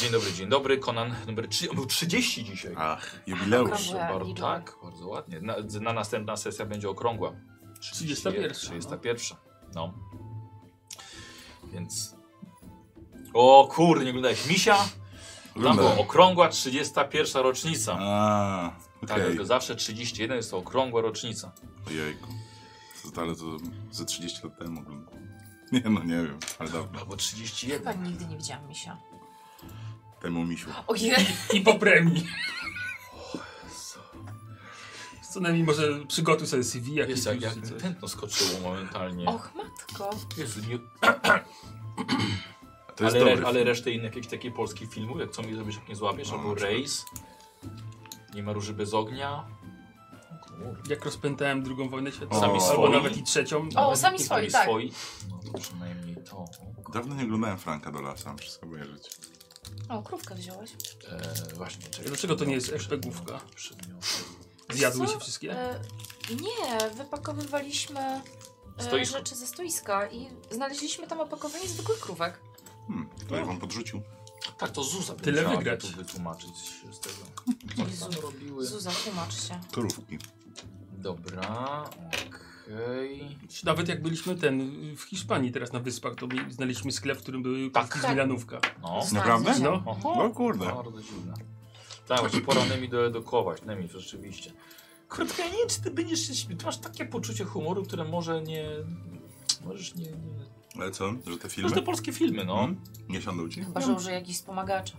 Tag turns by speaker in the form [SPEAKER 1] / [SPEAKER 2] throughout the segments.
[SPEAKER 1] Dzień dobry, dzień dobry. Konan numer 3. On był 30 dzisiaj.
[SPEAKER 2] Ach, jubileusz.
[SPEAKER 1] Proszę
[SPEAKER 3] Okrągła
[SPEAKER 1] bardzo,
[SPEAKER 3] liczba.
[SPEAKER 1] tak, bardzo ładnie. Na, na następna sesja będzie okrągła.
[SPEAKER 4] 31,
[SPEAKER 1] 31. No. Więc. O kurde, nie oglądałeś Misia? Tam była
[SPEAKER 2] Oglądałem.
[SPEAKER 1] okrągła 31 rocznica.
[SPEAKER 2] A,
[SPEAKER 1] Tak,
[SPEAKER 2] okej.
[SPEAKER 1] dlatego zawsze 31 jest to okrągła rocznica.
[SPEAKER 2] Ojejku. To, ale to ze 30 lat temu oglądałem. Nie no, nie wiem, ale dawno.
[SPEAKER 1] Albo 31.
[SPEAKER 3] Pani nigdy nie widziałam misia.
[SPEAKER 2] Temu misiu.
[SPEAKER 3] Ojej.
[SPEAKER 4] I po premii. Co najmniej może przygotuj sobie CV jakieś.
[SPEAKER 1] Jest jak,
[SPEAKER 4] już,
[SPEAKER 1] jak
[SPEAKER 4] czy
[SPEAKER 1] mi
[SPEAKER 4] coś.
[SPEAKER 1] tętno skoczyło momentalnie.
[SPEAKER 3] Och, matko.
[SPEAKER 1] Jezu, nie,
[SPEAKER 2] To jest
[SPEAKER 1] ale,
[SPEAKER 2] dobry
[SPEAKER 1] re, ale
[SPEAKER 2] film.
[SPEAKER 1] resztę innych jakichś takich polskich filmów, jak co mi zrobisz, jak nie złapiesz,
[SPEAKER 2] No,
[SPEAKER 1] albo
[SPEAKER 2] czy-
[SPEAKER 1] Rejs. Nie ma róży bez ognia. O kurde.
[SPEAKER 4] Jak rozpętałem drugą wojnę światową.
[SPEAKER 2] O.
[SPEAKER 1] Sami
[SPEAKER 4] Albo
[SPEAKER 1] swoi.
[SPEAKER 4] nawet i trzecią.
[SPEAKER 3] O, sami
[SPEAKER 1] I
[SPEAKER 3] swoi, tak.
[SPEAKER 1] swoi. No to przynajmniej to.
[SPEAKER 2] Dawno nie oglądałem Franka Dola, sam wszystko kojarzyć.
[SPEAKER 3] O, krówkę wziąłeś.
[SPEAKER 1] E, właśnie, czekaj.
[SPEAKER 4] Dlaczego to nie jest
[SPEAKER 1] Przedmioty,
[SPEAKER 4] FPG-ówka?
[SPEAKER 1] przedmioty.
[SPEAKER 4] Zjadły
[SPEAKER 3] Co?
[SPEAKER 4] się wszystkie.
[SPEAKER 3] E, nie, wypakowywaliśmy e,
[SPEAKER 1] Stoisko.
[SPEAKER 3] rzeczy ze stoiska i znaleźliśmy tam opakowanie zwykłych krówek.
[SPEAKER 2] Hmm, to ja wam podrzucił.
[SPEAKER 1] Tak, to Zuza by
[SPEAKER 4] Tyle
[SPEAKER 1] musiała
[SPEAKER 4] wygrać.
[SPEAKER 1] tu wytłumaczyć się z tego.
[SPEAKER 3] Jezu.
[SPEAKER 1] Co tam robiły?
[SPEAKER 3] Zuza, tłumacz się.
[SPEAKER 2] Torówki.
[SPEAKER 1] Dobra, okej.
[SPEAKER 4] Nawet jak byliśmy ten w Hiszpanii teraz na wyspach, to mi- znaleźliśmy sklep, w którym były tak. z
[SPEAKER 3] Tak.
[SPEAKER 4] Milanówka.
[SPEAKER 1] No.
[SPEAKER 2] Naprawdę?
[SPEAKER 3] Znalazł się.
[SPEAKER 4] No.
[SPEAKER 1] Oho.
[SPEAKER 2] No kurde.
[SPEAKER 1] Bardzo dziwne. Tak, właśnie pora Nemi doedukować, Nemi, rzeczywiście. Krótko, ja nie wiem, czy ty będziesz się śmiał. Ty masz takie poczucie humoru, które może nie... Możesz nie... nie...
[SPEAKER 2] Ale co, że te filmy?
[SPEAKER 1] Masz te polskie filmy, no.
[SPEAKER 2] Hmm? Nie siądą ci?
[SPEAKER 3] Chyba, że użyję jakichś wspomagaczy.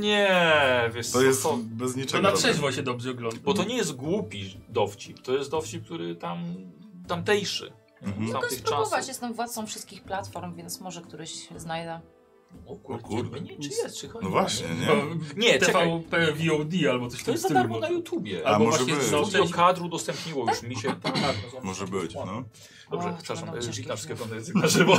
[SPEAKER 1] Nie, wiesz
[SPEAKER 2] To
[SPEAKER 1] co,
[SPEAKER 2] jest
[SPEAKER 1] to,
[SPEAKER 2] bez
[SPEAKER 4] To
[SPEAKER 2] niczego.
[SPEAKER 4] na
[SPEAKER 2] dobre.
[SPEAKER 4] trzeźwo się dobrze ogląda.
[SPEAKER 1] bo to nie jest głupi dowcip, to jest dowcip, który tam, tamtejszy.
[SPEAKER 2] Mhm.
[SPEAKER 1] Z
[SPEAKER 3] Mogę
[SPEAKER 1] tamtych
[SPEAKER 3] spróbować,
[SPEAKER 1] czasów.
[SPEAKER 3] jestem władcą wszystkich platform, więc może któryś znajdę.
[SPEAKER 1] O kurde,
[SPEAKER 2] O kurde.
[SPEAKER 1] nie, czy jest, czy chodzi.
[SPEAKER 2] No właśnie,
[SPEAKER 4] Chyba
[SPEAKER 2] nie?
[SPEAKER 1] Nie, czekaj,
[SPEAKER 4] TVP VOD albo coś
[SPEAKER 1] to
[SPEAKER 4] tam
[SPEAKER 1] jest za
[SPEAKER 4] w stylu,
[SPEAKER 1] darmo
[SPEAKER 4] bo-
[SPEAKER 1] na YouTubie.
[SPEAKER 2] A
[SPEAKER 4] Albo
[SPEAKER 2] może
[SPEAKER 4] właśnie
[SPEAKER 2] być.
[SPEAKER 4] znowu
[SPEAKER 1] Studio
[SPEAKER 4] trzeźwo.
[SPEAKER 1] kadru udostępniło już mi się. Tak, no, zobacz.
[SPEAKER 2] Może być, no.
[SPEAKER 1] Dobrze,
[SPEAKER 3] O,
[SPEAKER 1] przepraszam,
[SPEAKER 3] będą
[SPEAKER 1] e,
[SPEAKER 3] ciężkie
[SPEAKER 1] witam wszystkie
[SPEAKER 3] filmy.
[SPEAKER 1] oglądających na żywo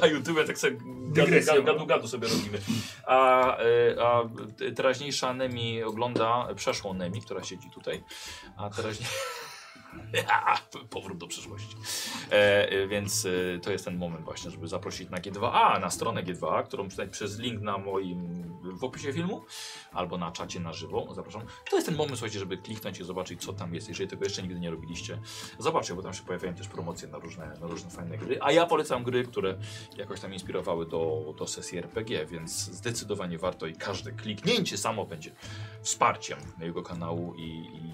[SPEAKER 1] na YouTube, tak sobie gadu,
[SPEAKER 4] Dygresja.
[SPEAKER 1] gadu, gadu, gadu sobie robimy. A, e, a t- teraźniejsza Nemi ogląda przeszłą Nemi, która siedzi tutaj, a teraźniej... Powrót do przeszłości. E, e, więc e, to jest ten moment właśnie, żeby zaprosić na G2A, na stronę G2A, którą tutaj przez link na moim w opisie filmu, albo na czacie na żywo, zapraszam. To jest ten moment, słuchajcie, żeby kliknąć i zobaczyć, co tam jest. Jeżeli tego jeszcze nigdy nie robiliście, Zobaczcie, bo tam się pojawiają też promocje na różne, na różne fajne gry. A ja polecam gry, które jakoś tam inspirowały do, do sesji RPG, więc zdecydowanie warto i każde kliknięcie samo będzie wsparciem jego kanału i, i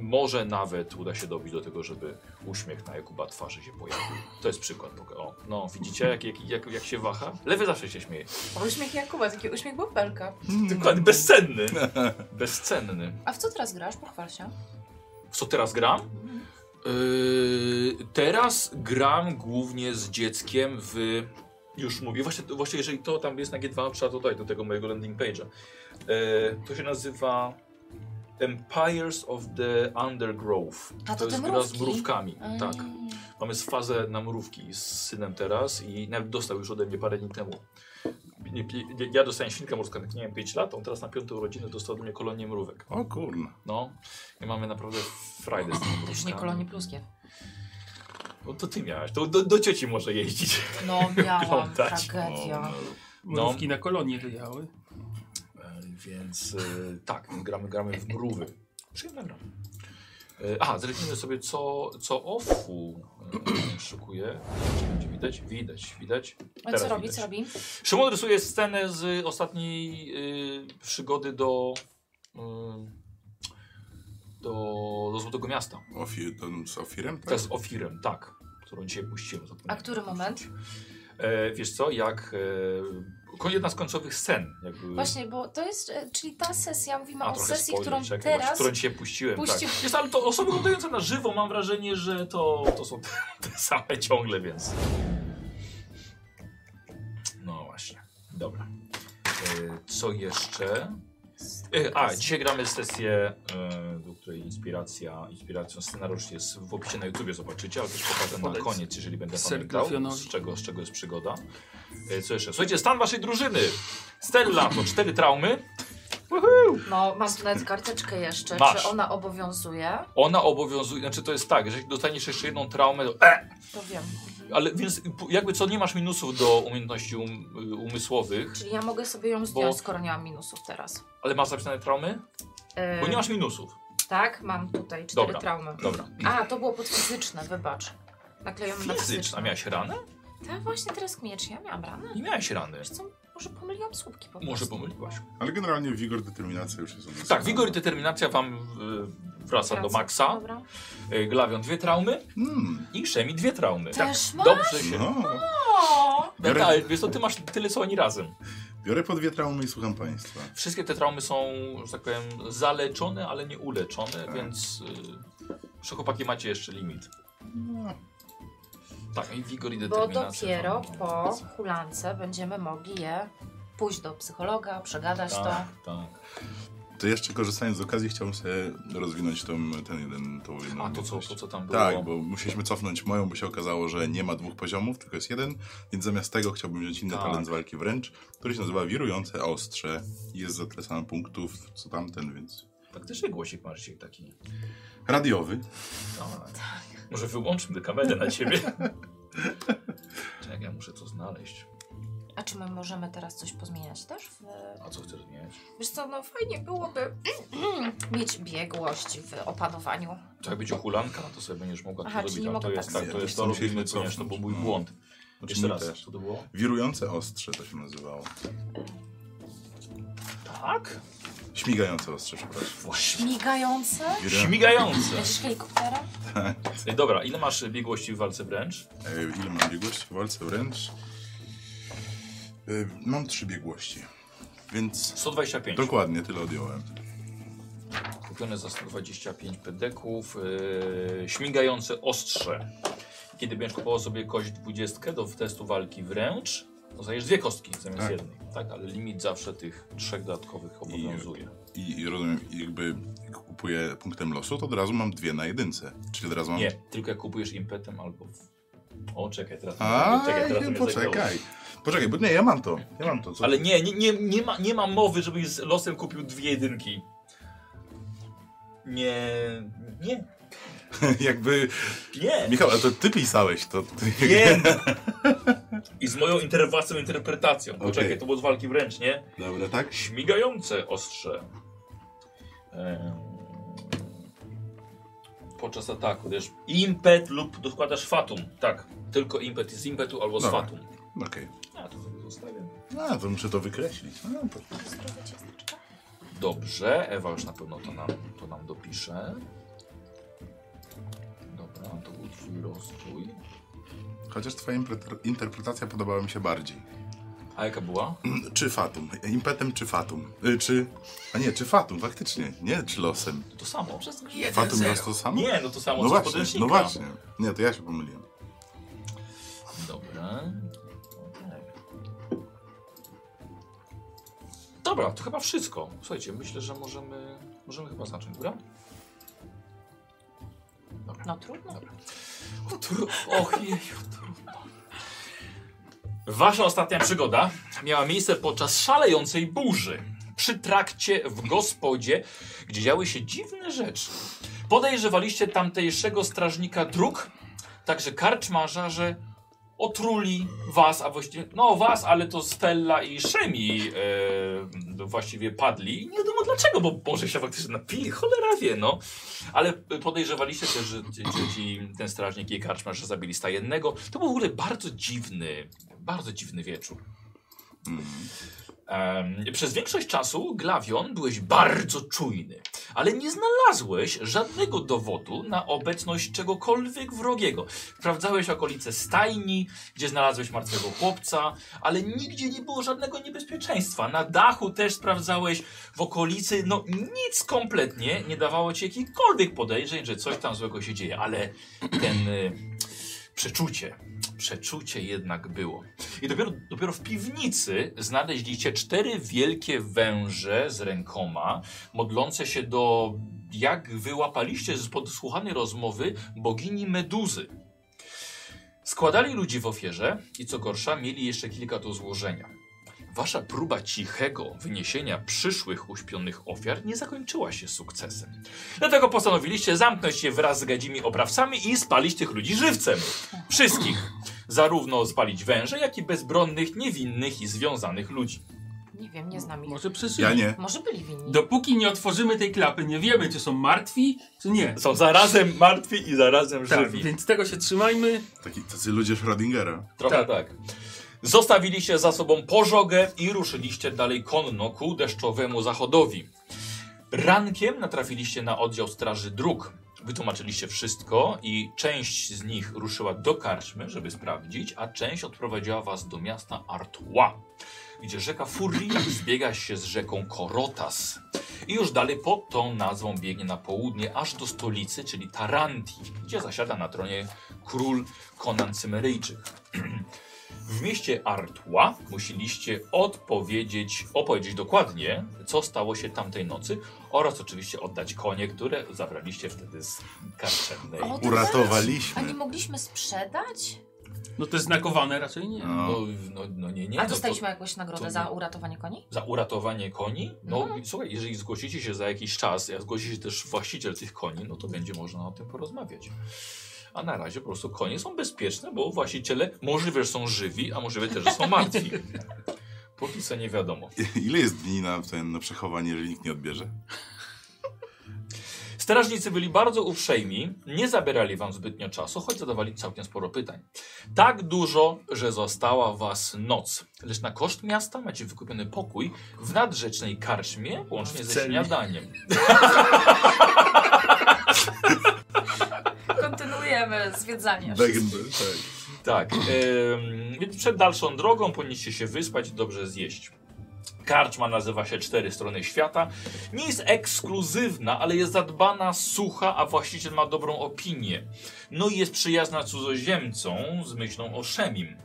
[SPEAKER 1] może nawet uda się dobić do tego, żeby uśmiech na Jakuba twarzy się pojawił. To jest przykład. poka- O, no widzicie, jak, jak, jak, jak się waha? Lewy zawsze się śmieje.
[SPEAKER 3] O, Uśmiech Jakuba, taki uśmiech bąbelka.
[SPEAKER 1] Dokładnie, bezcenny. Bezcenny.
[SPEAKER 3] A w co teraz grasz? Pochwal się.
[SPEAKER 1] W co teraz gram? Yy, teraz gram głównie z dzieckiem w. Już mówię, właśnie, właśnie jeżeli to tam jest na G2, trzeba dodać do tego mojego landing page'a. Yy, to się nazywa Empires of the Undergrowth.
[SPEAKER 3] A, to te
[SPEAKER 1] jest gra z
[SPEAKER 3] mrówki?
[SPEAKER 1] mrówkami.
[SPEAKER 3] Mm.
[SPEAKER 1] Tak. Mamy z fazę na mrówki z synem teraz i nawet dostał już ode mnie parę dni temu. Nie- nie- Ja dostałem świnkę morską, jak miałem 5 lat, on teraz na piątą urodziny dostał ode mnie kolonię mrówek.
[SPEAKER 2] O kurna.
[SPEAKER 1] No, i mamy naprawdę frajdę z tym.
[SPEAKER 3] To już nie kolonie pluskiew.
[SPEAKER 1] No to ty miałaś, to do, do cioci może jeździć.
[SPEAKER 3] No miałam,
[SPEAKER 1] Oglądać.
[SPEAKER 3] tragedia. E,
[SPEAKER 1] no.
[SPEAKER 4] Mrówki na kolonie wyjechały.
[SPEAKER 1] E, Więc e, tak, gramy, gramy w mrówy. Przyjemna gra. E, A, zerknijmy sobie, co, co OFU e, szykuje. Czy będzie widać? Widać, widać.
[SPEAKER 3] A
[SPEAKER 1] Teraz
[SPEAKER 3] co robi,
[SPEAKER 1] widać.
[SPEAKER 3] co robi?
[SPEAKER 1] Szymon rysuje scenę z ostatniej y, przygody do, y, do, do Złotego Miasta.
[SPEAKER 2] Ofi, ten z Ofirem,
[SPEAKER 1] To
[SPEAKER 2] tak?
[SPEAKER 1] jest Ofirem, tak. Którą dzisiaj puściłem.
[SPEAKER 3] A
[SPEAKER 1] zapomniałem.
[SPEAKER 3] który moment?
[SPEAKER 1] E, wiesz co, jak... E, ko- jedna z końcowych scen. Jakby,
[SPEAKER 3] Właśnie, bo to jest, e, czyli ta sesja, mówimy
[SPEAKER 1] A,
[SPEAKER 3] o
[SPEAKER 1] trochę
[SPEAKER 3] sesji,
[SPEAKER 1] spoiler,
[SPEAKER 3] którą
[SPEAKER 1] czekaj, właśnie,
[SPEAKER 3] teraz...
[SPEAKER 1] którą dzisiaj puściłem,
[SPEAKER 3] puścił-
[SPEAKER 1] tak. Jest, ale to osoby oglądające na żywo mam wrażenie, że to, to są te, te same ciągle, więc... No właśnie, dobra. E, co jeszcze? E, a, dzisiaj gramy sesję, e, do której inspiracja, inspiracją scenariusz jest w opisie na YouTubie, zobaczycie, ale też pokażę na
[SPEAKER 4] Powiedz.
[SPEAKER 1] koniec, jeżeli będę
[SPEAKER 4] Ser
[SPEAKER 1] pamiętał, z
[SPEAKER 4] Grafionowi.
[SPEAKER 1] czego, z czego jest przygoda. E, co jeszcze? Słuchajcie, stan waszej drużyny. Stella to cztery traumy.
[SPEAKER 3] No, masz nawet karteczkę jeszcze,
[SPEAKER 1] Masz.
[SPEAKER 3] czy ona obowiązuje?
[SPEAKER 1] Ona obowiązuje, znaczy to jest tak, jeżeli dostaniesz jeszcze jedną traumę, to e,
[SPEAKER 3] To wiem.
[SPEAKER 1] Ale więc p- jakby co, nie masz minusów do umiejętności um, umysłowych,
[SPEAKER 3] Czyli ja mogę sobie ją zdjąć, skoro nie mam minusów teraz.
[SPEAKER 1] ale masz zapisane traumy?
[SPEAKER 3] E,
[SPEAKER 1] Bo nie masz minusów.
[SPEAKER 3] Tak, mam tutaj cztery
[SPEAKER 1] Dobra.
[SPEAKER 3] traumy.
[SPEAKER 1] Dobra.
[SPEAKER 3] A, to było pod fizyczne, wybacz. Naklejamy na
[SPEAKER 1] Fizyczna.
[SPEAKER 3] fizyczne.
[SPEAKER 1] Miałeś ranę?
[SPEAKER 3] Tak, właśnie teraz kmiecz. Ja miałam ranę.
[SPEAKER 1] Nie miałeś rany.
[SPEAKER 3] Wiesz co, może pomyliłam słupki po prostu.
[SPEAKER 1] Może pomyliłaś.
[SPEAKER 2] Ale generalnie wigor, determinacja już jest u nas.
[SPEAKER 1] Tak, wigor i determinacja wam y, wraca do maksa.
[SPEAKER 3] Dobra.
[SPEAKER 1] Y, Glawion dwie traumy
[SPEAKER 2] Hmm,
[SPEAKER 1] i Szemi dwie traumy.
[SPEAKER 3] Też mam?
[SPEAKER 1] Dobrze się.
[SPEAKER 2] no.
[SPEAKER 3] O!
[SPEAKER 1] Beta, ale wiesz co, ty masz tyle co oni razem.
[SPEAKER 2] Biorę po dwie traumy i słucham państwa.
[SPEAKER 1] Wszystkie te traumy są, że tak powiem, zaleczone, ale nie uleczone,
[SPEAKER 2] Tak.
[SPEAKER 1] więc y, że chłopaki macie jeszcze limit.
[SPEAKER 2] No,
[SPEAKER 1] Tak, i wigor i
[SPEAKER 3] Bo
[SPEAKER 1] determinacja. no.
[SPEAKER 3] dopiero
[SPEAKER 1] wam-
[SPEAKER 3] po hulance będziemy mogli je pójść do psychologa, przegadać to.
[SPEAKER 1] Tak, tak.
[SPEAKER 2] to jeszcze korzystając z okazji chciałbym sobie rozwinąć tą, ten jeden, tą jedną
[SPEAKER 1] A to co,
[SPEAKER 2] umiejętność.
[SPEAKER 1] to, co tam było?
[SPEAKER 2] Tak, bo musieliśmy cofnąć moją, bo się okazało, że nie ma dwóch poziomów, tylko jest jeden, więc zamiast tego chciałbym wziąć inny
[SPEAKER 1] Tak.
[SPEAKER 2] talent z walki wręcz, który się nazywa Wirujące Ostrze i jest za tyle samo punktów, co tamten, więc...
[SPEAKER 1] Faktycznie Tak, głosik masz dzisiaj taki.
[SPEAKER 2] Radiowy.
[SPEAKER 1] Tak. Może wyłączmy kamerę na ciebie. Czekaj, ja muszę to znaleźć.
[SPEAKER 3] A czy my możemy teraz coś pozmieniać też? W...
[SPEAKER 1] A co chcesz zmieniać?
[SPEAKER 3] Wiesz co, no fajnie byłoby mieć biegłość w opanowaniu.
[SPEAKER 1] To jak będzie hulanka, to sobie będziesz mogła
[SPEAKER 3] Aha,
[SPEAKER 1] to
[SPEAKER 3] czyli
[SPEAKER 1] zrobić. ale to
[SPEAKER 3] mogę
[SPEAKER 1] jest
[SPEAKER 3] tak
[SPEAKER 1] tak, to jest
[SPEAKER 2] zrobić.
[SPEAKER 1] to robimy,
[SPEAKER 2] Musieliśmy
[SPEAKER 1] ponieważ to był
[SPEAKER 2] cofnąć.
[SPEAKER 1] mój
[SPEAKER 2] No.
[SPEAKER 1] błąd.
[SPEAKER 2] Znaczy
[SPEAKER 1] Jeszcze
[SPEAKER 2] mój
[SPEAKER 1] raz,
[SPEAKER 2] też.
[SPEAKER 1] co to było?
[SPEAKER 2] Wirujące Ostrze to się nazywało.
[SPEAKER 1] Tak?
[SPEAKER 2] Śmigające Ostrze, przepraszam.
[SPEAKER 1] Właśnie.
[SPEAKER 3] Migające?
[SPEAKER 2] Wiru-
[SPEAKER 1] Śmigające.
[SPEAKER 3] Będziesz helikopterem?
[SPEAKER 1] Ej, Dobra, ile masz biegłości w walce wręcz?
[SPEAKER 2] E, Ile mam biegłości w walce wręcz? E, Mam trzy biegłości, więc
[SPEAKER 1] 125.
[SPEAKER 2] dokładnie tyle odjąłem.
[SPEAKER 1] Kupione za 125 pedeków. Yy, śmigające ostrze. Kiedy będziesz kupował sobie kość 20 do testu walki wręcz, dostajesz dwie kostki zamiast
[SPEAKER 2] Tak.
[SPEAKER 1] jednej. Tak, ale limit zawsze tych trzech dodatkowych obowiązuje.
[SPEAKER 2] I, I rozumiem, jakby jak kupuję punktem losu, to od razu mam dwie na jedynce. Czyli od razu mam
[SPEAKER 1] Nie, tylko jak kupujesz impetem albo. W... O, czekaj, teraz.
[SPEAKER 2] A,
[SPEAKER 1] czekaj, teraz mnie zagrało.
[SPEAKER 2] poczekaj. Poczekaj, bo nie, ja mam to. Ja mam to. Co?
[SPEAKER 1] Ale nie, nie, nie, nie, ma, nie ma mowy, żebyś z losem kupił dwie jedynki. Nie, nie,
[SPEAKER 2] Jakby.
[SPEAKER 1] nie.
[SPEAKER 2] Michał, ale to ty pisałeś to. Ty...
[SPEAKER 1] Nie! I z moją inter własną interpretacją.
[SPEAKER 2] Okej.
[SPEAKER 1] Poczekaj, to było z walki wręcz, nie?
[SPEAKER 2] Dobra, tak?
[SPEAKER 1] Śmigające ostrze. Em, Podczas ataku też impet lub dokładasz fatum. Tak, tylko impet jest z impetu albo z
[SPEAKER 2] Dobra.
[SPEAKER 1] fatum.
[SPEAKER 2] Okej.
[SPEAKER 1] Ja to sobie zostawiam.
[SPEAKER 2] A, to muszę to wykreślić. No, to...
[SPEAKER 3] Zdrowe ciasteczka.
[SPEAKER 1] Dobrze, Ewa już na pewno to nam, to nam dopisze. Dobra, to był twój rozwój.
[SPEAKER 2] Chociaż twoja impre- interpretacja podobała mi się bardziej.
[SPEAKER 1] A jaka była?
[SPEAKER 2] Czy fatum? Impetem czy fatum? Y, czy. A nie, czy fatum, faktycznie. Nie, czy losem.
[SPEAKER 1] To samo.
[SPEAKER 3] Przez grzyb.
[SPEAKER 2] Fatum jest to samo?
[SPEAKER 1] Nie, no to samo
[SPEAKER 2] No
[SPEAKER 1] co z
[SPEAKER 2] właśnie,
[SPEAKER 1] podręcznika.
[SPEAKER 2] no właśnie. Nie, to ja się pomyliłem.
[SPEAKER 1] Dobra. Okej. Dobra, to chyba wszystko. Słuchajcie, myślę, że możemy, możemy chyba zacząć, dobra? Dobra.
[SPEAKER 3] No trudno.
[SPEAKER 1] Dobra. O, tru- Och, jeju, trudno. Wasza ostatnia przygoda miała miejsce podczas szalejącej burzy. Przy trakcie w gospodzie, gdzie działy się dziwne rzeczy. Podejrzewaliście tamtejszego strażnika dróg, także karczmarza, że otruli was, a właściwie, no was, ale to Stella i Szemi e, właściwie padli. Nie wiadomo dlaczego, bo może się faktycznie napili, cholera wie, no. Ale podejrzewaliście też, że ci, ci, ci, ten strażnik i karczmarz, że zabili stajennego. To był w ogóle bardzo dziwny, bardzo dziwny wieczór. Em, przez większość czasu, Glawion, byłeś bardzo czujny, ale nie znalazłeś żadnego dowodu na obecność czegokolwiek wrogiego. Sprawdzałeś okolice stajni, gdzie znalazłeś martwego chłopca, ale nigdzie nie było żadnego niebezpieczeństwa. Na dachu też sprawdzałeś, w okolicy, no nic kompletnie nie dawało ci jakichkolwiek podejrzeń, że coś tam złego się dzieje, ale ten y, przeczucie, przeczucie jednak było. I dopiero, dopiero w piwnicy znaleźliście cztery wielkie węże z rękoma, modlące się do, jak wyłapaliście z podsłuchanej rozmowy, bogini Meduzy. Składali ludzi w ofierze i co gorsza, mieli jeszcze kilka do złożenia. Wasza próba cichego wyniesienia przyszłych uśpionych ofiar nie zakończyła się sukcesem. Dlatego postanowiliście zamknąć się wraz z gadzimi oprawcami i spalić tych ludzi żywcem. Wszystkich. Zarówno spalić węże, jak i bezbronnych, niewinnych i związanych ludzi.
[SPEAKER 3] Nie wiem, nie znam ich.
[SPEAKER 4] Może przeżyć.
[SPEAKER 2] Ja nie.
[SPEAKER 3] Może byli winni.
[SPEAKER 4] Dopóki nie otworzymy tej klapy, nie wiemy, czy są martwi, czy nie.
[SPEAKER 1] Są zarazem martwi i zarazem
[SPEAKER 4] Tak,
[SPEAKER 1] żywi.
[SPEAKER 4] więc tego się trzymajmy.
[SPEAKER 2] Taki, tacy ludzie Schrödingera.
[SPEAKER 1] Trochę tak. Zostawiliście za sobą pożogę i ruszyliście dalej konno ku deszczowemu zachodowi. Rankiem natrafiliście na oddział straży dróg. Wytłumaczyliście wszystko i część z nich ruszyła do karczmy, żeby sprawdzić, a część odprowadziła was do miasta Artois, gdzie rzeka Furii zbiega się z rzeką Korotas. I już dalej pod tą nazwą biegnie na południe, aż do stolicy, czyli Tarantii, gdzie zasiada na tronie król Konan Cymeryjczyk. W mieście Artła musieliście odpowiedzieć, opowiedzieć dokładnie, co stało się tamtej nocy oraz oczywiście oddać konie, które zabraliście wtedy z karczemnej.
[SPEAKER 3] O, to A nie
[SPEAKER 2] Uratowaliśmy.
[SPEAKER 3] mogliśmy sprzedać?
[SPEAKER 4] No to jest znakowane, raczej nie.
[SPEAKER 1] No,
[SPEAKER 2] No,
[SPEAKER 1] no, no nie, nie.
[SPEAKER 3] A
[SPEAKER 1] no to-
[SPEAKER 3] dostaliśmy jakąś nagrodę
[SPEAKER 1] to-
[SPEAKER 3] za uratowanie koni?
[SPEAKER 1] Za uratowanie koni? No,
[SPEAKER 3] No.
[SPEAKER 4] Mhm.
[SPEAKER 1] i słuchaj, jeżeli zgłosicie się za jakiś czas, jak zgłosi się też właściciel tych koni, no
[SPEAKER 4] Mhm.
[SPEAKER 1] to będzie można o tym porozmawiać. A na razie po prostu konie są bezpieczne, bo właściciele możliwe, że są żywi, a możliwe też, że są martwi. Póki co nie wiadomo.
[SPEAKER 2] ile jest dni na, ten, na przechowanie, jeżeli nikt nie odbierze?
[SPEAKER 1] Strażnicy byli bardzo uprzejmi, nie zabierali wam zbytnio czasu, choć zadawali całkiem sporo pytań. Tak dużo, że została was noc. Lecz na koszt miasta macie wykupiony pokój w nadrzecznej karczmie, łącznie
[SPEAKER 4] W
[SPEAKER 1] ze
[SPEAKER 4] celi.
[SPEAKER 1] śniadaniem.
[SPEAKER 3] Kontynuujemy zwiedzanie.
[SPEAKER 2] Węgiel, tak.
[SPEAKER 1] Tak, em, więc przed dalszą drogą powinniście się wyspać i dobrze zjeść. Karczma nazywa się Cztery Strony Świata. Nie jest ekskluzywna, ale jest zadbana, sucha, a właściciel ma dobrą opinię. No i jest przyjazna cudzoziemcom z myślą o Szemim.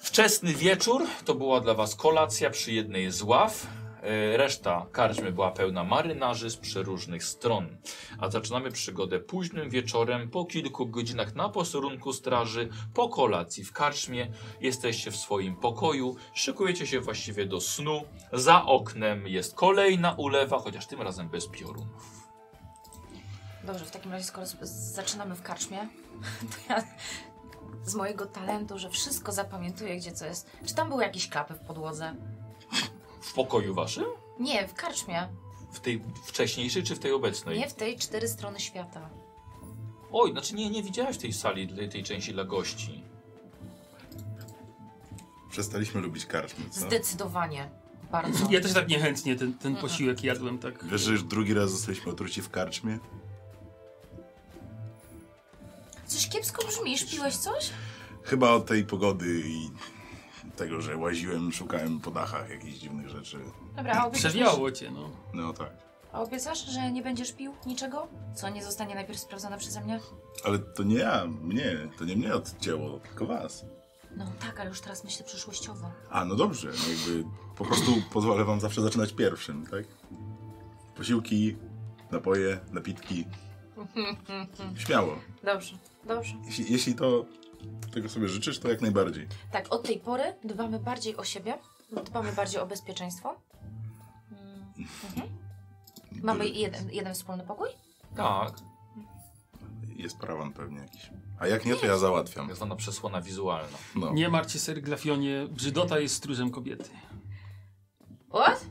[SPEAKER 1] Wczesny wieczór to była dla was kolacja przy jednej z ław. E, Reszta karczmy była pełna marynarzy z przeróżnych stron. A zaczynamy przygodę późnym wieczorem, po kilku godzinach na posterunku straży, po kolacji w karczmie. Jesteście w swoim pokoju, szykujecie się właściwie do snu. Za oknem jest kolejna ulewa, chociaż tym razem bez piorunów.
[SPEAKER 3] Dobrze, w takim razie skoro z- zaczynamy w karczmie, to ja z mojego talentu, że wszystko zapamiętuję, gdzie co jest. Czy tam były jakieś klapy w podłodze?
[SPEAKER 1] W pokoju waszym?
[SPEAKER 3] Nie, w karczmie.
[SPEAKER 1] W tej wcześniejszej czy w tej obecnej?
[SPEAKER 3] Nie w tej cztery strony świata.
[SPEAKER 1] Oj, znaczy nie, nie widziałeś tej sali, dla- tej części dla gości.
[SPEAKER 2] Przestaliśmy lubić karczmy, co?
[SPEAKER 3] Zdecydowanie. Bardzo.
[SPEAKER 4] Ja też tak niechętnie ten, ten posiłek jadłem, tak.
[SPEAKER 2] Wiesz, że już drugi raz zostaliśmy otruci w karczmie?
[SPEAKER 3] Coś kiepsko brzmisz, piłeś coś?
[SPEAKER 2] Chyba od tej pogody i tego, że łaziłem, szukałem po dachach jakichś dziwnych rzeczy.
[SPEAKER 3] Dobra, a obiecasz,
[SPEAKER 4] Przewiało cię, no.
[SPEAKER 2] No tak.
[SPEAKER 3] a obiecasz, że nie będziesz pił niczego? Co nie zostanie najpierw sprawdzone przeze mnie?
[SPEAKER 2] Ale to nie ja, mnie, to nie mnie odcięło, tylko was.
[SPEAKER 3] No tak, ale już teraz myślę przyszłościowo.
[SPEAKER 2] A, no dobrze, no jakby po prostu pozwolę wam zawsze zaczynać pierwszym, tak? Posiłki, napoje, napitki. Śmiało.
[SPEAKER 3] Dobrze, dobrze.
[SPEAKER 2] Jeśli, jeśli to tego sobie życzysz, to jak najbardziej.
[SPEAKER 3] Tak, od tej pory dbamy bardziej o siebie, dbamy bardziej o bezpieczeństwo. Mm, mhm. Mamy jeden, jeden wspólny pokój?
[SPEAKER 1] Tak,
[SPEAKER 2] Jest parawan pewnie jakiś. A jak nie, to ja załatwiam.
[SPEAKER 1] tak zwana przesłona wizualna.
[SPEAKER 2] No.
[SPEAKER 4] Nie martw się, ser Glafionie, brzydota jest stróżem kobiety.
[SPEAKER 3] What?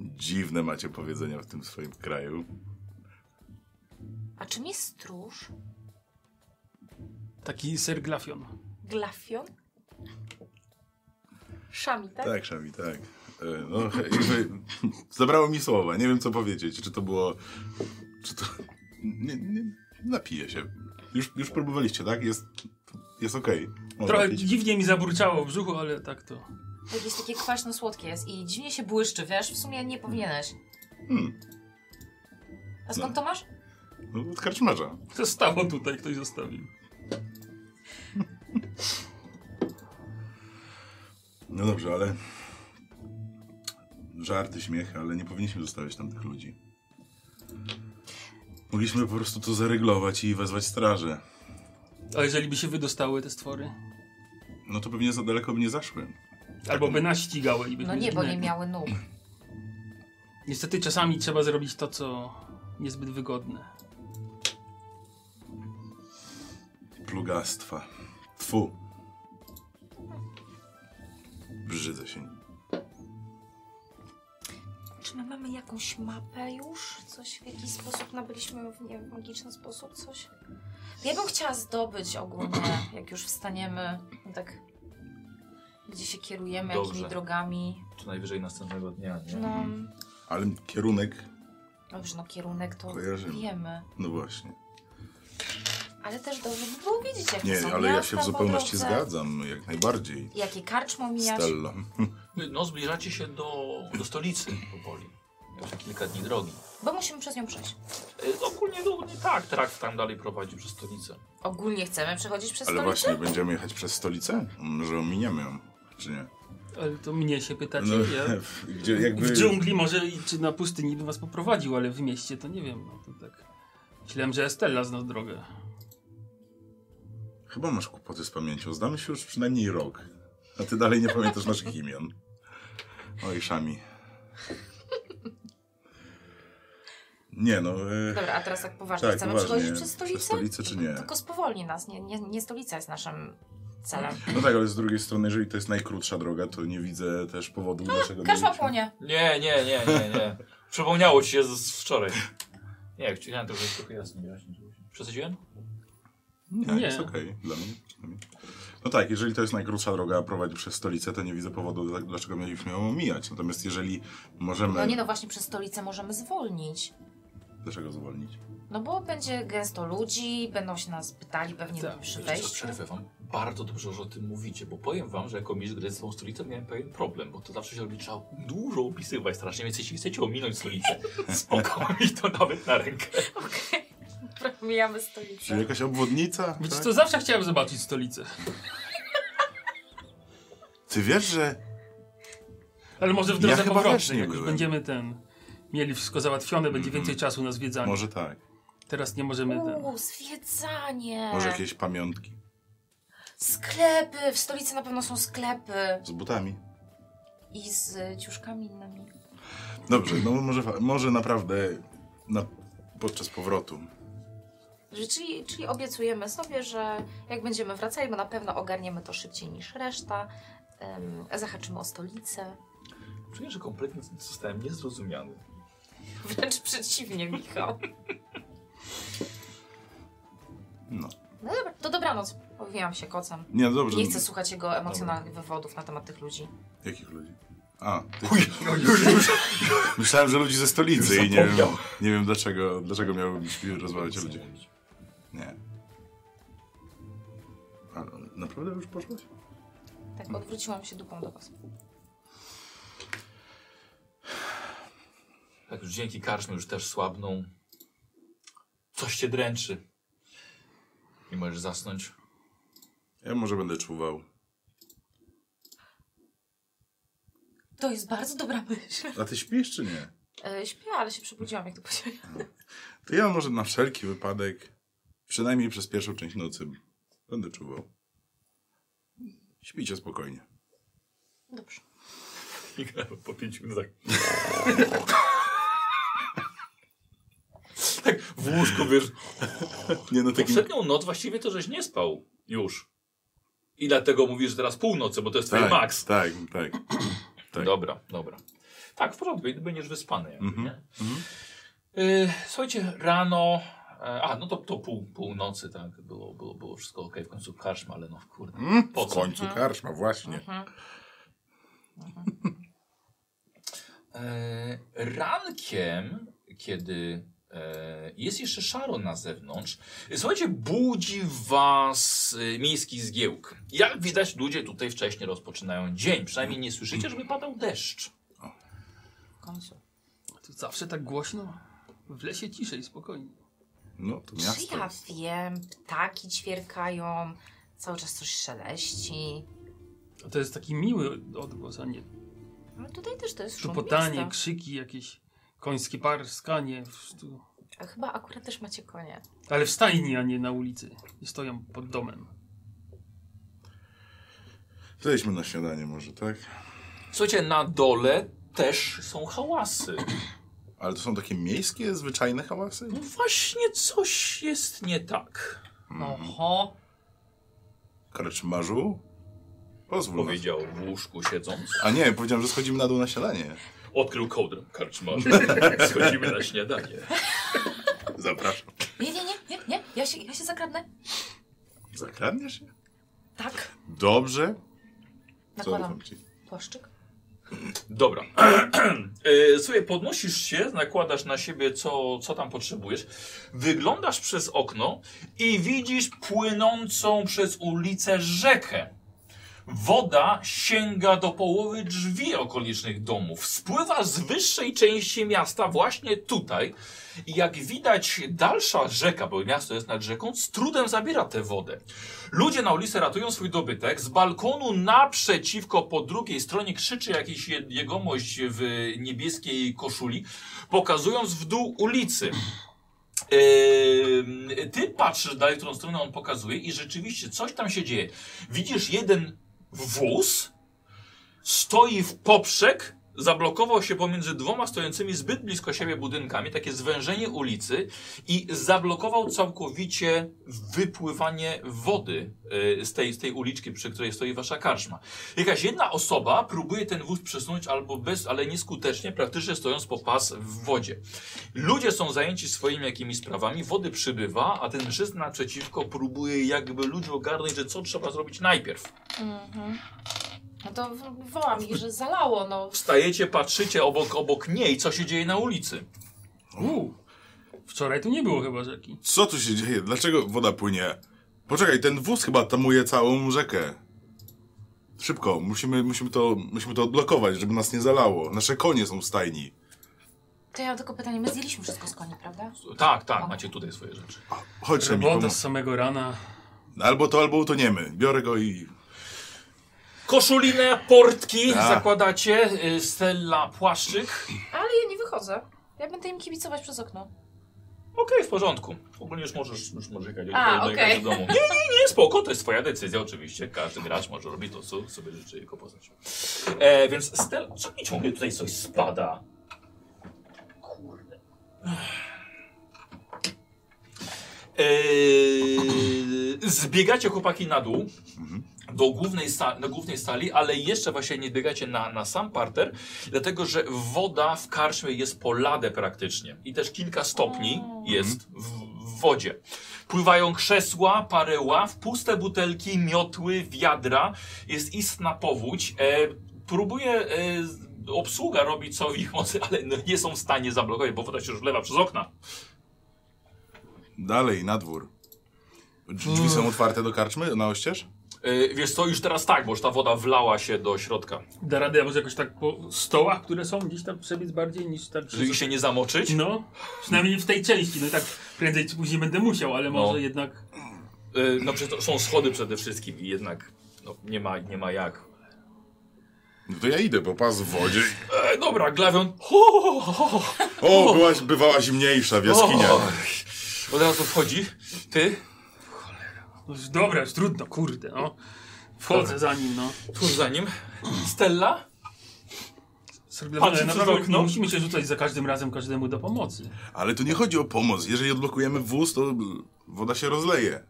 [SPEAKER 2] Dziwne macie powiedzenia w tym swoim kraju.
[SPEAKER 3] A czym jest stróż?
[SPEAKER 4] Taki ser Glafion.
[SPEAKER 3] Glafion? Szami, tak?
[SPEAKER 2] Tak, Szami, tak. E, No, jakby zabrało mi słowa. Nie wiem, co powiedzieć. Czy to było... Czy to... Nie, nie, napiję się. Już, już próbowaliście, tak? Jest, jest okej. Można
[SPEAKER 4] Trochę
[SPEAKER 2] pić.
[SPEAKER 4] dziwnie mi zaburczało w brzuchu, ale tak to.
[SPEAKER 3] Jakieś takie kwaśno-słodkie jest i dziwnie się błyszczy, wiesz? W sumie nie powinieneś.
[SPEAKER 2] Hmm,
[SPEAKER 3] A skąd to masz?
[SPEAKER 2] no, od karczmarza.
[SPEAKER 4] Zostało tutaj, ktoś zostawił.
[SPEAKER 2] No dobrze, ale... Żarty, śmiech, ale nie powinniśmy zostawiać tam tych ludzi. Mogliśmy po prostu to zareglować i wezwać strażę.
[SPEAKER 4] A jeżeli by się wydostały te stwory?
[SPEAKER 2] No to pewnie za daleko by nie zaszły.
[SPEAKER 4] Albo by nas ścigały i
[SPEAKER 3] No
[SPEAKER 4] byśmy
[SPEAKER 3] nie, bo nie
[SPEAKER 4] zginęli.
[SPEAKER 3] miały nóg.
[SPEAKER 4] Niestety czasami trzeba zrobić to, co niezbyt wygodne.
[SPEAKER 2] Plugastwa. Tfu. Brzydzę się nim.
[SPEAKER 3] Czy my mamy jakąś mapę już? Coś w jakiś sposób nabyliśmy ją w nie wiem, magiczny sposób? Coś? Ja bym chciała zdobyć ogólnie, jak już wstaniemy, tak gdzie się kierujemy,
[SPEAKER 1] Dobrze.
[SPEAKER 3] jakimi drogami.
[SPEAKER 1] Co najwyżej następnego dnia,
[SPEAKER 2] Mhm.
[SPEAKER 1] nie?
[SPEAKER 3] No,
[SPEAKER 2] Ale kierunek,
[SPEAKER 3] dobrze, no kierunek to
[SPEAKER 2] Kojarzymy.
[SPEAKER 3] wiemy.
[SPEAKER 2] no właśnie.
[SPEAKER 3] Ale też dobrze by było wiedzieć, jakie
[SPEAKER 2] Nie,
[SPEAKER 3] są
[SPEAKER 2] ale ja
[SPEAKER 3] miasta
[SPEAKER 2] się w
[SPEAKER 3] po
[SPEAKER 2] zupełności
[SPEAKER 3] drodze,
[SPEAKER 2] zgadzam, jak najbardziej.
[SPEAKER 3] Jakie karczmą mijać.
[SPEAKER 2] Stello.
[SPEAKER 1] No zbliżacie się do, do stolicy powoli. Jeszcze kilka dni drogi.
[SPEAKER 3] Bo musimy przez nią przejść.
[SPEAKER 1] E, Ogólnie, no, nie tak, trakt tam dalej prowadzi przez stolicę.
[SPEAKER 3] Ogólnie chcemy przechodzić przez
[SPEAKER 2] Ale
[SPEAKER 3] stolicę?
[SPEAKER 2] właśnie, będziemy jechać przez stolicę? Może ominiemy ją, czy nie?
[SPEAKER 4] Ale to mnie się pytacie,
[SPEAKER 2] No,
[SPEAKER 4] ja...
[SPEAKER 2] gdzie, jakby...
[SPEAKER 4] W dżungli może i czy na pustyni bym was poprowadził, ale w mieście to nie wiem. No to tak. Myślałem, że Estella zna drogę.
[SPEAKER 2] Chyba masz kłopoty z pamięcią. Znamy się już przynajmniej rok. A ty dalej nie pamiętasz naszych imion. Oj, Szami. Nie no. e,
[SPEAKER 3] Dobra, a teraz tak poważnie.
[SPEAKER 2] Tak,
[SPEAKER 3] Chcemy
[SPEAKER 2] poważnie.
[SPEAKER 3] przechodzić przez stolicę?
[SPEAKER 2] Przez stolicę czy nie?
[SPEAKER 3] Tylko spowolni nas. Nie, nie, nie stolica jest naszym celem.
[SPEAKER 2] No tak, ale z drugiej strony, jeżeli to jest najkrótsza droga, to nie widzę też powodu, dlaczego
[SPEAKER 3] Kaszma
[SPEAKER 2] mieliśmy-
[SPEAKER 3] No, płonie.
[SPEAKER 1] Nie, nie, nie, nie, nie. Przypomniało ci się z, z wczoraj. Nie, chciałem trochę, trochę jasno wyjaśnić. Przesadziłem?
[SPEAKER 2] Nie,
[SPEAKER 4] Nie.
[SPEAKER 2] Tak, jest okej. Dla mnie. dla mnie. No tak, jeżeli to jest najkrótsza droga, a prowadzi przez stolicę, to nie widzę powodu, dla- dlaczego mieliśmy ją omijać. Natomiast jeżeli możemy...
[SPEAKER 3] No nie, no właśnie przez stolicę możemy zwolnić.
[SPEAKER 2] Dlaczego zwolnić?
[SPEAKER 3] No bo będzie gęsto ludzi, będą się nas pytali pewnie
[SPEAKER 4] Tak,
[SPEAKER 3] przy
[SPEAKER 1] Wiecie co,
[SPEAKER 3] wejściu.
[SPEAKER 1] przerwę wam. Bardzo dobrze, że o tym mówicie, bo powiem wam, że jako mistrz gry z tą stolicą miałem pewien problem, bo to zawsze się robi, trzeba dużo opisywać strasznie, więc jeśli chcecie ominąć stolicę, spoko mi to nawet na rękę.
[SPEAKER 3] Okej. Mijamy stolicę.
[SPEAKER 2] Czyli jakaś obwodnica?
[SPEAKER 4] Wiecie
[SPEAKER 2] tak?
[SPEAKER 4] co, zawsze chciałem zobaczyć stolicę.
[SPEAKER 2] Ty wiesz, że
[SPEAKER 4] Ale może w drodze
[SPEAKER 2] Ja chyba też nie
[SPEAKER 4] powrotnej, jak już
[SPEAKER 2] byłem. Mhm.
[SPEAKER 4] będziemy ten... Mieli wszystko załatwione, będzie więcej czasu na zwiedzanie.
[SPEAKER 2] może tak.
[SPEAKER 4] Teraz nie możemy ten...
[SPEAKER 3] Uuu, zwiedzanie.
[SPEAKER 2] Może jakieś pamiątki
[SPEAKER 3] Sklepy. W stolicy na pewno są sklepy.
[SPEAKER 2] z butami.
[SPEAKER 3] I z y, ciuszkami innymi.
[SPEAKER 2] Dobrze, no może, fa- może naprawdę na, podczas powrotu.
[SPEAKER 3] Że- Czyli, czyli obiecujemy sobie, że jak będziemy wracali, bo na pewno ogarniemy to szybciej niż reszta, em, zahaczymy o stolicę.
[SPEAKER 1] Czuję, że kompletnie zostałem niezrozumiany.
[SPEAKER 3] Wręcz przeciwnie, Michał.
[SPEAKER 2] No.
[SPEAKER 3] No dobra, to dobranoc. Powijam się kocem.
[SPEAKER 2] Nie, no dobrze.
[SPEAKER 3] Nie chcę słuchać jego emocjonalnych wywodów na temat tych ludzi.
[SPEAKER 2] Jakich ludzi? A, ty... Myślałem, że ludzi ze stolicy i nie wiem,
[SPEAKER 1] Zapomniał.
[SPEAKER 2] nie wiem dlaczego, dlaczego miałbym rozmawiać o ludziach. Nie. A, naprawdę już poszłaś?
[SPEAKER 3] Tak, odwróciłam się dupą do was.
[SPEAKER 1] Tak, już dzięki karczmy już też słabną. Coś cię dręczy. Nie możesz zasnąć.
[SPEAKER 2] Ja może będę czuwał.
[SPEAKER 3] To jest bardzo dobra myśl.
[SPEAKER 2] A ty śpisz czy nie?
[SPEAKER 3] E, śpię, ale się przebudziłam, jak to powiedziałam.
[SPEAKER 2] To ja może na wszelki wypadek, przynajmniej przez pierwszą część nocy, będę czuwał. Śpijcie spokojnie.
[SPEAKER 3] Dobrze.
[SPEAKER 1] po pięciu minutach. tak w łóżku, wiesz.
[SPEAKER 2] Nie no, takim...
[SPEAKER 1] Poprzednią noc właściwie to, żeś nie spał już. I dlatego mówisz że teraz północy, bo to jest twój
[SPEAKER 2] Tak,
[SPEAKER 1] maks.
[SPEAKER 2] tak, tak. tak.
[SPEAKER 1] Dobra, dobra. Tak, w porządku, i będziesz wyspany. Jakby,
[SPEAKER 2] Mhm,
[SPEAKER 1] nie? Y, słuchajcie, rano. e, A, no to, to pół, północy, tak, było, było, było wszystko okej, w końcu karczma, ale no kurde.
[SPEAKER 2] Mm,
[SPEAKER 1] Po
[SPEAKER 2] w
[SPEAKER 1] co?
[SPEAKER 2] końcu karczma, właśnie.
[SPEAKER 3] Mhm.
[SPEAKER 1] E, rankiem, kiedy e, jest jeszcze szaro na zewnątrz, e, słuchajcie, budzi was e, miejski zgiełk. Jak widać, ludzie tutaj wcześniej rozpoczynają dzień. Przynajmniej nie słyszycie, żeby padał deszcz.
[SPEAKER 3] W końcu.
[SPEAKER 4] To zawsze tak głośno? W lesie ciszej, spokojnie.
[SPEAKER 2] No, to
[SPEAKER 3] Czy
[SPEAKER 2] miasto.
[SPEAKER 3] ja wiem? Ptaki ćwierkają, cały czas coś szeleści.
[SPEAKER 4] A to jest taki miły odgłos, a nie
[SPEAKER 3] No tutaj też to jest szum
[SPEAKER 4] szupotanie,
[SPEAKER 3] miasta.
[SPEAKER 4] krzyki jakieś, końskie parskanie. w- tu.
[SPEAKER 3] A chyba akurat też macie konie.
[SPEAKER 4] Ale w stajni, a nie na ulicy. Nie stoją pod domem.
[SPEAKER 2] Zejdźmy na śniadanie może, tak?
[SPEAKER 1] Słuchajcie, na dole też są hałasy.
[SPEAKER 2] Ale to są takie miejskie, zwyczajne hałasy?
[SPEAKER 1] No właśnie coś jest nie tak,
[SPEAKER 3] Oho.
[SPEAKER 2] Karczmarzu? Pozwól. nas-
[SPEAKER 1] powiedział w łóżku siedząc.
[SPEAKER 2] A nie, powiedziałem, że schodzimy na dół na śniadanie.
[SPEAKER 1] Odkrył kołdrę karczmarza. Schodzimy na śniadanie.
[SPEAKER 2] Zapraszam.
[SPEAKER 3] Nie, nie, nie, nie, nie. Ja się, ja się zakradnę.
[SPEAKER 2] Zakradniesz się?
[SPEAKER 3] Tak.
[SPEAKER 2] Dobrze.
[SPEAKER 3] Nakładam
[SPEAKER 2] Zaufam ci.
[SPEAKER 3] płaszczyk.
[SPEAKER 1] Dobra. E, Słuchaj, podnosisz się, nakładasz na siebie, co, co tam potrzebujesz. Wyglądasz przez okno i widzisz płynącą przez ulicę rzekę. Woda sięga do połowy drzwi okolicznych domów. Spływa z wyższej części miasta właśnie tutaj. I jak widać, dalsza rzeka, bo miasto jest nad rzeką, z trudem zabiera tę wodę. Ludzie na ulicy ratują swój dobytek. Z balkonu naprzeciwko po drugiej stronie krzyczy jakiś je- jegomość w niebieskiej koszuli, pokazując w dół ulicy. Ym, Ty patrzysz dalej, którą stronę on pokazuje i rzeczywiście coś tam się dzieje. Widzisz jeden wóz, stoi w poprzek, zablokował się pomiędzy dwoma stojącymi zbyt blisko siebie budynkami, takie zwężenie ulicy i zablokował całkowicie wypływanie wody y, z tej, z tej uliczki, przy której stoi wasza karczma. Jakaś jedna osoba próbuje ten wóz przesunąć albo bez, ale nieskutecznie, praktycznie stojąc po pas w wodzie. Ludzie są zajęci swoimi jakimiś sprawami, wody przybywa, a ten mężczyzna naprzeciwko próbuje jakby ludzi ogarnąć, że co trzeba zrobić najpierw.
[SPEAKER 3] Mhm. No to w- wołam ich, że zalało, no.
[SPEAKER 1] Wstajecie, patrzycie obok, obok niej, co się dzieje na ulicy.
[SPEAKER 4] Uuu. Wczoraj tu nie było chyba rzeki.
[SPEAKER 2] Co tu się dzieje? Dlaczego woda płynie? Poczekaj, ten wóz chyba tamuje całą rzekę. Szybko, musimy, musimy, to, musimy to odblokować, żeby nas nie zalało. Nasze konie są w stajni.
[SPEAKER 3] To ja mam tylko pytanie, my zjedliśmy wszystko z koni, prawda?
[SPEAKER 1] Tak, tak, macie tutaj swoje rzeczy.
[SPEAKER 2] Chodź, Remi,
[SPEAKER 4] Robota
[SPEAKER 2] pomóż.
[SPEAKER 4] z samego rana.
[SPEAKER 2] No, Albo to, albo utoniemy. Biorę go i...
[SPEAKER 1] Koszulinę, portki
[SPEAKER 2] Tak.
[SPEAKER 1] zakładacie, y, Stella płaszczyk.
[SPEAKER 3] Ale ja nie wychodzę. Ja będę im kibicować przez okno.
[SPEAKER 1] Okej, w porządku. Ogólnie już możesz, już możesz jechać
[SPEAKER 3] A,
[SPEAKER 1] do,
[SPEAKER 3] okej.
[SPEAKER 1] do domu. Nie, nie, nie, spoko, to jest twoja decyzja oczywiście. Każdy gracz może robić to, co sobie życzy jego poznać. E, więc Stella, co mi ciągle tutaj coś spada? Kurde. Eee, E, zbiegacie chłopaki na dół do głównej, sta- do głównej sali, ale jeszcze właśnie nie biegacie na, na sam parter, dlatego że woda w karczmie jest po ladę praktycznie i też kilka stopni jest w, w wodzie. Pływają krzesła, parę ław, puste butelki, miotły, wiadra. Jest istna powódź. E, próbuje e, z- obsługa robić co w ich mocy, ale no, nie są w stanie zablokować, bo woda się już wlewa przez okna.
[SPEAKER 2] Dalej, na dwór. Drzwi są otwarte do karczmy, na oścież?
[SPEAKER 1] E, wiesz co, już teraz tak, bo już ta woda wlała się do środka.
[SPEAKER 4] Da radę może jakoś tak po stołach, które są gdzieś tam przebiec bardziej niż tak...
[SPEAKER 1] Żeby ich się nie zamoczyć.
[SPEAKER 4] No, przynajmniej w tej części. No i tak prędzej czy później będę musiał, ale
[SPEAKER 1] No.
[SPEAKER 4] może jednak...
[SPEAKER 1] E, No przecież to są schody przede wszystkim i jednak no, nie, ma, nie ma jak.
[SPEAKER 2] No to ja idę, bo pas w wodzie.
[SPEAKER 1] E, dobra, Glawion. Ho, ho, ho, ho.
[SPEAKER 2] O, byłaś, bywała zimniejsza w jaskiniach.
[SPEAKER 1] O, Od razu wchodzi. Ty?
[SPEAKER 4] No, już dobra, już trudno, kurde, no. Wchodzę za nim, no.
[SPEAKER 1] Tuż za nim. Stella?
[SPEAKER 4] Serdecznie,
[SPEAKER 1] Patrzę
[SPEAKER 4] ale
[SPEAKER 1] przez
[SPEAKER 4] naprawdę
[SPEAKER 1] okno.
[SPEAKER 4] nie musimy się rzucać za każdym razem każdemu do pomocy.
[SPEAKER 2] Ale tu nie chodzi o pomoc. Jeżeli odblokujemy wóz, to woda się rozleje.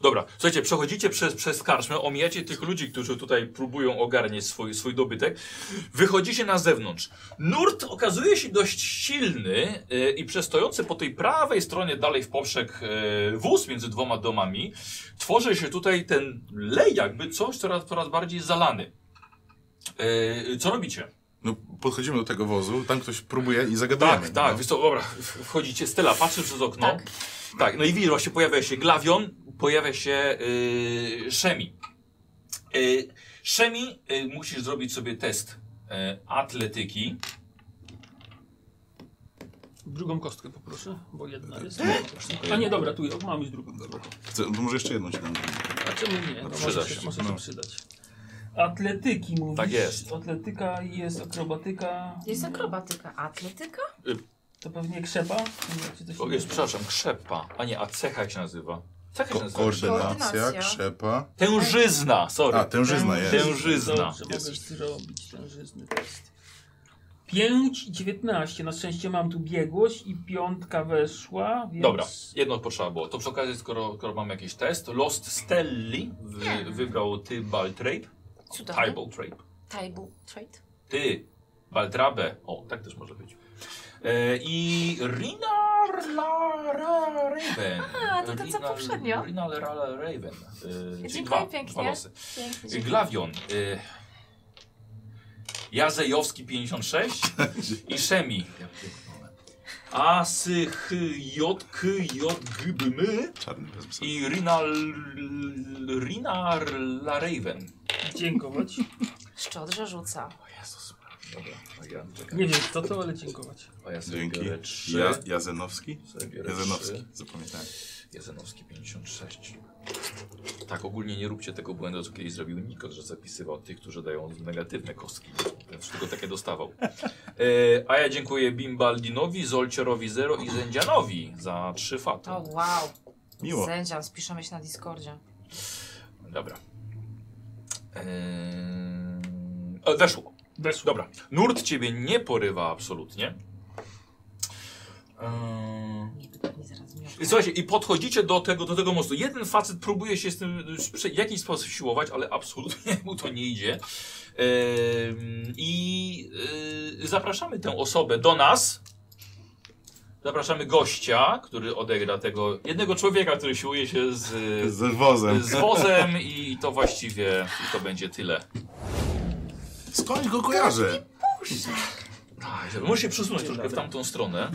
[SPEAKER 1] Dobra, słuchajcie, przechodzicie przez, przez karczmę, omijacie tych ludzi, którzy tutaj próbują ogarnieć swój, swój dobytek. Wychodzicie na zewnątrz. Nurt okazuje się dość silny e, i przestojący po tej prawej stronie dalej w poprzek e, wóz między dwoma domami tworzy się tutaj ten lej jakby coś coraz, coraz bardziej zalany. E, co robicie?
[SPEAKER 2] No, podchodzimy do tego wozu, tam ktoś próbuje i zagadujemy.
[SPEAKER 1] Tak, tak,
[SPEAKER 2] No.
[SPEAKER 1] wiesz co, dobra, w- wchodzicie, Stella patrzy przez okno.
[SPEAKER 3] Tak.
[SPEAKER 1] Tak, no i widzisz, właśnie pojawia się Glawion, pojawia się yy, Szemi. Yy, Szemi, yy, musisz zrobić sobie test yy, atletyki.
[SPEAKER 4] Drugą kostkę poproszę, bo jedna jest. A nie, dobra, tu mam już drugą.
[SPEAKER 2] Chcę, to może jeszcze jedną ci dam.
[SPEAKER 4] A czemu nie? No,
[SPEAKER 1] przyda
[SPEAKER 4] może
[SPEAKER 1] się,
[SPEAKER 4] Może się
[SPEAKER 2] no.
[SPEAKER 4] przydać. Atletyki mówisz.
[SPEAKER 1] Tak jest.
[SPEAKER 4] Atletyka jest akrobatyka.
[SPEAKER 3] Jest akrobatyka, atletyka?
[SPEAKER 4] To pewnie krzepa? Nie, czy to się-
[SPEAKER 1] O, jest, przepraszam, krzepa, a nie, a cecha jak się nazywa. Tak
[SPEAKER 2] Ko
[SPEAKER 1] się nazywa?
[SPEAKER 2] koordynacja,
[SPEAKER 3] Koordynacja.
[SPEAKER 2] krzepa.
[SPEAKER 1] Tężyzna, sorry.
[SPEAKER 2] A, tężyzna jest.
[SPEAKER 1] Tężyzna.
[SPEAKER 4] Dobrze,
[SPEAKER 2] Jest.
[SPEAKER 4] możesz zrobić ten żyzny test. 5 i 19. Na szczęście mam tu biegłość i piątka weszła, więc...
[SPEAKER 1] Dobra, jedno potrzeba było. To przy okazji, skoro, skoro mamy jakiś test, Lost Stelli wy, wybrał ty Baltrape.
[SPEAKER 3] Cudownie.
[SPEAKER 1] Tybal Trape.
[SPEAKER 3] Taibu trade.
[SPEAKER 1] Ty Baltrabe. O, tak też może być. E, I Rinar La Ra, Raven.
[SPEAKER 3] A, to ta, co
[SPEAKER 1] Rinar-
[SPEAKER 3] poprzednio.
[SPEAKER 1] Rinar La Ra, Raven. E, czyli
[SPEAKER 3] Dziękuję
[SPEAKER 1] dwa,
[SPEAKER 3] pięknie.
[SPEAKER 1] Dwa losy.
[SPEAKER 3] Pięknie.
[SPEAKER 1] Y,
[SPEAKER 3] dziękuję.
[SPEAKER 1] Glawion. Y, Jazejowski 56 i Szemi. A, sy, chy, jod, k, jod, g, b, my
[SPEAKER 2] Czarny bez psa.
[SPEAKER 1] i Rinal, Rinar La Raven.
[SPEAKER 4] Dziękować.
[SPEAKER 3] Szczodrze rzuca.
[SPEAKER 1] O Jezus. Dobra, a ja czekam.
[SPEAKER 4] Nie wiem co to, ale dziękować.
[SPEAKER 1] O, ja sobie
[SPEAKER 2] Dzięki.
[SPEAKER 1] biorę trzy.
[SPEAKER 2] Ja, Jazenowski?
[SPEAKER 1] Sobie biorę
[SPEAKER 2] Jazenowski,
[SPEAKER 1] trzy.
[SPEAKER 2] zapamiętałem.
[SPEAKER 1] Jazenowski 56. Tak, ogólnie nie róbcie tego błędu, co kiedyś zrobił Nikos, że zapisywał tych, którzy dają negatywne kostki. Więc tylko takie dostawał. E, a ja dziękuję Bimbaldinowi, Zolcierowi Zero i Zędzianowi za trzy faty.
[SPEAKER 3] O wow.
[SPEAKER 2] Miło.
[SPEAKER 3] Sędzian, spiszemy się na Discordzie.
[SPEAKER 1] Dobra. E, e, weszło.
[SPEAKER 4] Weszło.
[SPEAKER 1] Dobra. Nurt ciebie nie porywa absolutnie. Eee,
[SPEAKER 3] Nie, to pewnie zaraz miał.
[SPEAKER 1] I Słuchajcie, i podchodzicie do tego, do tego mostu. Jeden facet próbuje się z tym w jakiś sposób siłować, ale absolutnie mu to nie idzie. Em, I y, zapraszamy tę osobę do nas. Zapraszamy gościa, który odegra tego jednego człowieka, który siłuje się z,
[SPEAKER 2] Z wozem.
[SPEAKER 1] z wozem i to właściwie i to będzie tyle.
[SPEAKER 2] Skąd go kojarzę?
[SPEAKER 1] Tak, żeby- Możesz się przesunąć troszkę w tamtą stronę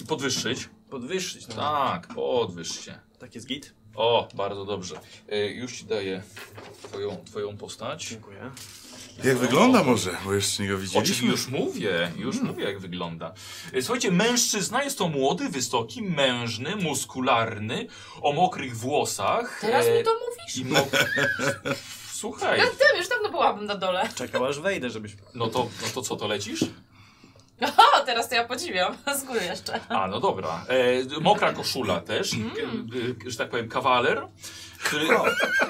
[SPEAKER 1] i podwyższyć.
[SPEAKER 5] Podwyższyć. No.
[SPEAKER 1] Tak, podwyższ się.
[SPEAKER 5] Tak jest git.
[SPEAKER 1] O, bardzo dobrze. E, już ci daję twoją, twoją postać.
[SPEAKER 5] Dziękuję.
[SPEAKER 2] Jak wygląda może? Bo jeszcze nie go
[SPEAKER 1] Oczywiście
[SPEAKER 2] widzieliśmy.
[SPEAKER 1] już mówię, już
[SPEAKER 5] Hmm.
[SPEAKER 1] mówię jak wygląda. E, Słuchajcie, mężczyzna jest to młody, wysoki, mężny, muskularny, o mokrych włosach.
[SPEAKER 3] Teraz
[SPEAKER 1] e,
[SPEAKER 3] mi to mówisz?
[SPEAKER 1] i mo- Słuchaj,
[SPEAKER 3] Ja wiem, już dawno byłabym na dole.
[SPEAKER 5] Czekał aż wejdę, żebyś...
[SPEAKER 1] no to, no to co, to lecisz?
[SPEAKER 3] O, teraz to ja podziwiam. Z góry jeszcze.
[SPEAKER 1] A, no dobra. E, mokra koszula też, k-
[SPEAKER 3] Hmm.
[SPEAKER 1] e, że tak powiem, kawaler. Który,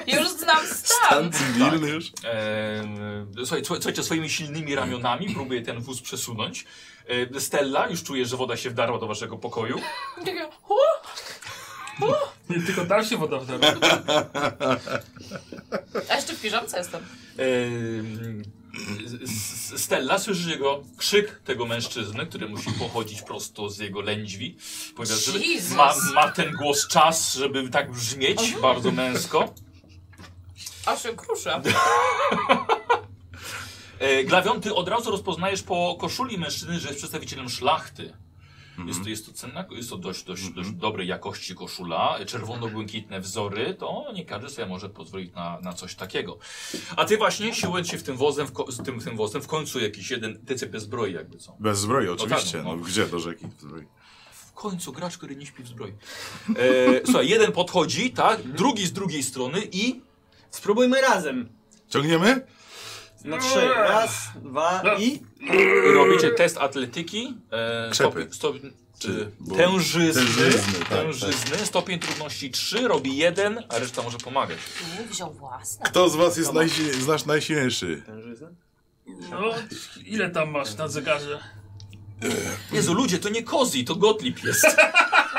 [SPEAKER 3] Już znam
[SPEAKER 2] Stan
[SPEAKER 3] stan.
[SPEAKER 2] cywilny już.
[SPEAKER 1] Em, Słuchaj, słuchaj- słuchajcie, swoimi silnymi ramionami próbuje ten wóz przesunąć. E, Stella już czuje, że woda się wdarła do waszego pokoju.
[SPEAKER 3] Takie, o,
[SPEAKER 4] Nie, tylko tam się woda wdarła.
[SPEAKER 3] A jeszcze w piżamce jestem.
[SPEAKER 1] Em, S- S- Stella słyszy jego krzyk tego mężczyzny, który musi pochodzić prosto z jego lędźwi. Ponieważ żeby-
[SPEAKER 3] Jezus.
[SPEAKER 1] ma, ma ten głos czas, żeby tak brzmieć bardzo męsko.
[SPEAKER 3] Aż się kruszę.
[SPEAKER 1] E, Glawion, ty od razu rozpoznajesz po koszuli mężczyzny, że jest przedstawicielem szlachty. Jest, to, jest to cenna, jest to dość, dość, dość dobrej jakości koszula, czerwono-błękitne wzory, to nie każdy sobie może pozwolić na, na coś takiego. A ty właśnie siłując się w tym wozem, w ko- z tym, tym wozem, w końcu jakiś jeden TCP zbroi jakby co.
[SPEAKER 2] Bez zbroi, oczywiście.
[SPEAKER 1] no.
[SPEAKER 2] No gdzie do rzeki? w Zbroi.
[SPEAKER 1] W końcu gracz, który nie śpi w zbroi. E, słuchaj, jeden podchodzi, tak, drugi z drugiej strony i
[SPEAKER 5] Spróbujmy razem.
[SPEAKER 2] Ciągniemy?
[SPEAKER 5] Na trzy. Raz, dwa i...
[SPEAKER 1] robicie test atletyki. E,
[SPEAKER 2] Krzepy.
[SPEAKER 1] stopień- stop- czy
[SPEAKER 2] Bo-
[SPEAKER 1] tężyzny,
[SPEAKER 2] Tężyzny, tak,
[SPEAKER 1] tężyzny, stopień trudności 3, robi 1, a reszta może pomagać.
[SPEAKER 3] Tu wziął własne.
[SPEAKER 2] Kto z was jest najsi znasz najsilniejszy?
[SPEAKER 5] Tężyzna?
[SPEAKER 4] No, ile tam masz na zegarze?
[SPEAKER 1] Jezu, ludzie, to nie Kozi, to Gottlieb jest.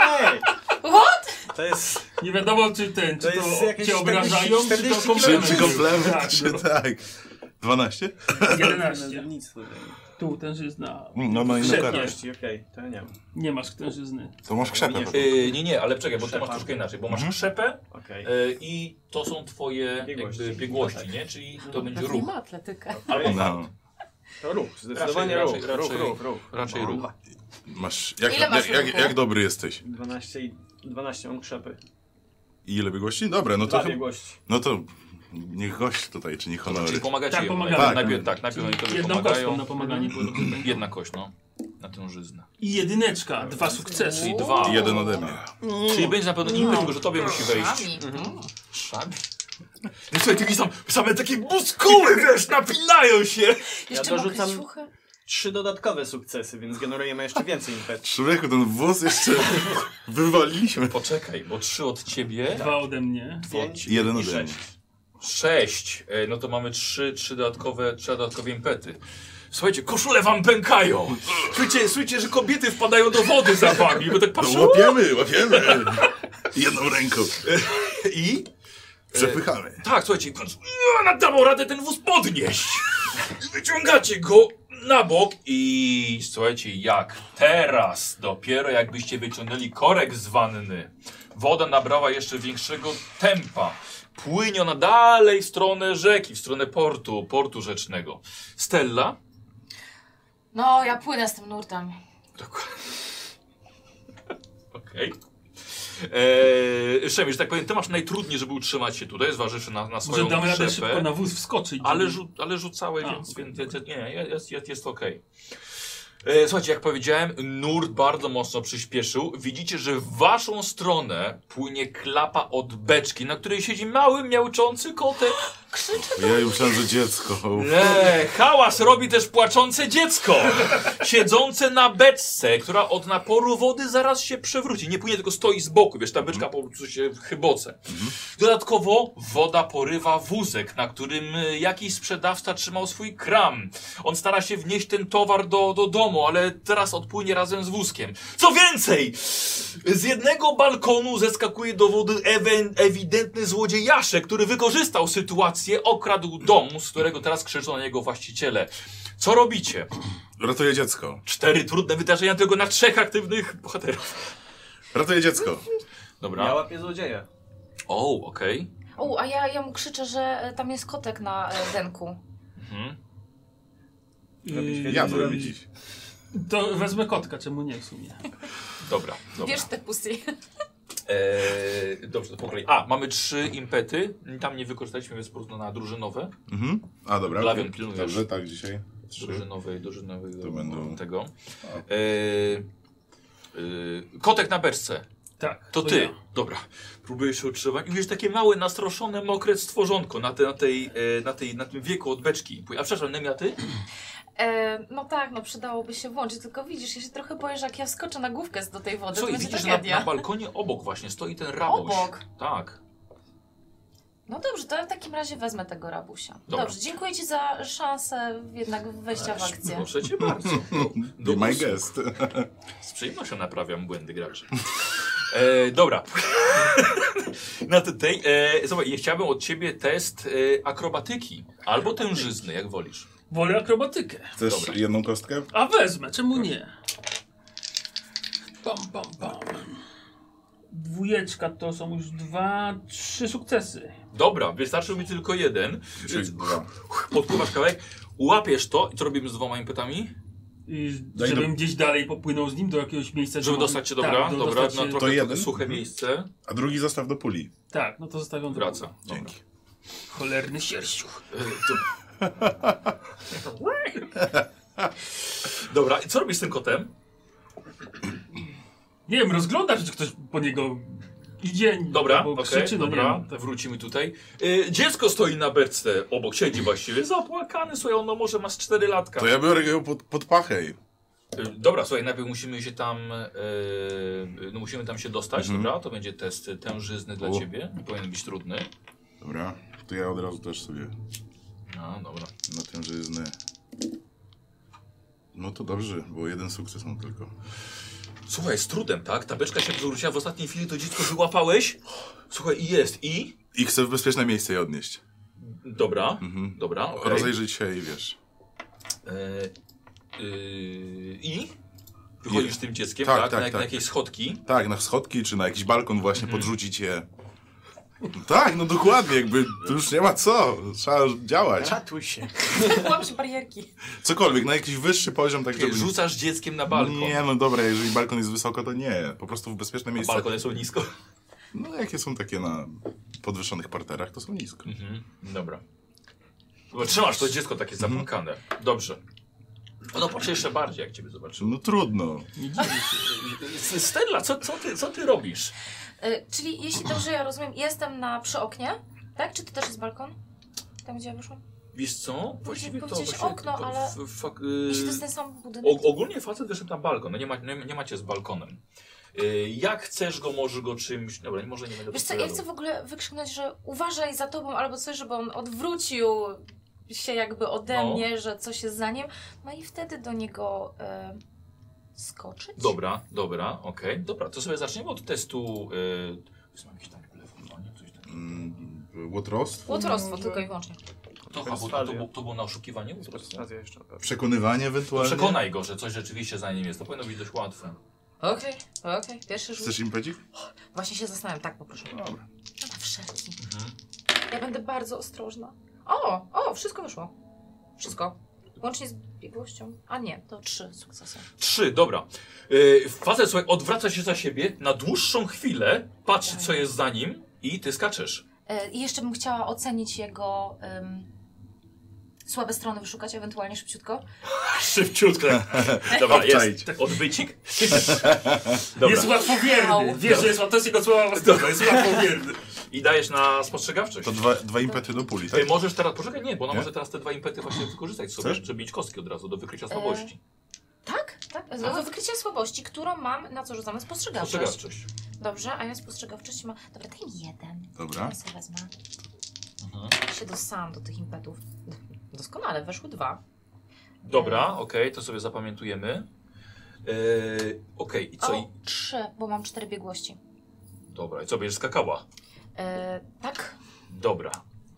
[SPEAKER 5] Ej!
[SPEAKER 3] What?
[SPEAKER 5] To jest...
[SPEAKER 4] Nie wiadomo czy ten, czy
[SPEAKER 5] To
[SPEAKER 4] to,
[SPEAKER 5] jest jakieś
[SPEAKER 4] cię
[SPEAKER 5] 40
[SPEAKER 4] obrażają, czy to
[SPEAKER 5] 40
[SPEAKER 2] Czy,
[SPEAKER 4] komplement.
[SPEAKER 2] czy komplement? Czy
[SPEAKER 4] Tak, no.
[SPEAKER 2] tak? 12?
[SPEAKER 4] 11.
[SPEAKER 5] Nic tutaj.
[SPEAKER 4] Tu tężyzna.
[SPEAKER 2] No, no i
[SPEAKER 4] Krzepnie.
[SPEAKER 2] na karę.
[SPEAKER 5] 40, okej, to ja nie mam.
[SPEAKER 4] Nie masz tężyzny.
[SPEAKER 2] To masz krzepę.
[SPEAKER 5] Nie.
[SPEAKER 1] E, nie, nie, ale czekaj, bo ty masz
[SPEAKER 5] Krzepa.
[SPEAKER 1] troszkę inaczej, bo masz
[SPEAKER 2] Mhm.
[SPEAKER 1] krzepę
[SPEAKER 5] Okej.
[SPEAKER 1] e, i to są twoje biegłości,
[SPEAKER 5] Biegłości.
[SPEAKER 1] jakby, biegłości
[SPEAKER 5] No tak.
[SPEAKER 1] nie? Czyli to będzie
[SPEAKER 3] Pewnie
[SPEAKER 1] ruch.
[SPEAKER 3] ma atletykę.
[SPEAKER 1] Albo
[SPEAKER 2] No.
[SPEAKER 5] To ruch, zdecydowanie
[SPEAKER 1] Raczej,
[SPEAKER 5] ruch,
[SPEAKER 1] raczej,
[SPEAKER 5] ruch,
[SPEAKER 1] raczej.
[SPEAKER 5] ruch, ruch.
[SPEAKER 1] raczej
[SPEAKER 2] No.
[SPEAKER 1] ruch.
[SPEAKER 2] Masz, jak,
[SPEAKER 3] Ile masz
[SPEAKER 2] jak, jak,
[SPEAKER 3] ruchu?
[SPEAKER 2] jak dobry jesteś?
[SPEAKER 5] 12 i 12 mam krzepy.
[SPEAKER 2] I ile biegłości? Dobra, no to,
[SPEAKER 5] Dwa
[SPEAKER 2] chyba-
[SPEAKER 5] biegłości.
[SPEAKER 2] no to niech gość tutaj czyni honory.
[SPEAKER 1] Czyli pomagacie
[SPEAKER 4] Tak,
[SPEAKER 1] jedno-
[SPEAKER 4] pomagamy.
[SPEAKER 1] Tak, najpierw, tak, najpierw oni tobie
[SPEAKER 4] Jedną kością
[SPEAKER 1] pomagają.
[SPEAKER 4] na pomaganie było.
[SPEAKER 1] Jedna kość, no. Na tężyznę.
[SPEAKER 4] I jedyneczka, dwa sukcesy.
[SPEAKER 1] Czyli dwa.
[SPEAKER 2] I jeden ode mnie.
[SPEAKER 1] Czyli będzie na pewno inny, tylko że tobie musi wejść. Mhm.
[SPEAKER 3] Szami.
[SPEAKER 1] Szami. No słuchaj, ty widzisz tam same takie muskuły, wiesz, napinają się.
[SPEAKER 3] Jeszcze
[SPEAKER 5] dorzucam-
[SPEAKER 3] mokre ciuchy.
[SPEAKER 5] trzy dodatkowe sukcesy, więc generujemy jeszcze więcej impetu.
[SPEAKER 2] Człowieku, ten wóz jeszcze wywaliliśmy.
[SPEAKER 1] Poczekaj, bo trzy od ciebie.
[SPEAKER 4] Dwa ode mnie.
[SPEAKER 1] Dwa od ciebie.
[SPEAKER 2] Jeden
[SPEAKER 1] i
[SPEAKER 2] ode mnie.
[SPEAKER 1] sześć. Sześć. E, No to mamy trzy, trzy dodatkowe, trzy dodatkowe impety. Słuchajcie, koszule wam pękają. Słyszycie, słyszycie, że kobiety wpadają do wody za wami, bo tak
[SPEAKER 2] No,
[SPEAKER 1] patrzą.
[SPEAKER 2] łapiemy, łapiemy. Jedną ręką.
[SPEAKER 1] I?
[SPEAKER 2] Przepychamy.
[SPEAKER 1] Tak, słuchajcie, i w końcu ja nad dawał radę ten wóz podnieść. I Wyciągacie go na bok i słuchajcie, jak teraz, dopiero jakbyście wyciągnęli korek z wanny, woda nabrała jeszcze większego tempa. Płynie ona dalej w stronę rzeki, w stronę portu, portu rzecznego. Stella,
[SPEAKER 3] No, ja płynę z tym nurtem.
[SPEAKER 1] Okej. Eee, Szemi, że tak powiem, ty masz najtrudniej, żeby utrzymać się tutaj, zważywszy na, na
[SPEAKER 4] Może
[SPEAKER 1] swoją
[SPEAKER 4] damy radę szybko
[SPEAKER 1] krzepę.
[SPEAKER 4] na wóz wskoczyć.
[SPEAKER 1] Ale,
[SPEAKER 4] żeby-
[SPEAKER 1] rzu ale rzucałeś,
[SPEAKER 4] A,
[SPEAKER 1] więc,
[SPEAKER 4] okej,
[SPEAKER 1] więc więc- nie, jest, jest, jest okej. E, Słuchajcie, jak powiedziałem, nurt bardzo mocno przyspieszył. Widzicie, że w waszą stronę płynie klapa od beczki, na której siedzi mały, miałczący kotek.
[SPEAKER 2] Ja już myślałem, że dziecko.
[SPEAKER 1] Eee, hałas robi też płaczące dziecko, siedzące na beczce, która od naporu wody zaraz się przewróci. Nie płynie, tylko stoi z boku, wiesz, ta beczka po prostu się chyboce. Dodatkowo woda porywa wózek, na którym y, jakiś sprzedawca trzymał swój kram. On stara się wnieść ten towar do, do domu, ale teraz odpłynie razem z wózkiem. Co więcej, z jednego balkonu zeskakuje do wody ewen, ewidentny złodziejaszek, który wykorzystał sytuację, okradł dom, z którego teraz krzyczą na jego właściciele. Co robicie?
[SPEAKER 2] Ratuje dziecko.
[SPEAKER 1] Cztery trudne wydarzenia tylko na trzech aktywnych bohaterów.
[SPEAKER 2] Ratuje dziecko.
[SPEAKER 5] Ja
[SPEAKER 1] Dobra.
[SPEAKER 5] łapię złodzieja.
[SPEAKER 1] O, okej.
[SPEAKER 3] O, a ja, ja mu krzyczę, że e, tam jest kotek na e, denku.
[SPEAKER 1] Mhm.
[SPEAKER 4] Yy,
[SPEAKER 2] Ja to robię dziś.
[SPEAKER 4] To wezmę kotka, czemu nie w sumie.
[SPEAKER 1] Dobra, dobra.
[SPEAKER 3] Wiesz te pusty.
[SPEAKER 1] Eee, dobrze, to po kolei. A, mamy trzy impety. Tam nie wykorzystaliśmy, więc porówno na drużynowe.
[SPEAKER 2] Mhm. A dobra.
[SPEAKER 1] Glawion
[SPEAKER 2] okej.
[SPEAKER 1] pilnujesz.
[SPEAKER 2] Dobrze, tak dzisiaj. Trzy.
[SPEAKER 1] Drużynowej, drużynowej.
[SPEAKER 2] To będą-
[SPEAKER 1] Tego.
[SPEAKER 2] A.
[SPEAKER 1] Eee, eee, kotek na berce.
[SPEAKER 4] Tak.
[SPEAKER 1] To ty.
[SPEAKER 4] ja.
[SPEAKER 1] Dobra. Próbujesz się utrzymać. I widzisz takie małe, nastroszone, mokre stworzonko na, te, na, tej, e, na, tej, na tym wieku od beczki. A przepraszam, Nemia, ty?
[SPEAKER 3] E, no tak, no przydałoby się włączyć, tylko widzisz, ja się trochę boję, że jak ja wskoczę na główkę z- do tej wody,
[SPEAKER 1] Słuchaj,
[SPEAKER 3] to będzie
[SPEAKER 1] widzisz, że na,
[SPEAKER 3] tragedia.
[SPEAKER 1] na balkonie obok właśnie stoi ten raboś.
[SPEAKER 3] Obok.
[SPEAKER 1] Tak.
[SPEAKER 3] No dobrze, to ja w takim razie wezmę tego rabusia.
[SPEAKER 1] Dobra.
[SPEAKER 3] Dobrze, dziękuję Ci za szansę jednak wejścia w akcję.
[SPEAKER 1] Proszę cię bardzo. Do-
[SPEAKER 2] Be
[SPEAKER 1] do
[SPEAKER 2] my
[SPEAKER 1] usług.
[SPEAKER 2] guest.
[SPEAKER 1] Z przyjemnością naprawiam błędy graczy. E, dobra. na te- tej. E, zobacz, ja chciałbym od ciebie test e, akrobatyki albo tężyzny, jak wolisz.
[SPEAKER 4] Wolę akrobatykę.
[SPEAKER 2] Chcesz
[SPEAKER 1] Dobra.
[SPEAKER 2] jedną kostkę?
[SPEAKER 4] A wezmę, czemu nie? Pam, pam, pam. Dwójeczka to są już dwa, trzy sukcesy.
[SPEAKER 1] Dobra, wystarczył mi tylko jeden.
[SPEAKER 2] Czyli dwa.
[SPEAKER 1] Podpływasz kawałek, łapiesz to i co robimy z dwoma impetami?
[SPEAKER 4] I
[SPEAKER 2] Daj
[SPEAKER 4] żebym gdzieś dalej popłynął z nim do jakiegoś miejsca.
[SPEAKER 1] Żeby
[SPEAKER 4] gdzie
[SPEAKER 1] dostać się
[SPEAKER 4] mogę- Tak,
[SPEAKER 1] dobra,
[SPEAKER 4] żeby
[SPEAKER 1] dobra, no
[SPEAKER 4] No, dostać
[SPEAKER 1] na
[SPEAKER 4] się-
[SPEAKER 1] trochę,
[SPEAKER 2] To
[SPEAKER 1] trochę
[SPEAKER 2] jeden? Mhm.
[SPEAKER 1] suche miejsce.
[SPEAKER 2] A drugi zostaw do puli.
[SPEAKER 4] Tak, no to zostawiam do-
[SPEAKER 1] Wraca. Dobra.
[SPEAKER 2] Dzięki.
[SPEAKER 4] Cholerny sierściuch.
[SPEAKER 1] E, to- Dobra, i co robisz z tym kotem?
[SPEAKER 4] Nie wiem, rozglądasz, czy ktoś po niego idzie.
[SPEAKER 1] Dobra,
[SPEAKER 4] albo
[SPEAKER 1] okej,
[SPEAKER 4] krzyczy, no
[SPEAKER 1] dobra,
[SPEAKER 4] nie wiem.
[SPEAKER 1] to wrócimy tutaj. E, dziecko stoi na berce obok, siedzi właściwie, zapłakane, słuchaj, ono może ma z 4 latka.
[SPEAKER 2] To ja biorę go pod, pod pachę. i-
[SPEAKER 1] E, Dobra, słuchaj, najpierw musimy się tam, e, no musimy tam się dostać, dobra, to będzie test tężyzny dla
[SPEAKER 2] Mhm. O.
[SPEAKER 1] ciebie, nie powinien być trudny.
[SPEAKER 2] Dobra. To ja od razu też sobie
[SPEAKER 1] No, dobra.
[SPEAKER 2] na tym, że jest zny. No to dobrze, bo jeden sukces mam tylko.
[SPEAKER 1] Słuchaj, z trudem, tak? Ta beczka się przewróciła w ostatniej chwili, to dziecko wyłapałeś. Słuchaj, i jest, i?
[SPEAKER 2] I chcę w bezpieczne miejsce je odnieść.
[SPEAKER 1] Dobra,
[SPEAKER 2] Mhm.
[SPEAKER 1] dobra, okej.
[SPEAKER 2] Rozejrzeć się i wiesz.
[SPEAKER 1] E, y, I? Wychodzisz z tym dzieckiem, tak?
[SPEAKER 2] Tak,
[SPEAKER 1] na,
[SPEAKER 2] tak,
[SPEAKER 1] na
[SPEAKER 2] tak.
[SPEAKER 1] jakieś schodki.
[SPEAKER 2] Tak, na schodki czy na jakiś balkon właśnie
[SPEAKER 1] Mhm.
[SPEAKER 2] podrzucić je. No tak, no dokładnie, jakby tu już nie ma co. Trzeba działać.
[SPEAKER 1] Tak.
[SPEAKER 5] Ratuj się.
[SPEAKER 3] Łam się barierki.
[SPEAKER 2] Cokolwiek, na jakiś wyższy poziom, tak żeby...
[SPEAKER 1] Rzucasz dzieckiem na balkon.
[SPEAKER 2] Nie, no dobra, jeżeli balkon jest wysoko, to nie. Po prostu w bezpieczne miejsce.
[SPEAKER 1] Balkony są nisko.
[SPEAKER 2] No jakie są takie na podwyższonych parterach, to są nisko.
[SPEAKER 1] Mhm, dobra. Bo Trzymasz to dziecko takie zapłakane. Dobrze. Ono patrzę jeszcze bardziej, jak ciebie zobaczy.
[SPEAKER 2] No trudno.
[SPEAKER 4] Nie dziwię się.
[SPEAKER 1] S- Stella, co, co, ty, co ty robisz?
[SPEAKER 3] E, czyli jeśli dobrze ja rozumiem, jestem na przy oknie, tak? Czy to też jest balkon? Tam gdzie ja wyszłam?
[SPEAKER 1] Wiesz co? Właściwie to
[SPEAKER 3] powiedzieć
[SPEAKER 1] właśnie
[SPEAKER 3] okno,
[SPEAKER 1] to
[SPEAKER 3] ale-
[SPEAKER 1] f- fak-
[SPEAKER 3] Jeśli
[SPEAKER 1] y,
[SPEAKER 3] to jest ten sam budynek,
[SPEAKER 1] O, ogólnie facet wyszedł na balkon, no nie, ma, nie, nie macie z balkonem. Y, Jak chcesz go, może go czymś. Dobra, może nie będę
[SPEAKER 3] Wiesz co, ja
[SPEAKER 1] podpowiadał.
[SPEAKER 3] chcę w ogóle wykrzyknąć, że uważaj za tobą albo coś, żeby on odwrócił się jakby ode
[SPEAKER 1] No.
[SPEAKER 3] mnie, że coś jest za nim. No i wtedy do niego e, skoczyć.
[SPEAKER 1] Dobra, dobra, okej. Dobra, to sobie zaczniemy od testu. Yy... Mam jakieś tam blefowanie, coś takiego.
[SPEAKER 2] Mm, łotrostwo?
[SPEAKER 3] Łotrostwo
[SPEAKER 2] może?
[SPEAKER 3] tylko i wyłącznie.
[SPEAKER 1] To, a, bo to, to,
[SPEAKER 5] Perswazja.
[SPEAKER 1] było- to było na oszukiwanie? po prostu?
[SPEAKER 5] Perswazja jeszcze. na pewno.
[SPEAKER 2] Przekonywanie ewentualnie?
[SPEAKER 1] Przekonaj go, że coś rzeczywiście za nim jest. To powinno być dość łatwe.
[SPEAKER 3] Okej, okej, pierwszy rzut.
[SPEAKER 2] Chcesz impedzik?
[SPEAKER 3] Właśnie się zastanawiam, tak poproszę.
[SPEAKER 2] Dobra.
[SPEAKER 3] No Na wszelki.
[SPEAKER 1] Mhm.
[SPEAKER 3] Ja będę bardzo ostrożna. O, o, wszystko wyszło. Wszystko. Łącznie z biegłością. A nie, to trzy sukcesy.
[SPEAKER 1] Trzy, dobra. Yy, facet, słuchaj, odwraca się za siebie na dłuższą chwilę, patrzy, co jest za nim i ty skaczesz.
[SPEAKER 3] E, I jeszcze bym chciała ocenić jego em, słabe strony, wyszukać ewentualnie szybciutko.
[SPEAKER 1] Szybciutko. Dobra, jest.
[SPEAKER 2] Obczaić.
[SPEAKER 1] Odbycik. Dobra.
[SPEAKER 6] Jest łatwowierny.
[SPEAKER 3] Au.
[SPEAKER 6] Wiesz, że jest łatwo, to jest jego słowa własnego. Jest łatwowierny.
[SPEAKER 1] I dajesz na spostrzegawczość.
[SPEAKER 2] To dwa, dwa impety do puli, tak?
[SPEAKER 1] Ej, możesz teraz, poczekaj, nie, bo ona
[SPEAKER 2] Nie?
[SPEAKER 1] może teraz te dwa impety właśnie wykorzystać sobie,
[SPEAKER 2] Chcesz?
[SPEAKER 1] żeby mieć kostki od razu do wykrycia słabości.
[SPEAKER 3] Tak, tak. Do wykrycia słabości, którą mam, na co rzucamy spostrzegawczość.
[SPEAKER 1] Spostrzegawczość.
[SPEAKER 3] Dobrze, a ja spostrzegawczość ma. Dobra, daj mi jeden.
[SPEAKER 2] Dobra.
[SPEAKER 3] Ja sobie wezmę. Się dostałam do tych impetów. Doskonale, weszły dwa.
[SPEAKER 1] Dobra, okej, to sobie zapamiętujemy. Yy, okej, i co?
[SPEAKER 3] O,
[SPEAKER 1] I,
[SPEAKER 3] trzy, bo mam cztery biegłości.
[SPEAKER 1] dobra, i co, będziesz skakała?
[SPEAKER 3] E, tak,
[SPEAKER 1] Dobra,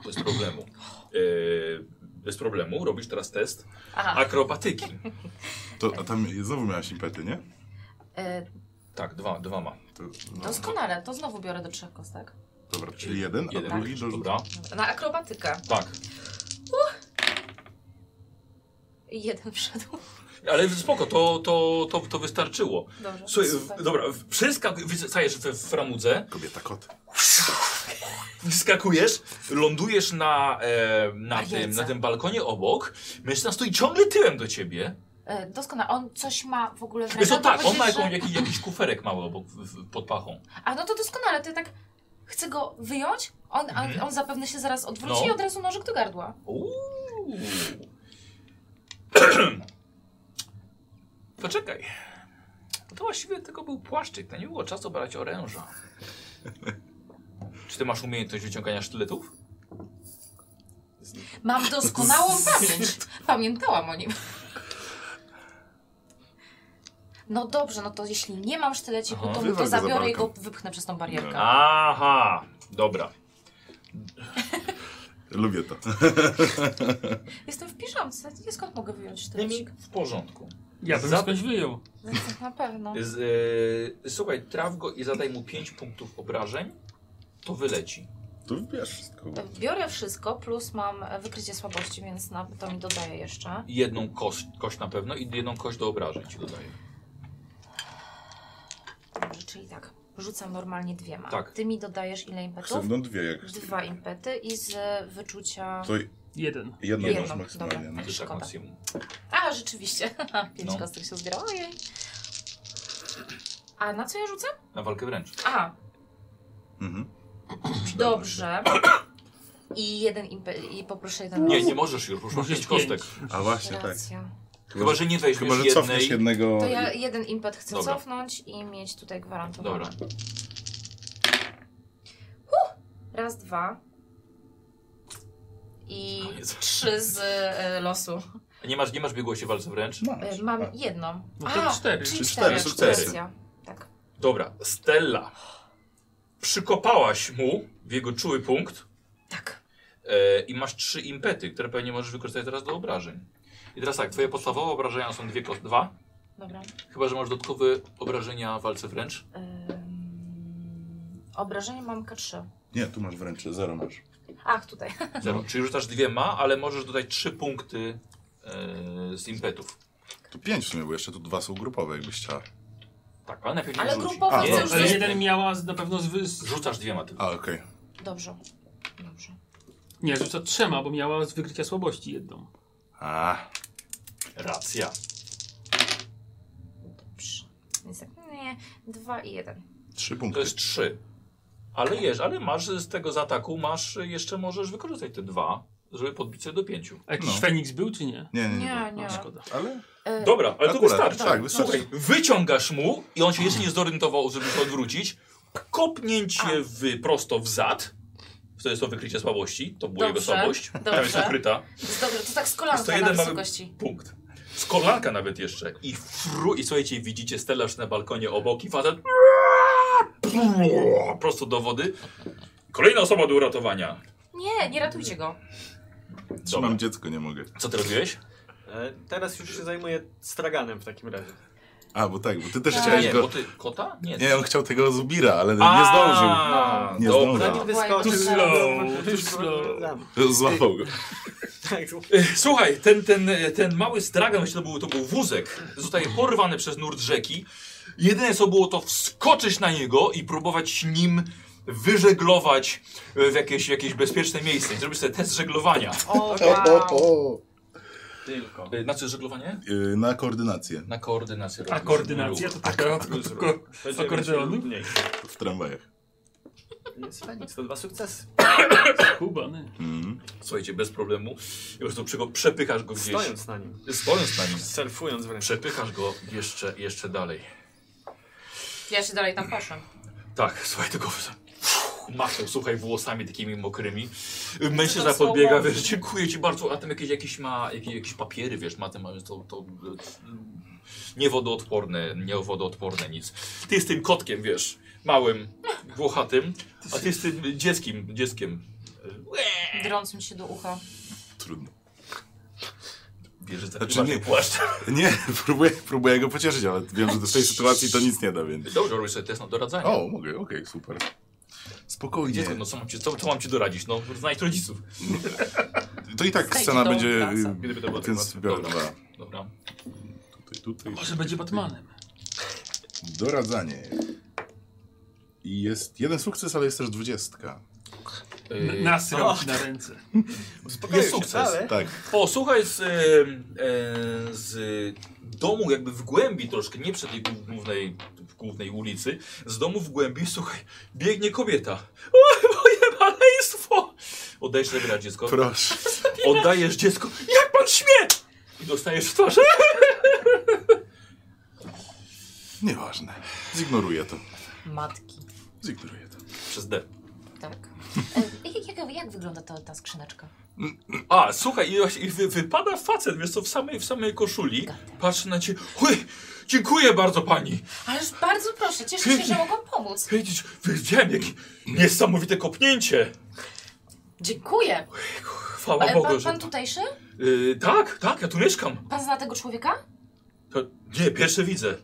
[SPEAKER 1] bez problemu. Yy, bez problemu, robisz teraz test
[SPEAKER 3] aha.
[SPEAKER 1] akrobatyki.
[SPEAKER 2] To, a tam znowu miałaś impety, nie?
[SPEAKER 3] E,
[SPEAKER 1] Tak, dwa, dwa ma.
[SPEAKER 2] To, no,
[SPEAKER 3] doskonale, to znowu biorę do trzech kostek.
[SPEAKER 2] dobra, czyli jeden, a drugi
[SPEAKER 1] bierzesz,
[SPEAKER 2] do
[SPEAKER 1] Dobra,
[SPEAKER 3] Na akrobatykę.
[SPEAKER 1] tak.
[SPEAKER 3] Jeden wszedł.
[SPEAKER 1] Ale spoko, to, to, to, to wystarczyło.
[SPEAKER 3] Dobrze.
[SPEAKER 1] Słuchaj,
[SPEAKER 3] super.
[SPEAKER 1] w, dobra, w- przeskak, wystajesz w, w framudze,
[SPEAKER 2] Kobieta kot.
[SPEAKER 1] Wskakujesz, lądujesz na, e, na,
[SPEAKER 3] Na
[SPEAKER 1] tym,
[SPEAKER 3] wielce.
[SPEAKER 1] na tym balkonie obok. Mężczyzna stoi ciągle tyłem do ciebie.
[SPEAKER 3] E, Doskonale. On coś ma w ogóle w
[SPEAKER 1] Wiesz,
[SPEAKER 3] rękach.
[SPEAKER 1] on tak,
[SPEAKER 3] bo
[SPEAKER 1] on ma
[SPEAKER 3] powiedzieć,
[SPEAKER 1] jaką,
[SPEAKER 3] że-
[SPEAKER 1] jakiś, jakiś kuferek mały obok, w, w, pod pachą.
[SPEAKER 3] A no to doskonale, ty tak chcę go wyjąć, on, a
[SPEAKER 1] Mhm.
[SPEAKER 3] on zapewne się zaraz odwróci
[SPEAKER 1] No.
[SPEAKER 3] i od razu nożyk do gardła.
[SPEAKER 1] Uuu. Poczekaj. No To właściwie tylko był płaszczyk, to nie było czasu brać oręża. Czy ty masz umiejętność wyciągania sztyletów?
[SPEAKER 3] Mam doskonałą pamięć. Pamiętałam o nim. No dobrze, no to jeśli nie mam sztyleciku,
[SPEAKER 1] Aha.
[SPEAKER 3] to,
[SPEAKER 2] Wywal
[SPEAKER 3] to
[SPEAKER 2] go za
[SPEAKER 3] zabiorę i go
[SPEAKER 2] balkon.
[SPEAKER 3] wypchnę przez tą barierkę.
[SPEAKER 1] Aha, dobra.
[SPEAKER 2] Lubię to.
[SPEAKER 3] Jestem w piżamce, nie skąd mogę wyjąć sztylecik?
[SPEAKER 1] w porządku.
[SPEAKER 4] Ja bym
[SPEAKER 1] Za-
[SPEAKER 4] skądś wyjął.
[SPEAKER 3] Więc tak Na pewno.
[SPEAKER 1] Z, e, słuchaj, traf go i zadaj mu 5 punktów obrażeń, to wyleci.
[SPEAKER 2] Tu wiesz wszystko.
[SPEAKER 3] Biorę wszystko, plus mam e, wykrycie słabości, więc na, to mi dodaję jeszcze.
[SPEAKER 1] I Jedną kość, kość na pewno i jedną kość do obrażeń ci dodaję.
[SPEAKER 3] Dobrze, czyli tak, rzucam normalnie dwiema.
[SPEAKER 1] Tak.
[SPEAKER 3] Ty mi dodajesz ile impetów?
[SPEAKER 2] Chcę, no dwie jak.
[SPEAKER 3] Dwa impety i z wyczucia.
[SPEAKER 2] To
[SPEAKER 4] Jeden.
[SPEAKER 2] jedno
[SPEAKER 3] Jedno,
[SPEAKER 2] masz maksymalnie.
[SPEAKER 3] dobra.
[SPEAKER 2] No.
[SPEAKER 1] Ty tak
[SPEAKER 3] Szkoda.
[SPEAKER 1] maksimum.
[SPEAKER 3] A, rzeczywiście. Pięć
[SPEAKER 1] No.
[SPEAKER 3] kostek się zbierało. Ojej. A na co ja rzucę?
[SPEAKER 1] Na walkę wręcz.
[SPEAKER 3] A,
[SPEAKER 2] Mhm.
[SPEAKER 3] dobrze. I jeden impet. I poproszę jeden
[SPEAKER 1] Nie,
[SPEAKER 3] los.
[SPEAKER 1] nie możesz już, już masz 5 kostek.
[SPEAKER 2] A właśnie, tak.
[SPEAKER 3] Racja.
[SPEAKER 1] Chyba, że nie weźmiesz
[SPEAKER 2] Chyba, że
[SPEAKER 1] jednej.
[SPEAKER 2] cofniesz jednego.
[SPEAKER 3] To ja jeden impet chcę
[SPEAKER 1] No Dobra.
[SPEAKER 3] cofnąć i mieć tutaj gwarantowane.
[SPEAKER 1] Dobra.
[SPEAKER 3] Raz, dwa. I
[SPEAKER 1] Koniec.
[SPEAKER 3] trzy z e, losu.
[SPEAKER 1] Nie masz, nie masz biegłości w walce wręcz?
[SPEAKER 3] E,
[SPEAKER 2] Masz.
[SPEAKER 3] Mam
[SPEAKER 2] A,
[SPEAKER 3] jedną.
[SPEAKER 4] No to cztery.
[SPEAKER 3] czyli
[SPEAKER 2] Czyli
[SPEAKER 3] cztery,
[SPEAKER 2] cztery sukcesy.
[SPEAKER 3] racja. Tak.
[SPEAKER 1] Dobra, Stella. Przykopałaś mu w jego czuły punkt
[SPEAKER 3] Tak.
[SPEAKER 1] e, i masz trzy impety, które pewnie możesz wykorzystać teraz do obrażeń. I teraz tak, twoje podstawowe obrażenia są dwie kost, dwa.
[SPEAKER 3] Dobra.
[SPEAKER 1] Chyba, że masz dodatkowe obrażenia w walce wręcz.
[SPEAKER 3] Ym... Obrażenie mam K3.
[SPEAKER 2] Nie, tu masz wręcz, zero masz.
[SPEAKER 3] Ach, tutaj.
[SPEAKER 1] Zero. Czyli rzucasz dwiema, ale możesz dodać trzy punkty e, z impetów.
[SPEAKER 2] Tu pięć w sumie, bo jeszcze tu dwa są grupowe, jakbyś chciała.
[SPEAKER 1] Tak, ale najpierw nie
[SPEAKER 3] Ale
[SPEAKER 1] rzuci.
[SPEAKER 3] grupowo
[SPEAKER 2] A,
[SPEAKER 1] Nie,
[SPEAKER 3] chcę
[SPEAKER 2] dobra.
[SPEAKER 4] Ale
[SPEAKER 3] już...
[SPEAKER 4] jeden miała z- na pewno z... wy- z
[SPEAKER 1] Rzucasz dwiema tylko.
[SPEAKER 2] A, okej.
[SPEAKER 3] Dobrze. Dobrze.
[SPEAKER 4] nie, rzuca trzema, bo miała z wykrycia słabości jedną.
[SPEAKER 2] A,
[SPEAKER 1] Racja.
[SPEAKER 3] Dobrze. Więc tak, nie, dwa i jeden.
[SPEAKER 2] trzy
[SPEAKER 1] To
[SPEAKER 2] punkty.
[SPEAKER 1] jest trzy. Ale jesz, ale masz z tego z ataku, masz jeszcze możesz wykorzystać te dwa. żeby podbić sobie do pięciu.
[SPEAKER 4] A jakiś
[SPEAKER 2] No.
[SPEAKER 4] Feniks był, czy nie?
[SPEAKER 2] Nie, nie, nie.
[SPEAKER 3] Nie,
[SPEAKER 4] No,
[SPEAKER 3] nie.
[SPEAKER 4] szkoda.
[SPEAKER 2] Ale
[SPEAKER 3] E,
[SPEAKER 1] Dobra, ale to
[SPEAKER 2] Akurat,
[SPEAKER 1] wystarczy.
[SPEAKER 2] tak, wystarczy.
[SPEAKER 1] Słuchaj, wyciągasz mu i on się jeszcze nie zorientował, żeby się odwrócić. Kopnięcie w, prosto w zad. To jest to wykrycie słabości. To była jego
[SPEAKER 3] Dobrze,
[SPEAKER 1] słabość. Tam
[SPEAKER 3] dobrze.
[SPEAKER 1] jest ukryta.
[SPEAKER 3] jest Dobrze, to
[SPEAKER 1] Jest
[SPEAKER 3] tak z
[SPEAKER 1] to
[SPEAKER 3] kolanka na
[SPEAKER 1] jeden mały-
[SPEAKER 3] wysokości.
[SPEAKER 1] Punkt. Z kolanka nawet jeszcze. I fru... I słuchajcie, widzicie stelaż na balkonie obok i facet... Prosto do wody. Kolejna osoba do uratowania.
[SPEAKER 3] Nie, nie ratujcie go.
[SPEAKER 1] Dobra.
[SPEAKER 2] trzymam dziecko, nie mogę.
[SPEAKER 1] Co ty robiłeś?
[SPEAKER 5] E, teraz już się zajmuję straganem w takim razie.
[SPEAKER 2] A, bo tak, bo ty też
[SPEAKER 3] Tak.
[SPEAKER 2] chciałeś
[SPEAKER 1] nie, bo
[SPEAKER 2] go...
[SPEAKER 1] ty kota? Nie.
[SPEAKER 2] Nie, on chciał tego Zubira, ale
[SPEAKER 1] A,
[SPEAKER 2] nie zdążył.
[SPEAKER 3] No.
[SPEAKER 2] Nie
[SPEAKER 1] dobra.
[SPEAKER 2] zdążył.
[SPEAKER 5] Zanim wyskoczy...
[SPEAKER 3] Too
[SPEAKER 4] slow, too slow.
[SPEAKER 2] Złapał go.
[SPEAKER 5] Tak,
[SPEAKER 1] Słuchaj, ten, ten, ten mały stragan, myślę, to był, to był wózek, zostaje porwany przez nurt rzeki. Jedyne co było to wskoczyć na niego i próbować nim wyżeglować e, w jakieś, jakieś bezpieczne miejsce. Zrobić sobie test żeglowania.
[SPEAKER 3] O, wow.
[SPEAKER 7] o.
[SPEAKER 5] tylko.
[SPEAKER 1] E, Na co jest żeglowanie?
[SPEAKER 2] Yy, Na koordynację
[SPEAKER 1] Na koordynację.
[SPEAKER 4] A koordynacja to taka od ko-
[SPEAKER 5] Będziemy
[SPEAKER 4] Akordeonu?
[SPEAKER 5] mieć mniej.
[SPEAKER 2] w tramwajach.
[SPEAKER 5] Jest Feniks, to dwa sukcesy.
[SPEAKER 4] Kuba, no nie?
[SPEAKER 2] Mhm.
[SPEAKER 1] Słuchajcie, bez problemu. I po prostu przygo- przepychasz go gdzieś.
[SPEAKER 5] Stojąc na nim.
[SPEAKER 1] Stojąc na nim.
[SPEAKER 5] Surfując wręcz.
[SPEAKER 1] Przepychasz go jeszcze, jeszcze dalej.
[SPEAKER 3] Ja się dalej tam poszłam.
[SPEAKER 1] Tak, słuchaj, tylko machnął, słuchaj, włosami takimi mokrymi. Mężczyzna
[SPEAKER 3] To są
[SPEAKER 1] podbiega,
[SPEAKER 3] łapy.
[SPEAKER 1] wiesz, dziękuję ci bardzo, a tam jakieś, jakieś ma, jakieś, jakieś papiery, wiesz, ma tam, ale to, to y, niewodoodporne, niewodoodporne nic. Ty z tym kotkiem, wiesz, małym, włochatym, a ty z tym dzieckiem, dzieckiem.
[SPEAKER 3] Drącym się do ucha.
[SPEAKER 2] Trudno.
[SPEAKER 1] Wiesz, że
[SPEAKER 2] Znaczy
[SPEAKER 1] znaczy, nie
[SPEAKER 2] nie.
[SPEAKER 1] płaszcz.
[SPEAKER 2] Nie, próbuję, próbuję go pocieszyć, ale wiem, że do tej sytuacji to nic nie da, więc...
[SPEAKER 1] Dobrze, robisz sobie test na doradzanie.
[SPEAKER 2] O, mogę, okej, super. Spokojnie.
[SPEAKER 1] Dziecko, no co mam, ci, co, co mam ci doradzić? No, znajdź rodziców.
[SPEAKER 2] To i tak
[SPEAKER 3] Słuchajcie,
[SPEAKER 2] scena
[SPEAKER 3] to
[SPEAKER 2] będzie...
[SPEAKER 3] wraca.
[SPEAKER 2] yy,
[SPEAKER 1] Gdyby to było tak
[SPEAKER 2] Więc
[SPEAKER 1] łatwe.
[SPEAKER 2] biorę
[SPEAKER 1] Dobra.
[SPEAKER 2] dwa.
[SPEAKER 1] Dobra.
[SPEAKER 2] Tutaj, tutaj.
[SPEAKER 4] Może będzie Batmanem.
[SPEAKER 2] Doradzanie. I jest jeden sukces, ale jest też dwudziestka.
[SPEAKER 1] Y,
[SPEAKER 4] Nasrał ci na ręce.
[SPEAKER 5] Uspokoił
[SPEAKER 1] Jest
[SPEAKER 5] się,
[SPEAKER 1] sukces.
[SPEAKER 5] ale-
[SPEAKER 2] Tak.
[SPEAKER 1] O, słuchaj, z, e, e, z domu jakby w głębi troszkę, nie przy tej głó- głównej, w głównej ulicy, z domu w głębi, słuchaj, biegnie kobieta. O, moje maleństwo! Oddajesz zabierać dziecko,
[SPEAKER 2] Proszę.
[SPEAKER 1] oddajesz dziecko, jak pan śmie! I dostajesz w twarz.
[SPEAKER 2] Nieważne. Zignoruję to.
[SPEAKER 3] Matki.
[SPEAKER 2] Zignoruję to.
[SPEAKER 1] Przez D.
[SPEAKER 3] Tak. E, jak, jak, jak wygląda ta, ta skrzyneczka?
[SPEAKER 1] A, słuchaj, i, właśnie- i wy, wypada facet, wiesz co, w samej, w samej koszuli, patrzy na ciebie, Oj, dziękuję bardzo pani.
[SPEAKER 3] Ależ bardzo proszę, cieszę się, że mogłam pomóc.
[SPEAKER 1] Widzisz, wiedziałem, jakie niesamowite kopnięcie.
[SPEAKER 3] Dziękuję.
[SPEAKER 1] Chwała
[SPEAKER 3] Ale
[SPEAKER 1] Bogu,
[SPEAKER 3] pan,
[SPEAKER 1] że...
[SPEAKER 3] pan tutejszy?
[SPEAKER 1] Y, tak, tak, ja tu mieszkam.
[SPEAKER 3] Pan zna tego człowieka?
[SPEAKER 1] To, nie, pierwsze widzę.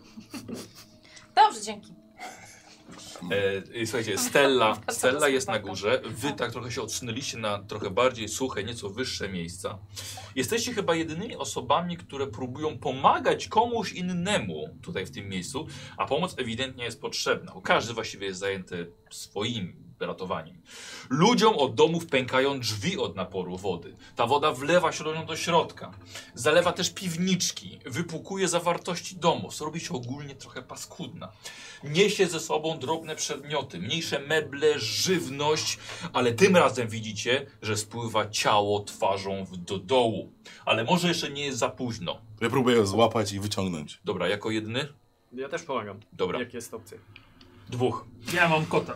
[SPEAKER 3] Dobrze, dzięki.
[SPEAKER 1] E, i słuchajcie, Stella,
[SPEAKER 3] to
[SPEAKER 1] Stella jest na
[SPEAKER 3] spoko.
[SPEAKER 1] górze. Wy tak trochę się odsunęliście na trochę bardziej suche, nieco wyższe miejsca. Jesteście chyba jedynymi osobami, które próbują pomagać komuś innemu tutaj w tym miejscu, a pomoc ewidentnie jest potrzebna, bo każdy właściwie jest zajęty swoim ratowaniem. Ludziom od domów pękają drzwi od naporu wody. Ta woda wlewa się do nią do środka. Zalewa też piwniczki, wypłukuje zawartości domów, robi się ogólnie trochę paskudna. Niesie ze sobą drobne przedmioty, mniejsze meble, żywność, ale tym razem widzicie, że spływa ciało twarzą w, do dołu. Ale może jeszcze nie jest za późno.
[SPEAKER 2] Ja próbuję ją złapać i wyciągnąć.
[SPEAKER 1] Dobra, jako jedny?
[SPEAKER 5] Ja też pomagam.
[SPEAKER 1] Dobra.
[SPEAKER 5] Jak jest opcja.
[SPEAKER 1] Dwóch.
[SPEAKER 4] Ja mam kota.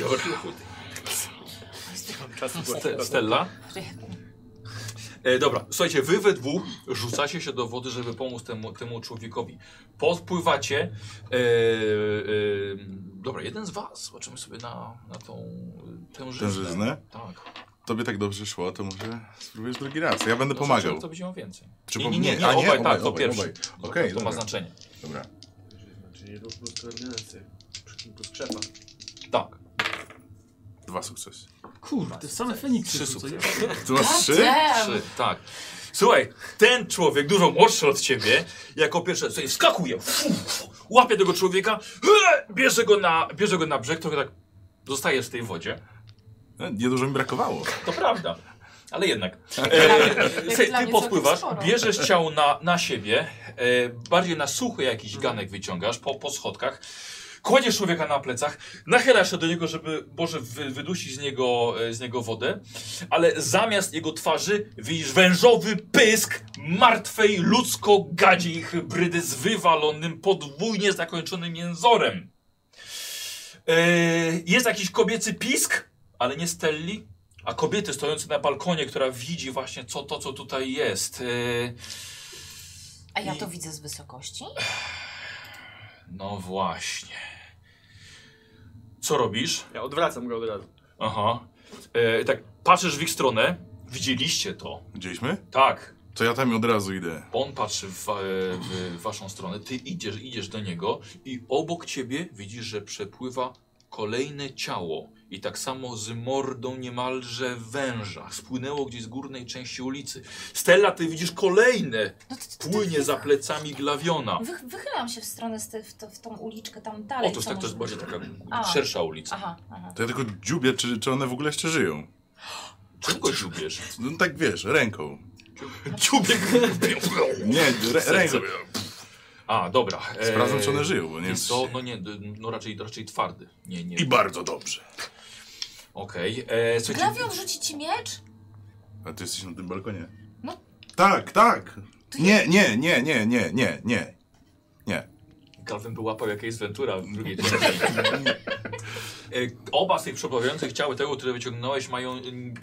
[SPEAKER 1] Dobra.
[SPEAKER 5] Mam czas
[SPEAKER 1] Ste Stella? E, dobra, słuchajcie, wy we dwóch rzucacie się do wody, żeby pomóc temu, temu człowiekowi. Podpływacie. E, e, dobra, jeden z was, zobaczymy sobie na, na tą e, tężyznę.
[SPEAKER 2] Tężyznę?
[SPEAKER 1] Tak.
[SPEAKER 2] Tobie tak dobrze szło, to może spróbujesz drugi raz. Ja będę pomagał.
[SPEAKER 1] To będzie miał więcej.
[SPEAKER 2] Czy
[SPEAKER 1] nie,
[SPEAKER 2] po
[SPEAKER 1] nie,
[SPEAKER 2] mnie?
[SPEAKER 1] nie, nie,
[SPEAKER 2] A, nie,
[SPEAKER 1] obaj,
[SPEAKER 2] obaj,
[SPEAKER 1] tak, to
[SPEAKER 2] obaj,
[SPEAKER 1] pierwszy.
[SPEAKER 2] obaj.
[SPEAKER 1] To-
[SPEAKER 2] Okej,
[SPEAKER 1] to, to ma
[SPEAKER 2] dobra.
[SPEAKER 1] znaczenie.
[SPEAKER 2] Dobra.
[SPEAKER 5] Czyli ruch plus koordynację. Przy kim plus krzepa.
[SPEAKER 1] Tak.
[SPEAKER 2] Dwa sukcesy.
[SPEAKER 4] Kurde, same Feniksy.
[SPEAKER 1] Trzy
[SPEAKER 4] tu, co ja-
[SPEAKER 1] sukcesy.
[SPEAKER 2] Tu masz trzy?
[SPEAKER 3] Damn.
[SPEAKER 1] Trzy, tak. Słuchaj, ten człowiek, dużo młodszy od ciebie, jako pierwszy sobie skakuje, fu, fu, łapie tego człowieka, he, bierze go, na, bierze go na brzeg, trochę tak zostaje w tej wodzie.
[SPEAKER 2] No, Niedużo mi brakowało.
[SPEAKER 1] To prawda. Ale jednak.
[SPEAKER 3] Jak
[SPEAKER 1] E,
[SPEAKER 3] Tak. dla
[SPEAKER 1] słuchaj,
[SPEAKER 3] mnie
[SPEAKER 1] ty
[SPEAKER 3] całkiem
[SPEAKER 1] podpływasz,
[SPEAKER 3] sporo.
[SPEAKER 1] bierzesz ciało
[SPEAKER 3] Mhm.
[SPEAKER 1] na, na siebie, e, bardziej na suchy jakiś ganek wyciągasz po, po schodkach. kładziesz człowieka na plecach, nachylasz się do niego, żeby może wy, wydusić z niego, e, z niego wodę, ale zamiast jego twarzy widzisz wężowy pysk martwej ludzko-gadziej hybrydy z wywalonym, podwójnie zakończonym jęzorem. E, jest jakiś kobiecy pisk, ale nie Stelli, a kobiety stojące na balkonie, która widzi właśnie co to, co tutaj jest. E,
[SPEAKER 3] A ja
[SPEAKER 1] I-
[SPEAKER 3] to widzę z wysokości?
[SPEAKER 1] no właśnie. Co robisz?
[SPEAKER 6] Ja odwracam go od razu.
[SPEAKER 1] Aha. E, tak, patrzysz w ich stronę. Widzieliście to.
[SPEAKER 2] Widzieliśmy?
[SPEAKER 1] Tak.
[SPEAKER 2] To ja tam od razu idę.
[SPEAKER 1] On patrzy w, wa- e, w waszą stronę. Ty idziesz, idziesz do niego i obok ciebie widzisz, że przepływa kolejne ciało. I tak samo z mordą niemalże węża. Spłynęło gdzieś z górnej części ulicy. Stella, ty widzisz kolejne.
[SPEAKER 3] No to, to, to
[SPEAKER 1] Płynie za plecami glawiona.
[SPEAKER 3] wych, wychylam się w stronę z ty, w, to, w tą uliczkę tam dalej.
[SPEAKER 1] Otóż
[SPEAKER 3] co
[SPEAKER 1] tak, to jest
[SPEAKER 3] może-
[SPEAKER 1] bardziej taka
[SPEAKER 3] A.
[SPEAKER 1] szersza ulica.
[SPEAKER 3] Aha, aha.
[SPEAKER 2] To ja tylko dziubię, czy, czy one w ogóle jeszcze żyją.
[SPEAKER 1] Czego dziubiesz?
[SPEAKER 2] No tak wiesz, ręką.
[SPEAKER 1] Dziubiek.
[SPEAKER 2] Nie, re, ręką.
[SPEAKER 1] A, dobra.
[SPEAKER 2] Sprawdzam, czy one
[SPEAKER 1] Eee,
[SPEAKER 2] żyją, bo nie wiem.
[SPEAKER 1] Jest to, no nie, d- no raczej, raczej twardy. Nie, nie.
[SPEAKER 2] I bardzo dobrze.
[SPEAKER 1] Okej. Okay. Słuchajcie,
[SPEAKER 3] Glawion rzuci ci miecz?
[SPEAKER 2] A ty jesteś na tym balkonie?
[SPEAKER 3] No.
[SPEAKER 2] Tak, tak. Nie, nie, nie, nie, nie, nie, nie. Nie.
[SPEAKER 1] Galwin by łapał jakieś Ventura w drugiej części. E, Oba z tych przebawiających ciał, tego, które wyciągnąłeś, mają. mm,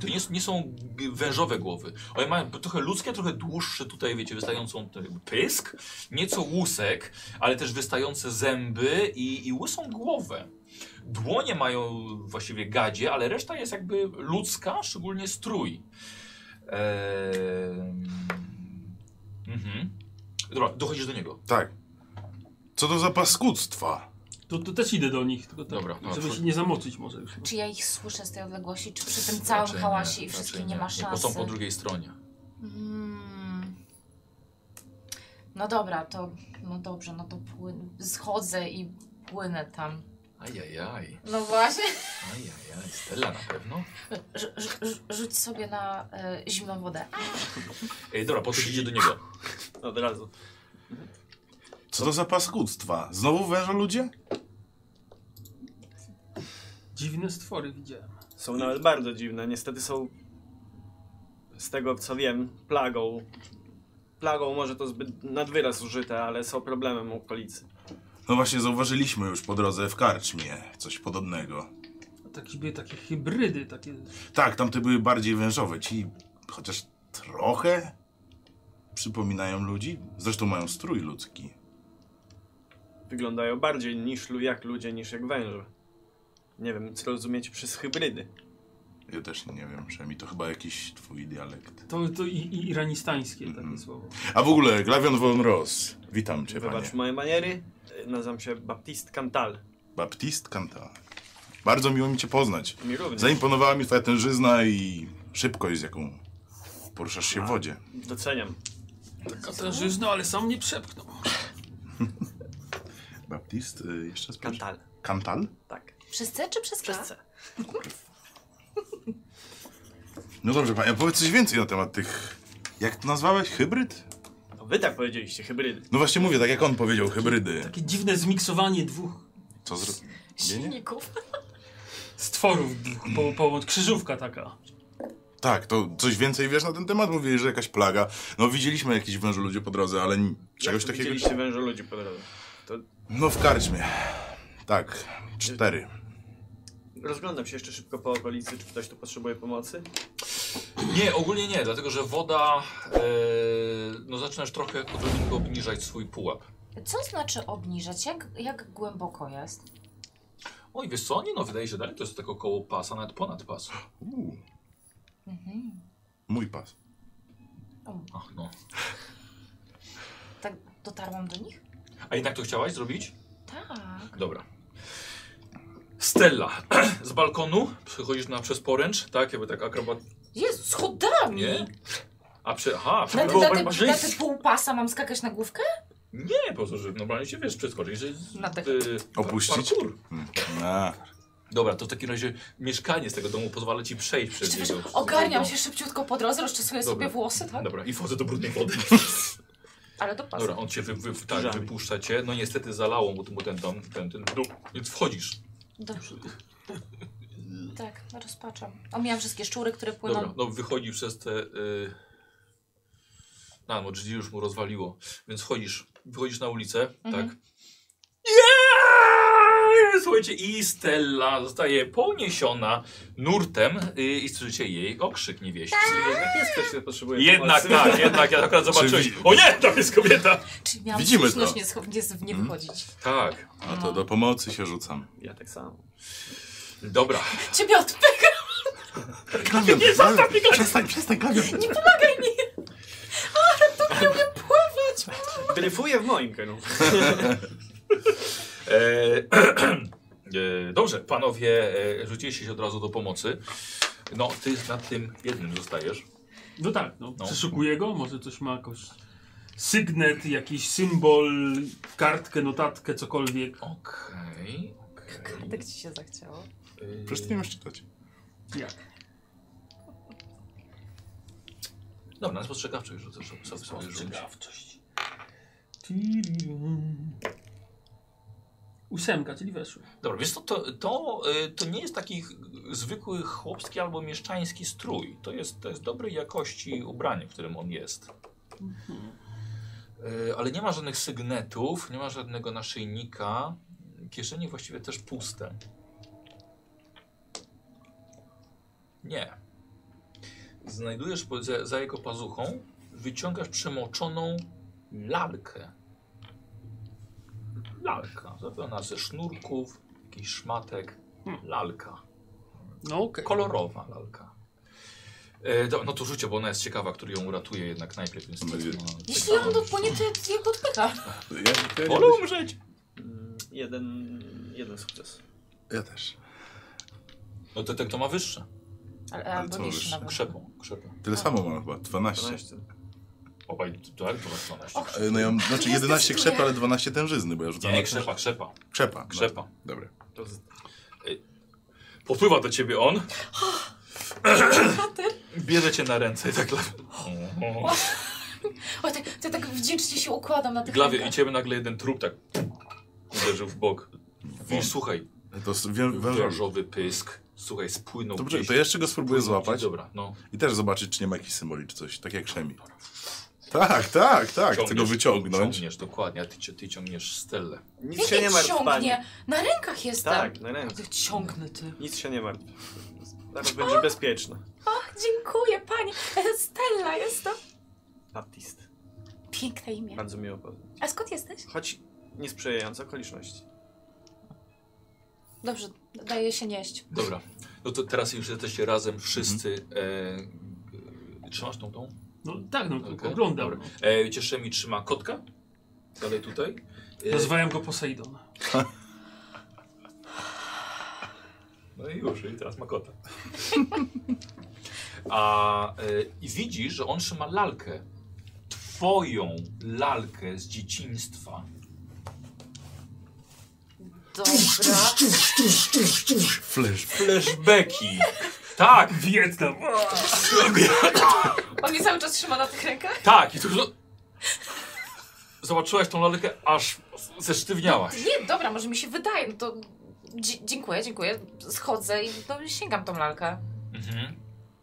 [SPEAKER 1] To nie, nie są g- wężowe głowy. One mają trochę ludzkie, trochę dłuższe tutaj, wiecie, wystającą t- pysk, nieco łusek, ale też wystające zęby i, i łysą głowę. Dłonie mają właściwie gadzie, ale reszta jest jakby ludzka, szczególnie strój. E, Ehm... Mhm. Dobra, dochodzisz do niego.
[SPEAKER 2] Tak. Co to za paskudztwa?
[SPEAKER 4] To, to też idę do nich, tylko tak,
[SPEAKER 1] Dobra,
[SPEAKER 4] żeby
[SPEAKER 1] chodź.
[SPEAKER 4] się nie zamoczyć może już.
[SPEAKER 3] Czy ja ich słyszę z tej odległości? Czy przy tym całym
[SPEAKER 1] Raczej
[SPEAKER 3] hałasie i
[SPEAKER 1] raczej No,
[SPEAKER 3] wszystkim nie, ma
[SPEAKER 1] Bo
[SPEAKER 3] szansy?
[SPEAKER 1] są po drugiej stronie.
[SPEAKER 3] Mm. No dobra, to no dobrze, no to płyn... schodzę i płynę tam.
[SPEAKER 1] Ajajaj,
[SPEAKER 3] No właśnie.
[SPEAKER 1] ajajaj, Stella na pewno.
[SPEAKER 3] Rzu- rzu- rzu- Rzuć sobie na e, zimną wodę.
[SPEAKER 1] Ej, E, dobra, podchodzicie do niego.
[SPEAKER 6] Od razu.
[SPEAKER 2] Co to za paskudztwa? Znowu węża ludzie?
[SPEAKER 4] Dziwne stwory widziałem.
[SPEAKER 6] Są nawet bardzo dziwne. Niestety są, z tego co wiem, plagą. Plagą może to zbyt nad wyraz użyte, ale są problemem okolicy.
[SPEAKER 2] No właśnie, zauważyliśmy już po drodze w karczmie coś podobnego.
[SPEAKER 4] Takie, były takie hybrydy, takie...
[SPEAKER 2] Tak, tamte były bardziej wężowe. Ci chociaż trochę przypominają ludzi. Zresztą mają strój ludzki.
[SPEAKER 6] Wyglądają bardziej niż lu- jak ludzie, niż jak węże. Nie wiem, co rozumiecie przez hybrydy.
[SPEAKER 2] Ja też nie wiem, że mi to chyba jakiś twój dialekt.
[SPEAKER 4] To, to i, i iranistańskie takie
[SPEAKER 2] Mhm.
[SPEAKER 4] słowo.
[SPEAKER 2] A w ogóle, Glavion von Ross. Witam cię,
[SPEAKER 6] Wybacz
[SPEAKER 2] panie.
[SPEAKER 6] moje maniery. Y, Nazywam się Baptiste Cantal.
[SPEAKER 2] Baptist Kanta. Bardzo miło mi cię poznać.
[SPEAKER 6] Mi również.
[SPEAKER 2] Zaimponowała mi twoja tężyzna i szybkość, z jaką poruszasz się
[SPEAKER 6] Tak.
[SPEAKER 2] w wodzie.
[SPEAKER 6] Doceniam.
[SPEAKER 4] Taka tężyzna, ale sam nie przepchnął.
[SPEAKER 2] Baptist, y, jeszcze raz proszę.
[SPEAKER 6] Cantal.
[SPEAKER 2] Kantal?
[SPEAKER 6] Tak.
[SPEAKER 3] Przez C czy przez K?
[SPEAKER 6] Przez C.
[SPEAKER 2] No dobrze, panie, powiedz coś więcej na temat tych... Jak to nazwałeś? Hybryd?
[SPEAKER 6] To wy tak powiedzieliście, hybrydy.
[SPEAKER 2] No właśnie mówię, tak jak on powiedział, hybrydy.
[SPEAKER 4] Takie dziwne zmiksowanie dwóch
[SPEAKER 2] Co zro... Nie, nie?
[SPEAKER 3] Silników.
[SPEAKER 4] stworów, po, po, krzyżówka taka.
[SPEAKER 2] Tak, to coś więcej wiesz na ten temat? Mówili, że jakaś plaga. No widzieliśmy jakiś wężu ludzie po drodze, ale ni- czegoś
[SPEAKER 6] Jak
[SPEAKER 2] takiego...
[SPEAKER 6] Widzieliście węże ludzi po drodze.
[SPEAKER 2] No w karczmie. Tak, cztery.
[SPEAKER 6] Rozglądam się jeszcze szybko po okolicy, czy ktoś tu potrzebuje pomocy.
[SPEAKER 1] Nie, ogólnie nie, dlatego że woda, e, no zaczynasz trochę odrobinkę obniżać swój pułap.
[SPEAKER 3] Co znaczy obniżać? Jak, jak głęboko jest?
[SPEAKER 1] Oj, wiesz co, nie no, wydaje się dalej, to jest tak około pasa, nawet ponad pas.
[SPEAKER 6] Y,
[SPEAKER 2] Uuu,
[SPEAKER 3] Mhm.
[SPEAKER 2] mój pas.
[SPEAKER 1] Ach no.
[SPEAKER 3] Tak dotarłam do nich?
[SPEAKER 1] A jednak to chciałaś zrobić?
[SPEAKER 3] Tak.
[SPEAKER 1] Dobra. Stella, z balkonu przychodzisz na przez poręcz, tak, jakby tak akrobat...
[SPEAKER 3] Jezu, schodami!
[SPEAKER 1] Nie? Tak. A przy... Aha,
[SPEAKER 3] Na
[SPEAKER 1] przy...
[SPEAKER 3] te,
[SPEAKER 1] Bo-
[SPEAKER 3] na te,
[SPEAKER 1] patrzyli-
[SPEAKER 3] na te pół pasa mam skakać na główkę?
[SPEAKER 1] Nie, po prostu, że normalnie się wiesz, przeskoczyć, że...
[SPEAKER 3] Na tych-
[SPEAKER 1] y,
[SPEAKER 2] Opuścić?
[SPEAKER 1] Parkour.
[SPEAKER 2] Mm, A,
[SPEAKER 1] Dobra, to w takim razie mieszkanie z tego domu pozwala ci przejść przez
[SPEAKER 3] Czy wiesz,
[SPEAKER 1] niego.
[SPEAKER 3] ogarniam się szybciutko po drodze, rozczesuję
[SPEAKER 1] Dobra.
[SPEAKER 3] sobie włosy, tak?
[SPEAKER 1] Dobra, i wchodzę do brudnej wody.
[SPEAKER 3] Ale do pasa.
[SPEAKER 1] Dobra, on cię wy, wy, tak,
[SPEAKER 6] Drzwiami.
[SPEAKER 1] wypuszcza cię. No niestety zalało mu, mu ten dom, ten, ten dół, więc wchodzisz.
[SPEAKER 3] Do... Tak, rozpaczam. Omijam wszystkie szczury, które płyną.
[SPEAKER 1] Dobra, no wychodzi przez te... Y... A, no drzwi już mu rozwaliło. Więc wchodzisz, wychodzisz na ulicę,
[SPEAKER 3] Mhm.
[SPEAKER 1] tak. Nie! Słuchajcie, i Stella zostaje poniesiona nurtem y, i słyszycie jej okrzyk niewieści.
[SPEAKER 6] Jednak jest ktoś, kto potrzebuje
[SPEAKER 1] Jednak
[SPEAKER 6] pomocy.
[SPEAKER 1] tak, jednak ja akurat zobaczyłeś. O nie, tam jest kobieta!
[SPEAKER 3] Czyli miałam
[SPEAKER 2] Widzimy to.
[SPEAKER 3] słuszność nie, scho- nie, z- nie
[SPEAKER 2] Mhm.
[SPEAKER 3] wychodzić.
[SPEAKER 1] Tak,
[SPEAKER 2] A to do pomocy się rzucam.
[SPEAKER 6] Ja tak samo.
[SPEAKER 1] dobra.
[SPEAKER 3] Ciebie odpycha!
[SPEAKER 2] Klawion, nie, zostaw mnie, Przestań, przestań, klawion.
[SPEAKER 6] Dryfuję w moim kierunku.
[SPEAKER 1] E, e, dobrze, panowie, e, rzuciliście się od razu do pomocy. No, ty na tym jednym zostajesz.
[SPEAKER 4] No tak, no.
[SPEAKER 1] No.
[SPEAKER 4] Przeszukuję go, może coś ma jakoś sygnet, jakiś symbol, kartkę, notatkę, cokolwiek.
[SPEAKER 1] Okej.
[SPEAKER 3] Tak ci się zachciało.
[SPEAKER 2] Przecież ty nie masz czytać.
[SPEAKER 4] Jak?
[SPEAKER 1] Dobra, na spostrzegawczość rzucę, rzucę sobie rzuć.
[SPEAKER 4] Ciekawczość. Tirium. Ósemka, czyli weszło.
[SPEAKER 1] Dobra, wiesz co, to, to, y, to nie jest taki ch- zwykły chłopski albo mieszczański strój. To jest, to jest dobrej jakości ubranie, w którym on jest. Y, Ale nie ma żadnych sygnetów, nie ma żadnego naszyjnika. Kieszenie właściwie też puste. Nie. Znajdujesz po- za, za jego pazuchą, wyciągasz przemoczoną lalkę. Lalka, zrobiona ze sznurków, jakichś szmatek. Lalka.
[SPEAKER 4] No okej.
[SPEAKER 1] Kolorowa lalka. E, do, no to rzucie, bo ona jest ciekawa, który ją uratuje jednak najpierw. Więc
[SPEAKER 2] Będzie-
[SPEAKER 1] no,
[SPEAKER 3] Jeśli
[SPEAKER 1] ciekawa.
[SPEAKER 3] on dopłynie, to jak- jak odpycha.
[SPEAKER 2] Ja, ja, nie
[SPEAKER 1] Wolę
[SPEAKER 2] myślę-
[SPEAKER 1] umrzeć!
[SPEAKER 6] Mm, Jeden, jeden sukces.
[SPEAKER 2] ja też.
[SPEAKER 1] No to ten, kto ma wyższe.
[SPEAKER 3] Ale,
[SPEAKER 2] Ale
[SPEAKER 3] albo
[SPEAKER 2] co
[SPEAKER 3] niższy
[SPEAKER 2] już?
[SPEAKER 3] nawet.
[SPEAKER 1] Krzepą, krzepą.
[SPEAKER 2] Tyle samo mam chyba, 12.
[SPEAKER 6] 12.
[SPEAKER 1] Obaj, tak? To masz 12.
[SPEAKER 3] Och,
[SPEAKER 2] E, No ja mam, znaczy
[SPEAKER 3] Ja
[SPEAKER 2] 11
[SPEAKER 3] zdecyduję.
[SPEAKER 2] krzep, ale 12 tężyzny, bo ja
[SPEAKER 1] Nie,
[SPEAKER 2] rzucam
[SPEAKER 1] nie,
[SPEAKER 2] na-
[SPEAKER 1] krzepa, krzepa.
[SPEAKER 2] krzepa. no.
[SPEAKER 1] Krzepa.
[SPEAKER 2] Dobra.
[SPEAKER 6] To z...
[SPEAKER 1] Popływa do ciebie on.
[SPEAKER 3] Bohater.
[SPEAKER 1] Bierze cię na ręce i tak dla...
[SPEAKER 3] O, tak, to ja tak wdzięcznie się układam na tych
[SPEAKER 1] Glawie i
[SPEAKER 3] rękach.
[SPEAKER 1] ciebie nagle jeden trup tak uderzył w bok. I słuchaj,
[SPEAKER 2] To s- wię- wężowy.
[SPEAKER 1] wężowy pysk. Słuchaj, spłynął
[SPEAKER 2] Dobrze,
[SPEAKER 1] gdzieś.
[SPEAKER 2] to jeszcze go spróbuję złapać
[SPEAKER 1] Dobra, no.
[SPEAKER 2] i też zobaczyć, czy nie ma jakichś symboli, czy coś, tak jak Szemi. Tak, tak, tak, chcę go
[SPEAKER 1] Ciągniesz-
[SPEAKER 2] wyciągnąć.
[SPEAKER 1] Ciągniesz, dokładnie, a ty, cię- ty ciągniesz Stellę.
[SPEAKER 6] Nic
[SPEAKER 3] Jak
[SPEAKER 6] się nie martw,
[SPEAKER 3] ciągnie?
[SPEAKER 6] panie.
[SPEAKER 3] Na rękach jestem.
[SPEAKER 6] Tak, na ręce.
[SPEAKER 3] Ty Ciągnę ty.
[SPEAKER 6] Nic się nie martw. Teraz będzie bezpieczna.
[SPEAKER 3] Ach, Tak, dziękuję pani. Stella jestem.
[SPEAKER 6] Baptist.
[SPEAKER 3] Piękne imię.
[SPEAKER 6] Bardzo miło poznać.
[SPEAKER 3] A skąd jesteś?
[SPEAKER 6] Choć niesprzyjające okoliczności.
[SPEAKER 3] Dobrze, daje się nieść.
[SPEAKER 1] Dobra, no to teraz już jesteście razem wszyscy.
[SPEAKER 2] Mhm.
[SPEAKER 1] E, e, trzymasz tą tą?
[SPEAKER 4] No tak, no
[SPEAKER 1] Okej.
[SPEAKER 4] tylko oglądam.
[SPEAKER 1] Dobra.
[SPEAKER 4] No.
[SPEAKER 1] E, Cieszemi trzyma kotka. Dalej tutaj. E,
[SPEAKER 4] Nazywałem go Poseidon.
[SPEAKER 1] no i już, i teraz ma kota. A e, i widzisz, że on trzyma lalkę. Twoją lalkę z dzieciństwa.
[SPEAKER 3] Dobra.
[SPEAKER 2] Flash.
[SPEAKER 1] Flashbacki. Tak,
[SPEAKER 4] Wietnam!
[SPEAKER 3] On mnie cały czas trzyma na tych rękach?
[SPEAKER 1] tak. I tu... Zobaczyłaś tą lalkę, aż zesztywniałaś.
[SPEAKER 3] Nie, dobra, może mi się wydaje. No to dzi- dziękuję, dziękuję. Schodzę i no, sięgam tą lalkę.
[SPEAKER 1] Mhm.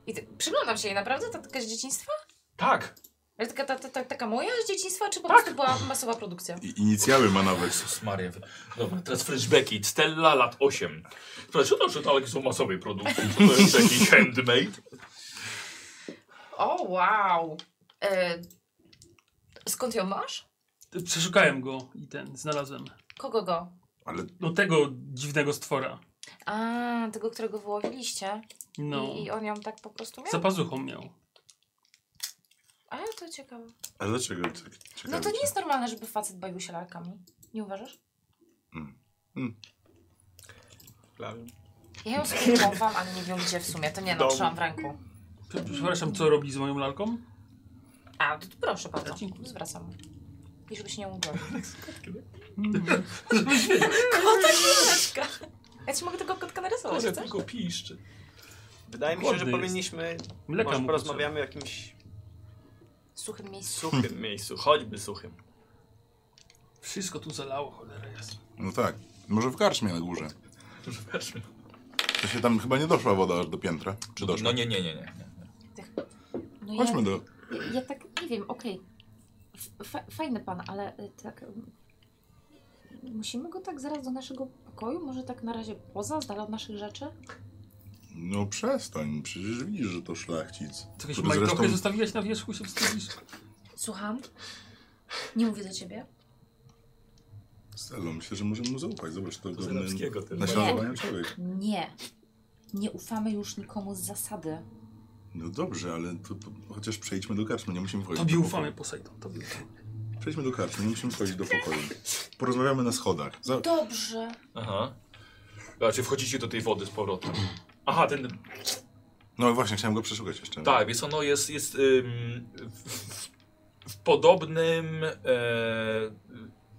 [SPEAKER 3] I ty- przyglądam się jej, naprawdę? Ta taka z dzieciństwa?
[SPEAKER 1] Tak.
[SPEAKER 3] Ale taka, ta, ta, ta, taka moja z dzieciństwa, czy po prostu była masowa produkcja?
[SPEAKER 2] I- Inicjały ma nawet.
[SPEAKER 1] Jezus Maria. Dobra, teraz flashbacki. Stella lat 8. Słuchaj, to, że to są masowej produkcji. To jest jakiś handmade.
[SPEAKER 3] O, wow. E, skąd ją masz?
[SPEAKER 4] Przeszukałem go i ten, znalazłem.
[SPEAKER 3] Kogo go?
[SPEAKER 2] Ale
[SPEAKER 4] No tego dziwnego stwora.
[SPEAKER 3] A, tego, którego wyłowiliście.
[SPEAKER 4] No.
[SPEAKER 3] I, I on ją tak po prostu miał?
[SPEAKER 4] Za pazuchą miał.
[SPEAKER 3] Ale to ciekawe.
[SPEAKER 2] ale dlaczego? tak
[SPEAKER 3] No
[SPEAKER 2] ciekawe
[SPEAKER 3] to nie
[SPEAKER 2] cię?
[SPEAKER 3] jest normalne, żeby facet bawił się lalkami. Nie uważasz?
[SPEAKER 6] Klawisz.
[SPEAKER 3] Ja ją skupowałam, ale nie wiem gdzie w sumie. To nie no,
[SPEAKER 6] Dom.
[SPEAKER 3] trzymam w ręku.
[SPEAKER 4] Przepraszam, co robi z moją lalką?
[SPEAKER 3] A, to, to proszę bardzo.
[SPEAKER 4] Dziękuję.
[SPEAKER 3] Zwracam. I żeby się nie ubrał.
[SPEAKER 4] Żebyś-
[SPEAKER 3] Kotek laleczka. Ja ci mogę tego kotka narysować,
[SPEAKER 1] Kozek
[SPEAKER 3] chcesz?
[SPEAKER 1] tylko piszczy.
[SPEAKER 6] Wydaje mi się,
[SPEAKER 4] Głodny
[SPEAKER 6] że
[SPEAKER 4] jest.
[SPEAKER 6] powinniśmy.
[SPEAKER 4] Mleka
[SPEAKER 6] może
[SPEAKER 4] mu
[SPEAKER 6] porozmawiamy o jakimś
[SPEAKER 3] suchym miejscu.
[SPEAKER 6] suchym miejscu, choćby suchym.
[SPEAKER 4] Wszystko tu zalało, cholera jasna.
[SPEAKER 2] No tak. Może w karczmie na górze. To się tam chyba nie doszła woda aż do piętra. Czy doszła?
[SPEAKER 1] No nie, nie, nie, nie. nie.
[SPEAKER 3] No ja,
[SPEAKER 2] Chodźmy do...
[SPEAKER 3] ja, ja tak nie wiem, okej. F- fa- Fajny pan, ale y, tak. y, Musimy go tak zaraz do naszego pokoju? Może tak na razie poza, z dala od naszych rzeczy?
[SPEAKER 2] No przestań, przecież widzisz, że to szlachcic.
[SPEAKER 4] Co jakieś
[SPEAKER 2] Który
[SPEAKER 4] majtrochę
[SPEAKER 2] zresztą-
[SPEAKER 4] zostawiłeś na wierzchu, się wstydzisz?
[SPEAKER 3] Słucham? Nie mówię do ciebie.
[SPEAKER 2] Stelo, myślę, że możemy mu zaufać. Zobacz, to ogromny
[SPEAKER 1] Zalewskiego też.
[SPEAKER 2] naśladowany człowiek.
[SPEAKER 3] Nie. Nie ufamy już nikomu z zasady.
[SPEAKER 2] No dobrze, ale to, to chociaż przejdźmy do karczmy, nie musimy wchodzić
[SPEAKER 4] Tobie
[SPEAKER 2] do
[SPEAKER 4] ufamy, Posejdon, tobie ufamy.
[SPEAKER 2] pokoju. Przejdźmy do karczmy, nie musimy wchodzić do pokoju. Porozmawiamy na schodach. Za...
[SPEAKER 3] Dobrze.
[SPEAKER 1] Aha. A czy wchodzicie do tej wody z powrotem? Aha, ten.
[SPEAKER 2] No właśnie, chciałem go przeszukać jeszcze.
[SPEAKER 1] Tak, więc ono jest, jest ym, w, w, w podobnym e,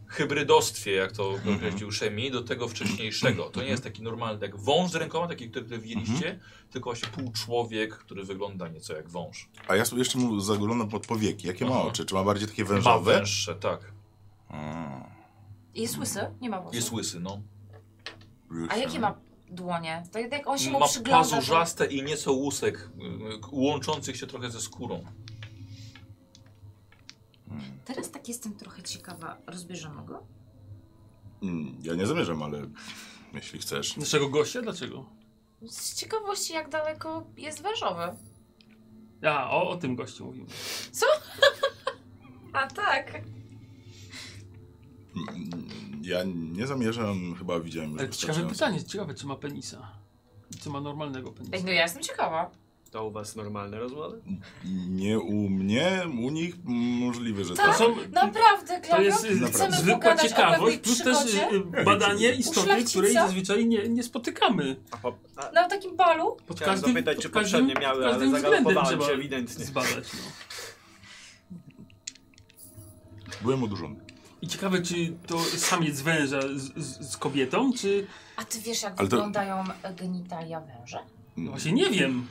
[SPEAKER 1] hybrydostwie, jak to określił Szemi, do tego wcześniejszego. To nie jest taki normalny, jak wąż z rękoma, taki, który tutaj widzieliście, tylko właśnie pół człowiek, który wygląda nieco jak wąż.
[SPEAKER 2] A ja sobie jeszcze mu zaglądam pod powieki. Jakie ma
[SPEAKER 1] Aha.
[SPEAKER 2] oczy? Czy ma bardziej takie
[SPEAKER 1] Ma
[SPEAKER 2] wężowe? Mm,
[SPEAKER 1] węższe, tak.
[SPEAKER 2] A,
[SPEAKER 3] Jest łysy? Nie ma włosów.
[SPEAKER 1] Jest łysy, no.
[SPEAKER 3] A jakie ma dłonie? To jak on się mu
[SPEAKER 1] Ma
[SPEAKER 3] przygląda. tak. to-
[SPEAKER 1] pazurzaste i nieco łusek, y, k- łączących się trochę ze skórą.
[SPEAKER 3] Teraz tak jestem trochę ciekawa. Rozbierzemy go?
[SPEAKER 2] Mm, Ja nie zamierzam, ale jeśli chcesz.
[SPEAKER 4] Naszego gościa? Dlaczego?
[SPEAKER 3] Z ciekawości, jak daleko jest wężowy.
[SPEAKER 4] A, o, o tym gościu mówimy.
[SPEAKER 3] A tak.
[SPEAKER 2] Mm, Ja nie zamierzam, chyba widziałem już
[SPEAKER 4] Ale E, ciekawe
[SPEAKER 2] wystarczająco.
[SPEAKER 4] pytanie, ciekawe czy ma penisa. I Czy ma normalnego penisa.
[SPEAKER 3] Ej, no ja jestem ciekawa.
[SPEAKER 6] To u was normalne rozmowy?
[SPEAKER 2] Nie u mnie, u nich możliwe, że
[SPEAKER 4] To
[SPEAKER 2] tak.
[SPEAKER 4] są,
[SPEAKER 3] Naprawdę,
[SPEAKER 4] to
[SPEAKER 3] Klaudio?
[SPEAKER 4] jest y,
[SPEAKER 2] Naprawdę.
[SPEAKER 4] zwykła
[SPEAKER 3] pogadać o
[SPEAKER 4] ciekawość,
[SPEAKER 3] pewnej
[SPEAKER 4] plus też y,
[SPEAKER 3] przygodzie?
[SPEAKER 4] y, badanie
[SPEAKER 2] wiem,
[SPEAKER 4] istoty,
[SPEAKER 3] szlachcica?
[SPEAKER 4] której zazwyczaj nie, nie spotykamy.
[SPEAKER 6] A po, a,
[SPEAKER 3] Na takim balu?
[SPEAKER 4] Pod
[SPEAKER 6] chciałem
[SPEAKER 4] każdym-
[SPEAKER 6] zapytać, czy
[SPEAKER 4] pod każdym-
[SPEAKER 6] poprzednie
[SPEAKER 4] pod
[SPEAKER 6] miały, ale
[SPEAKER 4] każdym względem
[SPEAKER 6] zagalopowałem
[SPEAKER 4] trzeba
[SPEAKER 6] się ewidentnie.
[SPEAKER 4] Zbadać, no.
[SPEAKER 2] Byłem odurzony.
[SPEAKER 4] I ciekawe, czy to samiec węża z, z, z kobietą, czy...
[SPEAKER 3] A ty wiesz, jak
[SPEAKER 2] Ale to-
[SPEAKER 3] wyglądają genitalia węża?
[SPEAKER 4] No właśnie nie wiem.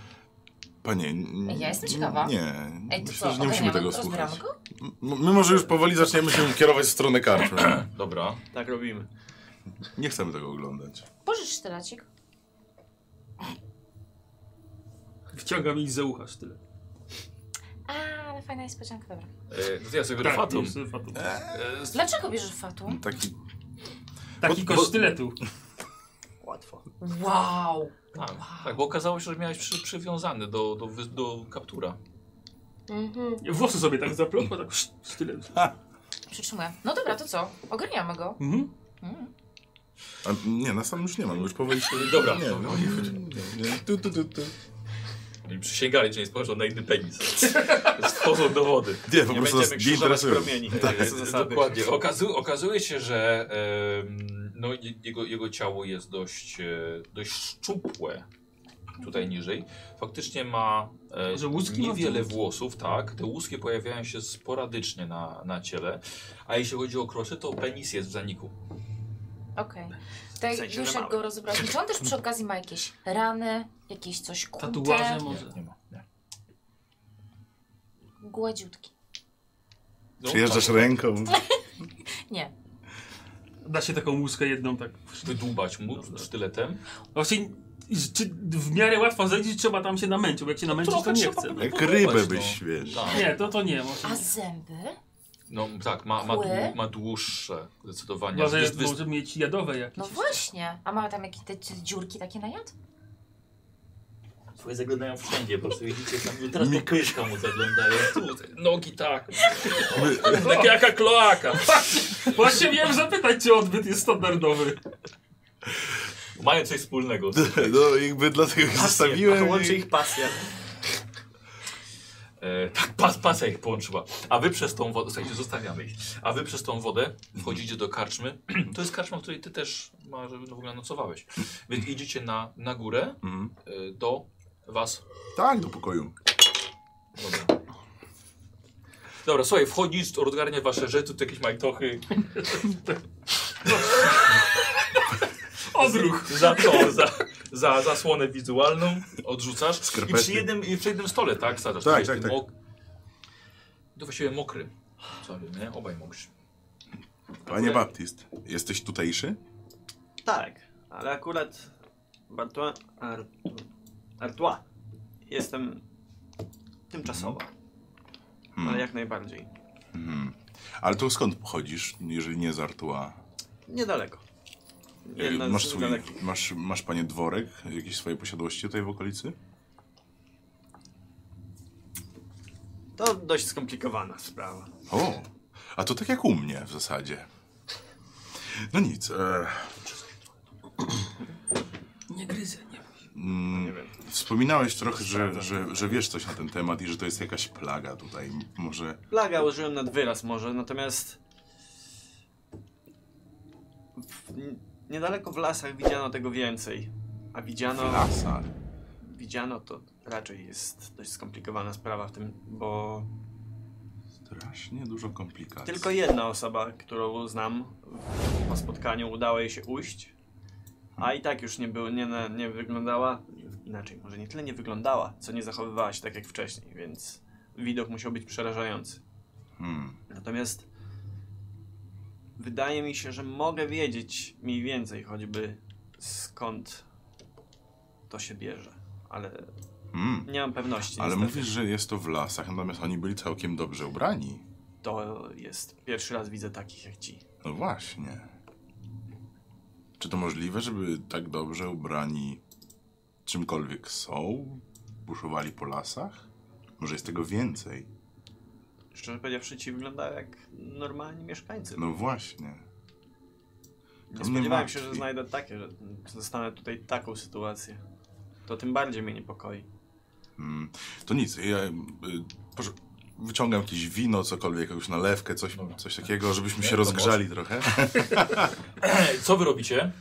[SPEAKER 2] Panie, n-
[SPEAKER 3] Ej, ja jestem ciekawa.
[SPEAKER 2] Nie,
[SPEAKER 3] Ej, to
[SPEAKER 2] myślę,
[SPEAKER 3] co,
[SPEAKER 2] że nie musimy
[SPEAKER 3] ogarniamy?
[SPEAKER 2] tego
[SPEAKER 3] Rozbieramy
[SPEAKER 2] słuchać.
[SPEAKER 3] go?
[SPEAKER 2] M- My może już powoli zaczniemy się kierować w stronę karczmy.
[SPEAKER 1] Dobra.
[SPEAKER 6] Tak robimy.
[SPEAKER 2] Nie chcemy tego oglądać.
[SPEAKER 3] Pożycz sztylacik.
[SPEAKER 4] Wciągam ich za ucha tyle.
[SPEAKER 3] A, ale fajna niespodzianka, dobra.
[SPEAKER 1] E, to ja
[SPEAKER 4] Tak,
[SPEAKER 1] sobie fatum.
[SPEAKER 4] fatum.
[SPEAKER 1] E, z-
[SPEAKER 3] Dlaczego bierzesz fatum?
[SPEAKER 2] Taki,
[SPEAKER 4] Taki
[SPEAKER 2] Bo-
[SPEAKER 4] kość
[SPEAKER 2] bo-
[SPEAKER 4] sztyletu.
[SPEAKER 6] Łatwo.
[SPEAKER 2] Mm.
[SPEAKER 3] Wow!
[SPEAKER 1] tak, tak, bo okazało się, że miałeś przy, przywiązany do, do, wy- do kaptura.
[SPEAKER 3] Mhm.
[SPEAKER 4] Włosy sobie tak zaplątła, tak szt- sztylet.
[SPEAKER 3] Przytrzymuję. No dobra, to co? Ogarniamy go.
[SPEAKER 4] Mhm.
[SPEAKER 3] Mm.
[SPEAKER 2] a, nie, na sam już nie mam, już powoli się...
[SPEAKER 1] Dobra.
[SPEAKER 2] Nie, no, nie, nie. Tu, tu, tu, tu.
[SPEAKER 1] I przysięgali, że nie spojrzą na inny penis. Wchodzą do wody.
[SPEAKER 2] Nie, po
[SPEAKER 6] Nie
[SPEAKER 2] prostu nas
[SPEAKER 6] będziemy
[SPEAKER 2] nie
[SPEAKER 6] krzyżować
[SPEAKER 2] interesują.
[SPEAKER 6] promieni. Tak,
[SPEAKER 1] E,
[SPEAKER 6] to są zasady.
[SPEAKER 1] Dokładnie. Okazu, okazuje się, że em, no, je- jego, jego ciało jest dość, e, dość szczupłe. Tutaj niżej. Faktycznie ma e,
[SPEAKER 4] Że łuski ma
[SPEAKER 1] niewiele
[SPEAKER 4] tu?
[SPEAKER 1] włosów, tak. Te łuski pojawiają się sporadycznie na, na ciele. A jeśli chodzi o krosy, to penis jest w zaniku.
[SPEAKER 3] Okej.
[SPEAKER 6] W
[SPEAKER 3] Okay.
[SPEAKER 6] sensie,
[SPEAKER 3] Już
[SPEAKER 6] że
[SPEAKER 3] jak
[SPEAKER 6] mały.
[SPEAKER 3] go rozebrałeś. Czy on też przy okazji ma jakieś rany, jakieś coś kute?
[SPEAKER 4] Tatuaże może.
[SPEAKER 1] Nie, nie ma. Nie.
[SPEAKER 3] Gładziutki.
[SPEAKER 1] No,
[SPEAKER 2] Przyjeżdżasz
[SPEAKER 1] tak.
[SPEAKER 2] ręką.
[SPEAKER 3] Nie.
[SPEAKER 4] Da się taką łuskę jedną tak.
[SPEAKER 1] Wydłubać mu
[SPEAKER 4] Dobra.
[SPEAKER 1] sztyletem.
[SPEAKER 4] Właśnie, czy w miarę łatwo zejść, trzeba tam się namęczyć, bo jak się namęczyć, to
[SPEAKER 1] Trochę
[SPEAKER 4] nie
[SPEAKER 1] trzeba
[SPEAKER 4] chce.
[SPEAKER 1] po
[SPEAKER 2] Jak
[SPEAKER 1] Podobać,
[SPEAKER 2] rybę
[SPEAKER 1] no.
[SPEAKER 2] byś, wiesz.
[SPEAKER 1] Tak.
[SPEAKER 4] Nie, to to nie. Może
[SPEAKER 3] A
[SPEAKER 4] nie.
[SPEAKER 3] zęby?
[SPEAKER 1] No tak, ma, ma,
[SPEAKER 3] Kły?
[SPEAKER 1] dłu- ma dłuższe zdecydowanie.
[SPEAKER 4] Może,
[SPEAKER 1] Wys- wys-
[SPEAKER 4] może mieć jadowe jakieś.
[SPEAKER 3] No właśnie. A ma tam jakieś te te dziurki takie na jad?
[SPEAKER 1] Twoje zaglądają wszędzie, po prostu widzicie tam, teraz do pyszka mu zaglądają, tu, te nogi tak, tak jaka kloaka.
[SPEAKER 4] Właśnie miałem zapytać, czy odbyt jest standardowy.
[SPEAKER 1] Mają coś wspólnego.
[SPEAKER 2] No jakby dlatego ich zostawiłem.
[SPEAKER 6] To łączy
[SPEAKER 2] i-
[SPEAKER 6] ich pasja.
[SPEAKER 1] E, tak, pas, pasa ich połączyła. A wy przez tą wodę, słuchajcie, zostawiamy ich, a wy przez tą wodę wchodzicie do karczmy. To jest karczma, w której ty też ma, żeby w ogóle nocowałeś. Więc idziecie na, na górę
[SPEAKER 2] Mhm.
[SPEAKER 1] e, do was.
[SPEAKER 2] Tak, do pokoju.
[SPEAKER 1] Dobra. Dobra, słuchaj, wchodzisz, odgarnia wasze rzeczy, tu jakieś majtochy,
[SPEAKER 4] Odruch.
[SPEAKER 1] za to, za, za zasłonę wizualną odrzucasz. I
[SPEAKER 2] Skarpety.
[SPEAKER 1] przy, jednym, I przy jednym stole, tak? Sadzasz.
[SPEAKER 2] Tak,
[SPEAKER 1] Wiesz,
[SPEAKER 2] tak,
[SPEAKER 1] tym
[SPEAKER 2] tak.
[SPEAKER 1] ok- To właściwie mokry. Co nie? Obaj mokrzy.
[SPEAKER 2] Panie Baptist, jesteś tutejszy?
[SPEAKER 6] Tak, ale akurat Bartois, Ar, Artois jestem tymczasowo, ale jak najbardziej.
[SPEAKER 2] Mhm. Hmm. Ale to skąd pochodzisz, jeżeli nie z Artua?
[SPEAKER 6] Niedaleko. Jedna
[SPEAKER 2] Masz,
[SPEAKER 6] no, z
[SPEAKER 2] swój,
[SPEAKER 6] dalekich.
[SPEAKER 2] masz, masz panie dworek, jakieś swoje posiadłości tutaj w okolicy?
[SPEAKER 6] To dość skomplikowana sprawa.
[SPEAKER 2] O, a to tak jak u mnie w zasadzie. No nic. E,
[SPEAKER 4] Nie gryzę, nie.
[SPEAKER 2] mm,
[SPEAKER 6] No Nie wiem.
[SPEAKER 2] wspominałeś trochę, że, że, że wiesz coś na ten temat i że to jest jakaś plaga tutaj. M- Może
[SPEAKER 6] Plaga użyłem nad wyraz może, natomiast w, niedaleko w lasach widziano tego więcej. A widziano...
[SPEAKER 2] lasa.
[SPEAKER 6] widziano, to raczej jest dość skomplikowana sprawa w tym, bo
[SPEAKER 2] Strasznie dużo komplikacji.
[SPEAKER 6] tylko jedna osoba, którą znam w- po spotkaniu udało jej się ujść, a i tak już nie, był, nie, na- nie wyglądała, inaczej, może nie tyle nie wyglądała, co nie zachowywała się tak jak wcześniej, więc widok musiał być przerażający.
[SPEAKER 2] Hmm.
[SPEAKER 6] Natomiast wydaje mi się, że mogę wiedzieć mniej więcej choćby skąd to się bierze, ale
[SPEAKER 2] Hmm.
[SPEAKER 6] nie mam pewności.
[SPEAKER 2] Ale
[SPEAKER 6] niestety.
[SPEAKER 2] mówisz, że jest to w lasach, natomiast oni byli całkiem dobrze ubrani.
[SPEAKER 6] To jest pierwszy raz widzę takich jak ci.
[SPEAKER 2] No właśnie. Czy to możliwe, żeby tak dobrze ubrani czymkolwiek są, buszowali po lasach? Może jest tego więcej?
[SPEAKER 6] Szczerze powiedziawszy, ci wyglądają jak normalni mieszkańcy.
[SPEAKER 2] No właśnie.
[SPEAKER 6] nie
[SPEAKER 2] to mnie
[SPEAKER 6] spodziewałem
[SPEAKER 2] martwi.
[SPEAKER 6] się, że znajdę takie, że zostanę tutaj taką sytuację. To tym bardziej mnie niepokoi.
[SPEAKER 2] Mm, to nic, ja y, proszę, wyciągam jakieś wino, cokolwiek, jakąś nalewkę, coś,
[SPEAKER 1] Dobra.
[SPEAKER 2] coś takiego, żebyśmy
[SPEAKER 1] Nie,
[SPEAKER 2] się
[SPEAKER 1] to
[SPEAKER 2] rozgrzali trochę.
[SPEAKER 1] Co wy robicie?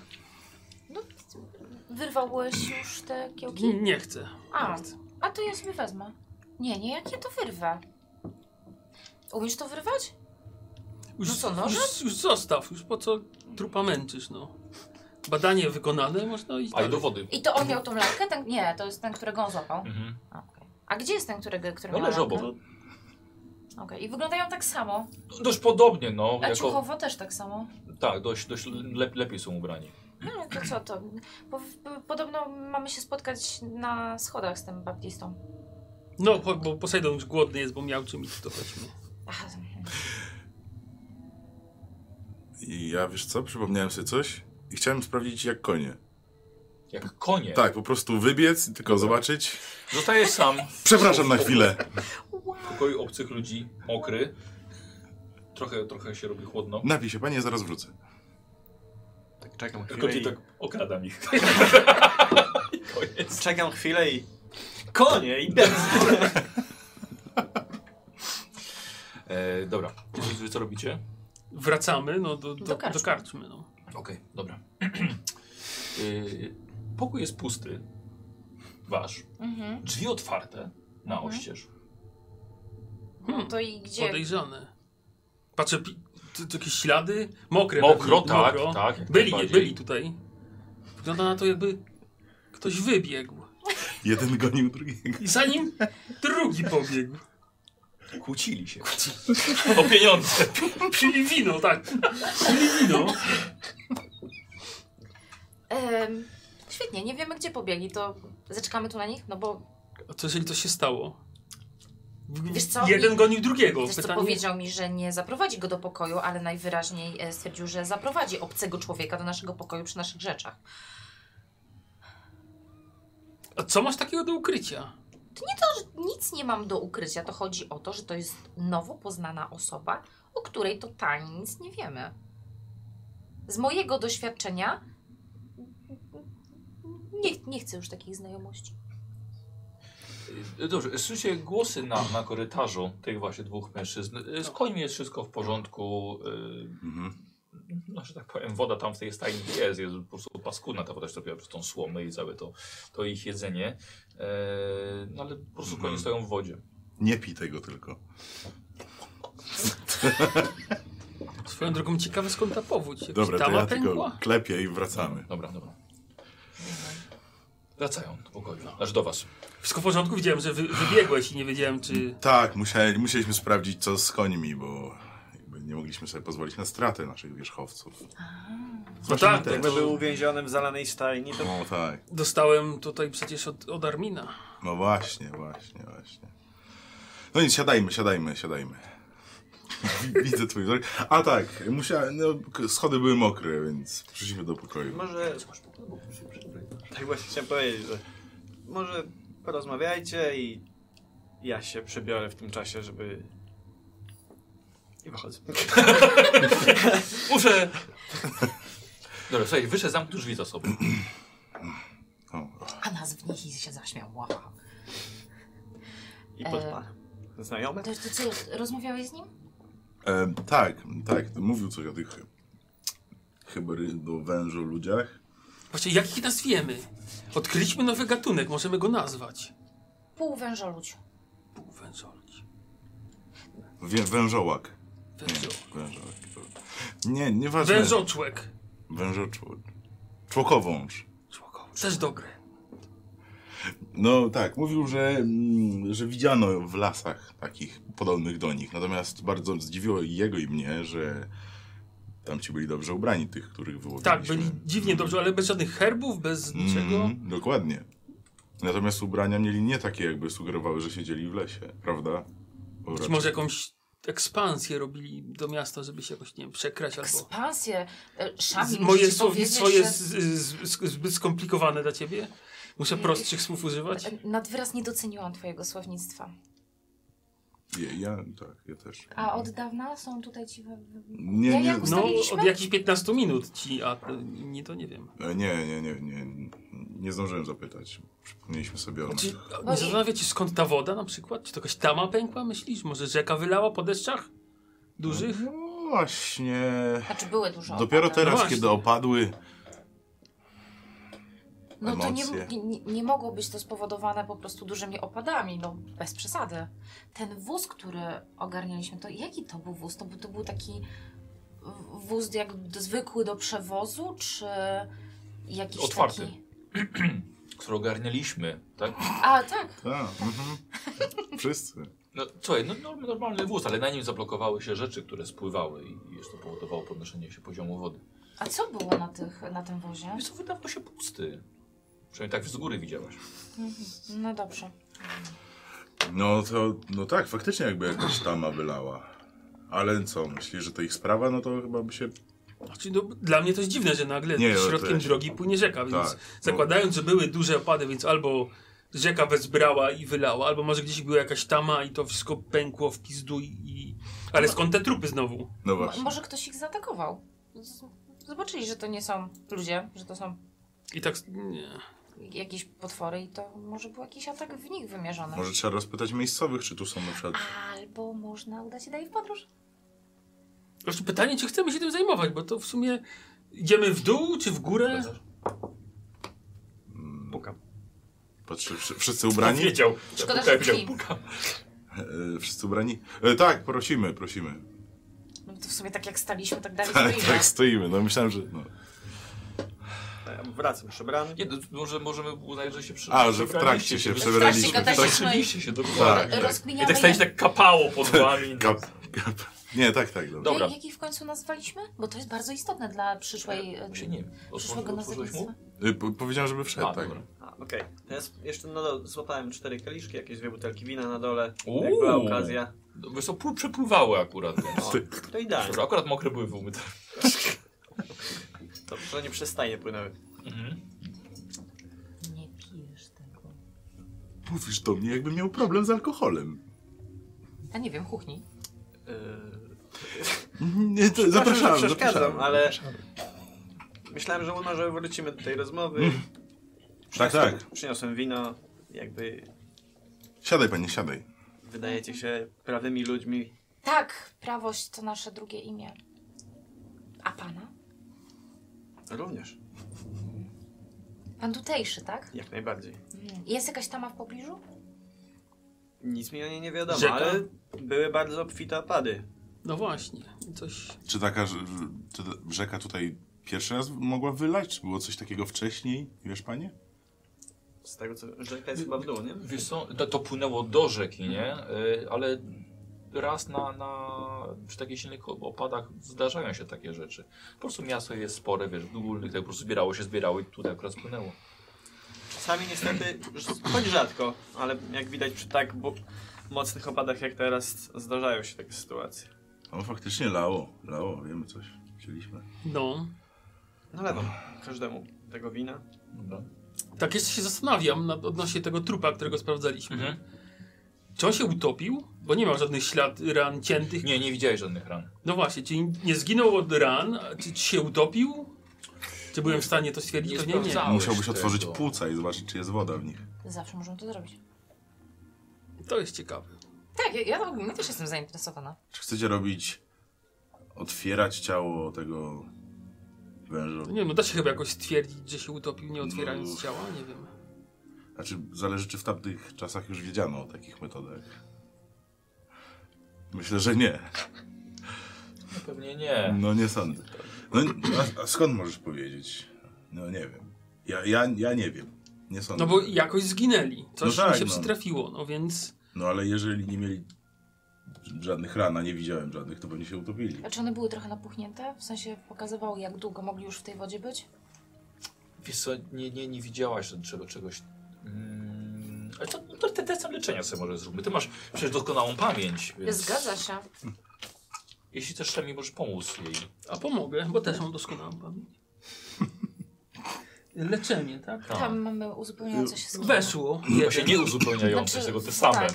[SPEAKER 3] Wyrwałeś już te kiełki?
[SPEAKER 4] Nie, nie chcę.
[SPEAKER 3] A,
[SPEAKER 4] Nie chcę.
[SPEAKER 3] a to ja sobie wezmę. Nie, nie, jak ja to wyrwę? Umiesz to wyrwać?
[SPEAKER 4] Już,
[SPEAKER 3] No co, nożem?
[SPEAKER 4] Już, już zostaw, już po co trupa męczysz, no. Badanie wykonane, można iść
[SPEAKER 1] A i
[SPEAKER 4] dalej.
[SPEAKER 1] do wody.
[SPEAKER 3] I to on miał tą lalkę? Ten, nie, to jest ten, którego on złapał.
[SPEAKER 1] Mhm.
[SPEAKER 3] Okej. A gdzie jest ten, którego, który
[SPEAKER 1] No
[SPEAKER 3] miał
[SPEAKER 1] leży
[SPEAKER 3] lalkę?
[SPEAKER 1] obok.
[SPEAKER 3] Okej, i wyglądają tak samo.
[SPEAKER 1] No, Dość podobnie, no.
[SPEAKER 3] A
[SPEAKER 1] Jako,
[SPEAKER 3] ciuchowo też tak samo.
[SPEAKER 1] tak, dość, dość lep, lepiej są ubrani.
[SPEAKER 3] No ale to co to? Bo w- podobno mamy się spotkać na schodach z tym baptistą.
[SPEAKER 4] No, chodź, bo Posejdon już głodny jest, bo miał czym iść, to chodźmy.
[SPEAKER 3] Ach,
[SPEAKER 2] I ja, wiesz co, przypomniałem sobie coś i chciałem sprawdzić jak konie.
[SPEAKER 1] Jak konie.
[SPEAKER 2] Tak, po prostu wybiec i tylko zobaczyć.
[SPEAKER 1] Zostajesz sam
[SPEAKER 2] Przepraszam na chwilę.
[SPEAKER 1] w pokoju obcych ludzi, mokry. Trochę, trochę się robi chłodno.
[SPEAKER 2] Napij się, panie, zaraz wrócę.
[SPEAKER 6] Tak czekam
[SPEAKER 1] Tylko
[SPEAKER 6] chwilę
[SPEAKER 1] ty
[SPEAKER 6] i...
[SPEAKER 1] tak okradam ich. I koniec.
[SPEAKER 6] Czekam chwilę i... Konie, idę!
[SPEAKER 1] E, dobra, wy co robicie?
[SPEAKER 4] Wracamy, no, do, do,
[SPEAKER 3] Do
[SPEAKER 4] do,
[SPEAKER 3] karczmy.
[SPEAKER 4] karczmy. no.
[SPEAKER 1] Okej, dobra. Y, pokój jest pusty. Wasz.
[SPEAKER 3] mhm.
[SPEAKER 1] Drzwi otwarte na
[SPEAKER 3] Mhm.
[SPEAKER 1] oścież.
[SPEAKER 3] No
[SPEAKER 4] Hmm,
[SPEAKER 3] to i gdzie?
[SPEAKER 4] podejrzane. Patrzę, pi- to, to jakieś ślady? Mokre.
[SPEAKER 1] Mokro,
[SPEAKER 4] pewnie,
[SPEAKER 1] tak, tak. jak
[SPEAKER 4] Byli, nie
[SPEAKER 1] najbardziej.
[SPEAKER 4] byli tutaj. Wygląda na to, jakby ktoś wybiegł.
[SPEAKER 2] Jeden gonił drugiego.
[SPEAKER 4] I za nim drugi pobiegł.
[SPEAKER 1] Kłócili się. o pieniądze.
[SPEAKER 4] Pili wino, tak. Pili wino.
[SPEAKER 3] Em, świetnie, nie wiemy gdzie pobiegli, to zaczekamy tu na nich, no bo
[SPEAKER 4] A co jeżeli to się stało? W-
[SPEAKER 3] Wiesz co,
[SPEAKER 4] Jeden
[SPEAKER 3] i-
[SPEAKER 4] gonił drugiego.
[SPEAKER 3] wiesz, co
[SPEAKER 4] Pytanie...
[SPEAKER 3] powiedział mi, że nie zaprowadzi go do pokoju, ale najwyraźniej e, stwierdził, że zaprowadzi obcego człowieka do naszego pokoju przy naszych rzeczach.
[SPEAKER 4] A co masz takiego do ukrycia?
[SPEAKER 3] Nic nie mam do ukrycia, to chodzi o to, że to jest nowo poznana osoba, o której totalnie nic nie wiemy. Z mojego doświadczenia nie, nie chcę już takich znajomości.
[SPEAKER 1] Y, Dobrze, słyszycie głosy na, na korytarzu tych właśnie dwóch mężczyzn. Y, Z końmi jest wszystko w porządku. y,
[SPEAKER 2] Mhm.
[SPEAKER 1] no, że tak powiem, woda tam w tej stajni jest, jest po prostu paskudna ta woda się topiła przez tą słomę i całe to, to ich jedzenie. Eee, no ale po prostu
[SPEAKER 2] Mhm.
[SPEAKER 1] konie stoją w wodzie.
[SPEAKER 2] Nie pij tego tylko.
[SPEAKER 4] Swoją drogą ciekawe skąd ta powódź. Jak
[SPEAKER 2] Dobra,
[SPEAKER 4] ta
[SPEAKER 2] to
[SPEAKER 4] ma
[SPEAKER 2] ja tylko
[SPEAKER 4] pękła?
[SPEAKER 2] klepię i wracamy.
[SPEAKER 1] Dobra, dobra. Wracają do pokoju, aż do was.
[SPEAKER 4] Wszystko w porządku, widziałem, że wy, wybiegłeś i nie wiedziałem, czy...
[SPEAKER 2] Tak, musieli, musieliśmy sprawdzić, co z końmi, bo jakby nie mogliśmy sobie pozwolić na stratę naszych wierzchowców.
[SPEAKER 4] No
[SPEAKER 2] Zwłaszcza
[SPEAKER 4] tak,
[SPEAKER 2] mi też.
[SPEAKER 6] Jakby był uwięziony w zalanej stajni, to
[SPEAKER 2] No tak.
[SPEAKER 4] dostałem tutaj przecież od, od Armina.
[SPEAKER 2] No właśnie, właśnie, właśnie. No nic, siadajmy, siadajmy, siadajmy. Widzę twój wzrok. A tak, musiałem, no, k- schody były mokre, więc przyszliśmy do pokoju.
[SPEAKER 6] może... Tak właśnie chciałem powiedzieć, że może porozmawiajcie i ja się przebiorę w tym czasie, żeby... I wychodzę.
[SPEAKER 1] Muszę! Dobra, słuchaj, wyszedł zamknął drzwi za sobą.
[SPEAKER 2] O, o.
[SPEAKER 3] A nazwnik i się zaśmiał. Wow.
[SPEAKER 6] I podpalam. Znajomy?
[SPEAKER 3] To, to co, rozmawiałeś z nim?
[SPEAKER 2] E, tak, tak, to mówił coś o tych hybrydo wężu ludziach.
[SPEAKER 4] Właśnie, jak ich nazwiemy? Odkryliśmy nowy gatunek, możemy go nazwać.
[SPEAKER 3] Pół wężoluć.
[SPEAKER 4] Półwężolki.
[SPEAKER 2] Wie, wężołak.
[SPEAKER 4] Wężo...
[SPEAKER 2] Nie, wężołak. Nie, nieważne.
[SPEAKER 4] Wężoczłek.
[SPEAKER 2] Wężoczłok. Człokowąż.
[SPEAKER 4] Też dobre.
[SPEAKER 2] No tak, mówił, że, mm, że widziano w lasach takich podobnych do nich. Natomiast bardzo zdziwiło i jego i mnie, że tamci byli dobrze ubrani, tych, których wyłowiliśmy.
[SPEAKER 4] Tak, byli dziwnie dobrze, ale bez żadnych herbów, bez niczego.
[SPEAKER 2] Mhm, dokładnie. Natomiast ubrania mieli nie takie, jakby sugerowały, że siedzieli w lesie, prawda? Bo
[SPEAKER 4] Być
[SPEAKER 2] raczej-
[SPEAKER 4] może jakąś ekspansję robili do miasta, żeby się jakoś, nie wiem, przekrać albo...
[SPEAKER 3] Ekspansję. e,
[SPEAKER 4] Z-
[SPEAKER 3] Szami,
[SPEAKER 4] Moje
[SPEAKER 3] musisz
[SPEAKER 4] słownictwo
[SPEAKER 3] powiedzieć,
[SPEAKER 4] jest z- z- z- zbyt skomplikowane dla ciebie. Muszę prostszych słów używać.
[SPEAKER 3] że E, nad wyraz nie doceniłam twojego słownictwa.
[SPEAKER 2] Ja, ja, tak, ja też.
[SPEAKER 3] A od dawna są tutaj ci... we- we-
[SPEAKER 2] Nie,
[SPEAKER 3] Ja
[SPEAKER 2] nie,
[SPEAKER 3] jak
[SPEAKER 4] No,
[SPEAKER 3] Ustaliliśmy?
[SPEAKER 4] od jakichś 15 minut ci, a y, nie to nie wiem.
[SPEAKER 2] e, nie, nie, nie, nie, nie zdążyłem zapytać. Przypomnieliśmy sobie o
[SPEAKER 4] Czy,
[SPEAKER 2] naszych...
[SPEAKER 4] nie zastanawia cię skąd ta woda na przykład? Czy to jakaś tama pękła, myślisz? Może rzeka wylała po deszczach? Dużych?
[SPEAKER 2] No właśnie...
[SPEAKER 3] Znaczy były dużo
[SPEAKER 2] Dopiero
[SPEAKER 3] opadań.
[SPEAKER 2] teraz,
[SPEAKER 4] właśnie.
[SPEAKER 2] kiedy opadły...
[SPEAKER 3] No to nie,
[SPEAKER 2] emocje.
[SPEAKER 3] nie, nie mogło być to spowodowane po prostu dużymi opadami, no bez przesady. Ten wóz, który ogarnialiśmy, to jaki to był wóz? To, był- to był taki w- wóz jak do, zwykły do przewozu, czy jakiś
[SPEAKER 1] Otwarty.
[SPEAKER 3] taki...
[SPEAKER 1] Które ogarnialiśmy, tak?
[SPEAKER 3] A, tak.
[SPEAKER 2] Tak, mhm. Wszyscy.
[SPEAKER 1] No słuchaj, no, norm- normalny wóz, ale na nim zablokowały się rzeczy, które spływały i jeszcze powodowało podnoszenie się poziomu wody.
[SPEAKER 3] A co było na, tych, na tym wozie?
[SPEAKER 1] Więc wydawał się pusty. Przynajmniej tak z góry widziałaś.
[SPEAKER 3] Mhm. No dobrze.
[SPEAKER 2] No to, no tak, faktycznie jakby jakaś tama wylała. Ale co, myślisz, że to ich sprawa? No to chyba by się...
[SPEAKER 4] Znaczy, no, dla mnie to jest dziwne, że nagle
[SPEAKER 2] Nie, no to
[SPEAKER 4] środkiem
[SPEAKER 2] jest-
[SPEAKER 4] drogi płynie rzeka, więc
[SPEAKER 2] Tak, no.
[SPEAKER 4] zakładając, że były duże opady, więc albo rzeka wezbrała i wylała, albo może gdzieś była jakaś tama i to wszystko pękło w pizdu i... i... Ale skąd te trupy znowu?
[SPEAKER 2] No
[SPEAKER 3] Mo-
[SPEAKER 2] właśnie.
[SPEAKER 3] może ktoś ich zaatakował. Z- Zobaczyli, że to nie są ludzie, że to są
[SPEAKER 4] I tak... s- Nie.
[SPEAKER 3] jakieś potwory i to może był jakiś atak w nich wymierzony.
[SPEAKER 2] Może trzeba rozpytać miejscowych, czy tu są na przykład...
[SPEAKER 3] Albo można udać się dalej w podróż.
[SPEAKER 4] Zresztą Znaczy, pytanie, czy chcemy się tym zajmować, bo to w sumie... Idziemy w dół, czy w górę?
[SPEAKER 6] Pukam.
[SPEAKER 2] Patrzcie, wszy- wszyscy ubrani?
[SPEAKER 1] Wiedział.
[SPEAKER 3] Szkoda,
[SPEAKER 4] Tak,
[SPEAKER 1] Pukał,
[SPEAKER 3] że
[SPEAKER 1] wiedział,
[SPEAKER 3] kim.
[SPEAKER 1] pukał.
[SPEAKER 2] E, wszyscy ubrani? E, tak, prosimy, prosimy.
[SPEAKER 3] No to w sumie tak jak staliśmy, tak dalej
[SPEAKER 2] Tak,
[SPEAKER 3] stoimy.
[SPEAKER 2] tak, stoimy. No myślałem, że... No.
[SPEAKER 6] E, Wracam przebrany.
[SPEAKER 1] Nie, no, może możemy uznać, że się przy...
[SPEAKER 2] A, że w
[SPEAKER 1] przebraliście
[SPEAKER 2] trakcie się
[SPEAKER 1] że-
[SPEAKER 2] przebraliśmy.
[SPEAKER 3] W trakcie
[SPEAKER 2] Tak,
[SPEAKER 1] Przebraliście się, dokładnie.
[SPEAKER 2] tak,
[SPEAKER 1] Tak.
[SPEAKER 2] tak.
[SPEAKER 1] I
[SPEAKER 3] Rozkminiamy
[SPEAKER 1] tak staliście tak kapało pod wami. no.
[SPEAKER 2] Kap, kap. Nie, tak, tak, dobra.
[SPEAKER 1] Dobra.
[SPEAKER 3] jak, jak ich w końcu nazwaliśmy? Bo to jest bardzo istotne dla przyszłej, e,
[SPEAKER 1] Się nie
[SPEAKER 3] przyszłego
[SPEAKER 1] otworzy- otworzyłeś
[SPEAKER 3] nazewnictwa.
[SPEAKER 1] mu?
[SPEAKER 2] E, po, powiedziałem, żeby wszedł,
[SPEAKER 1] A,
[SPEAKER 2] tak.
[SPEAKER 1] dobra.
[SPEAKER 6] A, Okej. To jest- Jeszcze na dole złapałem cztery kieliszki, jakieś dwie butelki wina na dole.
[SPEAKER 1] Uuu.
[SPEAKER 6] Jak była okazja.
[SPEAKER 1] No, Wiesz co, pł- przepływały akurat. więc-
[SPEAKER 6] O, to idealnie.
[SPEAKER 1] Dobrze, akurat mokre były wyumyte.
[SPEAKER 6] To, to nie przestaje płynęły.
[SPEAKER 1] Mhm.
[SPEAKER 3] Nie pijesz tego.
[SPEAKER 2] Mówisz do mnie, jakbym miał problem z alkoholem.
[SPEAKER 3] A nie wiem, kuchni.
[SPEAKER 6] Yy,
[SPEAKER 2] Mhm. Nie, to, zapraszam,
[SPEAKER 6] że przeszkadzam,
[SPEAKER 2] zapraszam.
[SPEAKER 6] ale- myślałem, że może wrócimy do tej rozmowy.
[SPEAKER 2] Mm. Tak, tak.
[SPEAKER 6] Przyniosłem wino. Jakby
[SPEAKER 2] Siadaj, panie, siadaj.
[SPEAKER 6] wydajecie się prawymi ludźmi.
[SPEAKER 3] Tak, prawość to nasze drugie imię. A pana?
[SPEAKER 6] Również.
[SPEAKER 3] Pan tutejszy, tak?
[SPEAKER 6] Jak najbardziej.
[SPEAKER 3] Mm. Jest jakaś tama w pobliżu?
[SPEAKER 6] Nic mi o niej nie wiadomo,
[SPEAKER 4] Rzeka?
[SPEAKER 6] ale były bardzo obfite opady.
[SPEAKER 4] No właśnie, coś...
[SPEAKER 2] Czy taka że- czy ta rzeka tutaj pierwszy raz mogła wylać? Czy było coś takiego wcześniej? Wiesz, panie?
[SPEAKER 6] Z tego co... Rzeka jest chyba w dół, nie?
[SPEAKER 1] Wiesz co, to, to płynęło do rzeki, nie? Y, Ale raz na, na przy takich silnych opadach zdarzają się takie rzeczy. Po prostu miasto jest spore, wiesz, górnych, tak po prostu zbierało się, zbierało i tutaj akurat spłynęło.
[SPEAKER 6] Czasami niestety, ż- choć rzadko, ale jak widać przy tak bu- mocnych opadach jak teraz zdarzają się takie sytuacje.
[SPEAKER 2] No faktycznie lało, lało, wiemy coś. Chcieliśmy.
[SPEAKER 4] No.
[SPEAKER 6] Nalewam każdemu tego wina.
[SPEAKER 1] Dobra.
[SPEAKER 4] Tak jeszcze się zastanawiam nad, odnośnie tego trupa, którego sprawdzaliśmy.
[SPEAKER 1] Mhm.
[SPEAKER 4] Czy on się utopił? Bo nie miał żadnych ślad ran ciętych.
[SPEAKER 1] Nie, nie widziałeś żadnych ran.
[SPEAKER 4] No właśnie, czy nie zginął od ran? a Czy, czy się utopił? Czy byłem w stanie to stwierdzić?
[SPEAKER 1] Nie
[SPEAKER 4] Pewnie nie.
[SPEAKER 1] sprawdzałem. Małeś
[SPEAKER 2] Musiałbyś otworzyć
[SPEAKER 1] tego.
[SPEAKER 2] płuca i zobaczyć, czy jest woda w nich.
[SPEAKER 3] Zawsze możemy to zrobić.
[SPEAKER 4] To jest ciekawe.
[SPEAKER 3] Tak, ja, ja, ja też jestem zainteresowana.
[SPEAKER 2] Czy chcecie robić, otwierać ciało tego węża?
[SPEAKER 4] No nie wiem, no da się chyba jakoś stwierdzić, że się utopił, nie otwierając
[SPEAKER 2] No.
[SPEAKER 4] ciała? Nie wiem.
[SPEAKER 2] Znaczy, zależy, czy w tamtych czasach już wiedziano o takich metodach. Myślę, że nie.
[SPEAKER 1] No pewnie nie.
[SPEAKER 2] No nie sądzę. No, a, a skąd możesz powiedzieć? No nie wiem. Ja, ja, ja nie wiem. Nie sądzę.
[SPEAKER 4] No bo jakoś zginęli. Coś
[SPEAKER 2] No tak,
[SPEAKER 4] im się
[SPEAKER 2] no.
[SPEAKER 4] przytrafiło, no więc...
[SPEAKER 2] No ale jeżeli nie mieli żadnych ran, a nie widziałem żadnych, to pewnie się utopili.
[SPEAKER 3] A czy Znaczy one były trochę napuchnięte? W sensie pokazywało, jak długo mogli już w tej wodzie być?
[SPEAKER 1] Wiesz co, nie, nie, nie widziałaś czego, czegoś. Mm, ale to, to te testem leczenia sobie może zróbmy. Ty masz przecież doskonałą pamięć. Więc
[SPEAKER 3] Zgadza się.
[SPEAKER 1] Jeśli też mi możesz pomóc jej.
[SPEAKER 4] A pomogę, bo też mam doskonałą pamięć. Leczenie, tak?
[SPEAKER 1] Tak.
[SPEAKER 3] Tam mamy uzupełniające się schody.
[SPEAKER 4] Weszło.
[SPEAKER 1] Właśnie nie uzupełniające,
[SPEAKER 3] Znaczy,
[SPEAKER 1] tylko te same.
[SPEAKER 3] tak.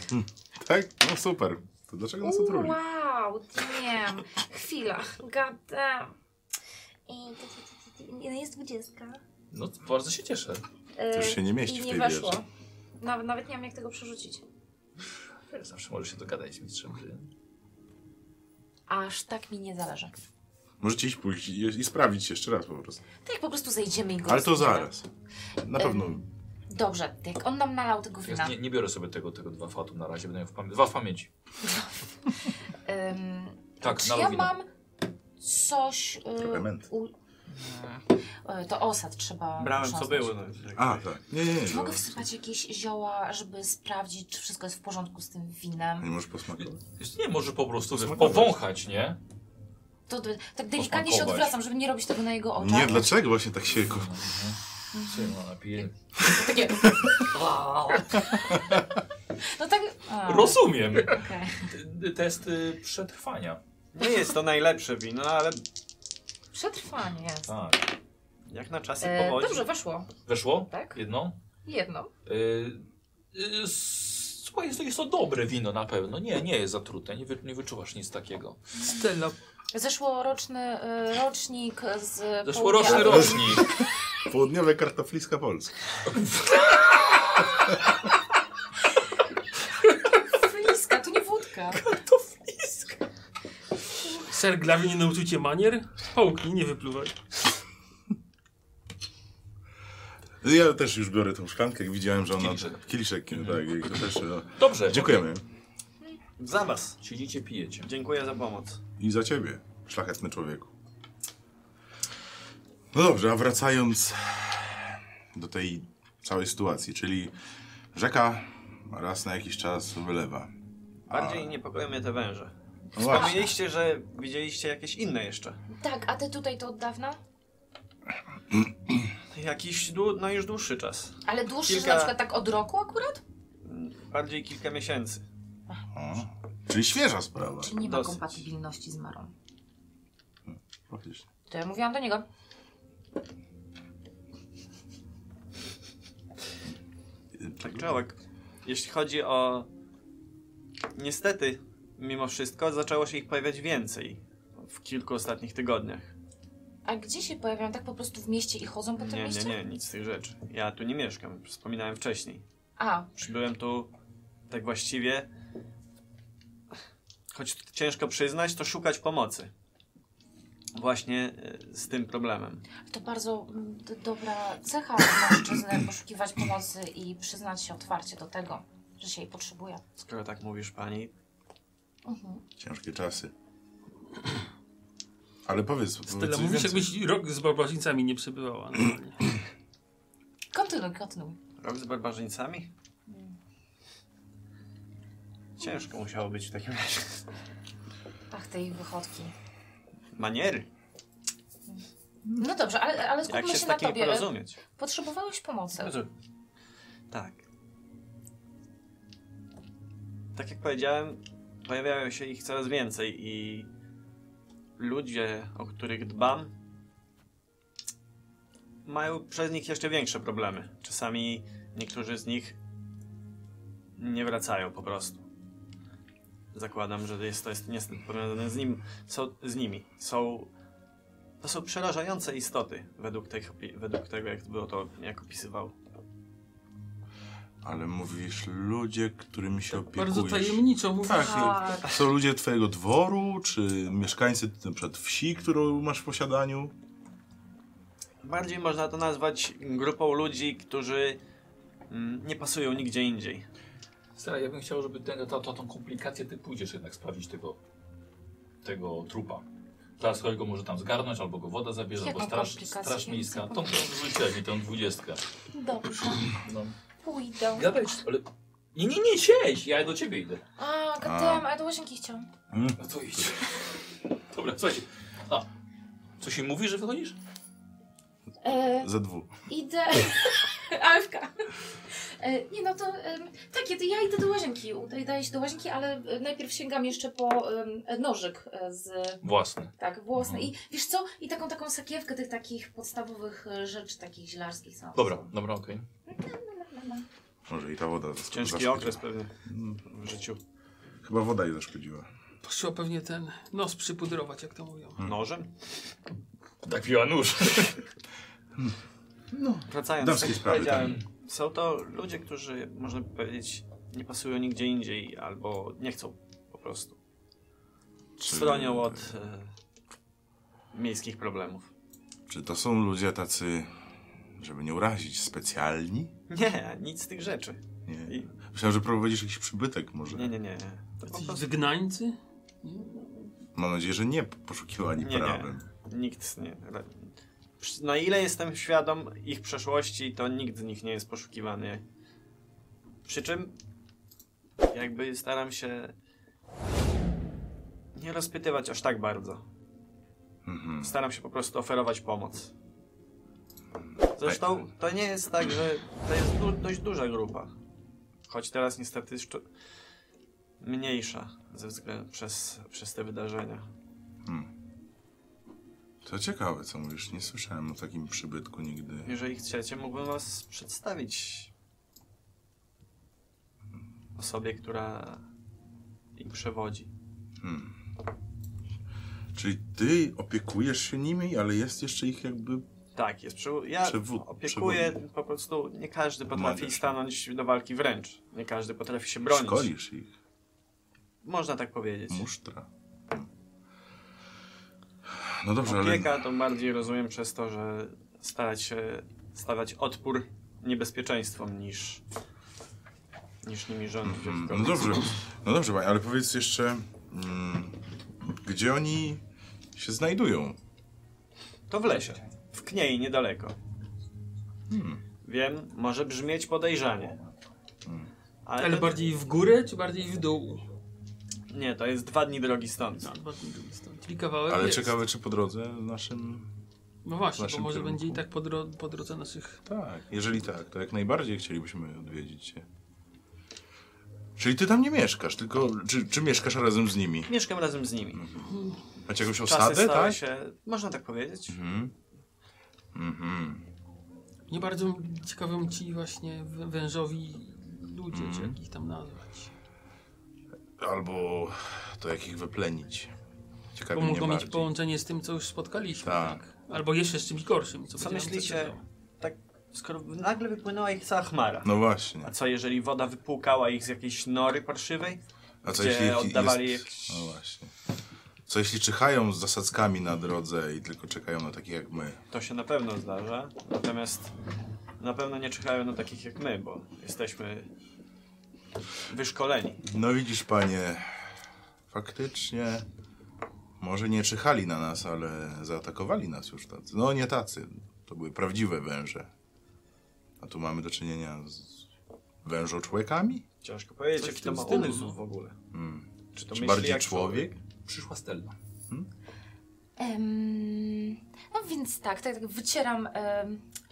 [SPEAKER 2] Tak? No super. To dlaczego nas otruli?
[SPEAKER 3] Wow, damn. Chwila, gadam. I ty, ty, ty, ty, ty. jest dwudziestka. Y,
[SPEAKER 1] No bardzo się cieszę.
[SPEAKER 2] To już się nie mieści
[SPEAKER 3] I
[SPEAKER 2] w
[SPEAKER 3] nie
[SPEAKER 2] tej
[SPEAKER 3] weszło.
[SPEAKER 2] wieży.
[SPEAKER 3] Nawet, nawet nie wiem, jak tego przerzucić.
[SPEAKER 1] Wiesz, Zawsze możesz się dogadać z mistrzem. gry.
[SPEAKER 3] Aż tak mi nie zależy.
[SPEAKER 2] Możecie iść pójść i, i sprawdzić jeszcze raz po prostu.
[SPEAKER 3] Tak po prostu zejdziemy i go
[SPEAKER 2] No, Ale to
[SPEAKER 3] rozpijemy.
[SPEAKER 2] zaraz. Na pewno.
[SPEAKER 3] Dobrze, jak on nam nalał tego
[SPEAKER 1] Ja
[SPEAKER 3] wina,
[SPEAKER 1] nie, nie biorę sobie tego, tego dwa fatum na razie, będę miał w pamię- dwa w pamięci.
[SPEAKER 3] ym,
[SPEAKER 1] Tak,
[SPEAKER 3] czy
[SPEAKER 1] na
[SPEAKER 3] ja
[SPEAKER 1] lawinę.
[SPEAKER 3] mam coś... y,
[SPEAKER 2] Trochę męt.
[SPEAKER 3] u- Y, to osad trzeba
[SPEAKER 6] Brałem co
[SPEAKER 3] utrząsnąć.
[SPEAKER 6] było. No,
[SPEAKER 2] A, tak. Nie, nie, nie.
[SPEAKER 3] Czy
[SPEAKER 2] zaraz.
[SPEAKER 3] mogę wsypać jakieś zioła, żeby sprawdzić, czy wszystko jest w porządku z tym winem?
[SPEAKER 2] Nie możesz posmakować.
[SPEAKER 1] Wiesz, Nie, może po prostu wiesz,
[SPEAKER 2] Smakować.
[SPEAKER 1] powąchać, nie?
[SPEAKER 3] To, to, tak delikatnie się
[SPEAKER 1] Posmakować.
[SPEAKER 3] odwracam, żeby nie robić tego na jego oczach.
[SPEAKER 2] Nie, dlaczego właśnie tak się... ko-
[SPEAKER 1] Co ja mam napiję?
[SPEAKER 3] Takie... Wow. No tak... A,
[SPEAKER 1] Rozumiem.
[SPEAKER 3] okej.
[SPEAKER 1] T- Testy przetrwania.
[SPEAKER 6] nie jest to najlepsze wino, ale
[SPEAKER 3] Przetrwanie jest.
[SPEAKER 1] Tak.
[SPEAKER 6] jak na czasy
[SPEAKER 3] E,
[SPEAKER 6] powodzi.
[SPEAKER 3] dobrze, weszło.
[SPEAKER 1] Weszło?
[SPEAKER 3] Tak.
[SPEAKER 1] Jedno?
[SPEAKER 3] Jedno.
[SPEAKER 1] Y, y, s- Słuchaj, jest to, jest to dobre wino na pewno. Nie, nie jest zatrute, nie, wy, nie wyczuwasz nic takiego.
[SPEAKER 4] Stella
[SPEAKER 3] Zeszłoroczny y, rocznik z
[SPEAKER 1] Zeszłoroczny
[SPEAKER 3] południa-
[SPEAKER 1] rocznik.
[SPEAKER 2] Południowe kartofliska Polska.
[SPEAKER 3] Fliska, to nie wódka.
[SPEAKER 4] Ser Glawi nie nauczył cię manier? Połknij, nie wypluwaj.
[SPEAKER 2] Ja też już biorę tą szklankę, jak widziałem, że ona...
[SPEAKER 1] Kieliszek.
[SPEAKER 2] Kieliszek, tak. jak To też, no.
[SPEAKER 1] Dobrze.
[SPEAKER 2] Dziękujemy.
[SPEAKER 6] Za was.
[SPEAKER 1] Siedzicie, pijecie.
[SPEAKER 6] Dziękuję za pomoc.
[SPEAKER 2] I za ciebie, szlachetny człowieku. No dobrze, a wracając do tej całej sytuacji, czyli rzeka raz na jakiś czas wylewa.
[SPEAKER 6] Bardziej niepokoją mnie te węże.
[SPEAKER 2] No właśnie,
[SPEAKER 6] Wspomnieliście, że widzieliście jakieś inne jeszcze.
[SPEAKER 3] Tak, a ty tutaj to od dawna?
[SPEAKER 6] Jakiś, dłu- no już dłuższy czas.
[SPEAKER 3] Ale dłuższy, że
[SPEAKER 6] Kilka-
[SPEAKER 3] na przykład tak od roku akurat?
[SPEAKER 6] Bardziej kilka miesięcy.
[SPEAKER 2] o, czyli świeża sprawa.
[SPEAKER 3] Czy nie ma
[SPEAKER 6] Dosyć.
[SPEAKER 3] kompatybilności z Marą?
[SPEAKER 2] Faktycznie.
[SPEAKER 3] To ja mówiłam do niego.
[SPEAKER 6] Tak czołek. Jeśli chodzi o... Niestety, mimo wszystko, zaczęło się ich pojawiać więcej w kilku ostatnich tygodniach.
[SPEAKER 3] A gdzie się pojawiają? Tak po prostu w mieście i chodzą po tym
[SPEAKER 6] Nie, nie,
[SPEAKER 3] mieście?
[SPEAKER 6] nie, nic z tych rzeczy. Ja tu nie mieszkam, wspominałem wcześniej.
[SPEAKER 3] A,
[SPEAKER 6] Przybyłem tu tak właściwie, choć t- ciężko przyznać, to szukać pomocy. Właśnie e, z tym problemem.
[SPEAKER 3] to bardzo mm, d- dobra cecha mężczyzny poszukiwać pomocy i przyznać się otwarcie do tego, że się jej potrzebuje.
[SPEAKER 6] Skoro tak mówisz pani,
[SPEAKER 3] Mhm.
[SPEAKER 2] Ciężkie czasy. Ale powiedz, powiedz
[SPEAKER 4] Stella,
[SPEAKER 2] coś
[SPEAKER 4] mówisz
[SPEAKER 2] więcej.
[SPEAKER 4] jakbyś rok z barbarzyńcami nie przebywała. normalnie.
[SPEAKER 3] Kontynuuj, kontynuuj.
[SPEAKER 6] Rok z barbarzyńcami? Ciężko musiało być w takim razie.
[SPEAKER 3] Ach, te ich wychodki.
[SPEAKER 6] Maniery.
[SPEAKER 3] No dobrze, ale, ale
[SPEAKER 6] Jak
[SPEAKER 3] skupmy się,
[SPEAKER 6] się z No
[SPEAKER 3] na
[SPEAKER 6] takim
[SPEAKER 3] tobie.
[SPEAKER 6] porozumieć?
[SPEAKER 3] Potrzebowałeś pomocy.
[SPEAKER 6] Tak. Tak jak powiedziałem, pojawiają się ich coraz więcej i ludzie, o których dbam, mają przez nich jeszcze większe problemy. Czasami niektórzy z nich nie wracają po prostu. Zakładam, że jest to jest niestety powiązane z, nim, są, z nimi. Są to są przerażające istoty, według, tych, opi- według tego, jak było to, jak opisywał.
[SPEAKER 2] Ale mówisz ludzie, którymi się opiekujesz.
[SPEAKER 4] Tak, Bardzo tajemniczo mówisz.
[SPEAKER 2] Tak,
[SPEAKER 3] Tak.
[SPEAKER 2] no, są ludzie twojego dworu, czy mieszkańcy na przykład wsi, którą masz w posiadaniu.
[SPEAKER 6] Bardziej można to nazwać grupą ludzi, którzy mm, nie pasują nigdzie indziej.
[SPEAKER 1] Stara, ja bym chciał, żeby ten, ta, ta, tą komplikację ty pójdziesz jednak sprawdzić tego, tego trupa. Dla swojego może tam zgarnąć, albo go woda zabierze,
[SPEAKER 3] Jaką
[SPEAKER 1] albo straż,
[SPEAKER 3] komplikację?
[SPEAKER 1] straż
[SPEAKER 3] Ja
[SPEAKER 1] miejska.
[SPEAKER 3] nie
[SPEAKER 1] Tą, tą rzucę mi, tą dwudziestkę.
[SPEAKER 3] Dobrze,
[SPEAKER 1] No.
[SPEAKER 3] pójdę.
[SPEAKER 1] Gadaj, ale... Nie, nie, nie, siedź, ja do ciebie idę.
[SPEAKER 3] A, gadałam, a ja do łazienki chciałam.
[SPEAKER 1] No to idź. Dobra, słuchajcie. A, coś im mówi, że wychodzisz?
[SPEAKER 3] E,
[SPEAKER 2] Ze dwu.
[SPEAKER 3] idę... Alfka. E, nie no to... em, tak, ja, ja idę do łazienki. Udaję daję się do łazienki, ale e, najpierw sięgam jeszcze po em, nożyk e, z...
[SPEAKER 1] Własny.
[SPEAKER 3] Tak, własny. I wiesz co? I taką taką sakiewkę tych takich podstawowych e, rzeczy takich zielarskich. co-
[SPEAKER 1] Dobra, dobra, okej.
[SPEAKER 2] Może i ta woda zask-
[SPEAKER 6] Ciężki
[SPEAKER 2] zaszkodziła.
[SPEAKER 6] okres pewnie w życiu.
[SPEAKER 2] Chyba woda jej zaszkodziła.
[SPEAKER 4] To trzeba pewnie ten nos przypudrować, jak to mówią.
[SPEAKER 6] Nożem?
[SPEAKER 1] Tak piła nóż.
[SPEAKER 6] Wracając
[SPEAKER 2] Damskiej
[SPEAKER 6] jak
[SPEAKER 2] sprawy,
[SPEAKER 6] powiedziałem, są to ludzie, którzy, można by powiedzieć, nie pasują nigdzie indziej albo nie chcą po prostu.
[SPEAKER 2] Czy-
[SPEAKER 6] Stronią od e, miejskich problemów.
[SPEAKER 2] Czy to są ludzie tacy, żeby nie urazić, specjalni?
[SPEAKER 6] Nie, nic z tych rzeczy.
[SPEAKER 2] Nie.
[SPEAKER 6] I-
[SPEAKER 2] Myślałem, że prowadzisz jakiś przybytek może.
[SPEAKER 6] Nie, nie, nie. To po
[SPEAKER 4] Jacyś
[SPEAKER 6] prostu
[SPEAKER 4] wygnańcy?
[SPEAKER 2] Mam nadzieję, że nie poszukiwani
[SPEAKER 6] Nie, nie.
[SPEAKER 2] prawem.
[SPEAKER 6] Nikt nie. ra- Przy- Na ile jestem świadom ich przeszłości, to nikt z nich nie jest poszukiwany. Przy czym, jakby staram się nie rozpytywać aż tak bardzo.
[SPEAKER 2] Mhm.
[SPEAKER 6] Staram się po prostu oferować pomoc. Zresztą to nie jest tak, że to jest du dość duża grupa. Choć teraz niestety jeszcze mniejsza ze względu przez, przez te wydarzenia.
[SPEAKER 2] Mhm. To ciekawe, co mówisz. Nie słyszałem o takim przybytku nigdy.
[SPEAKER 6] Jeżeli chcecie, mógłbym was przedstawić osobie, która im przewodzi.
[SPEAKER 2] Czyli ty opiekujesz się nimi, ale jest jeszcze ich jakby...
[SPEAKER 6] Tak, jest przewo- ja
[SPEAKER 2] Przewód-
[SPEAKER 6] opiekuję,
[SPEAKER 2] przewodnik.
[SPEAKER 6] po prostu nie każdy potrafi
[SPEAKER 2] Młodzież.
[SPEAKER 6] stanąć do walki wręcz. Nie każdy potrafi się bronić.
[SPEAKER 2] Szkolisz ich.
[SPEAKER 6] Można tak powiedzieć.
[SPEAKER 2] Musztra. No dobrze, ale...
[SPEAKER 6] Opieka to bardziej rozumiem przez to, że starać się stawiać odpór niebezpieczeństwom niż, niż nimi rządzić.
[SPEAKER 2] Mm, No dobrze, no dobrze, Baj, ale powiedz jeszcze, mm, gdzie oni się znajdują?
[SPEAKER 6] To w lesie. W Kniei, niedaleko.
[SPEAKER 2] Hmm.
[SPEAKER 6] Wiem, może brzmieć podejrzanie. Ale,
[SPEAKER 4] Ale
[SPEAKER 6] to-
[SPEAKER 4] bardziej w górę, czy bardziej w dół?
[SPEAKER 6] Nie, to jest dwa dni drogi stąd.
[SPEAKER 4] Na dwa dni No, dół stąd. Czyli kawałek
[SPEAKER 2] Ale
[SPEAKER 4] jest.
[SPEAKER 2] ciekawe, czy po drodze naszym...
[SPEAKER 4] No
[SPEAKER 2] w
[SPEAKER 4] właśnie, bo
[SPEAKER 2] naszym
[SPEAKER 4] może
[SPEAKER 2] kierunku.
[SPEAKER 4] będzie i tak po, dro po drodze naszych...
[SPEAKER 2] Tak, jeżeli tak, to jak najbardziej chcielibyśmy odwiedzić cię. Czyli ty tam nie mieszkasz, tylko czy, czy mieszkasz razem z nimi?
[SPEAKER 6] Mieszkam razem z nimi.
[SPEAKER 2] Macie jakąś
[SPEAKER 6] Czasy
[SPEAKER 2] osadę,
[SPEAKER 6] stały
[SPEAKER 2] Mhm. tak? Mhm.
[SPEAKER 6] się, można tak powiedzieć.
[SPEAKER 4] Nie bardzo ciekawią ci właśnie wę- wężowi ludzie, czy jak ich tam nazwać.
[SPEAKER 2] Albo to jak ich wyplenić. Ciekawie mnie
[SPEAKER 4] Pomogło mieć
[SPEAKER 2] bardziej.
[SPEAKER 4] połączenie z tym, co już spotkaliśmy.
[SPEAKER 2] Tak.
[SPEAKER 4] Tak. Albo jeszcze z czymś gorszym. Co,
[SPEAKER 6] Co
[SPEAKER 4] będzie nam
[SPEAKER 6] myślicie?
[SPEAKER 4] zagrażało.
[SPEAKER 6] Tak, skoro nagle wypłynęła ich cała chmara.
[SPEAKER 2] No właśnie.
[SPEAKER 6] A co, jeżeli woda wypłukała ich z jakiejś nory parszywej?
[SPEAKER 2] A co
[SPEAKER 6] Gdzie
[SPEAKER 2] jeśli jest-
[SPEAKER 6] oddawali
[SPEAKER 2] No właśnie. Co jeśli czyhają z zasadzkami na drodze i tylko czekają na takich jak my?
[SPEAKER 6] To się na pewno zdarza. Natomiast na pewno nie czekają na takich jak my, bo jesteśmy wyszkoleni.
[SPEAKER 2] No widzisz, panie, faktycznie może nie czyhali na nas, ale zaatakowali nas już tacy. No nie tacy, to były prawdziwe węże. A tu mamy do czynienia z wężoczłekami?
[SPEAKER 6] Ciężko powiedzieć,
[SPEAKER 5] Coś
[SPEAKER 6] jaki
[SPEAKER 5] w
[SPEAKER 6] to
[SPEAKER 5] tym
[SPEAKER 6] ma
[SPEAKER 5] stylu.
[SPEAKER 6] umysł w ogóle.
[SPEAKER 2] Hmm.
[SPEAKER 6] Czy to
[SPEAKER 2] Czy
[SPEAKER 6] myśli
[SPEAKER 2] bardziej
[SPEAKER 6] jak
[SPEAKER 2] człowiek?
[SPEAKER 1] Przyszła Stella.
[SPEAKER 3] Em, no więc tak, tak, tak wycieram em,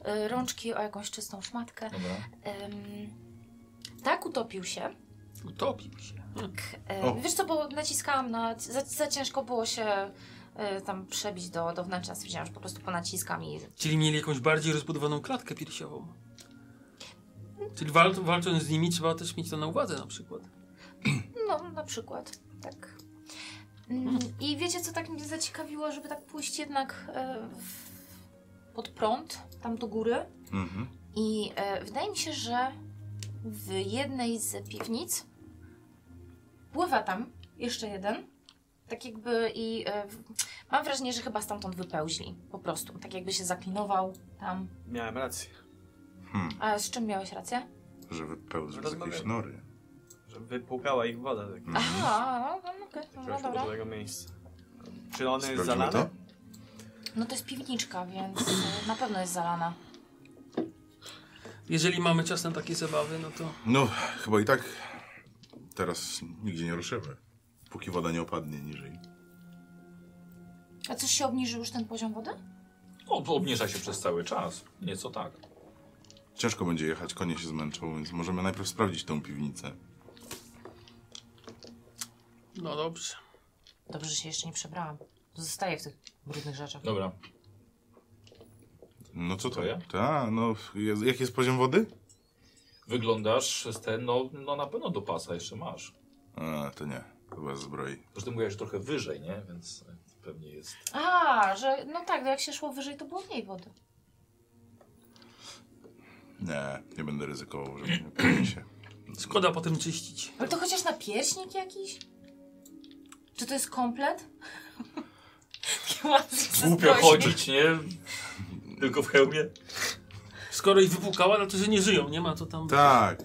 [SPEAKER 3] e, rączki o jakąś czystą szmatkę.
[SPEAKER 1] Dobra.
[SPEAKER 3] Em, tak, utopił się.
[SPEAKER 1] Utopił się.
[SPEAKER 4] Hmm.
[SPEAKER 3] Tak, e,
[SPEAKER 2] O.
[SPEAKER 3] wiesz co, bo naciskałam na... Za, za ciężko było się e, tam przebić do, do wnętrza, stwierdziłam, że po prostu ponaciskam i...
[SPEAKER 4] Czyli mieli jakąś bardziej rozbudowaną klatkę piersiową. Czyli wal, walcząc z nimi trzeba też mieć to na uwadze na przykład.
[SPEAKER 3] No, na przykład, tak. Mm, I wiecie, co tak mnie zaciekawiło, żeby tak pójść jednak e, w, pod prąd, tam do góry.
[SPEAKER 2] Mhm.
[SPEAKER 3] I e, wydaje mi się, że w jednej z piwnic pływa tam jeszcze jeden. Tak jakby i e, w- mam wrażenie, że chyba stamtąd wypełzli po prostu. Tak jakby się zaklinował tam.
[SPEAKER 6] Miałem rację,
[SPEAKER 2] Hmm.
[SPEAKER 3] A z czym miałeś rację?
[SPEAKER 2] Że wypełzły z jakiejś
[SPEAKER 6] Rozmawiamy.
[SPEAKER 2] nory.
[SPEAKER 6] że wypłukała ich woda Tak. z jakiegoś
[SPEAKER 3] Aha, no, okej, no
[SPEAKER 6] no,
[SPEAKER 3] dobra.
[SPEAKER 6] dużego miejsca. Czy one
[SPEAKER 2] Sprawdzimy
[SPEAKER 6] jest zalane?
[SPEAKER 2] to?
[SPEAKER 3] No to jest piwniczka, więc e, na pewno jest zalana.
[SPEAKER 4] Jeżeli mamy czas na takie zabawy, no to
[SPEAKER 2] No, chyba i tak teraz nigdzie nie ruszymy. Póki woda nie opadnie niżej.
[SPEAKER 3] A coś się obniżył już ten poziom wody?
[SPEAKER 1] Ob obniża się przez cały czas. Nieco tak.
[SPEAKER 2] Ciężko będzie jechać, konie się zmęczą, więc możemy najpierw sprawdzić tą piwnicę.
[SPEAKER 4] no dobrze.
[SPEAKER 3] Dobrze, że się jeszcze nie przebrałam. Zostaję w tych brudnych rzeczach.
[SPEAKER 1] Dobra.
[SPEAKER 2] No co to?
[SPEAKER 1] To ja?
[SPEAKER 2] Ta, no, jest, jaki jest poziom wody?
[SPEAKER 1] Wyglądasz z ten, no, no na pewno do pasa jeszcze masz.
[SPEAKER 2] A, to nie. Chyba zbroi.
[SPEAKER 1] Zresztą mówiłaś trochę wyżej, nie? Więc e, pewnie jest.
[SPEAKER 3] A, że no tak, no jak się szło wyżej, to było mniej wody.
[SPEAKER 2] Nie, nie będę ryzykował, że nie powinien się.
[SPEAKER 4] Szkoda potem czyścić.
[SPEAKER 3] Ale No to chociaż na pierśnik jakiś? Czy to jest komplet? Takie ładne ze
[SPEAKER 1] Głupio
[SPEAKER 3] zbroi.
[SPEAKER 1] chodzić, nie? Tylko w hełmie.
[SPEAKER 4] Skoro ich wypłukała, no to że nie żyją, nie ma to tam.
[SPEAKER 2] Tak!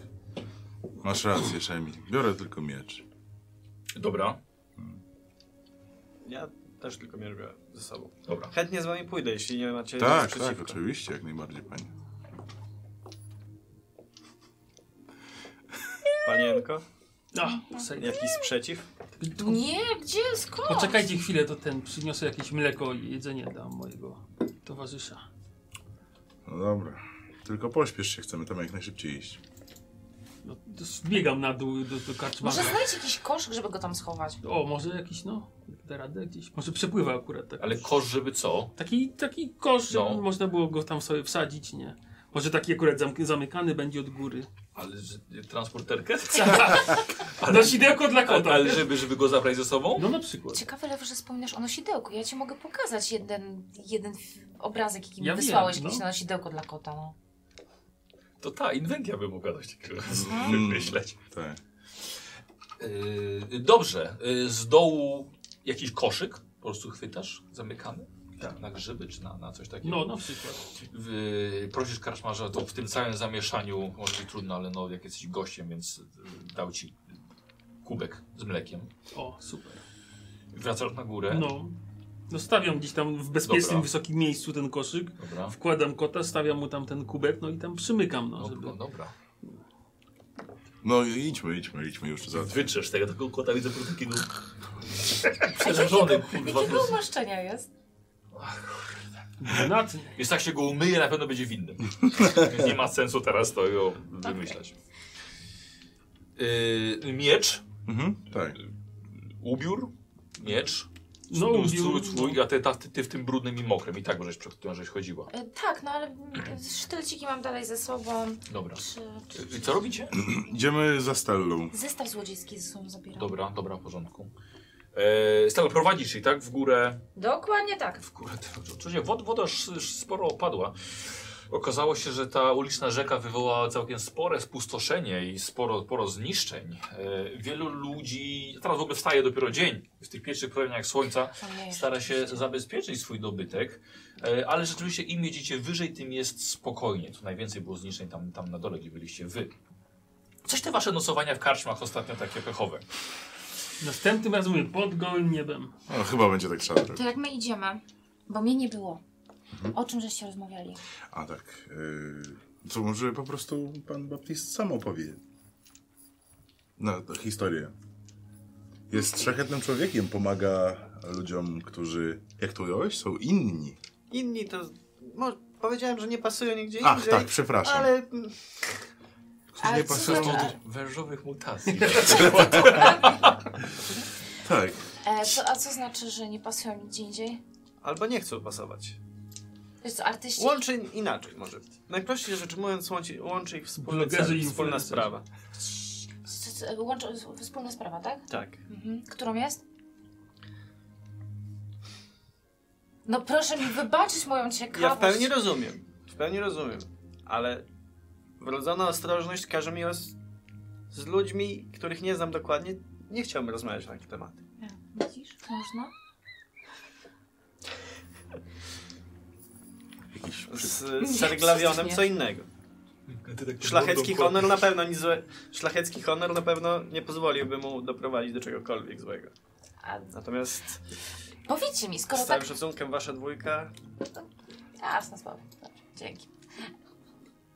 [SPEAKER 2] Masz rację, Szemi. Biorę tylko miecz. Tak,
[SPEAKER 1] Dobra,
[SPEAKER 6] Ja też tylko mierzę ze sobą.
[SPEAKER 1] dobra.
[SPEAKER 6] Chętnie z wami pójdę, jeśli nie macie nic
[SPEAKER 2] Tak, tak,
[SPEAKER 6] przeciwko.
[SPEAKER 2] oczywiście, jak najbardziej, panie.
[SPEAKER 6] Panienko,
[SPEAKER 4] A, sej.
[SPEAKER 6] jakiś sprzeciw?
[SPEAKER 3] Nie, gdzie, skąd?
[SPEAKER 4] Poczekajcie chwilę, to ten przyniosę jakieś mleko i jedzenie dla mojego towarzysza.
[SPEAKER 2] No dobra. Tylko pośpiesz się, chcemy tam jak najszybciej iść.
[SPEAKER 4] No, to zbiegam na dół do, do
[SPEAKER 3] Może
[SPEAKER 4] karczmarza.
[SPEAKER 3] znajdź jakiś koszyk, żeby go tam schować.
[SPEAKER 4] O, może jakiś, no, da radę gdzieś. Może przepływa akurat tak.
[SPEAKER 1] Ale kosz, żeby co?
[SPEAKER 4] Taki, taki kosz,
[SPEAKER 1] No.
[SPEAKER 4] żeby można było go tam sobie wsadzić, nie? Może taki akurat zamk- zamykany będzie od góry.
[SPEAKER 1] Ale że, transporterkę?
[SPEAKER 4] No sidełko dla kota.
[SPEAKER 1] Ale żeby, żeby go zabrać ze sobą?
[SPEAKER 4] No na przykład.
[SPEAKER 3] Ciekawe, Lewo, że wspominasz o nosidełku. Ja ci mogę pokazać jeden, jeden f- obrazek, jaki mi
[SPEAKER 4] Ja wiem,
[SPEAKER 3] wysłałeś
[SPEAKER 4] no.
[SPEAKER 3] kiedyś na nosidełku dla kota. No.
[SPEAKER 1] To ta, inwentia by mogła dać takiego
[SPEAKER 2] Mhm.
[SPEAKER 1] wymyśleć.
[SPEAKER 2] Tak.
[SPEAKER 1] Yy, dobrze, yy, z dołu jakiś koszyk po prostu chwytasz, zamykamy. Tak. Na grzyby czy na, na coś takiego?
[SPEAKER 4] No na przykład.
[SPEAKER 1] Yy, prosisz karczmarza, to w tym całym zamieszaniu może być trudno, ale no jak jesteś gościem, więc yy, dał ci kubek z mlekiem.
[SPEAKER 4] O, super.
[SPEAKER 1] Wracasz na górę.
[SPEAKER 4] No. No stawiam gdzieś tam w bezpiecznym,
[SPEAKER 1] Dobra.
[SPEAKER 4] wysokim miejscu ten koszyk.
[SPEAKER 1] Dobra.
[SPEAKER 4] Wkładam kota, stawiam mu tam ten kubek, no i tam przymykam, no,
[SPEAKER 1] No,
[SPEAKER 4] żeby...
[SPEAKER 1] no, dobra.
[SPEAKER 2] No i idźmy, idźmy, idźmy już za
[SPEAKER 1] Wytrzesz tego, tego kota widzę po takiego przerażony, kurwa.
[SPEAKER 3] Jakiego umaszczenia jest?
[SPEAKER 4] Brunatny.
[SPEAKER 1] Więc tak się go umyje, na pewno będzie winny. Więc nie ma sensu teraz tego wymyślać. Yy, miecz,
[SPEAKER 2] Mhm, tak.
[SPEAKER 1] ubiór, miecz.
[SPEAKER 4] No,
[SPEAKER 1] No,
[SPEAKER 4] ubiór,
[SPEAKER 1] twój, twój, a ty, ta, ty, ty w tym brudnym i mokrym i tak możesz przed którą żeś chodziła.
[SPEAKER 3] E, tak, no ale mm, sztyleciki mam dalej ze sobą.
[SPEAKER 1] Dobra.
[SPEAKER 3] Czy, czy...
[SPEAKER 1] Yy, co robicie?
[SPEAKER 2] Idziemy za Stellą.
[SPEAKER 3] Zestaw złodziejski ze sobą zabieram.
[SPEAKER 1] Dobra, dobra, w porządku. Yy, Stale prowadzisz i tak w górę.
[SPEAKER 3] Dokładnie tak.
[SPEAKER 1] W górę. Oczywiście wod, woda sz- sz- sporo opadła. Okazało się, że ta uliczna rzeka wywołała całkiem spore spustoszenie i sporo, sporo zniszczeń. E, wielu ludzi, teraz w ogóle wstaje dopiero dzień, w tych pierwszych promieniach słońca,
[SPEAKER 3] Ojej,
[SPEAKER 1] stara się
[SPEAKER 3] rzeczywiście.
[SPEAKER 1] zabezpieczyć swój dobytek, e, ale rzeczywiście im jedziecie wyżej, tym jest spokojnie. Tu najwięcej było zniszczeń tam, tam na dole, gdzie byliście wy. Coś te wasze nocowania w karczmach ostatnio takie pechowe.
[SPEAKER 4] Następnym razem mówię, pod gołym niebem.
[SPEAKER 2] No, chyba będzie tak trzeba
[SPEAKER 3] To
[SPEAKER 2] zrobić.
[SPEAKER 3] jak my
[SPEAKER 6] Mhm.
[SPEAKER 3] idziemy, bo mnie nie było. O czym żeście rozmawiali?
[SPEAKER 2] A tak, yy, Co może po prostu pan Baptist sam opowie. No, to historię. Jest szlachetnym człowiekiem, pomaga ludziom, którzy, jak to ująłeś, są inni.
[SPEAKER 6] Inni to... Mo, powiedziałem, że nie pasują nigdzie
[SPEAKER 2] Ach,
[SPEAKER 6] indziej.
[SPEAKER 2] tak, przepraszam.
[SPEAKER 6] Ale mm,
[SPEAKER 2] Którzy nie
[SPEAKER 3] Ale co
[SPEAKER 2] pasują
[SPEAKER 3] za-
[SPEAKER 2] do...
[SPEAKER 1] Wężowych mutacji.
[SPEAKER 2] Tak.
[SPEAKER 3] E, co, a co znaczy, że nie pasują nigdzie indziej?
[SPEAKER 6] albo nie chcą pasować.
[SPEAKER 3] To jest co, artyści?
[SPEAKER 6] Łączy inaczej może. Najprościej rzecz mówiąc, łączy, łączy ich wspólny
[SPEAKER 4] Blogerzy
[SPEAKER 6] cel,
[SPEAKER 4] i
[SPEAKER 6] wspólna
[SPEAKER 4] influencerzy.
[SPEAKER 6] sprawa.
[SPEAKER 3] Co- co- Łączą, wspólna sprawa, tak?
[SPEAKER 6] Tak.
[SPEAKER 3] Mhm. Którą jest? No proszę mi wybaczyć moją ciekawość.
[SPEAKER 6] Ja w pełni rozumiem. W pełni rozumiem. Ale wrodzona ostrożność każe mi os... z ludźmi, których nie znam dokładnie, nie chciałbym rozmawiać na takie tematy.
[SPEAKER 3] Widzisz? Można?
[SPEAKER 2] Jakiś
[SPEAKER 6] Z,
[SPEAKER 2] przy...
[SPEAKER 6] z serglawionem
[SPEAKER 3] Nie.
[SPEAKER 6] co innego.
[SPEAKER 1] tak
[SPEAKER 6] Szlachecki honor na pewno nic złe... Szlachecki honor na pewno nie pozwoliłby mu doprowadzić do czegokolwiek złego.
[SPEAKER 3] A,
[SPEAKER 6] Natomiast
[SPEAKER 3] powiedzcie mi, skoro
[SPEAKER 6] z całym
[SPEAKER 3] tak...
[SPEAKER 6] szacunkiem wasza dwójka...
[SPEAKER 3] Jasna sprawa. Dobrze, Dzięki.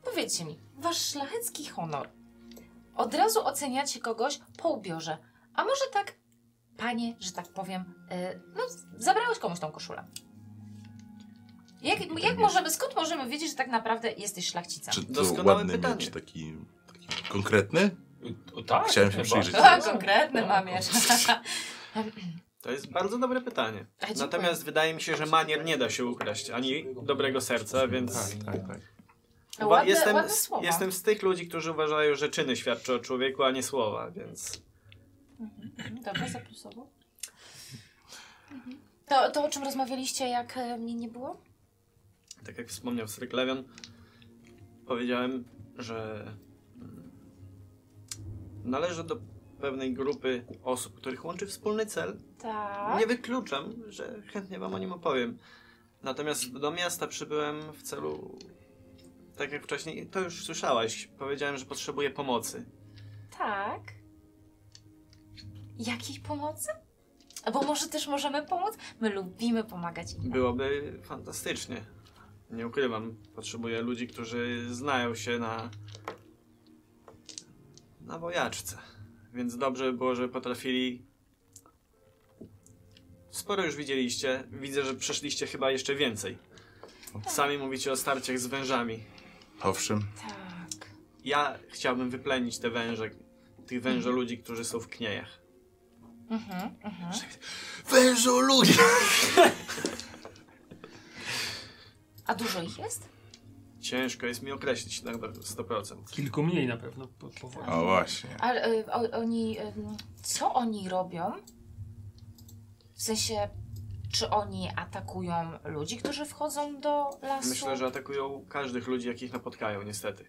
[SPEAKER 3] Powiedzcie mi, wasz szlachecki honor. Od razu oceniacie kogoś po ubiorze. A może tak, panie, że tak powiem, y, no, zabrałeś komuś tą koszulę.
[SPEAKER 6] Tak
[SPEAKER 3] Jak, jak możemy, skąd możemy wiedzieć, że tak naprawdę jesteś szlachcicem?
[SPEAKER 2] Czy to
[SPEAKER 6] Doskonałe
[SPEAKER 2] ładny
[SPEAKER 6] pytanie.
[SPEAKER 2] miecz taki, taki konkretny?
[SPEAKER 1] O, tak,
[SPEAKER 2] Chciałem się
[SPEAKER 1] chyba.
[SPEAKER 2] przyjrzeć.
[SPEAKER 3] A, konkretny mam
[SPEAKER 6] To jest bardzo dobre pytanie.
[SPEAKER 3] A, dziękuję.
[SPEAKER 6] Natomiast wydaje mi się, że manier nie da się ukraść, ani dobrego serca, więc...
[SPEAKER 2] Tak, tak.
[SPEAKER 6] Uwa-
[SPEAKER 3] Ładne,
[SPEAKER 6] jestem,
[SPEAKER 3] ładne
[SPEAKER 6] z-
[SPEAKER 3] słowa.
[SPEAKER 6] jestem z tych ludzi, którzy uważają, że czyny świadczą o człowieku, a nie słowa, więc
[SPEAKER 3] Dobra, zaplusowo. To, to, o czym rozmawialiście, jak e, mnie nie było?
[SPEAKER 6] tak jak wspomniał Stryklewion, powiedziałem, że mm, należę do pewnej grupy osób, których łączy wspólny cel.
[SPEAKER 3] Tak.
[SPEAKER 6] Nie wykluczam, że chętnie wam o nim opowiem. Natomiast do miasta przybyłem w celu, tak jak wcześniej, to już słyszałaś, powiedziałem, że potrzebuję pomocy.
[SPEAKER 3] Tak. Jakiej pomocy? Albo może też możemy pomóc? My lubimy pomagać innym.
[SPEAKER 6] Byłoby fantastycznie. Nie ukrywam, potrzebuję ludzi, którzy znają się na. na wojaczce. Więc dobrze by było, żeby potrafili. Sporo już widzieliście. Widzę, że przeszliście chyba jeszcze więcej. Sami mówicie o starciach z wężami.
[SPEAKER 2] Owszem.
[SPEAKER 3] Tak.
[SPEAKER 6] Ja chciałbym wyplenić te węże, tych wężo ludzi, którzy są w kniejach.
[SPEAKER 3] Mhm, mhm.
[SPEAKER 2] Wężu ludzie!
[SPEAKER 3] A dużo ich jest?
[SPEAKER 6] Ciężko jest mi określić tak do 100%.
[SPEAKER 4] Kilku mniej na pewno po, po wojnie.
[SPEAKER 2] O właśnie.
[SPEAKER 3] Ale e, o, oni. e, co oni robią? W sensie, czy oni atakują ludzi, którzy wchodzą do lasu?
[SPEAKER 6] Myślę, że atakują każdych ludzi, jakich napotkają, niestety.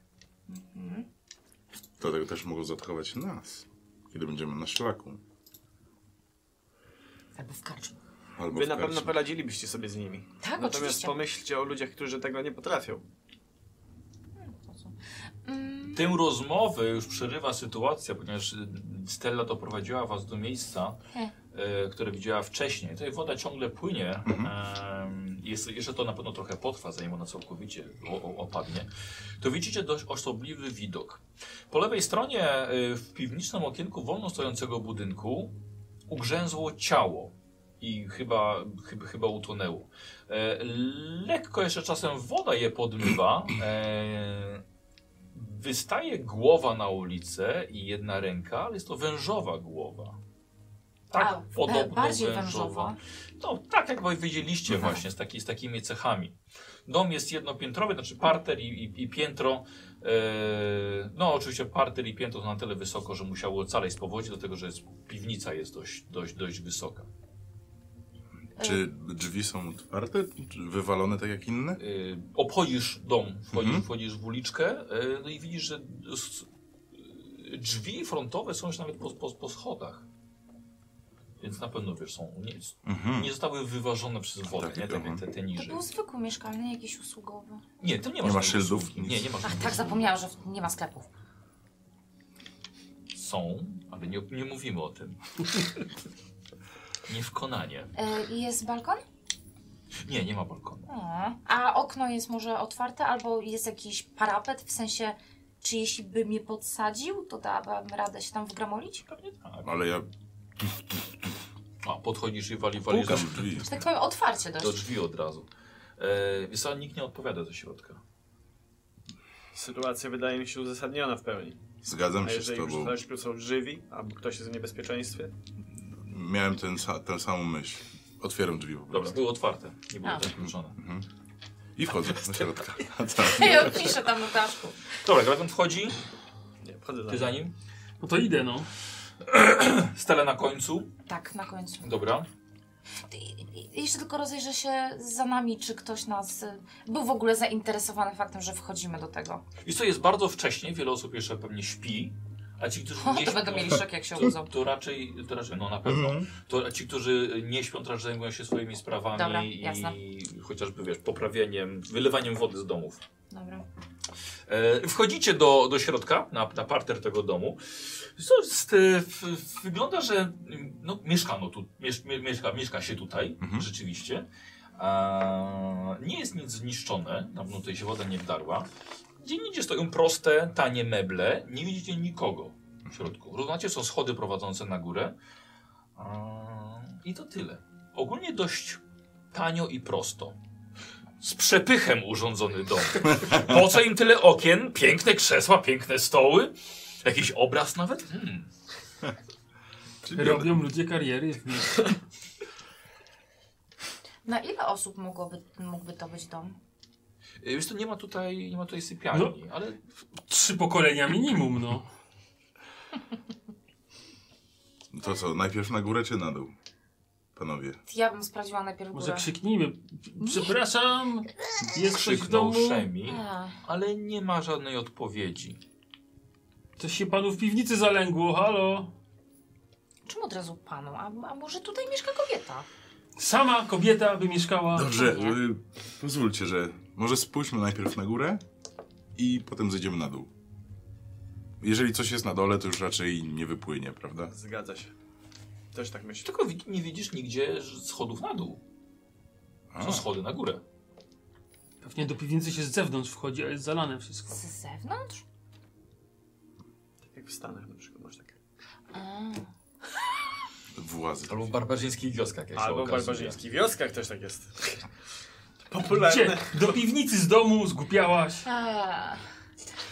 [SPEAKER 3] Mhm.
[SPEAKER 2] Dlatego też mogą zaatakować nas, kiedy będziemy na szlaku.
[SPEAKER 3] Albo w karczmie.
[SPEAKER 2] Albo
[SPEAKER 6] Wy
[SPEAKER 2] w
[SPEAKER 6] na pewno
[SPEAKER 2] karczmie.
[SPEAKER 6] poradzilibyście sobie z nimi.
[SPEAKER 3] Tak,
[SPEAKER 6] Natomiast
[SPEAKER 3] oczywiście.
[SPEAKER 6] pomyślcie o ludziach, którzy tego nie potrafią.
[SPEAKER 3] Mm,
[SPEAKER 1] Tę rozmowę już przerywa sytuacja, ponieważ y, Stella doprowadziła was do miejsca,
[SPEAKER 3] Hmm.
[SPEAKER 1] y, które widziała wcześniej. Tutaj woda ciągle płynie.
[SPEAKER 2] Mhm.
[SPEAKER 1] em, Jest, jeszcze to na pewno trochę potrwa, zanim ona całkowicie o, o, opadnie. To widzicie dość osobliwy widok. Po lewej stronie y, w piwnicznym okienku wolno stojącego budynku ugrzęzło ciało i chyba, chyba, chyba utonęło. E, lekko jeszcze czasem woda je podmywa. E, Wystaje głowa na ulicę i jedna ręka, ale jest to wężowa głowa. Tak,
[SPEAKER 3] A,
[SPEAKER 1] podobno
[SPEAKER 3] e, bardziej
[SPEAKER 1] wężowa.
[SPEAKER 3] wężowa.
[SPEAKER 1] No, tak jak wy widzieliście
[SPEAKER 2] Mhm.
[SPEAKER 1] właśnie, z, taki, z takimi cechami. Dom jest jednopiętrowy, znaczy parter i, i, i piętro. e, no oczywiście parter i piętro to na tyle wysoko, że musiało ocaleć z powodzi, dlatego że jest, piwnica jest dość, dość, dość wysoka.
[SPEAKER 2] Czy drzwi są otwarte? Czy wywalone tak jak inne?
[SPEAKER 1] Y, obchodzisz dom, wchodzisz,
[SPEAKER 2] Mhm.
[SPEAKER 1] wchodzisz w uliczkę y, no i widzisz, że s- y, drzwi frontowe są już nawet po, po, po schodach. Więc na pewno wiesz, są nie,
[SPEAKER 2] Mhm.
[SPEAKER 1] nie zostały wyważone przez wodę,
[SPEAKER 2] Tak,
[SPEAKER 1] nie? Tak
[SPEAKER 2] mhm.
[SPEAKER 1] jak te, te
[SPEAKER 3] To
[SPEAKER 1] niżej.
[SPEAKER 3] był zwykły mieszkalny, jakiś usługowy.
[SPEAKER 1] Nie, ty nie masz.
[SPEAKER 2] ma
[SPEAKER 1] tej
[SPEAKER 2] szyldów,
[SPEAKER 1] usługi.
[SPEAKER 2] nic.
[SPEAKER 1] Nie, nie masz.
[SPEAKER 3] Ach, tak, zapomniałam, że w- nie ma sklepów.
[SPEAKER 1] Są, ale nie, nie mówimy o tym. nie w Konanie.
[SPEAKER 3] Y, E, i jest balkon?
[SPEAKER 1] Nie, nie ma balkonu.
[SPEAKER 3] A, A okno jest może otwarte, albo jest jakiś parapet, w sensie, czy jeśli by mnie podsadził, to dałabym radę się tam wgramolić?
[SPEAKER 1] Pewnie tak.
[SPEAKER 2] Ale ja
[SPEAKER 1] A, podchodzisz i wali walizę
[SPEAKER 2] pukam w drzwi.
[SPEAKER 3] Że tak powiem, otwarcie
[SPEAKER 1] do
[SPEAKER 3] dość.
[SPEAKER 1] drzwi od razu. E, wiesz co, nikt nie odpowiada ze środka.
[SPEAKER 6] Sytuacja wydaje mi się uzasadniona w pełni.
[SPEAKER 2] Zgadzam
[SPEAKER 6] A
[SPEAKER 2] się z
[SPEAKER 6] jeżeli już
[SPEAKER 2] tobą.
[SPEAKER 6] należy są żywi, albo ktoś jest w niebezpieczeństwie,
[SPEAKER 2] Miałem ten, sa- tę samą myśl. Otwieram drzwi po
[SPEAKER 1] Dobra,
[SPEAKER 2] prostu.
[SPEAKER 1] były otwarte, nie były
[SPEAKER 3] A.
[SPEAKER 1] zakluczone.
[SPEAKER 2] I wchodzę do środka. A tak.
[SPEAKER 3] Ja piszę tam notatku.
[SPEAKER 1] Dobra, Graven wchodzi,
[SPEAKER 6] nie, wchodzę
[SPEAKER 1] ty
[SPEAKER 6] za
[SPEAKER 1] za
[SPEAKER 6] nim.
[SPEAKER 1] nim.
[SPEAKER 4] No to idę, no.
[SPEAKER 1] Stele na końcu,
[SPEAKER 3] Tak, na końcu.
[SPEAKER 1] dobra.
[SPEAKER 3] I- i- Jeszcze tylko rozejrzę się za nami, czy ktoś nas y, był w ogóle zainteresowany faktem, że wchodzimy do tego.
[SPEAKER 1] I co, jest bardzo wcześnie, wiele osób jeszcze pewnie śpi, a ci, którzy
[SPEAKER 3] O,
[SPEAKER 1] nie
[SPEAKER 3] to
[SPEAKER 1] śpią,
[SPEAKER 3] będą mieli szok, jak się
[SPEAKER 1] to,
[SPEAKER 3] obudzą.
[SPEAKER 1] to raczej, to raczej, no na pewno.
[SPEAKER 2] Mhm.
[SPEAKER 1] To ci, którzy nie śpią, to raczej zajmują się swoimi sprawami
[SPEAKER 3] Dobra, jasne.
[SPEAKER 1] i chociażby, wiesz, poprawieniem, wylewaniem wody z domów.
[SPEAKER 3] Dobra.
[SPEAKER 1] E, wchodzicie do, do środka, na, na parter tego domu. Co, z, e, w, w- wygląda, że mm, no, mieszkano tu, miesz, mie- mieszka, mieszka się tutaj,
[SPEAKER 2] Mhm.
[SPEAKER 1] rzeczywiście. A, nie jest nic zniszczone, tam no, tutaj się woda nie wdarła. Gdzie indziej stoją proste, tanie meble, nie widzicie nikogo w środku. Rozumiecie, są schody prowadzące na górę. A, I to tyle. Ogólnie dość tanio i prosto. Z przepychem urządzony dom. Po co im tyle okien? Piękne krzesła, piękne stoły. Jakiś obraz nawet? Hmm.
[SPEAKER 2] Czyli biorę-
[SPEAKER 4] Robią ludzie kariery w mieście.
[SPEAKER 3] Na ile osób mogłoby, mógłby to być dom?
[SPEAKER 1] Y, Wiesz, to nie ma tutaj, nie ma tutaj sypialni, ale
[SPEAKER 4] Trzy pokolenia minimum, no.
[SPEAKER 2] To co, najpierw na górę czy na dół? Panowie.
[SPEAKER 3] Ja bym sprawdziła najpierw
[SPEAKER 4] Może
[SPEAKER 3] górę.
[SPEAKER 4] krzyknijmy. Przepraszam, jest ktoś w
[SPEAKER 1] krzyknął
[SPEAKER 4] domu.
[SPEAKER 1] Szemi,
[SPEAKER 3] A,
[SPEAKER 1] ale nie ma żadnej odpowiedzi.
[SPEAKER 4] Coś się panu w piwnicy zalęgło, halo.
[SPEAKER 3] Czemu od razu panu? A, a może tutaj mieszka kobieta?
[SPEAKER 4] Sama kobieta by mieszkała.
[SPEAKER 2] Dobrze,
[SPEAKER 6] tak.
[SPEAKER 3] nie.
[SPEAKER 2] y, pozwólcie, że może spójrzmy najpierw na górę i potem zejdziemy na dół. Jeżeli coś jest na dole, to już raczej nie wypłynie, prawda?
[SPEAKER 6] Zgadza się. Też tak myślę.
[SPEAKER 1] Tylko wi- nie widzisz nigdzie ż- schodów na dół. Są
[SPEAKER 2] A,
[SPEAKER 1] schody na górę.
[SPEAKER 4] Pewnie do piwnicy się z zewnątrz wchodzi, a jest zalane wszystko.
[SPEAKER 3] Z zewnątrz?
[SPEAKER 6] Tak jak w Stanach na przykład masz tak.
[SPEAKER 3] A.
[SPEAKER 2] włazy.
[SPEAKER 1] w barbarzyńskich wioskach, jak
[SPEAKER 6] Albo w barbarzyńskich wioskach też tak jest. Popularne.
[SPEAKER 4] Gdzie? Do piwnicy z domu zgłupiałaś.
[SPEAKER 3] A.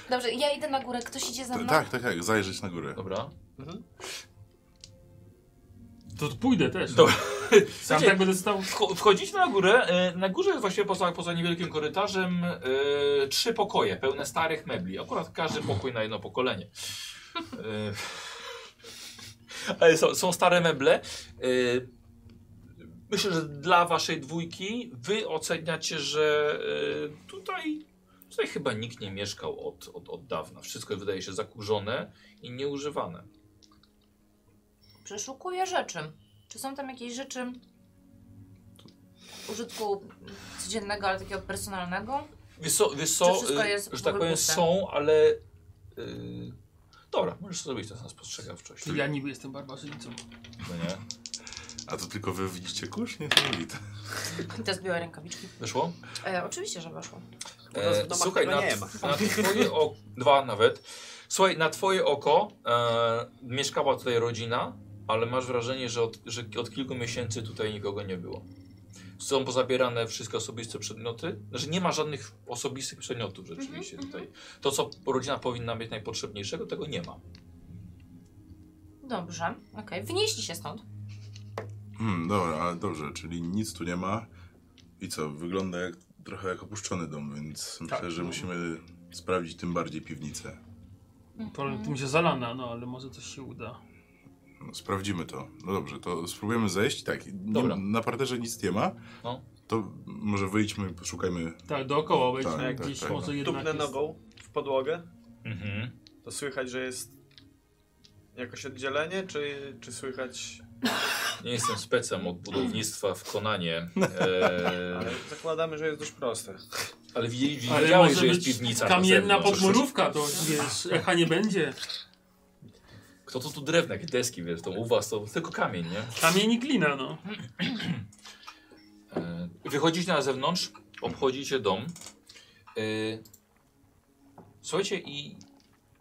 [SPEAKER 3] Dobrze, ja idę na górę. Ktoś idzie za
[SPEAKER 2] T-
[SPEAKER 3] mną?
[SPEAKER 2] tak, tak, tak, zajrzeć na górę.
[SPEAKER 1] Dobra.
[SPEAKER 4] To pójdę też.
[SPEAKER 1] Dobra.
[SPEAKER 4] Sam
[SPEAKER 1] Słuchajcie,
[SPEAKER 4] tak będę stał.
[SPEAKER 1] Wcho- Wchodzicie na górę. e, Na górze jest właśnie poza, poza niewielkim korytarzem e, trzy pokoje pełne starych mebli. Akurat każdy pokój na jedno pokolenie. E, Ale są, są stare meble. E, Myślę, że dla waszej dwójki wy oceniacie, że e, tutaj, tutaj chyba nikt nie mieszkał od, od, od dawna. Wszystko wydaje się zakurzone i nieużywane.
[SPEAKER 3] Przeszukuję rzeczy. Czy są tam jakieś rzeczy użytku codziennego, ale takiego personalnego?
[SPEAKER 1] Wiesz co, wiesz
[SPEAKER 3] Czy
[SPEAKER 1] co
[SPEAKER 3] wszystko
[SPEAKER 1] y,
[SPEAKER 3] jest
[SPEAKER 1] że
[SPEAKER 3] w
[SPEAKER 1] tak
[SPEAKER 3] ogóle
[SPEAKER 1] powiem
[SPEAKER 3] puste?
[SPEAKER 1] są, ale... y, dobra, możesz to zrobić to na spostrzegawczość.
[SPEAKER 4] Czyli ja niby jestem barbarzyńcą.
[SPEAKER 1] No nie?
[SPEAKER 2] A to tylko wy widzicie kurz? Nie, to nie widzę.
[SPEAKER 3] Te zbiorę rękawiczki.
[SPEAKER 1] Wyszło? E,
[SPEAKER 3] E, oczywiście, że weszło.
[SPEAKER 6] U nas w domach
[SPEAKER 1] słuchaj,
[SPEAKER 6] tego
[SPEAKER 1] na,
[SPEAKER 6] nie ma.
[SPEAKER 1] na twoje oko... Dwa nawet. Słuchaj, na twoje oko e, mieszkała tutaj rodzina, ale masz wrażenie, że od, że od kilku miesięcy tutaj nikogo nie było. Są pozabierane wszystkie osobiste przedmioty. Znaczy nie ma żadnych osobistych przedmiotów rzeczywiście
[SPEAKER 3] Mhm,
[SPEAKER 1] tutaj. To, co rodzina powinna mieć najpotrzebniejszego, tego nie ma.
[SPEAKER 3] Dobrze, okej. Wynieśli się stąd.
[SPEAKER 2] Hmm, dobra, ale dobrze, czyli nic tu nie ma. I co, wygląda jak, trochę jak opuszczony dom, więc myślę, że musimy sprawdzić tym bardziej piwnicę.
[SPEAKER 4] Problem w tym, że zalana, no ale może coś się uda.
[SPEAKER 2] No, sprawdzimy to. No dobrze, to spróbujemy zejść. Tak, nie,
[SPEAKER 1] Dobra.
[SPEAKER 2] na parterze nic nie ma.
[SPEAKER 1] No.
[SPEAKER 2] To może wyjdźmy, poszukajmy.
[SPEAKER 4] Tak, dookoła wejdźmy,
[SPEAKER 2] Tak,
[SPEAKER 4] gdzieś
[SPEAKER 2] tak, tak,
[SPEAKER 4] może
[SPEAKER 2] tak.
[SPEAKER 4] jednak
[SPEAKER 6] Tupnę
[SPEAKER 4] jest...
[SPEAKER 6] nogą w podłogę,
[SPEAKER 1] Mhm.
[SPEAKER 6] to słychać, że jest jakoś oddzielenie, czy, czy słychać...
[SPEAKER 1] Nie jestem specem od budownictwa w Konanie,
[SPEAKER 6] Ale
[SPEAKER 1] e,
[SPEAKER 6] zakładamy, że jest dość proste.
[SPEAKER 1] ale widzieli-
[SPEAKER 4] Ale
[SPEAKER 1] widziałeś,
[SPEAKER 4] może
[SPEAKER 1] że jest
[SPEAKER 4] być
[SPEAKER 1] piwnica
[SPEAKER 4] Kamienna
[SPEAKER 1] na zewnątrz.
[SPEAKER 4] podmurówka, to wiesz, echa nie będzie.
[SPEAKER 1] Znaczy, Kto to tu drewno, jakie deski, wiesz, to u was to tylko kamień, nie?
[SPEAKER 4] Kamień i glina, no.
[SPEAKER 1] E, Wychodzicie na zewnątrz, obchodzicie dom. Y, Słuchajcie i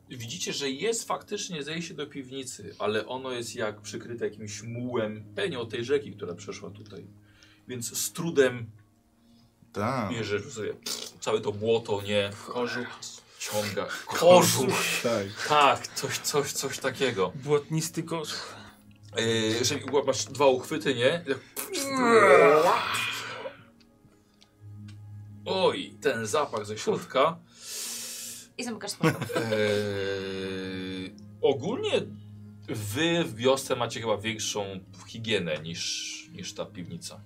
[SPEAKER 1] widzicie, że jest faktycznie zejście do piwnicy, ale ono jest jak przykryte jakimś mułem, penią tej rzeki, która przeszła tutaj. Więc z trudem
[SPEAKER 2] Tak,
[SPEAKER 1] bierzesz sobie całe to błoto, nie? Kożuch. Ciąga. Kożuch!
[SPEAKER 2] tak.
[SPEAKER 1] Tak, coś, coś, coś takiego.
[SPEAKER 4] Błotnisty kosz.
[SPEAKER 1] Yy, jeżeli masz dwa uchwyty, nie? Oj, ten zapach ze środka.
[SPEAKER 3] I zamykasz spoko.
[SPEAKER 1] Eee, ogólnie wy w wiosce macie chyba większą higienę niż, niż ta piwnica.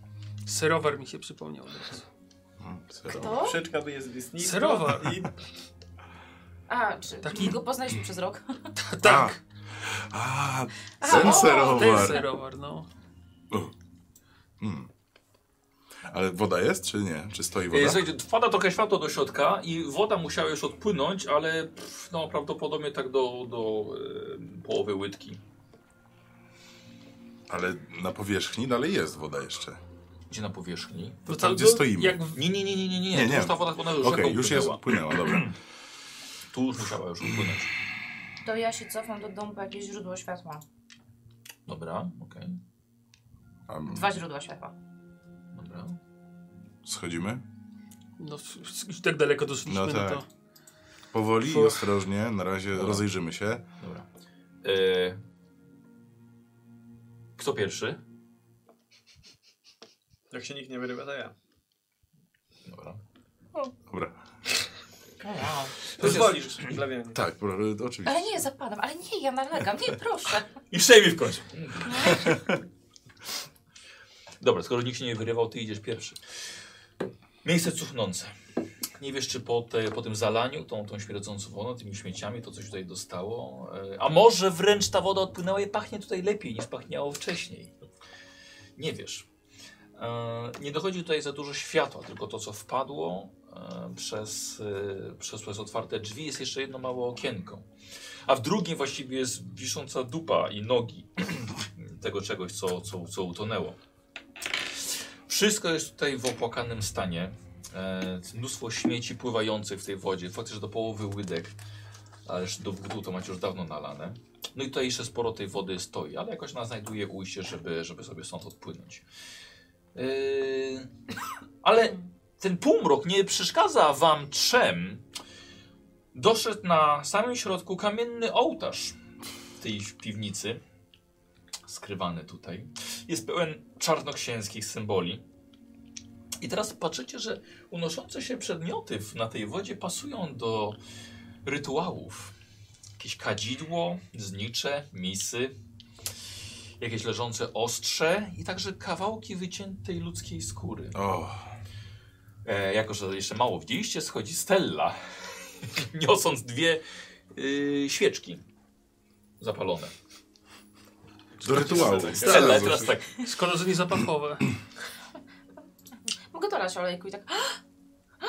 [SPEAKER 4] Serowar mi się przypomniał od razu.
[SPEAKER 3] Kto?
[SPEAKER 6] Szyczka by jest listnictwo.
[SPEAKER 4] Serowa.
[SPEAKER 6] I
[SPEAKER 3] A, czy
[SPEAKER 4] Taki-
[SPEAKER 3] Taki... go poznaliśmy przez rok?
[SPEAKER 4] Ta, tak,
[SPEAKER 2] A,
[SPEAKER 3] A,
[SPEAKER 2] ten
[SPEAKER 3] o,
[SPEAKER 4] ten
[SPEAKER 2] serowar.
[SPEAKER 4] serowar, no.
[SPEAKER 2] Mm. Ale woda jest, czy nie? Czy stoi
[SPEAKER 1] Eee,
[SPEAKER 2] woda?
[SPEAKER 1] słuchajcie, wpada trochę światło do środka i woda musiała już odpłynąć, ale pff, no, prawdopodobnie tak do, do eee, połowy łydki.
[SPEAKER 2] Ale na powierzchni dalej jest woda jeszcze.
[SPEAKER 1] Gdzie na powierzchni?
[SPEAKER 4] No
[SPEAKER 1] tak
[SPEAKER 4] To
[SPEAKER 2] tam, gdzie stoimy.
[SPEAKER 4] Jak
[SPEAKER 1] Nie, nie, nie, nie, nie, nie.
[SPEAKER 2] Nie,
[SPEAKER 1] nie,
[SPEAKER 2] nie.
[SPEAKER 1] Już ta woda ona już
[SPEAKER 2] Okej,
[SPEAKER 1] rzeką
[SPEAKER 2] już jest,
[SPEAKER 1] płynęła.
[SPEAKER 2] płynęła, dobra.
[SPEAKER 1] Tu już musiała już upłynąć.
[SPEAKER 3] To ja się cofam do domu po jakieś źródło światła.
[SPEAKER 1] Dobra, okej.
[SPEAKER 2] A m-
[SPEAKER 3] Dwa źródła światła.
[SPEAKER 1] Dobra.
[SPEAKER 2] schodzimy?
[SPEAKER 4] no, s- s- tak daleko doszliśmy,
[SPEAKER 2] No
[SPEAKER 4] no,
[SPEAKER 2] tak.
[SPEAKER 4] to...
[SPEAKER 2] Powoli i
[SPEAKER 4] Fuh.
[SPEAKER 2] ostrożnie, na razie
[SPEAKER 1] Dobra.
[SPEAKER 2] rozejrzymy się.
[SPEAKER 1] Dobra. E... Kto pierwszy?
[SPEAKER 6] jak się nikt nie wyrywa, to ja.
[SPEAKER 1] Dobra.
[SPEAKER 2] Dobra.
[SPEAKER 6] Pozwolisz, lewianie.
[SPEAKER 2] Tak, pro- oczywiście.
[SPEAKER 3] Ale nie, zapadam, ale nie, ja nalegam, nie, proszę.
[SPEAKER 1] I Szejmi w końcu. Dobra, skoro nikt się nie wyrywał, ty idziesz pierwszy. Miejsce cuchnące. Nie wiesz, czy po, te, po tym zalaniu, tą, tą śmierdzącą wodą, tymi śmieciami, to coś tutaj dostało. e, A może wręcz ta woda odpłynęła i pachnie tutaj lepiej niż pachniało wcześniej. Nie wiesz. E, Nie dochodzi tutaj za dużo światła, tylko to, co wpadło e, przez, e, przez, przez otwarte drzwi, jest jeszcze jedno małe okienko. A w drugim właściwie jest wisząca dupa i nogi tego czegoś, co, co, co utonęło. Wszystko jest tutaj w opłakanym stanie. E, mnóstwo śmieci pływających w tej wodzie, faktycznie do połowy łydek, ależ do wódu to macie już dawno nalane. No i tutaj jeszcze sporo tej wody stoi, ale jakoś ona znajduje ujście, żeby, żeby sobie stąd odpłynąć. E, ale ten półmrok nie przeszkadza wam trzem, Doszedł na samym środku kamienny ołtarz w tej piwnicy, skrywany tutaj. Jest pełen czarnoksięskich symboli. I teraz patrzycie, że unoszące się przedmioty w- na tej wodzie pasują do rytuałów. Jakieś kadzidło, znicze, misy, jakieś leżące ostrze i także kawałki wyciętej ludzkiej skóry.
[SPEAKER 2] O,
[SPEAKER 1] E, jako, że jeszcze mało widzieliście, schodzi Stella, niosąc dwie y, świeczki zapalone.
[SPEAKER 2] do rytuału.
[SPEAKER 1] Stella teraz tak.
[SPEAKER 4] Szkoda, że nie zapachowe.
[SPEAKER 3] Mogę dolać olejku i tak, "A,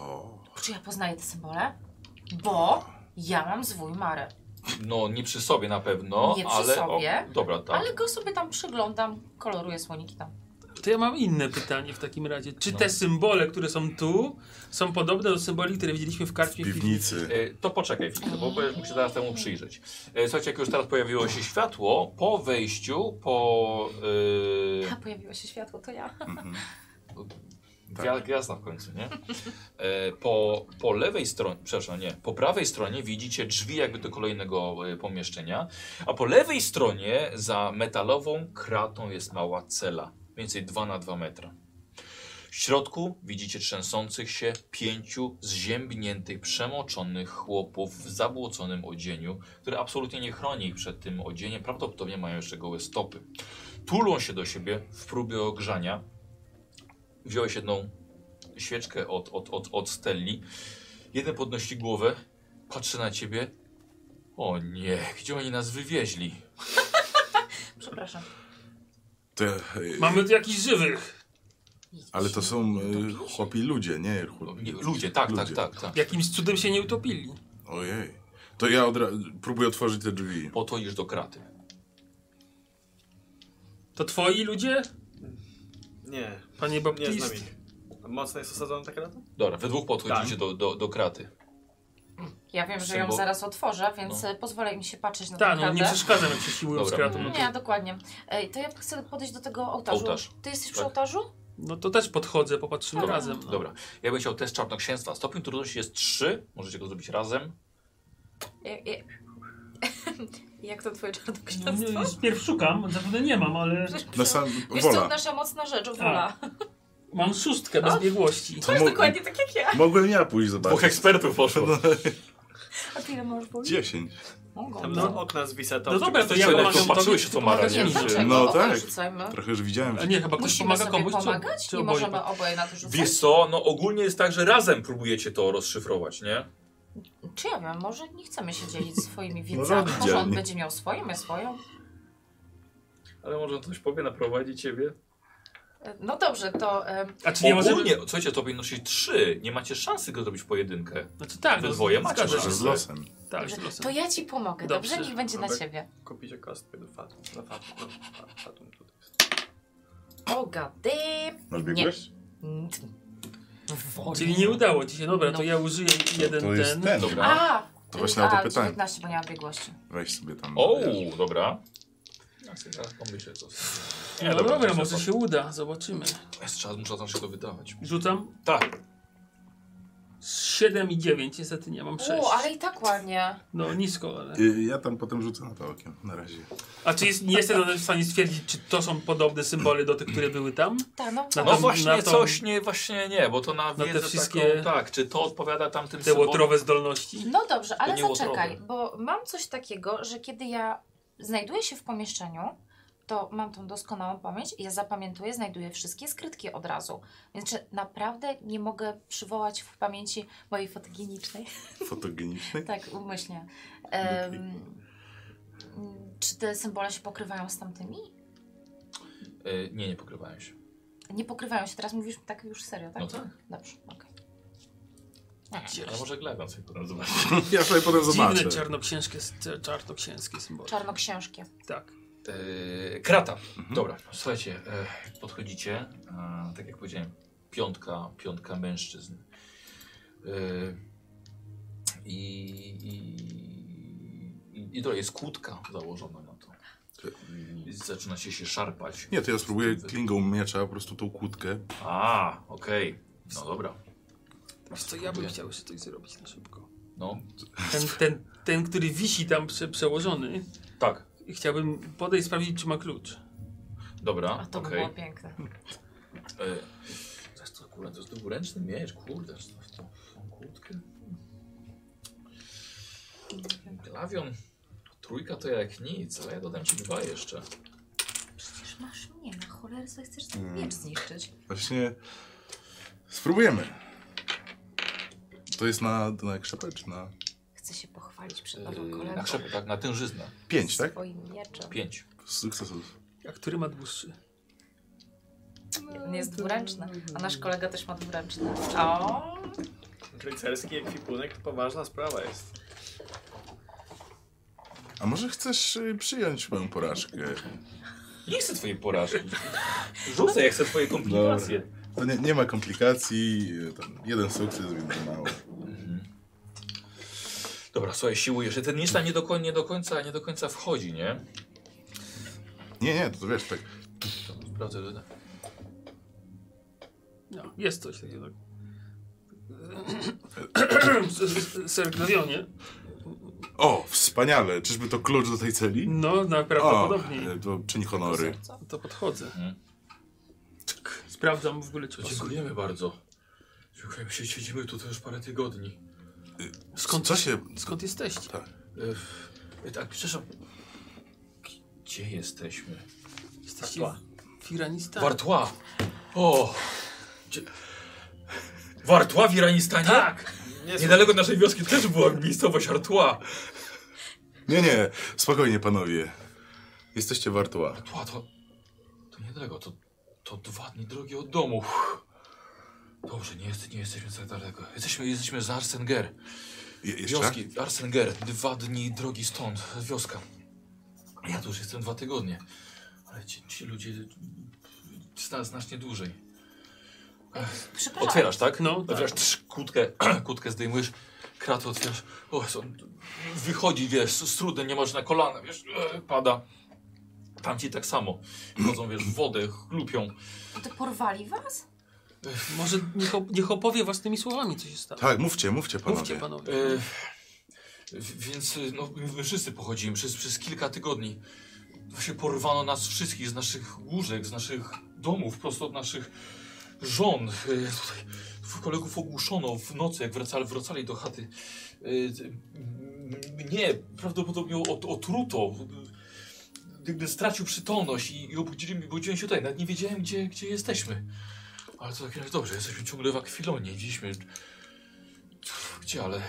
[SPEAKER 2] O,
[SPEAKER 3] czy ja poznaję te symbole? Bo ja mam zwój Marę,
[SPEAKER 1] No, nie przy sobie na pewno,
[SPEAKER 3] Nie przy
[SPEAKER 1] ale.
[SPEAKER 3] sobie,
[SPEAKER 1] O, dobra, tak.
[SPEAKER 3] ale go sobie tam przyglądam, koloruję słoniki tam.
[SPEAKER 4] To ja mam inne pytanie w takim razie. Czy
[SPEAKER 1] No.
[SPEAKER 4] te symbole, które są tu, są podobne do symboli, które widzieliśmy w
[SPEAKER 2] w
[SPEAKER 4] karczmie
[SPEAKER 2] piwnicy.
[SPEAKER 1] E, to poczekaj chwilę, bo będziesz mógł się zaraz temu przyjrzeć. E, słuchajcie, jak już teraz pojawiło się światło, po wejściu, po. y,
[SPEAKER 3] A pojawiło się światło, to ja.
[SPEAKER 2] Mhm.
[SPEAKER 1] E, gwia- Gwiazda w końcu, nie? E, po, po lewej stronie, przepraszam, nie, po prawej stronie widzicie drzwi jakby do kolejnego e, pomieszczenia, a po lewej stronie za metalową kratą jest mała cela, mniej więcej 2 na 2 metra. W środku widzicie trzęsących się pięciu zziębniętych, przemoczonych chłopów w zabłoconym odzieniu, które absolutnie nie chroni ich przed tym odzieniem, prawdopodobnie mają jeszcze gołe stopy. Tulą się do siebie w próbie ogrzania. Wziąłeś jedną świeczkę od, od, od, od Stelli. Jeden podnosi głowę, patrzy na ciebie. O nie, gdzie oni nas wywieźli?
[SPEAKER 3] Przepraszam.
[SPEAKER 2] Te, e,
[SPEAKER 4] Mamy tu jakichś żywych.
[SPEAKER 2] ale to są e, chłopi ludzie, nie? Chłopi,
[SPEAKER 1] Nie, ludzie, tak,
[SPEAKER 2] Ludzie.
[SPEAKER 1] tak, tak, tak.
[SPEAKER 4] Jakimś cudem się nie utopili.
[SPEAKER 2] Ojej. To ja od ra- próbuję otworzyć te drzwi.
[SPEAKER 1] Po to idziesz do kraty.
[SPEAKER 4] To twoi ludzie?
[SPEAKER 6] Nie,
[SPEAKER 4] Panie
[SPEAKER 6] nie znam
[SPEAKER 4] Baptist,
[SPEAKER 6] ich. Mocno jest osadzona ta krata?
[SPEAKER 1] Dobra, we dwóch podchodzicie
[SPEAKER 6] Tak.
[SPEAKER 1] do, do, do kraty.
[SPEAKER 3] Ja wiem, że ją
[SPEAKER 1] Symbol- No.
[SPEAKER 3] zaraz otworzę, więc y, pozwolę im się patrzeć na
[SPEAKER 4] tak,
[SPEAKER 3] tę
[SPEAKER 4] no nie
[SPEAKER 3] kratę.
[SPEAKER 4] przeszkadzam jak się siłują z
[SPEAKER 1] Dobra.
[SPEAKER 4] kratą. No to,
[SPEAKER 3] Nie, dokładnie. Ej, to ja chcę podejść do tego ołtarzu.
[SPEAKER 1] Ołtarz.
[SPEAKER 3] Ty jesteś przy
[SPEAKER 1] Tak.
[SPEAKER 3] ołtarzu?
[SPEAKER 4] no to też podchodzę, popatrzymy
[SPEAKER 3] Dobra.
[SPEAKER 4] razem. No.
[SPEAKER 1] Dobra, ja bym chciał test czarnoksięstwa. Stopień trudności jest 3, możecie go zrobić razem.
[SPEAKER 3] Ja, ja... Jak to twoje czarnoksięstwo?
[SPEAKER 4] No, nie, wpierw szukam, zapewne nie mam, ale
[SPEAKER 2] Na sam...
[SPEAKER 3] Wiesz co,
[SPEAKER 2] Wola.
[SPEAKER 3] nasza mocna rzecz, wola.
[SPEAKER 4] mam szóstkę bez
[SPEAKER 3] O.
[SPEAKER 4] biegłości.
[SPEAKER 3] To jest
[SPEAKER 2] mo-
[SPEAKER 3] dokładnie tak jak ja.
[SPEAKER 2] Mogłem ja pójść
[SPEAKER 1] Dwóch
[SPEAKER 2] zobaczyć.
[SPEAKER 1] ekspertów poszło.
[SPEAKER 3] A ty ile masz ból?
[SPEAKER 2] 10.
[SPEAKER 3] Mogą.
[SPEAKER 6] Tam
[SPEAKER 4] No.
[SPEAKER 6] z okna zwisa to.
[SPEAKER 4] No dobra, to ja
[SPEAKER 1] Słuchaj,
[SPEAKER 4] pomagam
[SPEAKER 1] to patrzyłeś,
[SPEAKER 4] tobie,
[SPEAKER 1] co
[SPEAKER 4] ty
[SPEAKER 1] ma
[SPEAKER 4] pomagasz
[SPEAKER 1] razie,
[SPEAKER 3] Nie,
[SPEAKER 4] mi.
[SPEAKER 1] że-
[SPEAKER 3] dlaczego?
[SPEAKER 2] No
[SPEAKER 3] No
[SPEAKER 2] tak.
[SPEAKER 3] tak. Rzucajmy.
[SPEAKER 2] Trochę już widziałem.
[SPEAKER 4] A
[SPEAKER 2] że-
[SPEAKER 4] nie, chyba ktoś
[SPEAKER 3] Musimy
[SPEAKER 4] pomaga
[SPEAKER 3] sobie
[SPEAKER 4] komuś, czy,
[SPEAKER 3] pomagać?
[SPEAKER 4] czy
[SPEAKER 3] nie
[SPEAKER 4] oboje?
[SPEAKER 3] możemy oboje na to rzucać?
[SPEAKER 1] Wiesz co, no ogólnie jest tak, że razem próbujecie to rozszyfrować, nie?
[SPEAKER 3] Czy ja wiem, może nie chcemy się dzielić swoimi
[SPEAKER 2] Może
[SPEAKER 3] wiedzami. Może on
[SPEAKER 2] oddzielnie.
[SPEAKER 3] będzie miał swoją, ja swoją.
[SPEAKER 1] Ale może ktoś powie, naprowadzi ciebie.
[SPEAKER 3] E, No dobrze, to e,
[SPEAKER 4] A czy nie
[SPEAKER 1] Nie
[SPEAKER 4] możemy...
[SPEAKER 1] ogólnie, słuchajcie, to nosi 3, nie macie szansy go zrobić w pojedynkę.
[SPEAKER 4] Znaczy tak,
[SPEAKER 1] Wy
[SPEAKER 4] no,
[SPEAKER 1] dwoje macie
[SPEAKER 4] zgadza
[SPEAKER 2] że
[SPEAKER 4] się.
[SPEAKER 1] szansę.
[SPEAKER 2] Z losem.
[SPEAKER 4] Tak,
[SPEAKER 3] dobrze,
[SPEAKER 4] z losem.
[SPEAKER 3] to ja ci pomogę,
[SPEAKER 4] Dobrze.
[SPEAKER 3] dobrze? Niech będzie na
[SPEAKER 6] Dobra.
[SPEAKER 3] ciebie.
[SPEAKER 6] Kupić kostkę do fatum. Do fatum. Do fa- fatum tutaj.
[SPEAKER 3] O gady.
[SPEAKER 2] Masz biegłość?
[SPEAKER 4] Czyli nie udało ci się, dobra, to
[SPEAKER 3] No.
[SPEAKER 4] ja użyję jeden
[SPEAKER 2] To jest
[SPEAKER 4] ten. No
[SPEAKER 2] ten.
[SPEAKER 1] Dobra.
[SPEAKER 3] A!
[SPEAKER 2] Tak. To właśnie na to
[SPEAKER 3] a,
[SPEAKER 2] pytanie.
[SPEAKER 3] 19, bo nie mam biegłości.
[SPEAKER 2] Weź sobie tam.
[SPEAKER 1] O, dobra. Ja sobie teraz pomyślę, co z-
[SPEAKER 4] No dobra,
[SPEAKER 1] to
[SPEAKER 4] może
[SPEAKER 1] jest-
[SPEAKER 4] się uda, zobaczymy.
[SPEAKER 1] Jest czas, muszę tam wszystko wydawać.
[SPEAKER 4] Rzucam
[SPEAKER 1] Tak,
[SPEAKER 4] z 7 i 9, niestety nie mam 6.
[SPEAKER 3] U, ale i tak ładnie.
[SPEAKER 4] No nisko, ale...
[SPEAKER 2] Y, Ja tam potem rzucę na to okiem. Na razie.
[SPEAKER 4] A czy jest, nie jestem nawet w stanie stwierdzić, czy to są podobne symbole do tych, które były tam?
[SPEAKER 3] Tak, no.
[SPEAKER 4] Na
[SPEAKER 1] no
[SPEAKER 4] tą-
[SPEAKER 1] właśnie
[SPEAKER 4] na tą-
[SPEAKER 1] coś nie, właśnie nie, bo to na,
[SPEAKER 4] te
[SPEAKER 1] wiedzę taką,
[SPEAKER 4] wszystkie-
[SPEAKER 1] tak, czy to odpowiada tamtym
[SPEAKER 4] Te
[SPEAKER 1] symbolom?
[SPEAKER 4] łotrowe zdolności?
[SPEAKER 3] No dobrze, ale
[SPEAKER 1] nie było
[SPEAKER 3] zaczekaj,
[SPEAKER 1] trochę.
[SPEAKER 3] bo mam coś takiego, że kiedy ja znajduję się w pomieszczeniu, to mam tą doskonałą pamięć i ja zapamiętuję, znajduję wszystkie skrytki od razu. Więc czy naprawdę nie mogę przywołać w pamięci mojej fotogenicznej?
[SPEAKER 2] Fotogeniczny.
[SPEAKER 3] Tak, umyślnie. Em, czy te symbole się pokrywają z tamtymi?
[SPEAKER 1] Y, nie, nie pokrywałem się.
[SPEAKER 3] Nie pokrywają się, teraz mówisz tak już serio, tak?
[SPEAKER 1] No tak.
[SPEAKER 3] Dobrze, okej.
[SPEAKER 1] Ale może Gleban sobie potem zobaczy.
[SPEAKER 2] Ja sobie potem
[SPEAKER 4] Dziwne
[SPEAKER 2] zobaczę.
[SPEAKER 4] czarnoksięskie, czarnoksięskie symbole.
[SPEAKER 3] Czarnoksiężkie.
[SPEAKER 4] Tak.
[SPEAKER 1] E, krata. Dobra, słuchajcie, e, podchodzicie, e, tak jak powiedziałem, piątka, piątka mężczyzn. E, I, i, i, i to jest kłódka założona na to. I zaczynacie się szarpać.
[SPEAKER 2] Nie, to ja spróbuję klingą miecza, po prostu tą kłódkę.
[SPEAKER 1] A, okej. No dobra.
[SPEAKER 4] Wiesz co, ja bym chciał jeszcze coś zrobić na szybko.
[SPEAKER 1] No,
[SPEAKER 4] Ten, ten, ten który wisi tam prze, przełożony,
[SPEAKER 1] tak.
[SPEAKER 4] chciałbym podejść sprawdzić, czy ma klucz.
[SPEAKER 3] A
[SPEAKER 1] Dobra,
[SPEAKER 3] to by
[SPEAKER 1] okej. Hmm.
[SPEAKER 3] było piękne.
[SPEAKER 1] E, zaraz to, kurde, to jest dwuręczny miecz, kurde, że to w tą, w tą kłódkę. Glawion, trójka to jak nic, ale ja dodam ci dwa jeszcze.
[SPEAKER 3] Przecież masz mnie, na cholerę sobie chcesz ten
[SPEAKER 1] Hmm.
[SPEAKER 3] miecz zniszczyć.
[SPEAKER 2] Właśnie. Spróbujemy. To jest na, na krzepę czy na
[SPEAKER 3] Chcę się pochwalić przed nową
[SPEAKER 1] Yy, na
[SPEAKER 3] kolegą.
[SPEAKER 1] krzepę, tak, na tężyznę.
[SPEAKER 2] pięć, tak?
[SPEAKER 3] Swoim mieczem.
[SPEAKER 1] Pięć.
[SPEAKER 2] Sukcesów.
[SPEAKER 4] A który ma dłuższy?
[SPEAKER 3] Jeden jest dwuręczny, a nasz kolega też ma dwuręczny. O,
[SPEAKER 6] Rycerski ekwipunek to poważna sprawa jest.
[SPEAKER 2] A może chcesz y, przyjąć moją porażkę?
[SPEAKER 1] Nie chcę twojej porażki. Rzucę, jak chcę twoje
[SPEAKER 4] No.
[SPEAKER 1] komplikacje.
[SPEAKER 2] To nie, nie ma komplikacji, y, tam jeden sukces, więc mało.
[SPEAKER 1] Dobra, słuchaj, siłujesz. Ten niszta nie do, koń- nie do końca, nie do końca wchodzi, nie?
[SPEAKER 2] Nie, nie, to, to wiesz, tak.
[SPEAKER 1] To Sprawdzę, że...
[SPEAKER 4] No, jest coś takiego. Serglawionie.
[SPEAKER 2] O, wspaniale, czyżby to klucz do tej celi?
[SPEAKER 4] No, na prawdopodobnie.
[SPEAKER 2] O, Hmm. y, to czyń honory.
[SPEAKER 3] co?
[SPEAKER 4] To podchodzę.
[SPEAKER 1] Mhm.
[SPEAKER 4] Czk, Sprawdzam w ogóle, czy
[SPEAKER 1] To
[SPEAKER 4] pasuje.
[SPEAKER 1] dziękujemy bardzo. Dziękujemy, się siedzimy tutaj już parę tygodni.
[SPEAKER 4] Skąd,
[SPEAKER 2] Co się...
[SPEAKER 4] skąd jesteście?
[SPEAKER 2] Tak.
[SPEAKER 1] E, e, tak, przepraszam. Gdzie jesteśmy?
[SPEAKER 4] Jesteście firanistami.
[SPEAKER 1] Wartła! O! Gdzie... Wartła w Iranistanie?
[SPEAKER 4] Tak!
[SPEAKER 1] Niedaleko naszej wioski też była miejscowość Artła.
[SPEAKER 2] Nie, nie, spokojnie panowie. Jesteście wartła.
[SPEAKER 1] Artła to... To niedaleko, to, to dwa dni drogi od domu. Uff. Dobrze, nie, jest, nie jesteśmy tak daleko. Jesteśmy, jesteśmy z Arsenger.
[SPEAKER 2] Je, jeszcze?
[SPEAKER 1] Wioski, Arsenger, dwa dni drogi stąd, wioska. Ja tu już jestem dwa tygodnie. Ale ci, ci ludzie zna- znacznie dłużej.
[SPEAKER 3] Przepraszam.
[SPEAKER 1] Otwierasz, tak?
[SPEAKER 4] No, tak.
[SPEAKER 1] Otwierasz trz, kłódkę, kłódkę zdejmujesz, kratę otwierasz. O, są, wychodzi, wiesz, z trudem, nie masz na kolana, wiesz, e, pada. Tamci tak samo. Chodzą, wiesz, w wodę, chlupią.
[SPEAKER 3] To porwali was?
[SPEAKER 4] Może niech, op- niech opowie własnymi słowami, co się stało.
[SPEAKER 2] Tak, mówcie, mówcie panowie.
[SPEAKER 4] Mówcie panowie. Y,
[SPEAKER 1] E, w- więc e, no, my wszyscy pochodzimy przez, przez kilka tygodni. Właśnie porwano nas wszystkich z naszych łóżek, z naszych domów, prosto od naszych żon. E, tutaj w- kolegów ogłuszono w nocy, jak wracali, wracali do chaty. E, m- mnie prawdopodobnie ot, otruto. Gdybym stracił przytomność i, i obudzili mnie, budziłem się tutaj. Nawet nie wiedziałem, gdzie, gdzie jesteśmy. Ale to tak dobrze, jesteśmy ciągle w akwilonie. Widzieliśmy... Gdzie, ale...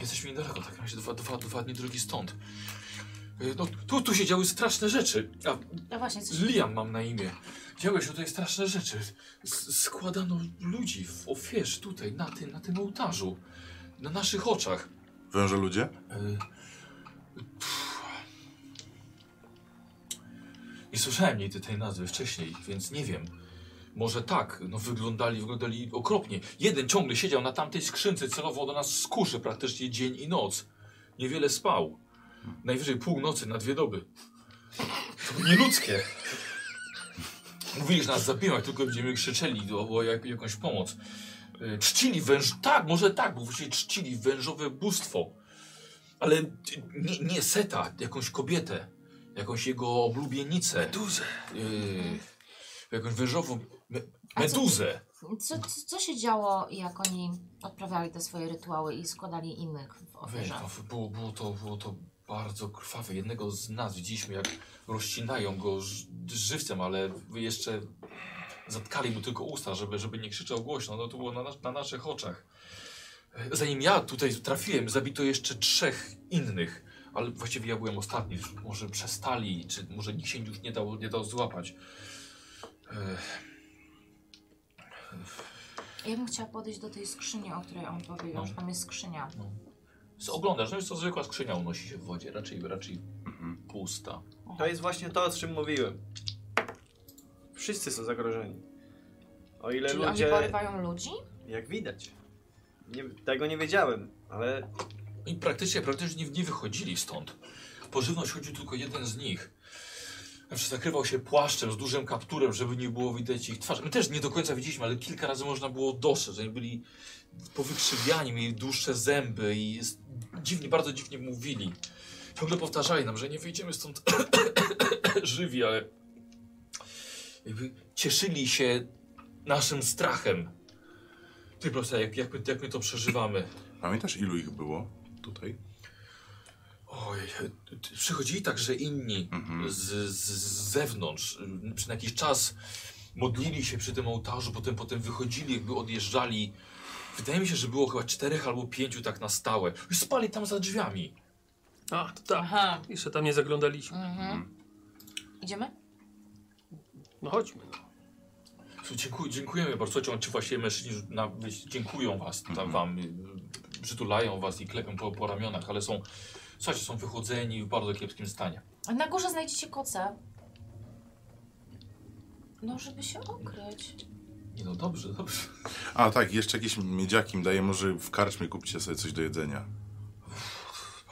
[SPEAKER 1] Jesteśmy niedaleko, tak razie dwa, dwa, dwa dni drogi stąd. Y, No tu, tu się działy straszne rzeczy. A
[SPEAKER 3] No właśnie, coś...
[SPEAKER 1] Liam mam na imię. Działy się tutaj straszne rzeczy. S składano ludzi w ofierz tutaj, na tym, na tym ołtarzu. Na naszych oczach.
[SPEAKER 2] Węże ludzie?
[SPEAKER 1] Y, pff. Nie słyszałem nigdy tej nazwy wcześniej, więc nie wiem. Może tak, no wyglądali, wyglądali okropnie. Jeden ciągle siedział na tamtej skrzynce, celował do nas z kuszy praktycznie dzień i noc. Niewiele spał. Najwyżej północy na dwie doby. To nieludzkie. Mówili, że nas zabiją, jak tylko będziemy krzyczeli o, o jak, jakąś pomoc. Y, Czcili węż... Tak, może tak, bo właściwie czcili wężowe bóstwo. Ale y, nie, nie Seta, jakąś kobietę, jakąś jego oblubienicę,
[SPEAKER 4] Duże.
[SPEAKER 1] yy, jakąś wężową me,
[SPEAKER 3] A co-
[SPEAKER 1] meduzę.
[SPEAKER 3] co, co, co się działo, jak oni odprawiali te swoje rytuały i składali innych w
[SPEAKER 1] Wiesz,
[SPEAKER 3] ofierze?
[SPEAKER 1] no, było, było, to, było to bardzo krwawe. Jednego z nas widzieliśmy, jak rozcinają go ż- żywcem, ale jeszcze zatkali mu tylko usta, żeby, żeby nie krzyczał głośno. No to było na, nas, na naszych oczach. Zanim ja tutaj trafiłem, zabito jeszcze trzech innych. Ale właściwie ja byłem ostatni. Może przestali, czy może nikt się już nie dał, nie dał złapać. E,
[SPEAKER 3] Ja bym chciała podejść do tej skrzyni, o której on powiedział,
[SPEAKER 1] No.
[SPEAKER 3] że tam jest skrzynia.
[SPEAKER 1] Co oglądasz? No jest to zwykła skrzynia unosi się w wodzie, raczej, raczej pusta.
[SPEAKER 6] To jest właśnie to, o czym mówiłem. Wszyscy są zagrożeni. O ile
[SPEAKER 3] Czyli
[SPEAKER 6] ludzie,
[SPEAKER 3] oni porywają ludzi?
[SPEAKER 6] jak widać. Nie, tego nie wiedziałem, ale
[SPEAKER 1] I praktycznie, praktycznie nie wychodzili stąd. Po żywność chodził tylko jeden z nich. Znaczy zakrywał się płaszczem z dużym kapturem, żeby nie było widać ich twarzy. My też nie do końca widzieliśmy, ale kilka razy można było dostrzec, że oni byli powykrzywiani, mieli dłuższe zęby i s- dziwnie, bardzo dziwnie mówili. Ciągle powtarzali nam, że nie wyjdziemy stąd żywi, ale jakby cieszyli się naszym strachem. Ty prosta, jak, jak, my, jak my to przeżywamy.
[SPEAKER 2] Pamiętasz ilu ich było tutaj?
[SPEAKER 1] Oj, t- e, t- przychodzili także inni
[SPEAKER 2] Mhm.
[SPEAKER 1] z, z, z zewnątrz. y, Przez jakiś czas modlili się przy tym ołtarzu, potem, potem wychodzili, jakby odjeżdżali. Wydaje mi się, że było chyba czterech albo pięciu tak na stałe. Już spali tam za drzwiami.
[SPEAKER 4] A, to tak.
[SPEAKER 3] Aha.
[SPEAKER 4] Jeszcze tam nie zaglądaliśmy.
[SPEAKER 3] Mhm. Idziemy?
[SPEAKER 4] No chodźmy. No.
[SPEAKER 1] Słuchaj, Dziękuję, dziękujemy bardzo. Słuchajcie, on- Ci właśnie mężczyźni już na, dziękują was, tam wam, y, y, przytulają was i klepią po, po ramionach, ale są, słuchajcie, są wychodzeni w bardzo kiepskim stanie.
[SPEAKER 3] A Na górze znajdziecie koce. No, żeby się okryć.
[SPEAKER 1] Nie no, dobrze, dobrze.
[SPEAKER 2] A tak, jeszcze jakieś miedziaki im daje, może w karczmie kupcie sobie coś do jedzenia.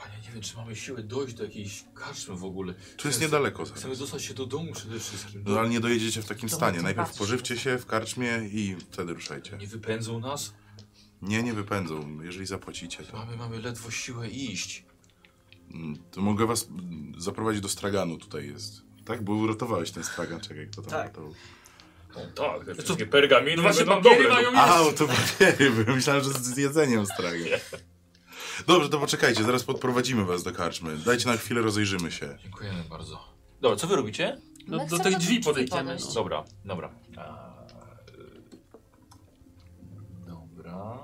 [SPEAKER 1] Panie, nie wiem, czy mamy siłę dojść do jakiejś karczmy w ogóle.
[SPEAKER 2] Tu jest
[SPEAKER 1] Chcemy-
[SPEAKER 2] niedaleko. zaraz.
[SPEAKER 1] Chcemy dostać się do domu przede wszystkim.
[SPEAKER 2] No ale nie dojedziecie w takim
[SPEAKER 3] To
[SPEAKER 2] stanie.
[SPEAKER 3] bardzo
[SPEAKER 2] Najpierw
[SPEAKER 3] patrz.
[SPEAKER 2] pożywcie się w karczmie i wtedy ruszajcie.
[SPEAKER 1] Nie wypędzą nas?
[SPEAKER 2] Nie, nie wypędzą. Jeżeli zapłacicie, to,
[SPEAKER 1] Mamy, mamy ledwo siłę iść.
[SPEAKER 2] Mm, to mogę was mm, zaprowadzić do straganu tutaj jest. Tak? Bo uratowałeś ten stragan. Czekaj, kto tam
[SPEAKER 6] Tak.
[SPEAKER 2] uratował?
[SPEAKER 1] No tak, te wszystkie pergaminy
[SPEAKER 4] No właśnie papiery mają
[SPEAKER 2] A, o, to papiery. bo Myślałem, że z z jedzeniem stragan. Dobrze, to poczekajcie. Zaraz podprowadzimy was do karczmy. Dajcie nam chwilę, rozejrzymy się.
[SPEAKER 1] Dziękujemy bardzo. Dobra, co wy robicie?
[SPEAKER 3] My
[SPEAKER 4] No, do
[SPEAKER 3] chcemy
[SPEAKER 4] tych
[SPEAKER 3] tych
[SPEAKER 4] drzwi
[SPEAKER 3] drzwi
[SPEAKER 4] podejdziemy.
[SPEAKER 3] podejść.
[SPEAKER 4] No.
[SPEAKER 1] Dobra, dobra. A, y, Dobra.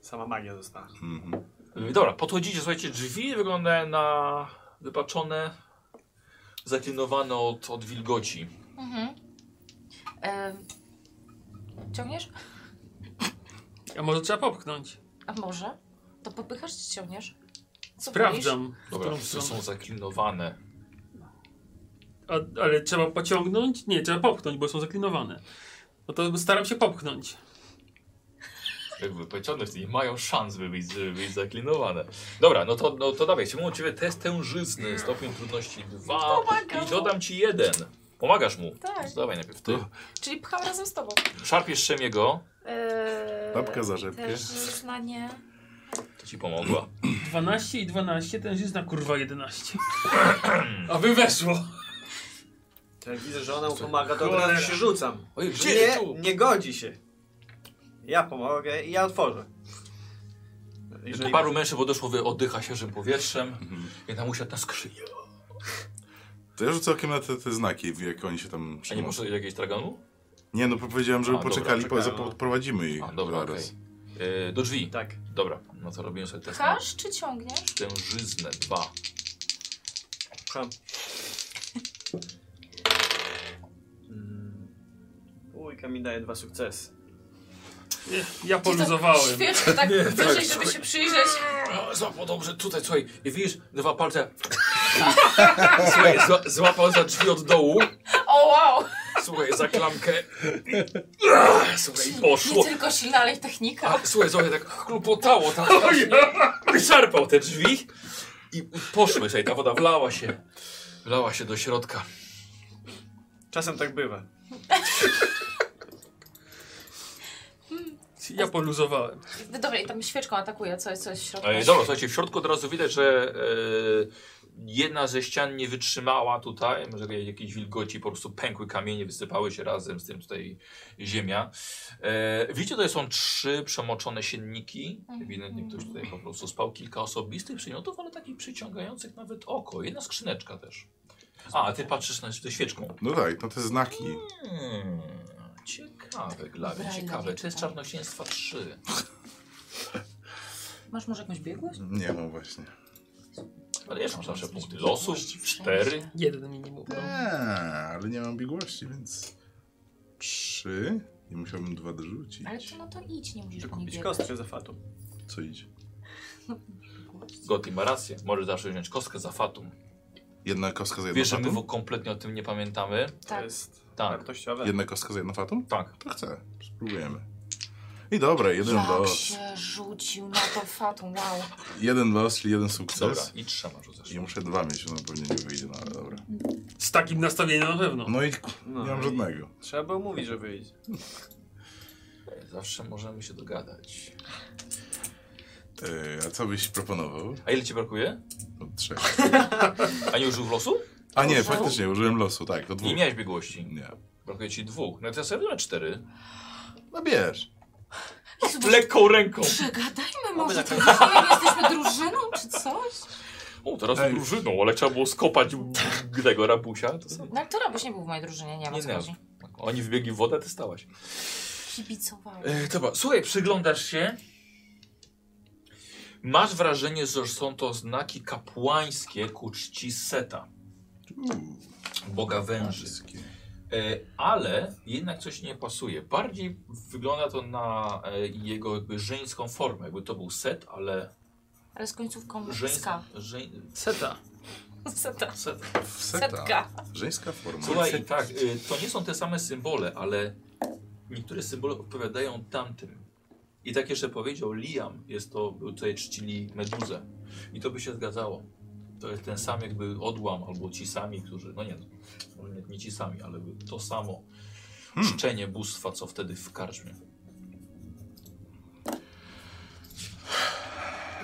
[SPEAKER 6] sama magia została.
[SPEAKER 2] Mhm.
[SPEAKER 1] Y, Dobra, podchodzicie, słuchajcie, drzwi wyglądają na wypaczone, zaklinowane od, od wilgoci.
[SPEAKER 3] Mhm. Em, ciągniesz?
[SPEAKER 4] A może trzeba popchnąć?
[SPEAKER 3] A może? To popychasz czy ciągniesz? Co boisz?
[SPEAKER 4] Sprawdzam, w
[SPEAKER 1] Dobra,
[SPEAKER 4] którą
[SPEAKER 1] wszystkie
[SPEAKER 4] stronę.
[SPEAKER 1] są zaklinowane.
[SPEAKER 4] A, ale trzeba pociągnąć? Nie, trzeba popchnąć, bo są zaklinowane. No to staram się popchnąć.
[SPEAKER 1] Jakby pociągnąć, nie mają szans, by być, żeby być zaklinowane. Dobra, no to, no to dawaj, chciałbym od ciebie test tężyzny, stopień trudności 2
[SPEAKER 3] Pomagam.
[SPEAKER 1] i dodam ci jeden. Pomagasz mu.
[SPEAKER 3] Tak.
[SPEAKER 1] No to Dawaj najpierw ty.
[SPEAKER 3] Czyli pcham razem z tobą.
[SPEAKER 1] Szarpiesz Szemiego,
[SPEAKER 3] Eee,
[SPEAKER 2] Babka za rzepkę.
[SPEAKER 3] Też już na nie.
[SPEAKER 1] to ci pomogła.
[SPEAKER 4] 12 i 12, ten jest na kurwa 11. A wy weszło.
[SPEAKER 6] Jak Tak, widzę, że ona mu pomaga, to od razu się rzucam.
[SPEAKER 1] Ojej,
[SPEAKER 6] Nie, nie godzi się. Ja pomogę i ja otworzę. Jeżeli...
[SPEAKER 1] Paru mężczyzn podeszło, wy- oddycha świeżym powietrzem. Jedna musiała na skrzynię.
[SPEAKER 2] To ja rzucę okiem na te, te znaki, jak oni się tam
[SPEAKER 1] A nie
[SPEAKER 2] przyjmą.
[SPEAKER 1] może jakiegoś dragonu?
[SPEAKER 2] Nie, no powiedziałem, żeby
[SPEAKER 1] A, dobra,
[SPEAKER 2] poczekali, po,
[SPEAKER 6] czekamy.
[SPEAKER 2] zaprowadzimy ich
[SPEAKER 1] A, dobra, okej.
[SPEAKER 2] zaraz.
[SPEAKER 1] Yy, do drzwi.
[SPEAKER 6] Tak.
[SPEAKER 1] Dobra, no to robimy sobie test.
[SPEAKER 3] Pchasz czy ciągniesz?
[SPEAKER 1] Tężyznę 2.
[SPEAKER 6] Pcham. Mm. Dwójka mi daje dwa sukcesy.
[SPEAKER 4] Nie, Ja poluzowałem.
[SPEAKER 3] Świeczkę tak wyżej, żeby się przyjrzeć.
[SPEAKER 1] Złapał dobrze, tutaj, słuchaj, i widzisz, dwa palce. słuchaj, zła, złapał za drzwi od dołu,
[SPEAKER 3] O wow!
[SPEAKER 1] słuchaj, za klamkę. Słuchaj, i
[SPEAKER 3] Nie
[SPEAKER 1] poszło.
[SPEAKER 3] tylko silna, ale i technika.
[SPEAKER 1] A, słuchaj, słuchaj, tak chlupotało tam strasznie. Szarpał te drzwi i poszły, słuchaj, ta woda wlała się. Wlała się do środka.
[SPEAKER 6] Czasem tak bywa.
[SPEAKER 4] Ja poluzowałem.
[SPEAKER 3] Dobra, i tam świeczką atakuje, co jest, co jest w środku.
[SPEAKER 1] E, dobra, słuchajcie, w środku od razu widać, że e, jedna ze ścian nie wytrzymała tutaj, może jakieś wilgoci, po prostu pękły kamienie, wysypały się razem z tym tutaj ziemia. E, widzicie, tutaj są trzy przemoczone sienniki, ewidentnie ktoś tutaj po prostu spał, kilka osobistych przymiotów, ale takich przyciągających nawet oko, jedna skrzyneczka też. A, ty patrzysz na tę świeczką.
[SPEAKER 2] No tak, no te znaki.
[SPEAKER 1] Hmm, ciekawe, Glawie, ciekawe. To jest czarnoksięstwa 3.
[SPEAKER 3] Masz może jakąś biegłość?
[SPEAKER 2] Nie, no właśnie.
[SPEAKER 1] Ale jeszcze masz zawsze punkty losu, 4.
[SPEAKER 4] Jeden minimum. No.
[SPEAKER 2] Eee, ale nie mam biegłości, więc... Trzy? I musiałbym dwa dorzucić.
[SPEAKER 3] Ale to no to idź, nie musisz
[SPEAKER 6] Muszę
[SPEAKER 3] mnie
[SPEAKER 6] kupić
[SPEAKER 3] biegać.
[SPEAKER 6] kostkę za fatu.
[SPEAKER 2] Co idzie?
[SPEAKER 1] Gotti ma rację. Możesz zawsze wziąć kostkę za fatum.
[SPEAKER 2] Jedna kostka za jedną
[SPEAKER 1] Wiesz, że my
[SPEAKER 2] fatum?
[SPEAKER 1] w- kompletnie o tym nie pamiętamy.
[SPEAKER 6] To
[SPEAKER 3] Tak.
[SPEAKER 6] jest
[SPEAKER 1] Tak,
[SPEAKER 6] wartościowe.
[SPEAKER 2] Jedna kostka za jedną fatum?
[SPEAKER 1] tak.
[SPEAKER 2] To chcę. Spróbujemy. I dobra, jeden
[SPEAKER 3] Jak
[SPEAKER 2] los.
[SPEAKER 3] się rzucił na to fatum, wow.
[SPEAKER 2] Jeden los, czyli jeden
[SPEAKER 1] Dobra,
[SPEAKER 2] sukces.
[SPEAKER 1] i trzema rzucasz.
[SPEAKER 2] I muszę dwa mieć, no pewnie nie wyjdzie, no ale dobra.
[SPEAKER 4] Z takim nastawieniem na pewno.
[SPEAKER 2] No i ku-
[SPEAKER 6] No
[SPEAKER 2] nie mam
[SPEAKER 6] i-
[SPEAKER 2] żadnego.
[SPEAKER 6] Trzeba było mówić, że wyjdzie.
[SPEAKER 1] Zawsze możemy się dogadać.
[SPEAKER 2] Yy, a co byś proponował?
[SPEAKER 1] A ile ci brakuje?
[SPEAKER 2] Od trzech.
[SPEAKER 1] A nie użył losu?
[SPEAKER 2] A nie, faktycznie, użyłem losu, tak, to dwóch.
[SPEAKER 1] Nie miałeś biegłości.
[SPEAKER 2] Nie.
[SPEAKER 1] Brakuje ci dwóch. No to ja sobie wezmę cztery.
[SPEAKER 2] No bierz.
[SPEAKER 1] Lekką ręką.
[SPEAKER 3] Przegadajmy może, to rozumiem, jesteśmy drużyną czy coś?
[SPEAKER 1] O, teraz
[SPEAKER 2] Ej.
[SPEAKER 1] drużyną, ale trzeba było skopać tego rabusia. To sobie.
[SPEAKER 3] No ale to Rabuś nie był w mojej drużynie, nie wiem o
[SPEAKER 1] Nie,
[SPEAKER 3] co
[SPEAKER 1] nie.
[SPEAKER 3] chodzi.
[SPEAKER 1] Oni wbiegli w wodę, ty stałaś.
[SPEAKER 3] Kibicowałem.
[SPEAKER 1] E, dobra, słuchaj, przyglądasz się. Masz wrażenie, że są to znaki kapłańskie ku czci Seta,
[SPEAKER 2] Uuu,
[SPEAKER 1] boga węży.
[SPEAKER 2] wszystkie.
[SPEAKER 1] E, ale jednak coś nie pasuje. Bardziej wygląda to na e, jego jakby żeńską formę. Jakby to był Set, ale
[SPEAKER 3] Ale z końcówką
[SPEAKER 1] żeń,
[SPEAKER 3] ska.
[SPEAKER 1] żeń,
[SPEAKER 4] Seta.
[SPEAKER 3] Seta.
[SPEAKER 1] set.
[SPEAKER 2] Seta.
[SPEAKER 3] Setka.
[SPEAKER 2] Żeńska forma.
[SPEAKER 1] Słuchaj, tak, e, to nie są te same symbole, ale niektóre symbole odpowiadają tamtym. I tak jeszcze powiedział Liam, jest to, tutaj czcili meduzę. I to by się zgadzało. To jest ten sam jakby odłam, albo ci sami, którzy, no nie, może nie, nie ci sami, ale to samo czczenie bóstwa, co wtedy w karczmie.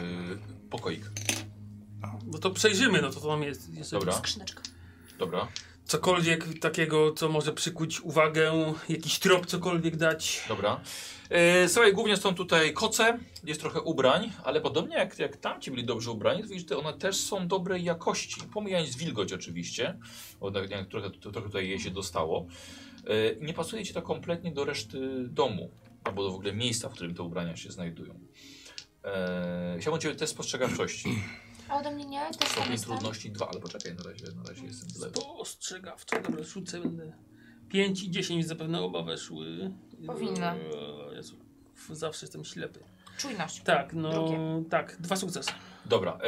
[SPEAKER 1] Yy, pokoik,
[SPEAKER 4] No to przejrzymy, no to co tam jest. jest
[SPEAKER 1] Dobra.
[SPEAKER 3] Skrzyneczka.
[SPEAKER 1] dobra.
[SPEAKER 4] Cokolwiek takiego, co może przykuć uwagę, jakiś trop cokolwiek dać.
[SPEAKER 1] Dobra. E, słuchaj, głównie są tutaj koce, jest trochę ubrań, ale podobnie jak, jak tamci byli dobrze ubrani, to widzisz, że one też są dobrej jakości. Pomijając wilgoć oczywiście, bo tak jak trochę, to, trochę tutaj jej się dostało. E, nie pasuje ci to kompletnie do reszty domu, albo do w ogóle miejsca, w którym te ubrania się znajdują. E, chciałbym Ciebie test spostrzegawczości.
[SPEAKER 3] A ode mnie nie? Też tam
[SPEAKER 1] Stopień
[SPEAKER 3] jestem.
[SPEAKER 1] trudności 2, ale poczekaj, na razie, na razie jestem w lewo.
[SPEAKER 4] Spostrzegawczo, dobra, rzucę, będę. 5 i 10 zapewne oba weszły.
[SPEAKER 3] Powinna.
[SPEAKER 4] Eee, Jezu, f- zawsze jestem ślepy.
[SPEAKER 3] Czujność.
[SPEAKER 4] Tak, no
[SPEAKER 3] Drugie.
[SPEAKER 4] tak, dwa sukcesy.
[SPEAKER 1] Dobra.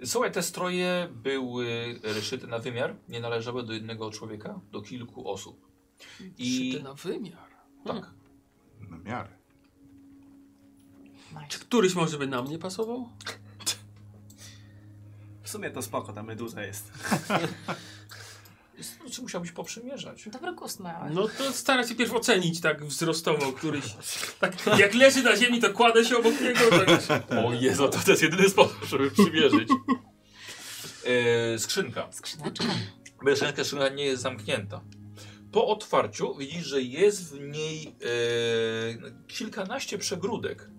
[SPEAKER 1] E, słuchaj, te stroje były reszyte na wymiar, nie należały do jednego człowieka, do kilku osób. I
[SPEAKER 4] Szyty na wymiar.
[SPEAKER 1] tak.
[SPEAKER 2] Na miarę.
[SPEAKER 4] Czy któryś może by na mnie pasował?
[SPEAKER 6] W sumie to spoko, ta meduza jest.
[SPEAKER 1] Czy musiałbyś poprzymierzać?
[SPEAKER 3] Dobry gust miałeś.
[SPEAKER 4] No to stara się pierw ocenić tak wzrostowo któryś. Tak, jak leży na ziemi, to kładę się obok niego. Tak.
[SPEAKER 1] O Jezu, to, to jest jedyny sposób, żeby przymierzyć. E, skrzynka.
[SPEAKER 3] Skrzyneczka.
[SPEAKER 1] Mieszanka szyna nie jest zamknięta. Po otwarciu widzisz, że jest w niej e, kilkanaście przegródek.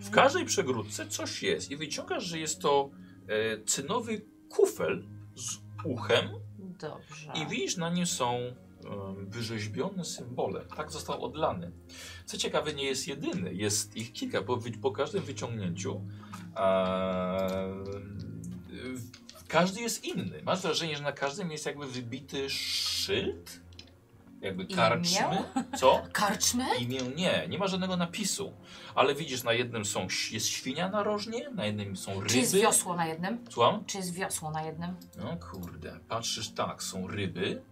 [SPEAKER 1] W każdej przegródce coś jest i wyciągasz, że jest to e, cynowy kufel z uchem
[SPEAKER 3] Dobrze.
[SPEAKER 1] i widzisz, na nim są e, wyrzeźbione symbole. Tak został odlany. Co ciekawe, nie jest jedyny. Jest ich kilka, bo wy, po każdym wyciągnięciu e, w- każdy jest inny. Masz wrażenie, że na każdym jest jakby wybity szyld? Jakby
[SPEAKER 3] Imię?
[SPEAKER 1] karczmy? Co?
[SPEAKER 3] Karczmy?
[SPEAKER 1] Imię nie, nie ma żadnego napisu. Ale widzisz, na jednym są, jest świnia narożnie, na jednym są ryby.
[SPEAKER 3] Czy jest wiosło na jednym?
[SPEAKER 1] Słucham?
[SPEAKER 3] Czy jest wiosło na jednym?
[SPEAKER 1] No kurde, patrzysz tak, są ryby,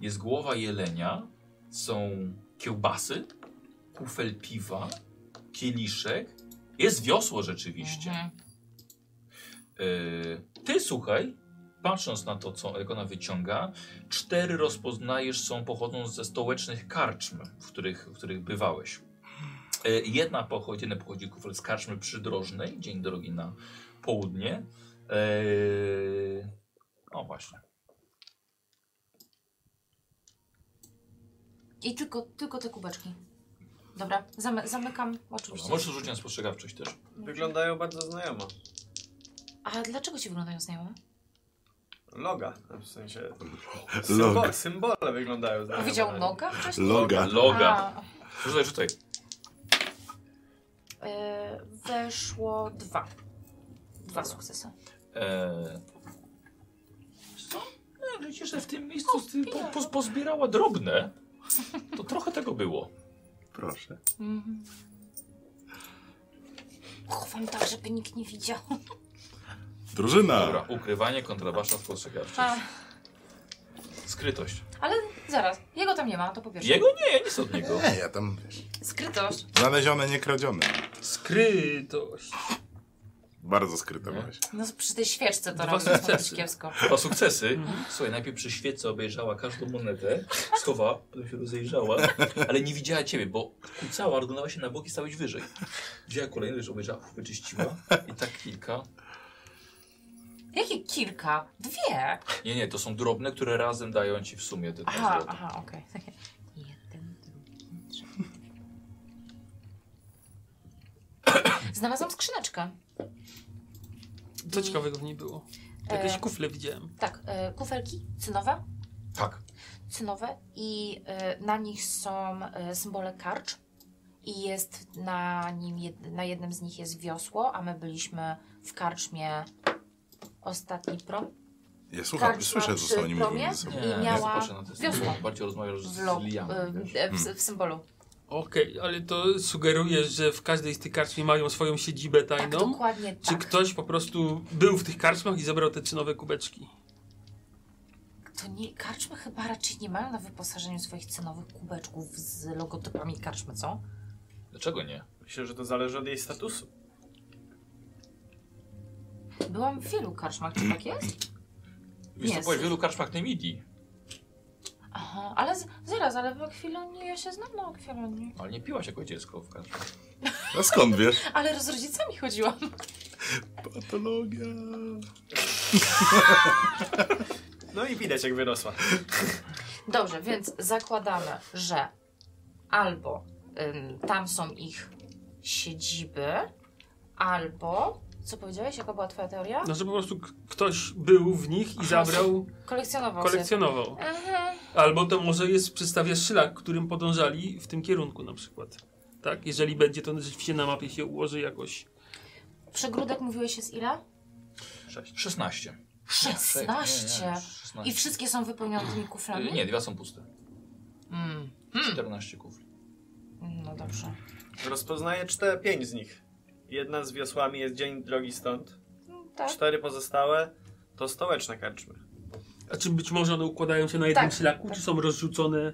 [SPEAKER 1] jest głowa jelenia, są kiełbasy, kufel piwa, kieliszek, jest wiosło rzeczywiście.
[SPEAKER 3] Mhm.
[SPEAKER 1] Y, ty słuchaj, patrząc na to, co jak ona wyciąga, cztery rozpoznajesz są pochodzą ze stołecznych karczm, w których, w których bywałeś. Y, Jedna pochodzi, jeden pochodzi kufel z karczmy przydrożnej, dzień drogi na południe. Yy, no właśnie.
[SPEAKER 3] I tylko, tylko te kubeczki. Dobra, zamy, zamykam
[SPEAKER 1] Dobra,
[SPEAKER 3] oczywiście.
[SPEAKER 1] możesz rzucić na spostrzegawczość też.
[SPEAKER 6] Wyglądają bardzo znajomo.
[SPEAKER 3] A dlaczego ci wyglądają znajome?
[SPEAKER 6] Loga, w sensie.
[SPEAKER 2] Log.
[SPEAKER 6] Symbol, symbole wyglądają znajomo.
[SPEAKER 3] Powiedział noga wcześniej?
[SPEAKER 2] Loga.
[SPEAKER 1] Loga.
[SPEAKER 3] A,
[SPEAKER 1] Rzucaj, rzucaj.
[SPEAKER 3] y, weszło dwa. Dwa sukcesy.
[SPEAKER 1] Eee, co? E, widzisz, że w tym miejscu ty po, po, pozbierała drobne. To trochę tego było.
[SPEAKER 2] Proszę.
[SPEAKER 3] Mhm. Chowam tak, żeby nikt nie widział.
[SPEAKER 2] Drużyna!
[SPEAKER 1] Dobra, ukrywanie, kontrabasza, spostrzegawczość.
[SPEAKER 3] A,
[SPEAKER 1] Skrytość.
[SPEAKER 3] ale zaraz, jego tam nie ma, to po pierwsze.
[SPEAKER 1] Jego? Nie, ja nic od niego.
[SPEAKER 2] Nie, ja tam wiesz.
[SPEAKER 3] Skrytość.
[SPEAKER 2] Znalezione, nie kradzione.
[SPEAKER 4] Skrytość.
[SPEAKER 2] Bardzo skryte
[SPEAKER 1] Nie.
[SPEAKER 2] właśnie.
[SPEAKER 3] No przy tej świeczce to
[SPEAKER 4] Dwa
[SPEAKER 3] robisz
[SPEAKER 4] sukcesy.
[SPEAKER 3] dosyć kiepsko.
[SPEAKER 1] Dwa sukcesy. Słuchaj, najpierw przy świecy obejrzała każdą monetę, schowała, potem się rozejrzała, ale nie widziała ciebie, bo kucała, oglądała się na boki, stałeś wyżej. Wzięła kolejny, już obejrzała, wyczyściła i tak kilka.
[SPEAKER 3] Jakie kilka? Dwie.
[SPEAKER 1] Nie, nie, to są drobne, które razem dają ci w sumie te dwa
[SPEAKER 3] Aha,
[SPEAKER 1] złote.
[SPEAKER 3] aha, okej. Jeden, drugi, trzeci. Znalazłam skrzyneczkę.
[SPEAKER 4] Co
[SPEAKER 3] I-
[SPEAKER 4] ciekawego w niej było? Jakieś
[SPEAKER 3] E.
[SPEAKER 4] kufle widziałem.
[SPEAKER 3] Tak, e, kufelki cynowe,
[SPEAKER 1] Tak.
[SPEAKER 3] cynowe i e, na nich są e, symbole karcz i jest na nim, jed, na jednym z nich jest wiosło, a my byliśmy w karczmie ostatni prom
[SPEAKER 2] Ja słucham,
[SPEAKER 3] Karczma
[SPEAKER 2] słyszę,
[SPEAKER 3] przy
[SPEAKER 2] że oni mówią
[SPEAKER 3] promie?
[SPEAKER 2] ze sobą.
[SPEAKER 3] Tak, znaczy, Nie. I miała
[SPEAKER 1] patrzę na te
[SPEAKER 3] wiosło.
[SPEAKER 1] symbole. Bardziej rozmawiasz z,
[SPEAKER 3] w,
[SPEAKER 1] z
[SPEAKER 3] lo,
[SPEAKER 1] Liam.
[SPEAKER 3] e, e, w, w symbolu.
[SPEAKER 4] Okej, ale to sugeruje, że w każdej z tych karczm mają swoją siedzibę
[SPEAKER 3] Tak,
[SPEAKER 4] tajną?
[SPEAKER 3] dokładnie
[SPEAKER 4] Czy
[SPEAKER 3] tak.
[SPEAKER 4] ktoś po prostu był w tych karczmach i zabrał te cynowe kubeczki?
[SPEAKER 3] To nie, karczmy chyba raczej nie mają na wyposażeniu swoich cenowych kubeczków z logotypami karczmy, co?
[SPEAKER 1] Dlaczego nie?
[SPEAKER 6] Myślę, że to zależy od jej statusu.
[SPEAKER 3] Byłam w wielu karczmach, czy tak jest?
[SPEAKER 1] Wiesz, co
[SPEAKER 3] Jest.
[SPEAKER 1] byłeś w wielu karczmach Nemidii,
[SPEAKER 3] Aha, ale z, zaraz, ale w akwilonii ja się znam no, na akwilonii.
[SPEAKER 1] ale nie piłaś jako dziecko w karczmach.
[SPEAKER 2] A skąd wiesz?
[SPEAKER 3] Ale z rodzicami chodziłam.
[SPEAKER 2] Patologia.
[SPEAKER 6] No i widać, jak wyrosła.
[SPEAKER 3] Dobrze, więc zakładamy, że albo ym, tam są ich siedziby, albo, co powiedziałeś, jaka była twoja teoria?
[SPEAKER 4] No, że po prostu k- ktoś był w nich i zabrał,
[SPEAKER 3] Kolekcjonował się.
[SPEAKER 4] kolekcjonował.
[SPEAKER 3] Aha.
[SPEAKER 4] Albo to może jest przedstawia szlak, którym podążali w tym kierunku na przykład. Tak? Jeżeli będzie to rzeczywiście na mapie się ułoży jakoś.
[SPEAKER 3] Przegródek mówiłeś jest ile?
[SPEAKER 1] 16. Nie, nie, nie,
[SPEAKER 3] 16.
[SPEAKER 1] 16.
[SPEAKER 3] I wszystkie są wypełnione tymi
[SPEAKER 1] Y,
[SPEAKER 3] kuflami?
[SPEAKER 1] Nie, dwa są puste.
[SPEAKER 3] Mm.
[SPEAKER 1] 14 kufli.
[SPEAKER 3] No dobrze.
[SPEAKER 6] Rozpoznaję cztery, pięć z nich. Jedna z wiosłami jest dzień drogi stąd.
[SPEAKER 3] No, tak.
[SPEAKER 6] Cztery pozostałe to stołeczne karczmy.
[SPEAKER 4] A czy być może one układają się na jednym
[SPEAKER 3] Tak,
[SPEAKER 4] szlaku,
[SPEAKER 3] tak.
[SPEAKER 4] czy są rozrzucone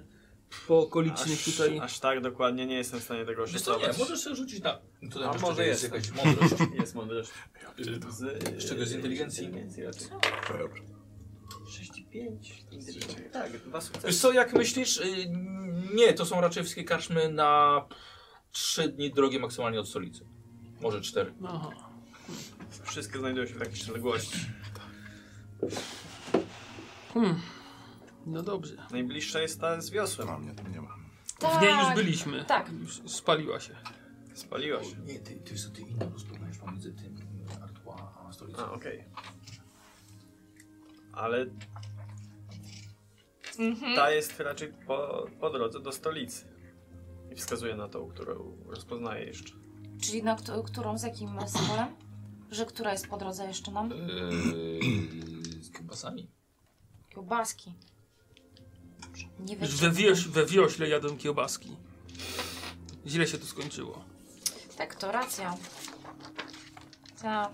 [SPEAKER 4] po okolicznych
[SPEAKER 6] Aż,
[SPEAKER 4] tutaj?
[SPEAKER 6] aż tak dokładnie nie jestem w stanie tego
[SPEAKER 1] Wiesz co, nie,
[SPEAKER 6] oszacować.
[SPEAKER 1] możesz sobie rzucić na... To
[SPEAKER 6] A może
[SPEAKER 1] jest
[SPEAKER 6] jestem.
[SPEAKER 1] jakaś mądrość.
[SPEAKER 6] Jest mądrość. Z,
[SPEAKER 1] Z czego? Z inteligencji?
[SPEAKER 6] inteligencji raczej.
[SPEAKER 2] Dobrze.
[SPEAKER 6] 6 i 5. Tak, dwa
[SPEAKER 1] Wiesz
[SPEAKER 6] sukcesy.
[SPEAKER 1] co, jak myślisz, y, nie, to są raczej wszystkie karczmy na trzy dni drogi maksymalnie od stolicy. Może cztery.
[SPEAKER 4] Aha.
[SPEAKER 6] Wszystkie znajdują się w takiej szeregłości.
[SPEAKER 4] Hmm. No dobrze.
[SPEAKER 6] Najbliższa jest ta z wiosłem.
[SPEAKER 2] A mnie tam nie ma.
[SPEAKER 4] W niej już byliśmy.
[SPEAKER 3] Tak.
[SPEAKER 4] Już Spaliła się.
[SPEAKER 6] Spaliła się.
[SPEAKER 1] Nie, ty, ty, ty inną rozpoznajesz pomiędzy tym Artois a stolicą.
[SPEAKER 6] A, okej. Ale
[SPEAKER 3] Mhm.
[SPEAKER 6] ta jest raczej po, po drodze do stolicy. I wskazuje na tą, którą rozpoznaję jeszcze.
[SPEAKER 3] Czyli na któ- którą, z jakim symbolem? Że która jest po drodze jeszcze nam?
[SPEAKER 4] Y-
[SPEAKER 1] Eee, z kiełbasami.
[SPEAKER 3] Kiełbaski. Nie
[SPEAKER 4] Już
[SPEAKER 3] wiem.
[SPEAKER 4] we, wioś, we wiośle jadłem kiełbaski. Źle się to skończyło.
[SPEAKER 3] Tak, to racja. Ta.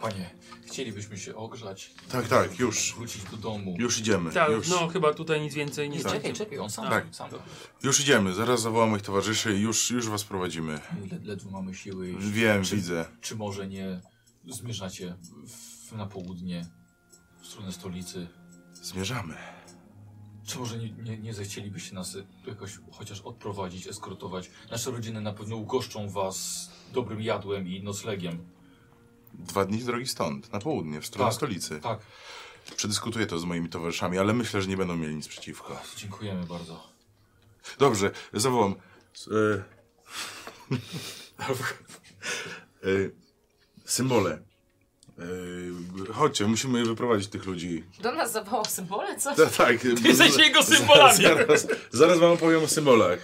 [SPEAKER 1] Panie, chcielibyśmy się ogrzać,
[SPEAKER 2] Tak, tak, już.
[SPEAKER 1] wrócić do domu.
[SPEAKER 2] Już idziemy.
[SPEAKER 4] Tak,
[SPEAKER 2] już.
[SPEAKER 4] no chyba tutaj nic więcej nie
[SPEAKER 1] Nie,
[SPEAKER 4] znajdziemy.
[SPEAKER 1] czekaj, czekaj, on sam.
[SPEAKER 2] Tak.
[SPEAKER 1] sam.
[SPEAKER 2] Już idziemy. Zaraz zawołam moich towarzyszy i już, już was prowadzimy.
[SPEAKER 1] Led, ledwo mamy siły. iść.
[SPEAKER 2] Wiem,
[SPEAKER 1] Czy-
[SPEAKER 2] widzę.
[SPEAKER 1] Czy może nie zmierzacie w, na południe, w stronę stolicy?
[SPEAKER 2] Zmierzamy.
[SPEAKER 1] Czy może nie, nie, nie zechcielibyście nas y, jakoś chociaż odprowadzić, eskortować? Nasze rodziny na pewno ugoszczą was dobrym jadłem i noclegiem.
[SPEAKER 2] Dwa dni drogi stąd, na południe, w stronę
[SPEAKER 1] Tak.
[SPEAKER 2] stolicy.
[SPEAKER 1] Tak,
[SPEAKER 2] Przedyskutuję to z moimi towarzyszami, ale myślę, że nie będą mieli nic przeciwko.
[SPEAKER 1] dziękujemy bardzo.
[SPEAKER 2] Dobrze, zawołam. S- E... e... Symbole. E... Chodźcie, musimy wyprowadzić tych ludzi.
[SPEAKER 3] Do nas zawołał symbole, co?
[SPEAKER 2] Ta, tak.
[SPEAKER 4] Ty jesteś jego symbolami.
[SPEAKER 2] Zaraz, zaraz wam opowiem o symbolach.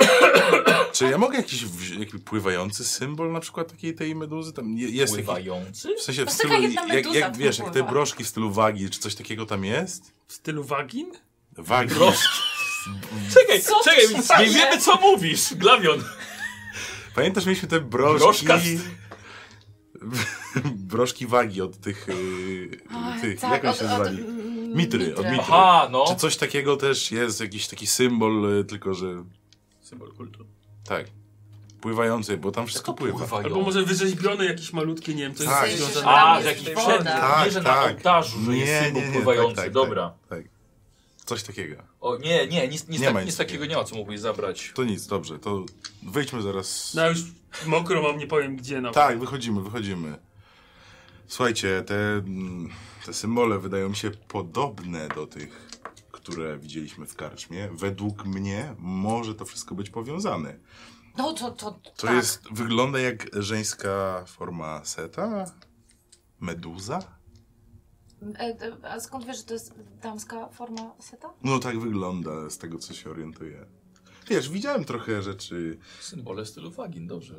[SPEAKER 2] E... Czy ja mogę jakiś, wzi- jakiś pływający symbol na przykład takiej tej meduzy? Tam je- jest taki,
[SPEAKER 1] Pływający?
[SPEAKER 2] w sensie w
[SPEAKER 3] No taka
[SPEAKER 2] stylu,
[SPEAKER 3] jedna
[SPEAKER 2] jak,
[SPEAKER 3] meduza,
[SPEAKER 2] jak, wiesz, jak te
[SPEAKER 3] pływa.
[SPEAKER 2] broszki w stylu wagi, czy coś takiego tam jest?
[SPEAKER 4] W stylu wagin?
[SPEAKER 2] Wagi.
[SPEAKER 1] Czekaj,
[SPEAKER 3] Co ty czekaj, się nie dzieje? wiemy,
[SPEAKER 1] co mówisz, Glawion.
[SPEAKER 2] Pamiętasz, mieliśmy te broszki.
[SPEAKER 1] Broszka.
[SPEAKER 2] broszki wagi od tych. Yy,
[SPEAKER 3] Oj,
[SPEAKER 2] tych
[SPEAKER 3] tak,
[SPEAKER 2] jak oni
[SPEAKER 3] od-
[SPEAKER 2] się
[SPEAKER 3] od-
[SPEAKER 2] nazywali?
[SPEAKER 3] mm,
[SPEAKER 2] Mitry, od mitry.
[SPEAKER 1] Aha, no.
[SPEAKER 2] Czy coś takiego też jest, jakiś taki symbol, y, tylko że.
[SPEAKER 6] Symbol kultu.
[SPEAKER 2] Tak. Pływający, bo tam wszystko pływa.
[SPEAKER 1] Pływają.
[SPEAKER 4] Albo może wyrzeźbione jakieś malutkie, nie wiem, coś
[SPEAKER 2] Tak.
[SPEAKER 4] jest związane.
[SPEAKER 3] Tam
[SPEAKER 1] A,
[SPEAKER 3] jest
[SPEAKER 1] że jakiś
[SPEAKER 6] woda.
[SPEAKER 1] przedmiot.
[SPEAKER 2] Tak,
[SPEAKER 1] nie, że na
[SPEAKER 2] tak.
[SPEAKER 1] ołtarzu, że jest symbol pływający.
[SPEAKER 2] tak, tak,
[SPEAKER 1] Dobra.
[SPEAKER 2] Tak, tak. Coś takiego.
[SPEAKER 1] O, nie, nie, nic, nic,
[SPEAKER 2] Nie
[SPEAKER 1] tak,
[SPEAKER 2] ma
[SPEAKER 1] nic,
[SPEAKER 2] nic
[SPEAKER 1] takiego
[SPEAKER 2] takiego.
[SPEAKER 1] nie ma, co mógłbyś zabrać.
[SPEAKER 2] To nic, dobrze, to wyjdźmy zaraz.
[SPEAKER 4] No już mokro mam, nie powiem gdzie no. nawet.
[SPEAKER 2] Tak, wychodzimy, wychodzimy. Słuchajcie, te, mm, te symbole wydają mi się podobne do tych, które widzieliśmy w karczmie. Według mnie może to wszystko być powiązane.
[SPEAKER 3] No to, to,
[SPEAKER 2] To
[SPEAKER 3] tak.
[SPEAKER 2] jest, wygląda jak żeńska forma seta? Meduza?
[SPEAKER 3] E, d- A skąd wiesz, że to jest damska forma seta?
[SPEAKER 2] No tak wygląda, z tego co się orientuję. Wiesz, widziałem trochę rzeczy.
[SPEAKER 1] Symbole stylu wagin, dobrze.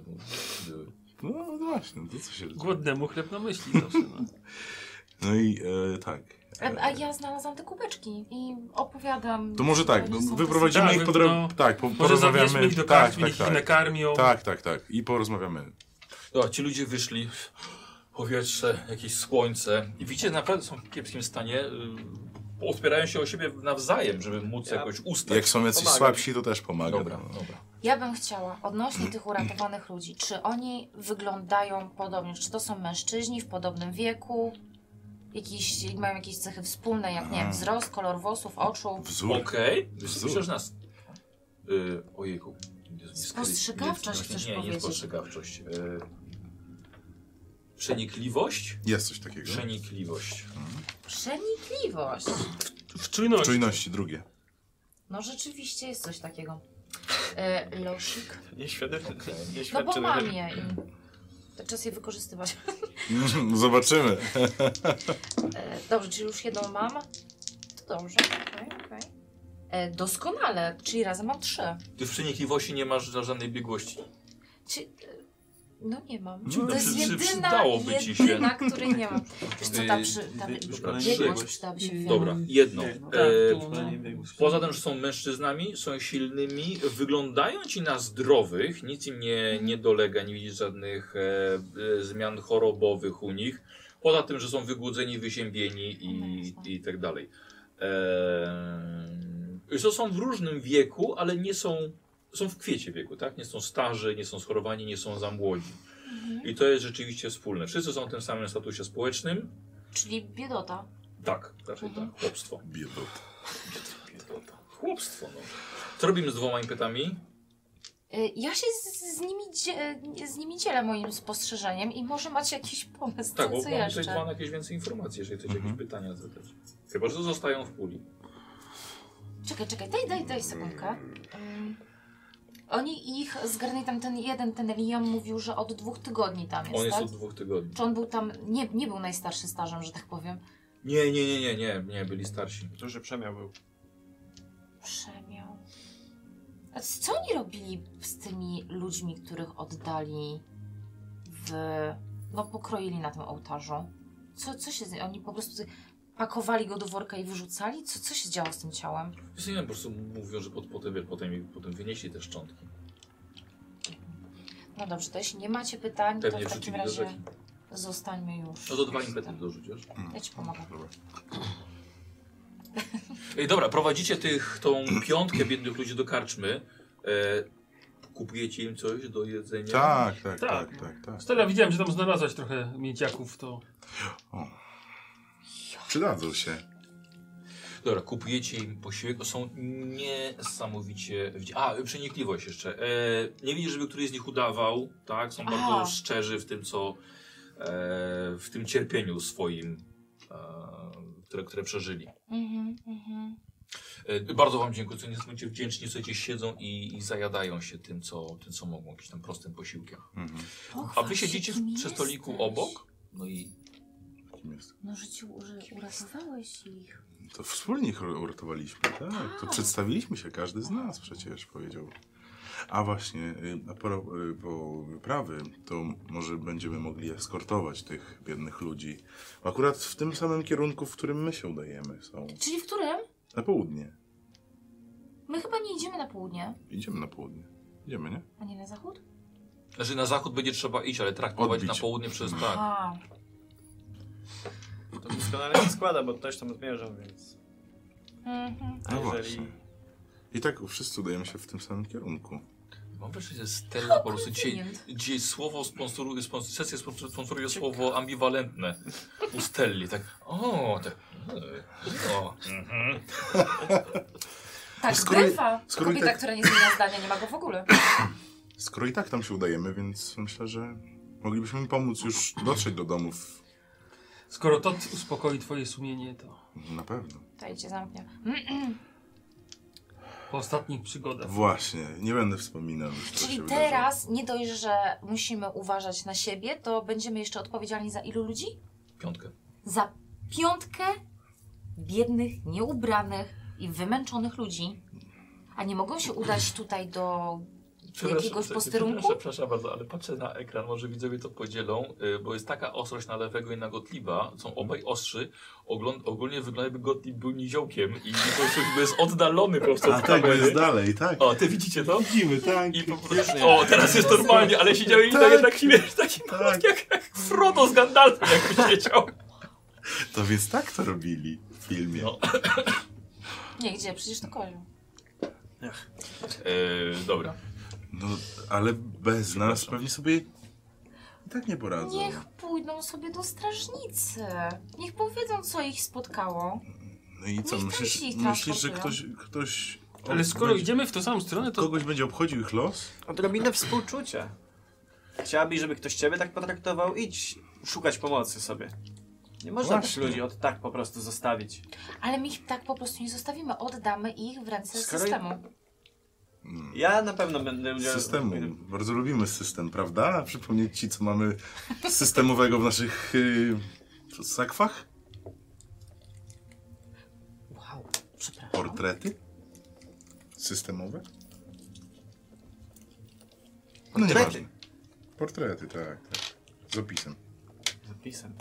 [SPEAKER 1] Były.
[SPEAKER 2] No, no właśnie, to co się...
[SPEAKER 4] Głodnemu chleb na myśli zawsze. No.
[SPEAKER 2] No i e, tak.
[SPEAKER 3] E, A ja znalazłam te kubeczki i opowiadam.
[SPEAKER 2] To może tak,
[SPEAKER 3] że
[SPEAKER 2] no,
[SPEAKER 3] są te
[SPEAKER 2] wyprowadzimy
[SPEAKER 4] Tak,
[SPEAKER 2] ich po
[SPEAKER 4] no,
[SPEAKER 2] dro- Tak, po,
[SPEAKER 4] Może
[SPEAKER 2] porozmawiamy.
[SPEAKER 4] zabierzmy ich do
[SPEAKER 2] tak,
[SPEAKER 4] karczmy, niech ich nakarmią.
[SPEAKER 2] Tak, tak, tak. I porozmawiamy.
[SPEAKER 1] Dobra, ci ludzie wyszli, powietrze, jakieś słońce. I widzicie, naprawdę są w kiepskim stanie. y, Odpierają się o siebie nawzajem, żeby móc
[SPEAKER 6] Ja-
[SPEAKER 1] jakoś
[SPEAKER 4] Tak.
[SPEAKER 1] ustać.
[SPEAKER 2] Jak są jacyś
[SPEAKER 6] Pomaga.
[SPEAKER 2] słabsi, to też pomaga.
[SPEAKER 1] Dobra,
[SPEAKER 2] No.
[SPEAKER 1] dobra.
[SPEAKER 3] Ja bym chciała, odnośnie tych uratowanych ludzi, czy oni wyglądają podobnie? Czy to są mężczyźni w podobnym wieku? Jakiś, mają jakieś cechy wspólne, jak nie wiem,
[SPEAKER 2] Aha.
[SPEAKER 3] wzrost, kolor włosów, oczu?
[SPEAKER 2] Wzór.
[SPEAKER 1] Okej.
[SPEAKER 2] Wzór.
[SPEAKER 1] Myślę, że nas... Y, ojejku. Jezu, nie skry-
[SPEAKER 3] Spostrzegawczość
[SPEAKER 1] nie- właśnie
[SPEAKER 3] chcesz
[SPEAKER 1] Nie, nie
[SPEAKER 3] powiedzieć.
[SPEAKER 1] spostrzegawczość. Y, przenikliwość?
[SPEAKER 2] Jest coś takiego.
[SPEAKER 1] Przenikliwość.
[SPEAKER 3] Przenikliwość.
[SPEAKER 4] W czujności.
[SPEAKER 2] Czujności drugie.
[SPEAKER 3] No rzeczywiście jest coś takiego. E, losik.
[SPEAKER 6] Nie świadczy. Nie
[SPEAKER 3] No bo
[SPEAKER 6] świadczy
[SPEAKER 3] mam je i to czas je wykorzystywać.
[SPEAKER 2] Zobaczymy.
[SPEAKER 3] E, dobrze, czyli już jedną mam. To dobrze, okej, okej. E, Doskonale, czyli razem mam trzy.
[SPEAKER 1] Ty w przenikliwości nie masz żadnej biegłości.
[SPEAKER 3] Czy, e, No nie mam.
[SPEAKER 1] Dzień
[SPEAKER 3] to
[SPEAKER 1] dobry,
[SPEAKER 3] jest
[SPEAKER 1] Mm, przy- przy-
[SPEAKER 3] jedyna,
[SPEAKER 1] przydałoby ci się.
[SPEAKER 3] jedyna, której nie mam. Wiesz co, ta, przy, ta
[SPEAKER 6] Wy- wyszkola
[SPEAKER 1] Dobra,
[SPEAKER 3] biegłość
[SPEAKER 1] trzy.
[SPEAKER 3] przydałaby się. wiem.
[SPEAKER 1] Y, Dobra, jedno.
[SPEAKER 6] Tak,
[SPEAKER 4] tak,
[SPEAKER 1] E,
[SPEAKER 4] tu, no.
[SPEAKER 6] Szkolenie biegów.
[SPEAKER 1] Poza tym, że są mężczyznami, są silnymi, wyglądają ci na zdrowych, nic im nie, nie dolega, nie widzisz żadnych e, e, zmian chorobowych u nich. Poza tym, że są wygłodzeni, wyziębieni i, i tak dalej. E, to są w różnym wieku, ale nie są, są w kwiecie wieku, tak? Nie są starzy, nie są schorowani, nie są za młodzi. I to jest rzeczywiście wspólne. Wszyscy są w tym samym statusie społecznym.
[SPEAKER 3] Czyli biedota.
[SPEAKER 1] Tak, raczej
[SPEAKER 3] Mhm.
[SPEAKER 1] tak, chłopstwo.
[SPEAKER 2] Biedot.
[SPEAKER 1] Chłopstwo, no. Co robimy z dwoma impetami?
[SPEAKER 3] Y, Ja się z, z, nimi dzie, z nimi dzielę moim spostrzeżeniem i może macie jakiś pomysł,
[SPEAKER 1] Tak,
[SPEAKER 3] co,
[SPEAKER 1] bo
[SPEAKER 3] co
[SPEAKER 1] mam tutaj
[SPEAKER 3] jeszcze.
[SPEAKER 1] mam jakieś więcej informacji, jeżeli chcecie
[SPEAKER 2] Mhm.
[SPEAKER 1] jakieś pytania zadać. Chyba, że zostają w puli.
[SPEAKER 3] Czekaj, czekaj, daj, daj, daj sekundkę. Ym, Oni ich zgarnęli tam ten jeden, ten Liam mówił, że od dwóch tygodni tam jest,
[SPEAKER 1] On jest
[SPEAKER 3] tak?
[SPEAKER 1] od dwóch tygodni.
[SPEAKER 3] Czy on był tam, nie, nie był najstarszy stażem, że tak powiem.
[SPEAKER 1] Nie, nie, nie, nie, nie, nie, byli starsi.
[SPEAKER 6] To, że przemiał był.
[SPEAKER 3] Przemiał. A c- co oni robili z tymi ludźmi, których oddali w... No pokroili na tym ołtarzu? Co, co się... z- Oni po prostu pakowali go do worka i wyrzucali? Co, co się działo z tym ciałem?
[SPEAKER 1] Wiesz, nie wiem, po prostu mówią, że pod, potem, potem, potem wynieśli te szczątki.
[SPEAKER 3] No dobrze, to jeśli nie macie pytań, No to
[SPEAKER 1] Pewnie
[SPEAKER 3] w takim
[SPEAKER 1] wrzucili do rzeki.
[SPEAKER 3] razie zostańmy już.
[SPEAKER 1] No to dwa
[SPEAKER 3] już
[SPEAKER 1] impety
[SPEAKER 3] tam.
[SPEAKER 1] dorzucisz.
[SPEAKER 3] Ja
[SPEAKER 1] No,
[SPEAKER 3] ci pomogę.
[SPEAKER 2] Dobra.
[SPEAKER 1] Ej, dobra, prowadzicie tych, tą piątkę biednych ludzi do karczmy. E, kupujecie im coś do jedzenia.
[SPEAKER 2] Tak, tak,
[SPEAKER 4] Tak.
[SPEAKER 2] tak, tak, tak.
[SPEAKER 4] Stella, widziałem, że tam znalazłaś trochę miedziaków, to...
[SPEAKER 2] Przydadzą się.
[SPEAKER 1] Dobra, kupujecie im posiłek, są niesamowicie... widzi- A, przenikliwość jeszcze. E, nie widzisz, żeby któryś z nich udawał, tak? Są
[SPEAKER 3] Aha.
[SPEAKER 1] bardzo szczerzy w tym, co... E, w tym cierpieniu swoim, e, które, które przeżyli.
[SPEAKER 3] Mhm, mhm.
[SPEAKER 1] E, bardzo wam dziękuję, co niesamowicie wdzięczni, słuchajcie, siedzą i, i zajadają się tym co, tym, co mogą, jakimś tam prostym posiłkiem.
[SPEAKER 2] Mhm.
[SPEAKER 1] A
[SPEAKER 3] Pochwal
[SPEAKER 1] wy
[SPEAKER 3] się,
[SPEAKER 1] siedzicie
[SPEAKER 3] kim
[SPEAKER 1] w, przy stoliku
[SPEAKER 3] jesteś.
[SPEAKER 1] obok, no i
[SPEAKER 2] Kim jest?
[SPEAKER 3] No, że ci u- że uratowałeś ich.
[SPEAKER 2] To wspólnie ich uratowaliśmy, tak? To przedstawiliśmy się, każdy z nas przecież powiedział. A właśnie, y, a po, y, po wyprawy, to może będziemy mogli eskortować tych biednych ludzi. Akurat w tym samym kierunku, w którym my się udajemy, są.
[SPEAKER 3] Czyli w którym?
[SPEAKER 2] Na południe.
[SPEAKER 3] My chyba nie idziemy na południe,
[SPEAKER 2] Idziemy na południe. Idziemy, nie?
[SPEAKER 3] a nie na zachód?
[SPEAKER 1] Znaczy na zachód będzie trzeba iść, ale traktować
[SPEAKER 2] Odbić.
[SPEAKER 1] na południe przez tak.
[SPEAKER 3] A,
[SPEAKER 6] To doskonale się składa, bo ktoś tam zmierzał, więc...
[SPEAKER 3] mhm.
[SPEAKER 6] A
[SPEAKER 2] No
[SPEAKER 6] jeżeli...
[SPEAKER 2] właśnie. I tak wszyscy udajemy się w tym samym kierunku.
[SPEAKER 1] Mam wrażenie, że Stella po prostu dzisiaj,
[SPEAKER 3] konfident.
[SPEAKER 1] dzisiaj słowo sponsoruje, sponsor, sesję sponsor- sponsoruje słowo ambiwalentne u Stelli, tak o, tak, e, o, mhm.
[SPEAKER 3] Tak,
[SPEAKER 2] Skoro-
[SPEAKER 3] bywa.
[SPEAKER 2] skoro i
[SPEAKER 3] Kobieta,
[SPEAKER 2] tak-
[SPEAKER 3] która nie zmienia zdania, nie ma go w ogóle.
[SPEAKER 2] Skoro i tak tam się udajemy, więc myślę, że moglibyśmy im pomóc już dotrzeć do domów.
[SPEAKER 4] Skoro to t- uspokoi twoje sumienie, to
[SPEAKER 2] Na pewno.
[SPEAKER 3] Tutaj cię zamknie. Mm,
[SPEAKER 4] po ostatnich przygodach.
[SPEAKER 2] Właśnie, nie będę wspominał. już, co się
[SPEAKER 3] Czyli
[SPEAKER 2] wydarzyło.
[SPEAKER 3] teraz nie dość, że musimy uważać na siebie, to będziemy jeszcze odpowiedzialni za ilu ludzi?
[SPEAKER 1] piątkę.
[SPEAKER 3] Za piątkę biednych, nieubranych i wymęczonych ludzi. A nie mogą się udać tutaj do jakiegoś posterunku?
[SPEAKER 1] Przepraszam, przepraszam bardzo, ale patrzę na ekran, może widzowie to podzielą, y, bo jest taka ostrość na lewego i na Gottlieba, są
[SPEAKER 3] Mhm.
[SPEAKER 1] obaj ostrzy, Ogląd, ogólnie wygląda jakby Gottlieb był niziołkiem i po prostu jakby jest oddalony po prostu
[SPEAKER 2] A
[SPEAKER 1] od
[SPEAKER 2] tak, bo
[SPEAKER 1] kamery.
[SPEAKER 2] jest dalej, tak.
[SPEAKER 1] O, ty widzicie to?
[SPEAKER 2] Widzimy, tak.
[SPEAKER 1] I po prostu, o, teraz jest normalnie, ale siedział i tak,
[SPEAKER 2] Tak.
[SPEAKER 1] jednak wiesz, taki malutki jak, jak Frodo z Gandalfem jakby siedział.
[SPEAKER 2] To więc tak to robili w filmie.
[SPEAKER 1] No.
[SPEAKER 3] Nie, gdzie? Przecież to kozioł.
[SPEAKER 1] E, dobra.
[SPEAKER 2] No, ale bez nas pewnie sobie i tak nie poradzą.
[SPEAKER 3] Niech pójdą sobie do strażnicy. Niech powiedzą, co ich spotkało.
[SPEAKER 2] No i co,
[SPEAKER 3] niech
[SPEAKER 2] myślisz,
[SPEAKER 3] tamci
[SPEAKER 2] myślisz że ktoś,
[SPEAKER 3] transportują.
[SPEAKER 2] ktoś...
[SPEAKER 4] Ale skoro
[SPEAKER 2] będzie,
[SPEAKER 4] idziemy w tą samą stronę, to
[SPEAKER 2] Kogoś będzie obchodził ich los?
[SPEAKER 6] Odrobinę współczucia. Chciałabyś, żeby ktoś ciebie tak potraktował? Idź szukać pomocy sobie. Nie można
[SPEAKER 2] Właśnie.
[SPEAKER 6] też ludzi od tak po prostu zostawić.
[SPEAKER 3] Ale my ich tak po prostu nie zostawimy. Oddamy ich w ręce
[SPEAKER 6] Skoro-
[SPEAKER 3] systemu.
[SPEAKER 6] Ja na pewno będę
[SPEAKER 2] Z
[SPEAKER 6] udział...
[SPEAKER 2] Hmm. systemu. Bardzo lubimy system, prawda? Przypomnieć ci, co mamy systemowego w naszych yy, sakwach?
[SPEAKER 3] Wow, przepraszam.
[SPEAKER 2] Portrety? Systemowe? No
[SPEAKER 6] Portrety.
[SPEAKER 2] nieważne. Portrety, tak, tak. Z opisem.
[SPEAKER 6] Zapisem.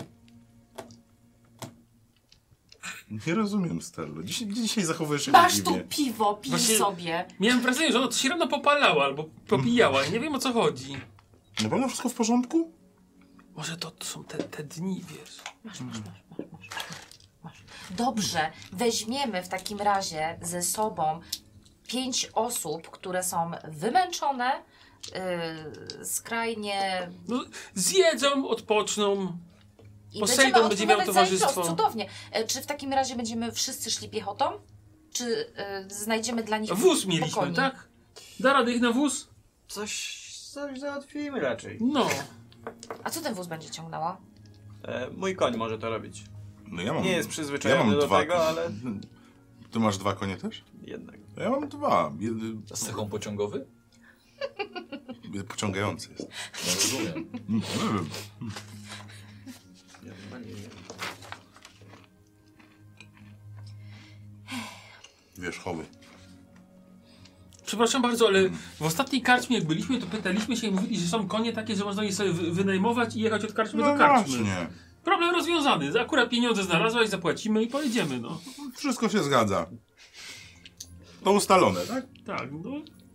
[SPEAKER 2] Nie rozumiem, Stello. Dzisiaj, dzisiaj zachowujesz się
[SPEAKER 3] Masz tu
[SPEAKER 2] dziwnie.
[SPEAKER 3] piwo, pij
[SPEAKER 4] Właśnie-
[SPEAKER 3] sobie.
[SPEAKER 4] Miałem wrażenie, że ona coś się rano popalała albo popijała. Nie wiem o co chodzi.
[SPEAKER 2] Na pewno No wszystko w porządku?
[SPEAKER 4] Może to, to są te, te dni, wiesz.
[SPEAKER 3] Masz, masz, masz, masz, masz, masz. Dobrze, weźmiemy w takim razie ze sobą pięć osób, które są wymęczone, yy, skrajnie
[SPEAKER 4] No, zjedzą, odpoczną.
[SPEAKER 3] i
[SPEAKER 4] Posejdon
[SPEAKER 3] będziemy
[SPEAKER 4] będzie miał
[SPEAKER 3] odpowiadać za ich
[SPEAKER 4] towarzystwo.
[SPEAKER 3] los. Cudownie. E, Czy w takim razie będziemy wszyscy szli piechotą? Czy e, znajdziemy dla nich
[SPEAKER 4] Wóz mieliśmy,
[SPEAKER 3] pokojnik?
[SPEAKER 4] tak? Da radę ich na wóz?
[SPEAKER 6] Coś, coś załatwimy raczej.
[SPEAKER 4] No.
[SPEAKER 3] A co ten wóz będzie ciągnęła?
[SPEAKER 6] E, mój koń może to robić.
[SPEAKER 2] No ja mam.
[SPEAKER 6] Nie jest przyzwyczajony
[SPEAKER 2] ja mam
[SPEAKER 6] do
[SPEAKER 2] dwa
[SPEAKER 6] tego,
[SPEAKER 2] konie.
[SPEAKER 6] ale
[SPEAKER 2] Ty masz dwa konie też?
[SPEAKER 6] jednak.
[SPEAKER 2] No Ja mam dwa. Jedy...
[SPEAKER 1] Z cechą pociągowy?
[SPEAKER 2] Pociągający jest.
[SPEAKER 1] Ja rozumiem.
[SPEAKER 2] Mm, nie wiem.
[SPEAKER 6] Ja chyba nie wiem.
[SPEAKER 2] Wierzchowy.
[SPEAKER 4] Przepraszam bardzo, ale w ostatniej karczmie jak byliśmy, to pytaliśmy się i mówili, że są konie takie, że można je sobie wy- wynajmować i jechać od karczmy do karczmy.
[SPEAKER 2] No, właśnie.
[SPEAKER 4] Problem rozwiązany. Akurat pieniądze znalazłaś, zapłacimy i pojedziemy, no.
[SPEAKER 2] Wszystko się zgadza. To ustalone, tak?
[SPEAKER 4] Tak, no.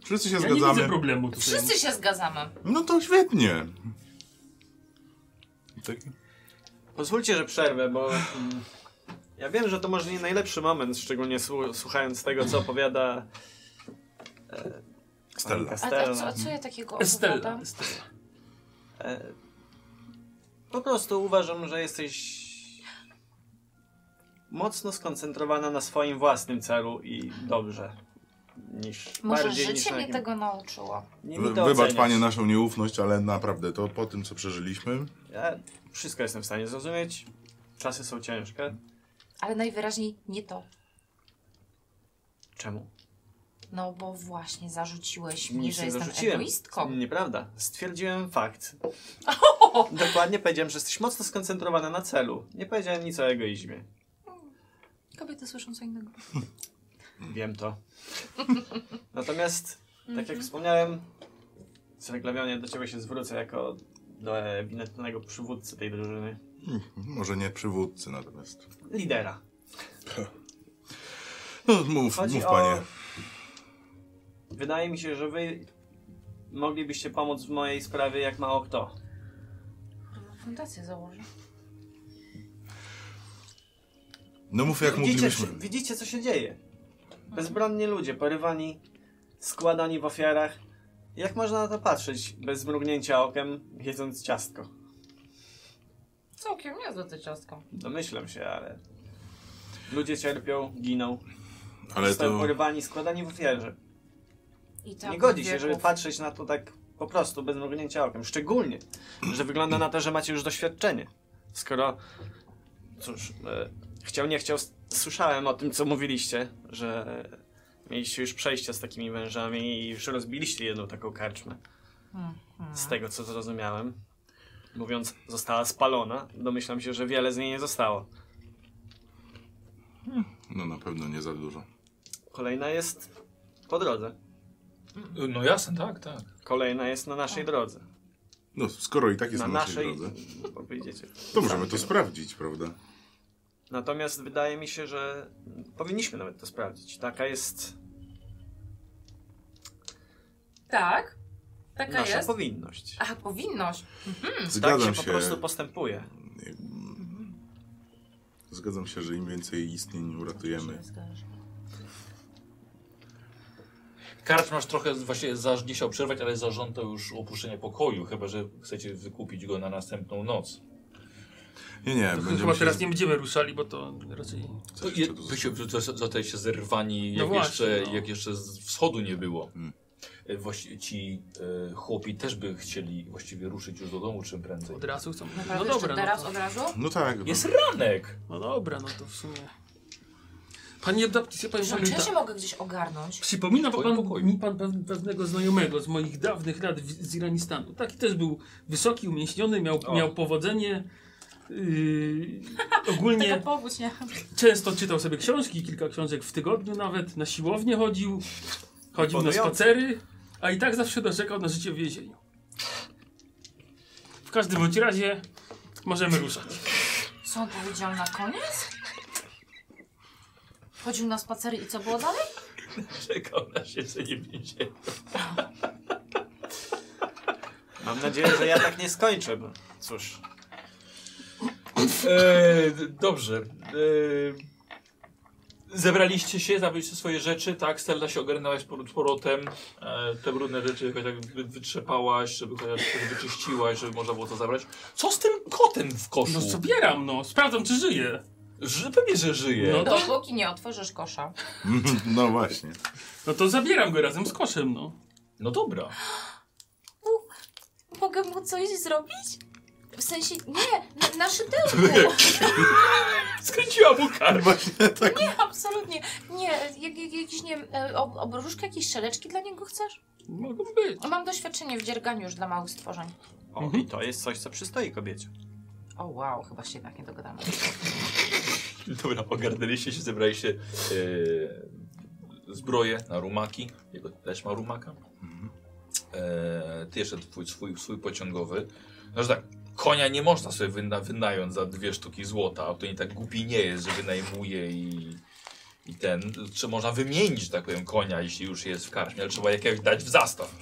[SPEAKER 2] Wszyscy się
[SPEAKER 4] Ja nie widzę
[SPEAKER 2] zgadzamy.
[SPEAKER 4] problemu tutaj.
[SPEAKER 3] Wszyscy się zgadzamy.
[SPEAKER 2] No to świetnie. Tak?
[SPEAKER 6] Pozwólcie, że przerwę, bo mm, ja wiem, że to może nie najlepszy moment, szczególnie słu- słuchając tego, co opowiada
[SPEAKER 2] Stella.
[SPEAKER 3] A, a, co,
[SPEAKER 6] Estela.
[SPEAKER 3] a co ja takiego
[SPEAKER 4] Estella,
[SPEAKER 3] opowiadam?
[SPEAKER 4] Estella.
[SPEAKER 6] E, Po prostu uważam, że jesteś mocno skoncentrowana na swoim własnym celu i dobrze. Niż
[SPEAKER 3] Może
[SPEAKER 6] bardziej niż
[SPEAKER 3] życie
[SPEAKER 6] na
[SPEAKER 3] mnie
[SPEAKER 6] jakim-
[SPEAKER 3] tego nauczyło.
[SPEAKER 6] Nie mi
[SPEAKER 2] Wy,
[SPEAKER 6] to
[SPEAKER 2] wybacz
[SPEAKER 6] oceniać.
[SPEAKER 2] panie naszą nieufność, ale naprawdę to po tym co przeżyliśmy.
[SPEAKER 6] Ja wszystko jestem w stanie zrozumieć. Czasy są ciężkie.
[SPEAKER 3] Ale najwyraźniej nie to.
[SPEAKER 6] Czemu?
[SPEAKER 3] No bo właśnie zarzuciłeś mi,
[SPEAKER 6] Nic
[SPEAKER 3] że
[SPEAKER 6] nie
[SPEAKER 3] jestem
[SPEAKER 6] zarzuciłem. Mm.
[SPEAKER 3] egoistką.
[SPEAKER 6] Nieprawda. Stwierdziłem fakt. Dokładnie powiedziałem, że jesteś mocno skoncentrowana na celu. Nie powiedziałem nic o egoizmie.
[SPEAKER 3] Kobiety słyszą co innego.
[SPEAKER 6] Wiem to. Natomiast, tak
[SPEAKER 3] Mhm.
[SPEAKER 6] jak wspomniałem, z reglamionie do ciebie się zwrócę jako do ewidentnego przywódcy tej drużyny.
[SPEAKER 2] Hmm, Może nie przywódcy natomiast.
[SPEAKER 6] Lidera.
[SPEAKER 2] No mów,
[SPEAKER 6] Chodzi
[SPEAKER 2] mów
[SPEAKER 6] o-
[SPEAKER 2] panie.
[SPEAKER 6] Wydaje mi się, że wy moglibyście pomóc w mojej sprawie jak mało kto.
[SPEAKER 3] Fundację założę.
[SPEAKER 2] No mów jak
[SPEAKER 6] widzicie,
[SPEAKER 2] moglibyśmy.
[SPEAKER 6] widzicie, co się dzieje. Bezbronni ludzie, porywani, składani w ofiarach. Jak można na to patrzeć bez mrugnięcia okiem, jedząc ciastko?
[SPEAKER 3] Całkiem niezłe te ciastko.
[SPEAKER 6] Domyślam się, ale... Ludzie cierpią, giną,
[SPEAKER 2] Ale
[SPEAKER 6] zostają
[SPEAKER 2] to
[SPEAKER 6] porywani, składani w ofierze.
[SPEAKER 3] I tak
[SPEAKER 6] nie godzi się,
[SPEAKER 3] wieków.
[SPEAKER 6] żeby patrzeć na to tak po prostu, bez mrugnięcia okiem. Szczególnie, że wygląda na to, że macie już doświadczenie. Skoro, cóż, e, chciał nie chciał, s- słyszałem o tym, co mówiliście, że mieliście już przejścia z takimi wężami i już rozbiliście jedną taką karczmę.
[SPEAKER 3] Hmm,
[SPEAKER 6] Z tego, co zrozumiałem. Mówiąc, została spalona. Domyślam się, że wiele z niej nie zostało.
[SPEAKER 2] no na pewno nie za dużo.
[SPEAKER 6] Kolejna jest po drodze.
[SPEAKER 1] No jasne, tak, tak.
[SPEAKER 6] Kolejna jest na naszej drodze.
[SPEAKER 2] No skoro i tak jest
[SPEAKER 6] na
[SPEAKER 2] na,
[SPEAKER 6] naszej,
[SPEAKER 2] naszej drodze,
[SPEAKER 6] bo wyjdziecie.
[SPEAKER 2] to możemy to sprawdzić, prawda?
[SPEAKER 6] Natomiast wydaje mi się, że powinniśmy nawet to sprawdzić. Taka jest
[SPEAKER 3] Tak, taka
[SPEAKER 6] nasza
[SPEAKER 3] jest.
[SPEAKER 6] powinność.
[SPEAKER 3] A powinność.
[SPEAKER 6] Tak
[SPEAKER 2] Zgadzam
[SPEAKER 6] się
[SPEAKER 2] się.
[SPEAKER 6] po prostu postępuje.
[SPEAKER 2] Zgadzam się, że im więcej istnień uratujemy.
[SPEAKER 3] No
[SPEAKER 1] Karcz masz trochę właśnie zaż nie chciał przerwać, ale zażądał już opuszczenie pokoju, chyba że chcecie wykupić go na następną noc.
[SPEAKER 2] Nie, nie,
[SPEAKER 4] To
[SPEAKER 2] będziemy
[SPEAKER 4] chyba
[SPEAKER 2] się...
[SPEAKER 4] teraz nie będziemy ruszali, bo to raczej...
[SPEAKER 2] Coś
[SPEAKER 1] To
[SPEAKER 2] jeszcze
[SPEAKER 1] je,
[SPEAKER 2] tu
[SPEAKER 1] wy się zostaliście zerwani,
[SPEAKER 4] No
[SPEAKER 1] jak,
[SPEAKER 4] właśnie,
[SPEAKER 1] jeszcze,
[SPEAKER 4] no.
[SPEAKER 1] jak jeszcze z wschodu nie było.
[SPEAKER 2] Mm.
[SPEAKER 1] E, Właści ci e, chłopi też by chcieli właściwie ruszyć już do domu czym prędzej.
[SPEAKER 4] Od razu chcą... No
[SPEAKER 3] Naprawdę
[SPEAKER 4] dobra, no
[SPEAKER 3] teraz
[SPEAKER 4] to,
[SPEAKER 3] od razu?
[SPEAKER 2] No tak. No.
[SPEAKER 1] Jest ranek!
[SPEAKER 4] no dobra, no to w sumie... Panie Abdaptis, ja pan
[SPEAKER 3] Przepraszam, Czy ja
[SPEAKER 4] pamiętam...
[SPEAKER 3] się mogę gdzieś ogarnąć?
[SPEAKER 4] Przypomina
[SPEAKER 1] Twoim
[SPEAKER 4] pan,
[SPEAKER 1] pokoju.
[SPEAKER 4] mi pan pew- pewnego znajomego z moich dawnych lat w, z Iranistanu. Taki też był wysoki, umieśniony, miał,
[SPEAKER 1] O.
[SPEAKER 4] miał powodzenie. Yy,
[SPEAKER 3] Taka
[SPEAKER 4] ogólnie
[SPEAKER 3] powódź, nie?
[SPEAKER 4] często czytał sobie książki, kilka książek w tygodniu nawet, na siłownię chodził, chodził na
[SPEAKER 6] Imponujące.
[SPEAKER 4] spacery, a i tak zawsze narzekał na życie w więzieniu. W każdym bądź razie możemy ruszać.
[SPEAKER 3] Co on powiedział na koniec? Chodził na spacery i co było dalej?
[SPEAKER 1] Czekał na siedzenie w więzieniu.
[SPEAKER 6] Mam nadzieję, że ja tak nie skończę, bo cóż.
[SPEAKER 1] E, d- dobrze. E, zebraliście się, zabraliście swoje rzeczy, tak? Stella się ogarnęłaś z powró- z powrotem. E, te brudne rzeczy jakoś tak wy- wytrzepałaś, żeby chociaż coś wyczyściłaś, żeby można było to zabrać. Co z tym kotem w koszu?
[SPEAKER 4] No zabieram, no. Sprawdzam, czy żyje.
[SPEAKER 1] Że, pewnie, że żyje.
[SPEAKER 4] No.
[SPEAKER 3] To póki nie otworzysz kosza.
[SPEAKER 2] No właśnie.
[SPEAKER 4] No to zabieram go razem z koszem, no.
[SPEAKER 1] no dobra.
[SPEAKER 3] Mogę mu coś zrobić? W sensie, nie, na, na szydełku.
[SPEAKER 1] Skręciła mu karmę.
[SPEAKER 2] Właśnie tak.
[SPEAKER 3] Nie, absolutnie. Nie, jak, jak, jakieś, nie wiem, e, ob- obruszki, jakieś szeleczki dla niego chcesz?
[SPEAKER 4] Mogą być.
[SPEAKER 3] Mam doświadczenie w dzierganiu już dla małych stworzeń.
[SPEAKER 6] O,
[SPEAKER 3] Mhm.
[SPEAKER 6] i to jest coś, co przystoi kobiecie.
[SPEAKER 3] O wow, chyba się jednak nie dogadamy.
[SPEAKER 1] Dobra, ogarnęliście się, zebraliście e, zbroję na rumaki. Jego też ma rumaka. E, ty jeszcze twój, swój, swój pociągowy. Znaczy tak, konia nie można sobie wyna, wynająć za dwie sztuki złota. To nie tak głupi nie jest, że wynajmuje i, i ten. Czy można wymienić, że tak powiem, konia, jeśli już jest w karczmie, ale trzeba jakiegoś dać w zastaw.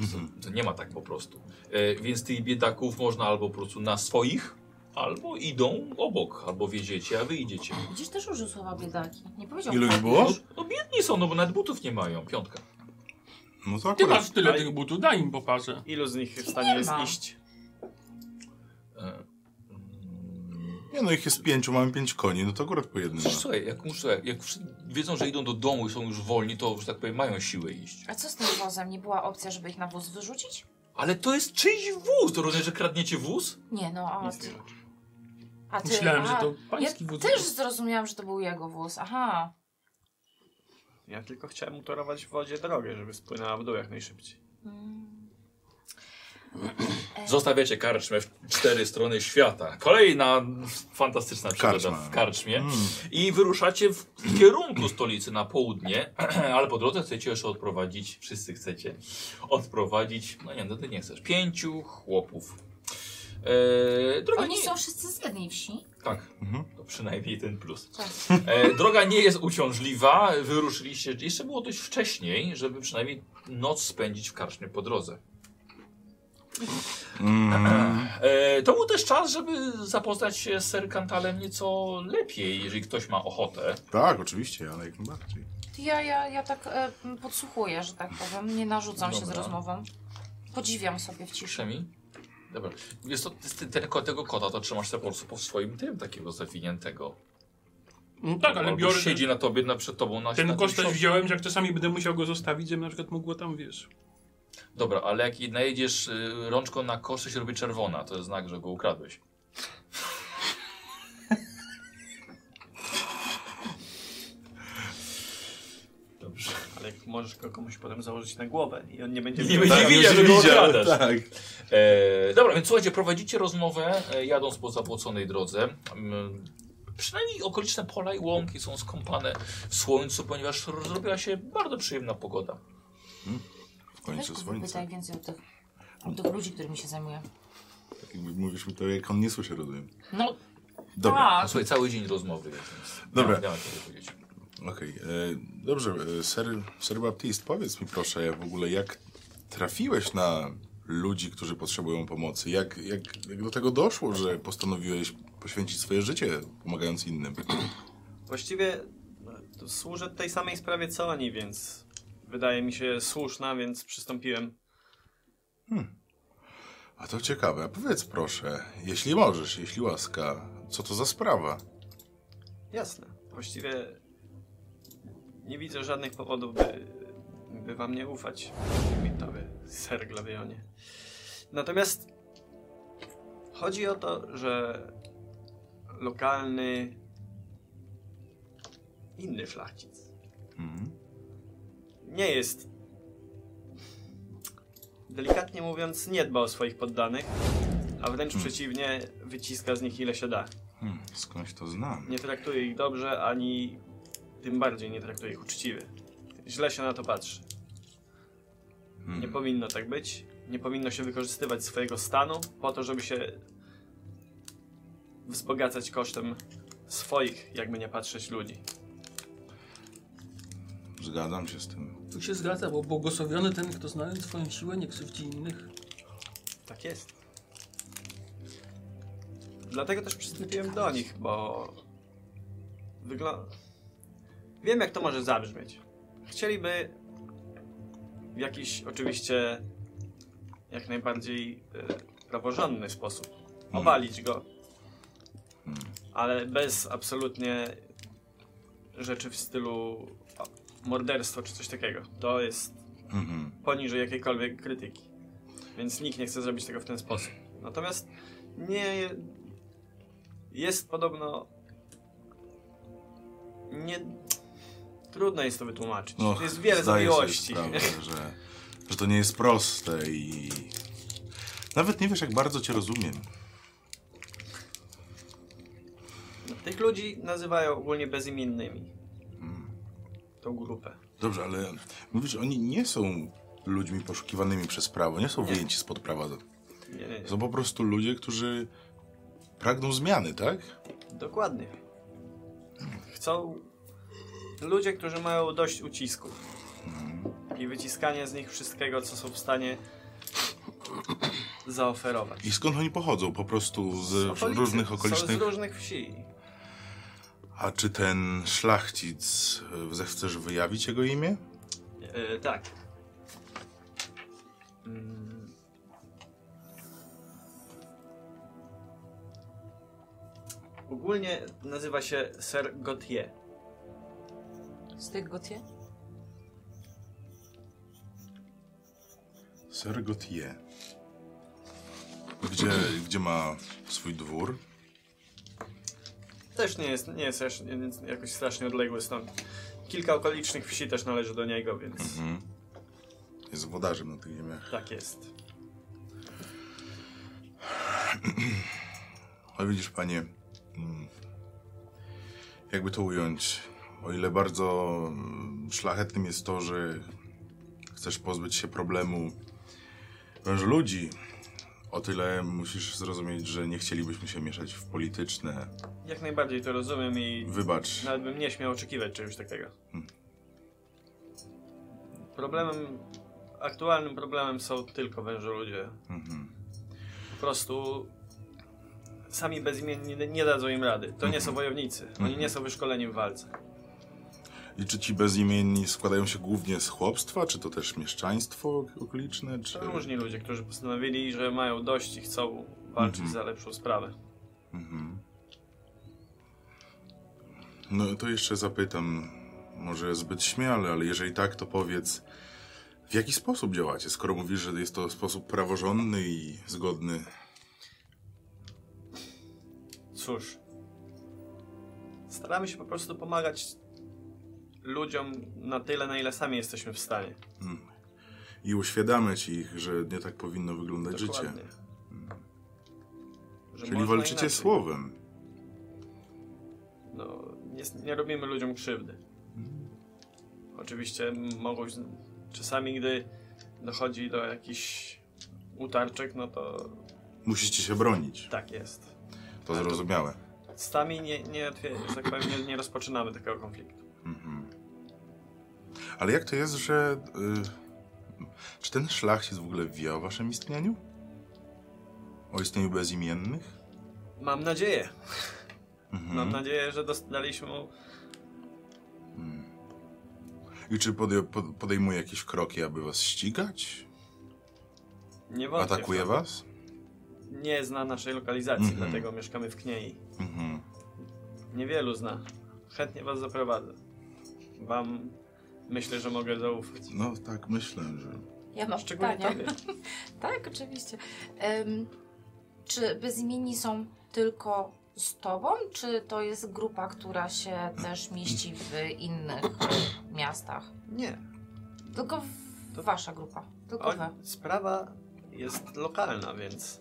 [SPEAKER 4] Mhm.
[SPEAKER 1] To nie ma tak po prostu. E, więc tych biedaków można albo po prostu na swoich, albo idą obok, albo wiedziecie, a wy idziecie.
[SPEAKER 3] Widzisz, też użył słowa biedaki. Nie powiedział
[SPEAKER 2] Ilu ich
[SPEAKER 3] fajnie.
[SPEAKER 2] było?
[SPEAKER 1] No biedni są, no bo nawet butów nie mają. Piątka.
[SPEAKER 2] No to
[SPEAKER 4] Ty
[SPEAKER 2] akurat.
[SPEAKER 4] masz tyle tych butów, daj im po parze.
[SPEAKER 6] Ilu z nich w stanie jest
[SPEAKER 3] ma.
[SPEAKER 6] iść?
[SPEAKER 1] E, mm,
[SPEAKER 2] Nie no, ich jest pięciu, mamy pięć koni, no to akurat po jednym.
[SPEAKER 1] Przecież słuchaj, jak, muszę, jak wszy- wiedzą, No, że idą do domu i są już wolni, to że tak powiem mają siłę iść.
[SPEAKER 3] A co z tym wozem? Nie była opcja, żeby ich na wóz wyrzucić?
[SPEAKER 1] Ale to jest czyjś wóz, to rozumiem, że kradniecie wóz?
[SPEAKER 3] Nie, no a
[SPEAKER 6] Nic nie
[SPEAKER 3] ty...
[SPEAKER 6] ma.
[SPEAKER 3] A ty
[SPEAKER 4] Myślałem,
[SPEAKER 3] a,
[SPEAKER 4] że to pański
[SPEAKER 3] ja
[SPEAKER 4] wódz.
[SPEAKER 3] też zrozumiałam, że to był jego wóz. Aha.
[SPEAKER 6] Ja tylko chciałem utorować w wodzie drogę, żeby spłynęła w dół jak najszybciej.
[SPEAKER 3] Mm. E.
[SPEAKER 1] Zostawiacie karczmę w cztery strony świata. Kolejna fantastyczna przygoda
[SPEAKER 2] Karczma.
[SPEAKER 1] w karczmie.
[SPEAKER 2] Mm.
[SPEAKER 1] I wyruszacie w kierunku stolicy na południe, ale po drodze chcecie jeszcze odprowadzić, wszyscy chcecie odprowadzić, no nie, no ty nie chcesz, pięciu chłopów. Eee, droga
[SPEAKER 3] Oni
[SPEAKER 1] nie,
[SPEAKER 3] są wszyscy z jednej wsi.
[SPEAKER 1] Tak,
[SPEAKER 2] Mhm.
[SPEAKER 1] to przynajmniej ten plus.
[SPEAKER 3] Tak.
[SPEAKER 1] E, droga nie jest uciążliwa, wyruszyliście, jeszcze było dość wcześniej, żeby przynajmniej noc spędzić w karczmie po drodze.
[SPEAKER 2] Mm.
[SPEAKER 1] E, to był też czas, żeby zapoznać się z Serkantalem nieco lepiej, jeżeli ktoś ma ochotę.
[SPEAKER 2] Tak, oczywiście, ale jak najbardziej.
[SPEAKER 3] Ja, ja, ja tak e, m, podsłuchuję, że tak powiem. Nie narzucam się z
[SPEAKER 1] Dobra.
[SPEAKER 3] rozmową. Podziwiam sobie w ciszy.
[SPEAKER 1] Piszemi. Dobra. Wiesz co, ty- ty- ten, ko- tego kota to trzymasz sobie po prostu po swoim tym takiego zawiniętego.
[SPEAKER 4] No tak, ale
[SPEAKER 1] Albo
[SPEAKER 4] biorę
[SPEAKER 1] siedzi
[SPEAKER 4] ten,
[SPEAKER 1] na tobie, na, przed tobą na na
[SPEAKER 4] ten
[SPEAKER 1] tym
[SPEAKER 4] kosz też
[SPEAKER 1] środku.
[SPEAKER 4] wziąłem, że jak czasami będę musiał go zostawić, żeby na przykład mogło tam, wiesz...
[SPEAKER 1] Dobra, ale jak najedziesz y, rączką na kosz, to się robi czerwona. To jest znak, że go ukradłeś. Dobrze.
[SPEAKER 6] Ale jak możesz go komuś potem założyć na głowę i on nie będzie
[SPEAKER 1] Nie
[SPEAKER 6] wiedział-
[SPEAKER 1] będzie
[SPEAKER 6] Tak,
[SPEAKER 1] wiedział,
[SPEAKER 6] już
[SPEAKER 1] że go
[SPEAKER 6] widział.
[SPEAKER 1] okradasz.
[SPEAKER 2] tak.
[SPEAKER 1] E, dobra, więc słuchajcie, prowadzicie rozmowę, e, jadąc po zapłoconej drodze. Mm, Przynajmniej okoliczne pola i łąki są skąpane w słońcu, ponieważ r- zrobiła się bardzo przyjemna pogoda.
[SPEAKER 2] W
[SPEAKER 3] Weź
[SPEAKER 2] końcu słońce.
[SPEAKER 3] pytaj więcej o tych, o tych ludzi, którymi się zajmuję.
[SPEAKER 2] Tak jakby Mówisz mi to, jak on nie słyszy, rozumiem.
[SPEAKER 3] No,
[SPEAKER 2] Dobra,
[SPEAKER 1] A
[SPEAKER 3] tak.
[SPEAKER 1] No, słuchaj, cały dzień rozmowy. Więc
[SPEAKER 2] Dobra.
[SPEAKER 1] Nie, nie ma co powiedzieć.
[SPEAKER 2] okej. e, Dobrze, e, ser, ser Baptist, powiedz mi proszę w ogóle, jak trafiłeś na ludzi, którzy potrzebują pomocy? Jak, jak, jak do tego doszło, że postanowiłeś poświęcić swoje życie pomagając innym?
[SPEAKER 6] Właściwie no, to służę tej samej sprawie co oni, więc wydaje mi się słuszna, więc przystąpiłem.
[SPEAKER 2] A to ciekawe. Powiedz proszę, jeśli możesz, jeśli łaska, co to za sprawa?
[SPEAKER 6] Jasne. Właściwie nie widzę żadnych powodów, by, by wam nie ufać, mi tobie, ser Glawionie. Natomiast chodzi o to, że lokalny inny szlachcic
[SPEAKER 2] Mhm.
[SPEAKER 6] nie jest. Delikatnie mówiąc, nie dba o swoich poddanych, a wręcz przeciwnie, wyciska z nich ile się da.
[SPEAKER 2] Hmm, skądś to znam.
[SPEAKER 6] Nie traktuje ich dobrze, ani tym bardziej nie traktuje ich uczciwie. Źle się na to patrzy.
[SPEAKER 2] Hmm.
[SPEAKER 6] Nie powinno tak być. Nie powinno się wykorzystywać swojego stanu po to, żeby się wzbogacać kosztem swoich, jakby nie patrzeć ludzi.
[SPEAKER 2] Zgadzam się z tym.
[SPEAKER 4] Tu się zgadza, bo błogosławiony ten, kto znając swoją siłę, nie krzywdzi innych.
[SPEAKER 6] Tak jest. Dlatego też przystąpiłem do nich, bo wygląda. Wiem, jak to może zabrzmieć. Chcieliby w jakiś oczywiście jak najbardziej e, praworządny sposób obalić go, ale bez absolutnie rzeczy w stylu o, morderstwo czy coś takiego. To jest
[SPEAKER 2] Mhm.
[SPEAKER 6] poniżej jakiejkolwiek krytyki. Więc nikt nie chce zrobić tego w ten sposób. Natomiast nie. Jest podobno. Nie. Trudno jest to wytłumaczyć.
[SPEAKER 2] Och,
[SPEAKER 6] jest wiele
[SPEAKER 2] No, zdaję sobie
[SPEAKER 6] zawiłości.
[SPEAKER 2] Sprawę, że, że to nie jest proste i... Nawet nie wiesz, jak bardzo cię rozumiem.
[SPEAKER 6] Tych ludzi nazywają ogólnie bezimiennymi.
[SPEAKER 2] Mm.
[SPEAKER 6] Tą grupę.
[SPEAKER 2] Dobrze, ale mówisz, oni nie są ludźmi poszukiwanymi przez prawo, nie są wyjęci spod prawa.
[SPEAKER 6] Nie, nie, nie.
[SPEAKER 2] Są po prostu ludzie, którzy pragną zmiany, tak?
[SPEAKER 6] Dokładnie. Chcą ludzie, którzy mają dość ucisków i wyciskania z nich wszystkiego, co są w stanie zaoferować.
[SPEAKER 2] I skąd oni pochodzą? Po prostu z,
[SPEAKER 6] Z okolicy.
[SPEAKER 2] różnych
[SPEAKER 6] Są
[SPEAKER 2] okolicznych...
[SPEAKER 6] z różnych wsi.
[SPEAKER 2] A czy ten szlachcic, y, zechcesz wyjawić jego imię?
[SPEAKER 6] E, tak. Mm. Ogólnie nazywa się Ser Gautier.
[SPEAKER 3] Z tych gotie?
[SPEAKER 2] Sir Gautier. Gdzie, gdzie ma swój dwór? też
[SPEAKER 6] Też nie jest, nie jest aż- nie- nie- jakoś strasznie odległy stąd. Kilka okolicznych wsi też należy do niego, więc
[SPEAKER 2] Mhm. Jest wodarzem na tych ziemiach.
[SPEAKER 6] tak jest.
[SPEAKER 2] Ale widzisz, panie, mm, jakby to ująć, o ile bardzo mm, szlachetnym jest to, że chcesz pozbyć się problemu wręcz ludzi, o tyle musisz zrozumieć, że nie chcielibyśmy się mieszać w polityczne.
[SPEAKER 6] Jak najbardziej to rozumiem i
[SPEAKER 2] Wybacz.
[SPEAKER 6] Nawet bym nie śmiał oczekiwać czegoś takiego.
[SPEAKER 2] Hmm.
[SPEAKER 6] Problemem, aktualnym problemem są tylko wężoludzie.
[SPEAKER 2] Mhm.
[SPEAKER 6] Po prostu sami bezimienni nie- nie dadzą im rady. To nie
[SPEAKER 2] Mhm.
[SPEAKER 6] są wojownicy. Oni nie są wyszkoleni w walce.
[SPEAKER 2] I czy ci bezimienni składają się głównie z chłopstwa, czy to też mieszczaństwo okoliczne, czy...
[SPEAKER 6] To różni ludzie, którzy postanowili, że mają dość i chcą walczyć
[SPEAKER 2] Mhm.
[SPEAKER 6] za lepszą sprawę.
[SPEAKER 2] Mhm. No to jeszcze zapytam, może zbyt śmiale, ale jeżeli tak, to powiedz, w jaki sposób działacie, skoro mówisz, że jest to sposób praworządny i zgodny.
[SPEAKER 6] Cóż, staramy się po prostu pomagać ludziom na tyle, na ile sami jesteśmy w stanie.
[SPEAKER 2] Mm. I uświadamiać ich, że nie tak powinno wyglądać
[SPEAKER 6] Dokładnie.
[SPEAKER 2] życie.
[SPEAKER 6] Że
[SPEAKER 2] Czyli
[SPEAKER 6] można
[SPEAKER 2] walczycie
[SPEAKER 6] inaczej.
[SPEAKER 2] słowem.
[SPEAKER 6] No, nie, nie robimy ludziom krzywdy. Oczywiście mogą. z- Czasami, gdy dochodzi do jakichś utarczek, no to
[SPEAKER 2] Musicie się bronić,
[SPEAKER 6] tak jest. Tak.
[SPEAKER 2] to zrozumiałe.
[SPEAKER 6] Stami nie, nie, otwie- że tak powiem, nie, nie rozpoczynamy takiego konfliktu.
[SPEAKER 2] Mhm. Ale jak to jest, że... Y, czy ten szlachcic w ogóle wie o waszym istnieniu? O istnieniu bezimiennych?
[SPEAKER 6] Mam nadzieję.
[SPEAKER 2] Mhm.
[SPEAKER 6] Mam nadzieję, że dostaliśmy mu.
[SPEAKER 2] I czy podej pod- podejmuje jakieś kroki, aby was ścigać?
[SPEAKER 6] Nie wątpię w to.
[SPEAKER 2] Atakuje was?
[SPEAKER 6] Nie zna naszej lokalizacji,
[SPEAKER 2] Mhm.
[SPEAKER 6] dlatego mieszkamy w Kniei.
[SPEAKER 2] Mhm.
[SPEAKER 6] Niewielu zna. Chętnie was zaprowadzę. Wam myślę, że mogę zaufać.
[SPEAKER 2] No tak, myślę, że...
[SPEAKER 3] Ja mam
[SPEAKER 6] Szczególnie
[SPEAKER 3] pytanie.
[SPEAKER 6] tobie.
[SPEAKER 3] Tak, oczywiście. Em, czy bezimienni są tylko z tobą, czy to jest grupa, która się też mieści w innych e, miastach?
[SPEAKER 6] Nie,
[SPEAKER 3] Tylko w,
[SPEAKER 6] To-
[SPEAKER 3] wasza grupa. Tylko
[SPEAKER 6] Oni-
[SPEAKER 3] wy.
[SPEAKER 6] sprawa jest lokalna, więc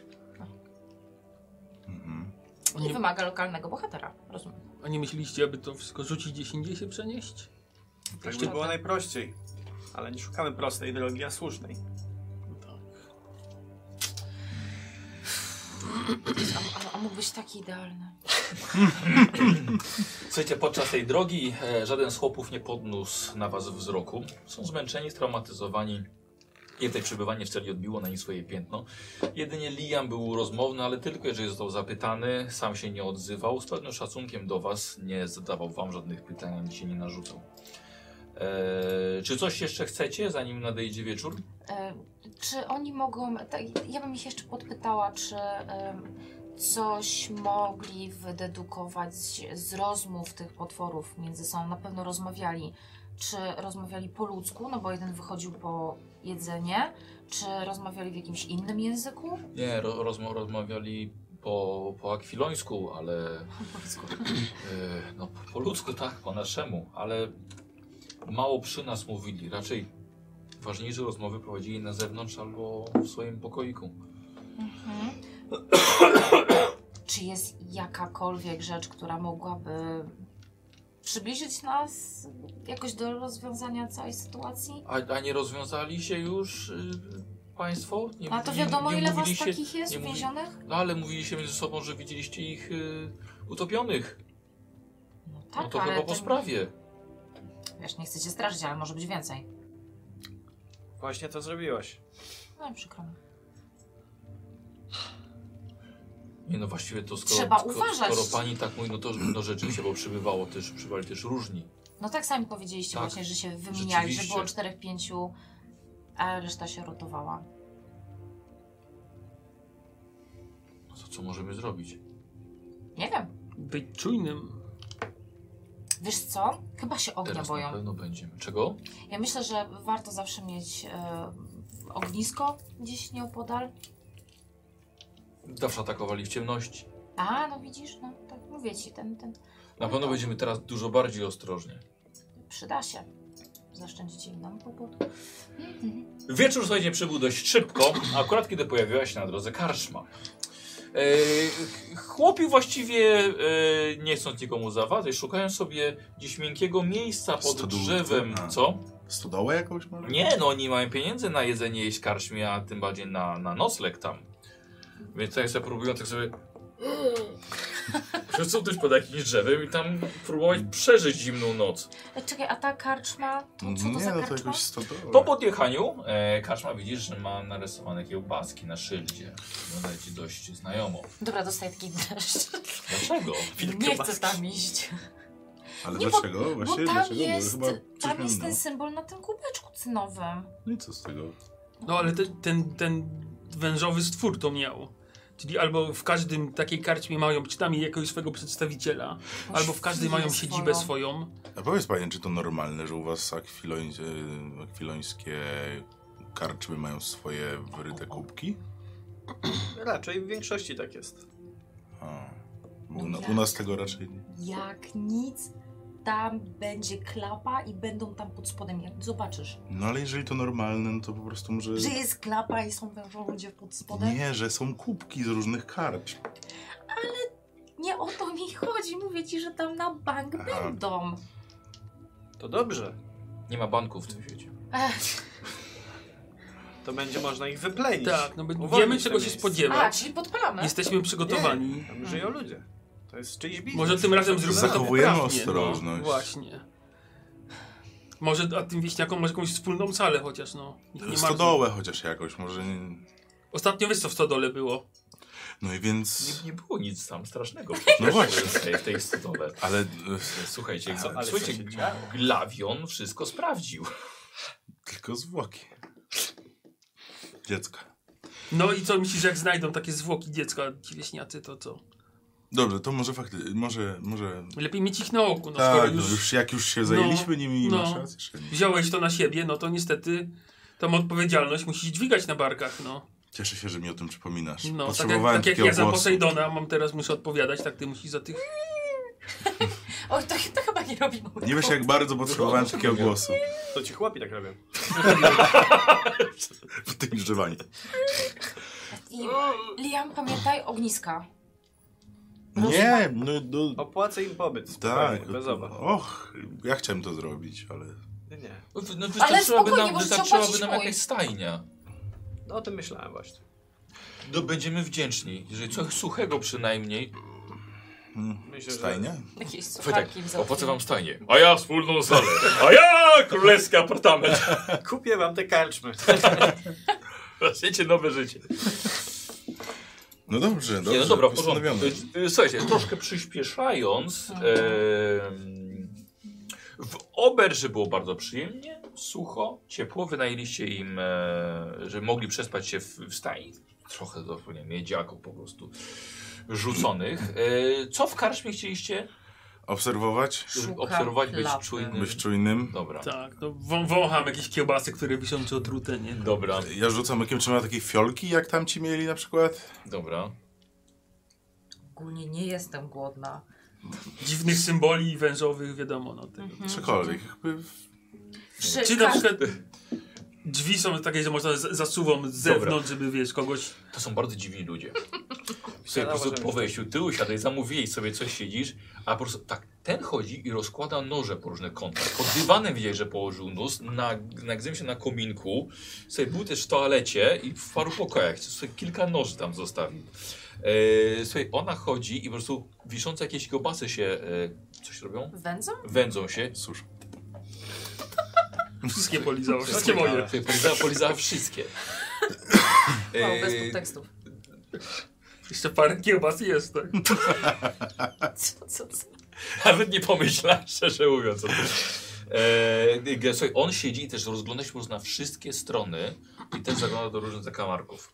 [SPEAKER 2] Mhm.
[SPEAKER 3] I
[SPEAKER 4] Oni,
[SPEAKER 3] wymaga lokalnego bohatera. Rozumiem.
[SPEAKER 4] a nie myśliście, aby to wszystko rzucić gdzieś indziej się przenieść?
[SPEAKER 6] tak by
[SPEAKER 3] Prawda.
[SPEAKER 6] było najprościej. Ale nie szukamy prostej drogi, a słusznej.
[SPEAKER 4] Tak.
[SPEAKER 3] A, a, a mógł być taki idealny.
[SPEAKER 1] Słuchajcie, podczas tej drogi e, żaden z chłopów nie podniósł na was wzroku. Są zmęczeni, straumatyzowani. Im tutaj przebywanie w celi odbiło na nich swoje piętno. Jedynie Liam był rozmowny, ale tylko jeżeli został zapytany, sam się nie odzywał. Z pewnym szacunkiem do was nie zadawał wam żadnych pytań, ani się nie narzucał. E, czy coś jeszcze chcecie, zanim nadejdzie wieczór?
[SPEAKER 3] E, czy oni mogą. Tak, ja bym ich jeszcze podpytała, czy em, coś mogli wydedukować z rozmów tych potworów między sobą. Na pewno rozmawiali. Czy rozmawiali po ludzku, no bo jeden wychodził po jedzenie, czy rozmawiali w jakimś innym języku?
[SPEAKER 1] Nie, ro, rozma- rozmawiali po, po akwilońsku, ale
[SPEAKER 3] Po ludzku.
[SPEAKER 1] E, No, po- po ludzku tak, po naszemu, ale mało przy nas mówili. Raczej ważniejsze rozmowy prowadzili na zewnątrz albo w swoim pokoiku.
[SPEAKER 3] Mhm. Czy jest jakakolwiek rzecz, która mogłaby przybliżyć nas jakoś do rozwiązania całej sytuacji?
[SPEAKER 1] A, a nie rozwiązali się już y, Państwo? Nie,
[SPEAKER 3] A to
[SPEAKER 1] nie-
[SPEAKER 3] wiadomo,
[SPEAKER 1] nie
[SPEAKER 3] ile was tak-
[SPEAKER 1] mówiliście-
[SPEAKER 3] takich jest
[SPEAKER 1] nie mówi-
[SPEAKER 3] uwięzionych?
[SPEAKER 1] No ale mówili się między sobą, że widzieliście ich y, utopionych.
[SPEAKER 3] No
[SPEAKER 1] no to chyba po sprawie.
[SPEAKER 3] Wiesz, nie chcę cię strażyć, ale może być więcej.
[SPEAKER 6] Właśnie to zrobiłaś.
[SPEAKER 3] No przykro mi.
[SPEAKER 1] Nie no właściwie to skoro,
[SPEAKER 3] Trzeba
[SPEAKER 1] skoro,
[SPEAKER 3] uważać.
[SPEAKER 1] skoro pani tak mówi, no to no rzeczywiście, bo przybywało też, przybywali też różni.
[SPEAKER 3] No tak sami powiedzieliście
[SPEAKER 1] Tak,
[SPEAKER 3] właśnie, że się wymieniali, że
[SPEAKER 1] rzeczywiście.
[SPEAKER 3] było czterech, pięciu, a reszta się rotowała.
[SPEAKER 1] No to co możemy zrobić?
[SPEAKER 3] Nie wiem.
[SPEAKER 4] Być czujnym.
[SPEAKER 3] Wiesz co? Chyba się ognia
[SPEAKER 1] Teraz
[SPEAKER 3] boją.
[SPEAKER 1] na pewno będziemy. Czego?
[SPEAKER 3] Ja myślę, że warto zawsze mieć e, ognisko gdzieś nieopodal.
[SPEAKER 1] Zawsze atakowali w ciemności.
[SPEAKER 3] A, no widzisz, no tak mówię ci, ten, ten
[SPEAKER 1] Na pewno będziemy teraz dużo bardziej ostrożni.
[SPEAKER 3] przyda się. Zaszczędzicie im nam kłopot.
[SPEAKER 1] Wieczór, słuchajcie, przybył dość szybko, akurat kiedy pojawiła się na drodze karczma. E, ch- chłopi właściwie, e, nie chcąc nikomu zawadzać, szukają sobie gdzieś miękkiego miejsca pod
[SPEAKER 2] Stodółce,
[SPEAKER 1] drzewem,
[SPEAKER 2] a.
[SPEAKER 1] co?
[SPEAKER 2] Stodołę jakąś może?
[SPEAKER 1] Nie, no oni mają pieniędzy na jedzenie jeść karczmie, a tym bardziej na, na nocleg tam. Więc tutaj sobie próbują tak sobie... Przesunąć pod jakimś drzewem i tam próbować przeżyć zimną noc.
[SPEAKER 3] E, czekaj, a ta karczma, to co to
[SPEAKER 2] nie,
[SPEAKER 3] za
[SPEAKER 2] no to
[SPEAKER 3] karczma?
[SPEAKER 2] jakoś stodołę.
[SPEAKER 1] Po podjechaniu e, Kaczma widzisz, że ma narysowane kiełbaski na szyldzie. Wygląda ci dość znajomo.
[SPEAKER 3] Dobra, dostaję taki dreszcz.
[SPEAKER 1] Dlaczego?
[SPEAKER 3] Nie chcę tam iść.
[SPEAKER 2] Ale
[SPEAKER 3] nie, bo-
[SPEAKER 2] dlaczego?
[SPEAKER 3] Bo
[SPEAKER 2] Właściwie
[SPEAKER 3] tam
[SPEAKER 2] dlaczego? Bo
[SPEAKER 3] jest,
[SPEAKER 2] chyba coś
[SPEAKER 3] tam jest
[SPEAKER 2] miałem,
[SPEAKER 3] ten symbol na tym kubeczku cynowym.
[SPEAKER 2] No i co z tego?
[SPEAKER 4] No ale te, ten, ten wężowy stwór to miał. Czyli albo w każdym takiej karczmie mają przynajmniej jakiegoś swojego przedstawiciela, albo w każdej mają
[SPEAKER 3] Świnie
[SPEAKER 4] siedzibę
[SPEAKER 3] swoją.
[SPEAKER 4] swoją.
[SPEAKER 2] A powiedz panie, czy to normalne, że u was akwiloń, e, akwilońskie karczmy mają swoje wryte kubki?
[SPEAKER 6] Raczej w większości tak jest.
[SPEAKER 2] A, bo
[SPEAKER 3] No
[SPEAKER 2] u, na,
[SPEAKER 3] tak.
[SPEAKER 2] u nas tego raczej nie.
[SPEAKER 3] Jak nic, tam będzie klapa i będą tam pod spodem. Jak Zobaczysz,
[SPEAKER 2] No ale jeżeli to normalne, no to po prostu może...
[SPEAKER 3] że jest klapa i są wężowe ludzie pod spodem.
[SPEAKER 2] Nie, że są kubki z różnych karcz.
[SPEAKER 3] Nie o to mi chodzi, mówię ci, że tam na bank
[SPEAKER 2] Aha.
[SPEAKER 3] będą.
[SPEAKER 6] To dobrze.
[SPEAKER 1] Nie ma banków w tym świecie.
[SPEAKER 3] Ech,
[SPEAKER 6] To będzie można ich wyplenić.
[SPEAKER 4] Tak, no bo
[SPEAKER 6] Uwolnić
[SPEAKER 4] wiemy
[SPEAKER 6] te
[SPEAKER 4] czego się
[SPEAKER 6] miejsca.
[SPEAKER 3] A,
[SPEAKER 4] spodziewać.
[SPEAKER 3] czyli podpalamy.
[SPEAKER 4] Jesteśmy przygotowani.
[SPEAKER 6] Tam żyją ludzie. To jest czyjś biznes.
[SPEAKER 4] Może tym razem zróbmy to
[SPEAKER 2] Zachowujemy
[SPEAKER 4] poprawnie,
[SPEAKER 2] ostrożność.
[SPEAKER 4] No, właśnie. Może a tym wieśniakom może jakąś wspólną salę chociaż, no. Ich nie marzą.
[SPEAKER 2] Stodołę chociaż jakoś, może... nie-
[SPEAKER 4] Ostatnio wiesz co w stodole było.
[SPEAKER 2] No i więc...
[SPEAKER 1] Nie, nie było nic tam strasznego
[SPEAKER 2] No właśnie.
[SPEAKER 1] w tej, w tej stodole.
[SPEAKER 2] Ale... e,
[SPEAKER 1] Słuchajcie, co,
[SPEAKER 6] ale
[SPEAKER 1] słuchajcie,
[SPEAKER 6] co się działo?
[SPEAKER 1] Glawion wszystko sprawdził.
[SPEAKER 2] Tylko zwłoki. Dziecka.
[SPEAKER 4] No i co myślisz, jak znajdą takie zwłoki dziecka, ci wieśniacy, to co?
[SPEAKER 2] Dobrze, to może fakty, może, może...
[SPEAKER 4] Lepiej mieć ich na oku, no skoro
[SPEAKER 2] tak, no
[SPEAKER 4] już,
[SPEAKER 2] już, jak już się zajęliśmy nimi,
[SPEAKER 4] no.
[SPEAKER 2] masz rację. że nie.
[SPEAKER 4] wziąłeś to na siebie, no to niestety tą odpowiedzialność musisz dźwigać na barkach, no.
[SPEAKER 2] Cieszę się, że mi o tym przypominasz.
[SPEAKER 4] No, tak jak,
[SPEAKER 2] Potrzebowałem
[SPEAKER 4] tak jak
[SPEAKER 2] takiego
[SPEAKER 4] ja za
[SPEAKER 2] głosu.
[SPEAKER 4] Posejdona mam teraz muszę odpowiadać, tak ty musisz za tych...
[SPEAKER 3] Oj, to, to chyba nie robimy.
[SPEAKER 2] Nie wiesz, jak bardzo potrzebowałem takiego głosu
[SPEAKER 6] To ci chłopi tak robią.
[SPEAKER 2] w tym grzewaniu.
[SPEAKER 3] I, Liam, pamiętaj ogniska.
[SPEAKER 2] Nie, no... no
[SPEAKER 6] Opłacę im pobyt.
[SPEAKER 2] tak,
[SPEAKER 6] spokojnie, Bez obaw.
[SPEAKER 2] och, ja chciałem to zrobić, ale...
[SPEAKER 6] Nie, nie.
[SPEAKER 1] No, wy- no, wystarczyłaby
[SPEAKER 3] spokojnie,
[SPEAKER 1] nam,
[SPEAKER 3] możecie
[SPEAKER 1] wystarczyłaby
[SPEAKER 3] opłacić
[SPEAKER 1] nam
[SPEAKER 3] mój.
[SPEAKER 1] jakaś stajnia.
[SPEAKER 6] No, o tym myślałem właśnie.
[SPEAKER 1] No będziemy wdzięczni, jeżeli coś suchego przynajmniej.
[SPEAKER 6] Myślę,
[SPEAKER 2] hmm,
[SPEAKER 6] że-
[SPEAKER 2] Stajnia?
[SPEAKER 3] Jakieś
[SPEAKER 4] tak
[SPEAKER 1] Wojtek,
[SPEAKER 3] sucharki w
[SPEAKER 1] opłacę wam stajnie. A ja wspólną salę. A ja królewski apartament.
[SPEAKER 6] Kupię wam te karczmy.
[SPEAKER 1] Zaczniecie nowe życie.
[SPEAKER 2] No dobrze, dobrze.
[SPEAKER 1] Nie, no dobra, w porządku.
[SPEAKER 2] postanowione.
[SPEAKER 1] Y, y, Słuchajcie, troszkę przyspieszając, em, w Oberży było bardzo przyjemnie, sucho, ciepło. Wynajęliście im, e, że mogli przespać się w, w stajni. Trochę zupełnie miedziaków po prostu rzuconych. E, co w karczmie chcieliście
[SPEAKER 2] Obserwować,
[SPEAKER 3] Szukam
[SPEAKER 1] obserwować, być
[SPEAKER 3] klapy.
[SPEAKER 1] czujnym?
[SPEAKER 5] Mhm.
[SPEAKER 2] być czujnym.
[SPEAKER 1] Dobra.
[SPEAKER 4] Tak, no wą wącham jakieś kiełbasy, które wisią czy otrute, nie? No,
[SPEAKER 1] Dobra,
[SPEAKER 2] Ja rzucam okiem, czy ma takie fiolki, jak tam ci mieli na przykład?
[SPEAKER 1] dobra.
[SPEAKER 3] Ogólnie nie jestem głodna.
[SPEAKER 4] Dziwnych symboli wężowych, wiadomo, no tego.
[SPEAKER 2] Cokolwiek. Jakby
[SPEAKER 3] Wszy-
[SPEAKER 4] Czy na
[SPEAKER 3] każdy-
[SPEAKER 4] przykład drzwi są takie, że można z- zasuwą z
[SPEAKER 1] Dobra.
[SPEAKER 4] zewnątrz, żeby wiesz, kogoś...
[SPEAKER 1] To są bardzo dziwni ludzie. Sobie po
[SPEAKER 6] Wiadomo,
[SPEAKER 1] prostu
[SPEAKER 6] że
[SPEAKER 1] po wejściu ty usiadaj, zamówiłeś sobie coś, siedzisz, a po prostu tak, ten chodzi i rozkłada noże po różnych kątach. Pod dywanem widziałeś, że położył nóż, na, nagryzłem się na kominku, sobie był też w toalecie i w paru pokojach, sobie kilka noży tam zostawił. E, słuchaj, ona chodzi i po prostu wiszące jakieś kiełbasy się, e, coś robią?
[SPEAKER 3] Wędzą?
[SPEAKER 1] Wędzą się.
[SPEAKER 2] Cóż,
[SPEAKER 4] Wszystkie polizało, wszystkie
[SPEAKER 1] Wszystkie
[SPEAKER 4] moje.
[SPEAKER 1] Słuchaj, polizała, polizała wszystkie.
[SPEAKER 3] O, No, bez
[SPEAKER 1] E,
[SPEAKER 3] podtekstów.
[SPEAKER 4] Jeszcze parę kiełbas jest, tak?
[SPEAKER 3] Co, co, co?
[SPEAKER 1] Nawet nie pomyślałem, szczerze mówiąc. o tym. Eee, g- słuchaj, on siedzi i też rozgląda się po prostu na wszystkie strony i też zagląda do różnych zakamarków.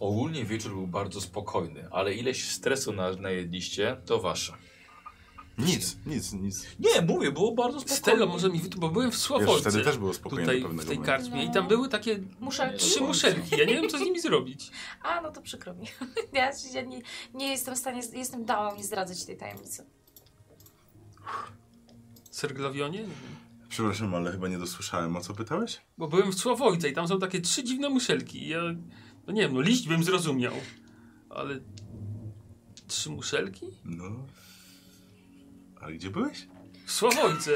[SPEAKER 1] Ogólnie wieczór był bardzo spokojny, ale ileś stresu na, najedliście, to wasze.
[SPEAKER 2] nic, nic, nic.
[SPEAKER 1] Nie, mówię, było bardzo spokojnie.
[SPEAKER 4] Z tego może mi wytłumaczyć, bo byłem w
[SPEAKER 2] Wiesz,
[SPEAKER 4] Sławoldze.
[SPEAKER 2] wtedy też było spokojnie
[SPEAKER 4] tutaj
[SPEAKER 2] do
[SPEAKER 4] w
[SPEAKER 2] pewnego
[SPEAKER 4] tej
[SPEAKER 2] momentu.
[SPEAKER 4] karczmie i tam były takie no,
[SPEAKER 3] Muszę.
[SPEAKER 4] trzy muszelki. Ja nie wiem, co z nimi zrobić.
[SPEAKER 3] A, no to przykro mi. Ja, ja nie, nie jestem w stanie, jestem dałam i zdradzę ci tej tajemnicy.
[SPEAKER 4] Serglawionie? Nie wiem.
[SPEAKER 2] Przepraszam, ale chyba nie dosłyszałem, o co pytałeś?
[SPEAKER 4] Bo byłem w Sławojce i tam są takie trzy dziwne muszelki. I Ja, no nie wiem, no liść bym zrozumiał, ale trzy muszelki?
[SPEAKER 2] No. A gdzie byłeś?
[SPEAKER 4] W Sławojce.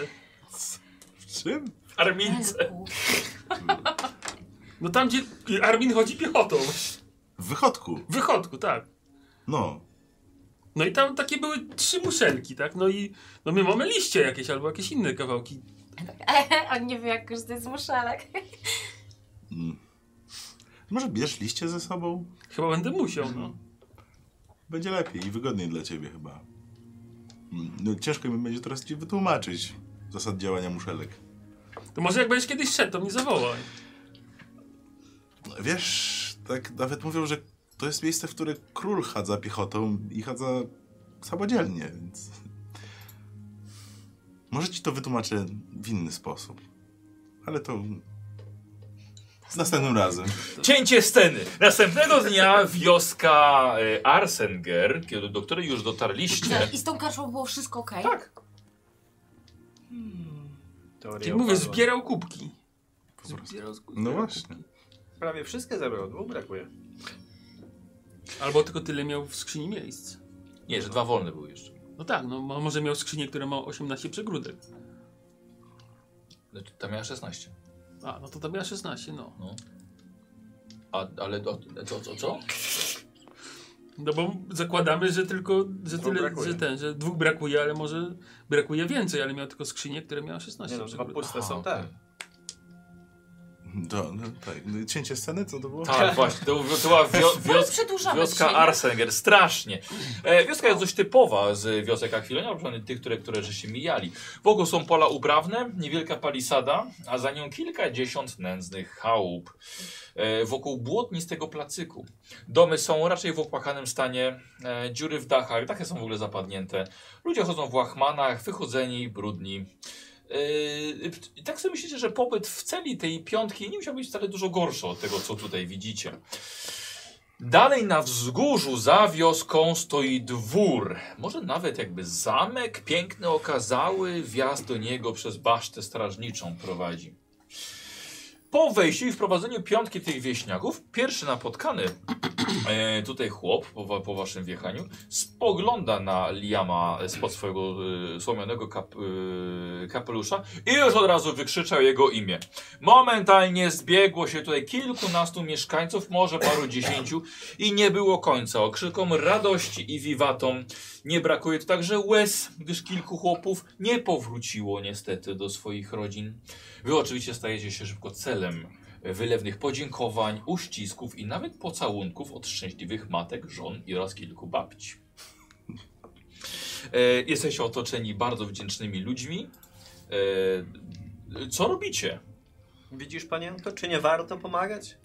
[SPEAKER 2] W czym?
[SPEAKER 1] Armince.
[SPEAKER 4] No tam, gdzie Armin chodzi piechotą.
[SPEAKER 2] W wychodku.
[SPEAKER 4] W wychodku, tak.
[SPEAKER 2] No.
[SPEAKER 4] No i tam takie były trzy muszelki, tak? No i no my mamy liście jakieś albo jakieś inne kawałki.
[SPEAKER 3] On nie wie, jak korzystać z muszelek.
[SPEAKER 2] Mm. Może bierz liście ze sobą?
[SPEAKER 4] Chyba będę musiał, no.
[SPEAKER 2] Mhm. Będzie lepiej i wygodniej dla ciebie chyba. Mm, No ciężko mi będzie teraz ci wytłumaczyć zasad działania muszelek.
[SPEAKER 4] To może jak będziesz kiedyś szedł, to mnie zawołaj.
[SPEAKER 2] Wiesz, tak nawet mówią, że to jest miejsce, w które król chadza piechotą i chadza samodzielnie, więc... Może ci to wytłumaczę w inny sposób. Ale to... Następnym razem.
[SPEAKER 1] Cięcie sceny. Następnego dnia wioska e, Arsenger, kiedy, do której już dotarliście.
[SPEAKER 3] I z tą karczą było wszystko okej?
[SPEAKER 1] Tak.
[SPEAKER 6] Teoria
[SPEAKER 4] Czyli mówię,
[SPEAKER 6] opadła.
[SPEAKER 4] zbierał kubki.
[SPEAKER 2] Po prostu.
[SPEAKER 4] Zbierał z-
[SPEAKER 2] No
[SPEAKER 4] zbierał
[SPEAKER 2] właśnie.
[SPEAKER 4] kubki.
[SPEAKER 6] Prawie wszystkie zabrał, dwóch brakuje.
[SPEAKER 4] Albo tylko tyle miał w skrzyni miejsc.
[SPEAKER 1] Nie, że dwa wolne były jeszcze.
[SPEAKER 4] No tak, no mo- może miał skrzynię, która ma 18 przegródek.
[SPEAKER 1] Znaczy, Tam miała 16.
[SPEAKER 4] A, no to to miała 16, no.
[SPEAKER 1] A, ale o, co, co, co?
[SPEAKER 4] No bo zakładamy, że tylko, że
[SPEAKER 6] Dwóch
[SPEAKER 4] tyle,
[SPEAKER 6] brakuje.
[SPEAKER 4] że ten, że dwóch brakuje, ale może brakuje więcej, ale miał tylko skrzynię, która miała
[SPEAKER 6] Nie
[SPEAKER 4] 16
[SPEAKER 6] no, dwa
[SPEAKER 4] przegródek.
[SPEAKER 6] puste
[SPEAKER 1] Aha,
[SPEAKER 6] są
[SPEAKER 1] okej.
[SPEAKER 6] te.
[SPEAKER 2] To, no, tak. No, Cięcie sceny, co to było?
[SPEAKER 1] Tak, właśnie. To, to była wio,
[SPEAKER 3] Wios...
[SPEAKER 1] wios,
[SPEAKER 3] Przedłużamy
[SPEAKER 1] wioska
[SPEAKER 3] dzisiaj.
[SPEAKER 1] Arsenger. Strasznie. E, wioska jest dość typowa z wiosek Achillenia, przynajmniej tych, które, które żeście mijali. Wokół są pola uprawne, niewielka palisada, a za nią kilkadziesiąt nędznych chałup. E, wokół błotnistego placyku. Domy są raczej w opłakanym stanie, e, dziury w dachach, dachy są w ogóle zapadnięte. Ludzie chodzą w łachmanach, wychudzeni, brudni. Yy, i tak sobie myślicie, że pobyt w celi tej piątki nie musiał być wcale dużo gorszy od tego, co tutaj widzicie. Dalej na wzgórzu za wioską stoi dwór, może nawet jakby zamek, piękny, okazały, wjazd do niego przez basztę strażniczą prowadzi. Po wejściu i wprowadzeniu piątki tych wieśniaków, pierwszy napotkany
[SPEAKER 5] E, tutaj chłop po, wa- po waszym wjechaniu spogląda na Liama spod swojego e, słomianego kap, e, kapelusza i już od razu wykrzyczał jego imię. Momentalnie zbiegło się tutaj kilkunastu mieszkańców, może paru dziesięciu i nie było końca. Okrzykom radości i wiwatom nie brakuje tu także łez, gdyż kilku chłopów nie powróciło niestety do swoich rodzin. Wy oczywiście stajecie się szybko celem wylewnych podziękowań, uścisków i nawet pocałunków od szczęśliwych matek, żon i oraz kilku babci. E, jesteście otoczeni bardzo wdzięcznymi ludźmi. E, co robicie?
[SPEAKER 6] Widzisz, panienko, czy nie warto pomagać?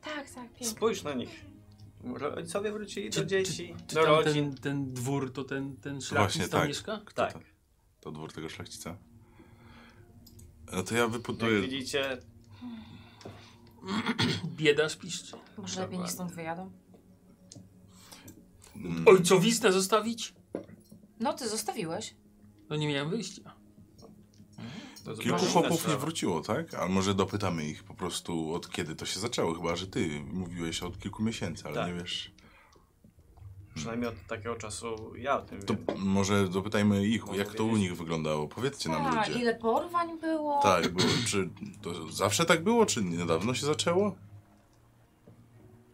[SPEAKER 3] Tak, tak, pięknie.
[SPEAKER 6] Spójrz na nich. Rodzicowie wrócili
[SPEAKER 4] Czy-
[SPEAKER 6] do dzieci,
[SPEAKER 4] Czy
[SPEAKER 6] do
[SPEAKER 4] tam
[SPEAKER 6] rodzin.
[SPEAKER 4] ten, ten dwór to ten, ten
[SPEAKER 2] Właśnie,
[SPEAKER 4] szlachcic tam
[SPEAKER 2] tak.
[SPEAKER 4] mieszka?
[SPEAKER 6] Tak,
[SPEAKER 2] tam? To dwór tego szlachcica. No to ja
[SPEAKER 6] jak
[SPEAKER 2] wyputuję.
[SPEAKER 6] widzicie,
[SPEAKER 4] Bieda szpiszczy.
[SPEAKER 3] Może lepiej niech stąd wyjadą?
[SPEAKER 2] Mm,
[SPEAKER 4] Ojcowiznę zostawić?
[SPEAKER 3] No, ty zostawiłeś.
[SPEAKER 4] No nie miałem wyjścia.
[SPEAKER 6] to zupełnie
[SPEAKER 2] Kilku
[SPEAKER 6] inna
[SPEAKER 2] chłopów nie
[SPEAKER 6] sprawa.
[SPEAKER 2] wróciło, tak? A może dopytamy ich po prostu od kiedy to się zaczęło, chyba że ty mówiłeś od kilku miesięcy, ale
[SPEAKER 6] Tak.
[SPEAKER 2] nie wiesz.
[SPEAKER 6] Przynajmniej od takiego czasu ja o tym
[SPEAKER 2] To
[SPEAKER 6] wiem.
[SPEAKER 2] może dopytajmy ich,
[SPEAKER 6] Mogę
[SPEAKER 2] jak to u
[SPEAKER 6] wiedzieć.
[SPEAKER 2] nich wyglądało. Powiedzcie nam
[SPEAKER 3] Tak,
[SPEAKER 2] ludzie.
[SPEAKER 3] ile porwań było.
[SPEAKER 2] Tak, było, czy to zawsze tak było, czy niedawno się zaczęło?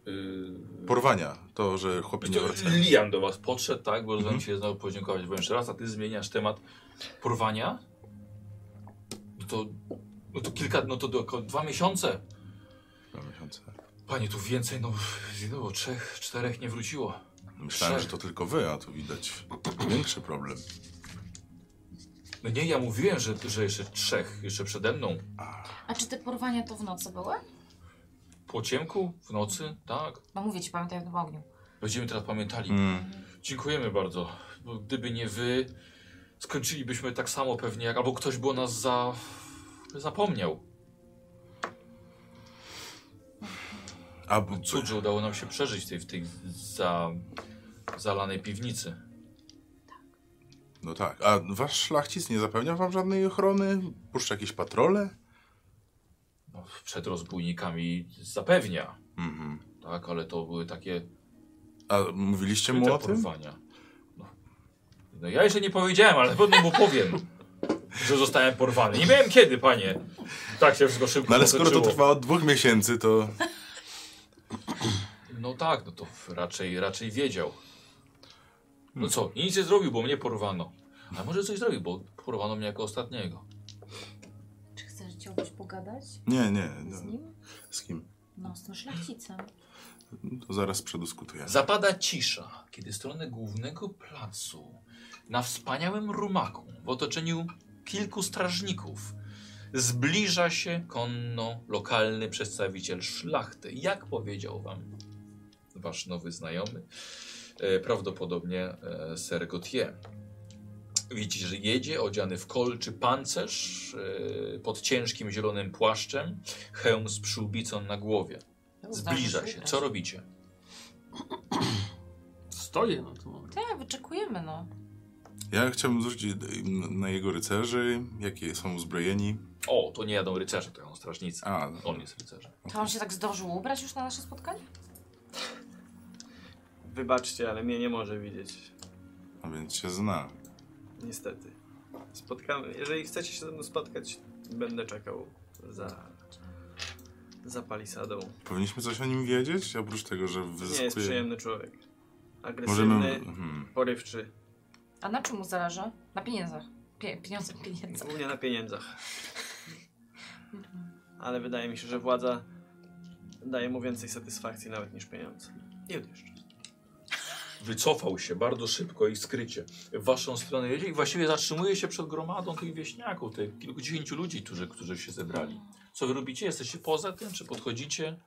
[SPEAKER 5] E,
[SPEAKER 2] Porwania, to, że chłopi nie
[SPEAKER 5] To
[SPEAKER 2] wracają.
[SPEAKER 5] Liam do was podszedł, tak? Bo mhm. się znowu podziękować, bo jeszcze raz, a ty zmieniasz temat porwania? No to, no to kilka, no to do, około dwa miesiące.
[SPEAKER 2] Dwa miesiące.
[SPEAKER 5] Panie, tu więcej, no, no trzech, czterech nie wróciło.
[SPEAKER 2] Myślałem,
[SPEAKER 5] Trzech.
[SPEAKER 2] że to tylko wy, a tu widać większy problem.
[SPEAKER 5] No nie, ja mówiłem, że, że jeszcze trzech, jeszcze przede mną.
[SPEAKER 3] A czy te porwania to w nocy były?
[SPEAKER 5] Po ciemku, w nocy, tak.
[SPEAKER 3] No mówię ci, pamiętaj o tym ogniu.
[SPEAKER 5] Będziemy teraz pamiętali.
[SPEAKER 2] Mm.
[SPEAKER 5] Dziękujemy bardzo. Bo gdyby nie wy, skończylibyśmy tak samo pewnie, jak, albo ktoś by o nas za... zapomniał.
[SPEAKER 2] A b-
[SPEAKER 5] Cud, że udało nam się przeżyć tej, w tej za... zalanej piwnicy.
[SPEAKER 2] No tak. A wasz szlachcic nie zapewnia wam żadnej ochrony? Puszcza jakieś patrole?
[SPEAKER 5] No, przed rozbójnikami zapewnia,
[SPEAKER 2] Mhm.
[SPEAKER 5] tak, ale to były takie
[SPEAKER 2] A mówiliście mu
[SPEAKER 5] skryte
[SPEAKER 2] o tym?
[SPEAKER 5] porwania. No. no ja jeszcze nie powiedziałem, ale pewnie mu powiem, że zostałem porwany. Nie wiem kiedy, panie. Tak się wszystko szybko
[SPEAKER 2] No ale skoro to
[SPEAKER 5] potoczyło.
[SPEAKER 2] trwa od dwóch miesięcy, to...
[SPEAKER 5] No tak, no to raczej, raczej wiedział. No co, i nic nie zrobił, bo mnie porwano. A może coś zrobił, bo porwano mnie jako ostatniego.
[SPEAKER 3] Czy chcesz chciałbyś pogadać
[SPEAKER 2] Nie, nie.
[SPEAKER 3] z
[SPEAKER 2] No.
[SPEAKER 3] nim?
[SPEAKER 2] Z kim?
[SPEAKER 3] No, z tym szlachcicem.
[SPEAKER 2] To zaraz przedyskutuję.
[SPEAKER 5] Zapada cisza, kiedy stronę głównego placu na wspaniałym rumaku w otoczeniu kilku strażników zbliża się konno lokalny przedstawiciel szlachty. Jak powiedział wam wasz nowy znajomy, e, prawdopodobnie e, ser Gautier. Widzicie, że jedzie odziany w kolczy pancerz e, pod ciężkim zielonym płaszczem, hełm z przyłbicą na głowie. Zbliża
[SPEAKER 3] Tak.
[SPEAKER 5] się. Co robicie?
[SPEAKER 4] Stoję no to może.
[SPEAKER 3] Tak, wyczekujemy, no.
[SPEAKER 2] Ja chciałbym zwrócić m, na jego rycerzy, jakie są uzbrojeni.
[SPEAKER 5] O, to nie jadą rycerze, to jadą strażnicy.
[SPEAKER 2] A,
[SPEAKER 5] On jest rycerzem.
[SPEAKER 3] To on się tak zdążył ubrać już na nasze spotkanie?
[SPEAKER 6] Wybaczcie, ale mnie nie może widzieć.
[SPEAKER 2] a więc się zna.
[SPEAKER 6] Niestety. Spotkamy. Jeżeli chcecie się ze mną spotkać, będę czekał za. za palisadą.
[SPEAKER 2] Powinniśmy coś o nim wiedzieć, oprócz tego, że
[SPEAKER 6] Nie jest
[SPEAKER 2] wyzyskuje...
[SPEAKER 6] przyjemny człowiek. Agresywny,
[SPEAKER 2] Możemy... Hmm.
[SPEAKER 6] porywczy.
[SPEAKER 3] A na czym mu zależy? Na pieniądzach. Pie pieniądze, pieniądze.
[SPEAKER 6] Głównie na pieniędzach. Ale wydaje mi się, że władza daje mu więcej satysfakcji nawet niż pieniądze. I odjeżdża.
[SPEAKER 5] Wycofał się bardzo szybko i skrycie. W waszą stronę jedzie i właściwie zatrzymuje się przed gromadą tych wieśniaków, tych kilkudziesięciu ludzi, którzy, którzy się zebrali. Co wy robicie? Jesteście poza tym? Czy podchodzicie?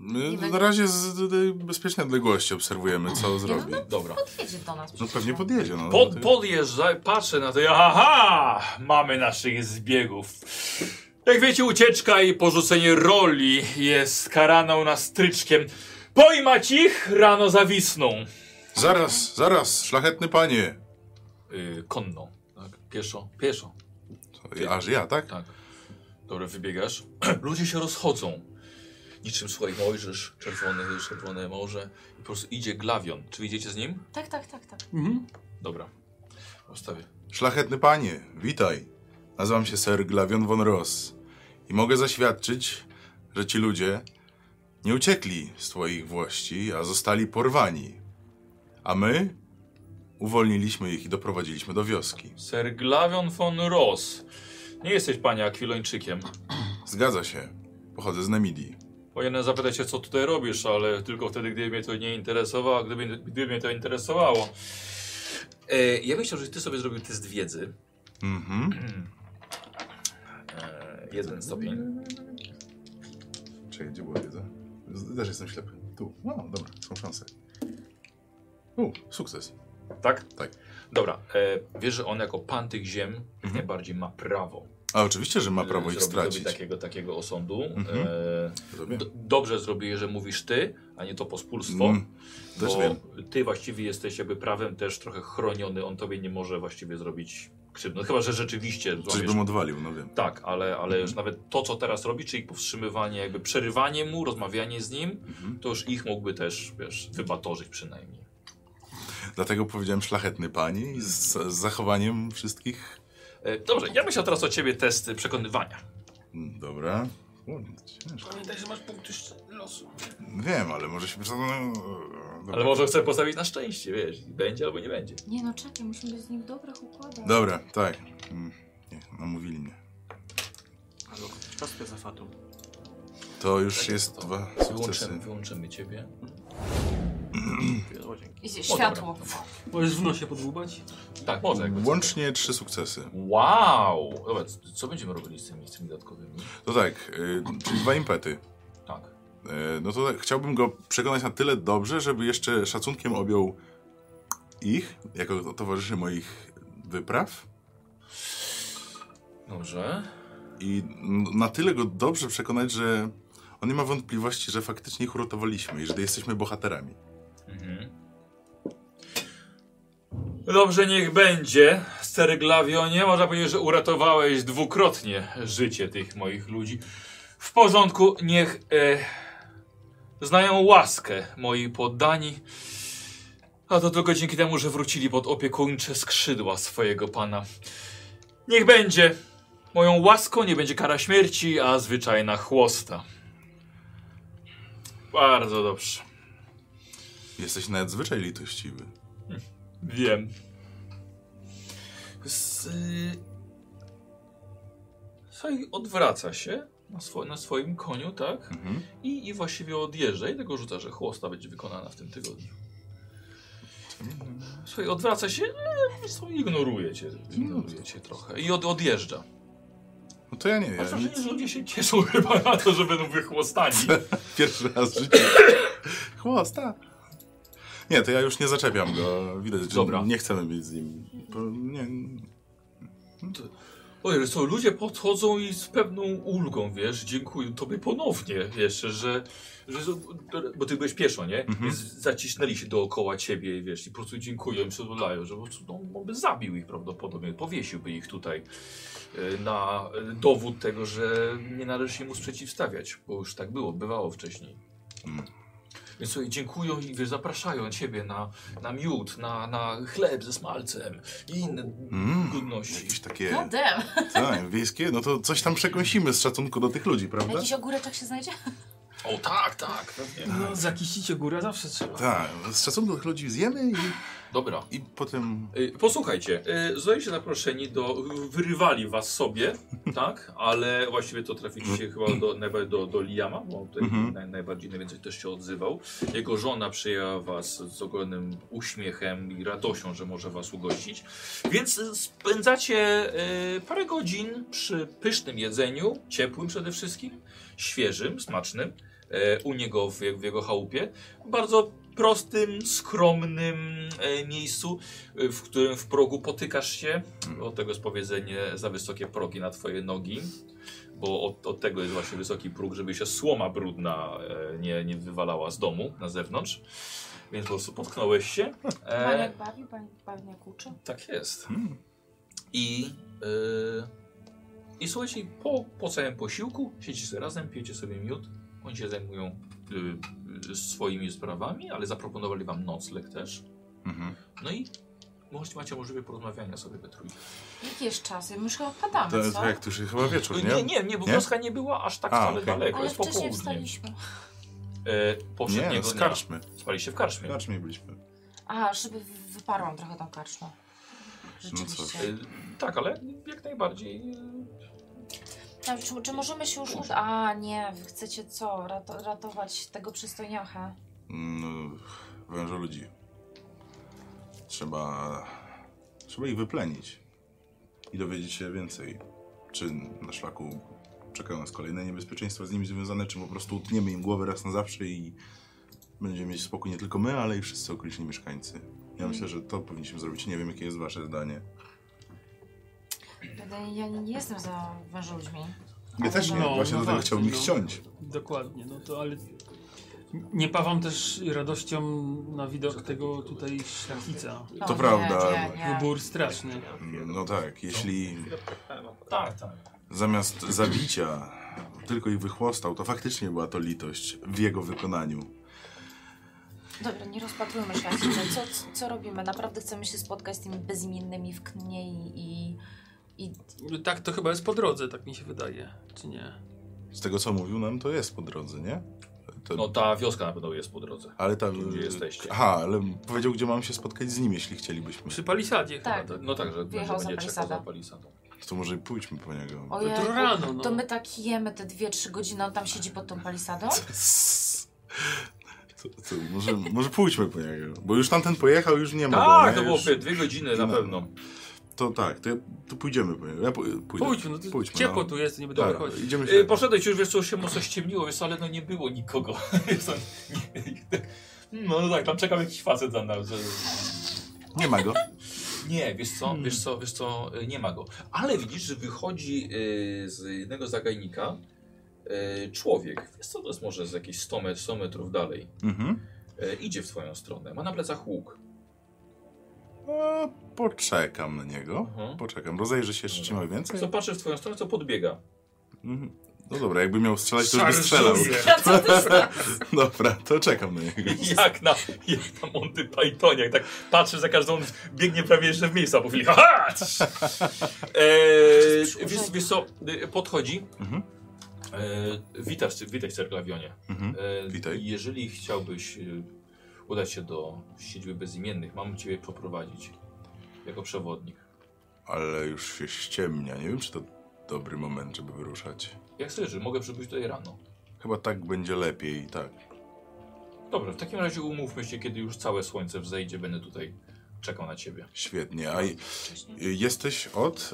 [SPEAKER 2] My
[SPEAKER 3] Nie
[SPEAKER 2] na razie z, z z bezpiecznej odległości obserwujemy, co zrobi.
[SPEAKER 5] Dobra.
[SPEAKER 3] Podjedzie do nas.
[SPEAKER 2] No
[SPEAKER 3] przecież,
[SPEAKER 2] pewnie podjedzie, no.
[SPEAKER 5] Pod, podjeżdża, patrzę na to i aha, mamy naszych zbiegów. Jak wiecie, ucieczka i porzucenie roli jest karaną na stryczkiem. Pojmać ich, rano zawisną.
[SPEAKER 2] Zaraz, zaraz, szlachetny panie!
[SPEAKER 5] Yy, konną, tak? Pieszo, pieszo.
[SPEAKER 2] Aż ja, tak?
[SPEAKER 5] Tak. Dobra, wybiegasz. Ludzie się rozchodzą.
[SPEAKER 1] niczym, słuchaj, Mojżesz, czerwony, czerwone morze. I po prostu idzie glawion. Czy idziecie z nim?
[SPEAKER 3] Tak, tak, tak, tak.
[SPEAKER 4] Mhm.
[SPEAKER 1] Dobra. Postawię.
[SPEAKER 2] Szlachetny panie, witaj. Nazywam się Sir Glavion von Ross i mogę zaświadczyć, że ci ludzie nie uciekli z twoich włości, a zostali porwani. A my uwolniliśmy ich i doprowadziliśmy do wioski.
[SPEAKER 1] Ser Glavion von Ross. Nie jesteś, panie Akwilończykiem.
[SPEAKER 2] Zgadza się. Pochodzę z Nemidii.
[SPEAKER 1] Powinienem zapytać się, co tutaj robisz, ale tylko wtedy, gdyby mnie to nie interesowało, gdyby, gdyby mnie to interesowało. E, ja bym chciał, żebyś ty sobie zrobił test wiedzy.
[SPEAKER 2] Mhm.
[SPEAKER 1] E, jeden stopień.
[SPEAKER 2] Czekaj, gdzie była wiedza? Z- Też jestem ślepy. Tu. No, dobra, są szanse. U, sukces.
[SPEAKER 1] Tak?
[SPEAKER 2] Tak.
[SPEAKER 1] Dobra. E, wiesz, że on jako pan tych ziem jak najbardziej ma prawo.
[SPEAKER 2] A oczywiście, że Mhm. ma prawo
[SPEAKER 1] e,
[SPEAKER 2] ich
[SPEAKER 1] zrobić sobie
[SPEAKER 2] stracić.
[SPEAKER 1] Takiego, takiego osądu.
[SPEAKER 2] Mhm.
[SPEAKER 1] E,
[SPEAKER 2] Rozumiem.
[SPEAKER 1] do, dobrze zrobiłeś, że mówisz ty, a nie to pospólstwo.
[SPEAKER 2] Mm, też
[SPEAKER 1] bo
[SPEAKER 2] wiem.
[SPEAKER 1] ty właściwie jesteś jakby prawem też trochę chroniony. On tobie nie może właściwie zrobić krzywdy. No, chyba, że rzeczywiście
[SPEAKER 2] Coś
[SPEAKER 1] złapiesz
[SPEAKER 2] bym odwalił, no wiem.
[SPEAKER 1] Tak, ale, ale już nawet to, co teraz robi, czyli powstrzymywanie, jakby przerywanie mu, rozmawianie z nim,
[SPEAKER 2] Mhm.
[SPEAKER 1] to już ich mógłby też, wiesz, wybatorzyć przynajmniej.
[SPEAKER 2] Dlatego powiedziałem szlachetny pani z, z zachowaniem wszystkich.
[SPEAKER 1] E, dobrze, ja myślę teraz o ciebie test przekonywania.
[SPEAKER 2] Mm, Dobra. Kurde, to ciężko.
[SPEAKER 5] Pamiętaj, że masz punkty losu.
[SPEAKER 2] Wiem, ale może się. przekonam- Dobra.
[SPEAKER 1] Ale może chcę postawić na szczęście, wiesz, i będzie albo nie będzie.
[SPEAKER 3] Nie no, czekaj, musimy być z nim w dobrych układach.
[SPEAKER 5] No,
[SPEAKER 2] Dobra, tak. Mm, Nie, namówili mnie.
[SPEAKER 6] Albo kostkę za fatum.
[SPEAKER 2] To
[SPEAKER 5] Tak
[SPEAKER 2] już jest
[SPEAKER 1] To
[SPEAKER 2] dwa
[SPEAKER 1] Wyłączymy,
[SPEAKER 2] sukcesy.
[SPEAKER 1] wyłączymy ciebie.
[SPEAKER 6] O, dzięki.
[SPEAKER 5] no
[SPEAKER 3] Idzie
[SPEAKER 1] O,
[SPEAKER 3] światło.
[SPEAKER 1] dobra.
[SPEAKER 4] Możesz w nosie podłubać?
[SPEAKER 1] Tak, może jakby. co.
[SPEAKER 2] Łącznie trzy sukcesy.
[SPEAKER 1] Wow! Dobra, c- co będziemy robili z tymi, z tymi dodatkowymi?
[SPEAKER 2] To tak, y, czyli dwa impety.
[SPEAKER 1] Tak.
[SPEAKER 2] Y, no to tak, chciałbym go przekonać na tyle dobrze, żeby jeszcze szacunkiem objął ich, jako to- towarzyszy moich wypraw.
[SPEAKER 1] Dobrze.
[SPEAKER 2] I n- na tyle go dobrze przekonać, że on nie ma wątpliwości, że faktycznie ich uratowaliśmy i że jesteśmy bohaterami.
[SPEAKER 1] Mhm. Dobrze, niech będzie. Stary Glawionie, można powiedzieć, że uratowałeś dwukrotnie życie tych moich ludzi. W porządku, niech e, znają łaskę moi poddani. A to tylko dzięki temu, że wrócili pod opiekuńcze skrzydła swojego pana. Niech będzie. Moją łaską nie będzie kara śmierci, a zwyczajna chłosta. Bardzo dobrze.
[SPEAKER 2] Jesteś nadzwyczaj litościwy.
[SPEAKER 1] Wiem. Z... y, Słuchaj, odwraca się na, swo na swoim koniu, tak?
[SPEAKER 2] Mhm.
[SPEAKER 1] I, I właściwie odjeżdża i tego rzuca, że chłosta będzie wykonana w tym tygodniu. Słuchaj, odwraca się, e, są- ignoruje cię, ignoruje cię trochę i od, odjeżdża.
[SPEAKER 2] No to ja nie wiem.
[SPEAKER 1] Masz wrażenie, że ludzie się cieszą chyba na to, że będą wychłostani.
[SPEAKER 2] Pierwszy raz w życiu. Chłosta. Nie, to ja już nie zaczepiam go. Widać, że
[SPEAKER 1] Dobra.
[SPEAKER 2] nie chcemy być z nim. Bo nie,
[SPEAKER 1] Ojej, co, ludzie podchodzą i z pewną ulgą, wiesz, dziękuję tobie ponownie jeszcze, że, że bo ty byłeś pieszo, nie? Więc zacisnęli się dookoła ciebie, i wiesz, i po prostu dziękuję, przytulają, że po prostu, no, on by zabił ich prawdopodobnie, powiesiłby ich tutaj e, na e, dowód tego, że nie należy się mu sprzeciwstawiać, bo już tak było, bywało wcześniej.
[SPEAKER 2] Mhm.
[SPEAKER 1] Więc słuchaj, dziękują i wiesz, zapraszają ciebie na, na miód, na, na chleb ze smalcem i inne
[SPEAKER 2] Mm,
[SPEAKER 1] godności.
[SPEAKER 2] jakieś takie.
[SPEAKER 3] No dem.
[SPEAKER 2] Tak, wiejskie. No to coś tam przekąsimy z szacunku do tych ludzi, prawda?
[SPEAKER 3] Jakiś ogóreczek się znajdzie?
[SPEAKER 1] O tak, tak, pewnie.
[SPEAKER 4] No, zakiścicie górę zawsze trzeba.
[SPEAKER 2] Tak, z szacunku do tych ludzi zjemy
[SPEAKER 1] Dobra.
[SPEAKER 2] i, i potem.
[SPEAKER 1] Y, Posłuchajcie, y, zostaliście zaproszeni do. Wyrywali was sobie, tak? Ale właściwie to trafiliście chyba do, najbardziej do, do Liama, bo on tutaj
[SPEAKER 2] Mhm.
[SPEAKER 1] naj, najbardziej najwięcej też się odzywał. Jego żona przyjęła was z ogromnym uśmiechem i radością, że może was ugościć. Więc y, spędzacie y, parę godzin przy pysznym jedzeniu, ciepłym przede wszystkim, świeżym, smacznym, y, u niego w, w jego chałupie. Bardzo prostym, skromnym y, miejscu e, w którym w progu potykasz się. Od tego jest powiedzenie za wysokie progi na twoje nogi, bo od, od tego jest właśnie wysoki próg, żeby się słoma brudna e, nie, nie wywalała z domu na zewnątrz. Więc po prostu potknąłeś się. E,
[SPEAKER 3] Baniak bawi, baniak, baniak uczy.
[SPEAKER 1] tak jest.
[SPEAKER 2] Mm.
[SPEAKER 1] I, y, e, I słuchajcie, po, po całym posiłku siedzicie sobie razem, pijecie sobie miód Oni się zajmują y, y, swoimi sprawami, ale zaproponowali wam nocleg też.
[SPEAKER 2] Mhm.
[SPEAKER 1] No i możecie, macie możliwość porozmawiania sobie we trójkę.
[SPEAKER 3] Jaki jest czas? My już chyba wpadamy,
[SPEAKER 2] To jest
[SPEAKER 3] co?
[SPEAKER 2] jak, to już jest chyba wieczór,
[SPEAKER 1] No Nie,
[SPEAKER 2] nie?
[SPEAKER 1] nie, nie, bo
[SPEAKER 2] Nie?
[SPEAKER 1] wioska nie była aż tak
[SPEAKER 2] A,
[SPEAKER 1] wcale
[SPEAKER 2] okej.
[SPEAKER 1] daleko.
[SPEAKER 3] Ale
[SPEAKER 1] jest
[SPEAKER 3] wcześniej
[SPEAKER 1] popołudnie.
[SPEAKER 3] wstaliśmy.
[SPEAKER 1] E, poprzedniego
[SPEAKER 2] nie
[SPEAKER 1] dnia
[SPEAKER 2] no, skarczmy.
[SPEAKER 1] spaliście w karczmie.
[SPEAKER 2] Skarczmy byliśmy.
[SPEAKER 3] A, żeby w- wyparłam trochę tą karczmę.
[SPEAKER 2] No cóż.
[SPEAKER 3] Rzeczywiście.
[SPEAKER 1] E, tak, ale jak najbardziej. y,
[SPEAKER 3] A, czy, czy możemy się już uda? A nie, wy chcecie co? Rato, ratować tego przystojniacha.
[SPEAKER 2] No, węże ludzi. Trzeba... Trzeba ich wyplenić. I dowiedzieć się więcej. Czy na szlaku czekają nas kolejne niebezpieczeństwa z nimi związane, czy po prostu utniemy im głowę raz na zawsze i będziemy mieć spokój nie tylko my, ale i wszyscy okoliczni mieszkańcy. Ja myślę, że to powinniśmy zrobić. Nie wiem, jakie jest wasze zdanie.
[SPEAKER 3] Będę- Ja nie jestem za wężą ludźmi.
[SPEAKER 2] Ja też nie,
[SPEAKER 4] No,
[SPEAKER 2] właśnie
[SPEAKER 4] no
[SPEAKER 2] do tego
[SPEAKER 4] tak,
[SPEAKER 2] chciałbym ich
[SPEAKER 4] no.
[SPEAKER 2] ściąć.
[SPEAKER 4] Dokładnie, no to ale... Nie pawam też radością na widok tego tutaj szlachcica.
[SPEAKER 3] No,
[SPEAKER 2] To
[SPEAKER 3] nie,
[SPEAKER 2] prawda.
[SPEAKER 3] Nie, nie.
[SPEAKER 4] Wybór straszny.
[SPEAKER 2] No tak, jeśli
[SPEAKER 1] Tak, tak.
[SPEAKER 2] zamiast zabicia tylko ich wychłostał, to faktycznie była to litość w jego wykonaniu.
[SPEAKER 3] Dobra, nie rozpatrujmy szlachcica. Co, co, co robimy? Naprawdę chcemy się spotkać z tymi bezimiennymi w knie i... i, i
[SPEAKER 4] No Tak, to chyba jest po drodze, tak mi się wydaje, czy nie?
[SPEAKER 2] Z tego, co mówił nam, to jest po drodze, nie? To,
[SPEAKER 1] No ta wioska na pewno jest po drodze.
[SPEAKER 2] ale ta,
[SPEAKER 1] gdzie jesteście?
[SPEAKER 2] Aha, ale powiedział, gdzie mam się spotkać z nim, jeśli chcielibyśmy.
[SPEAKER 4] Przy palisadzie
[SPEAKER 3] Tak.
[SPEAKER 4] chyba, tak?
[SPEAKER 1] No tak, że, że
[SPEAKER 3] Wjechał za
[SPEAKER 1] będzie czekał za
[SPEAKER 3] palisadą.
[SPEAKER 1] palisadą.
[SPEAKER 2] To może pójdźmy po niego.
[SPEAKER 3] Ojej,
[SPEAKER 4] To rano, no.
[SPEAKER 3] to my tak jemy te 2-3 godziny, on tam siedzi pod tą palisadą?
[SPEAKER 2] Co, co, może, może pójdźmy po niego, bo już tamten pojechał, już nie ma. go,
[SPEAKER 1] Tak,
[SPEAKER 2] nie?
[SPEAKER 1] to było
[SPEAKER 2] No Już- no.
[SPEAKER 1] dwie godziny na
[SPEAKER 2] na pewno.
[SPEAKER 1] pewno.
[SPEAKER 2] To tak, to, ja, to pójdziemy po niego. Ja pój- pójdę.
[SPEAKER 4] Pójdźmy, no to ciepło tu jest, nie będę
[SPEAKER 2] Dobra,
[SPEAKER 4] wychodzić.
[SPEAKER 2] idziemy
[SPEAKER 1] Y,
[SPEAKER 2] się.
[SPEAKER 1] poszedłeś już, wiesz co, już się mocno ściemniło, wiesz co, ale no nie było nikogo. Wiesz co, nie- nie- no, no tak, tam czekał jakiś facet za nami.
[SPEAKER 2] Nie ma go.
[SPEAKER 1] Nie, wiesz co, wiesz co, wiesz co, y, nie ma go. Ale widzisz, że wychodzi y, z jednego zagajnika y, człowiek. Wiesz co, to jest może z jakieś 100, met- 100 metrów dalej.
[SPEAKER 2] Mhm.
[SPEAKER 1] Y, idzie w twoją stronę, ma na plecach łuk.
[SPEAKER 2] E, poczekam na niego.
[SPEAKER 1] Mhm.
[SPEAKER 2] Poczekam, rozejrzę się jeszcze, czy ma więcej.
[SPEAKER 1] Co patrzy w twoją stronę, co podbiega.
[SPEAKER 2] Mhm. No dobra, jakby miał strzelać, to już by
[SPEAKER 4] Szarżuje.
[SPEAKER 2] strzelał.
[SPEAKER 3] Ja co ty znasz?
[SPEAKER 2] Dobra, to czekam na niego.
[SPEAKER 1] Jak na, jak na Monty Pythonie, tak patrzy za każdą, biegnie prawie jeszcze w miejsca po chwili. Ha, ha! Eee, wiesz, wiesz co, y, podchodzi.
[SPEAKER 2] Mhm.
[SPEAKER 1] Eee, witasz, witaj Cerklawionie.
[SPEAKER 2] Mhm.
[SPEAKER 1] Eee,
[SPEAKER 2] Witaj.
[SPEAKER 1] Jeżeli chciałbyś y, udać się do siedziby bezimiennych, mam ciebie poprowadzić jako przewodnik.
[SPEAKER 2] Ale już się ściemnia, nie wiem, czy to dobry moment, żeby wyruszać.
[SPEAKER 1] Jak chcesz, że mogę przybyć tutaj rano.
[SPEAKER 2] Chyba tak będzie lepiej, tak.
[SPEAKER 1] Dobra, w takim razie umówmy się, kiedy już całe słońce wzejdzie, będę tutaj czekał na ciebie.
[SPEAKER 2] Świetnie. A i- y, jesteś od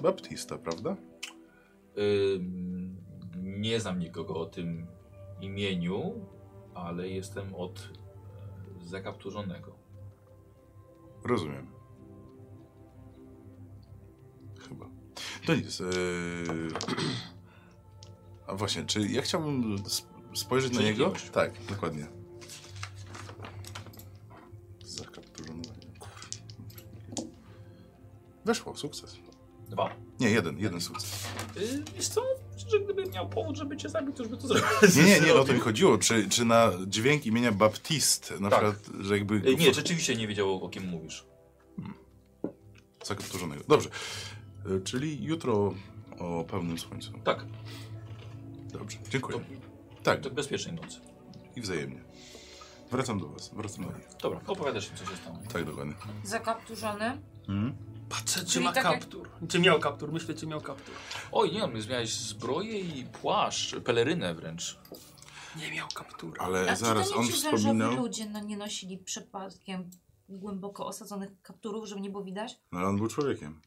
[SPEAKER 2] y, Baptista, prawda?
[SPEAKER 1] Ym, nie znam nikogo o tym imieniu, ale jestem od e, zakapturzonego.
[SPEAKER 2] Rozumiem. Chyba. To nic. y, A właśnie, czy ja chciałbym sp- spojrzeć na niego?
[SPEAKER 1] Przenikliwość.
[SPEAKER 2] Tak, dokładnie. Zakapturzony. Kurwa. Weszło, sukces.
[SPEAKER 1] Dwa.
[SPEAKER 2] Nie, jeden, jeden sukces.
[SPEAKER 1] Yy, wiesz co, że gdybym miał powód, żeby cię zabić, to już by to zrobił.
[SPEAKER 2] Nie, nie, nie, o to mi chodziło. Czy, czy na dźwięk imienia Baptist, na
[SPEAKER 1] Tak.
[SPEAKER 2] przykład, że jakby...
[SPEAKER 1] Yy, Nie, rzeczywiście nie wiedział, o kim mówisz.
[SPEAKER 2] Zakapturzonego. Dobrze. Y, Czyli jutro o pełnym słońcu.
[SPEAKER 1] Tak,
[SPEAKER 2] Dobrze, dziękuję.
[SPEAKER 1] to,
[SPEAKER 2] Tak,
[SPEAKER 1] to bezpiecznej nocy.
[SPEAKER 2] i wzajemnie. Wracam do was, wracam do nich.
[SPEAKER 1] Dobra, opowiadasz mi, co się stało.
[SPEAKER 2] Tak, dokładnie. E,
[SPEAKER 3] Zakapturzony?
[SPEAKER 4] Patrzę, czy
[SPEAKER 3] Czyli
[SPEAKER 4] ma
[SPEAKER 3] tak jak-
[SPEAKER 4] kaptur. Czy miał kaptur, myślę, czy miał kaptur.
[SPEAKER 1] Oj, nie, no, my zmieniałeś zbroję i płaszcz, pelerynę wręcz.
[SPEAKER 4] Nie miał kaptura.
[SPEAKER 2] Ale
[SPEAKER 3] A
[SPEAKER 2] zaraz,
[SPEAKER 3] czy to
[SPEAKER 2] on
[SPEAKER 3] nie ci wężowi
[SPEAKER 2] wspominał...
[SPEAKER 3] ludzie no, nie nosili przypadkiem głęboko osadzonych kapturów, żeby nie było widać?
[SPEAKER 2] No, ale on był człowiekiem.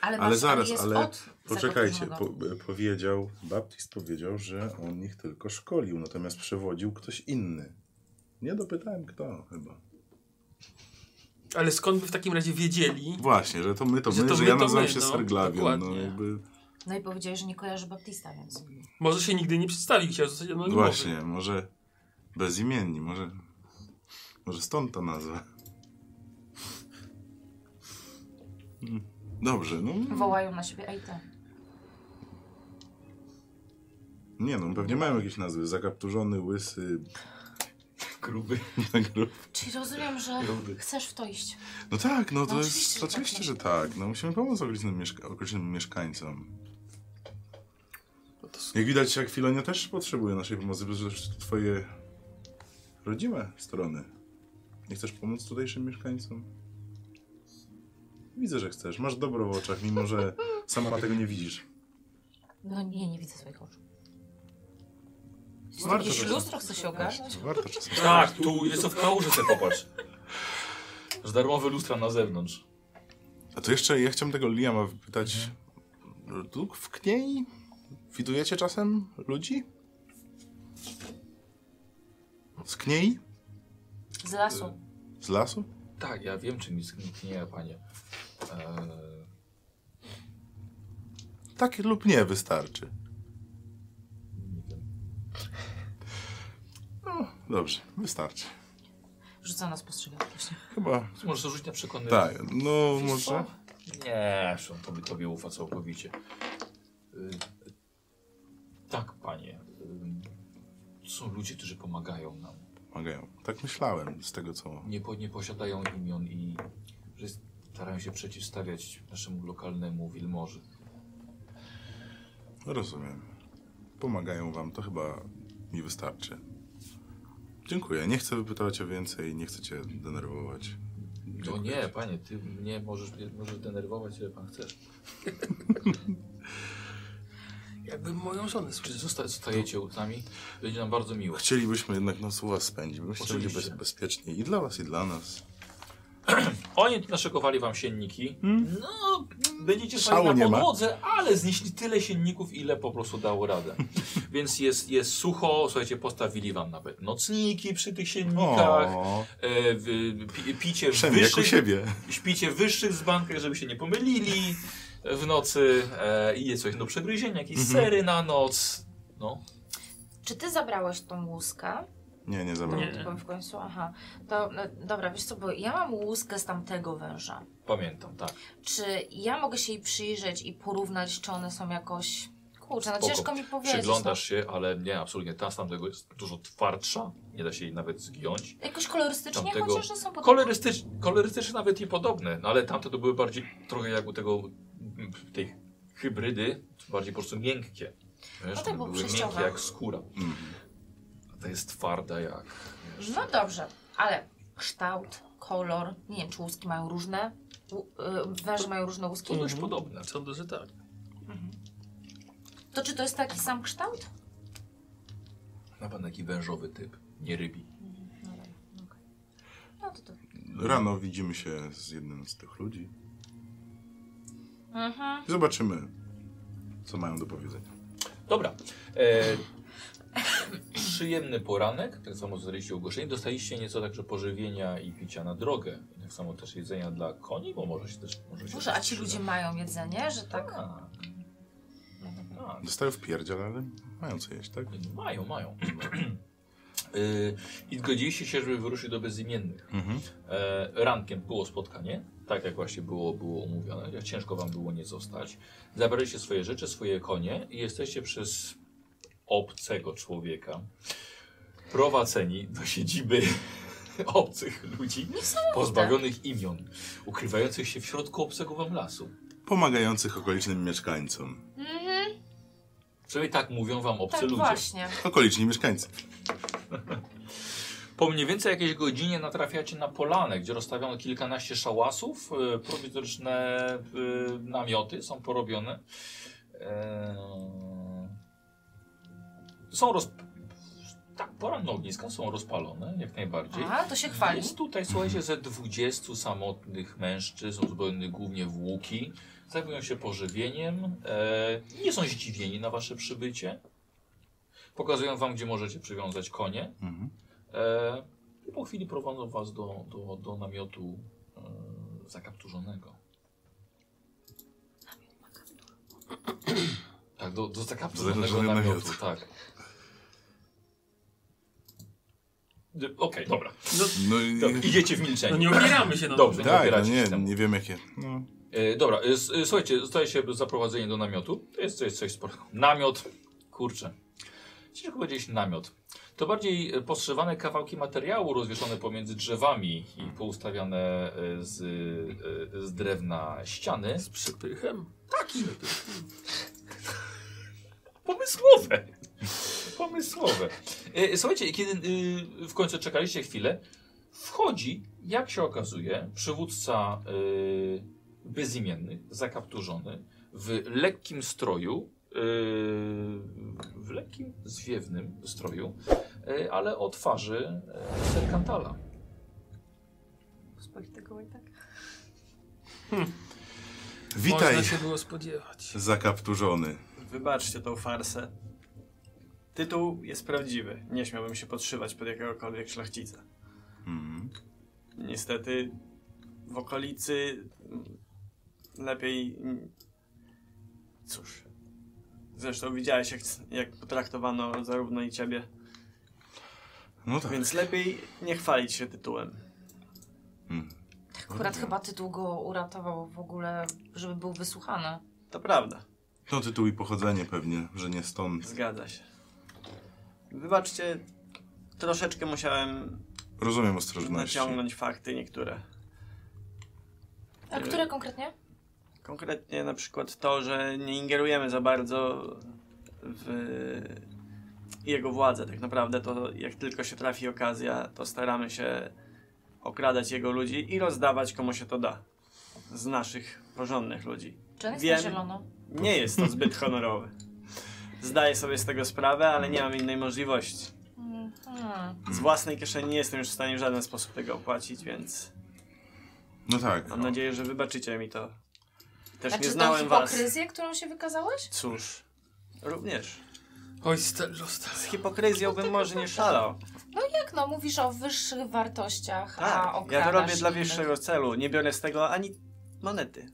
[SPEAKER 3] Ale,
[SPEAKER 2] Ale
[SPEAKER 3] masz-
[SPEAKER 2] zaraz,
[SPEAKER 3] jest
[SPEAKER 2] ale
[SPEAKER 3] od
[SPEAKER 2] poczekajcie,
[SPEAKER 3] zakapturzonego.
[SPEAKER 2] po, e, powiedział, Baptist powiedział, że on ich tylko szkolił, natomiast przewodził ktoś inny. Nie dopytałem kto chyba.
[SPEAKER 4] Ale skąd by w takim razie wiedzieli?
[SPEAKER 2] Właśnie, że to my to
[SPEAKER 4] Że
[SPEAKER 2] my,
[SPEAKER 4] to
[SPEAKER 2] że
[SPEAKER 4] my,
[SPEAKER 2] ja
[SPEAKER 4] to
[SPEAKER 2] nazywam
[SPEAKER 4] my,
[SPEAKER 2] się
[SPEAKER 4] no,
[SPEAKER 2] Serglawion, no
[SPEAKER 4] dokładnie.
[SPEAKER 2] jakby...
[SPEAKER 3] No i powiedziałeś, że nie kojarzy Baptista, więc...
[SPEAKER 4] Może się nigdy nie przedstawił, chciał zostać anonimowy.
[SPEAKER 2] Właśnie, może bezimienni, może... Może stąd ta nazwa. Mm, Dobrze, no...
[SPEAKER 3] Wołają na siebie, ej ty.
[SPEAKER 2] Nie no, pewnie mają jakieś nazwy. Zakapturzony, łysy,
[SPEAKER 1] Gruby.
[SPEAKER 3] Czyli rozumiem, że
[SPEAKER 1] Gruby.
[SPEAKER 3] chcesz w to iść.
[SPEAKER 2] No tak, no to
[SPEAKER 3] No
[SPEAKER 2] jest
[SPEAKER 3] oczywiście,
[SPEAKER 2] oczywiście,
[SPEAKER 3] że tak,
[SPEAKER 2] że
[SPEAKER 3] no.
[SPEAKER 2] tak. No musimy pomóc okolicznym, mieszka okolicznym mieszkańcom.
[SPEAKER 5] No to
[SPEAKER 2] Jak widać, jak Filonia też potrzebuje naszej pomocy, bo przecież to twoje rodzime strony. Nie chcesz pomóc tutejszym mieszkańcom? Widzę, że chcesz. Masz dobro w oczach, mimo że sama tego nie widzisz.
[SPEAKER 3] No nie, nie widzę swoich oczu. Czy
[SPEAKER 2] Warto
[SPEAKER 3] jakieś
[SPEAKER 2] czasem-
[SPEAKER 3] lustro chce się ogarnąć?
[SPEAKER 2] Warto czasem.
[SPEAKER 1] Tak, tu jest w kałuży sobie popatrz. Aż darmowe lustra na zewnątrz.
[SPEAKER 2] A to jeszcze ja chciałem tego Liama wypytać. Tu w Kniei widujecie czasem ludzi? Z Kniei?
[SPEAKER 3] Z lasu.
[SPEAKER 2] Z lasu?
[SPEAKER 1] Tak, ja wiem czym jest gniję, panie. Eee,
[SPEAKER 2] Tak lub nie wystarczy.
[SPEAKER 1] nie wiem.
[SPEAKER 2] No, dobrze, wystarczy.
[SPEAKER 3] Rzuca na spostrzegawczość.
[SPEAKER 2] Chyba.
[SPEAKER 1] Możesz rzucić na przekonywanie.
[SPEAKER 2] Tak, no może.
[SPEAKER 1] Tak. Nie, on tobie, tobie ufa całkowicie. Y, Tak, panie. Y, Są ludzie, którzy pomagają nam.
[SPEAKER 2] Mogę. Tak myślałem z tego co.
[SPEAKER 1] Nie, po, nie posiadają imion i że starają się przeciwstawiać naszemu lokalnemu Wilmorzy.
[SPEAKER 2] Rozumiem. Pomagają wam, to chyba mi wystarczy. Dziękuję. Nie chcę wypytywać o więcej, nie chcę cię denerwować.
[SPEAKER 1] No nie, panie, ty mnie możesz, możesz denerwować, ile pan chcesz.
[SPEAKER 4] Jakby moją żonę słyszał.
[SPEAKER 1] Czy zosta zostajecie z nami? Będzie nam bardzo miło.
[SPEAKER 2] Chcielibyśmy jednak noc u was spędzić, bo myślę, że będzie bez,
[SPEAKER 1] Oczywiście.
[SPEAKER 2] bezpiecznie i dla was, i dla nas.
[SPEAKER 1] Oni naszykowali wam sienniki. No, będziecie
[SPEAKER 2] Hmm? Szału
[SPEAKER 1] spali na
[SPEAKER 2] nie ma.
[SPEAKER 1] podłodze, ale znieśli tyle sienników, ile po prostu dało radę. Więc jest, jest sucho. Słuchajcie, postawili wam nawet nocniki przy tych siennikach.
[SPEAKER 2] O,
[SPEAKER 1] E, w, pi, picie, w
[SPEAKER 2] Przemij jak u
[SPEAKER 1] wyższych,
[SPEAKER 2] siebie.
[SPEAKER 1] śpicie w wyższych dzbankach, żeby się nie pomylili w nocy. E, I jest coś do przegryzienia, jakieś
[SPEAKER 2] Mhm.
[SPEAKER 1] sery na noc. No,
[SPEAKER 3] Czy ty zabrałeś tą łuskę?
[SPEAKER 2] Nie, nie
[SPEAKER 3] Tą,
[SPEAKER 2] zabrałem.
[SPEAKER 4] Nie.
[SPEAKER 3] Tą w końcu, aha. To, e, dobra, wiesz co, bo ja mam łuskę z tamtego węża.
[SPEAKER 1] pamiętam, tak.
[SPEAKER 3] Czy ja mogę się jej przyjrzeć i porównać, czy one są jakoś... Kurczę, no
[SPEAKER 1] Spoko.
[SPEAKER 3] ciężko mi powiedzieć.
[SPEAKER 1] Przyglądasz się, ale nie, absolutnie. Ta z tamtego jest dużo twardsza. Nie da się jej nawet zgiąć.
[SPEAKER 3] No. Jakoś kolorystycznie,
[SPEAKER 1] Tamtego-
[SPEAKER 3] chociaż że są podobne.
[SPEAKER 1] Kolorystycz, kolorystyczne nawet i podobne, no ale tamte to były bardziej trochę jak u tego, m, tej hybrydy, bardziej po prostu miękkie. Wiesz,
[SPEAKER 3] tak,
[SPEAKER 1] one
[SPEAKER 3] bo
[SPEAKER 1] były
[SPEAKER 3] przejściowe.
[SPEAKER 1] miękkie jak skóra,
[SPEAKER 2] Mhm.
[SPEAKER 1] a ta jest twarda jak... wiesz,
[SPEAKER 3] No dobrze, ale kształt, kolor, nie wiem, czy łuski mają różne, Łu- y, węże mają różne
[SPEAKER 1] To
[SPEAKER 3] łuski.
[SPEAKER 5] Mhm.
[SPEAKER 1] dość podobne.
[SPEAKER 4] Sądzę, że tak.
[SPEAKER 3] To czy to jest taki sam kształt?
[SPEAKER 1] Na pewno taki wężowy typ, nie rybi.
[SPEAKER 3] No dobra, okej. No to to.
[SPEAKER 2] Rano widzimy się z jednym z tych ludzi
[SPEAKER 3] Mhm.
[SPEAKER 2] i zobaczymy, co mają do powiedzenia.
[SPEAKER 1] Dobra. E, przyjemny poranek, tak samo zostaliście ogłoszeni. Dostaliście nieco także pożywienia i picia na drogę. Tak samo też jedzenia dla koni, bo może się też... Może, się
[SPEAKER 3] Boże,
[SPEAKER 1] też
[SPEAKER 3] a ci
[SPEAKER 1] przyda.
[SPEAKER 3] ludzie mają jedzenie, że tak?
[SPEAKER 1] Tak. Tak.
[SPEAKER 2] Dostają w pierdziel, ale mają co jeść, tak?
[SPEAKER 1] Mają, mają. Y, I zgodziliście się, żeby wyruszyć do bezimiennych.
[SPEAKER 2] Mhm.
[SPEAKER 1] E, rankiem było spotkanie, tak jak właśnie było, było umówione. Jak Ciężko wam było nie zostać. Zabraliście swoje rzeczy, swoje konie i jesteście przez obcego człowieka prowadzeni do siedziby obcych ludzi, pozbawionych imion, ukrywających się w środku obcego wam lasu.
[SPEAKER 2] Pomagających okolicznym mieszkańcom.
[SPEAKER 3] Mhm.
[SPEAKER 1] Przynajmniej tak mówią wam obcy
[SPEAKER 3] Tak
[SPEAKER 1] ludzie.
[SPEAKER 3] właśnie.
[SPEAKER 2] Okoliczni mieszkańcy.
[SPEAKER 1] Po mniej więcej jakiejś godzinie natrafiacie na polanę, gdzie rozstawiono kilkanaście szałasów, e, prowizoryczne e, namioty są porobione. E, Są roz... Tak, poranne ogniska są rozpalone, jak najbardziej.
[SPEAKER 3] A, to się chwali.
[SPEAKER 1] Jest tutaj, słuchajcie, ze 20 samotnych mężczyzn, uzbrojonych głównie w łuki. Zajmują się pożywieniem. E, nie są zdziwieni na wasze przybycie. Pokazują wam, gdzie możecie przywiązać konie.
[SPEAKER 2] Mhm.
[SPEAKER 1] E, I po chwili prowadzą was do, do, do namiotu e, zakapturzonego. Tak, do, do zakapturzonego
[SPEAKER 2] Zakapturzonego
[SPEAKER 1] namiotu,
[SPEAKER 2] namiotu.
[SPEAKER 1] tak. D- Okej, dobra.
[SPEAKER 4] No,
[SPEAKER 2] No i...
[SPEAKER 1] Dobra, Idziecie w
[SPEAKER 4] no
[SPEAKER 1] milczeniu.
[SPEAKER 4] nie opieramy się na
[SPEAKER 1] Dobrze.
[SPEAKER 4] tym.
[SPEAKER 2] Tak, no
[SPEAKER 1] opieracie się
[SPEAKER 2] nie,
[SPEAKER 1] temu.
[SPEAKER 2] nie wiem jakie. No.
[SPEAKER 1] E, dobra, e, s- e, słuchajcie, zostaje się zaprowadzenie do namiotu. To jest coś, coś sporego. Namiot, kurczę. ciężko powiedzieć namiot. To bardziej e, postrzewane kawałki materiału rozwieszone pomiędzy drzewami i poustawiane e, z, e, z drewna ściany.
[SPEAKER 4] Z przypychem?
[SPEAKER 1] Pomysłowe. Pomysłowe. E, Słuchajcie, kiedy y, w końcu czekaliście chwilę, wchodzi, jak się okazuje, przywódca y, bezimienny, zakapturzony, w lekkim stroju, y, w lekkim, zwiewnym stroju, y, ale o twarzy y, serkantala.
[SPEAKER 3] Spójrz tego i tak.
[SPEAKER 2] Witaj,
[SPEAKER 4] Można się było spodziewać.
[SPEAKER 2] zakapturzony.
[SPEAKER 6] Wybaczcie tą farsę. Tytuł jest prawdziwy. Nie śmiałbym się podszywać pod jakiegokolwiek szlachcica.
[SPEAKER 2] Mhm.
[SPEAKER 6] Niestety w okolicy mm, lepiej... mm, Cóż. Zresztą widziałeś, jak, jak potraktowano zarówno i ciebie,
[SPEAKER 2] No tak.
[SPEAKER 6] więc lepiej nie chwalić się tytułem.
[SPEAKER 2] Mm.
[SPEAKER 3] Akurat chyba tytuł go uratował w ogóle, żeby był wysłuchany.
[SPEAKER 6] To prawda.
[SPEAKER 2] To tytuł i pochodzenie pewnie, że nie stąd.
[SPEAKER 6] Zgadza się. Wybaczcie, troszeczkę musiałem
[SPEAKER 2] Rozumiem ostrożności.
[SPEAKER 6] naciągnąć fakty niektóre.
[SPEAKER 3] A
[SPEAKER 6] Y-
[SPEAKER 3] które konkretnie?
[SPEAKER 6] Konkretnie na przykład to, że nie ingerujemy za bardzo w jego władzę. Tak naprawdę to jak tylko się trafi okazja, to staramy się okradać jego ludzi i rozdawać komu się to da. Z naszych porządnych ludzi.
[SPEAKER 3] Czy on jest
[SPEAKER 6] Wiem.
[SPEAKER 3] na zielono?
[SPEAKER 6] Nie jest to zbyt honorowe. Zdaję sobie z tego sprawę, ale nie mam innej możliwości.
[SPEAKER 3] Mm, hmm.
[SPEAKER 6] Z własnej kieszeni nie jestem już w stanie w żaden sposób tego opłacić, więc
[SPEAKER 2] No tak.
[SPEAKER 6] mam nadzieję, że wybaczycie mi to. Też
[SPEAKER 3] Znaczy
[SPEAKER 6] nie
[SPEAKER 3] tą
[SPEAKER 6] znałem was.
[SPEAKER 3] hipokryzję, którą się wykazałeś?
[SPEAKER 6] Cóż, również.
[SPEAKER 4] Oj, Stello, Stello.
[SPEAKER 6] Z hipokryzją bym może nie szalał.
[SPEAKER 3] Jak no, mówisz o wyższych wartościach,
[SPEAKER 6] Tak,
[SPEAKER 3] a okradasz
[SPEAKER 6] ja to robię dla
[SPEAKER 3] innych.
[SPEAKER 6] wyższego celu. Nie biorę z tego ani monety.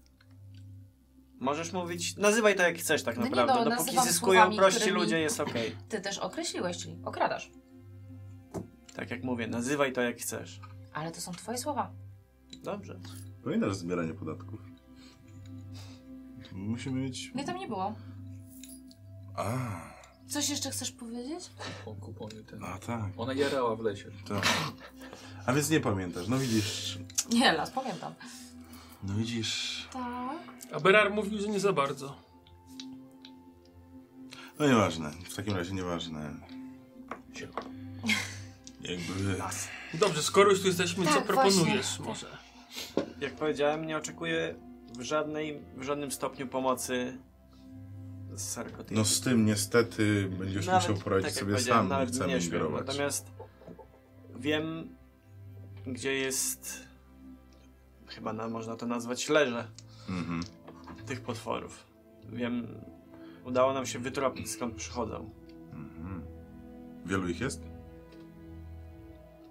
[SPEAKER 6] Możesz mówić, nazywaj to jak chcesz tak
[SPEAKER 3] No nie,
[SPEAKER 6] naprawdę.
[SPEAKER 3] no,
[SPEAKER 6] Dopóki
[SPEAKER 3] nazywam
[SPEAKER 6] zyskują
[SPEAKER 3] słowami,
[SPEAKER 6] prości
[SPEAKER 3] którymi-
[SPEAKER 6] ludzie, jest okej.
[SPEAKER 3] Ty też określiłeś, czyli okradasz.
[SPEAKER 6] Tak jak mówię, nazywaj to jak chcesz.
[SPEAKER 3] Ale to są twoje słowa.
[SPEAKER 6] Dobrze.
[SPEAKER 2] Pamiętasz No zbieranie podatków? Musimy mieć...
[SPEAKER 3] Mnie tam nie było.
[SPEAKER 2] A,
[SPEAKER 3] Coś jeszcze chcesz powiedzieć?
[SPEAKER 1] Kupony ten.
[SPEAKER 2] a tak,
[SPEAKER 1] Ona jarała w lesie.
[SPEAKER 2] tak. A więc nie pamiętasz, no widzisz...
[SPEAKER 3] Nie, las, pamiętam.
[SPEAKER 2] No widzisz...
[SPEAKER 3] Tak.
[SPEAKER 4] A Berar mówił, że nie za bardzo.
[SPEAKER 2] No nieważne, w takim razie nieważne.
[SPEAKER 1] Zielony.
[SPEAKER 2] Jakby...
[SPEAKER 4] Dobrze, skoro już tu jesteśmy, co
[SPEAKER 3] Tak,
[SPEAKER 4] proponujesz
[SPEAKER 3] właśnie.
[SPEAKER 4] może?
[SPEAKER 6] Jak powiedziałem, nie oczekuję w, żadnej, w żadnym stopniu pomocy z sarkotyki.
[SPEAKER 2] No z tym niestety będziesz
[SPEAKER 6] Nawet,
[SPEAKER 2] musiał poradzić
[SPEAKER 6] tak jak
[SPEAKER 2] sobie
[SPEAKER 6] powiedziałem,
[SPEAKER 2] sam, nie
[SPEAKER 6] nawet
[SPEAKER 2] chcemy
[SPEAKER 6] nie śmiem.
[SPEAKER 2] ingerować.
[SPEAKER 6] Natomiast wiem, gdzie jest, chyba na, można to nazwać leże
[SPEAKER 2] Mhm.
[SPEAKER 6] tych potworów. Wiem, udało nam się wytropić skąd przychodzą.
[SPEAKER 2] Mhm. Wielu ich jest?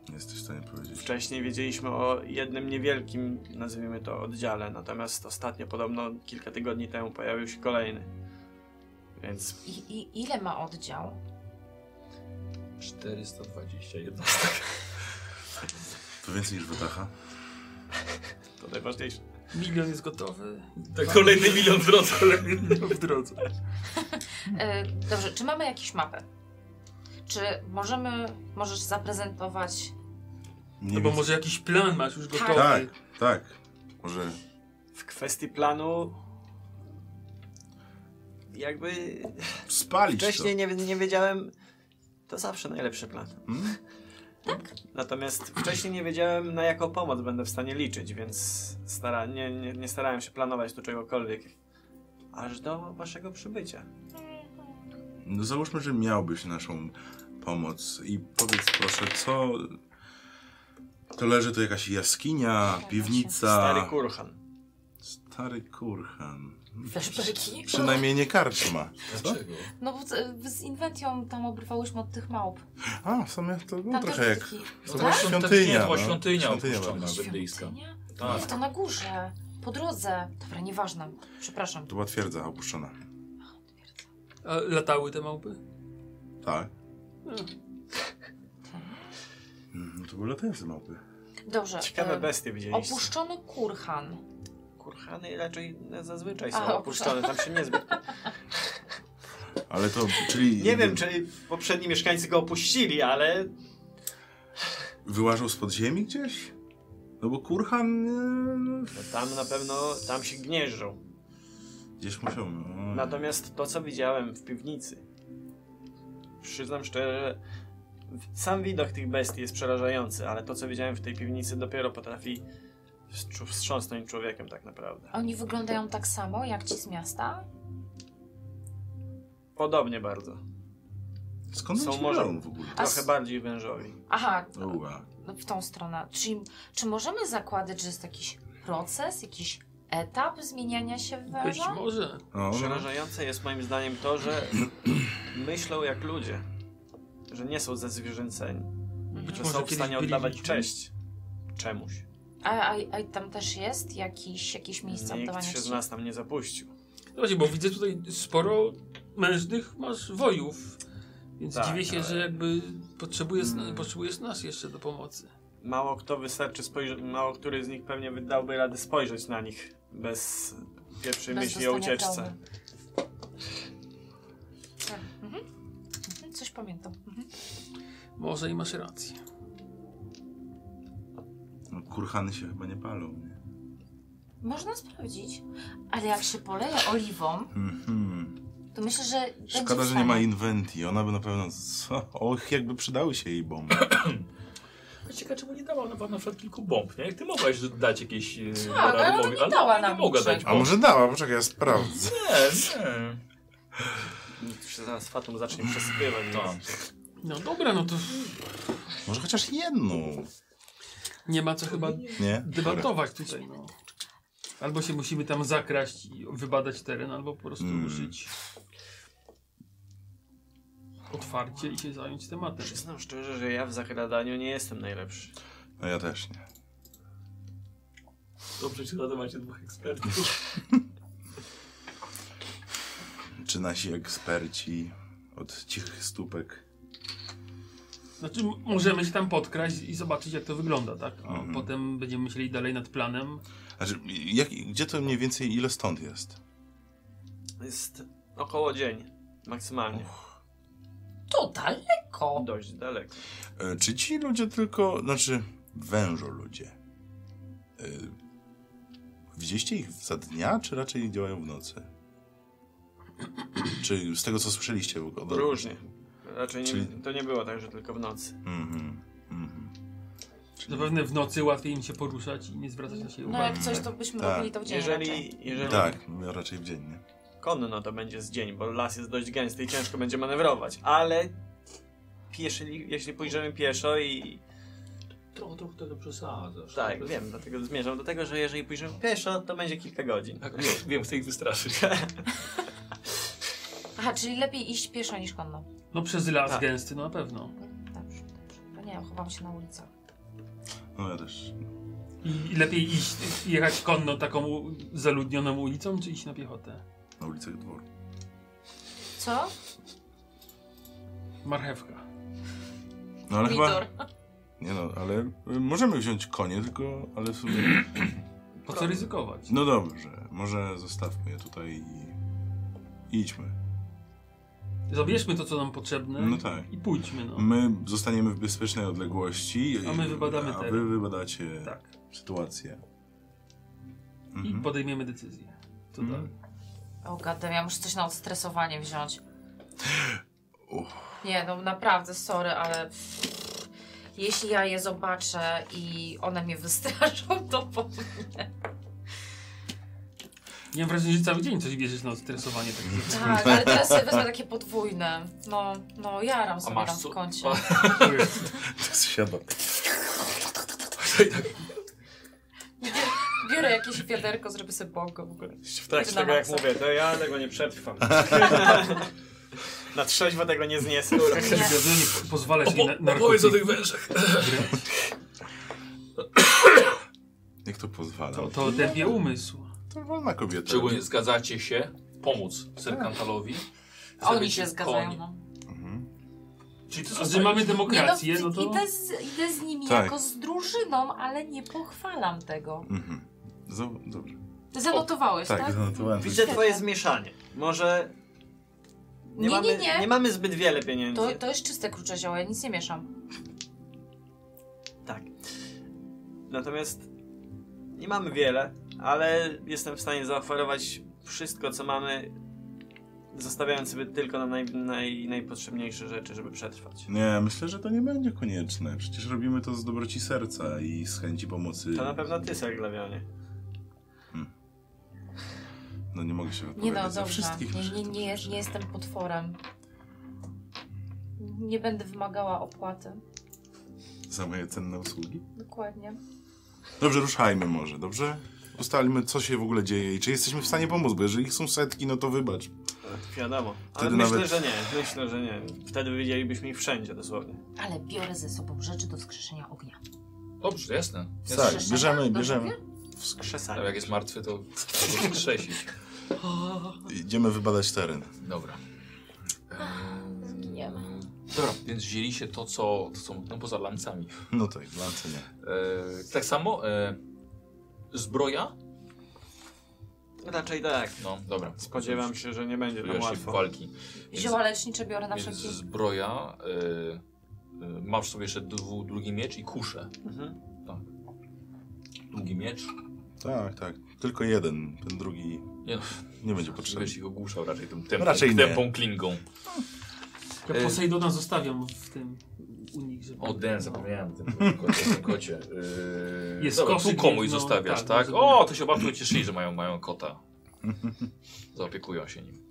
[SPEAKER 2] Nie jesteś w stanie powiedzieć.
[SPEAKER 6] Wcześniej wiedzieliśmy o jednym niewielkim, nazwijmy to, oddziale, natomiast ostatnio, podobno kilka tygodni temu, pojawił się kolejny. Więc
[SPEAKER 3] I, i ile ma oddział?
[SPEAKER 1] 421.
[SPEAKER 2] To więcej niż Wytacha?
[SPEAKER 6] to najważniejsze.
[SPEAKER 4] Milion jest gotowy.
[SPEAKER 6] Tak.
[SPEAKER 1] Kolejny milion w drodze.
[SPEAKER 4] Kolejny milion w drodze.
[SPEAKER 3] E, dobrze, czy mamy jakąś mapę? Czy możemy, możesz zaprezentować...
[SPEAKER 2] Nie
[SPEAKER 4] No bo
[SPEAKER 2] widzę.
[SPEAKER 4] może jakiś plan masz już gotowy.
[SPEAKER 2] Tak, tak. Może
[SPEAKER 6] W kwestii planu, jakby
[SPEAKER 2] spalić
[SPEAKER 6] Wcześniej nie, nie wiedziałem. To zawsze najlepszy plan.
[SPEAKER 2] to. Hmm?
[SPEAKER 6] Natomiast wcześniej nie wiedziałem, na jaką pomoc będę w stanie liczyć, więc stara, nie, nie, nie starałem się planować tu czegokolwiek. Aż do waszego przybycia.
[SPEAKER 2] No załóżmy, że miałbyś naszą pomoc i powiedz proszę, co... To leży tu jakaś jaskinia, piwnica...
[SPEAKER 6] Stary Kurhan.
[SPEAKER 2] Stary kurhan.
[SPEAKER 3] Flashbacki?
[SPEAKER 2] Przynajmniej nie karczma. Tak?
[SPEAKER 1] Dlaczego?
[SPEAKER 3] No bo z- z inwentją tam obrywałyśmy od tych małp.
[SPEAKER 2] A, w sumie to było
[SPEAKER 3] Tam
[SPEAKER 2] No, trochę jak...
[SPEAKER 3] takie-
[SPEAKER 1] To
[SPEAKER 2] To była
[SPEAKER 1] była
[SPEAKER 3] Tak?
[SPEAKER 2] świątynia.
[SPEAKER 1] świątynia. To była
[SPEAKER 2] no.
[SPEAKER 1] świątynia
[SPEAKER 2] była.
[SPEAKER 1] opuszczona. brytyjska.
[SPEAKER 3] Świątynia?
[SPEAKER 1] Tak.
[SPEAKER 3] Nie, to na górze. Po drodze. Dobra, nieważne. Przepraszam.
[SPEAKER 2] To była twierdza opuszczona.
[SPEAKER 4] A latały te małpy?
[SPEAKER 2] Tak. Mm, To były latające małpy.
[SPEAKER 3] Dobrze.
[SPEAKER 6] Ciekawe
[SPEAKER 3] Tak, em,
[SPEAKER 6] bestie widzieliście.
[SPEAKER 3] Opuszczony kurhan.
[SPEAKER 6] Kurhany raczej zazwyczaj są
[SPEAKER 3] Aha,
[SPEAKER 6] opuszczone, tam się niezbyt.
[SPEAKER 2] Ale to, czyli...
[SPEAKER 6] Nie wiem, czy poprzedni mieszkańcy go opuścili, ale
[SPEAKER 2] Wyłażą spod ziemi gdzieś? No bo kurhan... e,
[SPEAKER 6] no tam na pewno tam się gnieżdżą.
[SPEAKER 2] Gdzieś muszą...
[SPEAKER 4] Mm.
[SPEAKER 2] No.
[SPEAKER 6] Natomiast to, co widziałem w piwnicy, przyznam szczerze, w- sam widok tych bestii jest przerażający, ale to, co widziałem w tej piwnicy, dopiero potrafi wstrzu- wstrząsnąć człowiekiem tak naprawdę.
[SPEAKER 3] Oni wyglądają tak samo jak ci z miasta?
[SPEAKER 6] Podobnie bardzo.
[SPEAKER 2] Skąd
[SPEAKER 6] Są
[SPEAKER 2] oni ci
[SPEAKER 6] może-
[SPEAKER 2] biorą w ogóle? No
[SPEAKER 3] A
[SPEAKER 6] Trochę
[SPEAKER 3] s-
[SPEAKER 6] bardziej wężowi.
[SPEAKER 4] No,
[SPEAKER 3] Aha, no
[SPEAKER 2] Uła.
[SPEAKER 3] w tą stronę. Czy, czy możemy zakładać, że jest jakiś proces, jakiś etap zmieniania się w
[SPEAKER 4] Być
[SPEAKER 3] węża?
[SPEAKER 4] może.
[SPEAKER 2] No, no.
[SPEAKER 6] Przerażające jest moim zdaniem to, że myślą jak ludzie. Że nie są zezwierzęceni. Że
[SPEAKER 4] może
[SPEAKER 6] są w
[SPEAKER 4] kiedyś
[SPEAKER 6] stanie
[SPEAKER 4] byli
[SPEAKER 6] oddawać
[SPEAKER 4] ludźmi?
[SPEAKER 6] cześć czemuś.
[SPEAKER 3] A, a, a tam też jest jakiś, jakieś miejsce
[SPEAKER 6] Nikt
[SPEAKER 3] oddawania
[SPEAKER 6] się z
[SPEAKER 3] czci?
[SPEAKER 6] nas tam nie zapuścił.
[SPEAKER 4] Zobaczcie, No bo widzę tutaj sporo mężnych masz wojów. Więc
[SPEAKER 6] Tak,
[SPEAKER 4] dziwię się,
[SPEAKER 6] ale-
[SPEAKER 4] że jakby potrzebujesz,
[SPEAKER 6] Mm.
[SPEAKER 4] potrzebujesz nas jeszcze do pomocy.
[SPEAKER 6] Mało kto wystarczy spojrzeć, mało który z nich pewnie wydałby radę spojrzeć na nich bez pierwszej
[SPEAKER 3] Bez
[SPEAKER 6] myśli o
[SPEAKER 3] dostania
[SPEAKER 6] ucieczce.
[SPEAKER 3] traumy. Tak, mhm. Mhm, Coś pamiętam. Mhm.
[SPEAKER 4] Może i masz rację.
[SPEAKER 2] No, kurhany się chyba nie palą. Nie?
[SPEAKER 3] Można sprawdzić, ale jak się poleje oliwą,
[SPEAKER 2] Mhm.
[SPEAKER 3] to myślę, że
[SPEAKER 2] Szkoda,
[SPEAKER 3] będzie w
[SPEAKER 2] że nie ma
[SPEAKER 3] stanie.
[SPEAKER 2] inwentii. Ona by na pewno... Co? Och, jakby przydały się jej bomby.
[SPEAKER 1] Ciekawe, czemu nie dała nam na przykład kilku bomb, nie? Jak ty mogłaś dać jakieś... e,
[SPEAKER 3] Tak, ale ona
[SPEAKER 1] Baradowi-
[SPEAKER 3] nie
[SPEAKER 1] ale
[SPEAKER 3] dała
[SPEAKER 1] ona
[SPEAKER 3] nam
[SPEAKER 1] Nie mogła dać
[SPEAKER 3] niczego.
[SPEAKER 2] A
[SPEAKER 1] bomb.
[SPEAKER 2] może dała? Poczekaj, ja sprawdzę.
[SPEAKER 1] Nie, nie.
[SPEAKER 6] Nikt się zaraz fatum zacznie przesypywać.
[SPEAKER 1] To.
[SPEAKER 6] więc-
[SPEAKER 4] No dobra, no to
[SPEAKER 2] Może chociaż jedną.
[SPEAKER 4] nie ma co chyba
[SPEAKER 2] Nie?
[SPEAKER 4] debatować tutaj. No. Albo się musimy tam zakraść i wybadać teren, albo po prostu
[SPEAKER 2] Mm.
[SPEAKER 4] ruszyć otwarcie i się zająć tematem.
[SPEAKER 6] Przyznam szczerze, że ja w zakradaniu nie jestem najlepszy.
[SPEAKER 2] No ja też nie.
[SPEAKER 1] Dobrze się zadawacie dwóch ekspertów.
[SPEAKER 2] Czy nasi eksperci od cichych stópek?
[SPEAKER 4] Znaczy, m- możemy się tam podkraść i zobaczyć, jak to wygląda, tak? A
[SPEAKER 2] Mhm.
[SPEAKER 4] potem będziemy myśleli dalej nad planem.
[SPEAKER 2] Znaczy, jak, gdzie to mniej więcej, ile stąd jest?
[SPEAKER 6] Jest około dzień. Maksymalnie.
[SPEAKER 3] To daleko.
[SPEAKER 6] Dość daleko.
[SPEAKER 2] E, Czy ci ludzie tylko, znaczy wężo ludzie? E, Widzieliście ich za dnia, czy raczej działają w nocy? Czy z tego, co słyszeliście? w ogóle?
[SPEAKER 6] Różnie. Raczej nie,
[SPEAKER 2] Czyli-
[SPEAKER 6] to nie było tak, że tylko w nocy.
[SPEAKER 2] Mhm, mhm. Czyli-
[SPEAKER 4] Zapewne w nocy łatwiej im się poruszać i nie zwracać na siebie
[SPEAKER 3] No
[SPEAKER 4] uwagi.
[SPEAKER 3] jak coś, to byśmy
[SPEAKER 2] Tak.
[SPEAKER 3] robili to w dzień raczej.
[SPEAKER 6] Jeżeli, jeżeli
[SPEAKER 2] Tak, no raczej w dzień, nie?
[SPEAKER 6] konno to będzie z dzień, bo las jest dość gęsty i ciężko będzie manewrować, ale pieszy, jeśli pójdziemy pieszo i...
[SPEAKER 1] Trochę, trochę tego przesadzasz.
[SPEAKER 6] Tak, wiem, dlatego zmierzam do tego, że jeżeli pójdziemy pieszo, to będzie kilka godzin.
[SPEAKER 1] Tak, wiem, wiem, chcę ich wystraszyć.
[SPEAKER 3] Aha, czyli lepiej iść pieszo niż konno.
[SPEAKER 4] No przez las
[SPEAKER 6] Tak.
[SPEAKER 4] gęsty, no na pewno.
[SPEAKER 3] Dobrze, dobrze. Bo nie, chowam się na ulicach.
[SPEAKER 2] No ja też.
[SPEAKER 4] I, I lepiej iść, jechać konno taką u- zaludnioną ulicą, czy iść na piechotę?
[SPEAKER 2] Na ulicach dworu.
[SPEAKER 3] Co?
[SPEAKER 4] Marchewka.
[SPEAKER 2] No ale chyba...
[SPEAKER 3] Widor.
[SPEAKER 2] Nie no, ale y, możemy wziąć konie, tylko... Ale w sumie...
[SPEAKER 4] Po co ryzykować?
[SPEAKER 2] No dobrze, może zostawmy je tutaj i... Idźmy.
[SPEAKER 4] Zabierzmy to, co nam potrzebne
[SPEAKER 2] No tak.
[SPEAKER 4] i pójdźmy, no.
[SPEAKER 2] My zostaniemy w bezpiecznej odległości.
[SPEAKER 4] A my wybadamy
[SPEAKER 2] A wy
[SPEAKER 4] teren.
[SPEAKER 2] wybadacie
[SPEAKER 4] Tak.
[SPEAKER 2] sytuację.
[SPEAKER 4] I
[SPEAKER 2] Mhm.
[SPEAKER 4] podejmiemy decyzję. To tak.
[SPEAKER 2] Mhm.
[SPEAKER 4] dalej.
[SPEAKER 3] O gadem, ja muszę coś na odstresowanie wziąć.
[SPEAKER 2] Uff.
[SPEAKER 3] Nie, no naprawdę, sorry, ale jeśli ja je zobaczę i one mnie wystraszą, to po...
[SPEAKER 4] Ja mam wrażenie, że cały dzień coś bierzesz na odstresowanie.
[SPEAKER 2] Mm.
[SPEAKER 4] Tak.
[SPEAKER 3] Tak, ale teraz sobie wezmę takie podwójne. No, no, jaram sobie
[SPEAKER 1] masz
[SPEAKER 3] tam w
[SPEAKER 1] co-
[SPEAKER 3] kącie.
[SPEAKER 2] Siadam.
[SPEAKER 3] Biorę jakieś wiaderko, zrobię sobie bongo w ogóle. trakcie
[SPEAKER 6] W trakcie
[SPEAKER 3] Dla tego,
[SPEAKER 6] tego,
[SPEAKER 3] jak
[SPEAKER 6] jak
[SPEAKER 3] maksa.
[SPEAKER 6] mówię, to ja tego nie przetrwam. Na trzeźwo tego nie zniesę.
[SPEAKER 3] Nie.
[SPEAKER 4] Ja nie po- pozwalę sobie na,
[SPEAKER 1] Opo-
[SPEAKER 4] narkotyki.
[SPEAKER 1] opowiedz o tych wężach.
[SPEAKER 2] Jak to pozwala?
[SPEAKER 4] To, to tępie umysł.
[SPEAKER 2] to wolna kobieta.
[SPEAKER 1] Czy wy zgadzacie się pomóc Serkantalowi?
[SPEAKER 3] Oni
[SPEAKER 1] Zrobić
[SPEAKER 3] Tak. się
[SPEAKER 1] im
[SPEAKER 3] zgadzają,
[SPEAKER 1] konie.
[SPEAKER 3] no.
[SPEAKER 2] Mhm.
[SPEAKER 1] Czyli ty
[SPEAKER 4] A że mamy
[SPEAKER 3] Nie, no,
[SPEAKER 4] demokrację, no to...
[SPEAKER 3] idę, z, idę z nimi
[SPEAKER 2] Tak.
[SPEAKER 3] jako z drużyną, ale nie pochwalam tego.
[SPEAKER 2] Mhm. Zo- Dobrze.
[SPEAKER 3] Zanotowałeś,
[SPEAKER 2] Tak,
[SPEAKER 3] tak?
[SPEAKER 2] zanotowałem.
[SPEAKER 6] Widzę twoje zmieszanie. Może
[SPEAKER 3] Nie,
[SPEAKER 6] mamy,
[SPEAKER 3] nie, nie.
[SPEAKER 6] mamy zbyt wiele pieniędzy.
[SPEAKER 3] To, to jest czyste krucze zioło, ja nic nie mieszam.
[SPEAKER 6] Tak. Natomiast nie mamy wiele, ale jestem w stanie zaoferować wszystko, co mamy, zostawiając sobie tylko na naj, naj, najpotrzebniejsze rzeczy, żeby przetrwać.
[SPEAKER 2] Nie, myślę, że to nie będzie konieczne. Przecież robimy to z dobroci serca i z chęci pomocy.
[SPEAKER 6] To na pewno ty, Serglawionie.
[SPEAKER 2] No nie mogę się
[SPEAKER 3] Nie
[SPEAKER 2] odpowiedzieć
[SPEAKER 3] no,
[SPEAKER 2] za
[SPEAKER 3] dobrze.
[SPEAKER 2] wszystkich.
[SPEAKER 3] Nie,
[SPEAKER 2] naszych
[SPEAKER 3] nie, nie,
[SPEAKER 2] towarzyszy.
[SPEAKER 3] nie jestem potworem. Nie będę wymagała opłaty.
[SPEAKER 2] Za moje cenne usługi.
[SPEAKER 3] Dokładnie.
[SPEAKER 2] Dobrze, ruszajmy może, dobrze? Ustalmy, co się w ogóle dzieje i czy jesteśmy w stanie pomóc, bo jeżeli ich są setki, no to wybacz.
[SPEAKER 6] Wiadomo. Ale
[SPEAKER 2] Wtedy
[SPEAKER 6] myślę,
[SPEAKER 2] nawet-
[SPEAKER 6] że nie. Myślę, że nie. Wtedy widzielibyśmy ich wszędzie dosłownie.
[SPEAKER 3] Ale biorę ze sobą rzeczy do skrzeszenia ognia.
[SPEAKER 1] Dobrze, jasne. jasne.
[SPEAKER 2] Tak,
[SPEAKER 3] Skrzeszenia?
[SPEAKER 2] bierzemy,
[SPEAKER 3] Dobrze
[SPEAKER 2] bierzemy.
[SPEAKER 3] mówię?
[SPEAKER 1] Ale
[SPEAKER 6] Wskrzesanie.
[SPEAKER 1] jak jest martwy, to trzeba go skrzesić.
[SPEAKER 2] Idziemy wybadać teren.
[SPEAKER 1] Dobra. Ehm,
[SPEAKER 3] Zginiemy.
[SPEAKER 1] Dobra, więc wzięli się to, co, to, co no poza lancami.
[SPEAKER 2] No tak, w lance nie.
[SPEAKER 1] E, tak samo e, zbroja?
[SPEAKER 6] Raczej tak.
[SPEAKER 1] No, dobra.
[SPEAKER 6] Spodziewam się, że nie będzie nam
[SPEAKER 1] Zbroja się
[SPEAKER 6] łatwo.
[SPEAKER 1] walki. Więc,
[SPEAKER 3] Zioła lecznicze biorę na
[SPEAKER 1] więc
[SPEAKER 3] wszelki...
[SPEAKER 1] zbroja, e, e, masz sobie jeszcze dwu, długi miecz i kuszę.
[SPEAKER 6] Mhm.
[SPEAKER 1] Długi miecz,
[SPEAKER 2] Tak, tak. Tylko jeden, ten drugi
[SPEAKER 1] Nie.
[SPEAKER 2] nie będzie
[SPEAKER 1] żebyś
[SPEAKER 2] potrzebny.
[SPEAKER 1] ich ogłuszał raczej tą tempą,
[SPEAKER 2] Raczej nie.
[SPEAKER 1] tempą klingą.
[SPEAKER 4] Ja
[SPEAKER 2] E-
[SPEAKER 1] Y-
[SPEAKER 4] Posejdona zostawiam w tym u nich, żeby... no.
[SPEAKER 1] O, Den, zapomniałem o tym kocie. Tym kocie. Yy,
[SPEAKER 4] Jest
[SPEAKER 1] dobra,
[SPEAKER 4] kocyk,
[SPEAKER 1] tu komuś
[SPEAKER 4] no,
[SPEAKER 1] zostawiasz,
[SPEAKER 4] tak,
[SPEAKER 1] tak?
[SPEAKER 4] no,
[SPEAKER 1] O, to się bardzo cieszyli, że mają, mają kota. Zaopiekują się nim.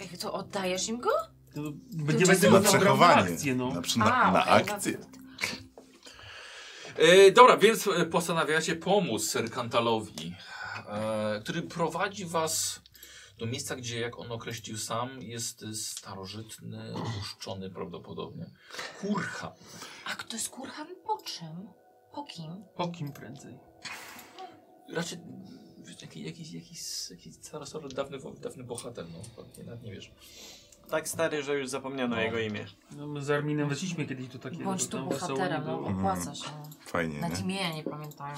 [SPEAKER 3] Jak to oddajesz im go?
[SPEAKER 4] No,
[SPEAKER 3] To czasem
[SPEAKER 4] Nie
[SPEAKER 2] Na
[SPEAKER 4] będę go zabrał na
[SPEAKER 2] przechowanie.
[SPEAKER 4] akcję, no.
[SPEAKER 2] Na, przy- na,
[SPEAKER 3] A,
[SPEAKER 2] na
[SPEAKER 3] okej,
[SPEAKER 2] akcję.
[SPEAKER 1] E, dobra, więc e, postanawiacie pomóc Serkantalowi, e, który prowadzi was do miejsca, gdzie, jak on określił sam, jest e, starożytny, opuszczony prawdopodobnie. Kurcha.
[SPEAKER 3] A kto jest kurhan po czym? Po kim?
[SPEAKER 4] Po kim prędzej.
[SPEAKER 1] Raczej wiesz, jakiś, jakiś, jakiś, jakiś starożytny, dawny, wo- dawny bohater, no. Nawet nie wiesz.
[SPEAKER 6] Tak stary, że już zapomniano
[SPEAKER 1] No.
[SPEAKER 6] jego imię.
[SPEAKER 4] No, my z Arminem weszliśmy kiedyś do takiego,
[SPEAKER 3] Bądź
[SPEAKER 4] że
[SPEAKER 3] tu
[SPEAKER 4] tam wesoło nie
[SPEAKER 3] bohaterem, no
[SPEAKER 4] było.
[SPEAKER 3] opłaca się.
[SPEAKER 2] Fajnie,
[SPEAKER 3] Nawet
[SPEAKER 2] Mhm. nie?
[SPEAKER 3] imienia nie pamiętają.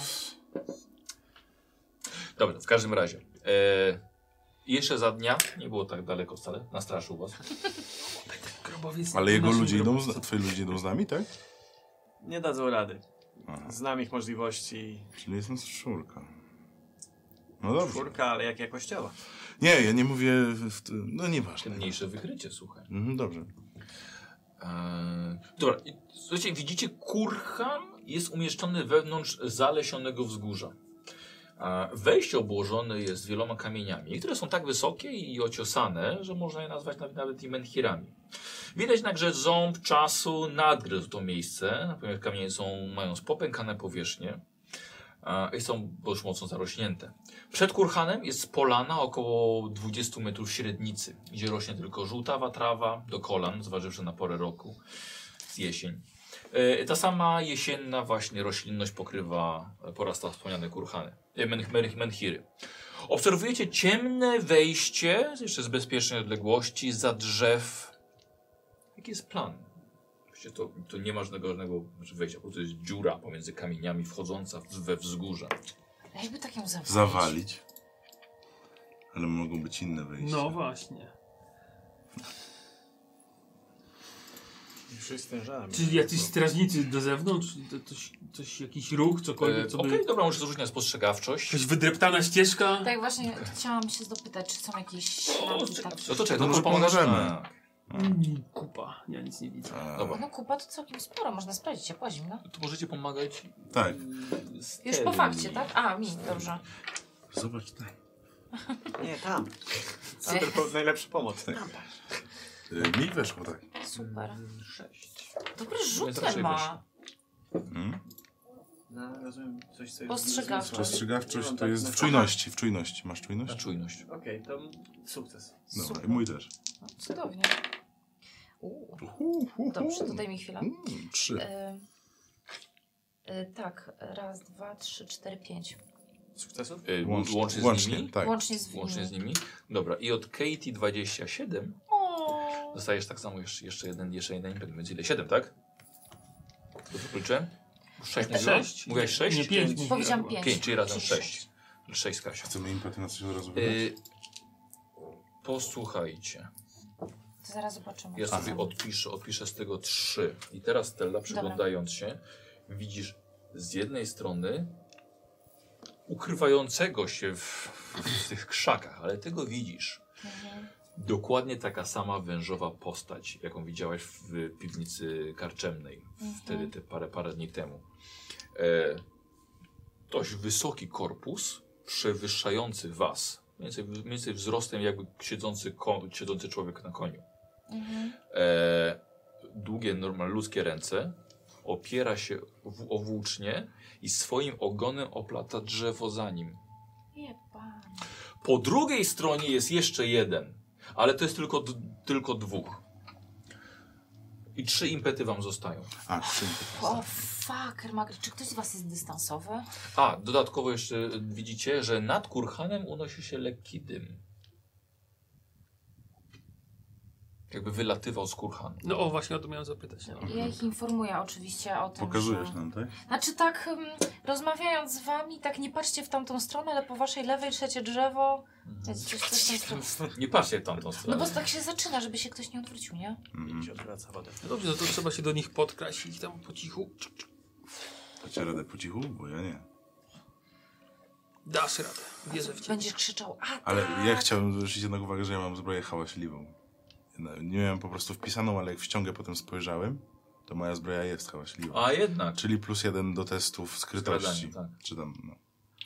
[SPEAKER 1] Dobra, w każdym razie. E, jeszcze za dnia, nie było tak daleko wcale, nastraszył was.
[SPEAKER 4] Grobowiec
[SPEAKER 2] Ale jego
[SPEAKER 4] naszym
[SPEAKER 2] ludzie idą,
[SPEAKER 4] grobowcem.
[SPEAKER 2] z, twoi ludzie idą z nami, tak?
[SPEAKER 6] Nie dadzą rady.
[SPEAKER 2] Aha,
[SPEAKER 6] Znam ich możliwości.
[SPEAKER 2] czyli jest nas czwórka. No dobrze.
[SPEAKER 6] Czwórka, ale jak jakościowa.
[SPEAKER 2] Nie, ja nie mówię, w t- no nieważne.
[SPEAKER 1] Mniejsze wykrycie, słuchaj.
[SPEAKER 2] Mhm, dobrze.
[SPEAKER 1] Eee, dobra, i- słuchajcie, widzicie, kurhan jest umieszczony wewnątrz zalesionego wzgórza. Eee, Wejście obłożone jest wieloma kamieniami, które są tak wysokie i ociosane, że można je nazwać nawet, nawet i menhirami. Widać jednakże ząb czasu nadgryzł to miejsce, natomiast kamienie są, mają popękane powierzchnie eee, i są dość mocno zarośnięte. Przed kurhanem jest polana około 20 metrów średnicy, gdzie rośnie tylko żółtawa trawa do kolan, zważywszy na porę roku, z jesień. E, Ta sama jesienna właśnie roślinność pokrywa e, po raz to wspomniane kurhany, e, men- men- menhiry. Obserwujecie ciemne wejście, jeszcze z bezpiecznej odległości, za drzew. Jaki jest plan? Właściwie to, to nie ma żadnego, żadnego znaczy wejścia, po prostu jest dziura pomiędzy kamieniami wchodząca w- we wzgórze.
[SPEAKER 3] A Jakby tak ją zawalić.
[SPEAKER 2] Zawalić. Ale mogą być inne wejścia.
[SPEAKER 4] No właśnie.
[SPEAKER 6] Wszyscy stężamy.
[SPEAKER 4] Czy jacyś strażnicy do zewnątrz? To, coś, coś, jakiś ruch,
[SPEAKER 1] E,
[SPEAKER 4] cokolwiek, co by...
[SPEAKER 1] Okej, dobra, możesz zrzucić na spostrzegawczość.
[SPEAKER 4] Jakaś wydreptana ścieżka?
[SPEAKER 3] Tak właśnie chciałam się dopytać, czy są jakieś ślady takie.
[SPEAKER 1] No to czekaj,
[SPEAKER 2] No
[SPEAKER 1] to może
[SPEAKER 2] może
[SPEAKER 1] pomagasz?
[SPEAKER 2] pomożemy.
[SPEAKER 4] Mm, Kupa, ja nic nie widzę.
[SPEAKER 2] A,
[SPEAKER 1] Dobra.
[SPEAKER 3] No kupa to całkiem sporo, można sprawdzić, ciepła, zimna.
[SPEAKER 1] To możecie pomagać.
[SPEAKER 2] Tak.
[SPEAKER 3] Już po fakcie, tak? A, mi, dobrze.
[SPEAKER 2] Zobacz tam.
[SPEAKER 6] Nie, tam. tak.
[SPEAKER 3] Co?
[SPEAKER 6] Super, po, najlepsza pomoc.
[SPEAKER 2] Tak. Y, Mi weszło tak.
[SPEAKER 3] Super.
[SPEAKER 6] Sześć.
[SPEAKER 3] Dobry rzut
[SPEAKER 1] Więc raczej
[SPEAKER 3] ma.
[SPEAKER 2] Mm?
[SPEAKER 6] No, rozumiem, coś sobie...
[SPEAKER 3] Postrzegawczość.
[SPEAKER 6] zmysłem.
[SPEAKER 2] Spostrzegawczość
[SPEAKER 6] Mam
[SPEAKER 2] to
[SPEAKER 6] tak
[SPEAKER 2] jest
[SPEAKER 6] na-
[SPEAKER 2] w czujności, w czujności. Masz
[SPEAKER 1] Na
[SPEAKER 2] czujność?
[SPEAKER 1] czujność.
[SPEAKER 6] Okej, to sukces.
[SPEAKER 2] Dobra,
[SPEAKER 3] Super.
[SPEAKER 2] i mój też.
[SPEAKER 3] No, cudownie. Uuu.
[SPEAKER 2] Hu, hu,
[SPEAKER 3] Dobrze,
[SPEAKER 2] hu.
[SPEAKER 3] to daj mi chwilę.
[SPEAKER 2] Mm, Trzy.
[SPEAKER 3] E, e, tak, raz, dwa, trzy, cztery, pięć.
[SPEAKER 6] Sukcesów?
[SPEAKER 1] Yy, łącznie, łącznie z nimi.
[SPEAKER 2] tak.
[SPEAKER 3] Łącznie z
[SPEAKER 1] Łącznie z
[SPEAKER 3] nimi.
[SPEAKER 1] nimi. Dobra, i od Katie 27
[SPEAKER 3] O,
[SPEAKER 1] dostajesz tak samo jeszcze, jeszcze jeden, jeszcze jeden impet. Więc ile? 7, tak? Dobrze policzyłem? 6
[SPEAKER 4] Sześć.
[SPEAKER 1] Mówiłaś 6?
[SPEAKER 4] Nie, pięć.
[SPEAKER 6] Pięć.
[SPEAKER 3] Powiedziałam
[SPEAKER 4] mówiła.
[SPEAKER 3] pięć.
[SPEAKER 1] 5, czyli razem
[SPEAKER 3] Czyli
[SPEAKER 1] 6. 6 z Kasią.
[SPEAKER 5] Yy,
[SPEAKER 2] Chcemy impety na coś od razu wydać?
[SPEAKER 1] Yy, Y, posłuchajcie.
[SPEAKER 3] To zaraz zobaczymy.
[SPEAKER 5] Ja sobie odpiszę, odpiszę z tego trzy. I teraz Stella, przyglądając się, widzisz z jednej strony ukrywającego się w, w tych krzakach, ale tego widzisz.
[SPEAKER 3] Mhm.
[SPEAKER 5] Dokładnie taka sama wężowa postać, jaką widziałaś w piwnicy karczemnej wtedy te parę, parę dni temu. E, dość wysoki korpus, przewyższający was. Mniej więcej, mniej więcej wzrostem jakby siedzący, ko, siedzący człowiek na koniu.
[SPEAKER 3] Mhm.
[SPEAKER 5] E, długie, normalne ludzkie ręce, opiera się w, o włócznie i swoim ogonem oplata drzewo za nim.
[SPEAKER 3] Jeba.
[SPEAKER 5] Po drugiej stronie jest jeszcze jeden, ale to jest tylko, d- tylko dwóch. I trzy impety wam zostają.
[SPEAKER 2] A, czy...
[SPEAKER 3] O, fuck, Magry, czy ktoś z was jest dystansowy?
[SPEAKER 5] A, dodatkowo jeszcze widzicie, że nad kurhanem unosi się lekki dym. Jakby wylatywał z kurhanu.
[SPEAKER 4] No o, właśnie o to miałem zapytać. No.
[SPEAKER 3] Ja ich informuję oczywiście o tym,
[SPEAKER 2] Pokazujesz
[SPEAKER 3] że...
[SPEAKER 2] nam, tak?
[SPEAKER 3] Znaczy tak, ym, rozmawiając z wami, tak nie patrzcie w tamtą stronę, ale po waszej lewej trzecie drzewo... Jest coś, coś tam stronę.
[SPEAKER 5] Mhm. Nie patrzcie w tamtą
[SPEAKER 3] No
[SPEAKER 5] stronę.
[SPEAKER 3] bo tak się zaczyna, żeby się ktoś nie odwrócił, nie?
[SPEAKER 2] Mhm.
[SPEAKER 6] się odwraca wodę.
[SPEAKER 4] No dobrze, no to trzeba się do nich podkraść i tam po cichu.
[SPEAKER 2] Dacie radę po cichu? Bo ja nie.
[SPEAKER 4] Dasz radę, wierzę w ciebie.
[SPEAKER 3] Będziesz krzyczał, a
[SPEAKER 2] Ale
[SPEAKER 3] tak.
[SPEAKER 2] ja chciałbym zwrócić jednak uwagę, że ja mam zbroję hałaśliwą. No, Nie miałem po prostu wpisaną, ale jak w ściągę potem spojrzałem, to moja zbroja jest hałaśliwa.
[SPEAKER 5] A jednak,
[SPEAKER 2] Czyli plus jeden do testów skrytości.
[SPEAKER 5] Skradanie,
[SPEAKER 2] Czy tam, no.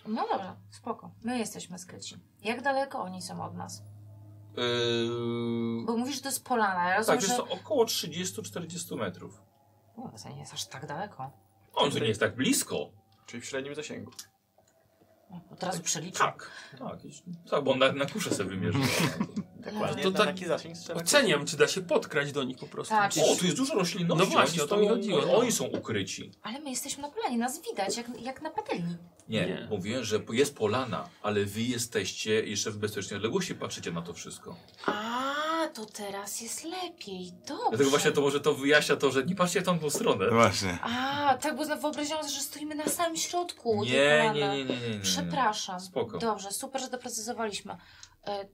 [SPEAKER 3] No dobra, spoko. My jesteśmy skryci. Jak daleko oni są od nas?
[SPEAKER 5] Yy,
[SPEAKER 3] Bo mówisz, że to jest polana, ja rozumiem,
[SPEAKER 5] tak, jest
[SPEAKER 3] że...
[SPEAKER 5] to około 30-40 metrów.
[SPEAKER 3] U, to nie jest aż tak daleko.
[SPEAKER 5] On to nie jest tak blisko.
[SPEAKER 6] Czyli w średnim zasięgu.
[SPEAKER 3] Od razu przeliczę.
[SPEAKER 5] Tak. Tak, jest- tak bo on na, na kuszę sobie wymierzył.
[SPEAKER 6] Dokładnie.
[SPEAKER 4] To
[SPEAKER 6] To
[SPEAKER 4] tak-
[SPEAKER 6] taki zasięg strzela.
[SPEAKER 4] Oceniam, czy da się podkraść do nich po prostu.
[SPEAKER 3] Tak.
[SPEAKER 4] Gdzieś-
[SPEAKER 5] O, tu jest dużo roślinności.
[SPEAKER 4] No właśnie,
[SPEAKER 5] oni
[SPEAKER 4] o to mi
[SPEAKER 5] stoją-
[SPEAKER 4] chodziło.
[SPEAKER 5] no.
[SPEAKER 4] no.
[SPEAKER 5] Oni są ukryci.
[SPEAKER 3] Ale my jesteśmy na polanie, nas widać, jak, jak na patelni.
[SPEAKER 5] Nie,
[SPEAKER 4] Nie.
[SPEAKER 5] mówiłem, że jest polana, ale wy jesteście jeszcze w bezpiecznej odległości, patrzycie na to wszystko.
[SPEAKER 3] A, to teraz jest lepiej, dobrze.
[SPEAKER 5] Dlatego właśnie to może to wyjaśnia to, że nie patrzcie w tamtą stronę.
[SPEAKER 2] no właśnie.
[SPEAKER 3] A, tak, bo wyobraziłam sobie, że stoimy na samym środku. tej
[SPEAKER 5] Nie, nie,
[SPEAKER 3] polany.
[SPEAKER 5] nie, nie, nie, nie, nie.
[SPEAKER 3] Przepraszam.
[SPEAKER 5] Spoko.
[SPEAKER 3] Dobrze, super, że doprecyzowaliśmy. E,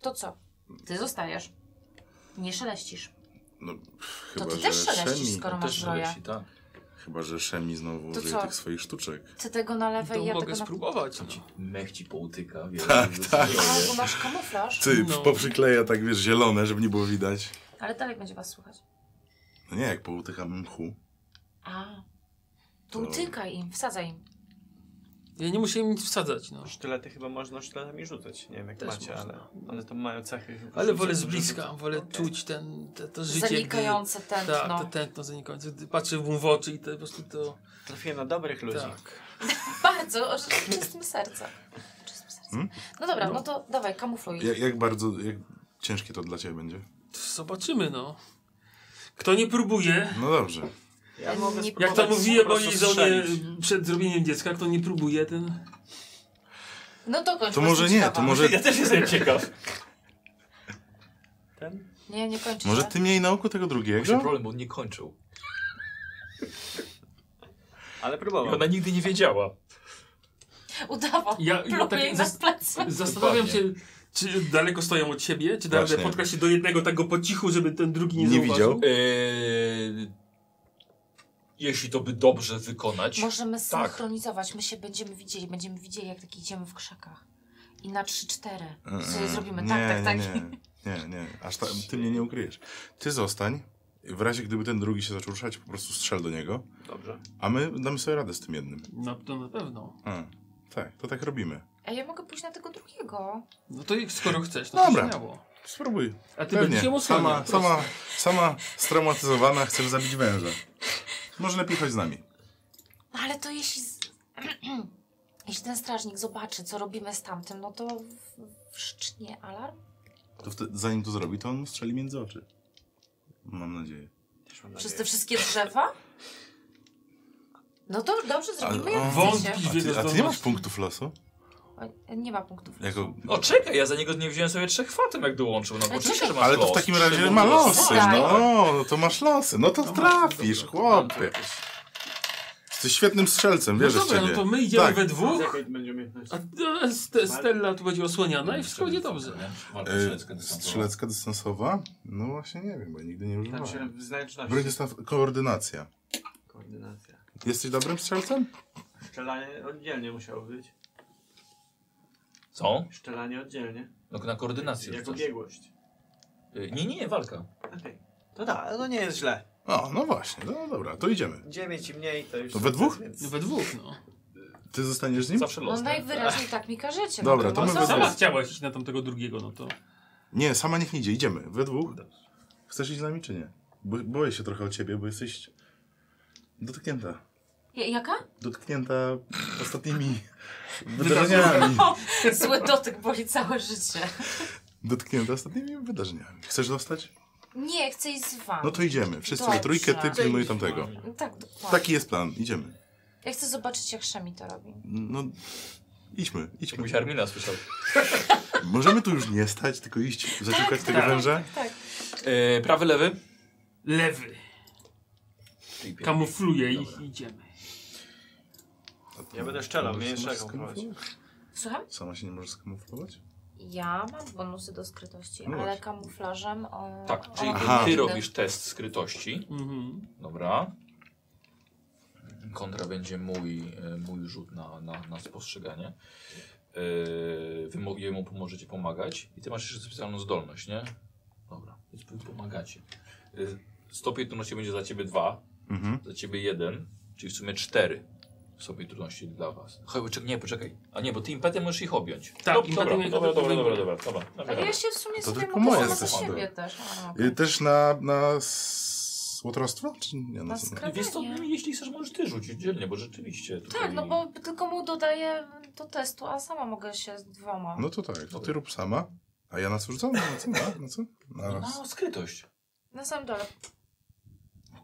[SPEAKER 3] to co? Ty zostajesz. Nie szeleścisz.
[SPEAKER 2] No, pff, chyba,
[SPEAKER 3] to ty
[SPEAKER 2] że
[SPEAKER 3] też szeleścisz,
[SPEAKER 2] Szemi,
[SPEAKER 3] skoro masz
[SPEAKER 5] Też
[SPEAKER 3] zbroję.
[SPEAKER 5] leci, tak.
[SPEAKER 2] Chyba, że Szemi znowu
[SPEAKER 3] To
[SPEAKER 2] użyje
[SPEAKER 3] co?
[SPEAKER 2] tych swoich sztuczek.
[SPEAKER 3] Ty tego na
[SPEAKER 4] To
[SPEAKER 3] lewej, ja
[SPEAKER 4] mogę
[SPEAKER 3] tego na...
[SPEAKER 4] spróbować. No.
[SPEAKER 5] Mech ci poutyka, wiesz.
[SPEAKER 2] Tak,
[SPEAKER 5] że
[SPEAKER 2] tak.
[SPEAKER 5] zbroję.
[SPEAKER 3] A, bo masz kamuflaż,
[SPEAKER 2] Ty,
[SPEAKER 4] No.
[SPEAKER 2] poprzykleja tak, wiesz, zielone, żeby nie było widać.
[SPEAKER 3] ale dalej będzie was słychać.
[SPEAKER 2] No nie, jak poutykam mchu.
[SPEAKER 3] A, to
[SPEAKER 2] To-
[SPEAKER 3] utykaj im, wsadzaj im.
[SPEAKER 4] Ja nie muszę im nic wsadzać, no.
[SPEAKER 6] Sztylety chyba można sztyletami rzucać. Nie wiem jak
[SPEAKER 4] Też
[SPEAKER 6] macie,
[SPEAKER 4] można.
[SPEAKER 6] ale one to mają cechy.
[SPEAKER 4] Ale
[SPEAKER 6] rzucia,
[SPEAKER 4] wolę z
[SPEAKER 6] żeby
[SPEAKER 4] bliska,
[SPEAKER 6] rzucać.
[SPEAKER 4] wolę
[SPEAKER 6] Okej.
[SPEAKER 4] czuć ten, te, to życie. gdy-
[SPEAKER 3] Zanikające tętno.
[SPEAKER 4] Tak, to tętno zanikające. Gdy Patrzę mu w oczy i to po prostu to...
[SPEAKER 6] Trafiłem na dobrych ludzi.
[SPEAKER 4] Tak.
[SPEAKER 3] Bardzo, o- czystym sercem. Czystym sercem.
[SPEAKER 2] Hmm?
[SPEAKER 3] No dobra, no. to dawaj, kamufluj.
[SPEAKER 2] Jak, jak bardzo, jak ciężkie to dla ciebie będzie?
[SPEAKER 4] Zobaczymy, no. Kto nie próbuje,
[SPEAKER 2] No dobrze.
[SPEAKER 6] Ja
[SPEAKER 3] Nie-
[SPEAKER 6] mogę
[SPEAKER 3] Jak
[SPEAKER 4] jak
[SPEAKER 6] spróbować
[SPEAKER 4] to mówiłem
[SPEAKER 6] po
[SPEAKER 4] o
[SPEAKER 6] prostu
[SPEAKER 4] jej żonie
[SPEAKER 6] strzelić.
[SPEAKER 4] przed zrobieniem dziecka, kto nie próbuje, ten...
[SPEAKER 3] No to kończ.
[SPEAKER 2] To
[SPEAKER 3] bo
[SPEAKER 2] może
[SPEAKER 3] jestem
[SPEAKER 2] nie, to
[SPEAKER 3] ciekawa.
[SPEAKER 2] może,
[SPEAKER 6] Ja też jestem ciekaw. Ten?
[SPEAKER 3] Nie, nie kończysz. tak?
[SPEAKER 2] może ty miej na oku tego
[SPEAKER 5] Właśnie
[SPEAKER 2] drugiego?
[SPEAKER 5] problem, bo on nie kończył.
[SPEAKER 6] Ale
[SPEAKER 5] I
[SPEAKER 6] próbował.
[SPEAKER 5] ona nigdy nie wiedziała.
[SPEAKER 3] Udawał.
[SPEAKER 4] Ja-
[SPEAKER 3] Ja,
[SPEAKER 4] ja tak
[SPEAKER 3] tak, na
[SPEAKER 4] zas-
[SPEAKER 3] plecy.
[SPEAKER 4] Zastanawiam się, czy daleko stoją od siebie, czy da radę
[SPEAKER 2] Właśnie.
[SPEAKER 4] spotkać się do jednego tak go po cichu, żeby ten drugi nie,
[SPEAKER 2] Nie
[SPEAKER 4] zauważył.
[SPEAKER 2] widział?
[SPEAKER 1] Yy,
[SPEAKER 5] Eee, jeśli to by dobrze wykonać.
[SPEAKER 3] Możemy
[SPEAKER 2] Tak.
[SPEAKER 3] synchronizować, my się będziemy widzieli, będziemy widzieli jak tak idziemy w krzakach. I na 3-4 sobie
[SPEAKER 2] Mm,
[SPEAKER 3] zrobimy
[SPEAKER 2] nie,
[SPEAKER 3] tak, tak, tak.
[SPEAKER 2] Nie, nie, nie, nie. aż ta, ty mnie nie ukryjesz. Ty zostań, w razie gdyby ten drugi się zaczął ruszać, po prostu strzel do niego,
[SPEAKER 6] Dobrze.
[SPEAKER 2] a my damy sobie radę z tym jednym.
[SPEAKER 4] No to na pewno.
[SPEAKER 2] A, tak, to tak robimy.
[SPEAKER 3] A ja mogę pójść na tego drugiego.
[SPEAKER 4] No to jak- skoro chcesz, no
[SPEAKER 2] Dobra.
[SPEAKER 4] to śmiało.
[SPEAKER 2] Spróbuj.
[SPEAKER 4] A ty będziesz ją
[SPEAKER 2] Pewnie.
[SPEAKER 4] osłaniał.
[SPEAKER 2] Sama,
[SPEAKER 4] po prostu.
[SPEAKER 2] sama, sama straumatyzowana chcesz zabić węża. Może lepiej chodź z nami.
[SPEAKER 3] No ale to jeśli... Z... jeśli ten strażnik zobaczy, co robimy z tamtym, no to w- wszcznie alarm.
[SPEAKER 2] To wtedy, zanim to zrobi, to on mu strzeli między oczy. Mam nadzieję.
[SPEAKER 6] Też mam
[SPEAKER 3] Przez te
[SPEAKER 6] nadzieję.
[SPEAKER 3] wszystkie drzewa. No to dobrze, zrobimy jak
[SPEAKER 4] Wątpię.
[SPEAKER 3] chcecie.
[SPEAKER 2] A ty, a ty nie masz punktów losu?
[SPEAKER 3] O, Nie ma punktów.
[SPEAKER 2] Jako...
[SPEAKER 5] O, No, czekaj, ja za niego nie wziąłem sobie trzech fatem, jak dołączył. No, bo
[SPEAKER 3] Ale
[SPEAKER 5] oczywiście,
[SPEAKER 3] czekaj.
[SPEAKER 5] że masz
[SPEAKER 2] Ale to w
[SPEAKER 5] los.
[SPEAKER 2] takim
[SPEAKER 5] Trzy
[SPEAKER 2] razie
[SPEAKER 5] punkty
[SPEAKER 2] ma
[SPEAKER 5] losu.
[SPEAKER 2] losy.
[SPEAKER 3] Tak.
[SPEAKER 2] No, no to masz losy. No to trafisz, chłopie. Jesteś świetnym strzelcem,
[SPEAKER 4] No
[SPEAKER 2] wierzę w
[SPEAKER 4] dobra,
[SPEAKER 2] ciebie.
[SPEAKER 4] no to my idziemy
[SPEAKER 2] Tak.
[SPEAKER 4] we
[SPEAKER 5] Z
[SPEAKER 4] dwóch,
[SPEAKER 5] jakiej będzie umiejętność?
[SPEAKER 4] a a Ste- Stella tu będzie osłaniana i wszystko będzie dobrze.
[SPEAKER 2] Y, strzelecka dystansowa? No właśnie nie wiem, bo ja nigdy nie
[SPEAKER 4] no.
[SPEAKER 6] Tam Tak się
[SPEAKER 2] używałem.
[SPEAKER 6] w znaczności.
[SPEAKER 2] Broń dystans- koordynacja.
[SPEAKER 6] Koordynacja.
[SPEAKER 2] Jesteś dobrym strzelcem?
[SPEAKER 6] Szczelanie oddzielnie musiało być.
[SPEAKER 1] Co?
[SPEAKER 6] Szczelanie oddzielnie.
[SPEAKER 1] No, na koordynację
[SPEAKER 6] Jako
[SPEAKER 1] rzucasz.
[SPEAKER 6] biegłość.
[SPEAKER 1] Y, Nie, nie, nie, walka.
[SPEAKER 6] Okej. To da, to nie jest źle.
[SPEAKER 2] O, no właśnie, no dobra, to idziemy.
[SPEAKER 6] Dziewięć i mniej to już...
[SPEAKER 2] To we dwóch?
[SPEAKER 6] Więc...
[SPEAKER 4] No we dwóch, no.
[SPEAKER 2] Ty zostaniesz z nim?
[SPEAKER 1] Zawsze
[SPEAKER 3] No
[SPEAKER 1] los. nie?
[SPEAKER 3] najwyraźniej tak mi każecie.
[SPEAKER 2] Dobra,
[SPEAKER 3] no
[SPEAKER 2] to my
[SPEAKER 3] co?
[SPEAKER 2] we dwóch.
[SPEAKER 4] Sama chciałaś iść na tamtego drugiego, no to...
[SPEAKER 2] Nie, sama niech nie idzie, idziemy. We dwóch. Chcesz iść z nami czy nie? Bo, boję się trochę o ciebie, bo jesteś dotknięta.
[SPEAKER 3] Ja- Jaka?
[SPEAKER 2] Dotknięta ostatnimi wydarzeniami.
[SPEAKER 3] Zły dotyk boli całe życie.
[SPEAKER 2] Dotknięta ostatnimi wydarzeniami. Chcesz zostać?
[SPEAKER 3] Nie, chcę iść z wami.
[SPEAKER 2] No to idziemy. Wszyscy
[SPEAKER 3] Dobrze.
[SPEAKER 2] we trójkę, ty pilnuj tamtego.
[SPEAKER 3] No Tak, dokładnie.
[SPEAKER 2] Taki jest plan, idziemy.
[SPEAKER 3] Ja chcę zobaczyć, jak Szemi to robi.
[SPEAKER 2] No, idźmy, idźmy.
[SPEAKER 1] Jakbyś Armina słyszał.
[SPEAKER 2] Możemy tu już nie stać, tylko iść, zaciukać tego
[SPEAKER 4] tak.
[SPEAKER 2] węża?
[SPEAKER 3] Tak.
[SPEAKER 1] Y, prawy, lewy.
[SPEAKER 4] Lewy.
[SPEAKER 1] Czyli pięć.
[SPEAKER 4] Kamufluje ich i idziemy.
[SPEAKER 6] Ja będę
[SPEAKER 1] No,
[SPEAKER 6] strzelał, mnie
[SPEAKER 2] Sama
[SPEAKER 6] jeszcze
[SPEAKER 2] się
[SPEAKER 6] jaką
[SPEAKER 2] skamuflować?
[SPEAKER 3] Słucham?
[SPEAKER 2] Sama się nie może skamuflować?
[SPEAKER 3] Ja mam bonusy do skrytości,
[SPEAKER 2] No
[SPEAKER 3] ale
[SPEAKER 2] właśnie.
[SPEAKER 3] kamuflażem o.
[SPEAKER 1] Tak, czyli
[SPEAKER 3] o,
[SPEAKER 2] Aha.
[SPEAKER 1] ty robisz test skrytości.
[SPEAKER 4] Mhm.
[SPEAKER 1] Dobra. Kontra będzie mój, e, mój rzut na, na, na spostrzeganie. Yy, wy mo- jemu możecie pomagać. I ty masz jeszcze specjalną zdolność, nie? Dobra, więc wy pomagacie. Yy, stopień trudności będzie dla ciebie dwa,
[SPEAKER 2] Mhm.
[SPEAKER 1] dla ciebie jeden, czyli w sumie cztery stopień trudności dla was. Chyba, nie, poczekaj. A nie, bo ty impetem możesz ich objąć.
[SPEAKER 4] Tak,
[SPEAKER 1] Dob- dobra,
[SPEAKER 4] impetem ich
[SPEAKER 1] dobra, dobra,
[SPEAKER 4] objąć.
[SPEAKER 1] dobra, dobra, dobra, dobra.
[SPEAKER 3] Ale ja się w sumie
[SPEAKER 2] To
[SPEAKER 3] sobie
[SPEAKER 2] tylko
[SPEAKER 3] mogę
[SPEAKER 2] moje
[SPEAKER 3] sama za
[SPEAKER 2] zasady.
[SPEAKER 3] siebie też. No, A, okej.
[SPEAKER 2] Y, Też na, na s- łotrostwo? Czy nie?
[SPEAKER 3] Na
[SPEAKER 2] Na co?
[SPEAKER 3] skra-
[SPEAKER 1] Wiesz co, no, jeśli chcesz, możesz ty rzucić dzielnie, bo rzeczywiście tutaj...
[SPEAKER 3] Tak, no bo tylko mu dodaję do testu, a sama mogę się z dwoma.
[SPEAKER 2] no to tak, to ty rób sama. A ja na co rzucam? Na co? Na, na co? Na raz.
[SPEAKER 1] No, skrytość.
[SPEAKER 3] Na samym dole.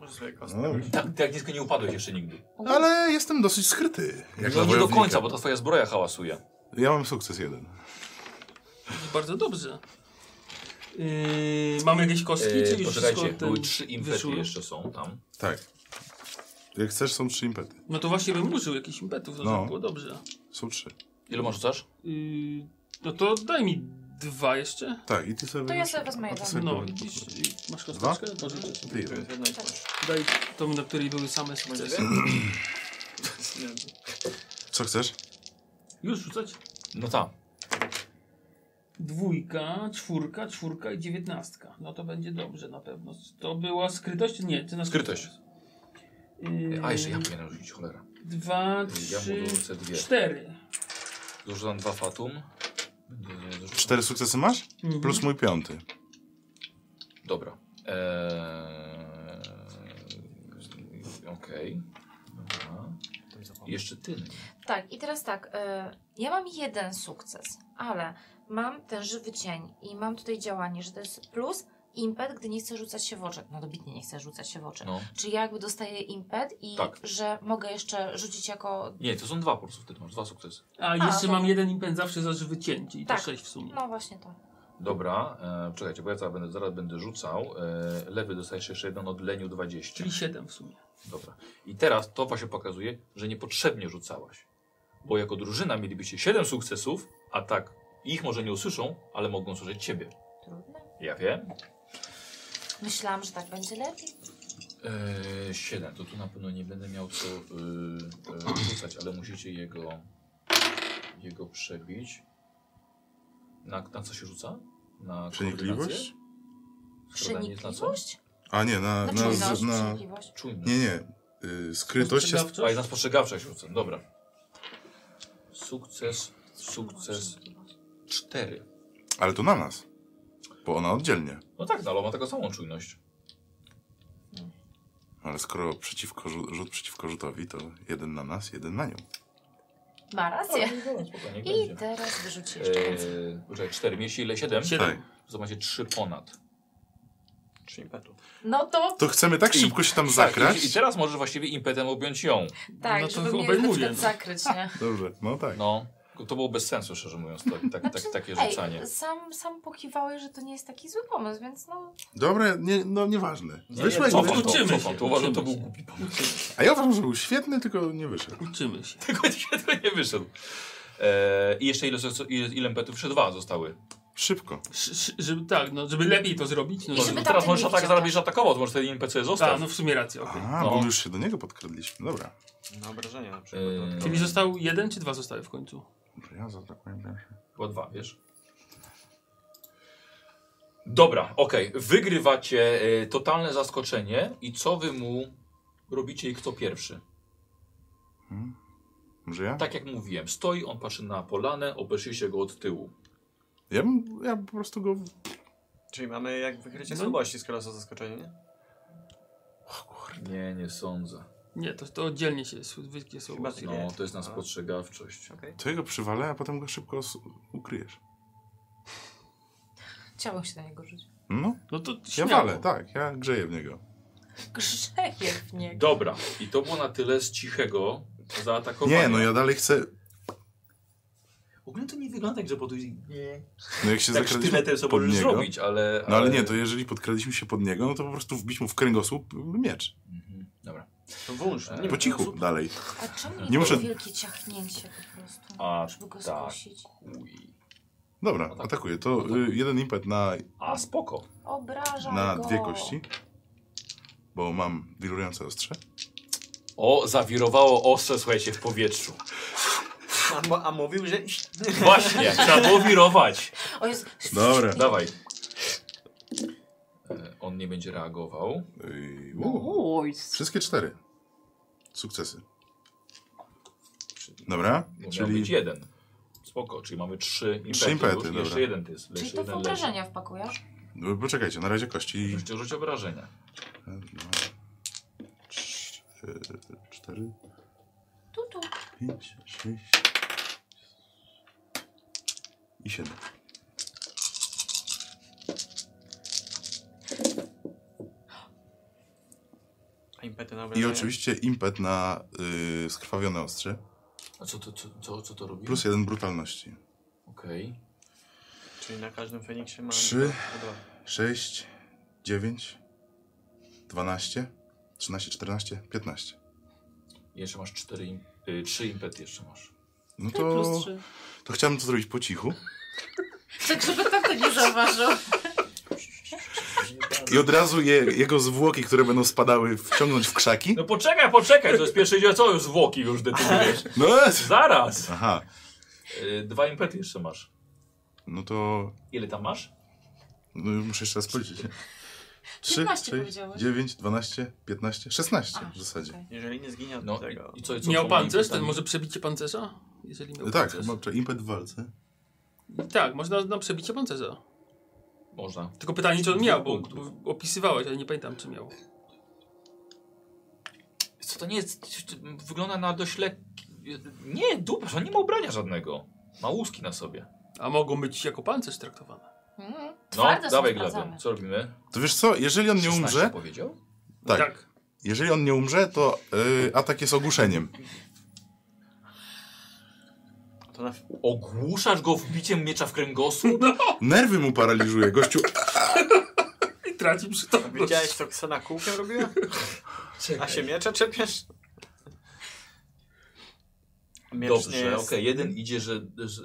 [SPEAKER 6] Może sobie kostkę.
[SPEAKER 2] No dobra.
[SPEAKER 1] Tak, tak nisko nie upadłeś jeszcze nigdy.
[SPEAKER 2] Ale jestem dosyć skryty. Jak
[SPEAKER 1] no
[SPEAKER 2] na
[SPEAKER 1] nie do
[SPEAKER 2] wojownika.
[SPEAKER 1] końca, bo ta twoja zbroja hałasuje.
[SPEAKER 2] Ja mam sukces jeden.
[SPEAKER 4] Bardzo dobrze. Yy, mamy jakieś kostki, czy już
[SPEAKER 1] poczekajcie,
[SPEAKER 4] wszystko ten
[SPEAKER 1] były trzy impety
[SPEAKER 4] wyszło?
[SPEAKER 1] jeszcze są tam.
[SPEAKER 2] Tak. Jak chcesz, są trzy impety.
[SPEAKER 4] No to właśnie bym użył jakichś impetów, no,
[SPEAKER 2] No.
[SPEAKER 4] żeby było dobrze.
[SPEAKER 2] Są trzy.
[SPEAKER 1] Ile masz rzucasz?
[SPEAKER 4] Yy, no to daj mi dwa jeszcze.
[SPEAKER 2] Tak, i ty sobie
[SPEAKER 3] To ja
[SPEAKER 2] weź-
[SPEAKER 3] sobie wezmę
[SPEAKER 2] a ty
[SPEAKER 3] jeden.
[SPEAKER 2] sobie
[SPEAKER 4] No,
[SPEAKER 2] weź-
[SPEAKER 4] widzisz, i masz kosteczkę? Pożyczę sobie.
[SPEAKER 2] Ty
[SPEAKER 6] To
[SPEAKER 2] jeden.
[SPEAKER 6] jest jedna i twarz.
[SPEAKER 4] Daj tą, na której były same
[SPEAKER 6] Będzie
[SPEAKER 4] sukcesy.
[SPEAKER 6] Nie.
[SPEAKER 2] Co chcesz?
[SPEAKER 4] Już rzucać?
[SPEAKER 1] No tak.
[SPEAKER 4] Dwójka, czwórka, czwórka i dziewiętnastka. No to będzie dobrze na pewno. To była skrytość? Nie, ty na
[SPEAKER 1] Skrytość.
[SPEAKER 4] Yy,
[SPEAKER 1] A jeszcze ja powinienem rzucić, cholera.
[SPEAKER 4] Dwa,
[SPEAKER 1] Ja
[SPEAKER 4] trzy,
[SPEAKER 1] mu dorzucę dwie.
[SPEAKER 4] cztery.
[SPEAKER 1] Dorzucam dwa fatum. Będę dorzucał-
[SPEAKER 2] Cztery sukcesy masz?
[SPEAKER 4] Mhm.
[SPEAKER 2] Plus mój piąty.
[SPEAKER 1] Dobra. Eee... Okej. Dobra. Jeszcze ty.
[SPEAKER 3] Tak, i teraz tak. Y, ja mam jeden sukces, ale mam ten żywy cień i mam tutaj działanie, że to jest plus impet, gdy nie chcę rzucać się w oczy. No dobitnie nie chcę rzucać się w oczy.
[SPEAKER 1] No.
[SPEAKER 3] Czyli ja jakby dostaję impet i
[SPEAKER 1] Tak.
[SPEAKER 3] że mogę jeszcze rzucić jako.
[SPEAKER 1] Nie, to są dwa po prostu wtedy masz, dwa sukcesy.
[SPEAKER 4] A jeszcze
[SPEAKER 3] to-
[SPEAKER 4] mam jeden impet zawsze za wycięcie i to
[SPEAKER 3] no. Tak.
[SPEAKER 4] sześć w sumie.
[SPEAKER 3] No właśnie to.
[SPEAKER 1] Dobra, e, czekajcie, bo ja zaraz będę, zaraz będę rzucał. E, lewy dostajesz jeszcze jeden od leniu 20.
[SPEAKER 4] Czyli siedem w sumie.
[SPEAKER 1] Dobra. I teraz to właśnie pokazuje, że niepotrzebnie rzucałaś. Bo jako drużyna mielibyście 7 sukcesów, a tak ich może nie usłyszą, ale mogą usłyszeć ciebie.
[SPEAKER 3] Trudne.
[SPEAKER 1] Ja wiem.
[SPEAKER 3] Myślałam, że tak będzie lepiej.
[SPEAKER 1] Eee, 7, to tu na pewno nie będę miał co yy, yy, rzucać, ale musicie jego, jego przebić. Na, na co się rzuca? Na
[SPEAKER 2] Przenikliwość?
[SPEAKER 1] Skradanie jest na co?
[SPEAKER 3] Przenikliwość?
[SPEAKER 2] A nie, na... na,
[SPEAKER 3] Na
[SPEAKER 2] na,
[SPEAKER 3] czujność,
[SPEAKER 2] na
[SPEAKER 3] Znaczy, no, przenikliwość.
[SPEAKER 1] Czujność.
[SPEAKER 2] nie, nie. Y, skrytość
[SPEAKER 4] Znaczy,
[SPEAKER 2] jest...
[SPEAKER 1] A i na spostrzegawczość rzucę, dobra. Sukces, sukces
[SPEAKER 3] Przenikliwość.
[SPEAKER 1] 4.
[SPEAKER 2] Ale to na nas. Bo ona oddzielnie.
[SPEAKER 1] No tak, no, ale ma taką samą czujność.
[SPEAKER 2] Ale skoro przeciwko, rzut, rzut przeciwko rzutowi, to jeden na nas, jeden na nią.
[SPEAKER 3] Ma rację.
[SPEAKER 1] Spokojnie, niech
[SPEAKER 3] I
[SPEAKER 1] No, będzie.
[SPEAKER 3] teraz wyrzuci jeszcze więcej.
[SPEAKER 1] Eee, Poczekaj, 4. Mieliście ile? 7?
[SPEAKER 4] Siedem.
[SPEAKER 1] To macie 3 ponad.
[SPEAKER 6] Trzy impetu.
[SPEAKER 3] No to
[SPEAKER 2] To chcemy tak
[SPEAKER 1] I-
[SPEAKER 2] szybko się tam zakrać?
[SPEAKER 1] Tak, i, I teraz możesz właściwie impetem objąć ją.
[SPEAKER 3] tak,
[SPEAKER 4] No to
[SPEAKER 3] żeby mnie na
[SPEAKER 4] obejmuję,
[SPEAKER 3] przykład
[SPEAKER 4] no.
[SPEAKER 3] zakryć, nie?
[SPEAKER 2] Dobrze, no tak.
[SPEAKER 1] No. To było bez sensu, szczerze mówiąc, tak, tak, tak, takie rzucanie.
[SPEAKER 3] Ej, sam, sam pokiwałeś, że to nie jest taki zły pomysł, więc no...
[SPEAKER 2] Dobra, nie, no nieważne.
[SPEAKER 1] Nie,
[SPEAKER 2] Wyszło jak
[SPEAKER 1] cofam
[SPEAKER 2] wyszło.
[SPEAKER 1] to,
[SPEAKER 4] Uczymy
[SPEAKER 1] cofam
[SPEAKER 4] się,
[SPEAKER 1] to. Uważam, to
[SPEAKER 4] uczymy
[SPEAKER 1] był
[SPEAKER 4] się.
[SPEAKER 1] głupi pomysł.
[SPEAKER 2] A ja uważam, że był świetny, tylko nie wyszedł.
[SPEAKER 4] Uczymy się.
[SPEAKER 1] Tego nie, to nie wyszedł. E, I jeszcze ile, ile, ile petów? Jeszcze dwa zostały.
[SPEAKER 2] Szybko.
[SPEAKER 4] Sz- sz- żeby, tak, no, żeby lepiej to zrobić. No,
[SPEAKER 3] I żeby
[SPEAKER 1] Może-
[SPEAKER 3] tamten
[SPEAKER 1] teraz
[SPEAKER 3] nie
[SPEAKER 1] możesz atak
[SPEAKER 3] widział. tak.
[SPEAKER 1] zarobić, że atakował, to może ten NPC
[SPEAKER 4] A,
[SPEAKER 2] Tak,
[SPEAKER 1] został.
[SPEAKER 4] no w sumie racja, okej.
[SPEAKER 2] A,
[SPEAKER 1] No.
[SPEAKER 2] bo już się do niego podkradliśmy. Dobra.
[SPEAKER 6] Na obrażenia na przykład.
[SPEAKER 1] Yy,
[SPEAKER 4] Czyli został jeden czy dwa zostały w końcu?
[SPEAKER 2] Może Ja zaatakuję pierwszy.
[SPEAKER 1] Chyba dwa, wiesz? Dobra, okej. Wygrywacie e, totalne zaskoczenie i co wy mu robicie i kto pierwszy?
[SPEAKER 2] Może ja?
[SPEAKER 1] Tak jak mówiłem, stoi, on patrzy na polanę, obeszliście go od tyłu.
[SPEAKER 2] Ja, bym, ja po prostu go...
[SPEAKER 6] Czyli mamy jak wykrycie
[SPEAKER 4] No.
[SPEAKER 6] słabości, skoro są zaskoczenie, nie?
[SPEAKER 1] Nie, nie sądzę. nie
[SPEAKER 4] Nie, to, to oddzielnie się słodkie są.
[SPEAKER 6] Chyba ty-
[SPEAKER 1] No, to jest na spostrzegawczość.
[SPEAKER 6] Okej.
[SPEAKER 2] To jego przywalę, a potem go szybko s- ukryjesz.
[SPEAKER 3] Chciałabym się na niego rzucić.
[SPEAKER 2] No,
[SPEAKER 4] No to
[SPEAKER 2] ja
[SPEAKER 4] śmiało.
[SPEAKER 2] walę, tak. Ja grzeję w niego.
[SPEAKER 3] Grzeje w niego.
[SPEAKER 1] Dobra, i to było na tyle z cichego zaatakowania.
[SPEAKER 2] Nie, no ja dalej chcę...
[SPEAKER 1] W ogóle to nie wygląda jak, że podujdzie... Nie.
[SPEAKER 2] No jak się
[SPEAKER 1] Tak
[SPEAKER 2] zakradliśmy
[SPEAKER 1] sztyletem sobie
[SPEAKER 2] pod
[SPEAKER 1] możesz
[SPEAKER 2] niego...
[SPEAKER 1] zrobić, ale...
[SPEAKER 2] No ale nie, to jeżeli podkradliśmy się pod niego, no to po prostu wbić mu w kręgosłup miecz.
[SPEAKER 1] Mhm, Dobra.
[SPEAKER 6] To wąż,
[SPEAKER 1] no.
[SPEAKER 6] nie?
[SPEAKER 2] Po cichu, dalej.
[SPEAKER 3] A czemu
[SPEAKER 1] Nie
[SPEAKER 3] nie
[SPEAKER 2] muszę-
[SPEAKER 3] muszę... wielkie ciachnięcie po prostu?
[SPEAKER 1] A,
[SPEAKER 3] żeby go
[SPEAKER 1] tak.
[SPEAKER 3] skusić.
[SPEAKER 1] Chuj.
[SPEAKER 2] Dobra,
[SPEAKER 1] No tak.
[SPEAKER 2] atakuję. To
[SPEAKER 1] No tak.
[SPEAKER 2] y, jeden impet na,
[SPEAKER 1] A, spoko.
[SPEAKER 3] Obrażam
[SPEAKER 2] na
[SPEAKER 3] go.
[SPEAKER 2] dwie kości, bo mam wirujące ostrze.
[SPEAKER 1] O, zawirowało ostrze, słuchajcie, w powietrzu.
[SPEAKER 6] A, mo- a mówił, że...
[SPEAKER 1] Właśnie, trzeba było wirować.
[SPEAKER 3] O jest...
[SPEAKER 2] Dobra.
[SPEAKER 1] Dawaj. E, On nie będzie reagował.
[SPEAKER 2] Y, u,
[SPEAKER 3] Oj,
[SPEAKER 2] Wszystkie cztery. Sukcesy. Dobra,
[SPEAKER 1] Bo Miał być
[SPEAKER 2] czyli
[SPEAKER 1] jeden. Spoko, czyli mamy trzy impety.
[SPEAKER 2] Trzy impety,
[SPEAKER 1] już.
[SPEAKER 2] dobra.
[SPEAKER 1] Jeszcze jeden to jest.
[SPEAKER 3] Czyli
[SPEAKER 1] jeszcze
[SPEAKER 3] to w
[SPEAKER 1] jeden
[SPEAKER 3] obrażenia wpakujesz?
[SPEAKER 2] no, poczekajcie, na razie
[SPEAKER 1] leży.
[SPEAKER 2] kości.
[SPEAKER 1] Musicie rzucić obrażenia.
[SPEAKER 2] Raz, dwa, trz- Cztery,
[SPEAKER 3] Tu, tu.
[SPEAKER 2] pięć, sześć i siedem.
[SPEAKER 6] A impety na
[SPEAKER 2] I
[SPEAKER 6] obrażenia.
[SPEAKER 2] oczywiście impet na y, skrwawione ostrze,
[SPEAKER 1] A co to, co, co, co to robi?
[SPEAKER 2] plus jeden brutalności.
[SPEAKER 1] Okej.
[SPEAKER 6] Czyli na każdym Feniksie mamy...
[SPEAKER 2] Trzy.
[SPEAKER 6] po dwa.
[SPEAKER 2] 6, 9, 12, 13, 14, 15.
[SPEAKER 1] Jeszcze masz cztery, im- y, trzy impety jeszcze masz.
[SPEAKER 2] No to, to chciałbym to zrobić po cichu
[SPEAKER 3] Tak, żeby tamto nie zauważył.
[SPEAKER 2] i od razu je, jego zwłoki, które będą spadały, wciągnąć w krzaki.
[SPEAKER 1] No poczekaj, poczekaj, to jest pierwszy dzień, co już zwłoki już decydujesz.
[SPEAKER 2] No,
[SPEAKER 1] Zaraz!
[SPEAKER 2] aha,
[SPEAKER 1] Y, Dwa impety jeszcze masz.
[SPEAKER 2] no to
[SPEAKER 1] Ile tam masz?
[SPEAKER 2] no, muszę jeszcze raz policzyć. 3,
[SPEAKER 3] 15
[SPEAKER 2] 6,
[SPEAKER 3] powiedziałeś.
[SPEAKER 2] 9, 12, 15, 16
[SPEAKER 3] A,
[SPEAKER 2] w zasadzie.
[SPEAKER 3] okej.
[SPEAKER 6] Jeżeli nie zginie od
[SPEAKER 1] No
[SPEAKER 6] tego...
[SPEAKER 1] i, i co, co
[SPEAKER 4] Miał
[SPEAKER 1] są
[SPEAKER 4] pancerz, ten
[SPEAKER 1] impetami?
[SPEAKER 4] może przebicie pancerza? Jeżeli miał
[SPEAKER 2] Tak,
[SPEAKER 4] pancerz.
[SPEAKER 2] chyba impet w walce.
[SPEAKER 4] Tak, można na przebicie pancerza.
[SPEAKER 1] Można.
[SPEAKER 4] Tylko pytanie, czy on
[SPEAKER 1] Dwóch
[SPEAKER 4] miał, bo,
[SPEAKER 1] punktów.
[SPEAKER 4] bo opisywałeś, ale nie pamiętam, czy miał.
[SPEAKER 1] Co to nie jest? Wygląda na dość lekki. Nie, dupa, on nie ma ubrania żadnego. Ma łuski na sobie.
[SPEAKER 4] A mogą być jako pancerz traktowane.
[SPEAKER 3] Mhm.
[SPEAKER 1] No,
[SPEAKER 3] Twarde są,
[SPEAKER 1] dawaj
[SPEAKER 3] sprawdzamy.
[SPEAKER 1] Gladion. Co robimy?
[SPEAKER 2] To wiesz co, jeżeli on nie
[SPEAKER 1] 16
[SPEAKER 2] umrze,
[SPEAKER 1] powiedział?
[SPEAKER 2] Tak. jeżeli on nie umrze, to y, atak jest ogłuszeniem.
[SPEAKER 6] To na...
[SPEAKER 1] Ogłuszasz go wbiciem miecza w kręgosłup?
[SPEAKER 2] Nerwy mu paraliżuje, gościu.
[SPEAKER 4] I traci przytomność.
[SPEAKER 6] Widziałeś, co Ksena kółkiem robiła? A się miecza czepiasz? Miecz nie
[SPEAKER 1] Dobrze,
[SPEAKER 6] jest...
[SPEAKER 1] okej, jeden idzie, że. że...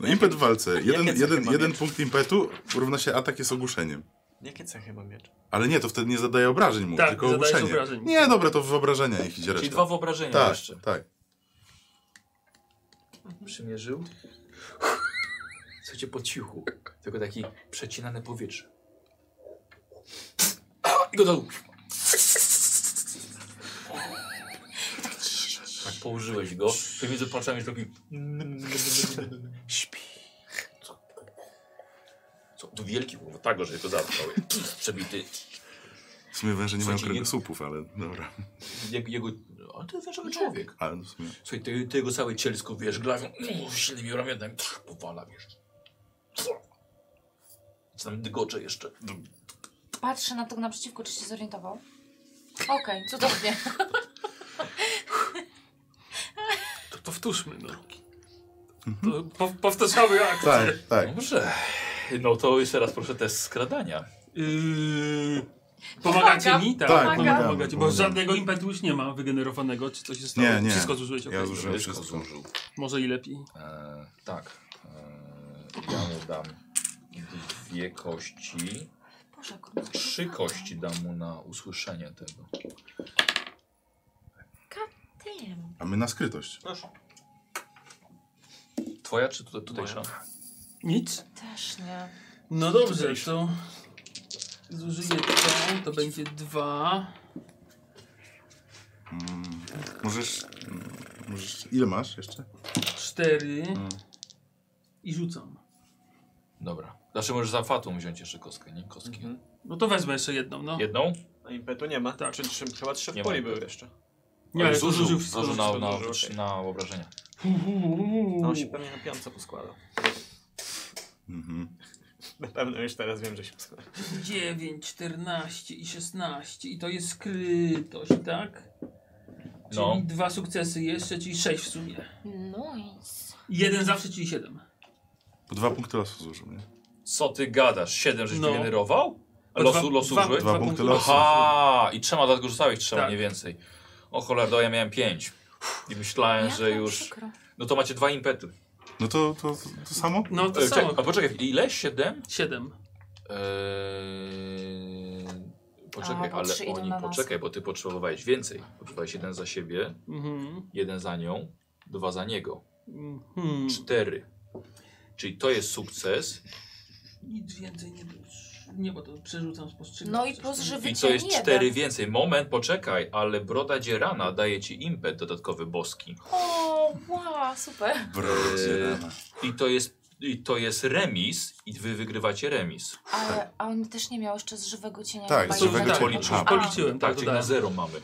[SPEAKER 2] No, impet w walce. Jeden,
[SPEAKER 6] Jakie cechy
[SPEAKER 2] jeden,
[SPEAKER 6] ma
[SPEAKER 2] jeden
[SPEAKER 6] miecz?
[SPEAKER 2] punkt impetu równa się atak jest ogłuszeniem.
[SPEAKER 6] Jakie cechy ma miecz?
[SPEAKER 2] Ale nie, to wtedy nie zadaje obrażeń mu,
[SPEAKER 4] Tak,
[SPEAKER 2] tylko
[SPEAKER 4] nie zadajesz
[SPEAKER 2] ogłuszenie.
[SPEAKER 4] obrażeń.
[SPEAKER 2] Nie, dobra, to wyobrażenia niech idzie
[SPEAKER 1] Czyli
[SPEAKER 2] reszta.
[SPEAKER 1] dwa wyobrażenia
[SPEAKER 2] tak,
[SPEAKER 1] jeszcze.
[SPEAKER 2] tak.
[SPEAKER 1] Przymierzył. Słuchajcie, po cichu. Tylko taki przecinane powietrze. I go dał. Tak położyłeś go. To między palcami jest taki... Śpi. Co? Tu wielki był, tak go, że to zatkał. Przebity.
[SPEAKER 2] W sumie węże nie mają
[SPEAKER 1] Słuchajcie, nie-
[SPEAKER 2] kręgosłupów, ale dobra.
[SPEAKER 1] Jego, jego... Ale to jest wężowy człowiek.
[SPEAKER 2] Ale w sumie...
[SPEAKER 1] Słuchaj, ty, ty jego całe cielsko, wiesz, glawią uff, silnymi ramionami, trz, powala, wiesz. Co tam dygocze jeszcze.
[SPEAKER 3] Patrzę na tego naprzeciwko, czy się zorientował. Okej, cudownie.
[SPEAKER 1] To, to
[SPEAKER 4] powtórzmy, no. To po, powtarzamy akcję.
[SPEAKER 2] Mhm. Tak, tak.
[SPEAKER 1] Dobrze. No to jeszcze raz proszę test skradania.
[SPEAKER 4] Yy, pomagacie
[SPEAKER 3] Pomagam.
[SPEAKER 4] mi?
[SPEAKER 2] Tak,
[SPEAKER 4] Tak, pomagacie,
[SPEAKER 2] pomagamy,
[SPEAKER 4] pomagacie, bo
[SPEAKER 2] pomagamy.
[SPEAKER 4] żadnego impetu już nie ma wygenerowanego, czy coś się stało.
[SPEAKER 2] Nie, nie.
[SPEAKER 4] No, Wszystko zużyłeś, okej.
[SPEAKER 2] Ja zużyłem
[SPEAKER 1] Wszystko
[SPEAKER 2] wszystko.
[SPEAKER 1] zużył.
[SPEAKER 4] Może i lepiej.
[SPEAKER 1] E, tak. E, ja mu dam dwie kości.
[SPEAKER 3] Boże, jak ona
[SPEAKER 1] Trzy kości dam mu na usłyszenie tego.
[SPEAKER 3] Tym.
[SPEAKER 2] A my na skrytość.
[SPEAKER 6] Proszę.
[SPEAKER 1] Twoja czy tutaj, tutejsza?
[SPEAKER 4] Nic?
[SPEAKER 3] Też nie.
[SPEAKER 4] No dobrze, to zużyję to, to będzie dwa.
[SPEAKER 2] Mm, Możesz, mm, możesz... Ile masz jeszcze?
[SPEAKER 4] cztery i rzucam.
[SPEAKER 1] Dobra. Znaczy możesz za fatą wziąć jeszcze kostkę, nie? Kostki.
[SPEAKER 6] Mhm.
[SPEAKER 4] No to wezmę jeszcze jedną, no.
[SPEAKER 1] Jedną?
[SPEAKER 6] A impetu nie ma?
[SPEAKER 4] Tak.
[SPEAKER 6] Czy, trzy- chyba trzy
[SPEAKER 1] Nie
[SPEAKER 6] w
[SPEAKER 1] ma
[SPEAKER 6] puli
[SPEAKER 1] impetu.
[SPEAKER 6] były jeszcze.
[SPEAKER 4] Nie,
[SPEAKER 1] Ale
[SPEAKER 4] ale zużył, zużył wszystko.
[SPEAKER 1] zużył na, na,
[SPEAKER 6] zużył, okej.
[SPEAKER 1] na obrażenia.
[SPEAKER 6] No on się pewnie na piątce poskłada.
[SPEAKER 2] Mhm.
[SPEAKER 6] Na pewno już teraz wiem, że się poskłada.
[SPEAKER 4] 9, 14 i 16 i to jest skrytość, tak? Czyli
[SPEAKER 1] No.
[SPEAKER 4] dwa sukcesy jeszcze, czyli 6 w sumie.
[SPEAKER 3] Nice.
[SPEAKER 4] Jeden zawsze, czyli 7.
[SPEAKER 2] Po dwa punkty losu zużył, nie?
[SPEAKER 1] Co ty gadasz? Siedem żeś
[SPEAKER 4] No.
[SPEAKER 1] wygenerował? Losu, losu
[SPEAKER 4] dwa,
[SPEAKER 1] użyłeś?
[SPEAKER 2] Dwa punkty losu.
[SPEAKER 1] Aha! I trzema dlatego rzucałeś trzema,
[SPEAKER 4] Tak.
[SPEAKER 1] nie więcej. O cholera, ja miałem pięć. I myślałem,
[SPEAKER 3] Jak
[SPEAKER 1] że
[SPEAKER 3] nam
[SPEAKER 1] już...
[SPEAKER 3] przykro.
[SPEAKER 1] No to macie dwa impety.
[SPEAKER 2] No to, to, to samo?
[SPEAKER 4] No to
[SPEAKER 1] E, czek-
[SPEAKER 4] samo.
[SPEAKER 1] a poczekaj, ile? Siedem?
[SPEAKER 4] 7.
[SPEAKER 1] Eee, poczekaj,
[SPEAKER 3] A, bo
[SPEAKER 1] ale
[SPEAKER 3] trzy idą
[SPEAKER 1] oni,
[SPEAKER 3] na nas.
[SPEAKER 1] poczekaj, bo ty potrzebowałeś więcej. Potrzebowałeś jeden za siebie,
[SPEAKER 4] Mhm.
[SPEAKER 1] jeden za nią, dwa za niego.
[SPEAKER 4] Mhm.
[SPEAKER 1] Cztery. Czyli to jest sukces
[SPEAKER 4] Nic więcej nie było. Nie, bo to przerzucam spostrzegam.
[SPEAKER 3] No i plus żywy-
[SPEAKER 1] i to jest
[SPEAKER 3] Wyciąg
[SPEAKER 1] cztery
[SPEAKER 3] jeden.
[SPEAKER 1] więcej. Moment, poczekaj, ale broda dzierana daje ci impet dodatkowy boski.
[SPEAKER 3] O, wow, super.
[SPEAKER 2] Brodzie.
[SPEAKER 1] I to jest, i to jest remis i wy wygrywacie remis.
[SPEAKER 3] Ale a on też nie miał jeszcze z żywego cienia.
[SPEAKER 2] Tak,
[SPEAKER 3] chyba
[SPEAKER 2] z
[SPEAKER 4] To
[SPEAKER 2] żywego
[SPEAKER 4] już
[SPEAKER 3] jednego.
[SPEAKER 1] cienia.
[SPEAKER 4] tak,
[SPEAKER 1] policzyłem.
[SPEAKER 4] już policzyłem,
[SPEAKER 1] Tak,
[SPEAKER 4] tak,
[SPEAKER 1] czyli
[SPEAKER 4] dodałem.
[SPEAKER 1] na zero mamy.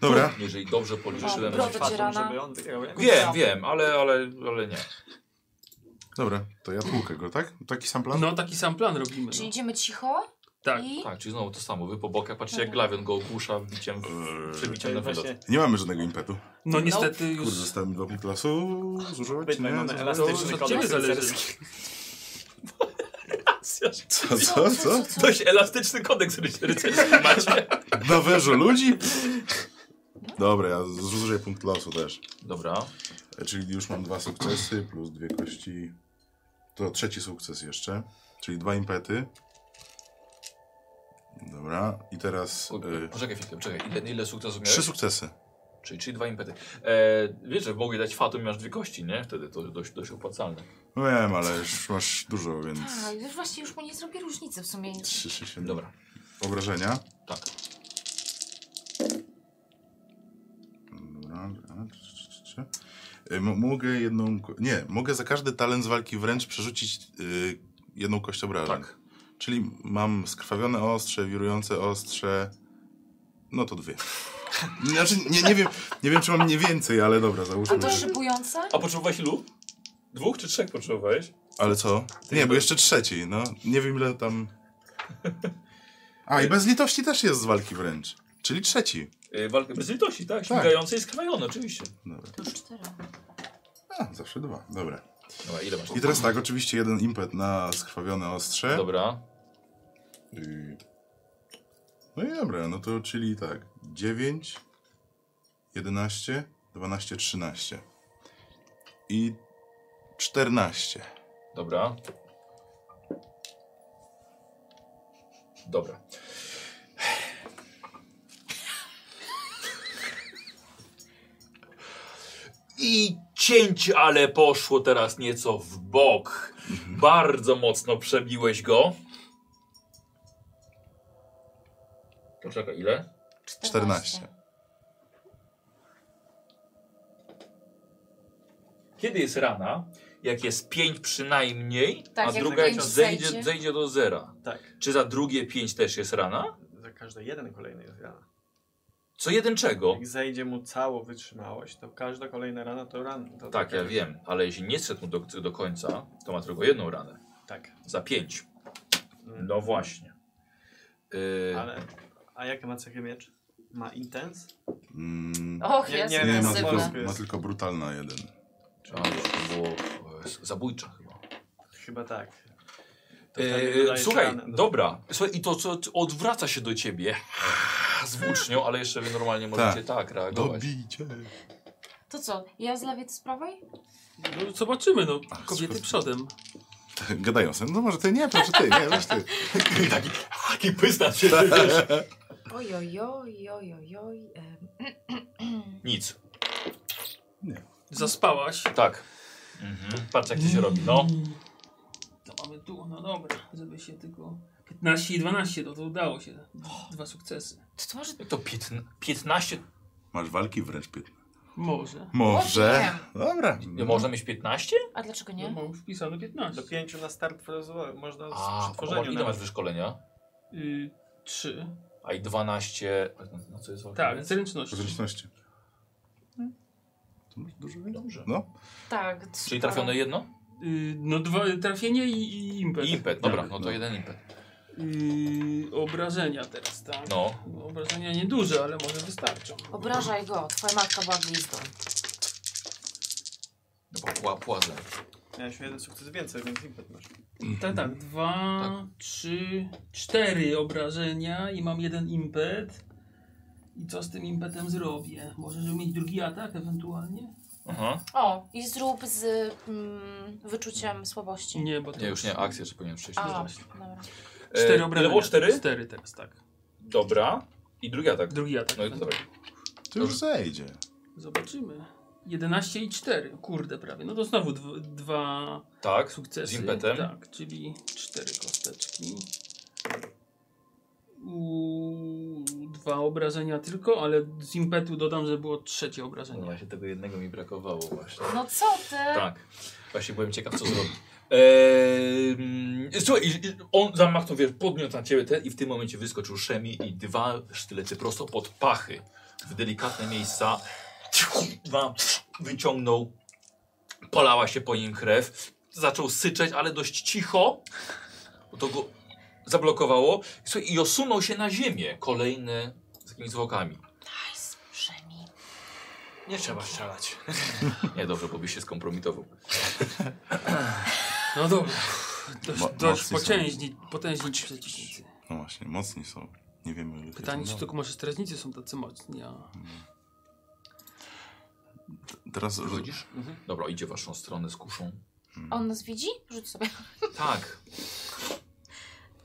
[SPEAKER 2] Dobra.
[SPEAKER 1] Jeżeli dobrze policzyłem.
[SPEAKER 3] Broda
[SPEAKER 6] Fatum,
[SPEAKER 3] dzierana.
[SPEAKER 6] żeby on wygrał, nie?
[SPEAKER 1] Wiem, wiem, ale, ale, ale nie.
[SPEAKER 2] Dobra, to ja tłukę go, tak? Taki sam plan?
[SPEAKER 4] No taki sam plan robimy.
[SPEAKER 3] Czyli
[SPEAKER 4] No.
[SPEAKER 3] idziemy cicho
[SPEAKER 4] Tak.
[SPEAKER 3] i...
[SPEAKER 1] Tak, czyli znowu to samo. Wy po bokach patrzycie, jak Glawion go ogłusza biciem, w- przebiciem
[SPEAKER 6] Czyli
[SPEAKER 1] na wylot.
[SPEAKER 6] No właśnie
[SPEAKER 2] Eee. Nie mamy żadnego impetu.
[SPEAKER 4] No niestety już...
[SPEAKER 2] Kurde, zostały mi dwa punkty losu. Zużyłeś?
[SPEAKER 6] Byt, mamy
[SPEAKER 4] to
[SPEAKER 6] elastyczny
[SPEAKER 4] od
[SPEAKER 6] kodeks
[SPEAKER 4] ciebie zależy.
[SPEAKER 6] rycerski.
[SPEAKER 2] Co, co, co?
[SPEAKER 1] Dość elastyczny kodeks ryc- rycerski macie.
[SPEAKER 2] Na wężu ludzi? Dobra, ja zużyję punkt losu też.
[SPEAKER 1] Dobra.
[SPEAKER 2] E, Czyli już mam dwa sukcesy plus dwie kości. To trzeci sukces jeszcze. Czyli dwa impety. Dobra, i teraz
[SPEAKER 1] O,
[SPEAKER 2] e,
[SPEAKER 1] Poczekaj chwilkę, czekaj. Ile, ile sukcesów
[SPEAKER 2] trzy
[SPEAKER 1] miałeś?
[SPEAKER 2] sukcesy.
[SPEAKER 1] Czyli, czyli dwa impety. E, wiesz, że mogę dać fatum i masz dwie kości, nie? Wtedy to dość, dość opłacalne.
[SPEAKER 2] No wiem, ale już masz dużo, więc
[SPEAKER 3] Tak, już właśnie już mu nie zrobi różnicy w sumie.
[SPEAKER 2] trzy, trzy, siedem.
[SPEAKER 1] Dobra,
[SPEAKER 2] Obrażenia.
[SPEAKER 1] tak.
[SPEAKER 2] Dobra, dobra, trzy, trzy, trzy, trzy. E, mo- Mogę jedną. ko- Nie, mogę za każdy talent z walki wręcz przerzucić y, jedną kość obrażeń.
[SPEAKER 1] Tak.
[SPEAKER 2] Czyli mam skrwawione ostrze, wirujące ostrze. No to dwie. Znaczy, nie, nie, wiem, nie wiem, czy mam nie więcej, ale dobra,
[SPEAKER 3] A
[SPEAKER 2] załóżmy.
[SPEAKER 3] No to
[SPEAKER 2] że-
[SPEAKER 3] szybujące?
[SPEAKER 1] A potrzebowałeś ilu? Dwóch czy trzech potrzebowałeś?
[SPEAKER 2] Ale co? Nie, bo jeszcze trzeci, no. Nie wiem, ile tam. A i bez litości też jest z walki wręcz. Czyli trzeci.
[SPEAKER 1] E, walkę bez litości, tak? Śmigające i skrajone, oczywiście.
[SPEAKER 2] Dobra.
[SPEAKER 3] To już cztery.
[SPEAKER 2] A, zawsze dwa. Dobra.
[SPEAKER 1] Dobra, ile masz?
[SPEAKER 2] I teraz tak, oczywiście jeden impet na skrwawione ostrze.
[SPEAKER 1] Dobra.
[SPEAKER 2] Y, No i dobra, no to czyli tak. 9, 11, 12, 13. I 14.
[SPEAKER 1] Dobra. Dobra. I cięcie, ale poszło teraz nieco w bok. Bardzo mocno przebiłeś go. Poczekaj, ile?
[SPEAKER 2] 14.
[SPEAKER 1] Kiedy jest rana? Jak jest 5 przynajmniej,
[SPEAKER 3] Tak,
[SPEAKER 1] a
[SPEAKER 3] jak
[SPEAKER 1] druga jak
[SPEAKER 6] pięć
[SPEAKER 1] zejdzie,
[SPEAKER 3] zejdzie.
[SPEAKER 1] zejdzie do zera.
[SPEAKER 6] Tak.
[SPEAKER 1] Czy za drugie 5 też jest rana?
[SPEAKER 6] Za każdy jeden kolejny jest rana.
[SPEAKER 1] Co jeden czego?
[SPEAKER 6] Jak zejdzie mu całą wytrzymałość, to każda kolejna rana to ran. To
[SPEAKER 1] Tak, ja wiem, ale jeśli nie zszedł mu do, do końca, to ma tylko jedną ranę.
[SPEAKER 6] Tak.
[SPEAKER 1] Za pięć.
[SPEAKER 6] Mm.
[SPEAKER 1] No właśnie. Yy,
[SPEAKER 6] Ale, a jakie ma cechy miecz? Ma intens?
[SPEAKER 2] Mm,
[SPEAKER 3] Och,
[SPEAKER 6] Nie-
[SPEAKER 3] jest
[SPEAKER 6] nie wiem,
[SPEAKER 2] nie, ma
[SPEAKER 6] masywne.
[SPEAKER 2] tylko,
[SPEAKER 3] intensywne.
[SPEAKER 6] to
[SPEAKER 2] ma tylko brutalna jeden.
[SPEAKER 5] Czy ona już to było e, zabójcze chyba.
[SPEAKER 6] Chyba tak. To wtedy
[SPEAKER 5] E,
[SPEAKER 6] dodajesz
[SPEAKER 5] słuchaj,
[SPEAKER 6] ranę do-
[SPEAKER 5] dobra. Słuchaj, i to co ty- odwraca się do ciebie z włócznią, ale jeszcze wy normalnie możecie tak reagować.
[SPEAKER 2] Dobijcie.
[SPEAKER 3] To co, ja z lewej, ty z prawej?
[SPEAKER 4] No, zobaczymy, no.
[SPEAKER 2] Ach,
[SPEAKER 4] Kobiety
[SPEAKER 2] skurwa.
[SPEAKER 4] przodem.
[SPEAKER 2] Gadają sobie, no może ty nie, proszę ty, nie, weź ty.
[SPEAKER 5] I taki, taki pysta się, ty wiesz.
[SPEAKER 3] Oj, oj, oj, oj, oj, oj. em,
[SPEAKER 5] Nic.
[SPEAKER 4] Zaspałaś.
[SPEAKER 5] Tak. Mhm. Patrz jak to się robi, no.
[SPEAKER 4] To mamy tu, no dobra, żeby się tylko... 15 i 12, no to udało się. Dwa sukcesy.
[SPEAKER 3] To to może...
[SPEAKER 5] Jak to piętn- 15?
[SPEAKER 2] Masz walki wręcz piętna.
[SPEAKER 4] Może.
[SPEAKER 2] Może. Dobra.
[SPEAKER 5] Nie Można mieć 15?
[SPEAKER 3] A dlaczego
[SPEAKER 4] Nie?
[SPEAKER 3] nie?
[SPEAKER 4] No, mam wpisane 15.
[SPEAKER 6] Do pięciu na start rozwoju można z
[SPEAKER 5] A, kurwa,
[SPEAKER 6] przetworzeniu
[SPEAKER 5] ile masz
[SPEAKER 6] nawet.
[SPEAKER 5] wyszkolenia?
[SPEAKER 4] Y, 3.
[SPEAKER 5] A i 12... No co jest walka?
[SPEAKER 4] Tak, zręczność.
[SPEAKER 2] Zręczności. To masz dużo więcej.
[SPEAKER 5] Dobrze.
[SPEAKER 2] No,
[SPEAKER 3] Tak.
[SPEAKER 5] Czyli trafione jedno?
[SPEAKER 4] Y, no dwa, trafienie i, i impet.
[SPEAKER 5] I impet, dobra,
[SPEAKER 2] Tak,
[SPEAKER 5] no to
[SPEAKER 2] no.
[SPEAKER 5] jeden impet.
[SPEAKER 4] Y, obrażenia teraz, tak?
[SPEAKER 5] No.
[SPEAKER 4] Obrażenia nieduże, ale może wystarczą.
[SPEAKER 3] Obrażaj go, twoja matka była gwizdą.
[SPEAKER 5] Dobra, pła, płazę.
[SPEAKER 6] Miałeś jeden sukces więcej, więc impet masz.
[SPEAKER 4] Tak, tak. Dwa, trzy, cztery obrażenia i mam jeden impet. I co z tym impetem zrobię? Może, żeby mieć drugi atak ewentualnie?
[SPEAKER 5] Aha.
[SPEAKER 3] O, i zrób z mm, wyczuciem słabości.
[SPEAKER 4] Nie, bo to
[SPEAKER 5] Nie, już nie, akcję jeszcze powinien przejść.
[SPEAKER 3] A,
[SPEAKER 5] Dobra.
[SPEAKER 3] dobra.
[SPEAKER 5] E,
[SPEAKER 4] Cztery
[SPEAKER 5] ile
[SPEAKER 4] obrażenia.
[SPEAKER 5] było? Cztery?
[SPEAKER 4] Cztery teraz, tak.
[SPEAKER 5] Dobra. I drugi atak.
[SPEAKER 4] Drugi atak.
[SPEAKER 5] No i to dobra.
[SPEAKER 2] to już zejdzie.
[SPEAKER 4] Zobaczymy. 11 i 4. Kurde, prawie. No to znowu dw- dwa
[SPEAKER 5] Tak.
[SPEAKER 4] sukcesy.
[SPEAKER 5] Z impetem.
[SPEAKER 4] Tak, czyli cztery kosteczki. Uuu, dwa obrażenia tylko, ale z impetu dodam, że było trzecie
[SPEAKER 2] No.
[SPEAKER 4] obrażenie.
[SPEAKER 5] się No tego jednego mi brakowało właśnie.
[SPEAKER 3] No co ty?
[SPEAKER 5] Tak. Właśnie byłem ciekaw, co zrobi. Eee, mm, słuchaj, i- i on zamachnął, wiesz, podniósł na ciebie ten i w tym momencie wyskoczył Szemi i dwa sztylety prosto pod pachy. W delikatne miejsca. Dwa wyciągnął. Polała się po nim krew. Zaczął syczeć, ale dość cicho. Bo to go zablokowało. I, słuchaj, I osunął się na ziemię. Kolejne z jakimiś zwłokami.
[SPEAKER 3] Nice, Przemi.
[SPEAKER 6] Nie trzeba strzelać.
[SPEAKER 5] Nie, dobrze, bo byś się skompromitował.
[SPEAKER 4] No dobra. Dość,
[SPEAKER 2] Mo-
[SPEAKER 4] dość
[SPEAKER 2] mocni są.
[SPEAKER 4] potężni, potężni przeciwnicy.
[SPEAKER 2] No właśnie, mocni są. Nie wiemy ile ich
[SPEAKER 4] Pytanie,
[SPEAKER 2] jest.
[SPEAKER 4] czy tylko może strażnicy są tacy mocni, a...
[SPEAKER 2] Teraz
[SPEAKER 5] Wychodzisz? Dobra, idzie w waszą stronę z kuszą.
[SPEAKER 4] Mm.
[SPEAKER 3] On nas widzi? Rzuć sobie.
[SPEAKER 5] Tak.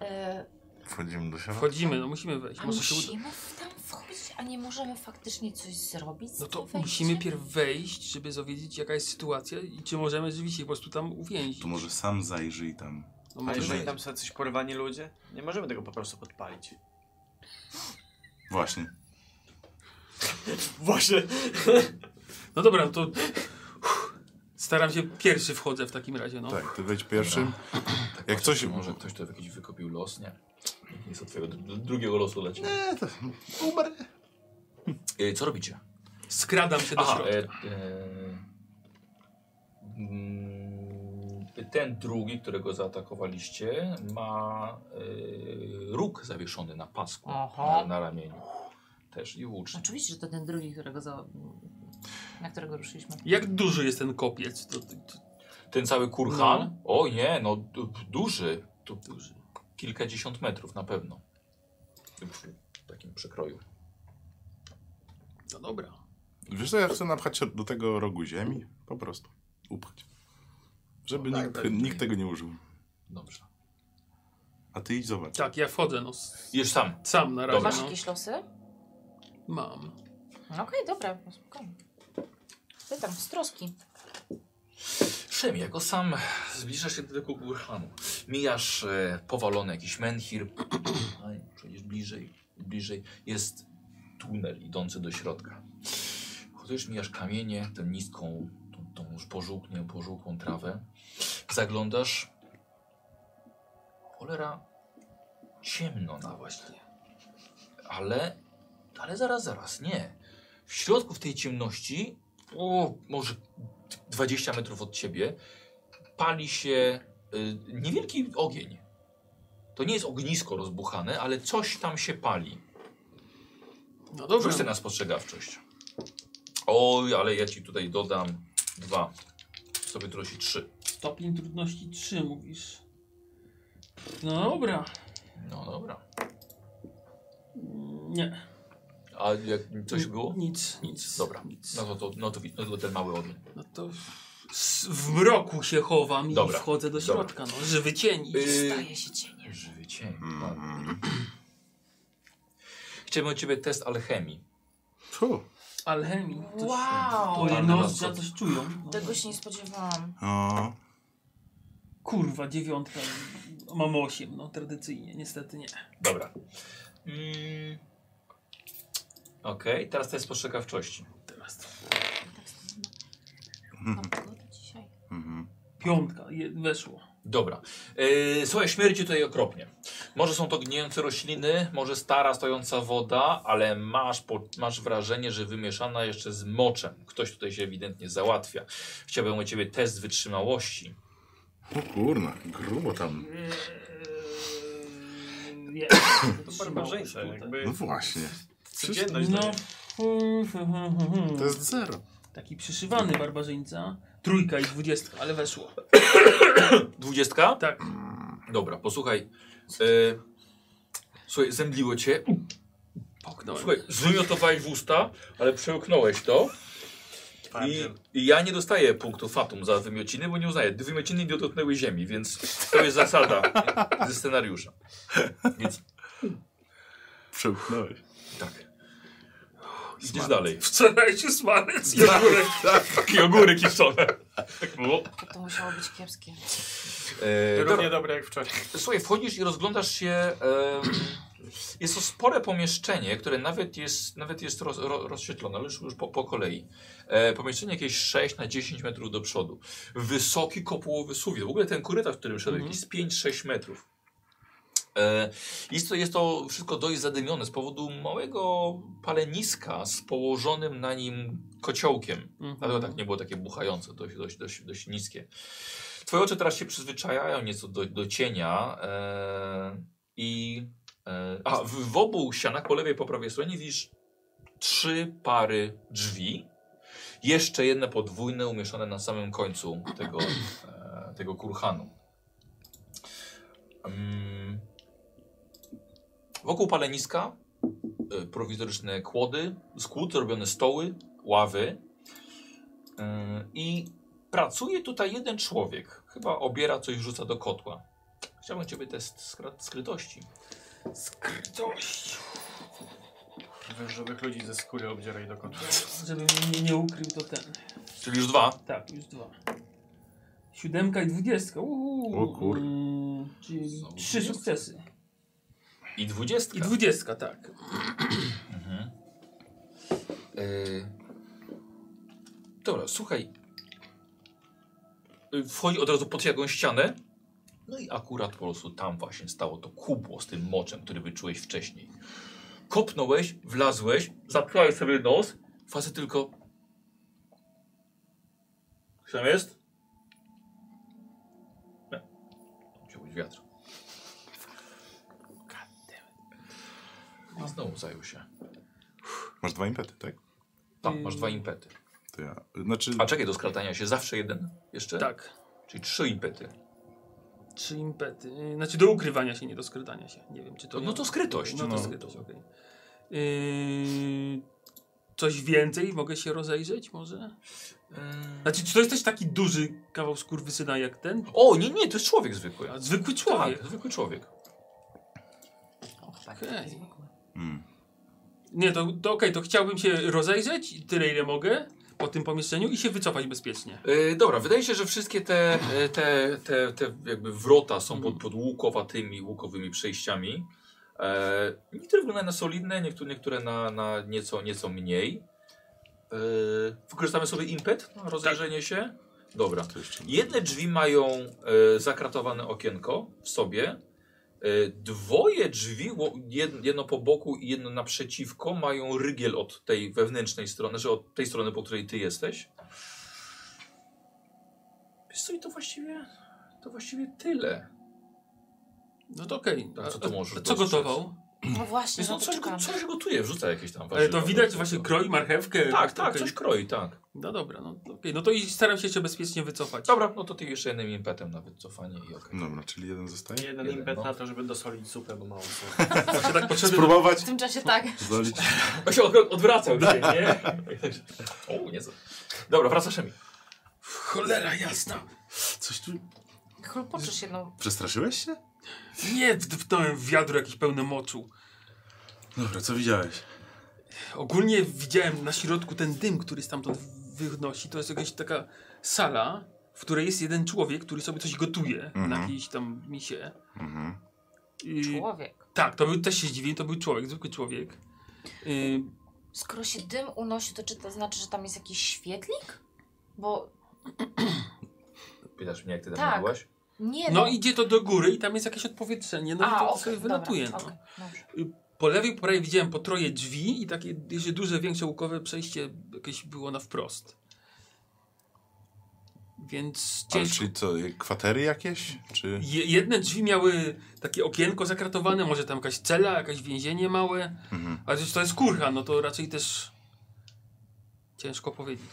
[SPEAKER 3] E,
[SPEAKER 2] wchodzimy do środka.
[SPEAKER 4] Wchodzimy, no musimy wejść.
[SPEAKER 3] a
[SPEAKER 4] Może się uda...
[SPEAKER 3] musimy w- tam wchodzić, a nie możemy faktycznie coś zrobić? z
[SPEAKER 4] No to
[SPEAKER 3] tym wejściem?
[SPEAKER 4] musimy pierw wejść, żeby dowiedzieć jaka jest sytuacja i czy możemy rzeczywiście ich po prostu tam uwięzić.
[SPEAKER 2] To może sam zajrzyj tam.
[SPEAKER 4] No
[SPEAKER 6] A
[SPEAKER 4] może
[SPEAKER 6] jeżeli
[SPEAKER 2] nie.
[SPEAKER 6] tam są jacyś porwani ludzie? Nie możemy tego po prostu podpalić.
[SPEAKER 2] Właśnie.
[SPEAKER 6] Właśnie.
[SPEAKER 4] No dobra, no to uff, staram się pierwszy wchodzę w takim razie, no.
[SPEAKER 2] Tak, ty wejdź pierwszym.
[SPEAKER 5] tak
[SPEAKER 2] Jak
[SPEAKER 5] patrzę,
[SPEAKER 2] coś-
[SPEAKER 5] czy Może ktoś to jakiś wykopił los, nie? Nie jest od twojego dru- drugiego losu leci.
[SPEAKER 2] Nie, to umarł.
[SPEAKER 5] E, co robicie?
[SPEAKER 4] Skradam się do
[SPEAKER 5] Aha,
[SPEAKER 4] środka.
[SPEAKER 5] e, e, mm, ten drugi, którego zaatakowaliście, ma e, róg zawieszony na pasku,
[SPEAKER 3] Aha.
[SPEAKER 5] na, na ramieniu. Też i włócznie.
[SPEAKER 3] No, Oczywiście, że to ten drugi, którego za... na którego ruszyliśmy.
[SPEAKER 4] Jak duży jest ten kopiec? To, to, to
[SPEAKER 5] Ten cały kurhan? O nie, no du- duży. To
[SPEAKER 4] duży.
[SPEAKER 5] kilkadziesiąt metrów na pewno. W takim przekroju.
[SPEAKER 4] No dobra.
[SPEAKER 2] Wiesz co, ja chcę napchać do tego rogu ziemi. Po prostu. Upchać. Żeby
[SPEAKER 5] No
[SPEAKER 2] nikt,
[SPEAKER 5] tak,
[SPEAKER 2] nikt tego nie użył.
[SPEAKER 5] Dobrze.
[SPEAKER 2] A ty idź zobacz.
[SPEAKER 4] Tak, ja wchodzę, no. s-
[SPEAKER 5] Już sam.
[SPEAKER 4] Sam na
[SPEAKER 5] Dobra.
[SPEAKER 3] Masz
[SPEAKER 4] razie, no.
[SPEAKER 3] jakieś losy?
[SPEAKER 4] Mam.
[SPEAKER 3] No okej, dobra, no spokojnie. Pytam, z troski.
[SPEAKER 5] Szemi, jako sam zbliżasz się do tego burhanu. Mijasz e, powalony jakiś menhir. Aj, Przejdziesz bliżej, bliżej. Jest tunel idący do środka. Chodzisz, mijasz kamienie, tę niską, tą, tą już pożółknię, pożółkłą trawę. Zaglądasz. Cholera. Ciemno
[SPEAKER 4] No
[SPEAKER 5] nawet.
[SPEAKER 4] właśnie.
[SPEAKER 5] Ale, ale zaraz, zaraz, nie. W środku w tej ciemności, o, może 20 metrów od ciebie, pali się y, niewielki ogień. To nie jest ognisko rozbuchane, ale coś tam się pali.
[SPEAKER 4] No
[SPEAKER 1] Rzuć sobie na spostrzegawczość. Oj, ale ja ci tutaj dodam dwa. Sobie trosi trzy.
[SPEAKER 4] Stopień trudności 3 mówisz. No dobra.
[SPEAKER 1] No dobra.
[SPEAKER 4] Mm, Nie.
[SPEAKER 1] A jak coś było?
[SPEAKER 4] Nic, nic.
[SPEAKER 1] Dobra.
[SPEAKER 4] Nic.
[SPEAKER 1] No to, to, no to, no to ten mały ogień.
[SPEAKER 4] No to w- s- w mroku się chowam i
[SPEAKER 1] Dobra.
[SPEAKER 4] wchodzę do
[SPEAKER 1] Dobra. Y-
[SPEAKER 4] środka. No, żywy cień.
[SPEAKER 3] Staje się cieniem.
[SPEAKER 1] Żywy cień.
[SPEAKER 2] Mm.
[SPEAKER 1] Chciałbym od ciebie test alchemii.
[SPEAKER 2] Fu.
[SPEAKER 4] Alchemii.
[SPEAKER 3] Wow!
[SPEAKER 4] To
[SPEAKER 1] Totalny
[SPEAKER 4] jednostki
[SPEAKER 1] rozkład.
[SPEAKER 4] coś czują. No.
[SPEAKER 3] Tego się nie spodziewałam.
[SPEAKER 2] O,
[SPEAKER 4] Kurwa, dziewiątka. Mam osiem, no tradycyjnie, niestety nie.
[SPEAKER 1] Dobra. Mm. Okej, teraz test spostrzegawczości.
[SPEAKER 4] Teraz to.
[SPEAKER 3] Tak sobie mam-
[SPEAKER 4] Hmm.
[SPEAKER 3] mam pogodę No, dzisiaj.
[SPEAKER 2] mhm.
[SPEAKER 4] Piątka, je, weszło.
[SPEAKER 1] Dobra. Yy, słuchaj, śmierdzi tutaj okropnie. Może są to gnijące rośliny, może stara stojąca woda, ale masz, po, masz wrażenie, że wymieszana jeszcze z moczem. Ktoś tutaj się ewidentnie załatwia. Chciałbym u ciebie test wytrzymałości.
[SPEAKER 2] O kurna, grubo tam.
[SPEAKER 4] Nie.
[SPEAKER 6] To barbarzyńca,
[SPEAKER 4] tak.
[SPEAKER 6] jakby
[SPEAKER 2] No właśnie.
[SPEAKER 6] codzienność
[SPEAKER 4] No.
[SPEAKER 6] no.
[SPEAKER 2] To jest zero.
[SPEAKER 4] Taki przyszywany barbarzyńca. Trójka i dwudziestka, ale weszło.
[SPEAKER 1] Dwudziestka?
[SPEAKER 4] Tak.
[SPEAKER 1] Dobra, posłuchaj. Yy, słuchaj, zemdliło cię.
[SPEAKER 4] Poknąłem.
[SPEAKER 1] Słuchaj, zwymiotowałeś w usta, ale przełknąłeś to. I, I ja nie dostaję punktu fatum za wymiociny, bo nie uznaję. Wymiociny nie dotknęły ziemi, więc to jest zasada ze scenariusza. Więc
[SPEAKER 2] Przełknąłeś.
[SPEAKER 1] tak. Idziesz dalej. Tak.
[SPEAKER 4] Wczoraj się smalec i
[SPEAKER 1] Takie ogóry kiszone. Tak było.
[SPEAKER 3] To, to musiało być kiepskie.
[SPEAKER 1] E,
[SPEAKER 6] Równie dobre jak wczoraj.
[SPEAKER 1] Słuchaj, wchodzisz i rozglądasz się. em, jest to spore pomieszczenie, które nawet jest, nawet jest roz, ro, rozświetlone, ale już, już po, po kolei. E, pomieszczenie jakieś 6 na 10 metrów do przodu. Wysoki kopułowy suwit. W ogóle ten korytarz, w którym szedłeś,
[SPEAKER 4] Mhm.
[SPEAKER 1] jest 5-6 metrów. E, jest, to, jest to wszystko dość zadymione z powodu małego paleniska z położonym na nim kociołkiem.
[SPEAKER 4] Mhm.
[SPEAKER 1] Dlatego tak nie było takie buchające, dość, dość, dość, dość niskie. Twoje oczy teraz się przyzwyczajają nieco do, do cienia e, i e, a w, w obu ścianach, po lewej i po prawej stronie widzisz trzy pary drzwi. Jeszcze jedne podwójne umieszczone na samym końcu tego, e, tego kurhanu. Mm. Wokół paleniska e, prowizoryczne kłody, z kłód robione stoły, ławy. Yy, I pracuje tutaj jeden człowiek. Chyba obiera coś, rzuca do kotła. Chciałbym ciebie test skra- skrytości.
[SPEAKER 4] Skrytość.
[SPEAKER 6] Wężowych ludzi ze skóry obdzieraj do kąta.
[SPEAKER 4] Żeby mnie nie ukrył, to ten.
[SPEAKER 1] Czyli już dwa.
[SPEAKER 4] Tak, już dwa. Siódemka i dwudziestka. Uhu.
[SPEAKER 2] O kur-
[SPEAKER 4] Mm, Czyli
[SPEAKER 1] Są
[SPEAKER 4] trzy
[SPEAKER 1] dwudziestki?
[SPEAKER 4] sukcesy.
[SPEAKER 1] I dwudziestka.
[SPEAKER 4] I dwudziestka, tak.
[SPEAKER 1] Mhm. Yy, Dobra, słuchaj. Yy, Wchodzi od razu pod jakąś ścianę. No i akurat po prostu tam właśnie stało to kubło z tym moczem, który wyczułeś wcześniej. Kopnąłeś, wlazłeś, zapchałeś sobie nos. Facet tylko... Ktoś tam jest? Nie. Musiał być wiatr. I znowu zajął się.
[SPEAKER 2] Masz dwa impety, tak?
[SPEAKER 1] Tak, masz dwa impety.
[SPEAKER 2] To ja. Znaczy.
[SPEAKER 1] A czekaj, do skratania się zawsze jeden jeszcze?
[SPEAKER 4] Tak.
[SPEAKER 1] Czyli trzy impety.
[SPEAKER 4] Trzy impety. Yy, Znaczy do ukrywania się, nie do skrytania się. Nie wiem, czy to.
[SPEAKER 1] No to skrytość,
[SPEAKER 4] No to
[SPEAKER 2] no.
[SPEAKER 4] skrytość, okej. Yy, coś więcej mogę się rozejrzeć, może? Znaczy, czy to jest też taki duży kawał skurwysyna jak ten?
[SPEAKER 1] O, nie, nie, to jest człowiek zwykły.
[SPEAKER 4] A zwykły człowiek.
[SPEAKER 1] Tak, zwykły człowiek.
[SPEAKER 3] O, chyba
[SPEAKER 4] Okej.
[SPEAKER 3] nie okay.
[SPEAKER 2] Mm.
[SPEAKER 4] Nie, to, to okej, to chciałbym się rozejrzeć, tyle ile mogę, po tym pomieszczeniu i się wycofać bezpiecznie.
[SPEAKER 1] E, dobra, wydaje się, że wszystkie te, e, te, te, te jakby wrota są pod, pod łukowatymi, łukowymi przejściami. E, niektóre wyglądają na solidne, niektóre, niektóre na, na nieco, nieco mniej. E, wykorzystamy sobie impet na rozejrzenie się. Dobra.
[SPEAKER 2] To jeszcze.
[SPEAKER 1] Jedne drzwi mają e, zakratowane okienko w sobie. E, dwoje drzwi, ło- jed, jedno po boku i jedno naprzeciwko, mają rygiel od tej wewnętrznej strony, że od tej strony, po której ty jesteś. Wiesz co, i to właściwie, to właściwie tyle.
[SPEAKER 4] No to okej.
[SPEAKER 1] A co
[SPEAKER 4] A-
[SPEAKER 1] tu
[SPEAKER 4] a-
[SPEAKER 1] możesz
[SPEAKER 4] a Co
[SPEAKER 1] dostrzec?
[SPEAKER 4] gotował?
[SPEAKER 3] No właśnie,
[SPEAKER 1] Wiesz,
[SPEAKER 3] no
[SPEAKER 1] on
[SPEAKER 3] to
[SPEAKER 1] coś, go,
[SPEAKER 3] czekam.
[SPEAKER 1] coś gotuje, wrzuca jakieś tam
[SPEAKER 4] Ale to
[SPEAKER 1] warzywa.
[SPEAKER 4] widać właśnie kroi marchewkę.
[SPEAKER 1] Tak, tak,
[SPEAKER 4] Okej.
[SPEAKER 1] coś kroi, tak.
[SPEAKER 4] No dobra, no okej, no to i staram się jeszcze bezpiecznie wycofać.
[SPEAKER 1] Dobra, no to ty jeszcze jednym impetem na wycofanie i okej.
[SPEAKER 2] Dobra, czyli jeden zostaje?
[SPEAKER 6] Jeden
[SPEAKER 1] Jeden,
[SPEAKER 6] impet
[SPEAKER 1] no.
[SPEAKER 6] na to, żeby dosolić supę, bo mało są.
[SPEAKER 4] Właśnie tak poszedłem.
[SPEAKER 2] Spróbować
[SPEAKER 3] W tym czasie tak.
[SPEAKER 2] zalić.
[SPEAKER 1] On się od- odwracał dzisiaj, nie? O, nie za- Dobra, wracasz mi.
[SPEAKER 4] Cholera jasna.
[SPEAKER 2] Coś tu...
[SPEAKER 3] Chlupoczysz się, no.
[SPEAKER 2] Przestraszyłeś się?
[SPEAKER 4] Nie, wdepnąłem w wiadro jakieś pełne moczu.
[SPEAKER 2] Dobra, co widziałeś?
[SPEAKER 4] Ogólnie widziałem na środku ten dym, który stamtąd wynosi. To jest jakaś taka sala, w której jest jeden człowiek, który sobie coś gotuje na
[SPEAKER 2] Mhm.
[SPEAKER 4] jakiejś tam misie.
[SPEAKER 2] Mhm.
[SPEAKER 4] I-
[SPEAKER 3] Człowiek.
[SPEAKER 4] Tak, to był, też się zdziwiłem, to był człowiek, zwykły człowiek. Y,
[SPEAKER 3] Skoro się dym unosi, to czy to znaczy, że tam jest jakiś świetlik? Bo
[SPEAKER 1] Pytasz mnie, jak ty tam
[SPEAKER 3] Tak.
[SPEAKER 1] byłaś?
[SPEAKER 3] nie
[SPEAKER 4] no idzie to do góry i tam jest jakieś odpowietrzenie, no i
[SPEAKER 3] A,
[SPEAKER 4] to
[SPEAKER 3] okej,
[SPEAKER 4] sobie
[SPEAKER 3] dobra,
[SPEAKER 4] wylatuje. No.
[SPEAKER 3] okej, dobrze.
[SPEAKER 4] Po lewej po prawej widziałem po troje drzwi i takie jeszcze duże, większe łukowe przejście jakieś było na wprost. Więc
[SPEAKER 2] Ale
[SPEAKER 4] ciężko.
[SPEAKER 2] czyli co, kwatery jakieś? Czy...
[SPEAKER 4] Je, jedne drzwi miały takie okienko zakratowane, może tam jakaś cela, jakieś więzienie małe,
[SPEAKER 2] Mhm.
[SPEAKER 4] ale przecież to jest kurha, no to raczej też ciężko powiedzieć.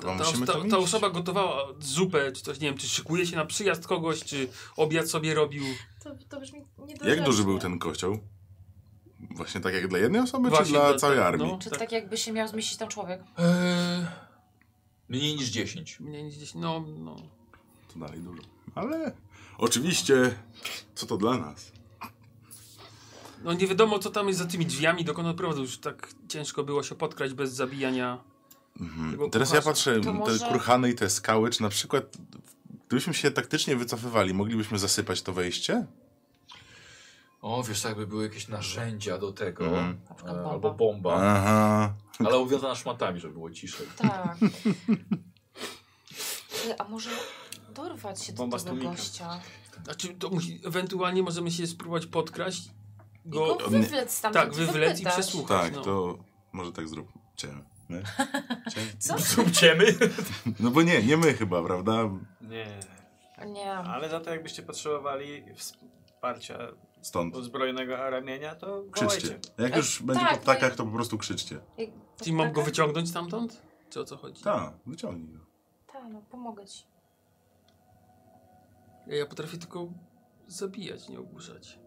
[SPEAKER 2] Chyba
[SPEAKER 4] Ta,
[SPEAKER 2] musimy
[SPEAKER 4] ta,
[SPEAKER 2] tam
[SPEAKER 4] ta
[SPEAKER 2] iść.
[SPEAKER 4] osoba gotowała zupę, czy coś, nie wiem, czy szykuje się na przyjazd kogoś, czy obiad sobie robił.
[SPEAKER 2] Znaczy,
[SPEAKER 3] To, to brzmi niedozornie.
[SPEAKER 2] Jak duży był ten kocioł? Właśnie tak jak dla jednej osoby, czy
[SPEAKER 4] Właśnie
[SPEAKER 2] dla
[SPEAKER 4] dla-
[SPEAKER 2] całej
[SPEAKER 4] no.
[SPEAKER 2] armii?
[SPEAKER 3] Czy
[SPEAKER 4] Tak.
[SPEAKER 3] tak jakby się miał zmieścić tam człowiek?
[SPEAKER 1] Eee, mniej niż 10.
[SPEAKER 4] Mnie gdzieś, no, no.
[SPEAKER 2] To dalej dużo. Ale oczywiście, co to dla nas?
[SPEAKER 4] No nie wiadomo, co tam jest za tymi drzwiami, dokąd odprowadzą. Już tak ciężko było się podkrać bez zabijania. Tego
[SPEAKER 2] Mhm. Teraz ja
[SPEAKER 4] kucharza.
[SPEAKER 2] patrzę,
[SPEAKER 3] To może-
[SPEAKER 2] te kurhany i te skały, czy na przykład gdybyśmy się taktycznie wycofywali, moglibyśmy zasypać to wejście?
[SPEAKER 1] O, wiesz, tak by były jakieś narzędzia do tego.
[SPEAKER 2] Mhm.
[SPEAKER 3] Na przykład
[SPEAKER 1] E,
[SPEAKER 3] bomba.
[SPEAKER 1] albo bomba.
[SPEAKER 2] Aha.
[SPEAKER 1] Ale obwiązana szmatami, żeby było ciszej.
[SPEAKER 3] Tak. Ty, A może dorwać się do
[SPEAKER 6] Bomba
[SPEAKER 3] tego
[SPEAKER 6] atomika.
[SPEAKER 3] gościa?
[SPEAKER 4] Znaczy, to musi, ewentualnie możemy się spróbować podkraść.
[SPEAKER 3] I go
[SPEAKER 4] Go,
[SPEAKER 3] wywlec stamtąd
[SPEAKER 4] tak, wywlec i
[SPEAKER 3] wypytać.
[SPEAKER 4] przesłuchać.
[SPEAKER 2] Tak,
[SPEAKER 4] no.
[SPEAKER 2] to może tak zróbcie. My? Cie-
[SPEAKER 3] Co?
[SPEAKER 1] Zróbciemy.
[SPEAKER 2] No bo nie, nie my chyba, prawda?
[SPEAKER 6] Nie.
[SPEAKER 3] Nie.
[SPEAKER 6] Ale za to jakbyście potrzebowali wsparcia
[SPEAKER 2] Stąd.
[SPEAKER 6] uzbrojonego ramienia, to
[SPEAKER 2] Krzyczcie.
[SPEAKER 6] wołajcie.
[SPEAKER 2] Jak już będzie
[SPEAKER 3] tak,
[SPEAKER 2] po ptakach, to po prostu krzyczcie.
[SPEAKER 3] Jak-
[SPEAKER 4] Czyli mam go
[SPEAKER 3] taka-
[SPEAKER 4] wyciągnąć stamtąd? Czy o co chodzi?
[SPEAKER 2] Tak, wyciągnij go.
[SPEAKER 3] Tak, no pomogę ci.
[SPEAKER 4] Ja, ja potrafię tylko zabijać, nie ogłuszać.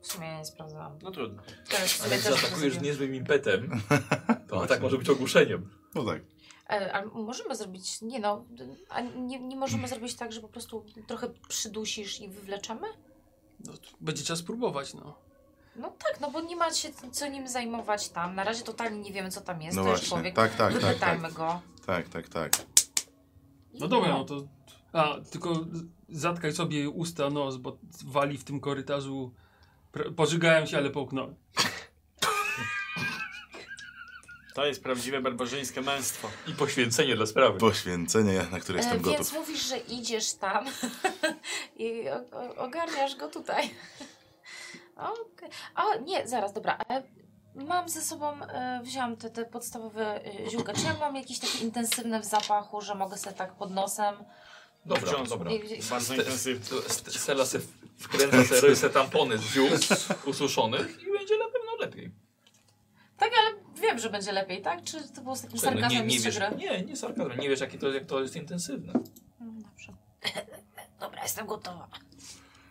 [SPEAKER 3] W sumie ja nie sprawdzałam.
[SPEAKER 6] No trudno.
[SPEAKER 4] Tak,
[SPEAKER 3] Też,
[SPEAKER 1] Ale
[SPEAKER 3] sobie
[SPEAKER 1] jak
[SPEAKER 3] też
[SPEAKER 1] zaatakujesz niezłym impetem, to atak może być ogłuszeniem.
[SPEAKER 2] No tak.
[SPEAKER 3] E, Ale możemy zrobić, nie no, a nie, nie
[SPEAKER 2] Hmm.
[SPEAKER 3] możemy zrobić tak, że po prostu trochę przydusisz i wywleczemy?
[SPEAKER 4] No, to będzie trzeba spróbować, no.
[SPEAKER 3] No tak, no bo nie ma się co nim zajmować tam. Na razie totalnie nie wiemy, co tam jest.
[SPEAKER 2] No
[SPEAKER 3] to jest
[SPEAKER 2] właśnie.
[SPEAKER 3] człowiek.
[SPEAKER 2] Tak, tak, tak,
[SPEAKER 3] Wypytajmy
[SPEAKER 2] tak.
[SPEAKER 3] go.
[SPEAKER 2] Tak, tak, tak.
[SPEAKER 3] I
[SPEAKER 4] No dobra, no to... A, tylko zatkaj sobie usta, nos, bo wali w tym korytarzu. Pr- Pożygałem się, ale połknąłem.
[SPEAKER 6] To jest prawdziwe barbarzyńskie męstwo.
[SPEAKER 1] I poświęcenie dla sprawy.
[SPEAKER 2] Poświęcenie, na które jestem
[SPEAKER 3] E,
[SPEAKER 2] gotów.
[SPEAKER 3] Więc mówisz, że idziesz tam i o- o- ogarniasz go tutaj. Okej. O, nie, zaraz, dobra. E, Mam ze sobą, e, wziąłam te, te podstawowe e, ziółka. Czy ja mam jakieś takie intensywne w zapachu, że mogę sobie tak pod nosem?
[SPEAKER 1] Dobra,
[SPEAKER 6] Wciąż.
[SPEAKER 1] dobra.
[SPEAKER 3] I- i-
[SPEAKER 6] Bardzo intensywny.
[SPEAKER 1] St- st- Stella se wkręca se, robi se tampony z ziół ususzonych i będzie na pewno lepiej.
[SPEAKER 3] Tak, ale wiem, że będzie lepiej, tak? Czy to było z takim
[SPEAKER 1] No, nie,
[SPEAKER 3] sarkazmem
[SPEAKER 1] nie
[SPEAKER 3] i
[SPEAKER 1] wiesz,
[SPEAKER 3] gry?
[SPEAKER 1] nie, nie sarkazm. Nie wiesz, jakie to, jak to jest intensywne.
[SPEAKER 3] Mm, Dobrze. Dobra, jestem gotowa.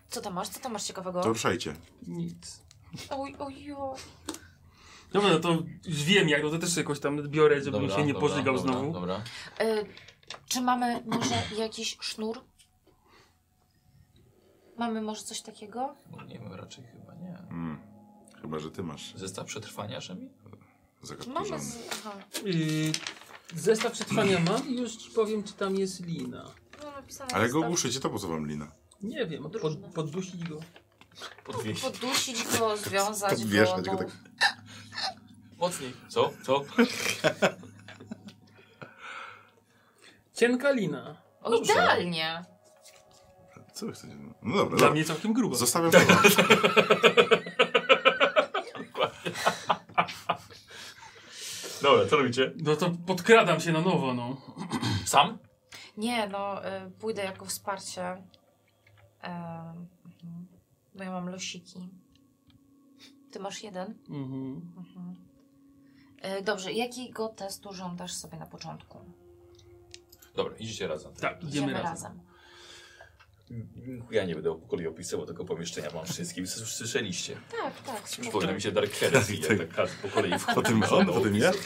[SPEAKER 3] Co tam masz? Co tam masz ciekawego?
[SPEAKER 2] To ruszajcie.
[SPEAKER 4] Nic.
[SPEAKER 3] Oj, oj, oj.
[SPEAKER 4] Dobra, no to już wiem jak, no to też jakoś tam biorę, żebym
[SPEAKER 1] Dobra,
[SPEAKER 4] się nie
[SPEAKER 1] dobra,
[SPEAKER 4] pożygał
[SPEAKER 1] dobra,
[SPEAKER 4] znowu.
[SPEAKER 1] Dobra.
[SPEAKER 3] Y, czy mamy może jakiś sznur? Mamy może coś takiego?
[SPEAKER 1] No, nie wiem, raczej chyba nie.
[SPEAKER 2] Mm. Chyba, że ty masz
[SPEAKER 1] Zestaw przetrwania, Szemi?
[SPEAKER 3] Mamy
[SPEAKER 2] zagadkowy.
[SPEAKER 3] z... Aha.
[SPEAKER 4] Yy, zestaw przetrwania mam i już ci powiem, czy tam jest lina.
[SPEAKER 3] No, napisane
[SPEAKER 2] Ale jak
[SPEAKER 3] jest
[SPEAKER 2] go
[SPEAKER 3] tak.
[SPEAKER 2] ogłuszycie, to po co wam lina?
[SPEAKER 4] Nie wiem, pod,
[SPEAKER 3] Różne.
[SPEAKER 4] poddusić go.
[SPEAKER 1] Podwieźć.
[SPEAKER 3] Podusić go, związać
[SPEAKER 2] Podwieszać
[SPEAKER 3] go.
[SPEAKER 2] go
[SPEAKER 3] no.
[SPEAKER 2] tak.
[SPEAKER 1] Mocniej. Co? Co?
[SPEAKER 4] Cienka lina.
[SPEAKER 3] O, idealnie.
[SPEAKER 2] Co wy chcecie? No dobra,
[SPEAKER 4] Dla
[SPEAKER 2] dobra.
[SPEAKER 4] mnie Tak. całkiem gruba.
[SPEAKER 2] Zostawiam to wam.
[SPEAKER 1] Dobra, co robicie?
[SPEAKER 4] No to podkradam się na nowo, no.
[SPEAKER 1] Sam?
[SPEAKER 3] Nie, no, y, pójdę jako wsparcie. Y, Em, mhm. Bo ja mam losiki. Ty masz jeden?
[SPEAKER 4] Mhm.
[SPEAKER 3] Mhm. E, Dobrze, jakiego testu żądasz sobie na początku?
[SPEAKER 1] Dobra, idziecie razem.
[SPEAKER 4] Tak, idziemy razem.
[SPEAKER 1] Ja nie będę po kolei opisywał tego pomieszczenia, mam wszystkim. S- Słyszeliście.
[SPEAKER 3] Tak, tak. spoko.
[SPEAKER 1] Przypomina mi się Dark Heresy,
[SPEAKER 2] Tak.
[SPEAKER 1] jak tak każdy po kolei wchodzi.
[SPEAKER 2] Potem on, potem ja.
[SPEAKER 1] Ehm,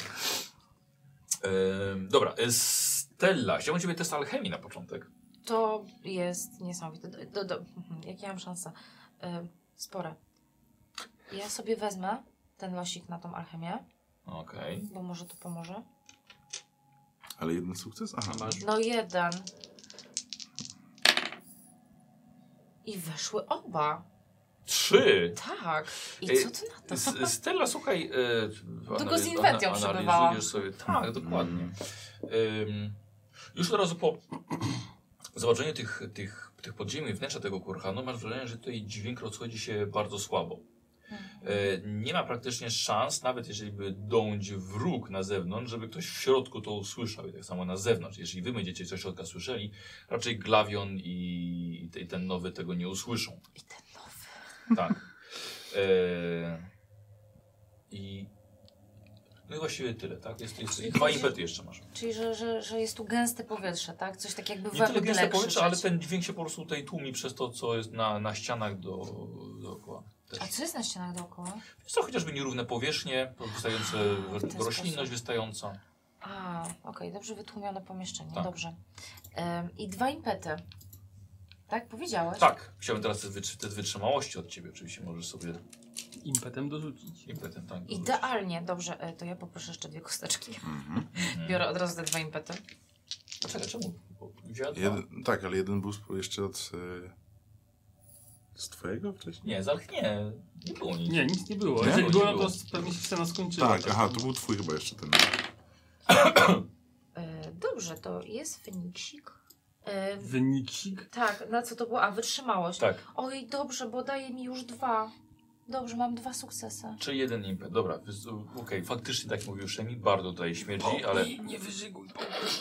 [SPEAKER 1] dobra, e, Stella, chciałbym ciebie test alchemii na początek.
[SPEAKER 3] To jest niesamowite. Do, do, do, mhm, jak ja mam szansę? E, Spore. Ja sobie wezmę ten losik na tą alchemię,
[SPEAKER 1] Okej.
[SPEAKER 3] bo może to pomoże.
[SPEAKER 2] Ale jeden sukces? Aha.
[SPEAKER 6] Masz
[SPEAKER 3] No jeden. I weszły oba.
[SPEAKER 1] Trzy!
[SPEAKER 3] Tak. I
[SPEAKER 1] Ej,
[SPEAKER 3] co ty na to?
[SPEAKER 1] S- Stella, słuchaj... E,
[SPEAKER 3] Tylko z
[SPEAKER 1] analiz-
[SPEAKER 3] inwentją
[SPEAKER 1] ana-
[SPEAKER 3] przebywała.
[SPEAKER 1] analizujesz sobie. Tak, dokładnie. Ym, już od razu po zobaczeniu tych, tych, tych podziemi wnętrza tego kurhanu masz wrażenie, że tutaj dźwięk rozchodzi się bardzo słabo. E, nie ma praktycznie szans, nawet jeżeli by dąć wróg na zewnątrz, żeby ktoś w środku to usłyszał i tak samo na zewnątrz. Jeżeli wy będziecie coś środka słyszeli, raczej Glawion i, i ten nowy tego nie usłyszą.
[SPEAKER 3] I ten nowy.
[SPEAKER 1] Tak. E, I... No i właściwie tyle, tak? Jest, jest, I dwa impety jeszcze masz.
[SPEAKER 3] Czyli, że, że, że jest tu gęste powietrze, tak? Coś tak jakby
[SPEAKER 1] Nie tyle
[SPEAKER 3] we
[SPEAKER 1] gęste
[SPEAKER 3] mgle
[SPEAKER 1] powietrze, ale
[SPEAKER 3] krzyczeć.
[SPEAKER 1] ten dźwięk się po prostu tutaj tłumi przez to, co jest na, na ścianach do, dookoła. Też.
[SPEAKER 3] A co jest na ścianach dookoła?
[SPEAKER 1] Jest to chociażby nierówne powierzchnie, wystające
[SPEAKER 3] W ten sposób.
[SPEAKER 1] roślinność wystająca.
[SPEAKER 3] A, okej, dobrze wytłumione pomieszczenie,
[SPEAKER 1] Tak.
[SPEAKER 3] dobrze. Ym, I dwa impety. Tak powiedziałeś?
[SPEAKER 1] Tak, chciałbym teraz te, wytrzy- te wytrzymałości od ciebie, oczywiście możesz sobie
[SPEAKER 4] Impetem dorzucić.
[SPEAKER 1] impetem tak. dorzucić.
[SPEAKER 3] Idealnie, dobrze. e, To ja poproszę jeszcze dwie kosteczki.
[SPEAKER 2] Mhm.
[SPEAKER 1] Mhm.
[SPEAKER 3] Biorę od razu te dwa impety.
[SPEAKER 1] Czekaj, czemu? Bo Wzięła dwa.
[SPEAKER 2] Jeden, tak, ale jeden był sp- jeszcze od... e, Z twojego wcześniej?
[SPEAKER 1] Nie, zarch nie, nie było nic.
[SPEAKER 4] Nie, nic nie było.
[SPEAKER 1] Nie?
[SPEAKER 4] Jeżeli
[SPEAKER 1] Nie
[SPEAKER 4] było, no
[SPEAKER 1] było.
[SPEAKER 4] to s- pewnie się scena skończyła.
[SPEAKER 2] Tak, aha, to był twój chyba jeszcze ten.
[SPEAKER 3] E, Dobrze, to jest Feniksik. E,
[SPEAKER 4] Wyniksik.
[SPEAKER 3] tak, na co to było? A, wytrzymałość.
[SPEAKER 1] Tak,
[SPEAKER 3] Oj, dobrze, bo daje mi już dwa. Dobrze, mam dwa sukcesy.
[SPEAKER 1] czy jeden impet. Dobra, wys- okej, faktycznie tak mówił Szemi, bardzo tutaj śmierdzi, ale
[SPEAKER 4] Nie wyżyguj.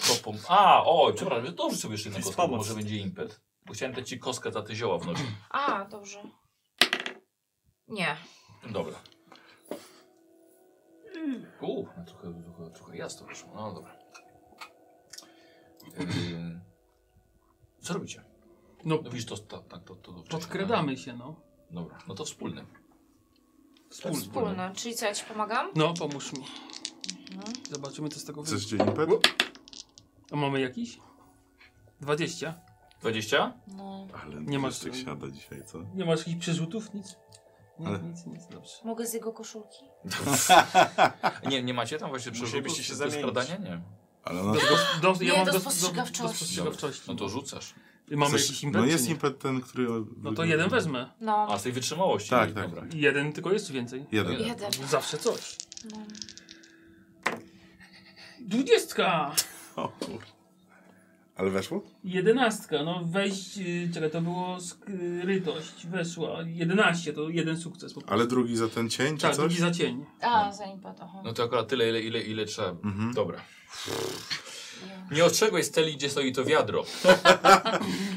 [SPEAKER 1] to pom... A, o, przepraszam, dobrze sobie jeszcze jedną
[SPEAKER 6] jest
[SPEAKER 1] kostkę, bo
[SPEAKER 6] pomoc.
[SPEAKER 1] może będzie impet. Bo chciałem dać ci kostkę za te zioła w nosie.
[SPEAKER 3] A, dobrze. Nie.
[SPEAKER 1] Dobra. U, no trochę, trochę, trochę jasno wyszło, no dobra. Ym, Co robicie?
[SPEAKER 4] No,
[SPEAKER 1] No widzisz, to, to, tak, to, to, to wcześniej,
[SPEAKER 4] podkradamy się, no.
[SPEAKER 1] tak? Dobra, no to wspólne.
[SPEAKER 4] Wspólnie.
[SPEAKER 3] Wspólne. Czyli co, ja ci pomagam?
[SPEAKER 4] No, pomóż mi. No.
[SPEAKER 3] Mhm.
[SPEAKER 4] Zobaczymy, co z tego wyjdzie.
[SPEAKER 2] Chcesz impet?
[SPEAKER 4] A mamy jakiś? 20.
[SPEAKER 1] 20?
[SPEAKER 3] No.
[SPEAKER 2] Ale
[SPEAKER 4] Nie
[SPEAKER 2] nie
[SPEAKER 4] masz-
[SPEAKER 2] masz tak siada dzisiaj, co?
[SPEAKER 4] Nie masz jakichś przerzutów? Nic? Nie,
[SPEAKER 2] Ale-
[SPEAKER 4] Nic, nic, dobrze.
[SPEAKER 3] Mogę z jego koszulki?
[SPEAKER 1] Nie, nie macie tam właśnie przerzutów?
[SPEAKER 6] Musielibyście Tak. się
[SPEAKER 1] To
[SPEAKER 6] zamienić.
[SPEAKER 1] skradania? Nie.
[SPEAKER 2] Ale no,
[SPEAKER 4] Do,
[SPEAKER 3] Nie, do
[SPEAKER 4] dos-
[SPEAKER 3] spostrzegawczości.
[SPEAKER 4] Do, do spostrzegawczości.
[SPEAKER 1] No to rzucasz.
[SPEAKER 4] I Mamy
[SPEAKER 2] chcesz-
[SPEAKER 4] jakiś impet?
[SPEAKER 2] no
[SPEAKER 4] czy
[SPEAKER 2] jest
[SPEAKER 4] nie?
[SPEAKER 2] impet ten, który.
[SPEAKER 4] No to jeden wezmę.
[SPEAKER 3] No.
[SPEAKER 1] A, z tej wytrzymałości.
[SPEAKER 2] Tak, tak.
[SPEAKER 1] Dobra.
[SPEAKER 4] Jeden, tylko jest więcej.
[SPEAKER 2] Jeden.
[SPEAKER 1] Jeden.
[SPEAKER 3] Jeden.
[SPEAKER 4] Zawsze coś.
[SPEAKER 3] No.
[SPEAKER 4] Dwudziestka!
[SPEAKER 2] O kur- Ale weszło?
[SPEAKER 4] Jedenastka, no wejść, y, czekaj, to było skrytość, weszła. Jedenaście, to jeden sukces. Po prostu.
[SPEAKER 2] Ale drugi za ten cień, czy
[SPEAKER 4] tak,
[SPEAKER 2] coś?
[SPEAKER 4] drugi za cień.
[SPEAKER 3] A, za impet, aha.
[SPEAKER 1] No to akurat tyle, ile, ile, ile trzeba.
[SPEAKER 2] Mhm.
[SPEAKER 1] Dobra.
[SPEAKER 3] Ja.
[SPEAKER 1] Nie ostrzegłeś Steli, gdzie stoi to wiadro.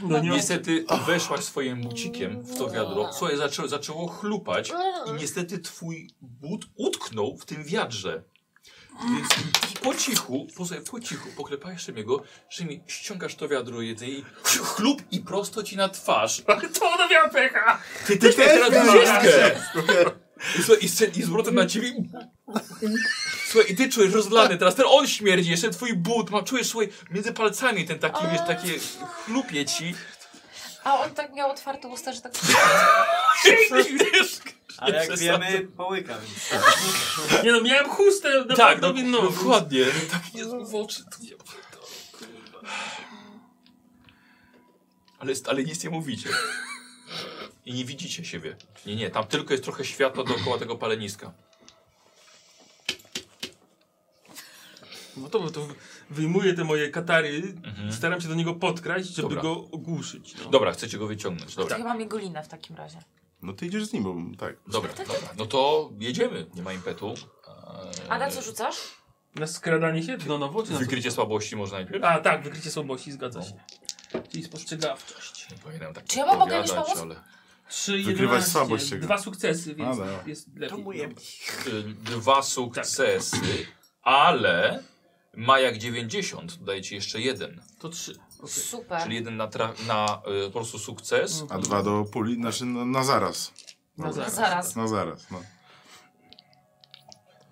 [SPEAKER 4] No nie
[SPEAKER 1] Niestety weszłaś swoim bucikiem w to wiadro. Słuchaj, zaczęło, zaczęło chlupać i niestety twój but utknął w tym wiadrze. Więc po cichu, posłuchaj, po cichu poklepajesz Szymiego, Szymi, ściągasz to wiadro jedzenie i chlup i prosto ci na twarz.
[SPEAKER 4] To ona miała pecha!
[SPEAKER 1] Ty też miałeś teraz
[SPEAKER 2] miałeś
[SPEAKER 1] dwudziestkę! I, słuchaj, i, strzel- I z powrotem na ciebie. Słuchaj, i ty czujesz rozlany teraz, ten on śmierdzi, jeszcze twój but, ma, czujesz słuchaj, między palcami ten taki, wiesz, takie chlupie ci.
[SPEAKER 3] A on tak miał otwarte usta, że tak...
[SPEAKER 1] I wiesz,
[SPEAKER 6] Ale jak
[SPEAKER 1] przesadzę.
[SPEAKER 6] wiemy, połyka, więc
[SPEAKER 4] Nie no, miałem chustę na
[SPEAKER 1] Tak,
[SPEAKER 4] no,
[SPEAKER 1] no,
[SPEAKER 4] no.
[SPEAKER 1] dokładnie. Tak nie w oczy. To ja pierdolę, kurwa. ale, ale nic nie mówicie. I nie widzicie siebie. Nie, nie, tam tylko jest trochę światła dookoła tego paleniska.
[SPEAKER 4] no to, to wyjmuję te moje katary,
[SPEAKER 1] Mhm.
[SPEAKER 4] staram się do niego podkraść, żeby
[SPEAKER 1] Dobra.
[SPEAKER 4] go ogłuszyć. No.
[SPEAKER 1] Dobra, chcecie go wyciągnąć. Dobra.
[SPEAKER 3] To chyba mnie golina w takim razie.
[SPEAKER 2] No ty idziesz z nim, bo tak.
[SPEAKER 1] Dobra, dobra. No to jedziemy. Nie ma impetu. Eee,
[SPEAKER 3] A na co rzucasz?
[SPEAKER 4] Na skradanie się? No nowo czy na co?
[SPEAKER 1] Wykrycie słabych. słabości może najpierw?
[SPEAKER 4] A tak, wykrycie słabości, zgadza
[SPEAKER 1] No.
[SPEAKER 4] się. Czyli spostrzegawczość.
[SPEAKER 1] Nie pamiętam tak
[SPEAKER 3] Czy ja mogę
[SPEAKER 1] odpowiadać,
[SPEAKER 3] jakoś pomóc?
[SPEAKER 1] ale...
[SPEAKER 4] Trzy,
[SPEAKER 2] Wykrywać
[SPEAKER 4] 11,
[SPEAKER 2] słabość jego.
[SPEAKER 4] Dwa sukcesy, więc
[SPEAKER 2] A, dobra.
[SPEAKER 4] jest lepiej.
[SPEAKER 6] To mu
[SPEAKER 4] no.
[SPEAKER 6] jeb-
[SPEAKER 1] Y, dwa sukcesy, ale ma jak 90, daje ci jeszcze jeden.
[SPEAKER 4] To trzy. okej.
[SPEAKER 3] Super.
[SPEAKER 1] no. Czyli jeden na, tra- na y, po prostu sukces.
[SPEAKER 2] A dwa do puli, znaczy na, na zaraz.
[SPEAKER 4] Na zaraz.
[SPEAKER 3] Zaraz.
[SPEAKER 2] Na zaraz, no.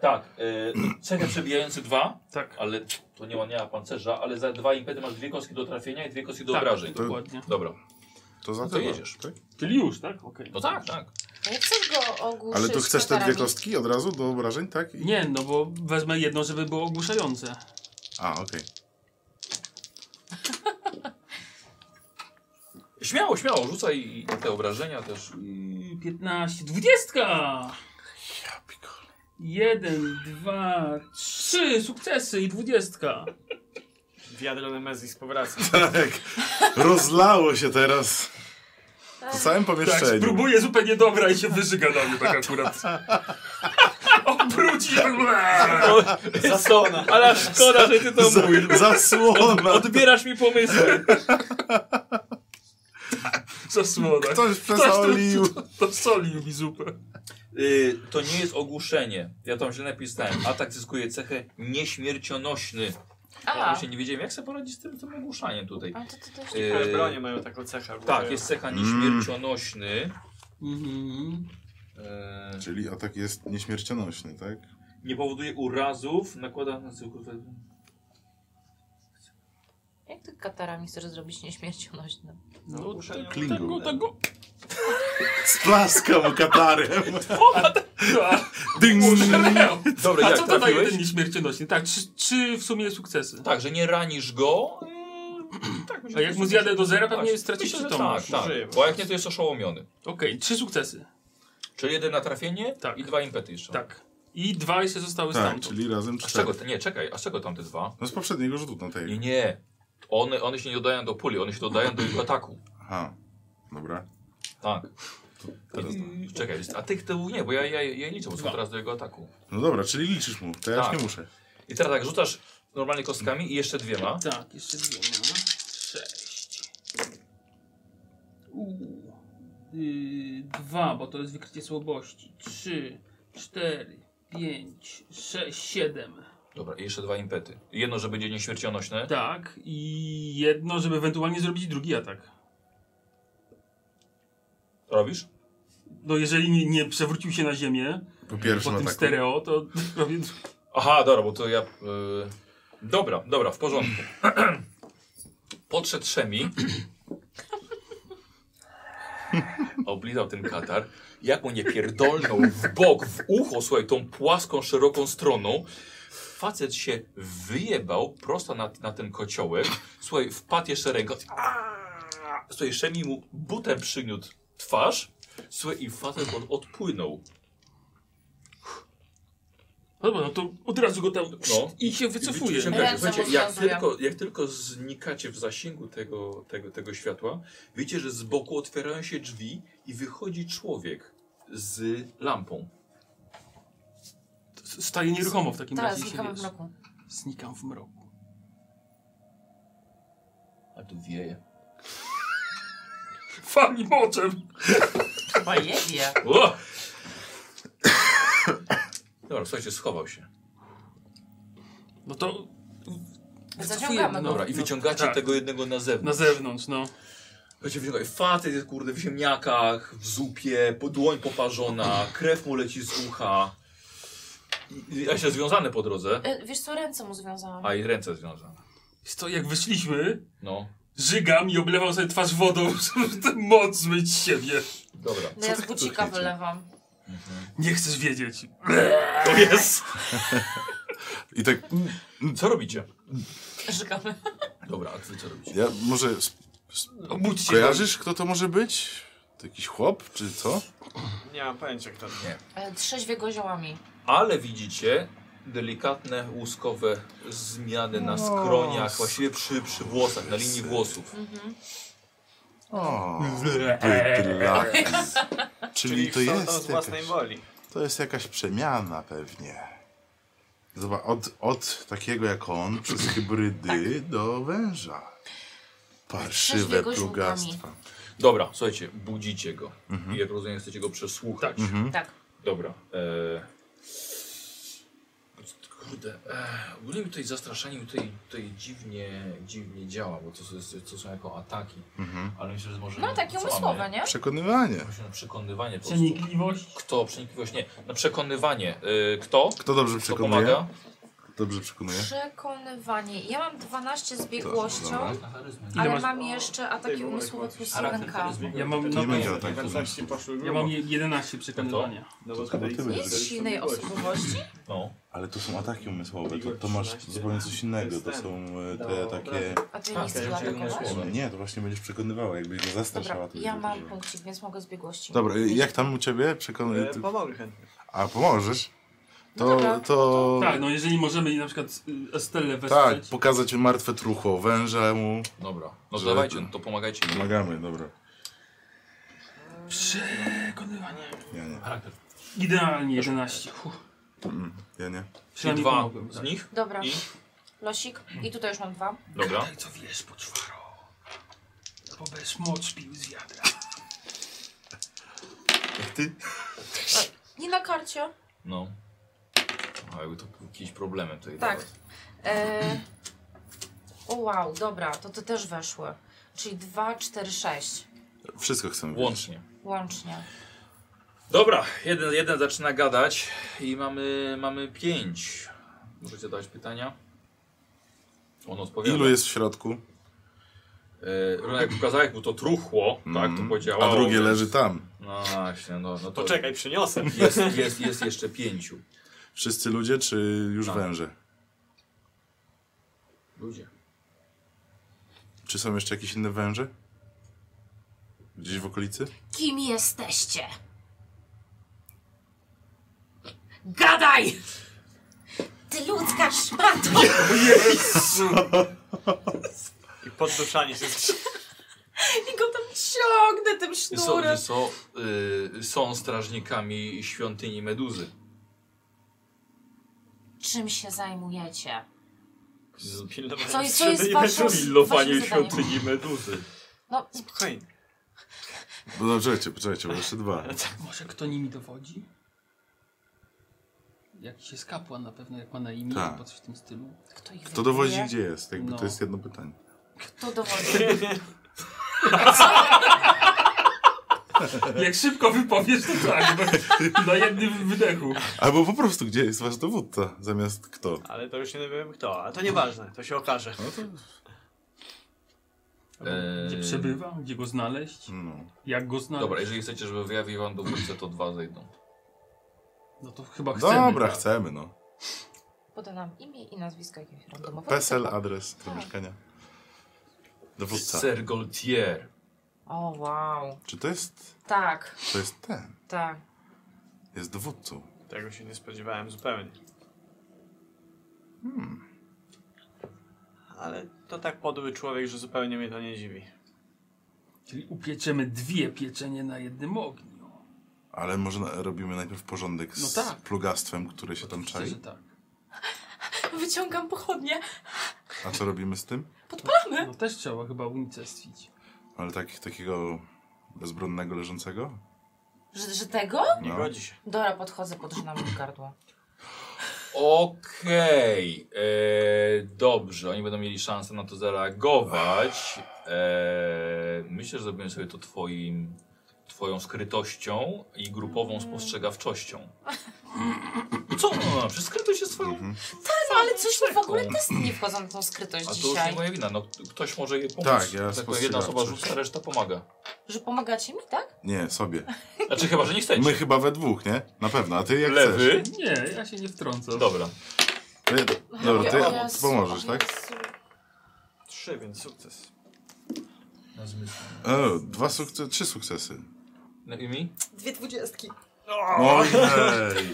[SPEAKER 1] Tak, y, cechę przebijający dwa,
[SPEAKER 4] Tak.
[SPEAKER 1] ale to nie ma, nie ma pancerza, ale za dwa impety masz dwie kostki do trafienia i dwie kostki do
[SPEAKER 4] Tak,
[SPEAKER 1] obrażeń.
[SPEAKER 4] dokładnie.
[SPEAKER 1] Dobra.
[SPEAKER 2] To za
[SPEAKER 1] No to
[SPEAKER 2] tyle,
[SPEAKER 1] jedziesz.
[SPEAKER 2] tak?
[SPEAKER 4] Czyli już, tak? Okej.
[SPEAKER 1] No tak, tak.
[SPEAKER 3] Nie chcesz go ogłuszyć
[SPEAKER 2] Ale tu chcesz te dwie
[SPEAKER 3] kotarami?
[SPEAKER 2] kostki od razu do obrażeń, tak? I-
[SPEAKER 4] Nie, no bo wezmę jedno, żeby było ogłuszające.
[SPEAKER 2] A, okej.
[SPEAKER 1] Śmiało, śmiało, rzucaj i te obrażenia też.
[SPEAKER 4] Yy, 15, 20! Jeden, dwa, trzy sukcesy i dwudziestka.
[SPEAKER 6] Wiadro Nemezis powraca.
[SPEAKER 2] Tak. Rozlało się teraz po całym
[SPEAKER 4] Tak,
[SPEAKER 2] pomieszczeniu.
[SPEAKER 4] spróbuję zupełnie dobra i się wyżyga na mnie tak akurat. Obróci.
[SPEAKER 6] Zasłona.
[SPEAKER 4] Ale szkoda, że ty to mówisz.
[SPEAKER 2] Za, zasłona.
[SPEAKER 4] Odbierasz mi pomysły. Zasłona.
[SPEAKER 2] Ktoś
[SPEAKER 4] to,
[SPEAKER 2] przesolił.
[SPEAKER 4] to, to solił mi zupę.
[SPEAKER 1] Y, to nie jest ogłuszenie. Ja tam źle napisałem. Atak zyskuje cechę nieśmiercionośny. Ja
[SPEAKER 3] A,
[SPEAKER 1] właśnie nie wiedziałem, jak sobie poradzić z tym, tym ogłuszaniem tutaj.
[SPEAKER 3] a to, to dość
[SPEAKER 1] Y,
[SPEAKER 6] Ale bronie mają taką cechę.
[SPEAKER 1] Tak, jest cecha nieśmiercionośny.
[SPEAKER 4] Mhm.
[SPEAKER 1] E,
[SPEAKER 2] Czyli atak jest nieśmiercionośny, tak?
[SPEAKER 1] nie powoduje urazów, nakłada na
[SPEAKER 3] Jak ty katarami chcesz zrobić nieśmiercionośny?
[SPEAKER 4] No,
[SPEAKER 2] Klingu.
[SPEAKER 4] tego, tego.
[SPEAKER 2] Splaskał katarem. Tak, Ding!
[SPEAKER 1] Dobra,
[SPEAKER 4] A
[SPEAKER 1] jak
[SPEAKER 4] co to daje
[SPEAKER 1] trafiłeś?
[SPEAKER 4] ten nieśmiercionośny? Tak, trzy, trzy w sumie sukcesy.
[SPEAKER 1] Tak, że nie ranisz go. y, tak, myślę,
[SPEAKER 4] A jak
[SPEAKER 1] że-
[SPEAKER 4] mu zjadę do zera, pewnie
[SPEAKER 1] Właśnie,
[SPEAKER 4] stracisz
[SPEAKER 1] myślę, że
[SPEAKER 4] przytomność.
[SPEAKER 1] Tak,
[SPEAKER 6] Żyje.
[SPEAKER 1] tak. Bo jak nie, to jest oszołomiony.
[SPEAKER 4] Okej, trzy sukcesy.
[SPEAKER 1] Czyli jeden na trafienie
[SPEAKER 4] Tak.
[SPEAKER 1] i dwa impety jeszcze.
[SPEAKER 4] Tak. I dwa jeszcze zostały
[SPEAKER 2] Tak,
[SPEAKER 4] stamtąd.
[SPEAKER 2] czyli razem
[SPEAKER 1] A z
[SPEAKER 2] cztery.
[SPEAKER 1] czego? te- Nie, czekaj, a z czego tam te dwa?
[SPEAKER 2] No z poprzedniego rzutu na tej.
[SPEAKER 1] Nie, nie. One, one się nie dodają do puli, one się dodają do jego ataku.
[SPEAKER 2] Aha. Dobra.
[SPEAKER 1] Tak.
[SPEAKER 2] Teraz to.
[SPEAKER 1] I- Czekaj, a tych tyłu nie, bo ja, ja, ja liczę, bo są teraz do jego ataku.
[SPEAKER 2] No dobra, czyli liczysz mu. To ja
[SPEAKER 1] Tak.
[SPEAKER 2] już nie muszę.
[SPEAKER 1] I teraz tak, rzucasz normalnie kostkami i jeszcze dwiema.
[SPEAKER 4] Tak, jeszcze dwiema. Sześć. Uuu. Yy, dwa, bo to jest wykrycie słabości. Trzy, cztery, pięć, sześć, siedem.
[SPEAKER 1] Dobra, i jeszcze dwa impety. Jedno, że będzie nieśmiercionośne.
[SPEAKER 4] Tak, i jedno, żeby ewentualnie zrobić drugi atak.
[SPEAKER 1] Robisz?
[SPEAKER 4] No jeżeli nie, nie przewrócił się na ziemię
[SPEAKER 2] Po
[SPEAKER 4] po
[SPEAKER 2] pierwszym
[SPEAKER 4] tym
[SPEAKER 2] ataku.
[SPEAKER 4] stereo, to robię dru-
[SPEAKER 1] Aha, dobra, bo to ja. y, Dobra, dobra, w porządku. Podszedł Szemi. Oblizał ten katar. Jak mu nie pierdolnął w bok, w ucho, słuchaj, tą płaską, szeroką stroną. Facet się wyjebał prosto na, na ten kociołek. Słuchaj, wpadł jeszcze ręką. Aaa! Słuchaj, Szemi mu butem przygniótł twarz. Słuchaj, i facet od, odpłynął.
[SPEAKER 4] No Dobra, no to od razu go tam
[SPEAKER 1] No.
[SPEAKER 4] i się wycofuje.
[SPEAKER 1] Wyciągacie.
[SPEAKER 3] Ręce mu
[SPEAKER 1] Słuchajcie, jak,
[SPEAKER 3] związują.
[SPEAKER 1] tylko, jak tylko znikacie w zasięgu tego, tego, tego światła, wiecie, że z boku otwierają się drzwi i wychodzi człowiek z lampą.
[SPEAKER 4] S- Staje nieruchomo w takim
[SPEAKER 3] Teraz
[SPEAKER 4] razie. i się,
[SPEAKER 3] znikamy w
[SPEAKER 4] wiesz,
[SPEAKER 3] mroku.
[SPEAKER 4] Znikam w mroku.
[SPEAKER 1] A tu wieje.
[SPEAKER 4] Fali moczem!
[SPEAKER 3] Chyba jebie.
[SPEAKER 1] O! Dobra, słuchajcie, schował się.
[SPEAKER 4] No to...
[SPEAKER 3] Zaciągamy go.
[SPEAKER 1] Dobra, i wyciągacie
[SPEAKER 4] tak.
[SPEAKER 1] tego jednego na
[SPEAKER 4] Na
[SPEAKER 1] zewnątrz.
[SPEAKER 4] zewnątrz, no.
[SPEAKER 1] Słuchajcie, wyciągaj. Facet jest, kurde, w ziemniakach, w zupie, po- dłoń poparzona, krew mu leci z ucha. I- i- A się związane po drodze.
[SPEAKER 3] Y, Wiesz co, ręce mu związałam.
[SPEAKER 1] A i ręce związane.
[SPEAKER 4] Jest to jak wyszliśmy,
[SPEAKER 1] No,
[SPEAKER 4] żygam i oblewał sobie twarz wodą, żeby ten moc zmyć z siebie.
[SPEAKER 1] dobra.
[SPEAKER 3] No ja
[SPEAKER 2] Co
[SPEAKER 3] z
[SPEAKER 2] ty
[SPEAKER 3] bucika
[SPEAKER 2] chcecie?
[SPEAKER 3] wylewam.
[SPEAKER 4] Nie chcesz wiedzieć.
[SPEAKER 1] To jest!
[SPEAKER 2] I tak.
[SPEAKER 1] Co robicie?
[SPEAKER 3] Żygamy.
[SPEAKER 1] Dobra, a wy co robicie?
[SPEAKER 2] Ja może. sp-
[SPEAKER 4] Obudź się.
[SPEAKER 2] Kojarzysz, kto to może być? To jakiś chłop, czy co?
[SPEAKER 6] Nie mam pojęcia kto to.
[SPEAKER 3] E, Trzeźwiego ziołami.
[SPEAKER 1] Ale widzicie delikatne, łuskowe zmiany
[SPEAKER 3] No.
[SPEAKER 1] na skroniach, właściwie przy, przy włosach, na linii włosów.
[SPEAKER 2] O, Czyli to
[SPEAKER 6] chcą to z
[SPEAKER 2] jest.
[SPEAKER 6] własnej
[SPEAKER 2] Jakaś,
[SPEAKER 6] woli.
[SPEAKER 2] to jest jakaś przemiana pewnie. Zobacz, od, od takiego jak on, przez hybrydy do węża.
[SPEAKER 3] Strasznie
[SPEAKER 2] Parszywe
[SPEAKER 3] jego źródłami.
[SPEAKER 2] plugastwa.
[SPEAKER 1] Dobra, słuchajcie, budzicie go. I jak rozumiem, chcecie go przesłuchać.
[SPEAKER 3] Tak.
[SPEAKER 1] Dobra. E... Kurde, e... ogólnie mi tutaj zastraszanie mi tutaj, tutaj dziwnie, dziwnie działa, bo to, są- to są jako ataki. Ale myślę, że może...
[SPEAKER 3] No takie
[SPEAKER 1] co
[SPEAKER 3] umysłowe,
[SPEAKER 1] mamy?
[SPEAKER 3] nie?
[SPEAKER 2] Przekonywanie.
[SPEAKER 1] Właśnie na przekonywanie po prostu.
[SPEAKER 4] Przenikliwość.
[SPEAKER 1] Kto? Przenikliwość? Nie. Na przekonywanie. E... Kto?
[SPEAKER 2] Kto dobrze
[SPEAKER 1] Kto
[SPEAKER 2] przekonuje?
[SPEAKER 1] pomaga?
[SPEAKER 2] Dobrze przekonuje.
[SPEAKER 3] Przekonywanie. Ja mam 12 z biegłością,
[SPEAKER 2] dobra.
[SPEAKER 4] Ile
[SPEAKER 3] ale
[SPEAKER 4] masz?
[SPEAKER 3] mam jeszcze ataki
[SPEAKER 5] Ty, bo
[SPEAKER 3] umysłowe
[SPEAKER 5] masz
[SPEAKER 3] plus
[SPEAKER 1] charakter,
[SPEAKER 3] ręka.
[SPEAKER 1] charyzma.
[SPEAKER 4] Ja mam, no,
[SPEAKER 2] Nie tak, będzie ataku.
[SPEAKER 4] ja mam 11 przekonywania.
[SPEAKER 5] No
[SPEAKER 2] To chyba ty
[SPEAKER 3] Nie jest silnej osobowości?
[SPEAKER 1] No.
[SPEAKER 2] Ale to są ataki umysłowe, to, to
[SPEAKER 5] Igor,
[SPEAKER 2] masz
[SPEAKER 5] 13.
[SPEAKER 2] zupełnie coś innego.
[SPEAKER 5] jest
[SPEAKER 2] To
[SPEAKER 5] ten.
[SPEAKER 2] są e, te
[SPEAKER 5] Dobra.
[SPEAKER 2] takie...
[SPEAKER 3] A ty
[SPEAKER 1] Tak,
[SPEAKER 3] nie
[SPEAKER 1] ja
[SPEAKER 3] chcesz
[SPEAKER 1] już jedno
[SPEAKER 3] atakować?
[SPEAKER 1] słowo.
[SPEAKER 2] Nie, to właśnie będziesz przekonywała, jakbyś go zastraszała.
[SPEAKER 3] Dobra,
[SPEAKER 2] to
[SPEAKER 3] ja
[SPEAKER 2] będzie
[SPEAKER 3] mam
[SPEAKER 2] dobrze.
[SPEAKER 3] punkcik, więc mogę z biegłości.
[SPEAKER 2] Dobra, e, jak tam u ciebie? Przekonuję.
[SPEAKER 6] E, Pomogę chętnie.
[SPEAKER 2] A pomożesz?
[SPEAKER 3] No
[SPEAKER 2] To,
[SPEAKER 3] dobra.
[SPEAKER 2] to...
[SPEAKER 4] Tak, no jeżeli możemy na przykład y, Estelę
[SPEAKER 2] Tak,
[SPEAKER 4] wesprzeć.
[SPEAKER 2] pokazać martwe truchło, węża mu.
[SPEAKER 1] Dobra. No to
[SPEAKER 2] Że-
[SPEAKER 1] dawajcie, no to pomagajcie mi.
[SPEAKER 2] Pomagamy, dobra.
[SPEAKER 4] Przekonywanie.
[SPEAKER 2] Ja nie,
[SPEAKER 1] Charakter.
[SPEAKER 4] Idealnie 11. Uff,
[SPEAKER 2] ja nie.
[SPEAKER 1] Czyli
[SPEAKER 4] przynajmniej
[SPEAKER 1] dwa
[SPEAKER 4] pomogłem,
[SPEAKER 1] z
[SPEAKER 4] tak.
[SPEAKER 1] nich.
[SPEAKER 3] Dobra,
[SPEAKER 1] I?
[SPEAKER 3] losik. I tutaj już mam dwa.
[SPEAKER 1] Dobra.
[SPEAKER 4] Gadaj, No co wiesz, poczwaro. Bo bez moc pił z wiadra.
[SPEAKER 2] Ty?
[SPEAKER 3] Nie na karcie.
[SPEAKER 1] No. A jakby to był jakiś problemem tutaj.
[SPEAKER 3] Tak. E... O wow, dobra, to ty też weszły. Czyli 2, 4, 6.
[SPEAKER 2] Wszystko chcemy
[SPEAKER 1] Dawaj. Łącznie.
[SPEAKER 3] Łącznie.
[SPEAKER 1] Dobra, jeden, jeden zaczyna gadać i mamy, E, mamy pięć. Możecie dać pytania? On odpowiada.
[SPEAKER 2] Ilu jest w środku?
[SPEAKER 1] E, jak pokazałeś mu to truchło, tak, to
[SPEAKER 2] Mm.
[SPEAKER 1] podziałało.
[SPEAKER 2] A drugie
[SPEAKER 1] więc-
[SPEAKER 2] leży tam.
[SPEAKER 1] No właśnie, no, no to
[SPEAKER 6] Poczekaj, przyniosę.
[SPEAKER 1] Jest, jest, jest jeszcze pięciu.
[SPEAKER 2] Wszyscy ludzie, czy już
[SPEAKER 1] Tak.
[SPEAKER 2] węże?
[SPEAKER 1] Ludzie.
[SPEAKER 2] Czy są jeszcze jakieś inne węże? Gdzieś w okolicy?
[SPEAKER 3] Kim jesteście? Gadaj! Ty ludzka szmato!
[SPEAKER 6] I podduszanie się z
[SPEAKER 3] I go tam ciągnę tym
[SPEAKER 1] Są,
[SPEAKER 3] sznurem.
[SPEAKER 1] są, y, są strażnikami świątyni Meduzy.
[SPEAKER 3] Czym się zajmujecie?
[SPEAKER 1] Z-
[SPEAKER 3] Co, co jest
[SPEAKER 6] świątyni
[SPEAKER 3] waszym,
[SPEAKER 6] Meduzy.
[SPEAKER 3] waszym
[SPEAKER 1] Pilnowanie
[SPEAKER 3] zadaniem?
[SPEAKER 1] świątyni Meduzy.
[SPEAKER 3] No,
[SPEAKER 6] Spokojnie.
[SPEAKER 2] Bo poczekajcie, poczekajcie, no, bo jeszcze dwa.
[SPEAKER 4] Może kto nimi dowodzi? Jakiś jest kapłan na pewno, jak ma na imię,
[SPEAKER 2] Tak.
[SPEAKER 4] albo coś w tym stylu.
[SPEAKER 3] kto ich
[SPEAKER 2] Kto dowodzi,
[SPEAKER 3] wybiera?
[SPEAKER 2] gdzie jest? Jakby
[SPEAKER 4] No.
[SPEAKER 2] to jest jedno pytanie.
[SPEAKER 3] Kto dowodzi?
[SPEAKER 4] Jak szybko wypowiesz, to tak, bo- na jednym wydechu.
[SPEAKER 2] Albo po prostu, gdzie jest wasz dowódca, zamiast kto?
[SPEAKER 6] Ale to już nie wiem kto, a to nieważne, to się okaże.
[SPEAKER 2] No to...
[SPEAKER 1] Eee.
[SPEAKER 4] Gdzie przebywa, gdzie go znaleźć,
[SPEAKER 2] No.
[SPEAKER 4] jak go znaleźć.
[SPEAKER 1] Dobra, jeżeli chcecie, żeby wyjawił wam dowódcę, to dwa zejdą.
[SPEAKER 4] No to chyba chcemy.
[SPEAKER 2] Dobra, chcemy, no.
[SPEAKER 3] Poda nam imię i nazwisko jakiegoś randomowego.
[SPEAKER 2] PESEL, adres do mieszkania. Dowódca.
[SPEAKER 1] Ser Gaultier.
[SPEAKER 3] O wow.
[SPEAKER 2] Czy to jest...
[SPEAKER 3] Tak,
[SPEAKER 2] To jest ten.
[SPEAKER 3] tak.
[SPEAKER 2] Jest dowódcą.
[SPEAKER 6] Tego się nie spodziewałem zupełnie. Ale to tak podły człowiek, że zupełnie mnie to nie dziwi.
[SPEAKER 4] Czyli upieczemy dwie pieczenie na jednym ogniu.
[SPEAKER 2] Ale może na, robimy najpierw porządek z
[SPEAKER 4] No tak.
[SPEAKER 2] plugastwem, które się tam
[SPEAKER 4] Myślę, że
[SPEAKER 2] czai.
[SPEAKER 4] tak.
[SPEAKER 3] Wyciągam pochodnie.
[SPEAKER 2] A co robimy z tym?
[SPEAKER 4] No też trzeba chyba unicestwić.
[SPEAKER 2] Ale tak, takiego bezbronnego leżącego?
[SPEAKER 3] Że, że tego?
[SPEAKER 6] Nie
[SPEAKER 2] No.
[SPEAKER 6] godzi się.
[SPEAKER 3] Dobra, podchodzę, podrzynam mu gardło.
[SPEAKER 1] Okej, eee, dobrze, oni będą mieli szansę na to zareagować. Eee, myślę, że zrobimy sobie to twoim, twoją skrytością i grupową spostrzegawczością. Co? No, przez skrytość jest twoją...
[SPEAKER 3] No ale coś mi w ogóle testy nie wchodzą na tą skrytość
[SPEAKER 1] A to już nie
[SPEAKER 3] dzisiaj.
[SPEAKER 1] moja wina, no, ktoś może jej pomóc.
[SPEAKER 2] Tak, ja
[SPEAKER 1] tak powiem, Jedna osoba
[SPEAKER 2] spostrzegawczość.
[SPEAKER 1] rzuca, reszta pomaga.
[SPEAKER 3] Że pomagacie mi, tak?
[SPEAKER 2] Nie, sobie.
[SPEAKER 1] Znaczy chyba, że nie chcecie.
[SPEAKER 2] My chyba we dwóch, nie? Na pewno, a ty jak chcesz.
[SPEAKER 1] Lewy.
[SPEAKER 4] Nie, ja się nie wtrącę.
[SPEAKER 1] No Dobra.
[SPEAKER 2] To ja- Dobra, ty, ty pomożesz, tak?
[SPEAKER 6] Trzy, więc sukces.
[SPEAKER 2] O, dwa sukcesy, trzy sukcesy.
[SPEAKER 1] No i mi?
[SPEAKER 3] Dwie dwudziestki.
[SPEAKER 2] Ojej!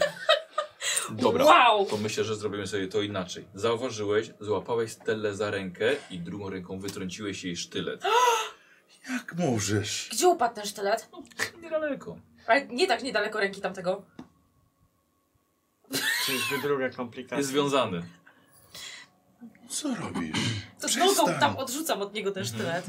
[SPEAKER 1] Dobra.
[SPEAKER 3] Wow!
[SPEAKER 1] To myślę, że zrobimy sobie to inaczej. Zauważyłeś, złapałeś Stellę za rękę i drugą ręką wytrąciłeś jej sztylet.
[SPEAKER 2] Jak możesz?
[SPEAKER 3] Gdzie upadł ten sztylet?
[SPEAKER 1] Niedaleko.
[SPEAKER 3] Ale nie tak niedaleko ręki tamtego.
[SPEAKER 6] Czyżby druga komplikacja.
[SPEAKER 1] Jest związany.
[SPEAKER 2] Co robisz?
[SPEAKER 3] To
[SPEAKER 2] Przestań.
[SPEAKER 3] nogą tam odrzucam od niego ten sztylet.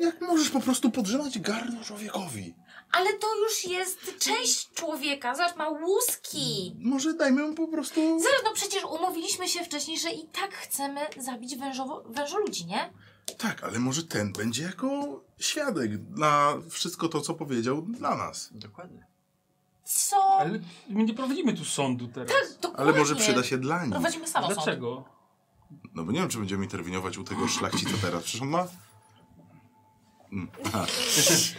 [SPEAKER 2] Jak możesz po prostu podrzymać gardło człowiekowi?
[SPEAKER 3] Ale to już jest część człowieka, zobacz, ma łuski.
[SPEAKER 2] Może dajmy mu po prostu...
[SPEAKER 3] Zaraz, no przecież umówiliśmy się wcześniej, że i tak chcemy zabić wężowo, wężoludzi, nie?
[SPEAKER 2] Tak, ale może ten będzie jako świadek na wszystko to, co powiedział dla nas.
[SPEAKER 6] Dokładnie.
[SPEAKER 3] Co?
[SPEAKER 4] Ale my nie prowadzimy tu sądu teraz.
[SPEAKER 3] Tak, dokładnie.
[SPEAKER 2] Ale może przyda się dla nich.
[SPEAKER 3] Prowadzimy samo sąd.
[SPEAKER 4] Dlaczego?
[SPEAKER 2] No bo nie wiem, czy będziemy interweniować u tego szlachcica teraz. Przecież on ma... Mm, aha.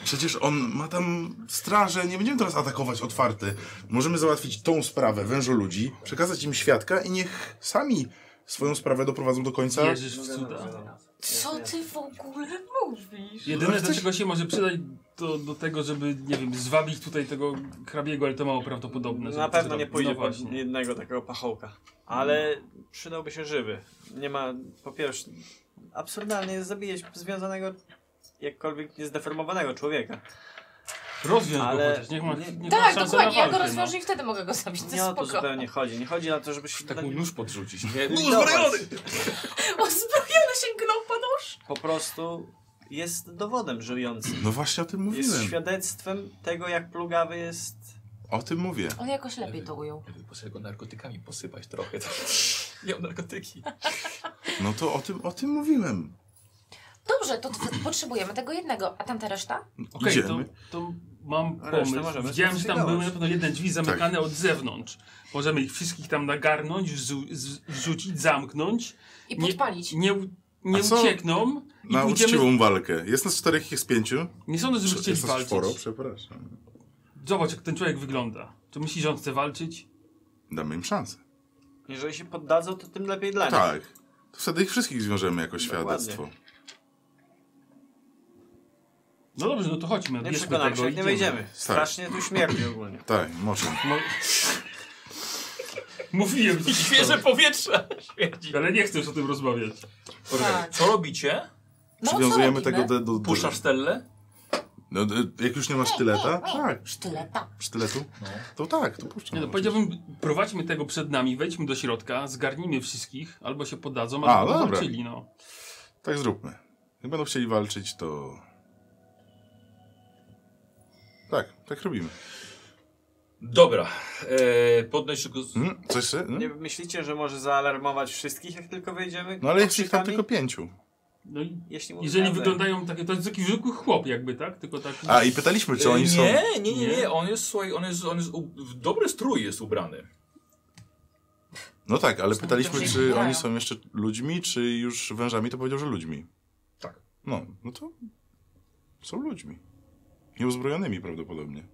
[SPEAKER 2] Przecież on ma tam strażę, nie będziemy teraz atakować otwarty. Możemy załatwić tą sprawę wężoludzi, przekazać im świadka i niech sami swoją sprawę doprowadzą do
[SPEAKER 6] Tak.
[SPEAKER 2] końca.
[SPEAKER 4] Wierzysz w
[SPEAKER 6] No,
[SPEAKER 4] cuda.
[SPEAKER 3] Co ty w ogóle mówisz?
[SPEAKER 4] Jedyne,
[SPEAKER 2] chcesz-
[SPEAKER 4] do czego się może przydać, to do tego, żeby, nie wiem, zwabić tutaj tego hrabiego, ale to mało prawdopodobne. żeby
[SPEAKER 6] Na
[SPEAKER 4] to
[SPEAKER 6] pewno
[SPEAKER 4] zrobić.
[SPEAKER 6] nie pójdzie
[SPEAKER 4] No
[SPEAKER 6] pod
[SPEAKER 4] właśnie. No.
[SPEAKER 6] jednego takiego pachołka. Ale przydałby się żywy. Nie ma, po pierwsze, absurdalnie jest zabijać związanego, jakkolwiek niezdeformowanego człowieka.
[SPEAKER 4] Rozwiąż
[SPEAKER 6] Ale-
[SPEAKER 4] go chociaż, niech ma, niech ma
[SPEAKER 3] Tak,
[SPEAKER 4] szansę
[SPEAKER 3] dokładnie,
[SPEAKER 4] na
[SPEAKER 3] ja go
[SPEAKER 4] walkę, no.
[SPEAKER 3] rozwiążę i wtedy mogę go zabić, to
[SPEAKER 6] Nie o to
[SPEAKER 3] spoko.
[SPEAKER 6] zupełnie chodzi. Nie chodzi na to, żeby się...
[SPEAKER 1] Tak
[SPEAKER 6] dla-
[SPEAKER 1] mu nóż podrzucić. Nie,
[SPEAKER 6] Dawać.
[SPEAKER 3] Uzbrojony sięgnął po nóż.
[SPEAKER 6] Po prostu jest dowodem żyjącym.
[SPEAKER 2] No właśnie o tym
[SPEAKER 6] Jest
[SPEAKER 2] mówiłem.
[SPEAKER 6] świadectwem tego, jak plugawy jest...
[SPEAKER 2] O tym mówię.
[SPEAKER 3] On jakoś lepiej to ujął.
[SPEAKER 1] Jakby poszedł go narkotykami posypać trochę. To... Miał narkotyki.
[SPEAKER 2] No to o tym, o tym mówiłem.
[SPEAKER 3] Dobrze, to tw- potrzebujemy tego jednego, a tamta reszta?
[SPEAKER 4] Okej,
[SPEAKER 2] Idziemy.
[SPEAKER 4] to, to mam
[SPEAKER 6] Resztę
[SPEAKER 4] pomysł.
[SPEAKER 6] możemy
[SPEAKER 4] Widziałem, że tam
[SPEAKER 6] skonfigować.
[SPEAKER 4] były na pewno jedne drzwi zamykane od zewnątrz. Możemy ich wszystkich tam nagarnąć, wzu- z- wrzucić, zamknąć.
[SPEAKER 3] I
[SPEAKER 4] Nie-
[SPEAKER 3] podpalić.
[SPEAKER 4] Nie, u- nie
[SPEAKER 2] A co?
[SPEAKER 4] uciekną i
[SPEAKER 2] Na
[SPEAKER 4] pójdziemy...
[SPEAKER 2] uczciwą walkę. Jest nas czterech, jest pięciu.
[SPEAKER 4] Nie sądzę, żeby chcieli
[SPEAKER 2] Jest nas
[SPEAKER 4] walczyć.
[SPEAKER 2] czworo, przepraszam.
[SPEAKER 4] Zobacz, jak ten człowiek wygląda. Czy myśli, że on chce walczyć?
[SPEAKER 2] Damy im szansę.
[SPEAKER 6] Jeżeli się poddadzą, to tym lepiej dla nich.
[SPEAKER 2] Tak. To wtedy ich wszystkich zwiążemy jako
[SPEAKER 6] Dokładnie.
[SPEAKER 2] świadectwo.
[SPEAKER 4] No dobrze, no to chodźmy.
[SPEAKER 6] Nie
[SPEAKER 4] bierzmy
[SPEAKER 6] przekonamy się,
[SPEAKER 4] tego,
[SPEAKER 6] jak nie
[SPEAKER 4] idziemy.
[SPEAKER 6] wejdziemy. Strasznie tu śmierdzi ogólnie.
[SPEAKER 2] Tak, może.
[SPEAKER 4] No... Mówiłem, że
[SPEAKER 1] Świeże powietrze śmierdzi.
[SPEAKER 4] Ale nie chcę już o tym rozmawiać.
[SPEAKER 1] Poczekaj, Co robicie?
[SPEAKER 3] No, co
[SPEAKER 2] Przywiązujemy
[SPEAKER 3] robimy?
[SPEAKER 2] tego do... do, do
[SPEAKER 1] Puszczasz Stellę?
[SPEAKER 2] no, d- jak już nie ma sztyleta, tak.
[SPEAKER 3] Sztyleta.
[SPEAKER 2] Sztyletu?
[SPEAKER 1] No.
[SPEAKER 2] To tak, to puszczam.
[SPEAKER 4] Nie no, powiedziałbym, prowadźmy tego przed nami, wejdźmy do środka, zgarnijmy wszystkich, albo się podadzą,
[SPEAKER 2] A,
[SPEAKER 4] albo
[SPEAKER 2] dobra.
[SPEAKER 4] zobaczyli, no.
[SPEAKER 2] Tak zróbmy. Jak będą chcieli walczyć, to... Tak, tak robimy.
[SPEAKER 1] Dobra. E, podnoś go z...
[SPEAKER 2] Hmm? Coś się? Hmm?
[SPEAKER 6] Nie myślicie, że może zaalarmować wszystkich, jak tylko wejdziemy?
[SPEAKER 2] No ale jest ich tam
[SPEAKER 6] Okrzykami?
[SPEAKER 2] tylko pięciu.
[SPEAKER 4] no i
[SPEAKER 6] Jeśli mu
[SPEAKER 4] jeżeli
[SPEAKER 6] zdradzę.
[SPEAKER 4] wyglądają takie, to jest jakiś zwykły chłop jakby, tak? Tylko taki...
[SPEAKER 2] A, i pytaliśmy, czy oni
[SPEAKER 1] nie,
[SPEAKER 2] są...
[SPEAKER 1] Nie, nie,
[SPEAKER 4] Nie?
[SPEAKER 1] nie. On jest, słuchaj, on jest, on jest u... w dobry strój jest ubrany.
[SPEAKER 2] No tak, ale pytaliśmy,
[SPEAKER 3] dobrze
[SPEAKER 2] czy
[SPEAKER 3] wyglądają.
[SPEAKER 2] oni są jeszcze ludźmi, czy już wężami, to powiedział, że ludźmi.
[SPEAKER 1] Tak.
[SPEAKER 2] No, no to są ludźmi. Nieuzbrojonymi prawdopodobnie.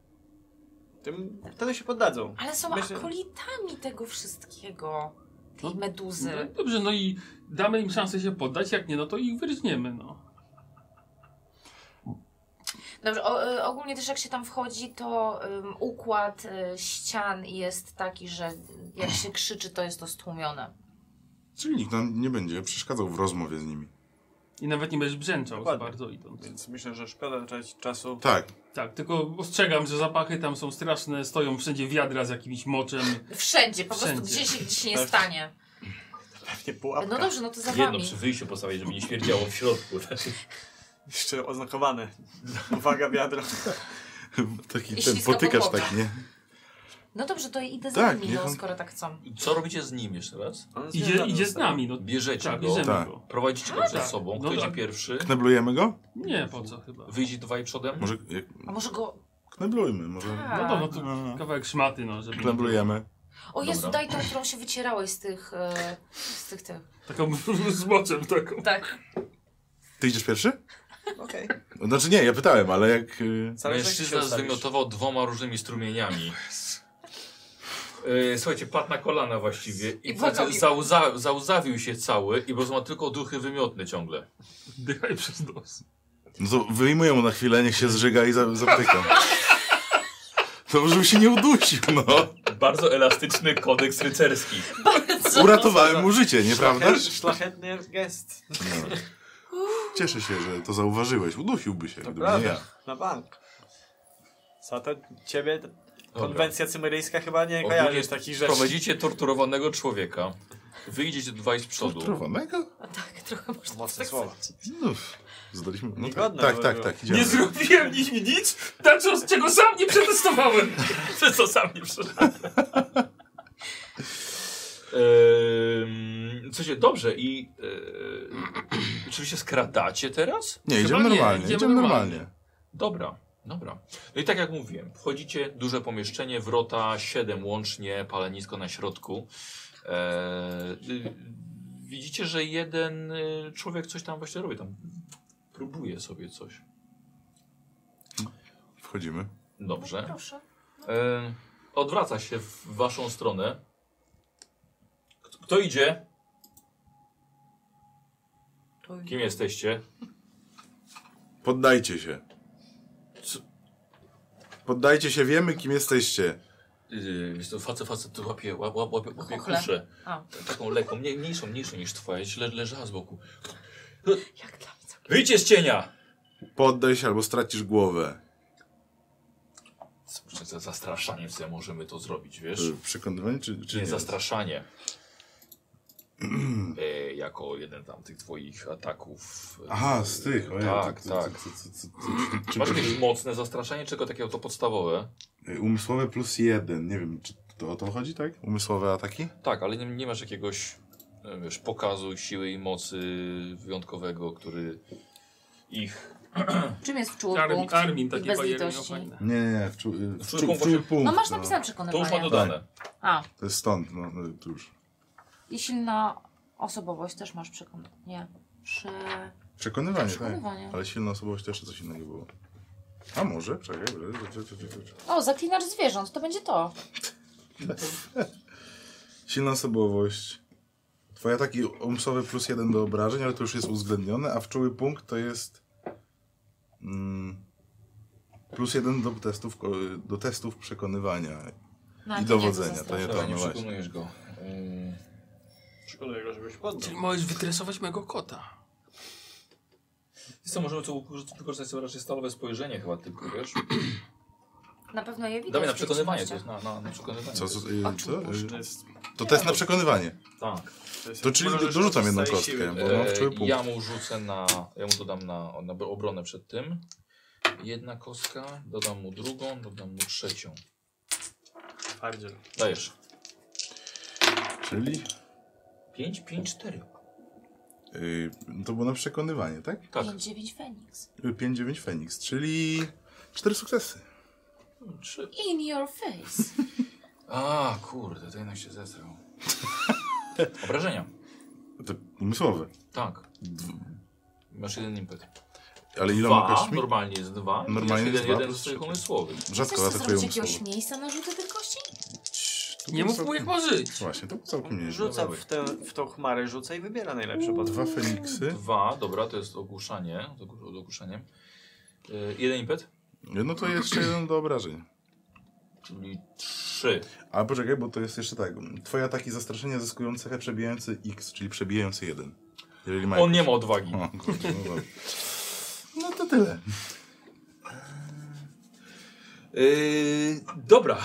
[SPEAKER 6] Tym, wtedy się poddadzą.
[SPEAKER 3] Ale są
[SPEAKER 6] Myślę-
[SPEAKER 3] akolitami tego wszystkiego. Tej
[SPEAKER 4] No, No,
[SPEAKER 3] meduzy.
[SPEAKER 4] dobrze, no i damy im szansę się poddać, jak nie, no to ich wyrzniemy, no.
[SPEAKER 3] Dobrze, o, y, ogólnie też jak się tam wchodzi, to ym, układ y, ścian jest taki, że jak się krzyczy, to jest to stłumione.
[SPEAKER 2] Czyli nikt nam nie będzie przeszkadzał w rozmowie z nimi.
[SPEAKER 4] I nawet nie będziesz brzęczał za
[SPEAKER 6] Dokładnie.
[SPEAKER 4] bardzo idąc.
[SPEAKER 6] Więc myślę, że szkoda tracić czasu.
[SPEAKER 2] Tak,
[SPEAKER 4] Tak, tylko ostrzegam, że zapachy tam są straszne, stoją wszędzie wiadra z jakimś moczem.
[SPEAKER 3] Wszędzie, po prostu
[SPEAKER 4] Wszędzie.
[SPEAKER 3] gdzieś, gdzieś nie
[SPEAKER 6] Tak.
[SPEAKER 3] stanie.
[SPEAKER 6] Nie pułapka.
[SPEAKER 3] No dobrze, no to za
[SPEAKER 1] Jedno
[SPEAKER 3] wami.
[SPEAKER 1] przy wyjściu postawić, żeby nie śmierdziało w środku.
[SPEAKER 6] Jeszcze oznakowane. Uwaga, wiadro.
[SPEAKER 2] taki
[SPEAKER 3] I
[SPEAKER 2] ten
[SPEAKER 3] ślizga
[SPEAKER 2] potykasz
[SPEAKER 3] podłoga.
[SPEAKER 2] taki, nie?
[SPEAKER 3] No dobrze, to idę za
[SPEAKER 2] Tak,
[SPEAKER 3] nimi,
[SPEAKER 2] niech
[SPEAKER 3] no,
[SPEAKER 2] on-
[SPEAKER 3] skoro tak chcą.
[SPEAKER 1] Co robicie z nim jeszcze raz?
[SPEAKER 6] On jest
[SPEAKER 4] Idzie,
[SPEAKER 6] związany
[SPEAKER 4] idzie z
[SPEAKER 6] został.
[SPEAKER 4] nami, no.
[SPEAKER 1] Bierzecie
[SPEAKER 4] Tak,
[SPEAKER 1] go,
[SPEAKER 4] bierzemy
[SPEAKER 2] Tak.
[SPEAKER 4] go.
[SPEAKER 1] prowadzicie go
[SPEAKER 4] A,
[SPEAKER 1] przed
[SPEAKER 4] tak.
[SPEAKER 1] sobą.
[SPEAKER 4] No
[SPEAKER 1] Kto idzie
[SPEAKER 4] tak.
[SPEAKER 1] pierwszy?
[SPEAKER 2] Kneblujemy go?
[SPEAKER 3] Tak.
[SPEAKER 4] Nie, po co chyba.
[SPEAKER 1] Wyjdzie dwaj przodem?
[SPEAKER 2] Może jak,
[SPEAKER 3] A może go...
[SPEAKER 2] kneblujmy, może...
[SPEAKER 3] Tak.
[SPEAKER 4] No to, no
[SPEAKER 2] Aha.
[SPEAKER 4] to kawałek szmaty, no, żeby...
[SPEAKER 2] Kneblujemy.
[SPEAKER 3] O Jezu,
[SPEAKER 1] Dobra.
[SPEAKER 3] daj tą, którą się wycierałeś z tych... e, z tych, tych.
[SPEAKER 4] Taką z moczem taką.
[SPEAKER 3] Tak.
[SPEAKER 2] Ty idziesz pierwszy?
[SPEAKER 6] Okej.
[SPEAKER 2] Znaczy nie, ja pytałem, ale jak... y,
[SPEAKER 6] Cały czas się
[SPEAKER 1] Mężczyzna
[SPEAKER 6] ustawisz.
[SPEAKER 1] zwymiotował dwoma różnymi strumieniami. E, Słuchajcie, padł na kolana właściwie i,
[SPEAKER 3] I
[SPEAKER 1] i
[SPEAKER 3] płakał.
[SPEAKER 1] zauza, zauzawił się cały i bo ma tylko duchy wymiotne ciągle.
[SPEAKER 4] Dychaj przez nos.
[SPEAKER 2] No to wyjmuję mu na chwilę, niech się zżyga i za- zapytam. Dobrze, żeby się nie udusił, no.
[SPEAKER 1] Bardzo elastyczny kodeks rycerski.
[SPEAKER 2] Uratowałem mu życie, nieprawda? No.
[SPEAKER 6] Szlachet- Szlachetny gest.
[SPEAKER 2] Tak Cieszę się, że to zauważyłeś. Udusiłby się, gdyby nie
[SPEAKER 6] prawda.
[SPEAKER 2] ja.
[SPEAKER 6] Na bank. Co to ciebie? Konwencja cymeryjska chyba nie
[SPEAKER 1] Ogólnie
[SPEAKER 6] kojarzysz takich rzeczy.
[SPEAKER 1] Prowadzicie torturowanego człowieka. Wyjdziecie dwaj z przodu.
[SPEAKER 2] Torturowanego?
[SPEAKER 3] A tak, trochę można
[SPEAKER 6] Mocne
[SPEAKER 3] tak
[SPEAKER 6] słowa.
[SPEAKER 2] Znów. No, Zdaliśmy? No, tak,
[SPEAKER 6] Niegodne
[SPEAKER 2] tak,
[SPEAKER 6] by
[SPEAKER 2] tak,
[SPEAKER 6] było.
[SPEAKER 2] tak, idziemy.
[SPEAKER 4] Nie zrobiłem nic, nic, tak, co- czego sam nie przetestowałem.
[SPEAKER 1] Przez co sam nie przeżyłem. Ehm, Co się dobrze i. e, czy wy się skradacie teraz?
[SPEAKER 2] Nie,
[SPEAKER 4] Chyba
[SPEAKER 2] idziemy
[SPEAKER 4] nie,
[SPEAKER 2] normalnie,
[SPEAKER 4] idziemy
[SPEAKER 2] idziemy,
[SPEAKER 4] normalnie.
[SPEAKER 2] normalnie.
[SPEAKER 1] Dobra, dobra. No i tak jak mówiłem, wchodzicie, duże pomieszczenie, wrota 7 łącznie, palenisko na środku. E, y, widzicie, że jeden y, człowiek coś tam właśnie robi, tam próbuje sobie coś.
[SPEAKER 2] Wchodzimy.
[SPEAKER 3] No,
[SPEAKER 1] Dobrze.
[SPEAKER 3] proszę.
[SPEAKER 1] E, odwraca się w waszą stronę. Kto, kto idzie? Kim jesteście?
[SPEAKER 2] Poddajcie się.
[SPEAKER 1] Co?
[SPEAKER 2] Poddajcie się, wiemy kim jesteście.
[SPEAKER 1] Yy, wiesz co, facet, facet tu łapie, łap, łap, łapie, łapie
[SPEAKER 3] Chuchle.
[SPEAKER 1] kuszę.
[SPEAKER 3] A.
[SPEAKER 1] Taką lekką, mniej- mniejszą, mniejszą niż twoja, źle leżała z boku.
[SPEAKER 3] Jak dla mnie całkiem.
[SPEAKER 1] Wyjdźcie z cienia!
[SPEAKER 2] Poddaj się albo stracisz głowę.
[SPEAKER 1] Za- za- Zastraszaniem sobie możemy to zrobić, wiesz?
[SPEAKER 2] Y, Przekonywanie czy, czy
[SPEAKER 1] Nie
[SPEAKER 2] nie?
[SPEAKER 1] zastraszanie. E, jako jeden tam tych twoich ataków.
[SPEAKER 2] Aha, z tych. ojej,
[SPEAKER 1] Tak,
[SPEAKER 2] co- co-
[SPEAKER 1] tak.
[SPEAKER 2] co- co- co- co- czy-
[SPEAKER 1] Masz jakieś mocne zastraszanie, czego takiego to podstawowe?
[SPEAKER 2] Y, Umysłowe plus jeden. Nie wiem, czy to o to chodzi, tak? Umysłowe ataki?
[SPEAKER 1] Tak, ale nie, nie masz jakiegoś e, wiesz, pokazu siły i mocy wyjątkowego, który ich
[SPEAKER 3] Czym jest w człowieku?
[SPEAKER 4] Armin, Armin
[SPEAKER 3] I
[SPEAKER 4] takie
[SPEAKER 3] bez
[SPEAKER 4] bajery miał
[SPEAKER 3] litości.
[SPEAKER 4] fajne.
[SPEAKER 2] Nie, nie, nie. W czu, y, w
[SPEAKER 1] Czu-
[SPEAKER 2] czu, w
[SPEAKER 1] właśnie-
[SPEAKER 2] czu, punkt,
[SPEAKER 3] No masz
[SPEAKER 2] no.
[SPEAKER 3] napisane
[SPEAKER 1] To już ma
[SPEAKER 3] przekonywanie.
[SPEAKER 1] dodane.
[SPEAKER 2] Tak,
[SPEAKER 3] A,
[SPEAKER 2] To jest stąd, no, no to już.
[SPEAKER 3] i silna osobowość też masz przekonywanie. Nie. Prze...
[SPEAKER 2] Przekonywanie,
[SPEAKER 3] Przekonywanie.
[SPEAKER 2] tak. Ale silna osobowość też coś innego było. A może? Czekaj, czekaj, czekaj, czekaj, czekaj.
[SPEAKER 3] O, zaklinacz zwierząt, to będzie to.
[SPEAKER 2] Silna osobowość. Twoje ataki umysłowe plus jeden do obrażeń, ale to już jest uwzględnione, a wczuły punkt to jest mm, plus jeden do testów, ko- do testów przekonywania.
[SPEAKER 3] No,
[SPEAKER 2] I
[SPEAKER 3] to nie,
[SPEAKER 2] dowodzenia,
[SPEAKER 3] to
[SPEAKER 2] to nie
[SPEAKER 1] Dobra, nie
[SPEAKER 3] zastraszenie.
[SPEAKER 2] no właśnie.
[SPEAKER 1] przekonujesz go. E, Ym,
[SPEAKER 6] Szkoda go, żebyś poddał.
[SPEAKER 4] Czyli możesz wytresować mojego kota.
[SPEAKER 1] Wiesz co, możemy tu wykorzystać sobie raczej stalowe spojrzenie chyba tylko, wiesz?
[SPEAKER 3] Na pewno je widać.
[SPEAKER 1] Dawaj na
[SPEAKER 3] w
[SPEAKER 1] przekonywanie to jest,
[SPEAKER 3] rzeczywistości.
[SPEAKER 1] na, na, na przekonywanie.
[SPEAKER 2] Co, co, y,
[SPEAKER 3] Oczu
[SPEAKER 2] co? Y,
[SPEAKER 3] puszczę.
[SPEAKER 6] To jest...
[SPEAKER 2] to test na przekonywanie.
[SPEAKER 1] Tak.
[SPEAKER 6] jest-
[SPEAKER 2] To czyli
[SPEAKER 6] możesz
[SPEAKER 2] dorzucam jedną
[SPEAKER 6] korzystać z
[SPEAKER 2] kostkę,
[SPEAKER 6] siły.
[SPEAKER 2] bo mam wczuły
[SPEAKER 1] E,
[SPEAKER 2] no, punkt.
[SPEAKER 1] ja mu rzucę na, ja mu dodam na, na obronę przed tym. Jedna kostka, dodam mu drugą, dodam mu trzecią.
[SPEAKER 6] Twardziel.
[SPEAKER 1] Dajesz.
[SPEAKER 2] Czyli
[SPEAKER 1] pięć, pięć, cztery.
[SPEAKER 2] y, to było na przekonywanie, tak?
[SPEAKER 1] Tak.
[SPEAKER 3] 5-9 Feniks.
[SPEAKER 2] Y, 5-9 Feniks, czyli cztery sukcesy.
[SPEAKER 1] Trzy.
[SPEAKER 3] In your face.
[SPEAKER 1] A, kurde, to jednak się zesrał. Obrażenia.
[SPEAKER 2] To umysłowe.
[SPEAKER 1] Tak. Masz jeden impet.
[SPEAKER 2] Ale iloma
[SPEAKER 1] Dwa,
[SPEAKER 2] kośćmi?
[SPEAKER 1] normalnie jest dwa.
[SPEAKER 2] Normalnie
[SPEAKER 1] Masz
[SPEAKER 2] jest
[SPEAKER 1] jeden,
[SPEAKER 2] dwa
[SPEAKER 1] jeden
[SPEAKER 2] plus
[SPEAKER 1] z swoich
[SPEAKER 2] trzeci.
[SPEAKER 1] umysłowych.
[SPEAKER 3] Chcesz
[SPEAKER 2] Rzadko
[SPEAKER 3] sobie
[SPEAKER 2] atakuje
[SPEAKER 3] zrobić jakiegoś
[SPEAKER 2] umysłowe.
[SPEAKER 3] miejsca na rzuty tych kości?
[SPEAKER 4] Nie mów mu jak ma żyć.
[SPEAKER 2] Właśnie, to całkiem nieźle.
[SPEAKER 6] Rzuca w, tę w tą chmarę, rzuca i wybiera najlepsze pod
[SPEAKER 2] Dwa Feniksy.
[SPEAKER 1] Dwa, dobra, to jest ogłuszanie. Z ogłu- z ogłuszaniem. E, jeden impet,
[SPEAKER 2] No to jeszcze jeden do obrażeń.
[SPEAKER 1] czyli trzy.
[SPEAKER 2] A poczekaj, bo to jest jeszcze tak. Twoje ataki zastraszenia zyskują cechę przebijający X, czyli przebijający 1. Jeżeli ma
[SPEAKER 1] On nie ma odwagi.
[SPEAKER 2] O, kurde, no, dobra. no to tyle.
[SPEAKER 1] Yy, dobra.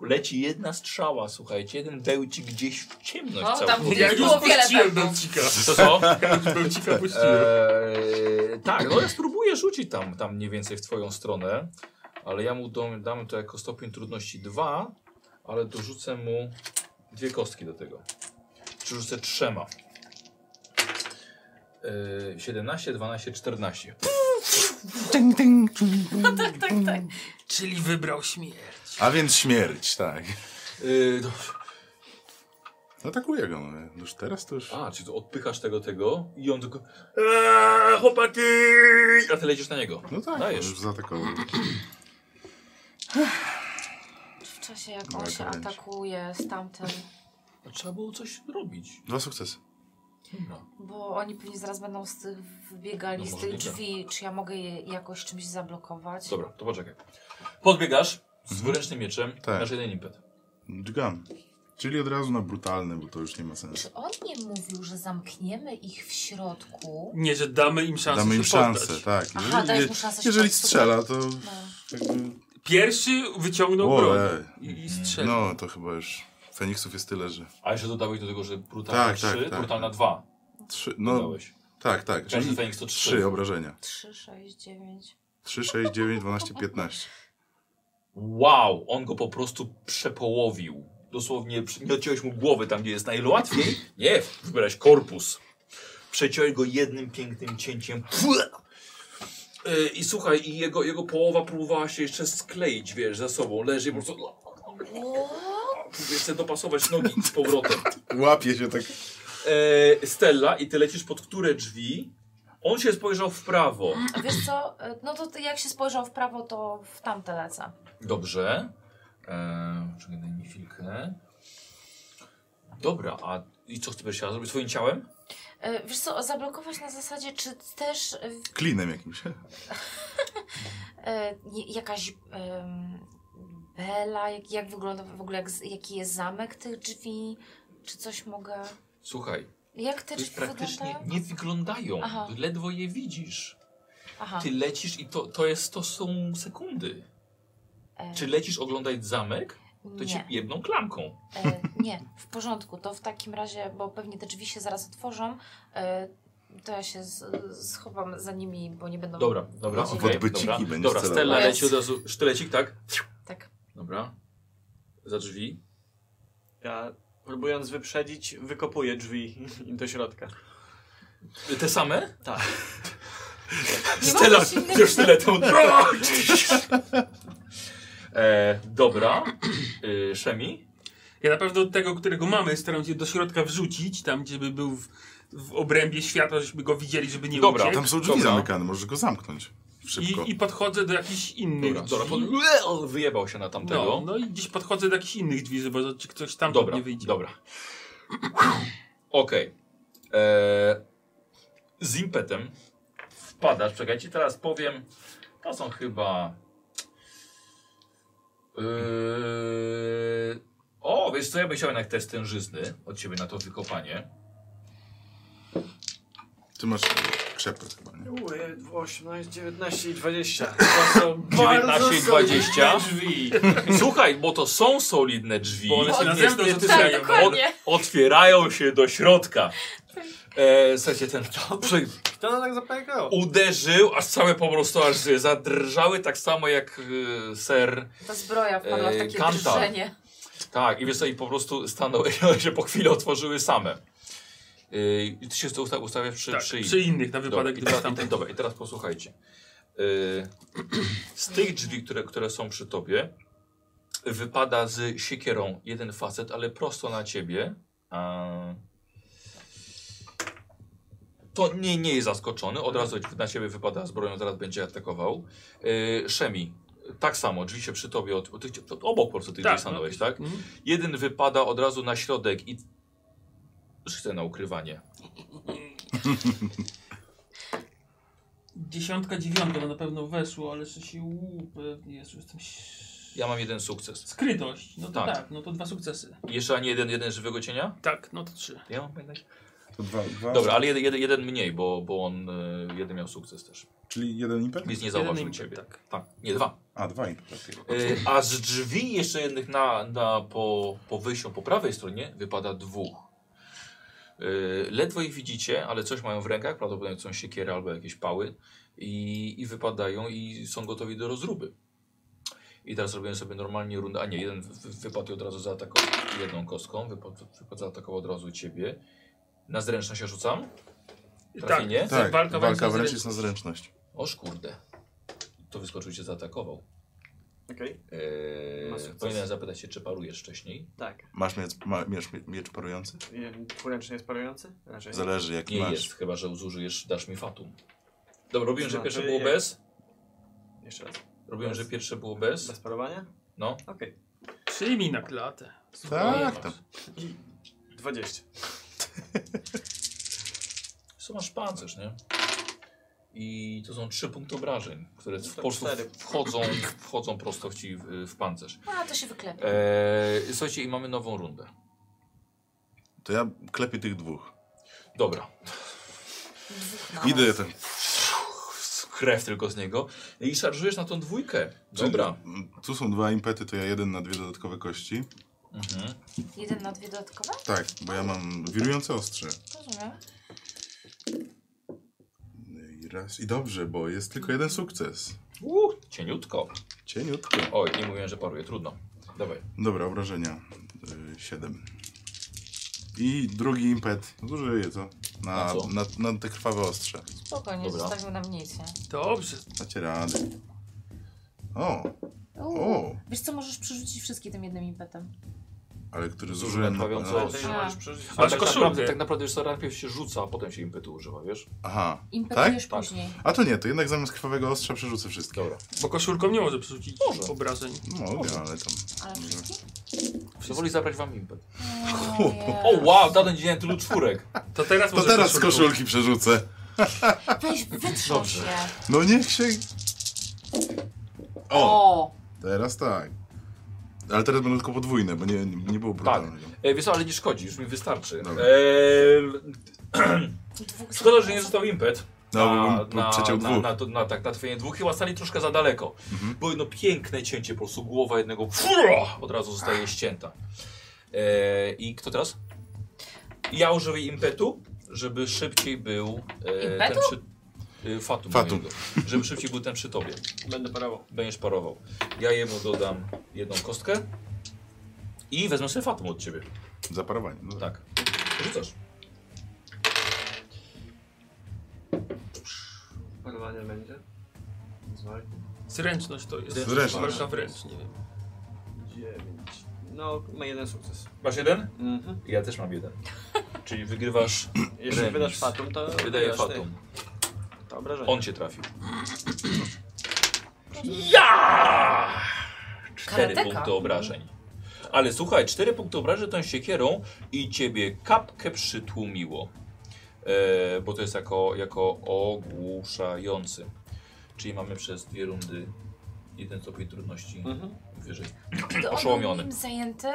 [SPEAKER 1] Leci jedna strzała, słuchajcie, jeden bełci gdzieś w ciemność
[SPEAKER 3] O, tam
[SPEAKER 1] całkowicie.
[SPEAKER 3] gdzieś. Było wiele pewno.
[SPEAKER 4] Belcika.
[SPEAKER 1] To co?
[SPEAKER 4] Belcika puściłem.
[SPEAKER 1] Eee, tak, no ja spróbuję rzucić tam, tam mniej więcej w twoją stronę, ale ja mu dam, dam to jako stopień trudności 2, ale dorzucę mu dwie kostki do tego. Czy rzucę trzema. Eee, 17, 12, 14.
[SPEAKER 3] Tak, tak, tak.
[SPEAKER 4] Czyli wybrał śmierć.
[SPEAKER 2] A więc śmierć, tak.
[SPEAKER 1] Yy, dobrze.
[SPEAKER 2] Atakuję go, no. Już teraz to już...
[SPEAKER 1] A, czy to odpychasz tego, tego i on tylko eee, chłopaki! A ty lecisz na niego.
[SPEAKER 2] No tak,
[SPEAKER 1] Dajesz.
[SPEAKER 2] już zaatakował.
[SPEAKER 3] W czasie jak on
[SPEAKER 2] Małe
[SPEAKER 3] się
[SPEAKER 2] kawałeczki.
[SPEAKER 3] atakuje z tamtym,
[SPEAKER 1] No, Trzeba było coś robić.
[SPEAKER 2] Dwa sukcesy.
[SPEAKER 1] Dobra.
[SPEAKER 3] bo oni pewnie zaraz będą z tych wybiegali
[SPEAKER 1] No
[SPEAKER 3] z tych
[SPEAKER 1] możliwe.
[SPEAKER 3] drzwi, czy ja mogę je jakoś czymś zablokować?
[SPEAKER 1] Dobra, to poczekaj. Podbiegasz z dwuręcznym mieczem,
[SPEAKER 2] Tak.
[SPEAKER 1] masz jeden impet.
[SPEAKER 2] Dźgam. Czyli od razu na brutalne, bo to już nie ma sensu.
[SPEAKER 3] Czy on nie mówił, że zamkniemy ich w środku?
[SPEAKER 4] Nie, że damy im szansę
[SPEAKER 2] Damy im
[SPEAKER 4] się
[SPEAKER 2] szansę,
[SPEAKER 4] poddać.
[SPEAKER 2] tak.
[SPEAKER 3] Aha,
[SPEAKER 2] Jeżeli,
[SPEAKER 3] dajesz mu szansę się
[SPEAKER 2] jeżeli
[SPEAKER 3] poddać.
[SPEAKER 2] strzela, to...
[SPEAKER 3] No.
[SPEAKER 2] Jakby...
[SPEAKER 4] Pierwszy wyciągnął
[SPEAKER 2] Ole.
[SPEAKER 4] broń i, i strzelił.
[SPEAKER 2] No, to chyba już... Feniksów jest tyle, że...
[SPEAKER 5] A jeszcze dodałeś do tego, że brutalna
[SPEAKER 2] Tak,
[SPEAKER 5] 3,
[SPEAKER 2] tak, tak.
[SPEAKER 5] brutalna 2
[SPEAKER 2] Trzy, no,
[SPEAKER 5] dodałeś.
[SPEAKER 2] tak, tak.
[SPEAKER 5] Każdy
[SPEAKER 2] Czyli
[SPEAKER 5] Feniks to 3.
[SPEAKER 2] trzy obrażenia.
[SPEAKER 3] 3, 6, 9.
[SPEAKER 2] 3, 6, 9, 12, 15.
[SPEAKER 5] Wow, on go po prostu przepołowił. Dosłownie przy- nie odciąłeś mu głowy tam, gdzie jest najłatwiej. Nie, wybrałeś korpus. Przeciąłeś go jednym pięknym cięciem. Yy, I słuchaj, i jego, jego połowa próbowała się jeszcze skleić, wiesz, za sobą. Leży i po prostu próbuje sobie dopasować nogi z powrotem.
[SPEAKER 2] Łapie się tak...
[SPEAKER 5] Yy, Stella, i ty lecisz pod które drzwi? On się spojrzał w prawo.
[SPEAKER 3] Wiesz co, e, no to ty jak się spojrzał w prawo, to w tamte lecę.
[SPEAKER 5] Dobrze. Eee, czekaj, daj mi chwilkę. Dobra, a i co ty będziesz chciała zrobić swoim ciałem?
[SPEAKER 3] E, Wiesz co, zablokować na zasadzie, czy też e, w-
[SPEAKER 2] Klinem jakimś. he?
[SPEAKER 3] e, nie- jakaś em, bela, jak, jak wygląda w ogóle, jak, z- jaki jest zamek tych drzwi, czy coś mogę...
[SPEAKER 5] Słuchaj,
[SPEAKER 3] Jak te
[SPEAKER 5] to jest
[SPEAKER 3] drzwi
[SPEAKER 5] praktycznie
[SPEAKER 3] wyglądają?
[SPEAKER 5] nie wyglądają.
[SPEAKER 3] Znaczy, Aha.
[SPEAKER 5] Ledwo je widzisz.
[SPEAKER 3] Aha.
[SPEAKER 5] Ty lecisz i to, to jest to są sekundy.
[SPEAKER 3] e,
[SPEAKER 5] Czy lecisz oglądać zamek? To ci
[SPEAKER 3] nie.
[SPEAKER 5] jedną klamką.
[SPEAKER 3] E, nie, w porządku. To w takim razie, bo pewnie te drzwi się zaraz otworzą, e, to ja się z, schowam za nimi, bo nie będą.
[SPEAKER 5] Dobra, dobra,
[SPEAKER 3] W
[SPEAKER 5] okej,
[SPEAKER 2] odbyciki
[SPEAKER 5] dobra.
[SPEAKER 2] będziesz
[SPEAKER 5] Dobra,
[SPEAKER 2] celował.
[SPEAKER 5] Stella
[SPEAKER 3] Jest.
[SPEAKER 5] leci od razu, sztylecik, tak?
[SPEAKER 3] Tak.
[SPEAKER 5] Dobra. Za drzwi.
[SPEAKER 6] Ja próbując wyprzedzić, wykopuję drzwi do środka.
[SPEAKER 5] Te same?
[SPEAKER 6] Tak.
[SPEAKER 3] Nie
[SPEAKER 5] Stella
[SPEAKER 3] mogę się innego-
[SPEAKER 5] już sztyletą. e, dobra. E, Szemi?
[SPEAKER 4] Ja na pewno tego, którego mamy, staram się do środka wrzucić, tam gdzie by był w, w obrębie światła, żebyśmy go widzieli, żeby nie
[SPEAKER 5] Dobra,
[SPEAKER 4] uciekł.
[SPEAKER 2] Tam są drzwi
[SPEAKER 5] Dobra.
[SPEAKER 2] zamykane, możesz go zamknąć. Szybko.
[SPEAKER 4] I, I podchodzę do jakichś innych
[SPEAKER 5] Dobra, dobra
[SPEAKER 4] drzwi.
[SPEAKER 5] pod... on wyjebał się na tamtego.
[SPEAKER 4] no, no i gdzieś podchodzę do jakichś innych drzwi, żeby zobaczyć, czy ktoś tam
[SPEAKER 5] dobra,
[SPEAKER 4] nie wyjdzie.
[SPEAKER 5] dobra. Okej. Eee, Z impetem wpadasz. Czekajcie, teraz powiem. To są chyba. Eee,
[SPEAKER 1] yy,
[SPEAKER 5] o, wiesz co, ja bym chciał jednak test tężyzny od ciebie na to wykopanie.
[SPEAKER 2] Ty masz przepływ chyba, nie?
[SPEAKER 6] 18, 19 i 20.
[SPEAKER 5] 19 i 20.
[SPEAKER 4] Drzwi.
[SPEAKER 5] Słuchaj, bo to są solidne drzwi.
[SPEAKER 4] Bo one się na
[SPEAKER 5] Niestety
[SPEAKER 4] zewnątrz
[SPEAKER 5] są-
[SPEAKER 4] otwierają.
[SPEAKER 3] Tak, dokładnie.
[SPEAKER 5] Od, otwierają się do środka. E, słuchajcie, ten przy,
[SPEAKER 6] Kto nam tak zapajkało?
[SPEAKER 5] uderzył, aż całe po prostu aż zadrżały, tak samo jak y, ser.
[SPEAKER 3] Ta zbroja wpadła w
[SPEAKER 5] E,
[SPEAKER 3] takie
[SPEAKER 5] kanta.
[SPEAKER 3] drżenie.
[SPEAKER 5] Tak, i wiesz co, i po prostu stanąłeś, one się po chwili otworzyły same. Y, I ty się usta- ustawiasz przy,
[SPEAKER 4] Tak,
[SPEAKER 5] przy
[SPEAKER 4] przy,
[SPEAKER 5] innym.
[SPEAKER 4] innych, na wypadek,
[SPEAKER 5] Dobra, i,
[SPEAKER 4] gdyby
[SPEAKER 5] teraz, i, tak.
[SPEAKER 4] tam
[SPEAKER 5] te- dobra, I teraz posłuchajcie. Y, z tych drzwi, które, które są przy tobie, wypada z siekierą jeden facet, ale prosto na ciebie. A... To nie, nie jest zaskoczony, od razu na ciebie wypada zbroją, zaraz będzie atakował. Y, Szemi, tak samo, drzwi się przy tobie, od, ty, chcia- obok po prostu tych
[SPEAKER 4] Tak,
[SPEAKER 5] drzwi stanąłeś, tak?
[SPEAKER 4] Mhm.
[SPEAKER 5] Jeden wypada od razu na środek i chce na ukrywanie.
[SPEAKER 4] Dziesiątka, dziewiątka no na pewno weszło, ale jeszcze się u, pewnie jest, jestem... ś-
[SPEAKER 5] Ja mam jeden sukces.
[SPEAKER 4] Skrytość, no to
[SPEAKER 5] Tak.
[SPEAKER 4] tak. no to dwa sukcesy.
[SPEAKER 5] Jeszcze ani jeden, jeden żywego cienia?
[SPEAKER 4] Tak, no to trzy.
[SPEAKER 5] Ja mam jednak.
[SPEAKER 2] To dwa, dwa.
[SPEAKER 5] Dobra, ale jeden, jeden, jeden mniej, bo, bo on y, jeden miał sukces też.
[SPEAKER 2] Czyli jeden impet?
[SPEAKER 5] Więc nie zauważył
[SPEAKER 4] impet,
[SPEAKER 5] ciebie.
[SPEAKER 4] tak.
[SPEAKER 5] tak. Nie, dwa.
[SPEAKER 2] A, dwa impety. okej.
[SPEAKER 5] Y, a z drzwi jeszcze jednych na, na po, po wyjściu po prawej stronie wypada dwóch. Y, ledwo ich widzicie, ale coś mają w rękach, prawdopodobnie są siekiery albo jakieś pały i, i wypadają i są gotowi do rozruby. I teraz robiłem sobie normalnie rundę, a nie, jeden wy- wy- wypadł i od razu zaatakował jedną kostką, wypadł, wypadł zaatakował od razu ciebie. Na zręczność się rzucam? Trafienie?
[SPEAKER 2] Tak, walka,
[SPEAKER 4] walka
[SPEAKER 2] wręcz
[SPEAKER 4] wręcz
[SPEAKER 2] jest na zręczność.
[SPEAKER 5] Oż kurde. To wyskoczył cię, zaatakował.
[SPEAKER 6] Okej.
[SPEAKER 5] Eee,
[SPEAKER 6] Ma sukces.
[SPEAKER 5] powinienem zapytać się, czy parujesz wcześniej.
[SPEAKER 6] Tak.
[SPEAKER 2] Masz miecz, ma, miecz, miecz parujący?
[SPEAKER 6] Y, Dwuręczny jest parujący? Raczej.
[SPEAKER 2] Zależy jaki
[SPEAKER 5] Nie
[SPEAKER 2] masz.
[SPEAKER 5] jest, chyba że zużyjesz, dasz mi fatum. Dobra, robiłem, że
[SPEAKER 6] Znaczy,
[SPEAKER 5] pierwsze było
[SPEAKER 6] jak-
[SPEAKER 5] bez.
[SPEAKER 6] Jeszcze raz.
[SPEAKER 5] Robiłem, że
[SPEAKER 6] Bez.
[SPEAKER 5] pierwsze było
[SPEAKER 6] Bez
[SPEAKER 5] bez.
[SPEAKER 6] parowania?
[SPEAKER 5] No.
[SPEAKER 6] Okej.
[SPEAKER 4] Przyjmij na klatę.
[SPEAKER 2] Tak, tam.
[SPEAKER 6] 20.
[SPEAKER 5] Co masz pancerz, nie? I to są trzy punkty obrażeń, które
[SPEAKER 6] No to
[SPEAKER 5] w po prostu
[SPEAKER 6] cztery.
[SPEAKER 5] wchodzą, wchodzą prosto w ci w, w pancerz.
[SPEAKER 3] A, to się wyklepie.
[SPEAKER 5] Eee, słuchajcie, i mamy nową rundę.
[SPEAKER 2] To ja klepię tych dwóch.
[SPEAKER 5] Dobra,
[SPEAKER 3] Dwóch no. na
[SPEAKER 2] Idę
[SPEAKER 3] raz.
[SPEAKER 2] ten.
[SPEAKER 5] krew tylko z niego. I szarżujesz na tą dwójkę. Dobra.
[SPEAKER 2] Tu są dwa impety, to ja jeden na dwie dodatkowe kości.
[SPEAKER 5] Mhm.
[SPEAKER 3] Jeden na dwie dodatkowe?
[SPEAKER 2] Tak, bo ja mam wirujące ostrze.
[SPEAKER 3] Rozumiem.
[SPEAKER 2] No I raz i dobrze, bo jest tylko jeden sukces.
[SPEAKER 5] Uh, cieniutko.
[SPEAKER 2] Cieniutko.
[SPEAKER 5] Oj, nie mówiłem, że paruje, trudno. Dawaj.
[SPEAKER 2] Dobra, obrażenia. Y, Siedem. I drugi impet. Zużyję to.
[SPEAKER 5] Na
[SPEAKER 2] Na,
[SPEAKER 5] co?
[SPEAKER 2] na, na, te krwawe ostrze.
[SPEAKER 3] Spokojnie,
[SPEAKER 5] Dobra.
[SPEAKER 3] zostawił nam nic, nie?
[SPEAKER 4] Dobrze.
[SPEAKER 2] Dacie radę. O,
[SPEAKER 3] Uuu.
[SPEAKER 2] o,
[SPEAKER 3] Wiesz co, możesz przerzucić wszystkie tym jednym impetem.
[SPEAKER 2] ale który
[SPEAKER 5] Zużyłem
[SPEAKER 2] zużyłem na...
[SPEAKER 5] krwawiące
[SPEAKER 2] na-
[SPEAKER 5] ostrze.
[SPEAKER 6] Ty nie możesz przeżyć.
[SPEAKER 5] Ale
[SPEAKER 4] te
[SPEAKER 5] tak
[SPEAKER 4] koszulki.
[SPEAKER 5] naprawdę, tak naprawdę już najpierw się rzuca, a potem się impetu używa, wiesz?
[SPEAKER 2] Aha,
[SPEAKER 3] Impetujesz
[SPEAKER 5] Tak?
[SPEAKER 3] później.
[SPEAKER 2] a to nie, to jednak zamiast krwawego ostrza przerzucę wszystkie.
[SPEAKER 5] Dobra.
[SPEAKER 4] Bo koszulką nie może przerzucić
[SPEAKER 5] Może.
[SPEAKER 4] obrażeń.
[SPEAKER 2] No, mogę, ale tam...
[SPEAKER 3] Ale wszystkie?
[SPEAKER 5] Pozwoli zabrać wam impet.
[SPEAKER 3] Ojej.
[SPEAKER 5] O wow, daden dzień tylu czwórek.
[SPEAKER 4] To teraz
[SPEAKER 2] To
[SPEAKER 4] może
[SPEAKER 2] teraz
[SPEAKER 4] koszulką.
[SPEAKER 2] koszulki przerzucę.
[SPEAKER 3] Weź, wytrząs
[SPEAKER 5] Dobrze.
[SPEAKER 3] się.
[SPEAKER 2] No niech się... O,
[SPEAKER 3] O!
[SPEAKER 2] teraz tak. Ale teraz będą tylko podwójne, bo nie, nie było brutalnego.
[SPEAKER 5] E, wiesz co, ale nie szkodzi, już mi wystarczy.
[SPEAKER 2] Dobra.
[SPEAKER 5] E,
[SPEAKER 3] Dwóch
[SPEAKER 5] szkoda, że nie został impet.
[SPEAKER 2] No, bo
[SPEAKER 5] na,
[SPEAKER 2] bym
[SPEAKER 5] na,
[SPEAKER 2] przeciął
[SPEAKER 5] na,
[SPEAKER 2] dwóch.
[SPEAKER 5] na, to- na, tak, na twoje dwóch chyba stali troszkę za daleko.
[SPEAKER 2] Mhm.
[SPEAKER 5] Bo no piękne cięcie, po prostu głowa jednego fura, od razu zostaje ścięta. E, I kto teraz? Ja użyję impetu, żeby szybciej był e, ten
[SPEAKER 3] Impetu?
[SPEAKER 5] przy... E, fatum.
[SPEAKER 2] Fatum.
[SPEAKER 5] mojego. Żeby szybciej był ten przy tobie.
[SPEAKER 6] Będę parował.
[SPEAKER 5] Będziesz parował. Ja jemu dodam jedną kostkę i wezmę sobie fatum od ciebie.
[SPEAKER 2] Zaparowanie. No tak.
[SPEAKER 5] Tak. Rzucasz.
[SPEAKER 8] Parowanie będzie? Dwa,
[SPEAKER 4] Zręczność to jest.
[SPEAKER 2] Zręczność.
[SPEAKER 4] Walka wręcz, nie wiem.
[SPEAKER 8] dziewięć.
[SPEAKER 6] No, ma jeden sukces.
[SPEAKER 5] Masz jeden?
[SPEAKER 6] Mhm.
[SPEAKER 5] Ja też mam jeden. Czyli wygrywasz,
[SPEAKER 6] Jeśli
[SPEAKER 5] Remis.
[SPEAKER 6] wydasz fatum, to
[SPEAKER 5] wydaje
[SPEAKER 6] wydasz
[SPEAKER 5] fatum.
[SPEAKER 6] Ty, to obrażenie.
[SPEAKER 5] On cię trafił. Ja! Cztery
[SPEAKER 3] Karateka.
[SPEAKER 5] punkty obrażeń. Ale słuchaj, cztery punkty obrażeń tą siekierą i ciebie kapkę przytłumiło. E, bo to jest jako, jako ogłuszający. Czyli mamy przez dwie rundy jeden stopień trudności
[SPEAKER 6] Mhm.
[SPEAKER 5] wyżej.
[SPEAKER 3] To on
[SPEAKER 5] Oszołomiony.
[SPEAKER 3] był nim zajęty,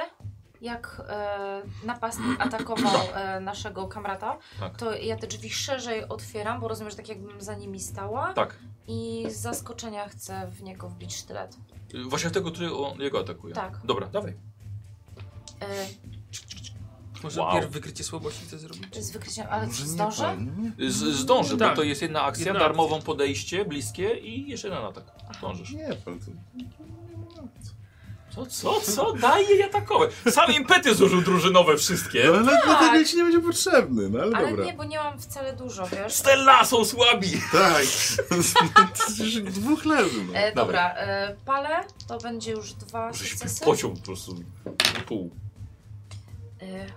[SPEAKER 3] jak e, napastnik atakował e, naszego kamrata,
[SPEAKER 5] Tak.
[SPEAKER 3] to ja te drzwi szerzej otwieram, bo rozumiem, że tak jakbym za nimi stała
[SPEAKER 5] Tak.
[SPEAKER 3] i z zaskoczenia chcę w niego wbić sztylet.
[SPEAKER 5] Y, Właśnie w tego, który on, jego atakuje.
[SPEAKER 3] Tak.
[SPEAKER 5] Dobra, dawaj.
[SPEAKER 3] E,
[SPEAKER 4] Może
[SPEAKER 5] Wow.
[SPEAKER 4] pierw wykrycie słabości chce zrobić?
[SPEAKER 3] z wykryciem,
[SPEAKER 2] no,
[SPEAKER 3] ale czy zdążę?
[SPEAKER 5] Z, zdąży,
[SPEAKER 4] Tak.
[SPEAKER 5] bo to jest jedna akcja,
[SPEAKER 4] Jedna
[SPEAKER 5] darmową podejście, bliskie i jeszcze jeden atak. Zdążysz.
[SPEAKER 2] Nie, pan to...
[SPEAKER 5] Co, co, co? Daje i atakowe. Sam impety zużył drużynowe wszystkie.
[SPEAKER 2] No, ale dlatego ci nie będzie potrzebny, no ale,
[SPEAKER 3] Tak. Ale
[SPEAKER 2] dobra.
[SPEAKER 3] nie, bo nie mam wcale dużo, wiesz?
[SPEAKER 5] Stella są słabi.
[SPEAKER 2] Tak. Przecież dwóch leży, no.
[SPEAKER 3] E, dobra, e, palę, to będzie już dwa
[SPEAKER 5] Żeśmy
[SPEAKER 3] sukcesy.
[SPEAKER 5] pociął po prostu na pół.
[SPEAKER 3] E,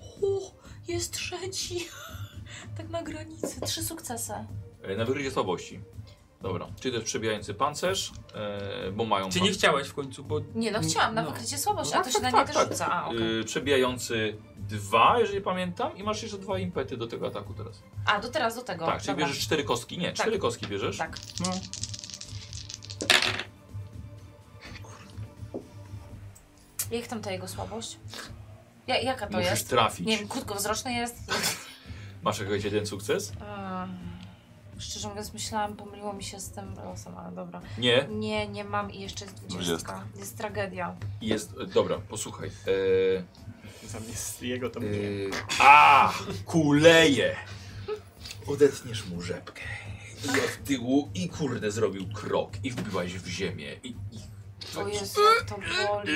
[SPEAKER 3] hu, jest trzeci! tak na granicy, trzy sukcesy.
[SPEAKER 5] E, Na wykrycie słabości. Dobra, czyli też przebijający pancerz, e, bo mają...
[SPEAKER 4] Czy nie chciałeś w końcu, bo...
[SPEAKER 3] Nie no, chciałam na
[SPEAKER 4] No.
[SPEAKER 3] wykrycie słabości,
[SPEAKER 5] Mm, No
[SPEAKER 3] a
[SPEAKER 5] tak,
[SPEAKER 3] to się
[SPEAKER 5] tak,
[SPEAKER 3] na nie
[SPEAKER 5] tak,
[SPEAKER 3] też
[SPEAKER 5] tak.
[SPEAKER 3] rzuca. A, okej.
[SPEAKER 5] Y, przebijający dwa, jeżeli pamiętam, i masz jeszcze dwa impety do tego ataku teraz.
[SPEAKER 3] A, do teraz, do tego.
[SPEAKER 5] tak, czyli
[SPEAKER 3] Dobra.
[SPEAKER 5] bierzesz cztery kostki. Nie,
[SPEAKER 3] Tak.
[SPEAKER 5] cztery kostki bierzesz.
[SPEAKER 3] Tak.
[SPEAKER 2] no.
[SPEAKER 3] Jak tam ta jego słabość? Ja, jaka to
[SPEAKER 5] Musisz
[SPEAKER 3] jest?
[SPEAKER 5] trafić.
[SPEAKER 3] Nie wiem, krótkowzroczny jest.
[SPEAKER 5] Masz jakiś jeden sukces?
[SPEAKER 3] Ehm, szczerze mówiąc myślałam, pomyliło mi się z tym losem, ale dobra.
[SPEAKER 5] Nie.
[SPEAKER 3] Nie, nie mam i jeszcze jest
[SPEAKER 2] Dwudziestka.
[SPEAKER 3] dwudziestka. Jest tragedia.
[SPEAKER 5] Jest. e, Dobra, posłuchaj. E,
[SPEAKER 6] Zamiast jego to
[SPEAKER 5] e,
[SPEAKER 6] mnie.
[SPEAKER 5] a! Kuleje! Odetniesz mu rzepkę. I od tyłu, i kurde, zrobił krok, i wbiłaś w ziemię, i, i,
[SPEAKER 3] O Jezu, jak to boli.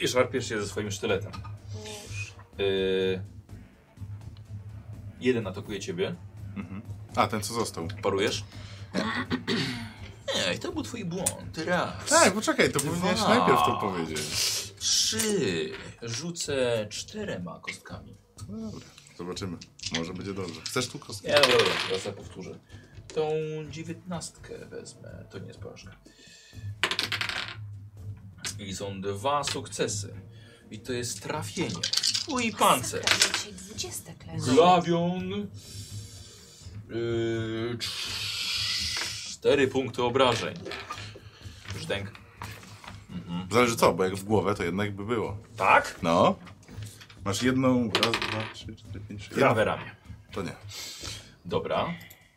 [SPEAKER 5] i szarpiesz się ze swoim sztyletem.
[SPEAKER 3] Już.
[SPEAKER 5] E, jeden atakuje ciebie.
[SPEAKER 2] Mhm. A, ten co został.
[SPEAKER 5] Parujesz? Ej, to był twój błąd. Raz.
[SPEAKER 2] Tak, poczekaj, to powinieneś
[SPEAKER 5] Dwa.
[SPEAKER 2] najpierw to powiedzieć.
[SPEAKER 5] Trzy. Rzucę czterema kostkami.
[SPEAKER 2] No dobra, zobaczymy. Może będzie dobrze. Chcesz tu kostkę?
[SPEAKER 5] Nie, no, dobra, dobra, teraz ja powtórzę. Tą dziewiętnastkę wezmę. To nie jest porażka. I są dwa sukcesy. I to jest trafienie. Twój pancerz.
[SPEAKER 3] Masakra, dzisiaj dwudziestek leży.
[SPEAKER 5] Glawion. Yy, cz- cztery punkty obrażeń. Brzdęk.
[SPEAKER 2] Zależy co, bo jak w głowę to jednak by było.
[SPEAKER 5] Tak?
[SPEAKER 2] No. Masz jedną, raz, dwa, trzy, cztery, pięć, sześć.
[SPEAKER 5] Prawe ramię.
[SPEAKER 2] To nie.
[SPEAKER 5] Dobra.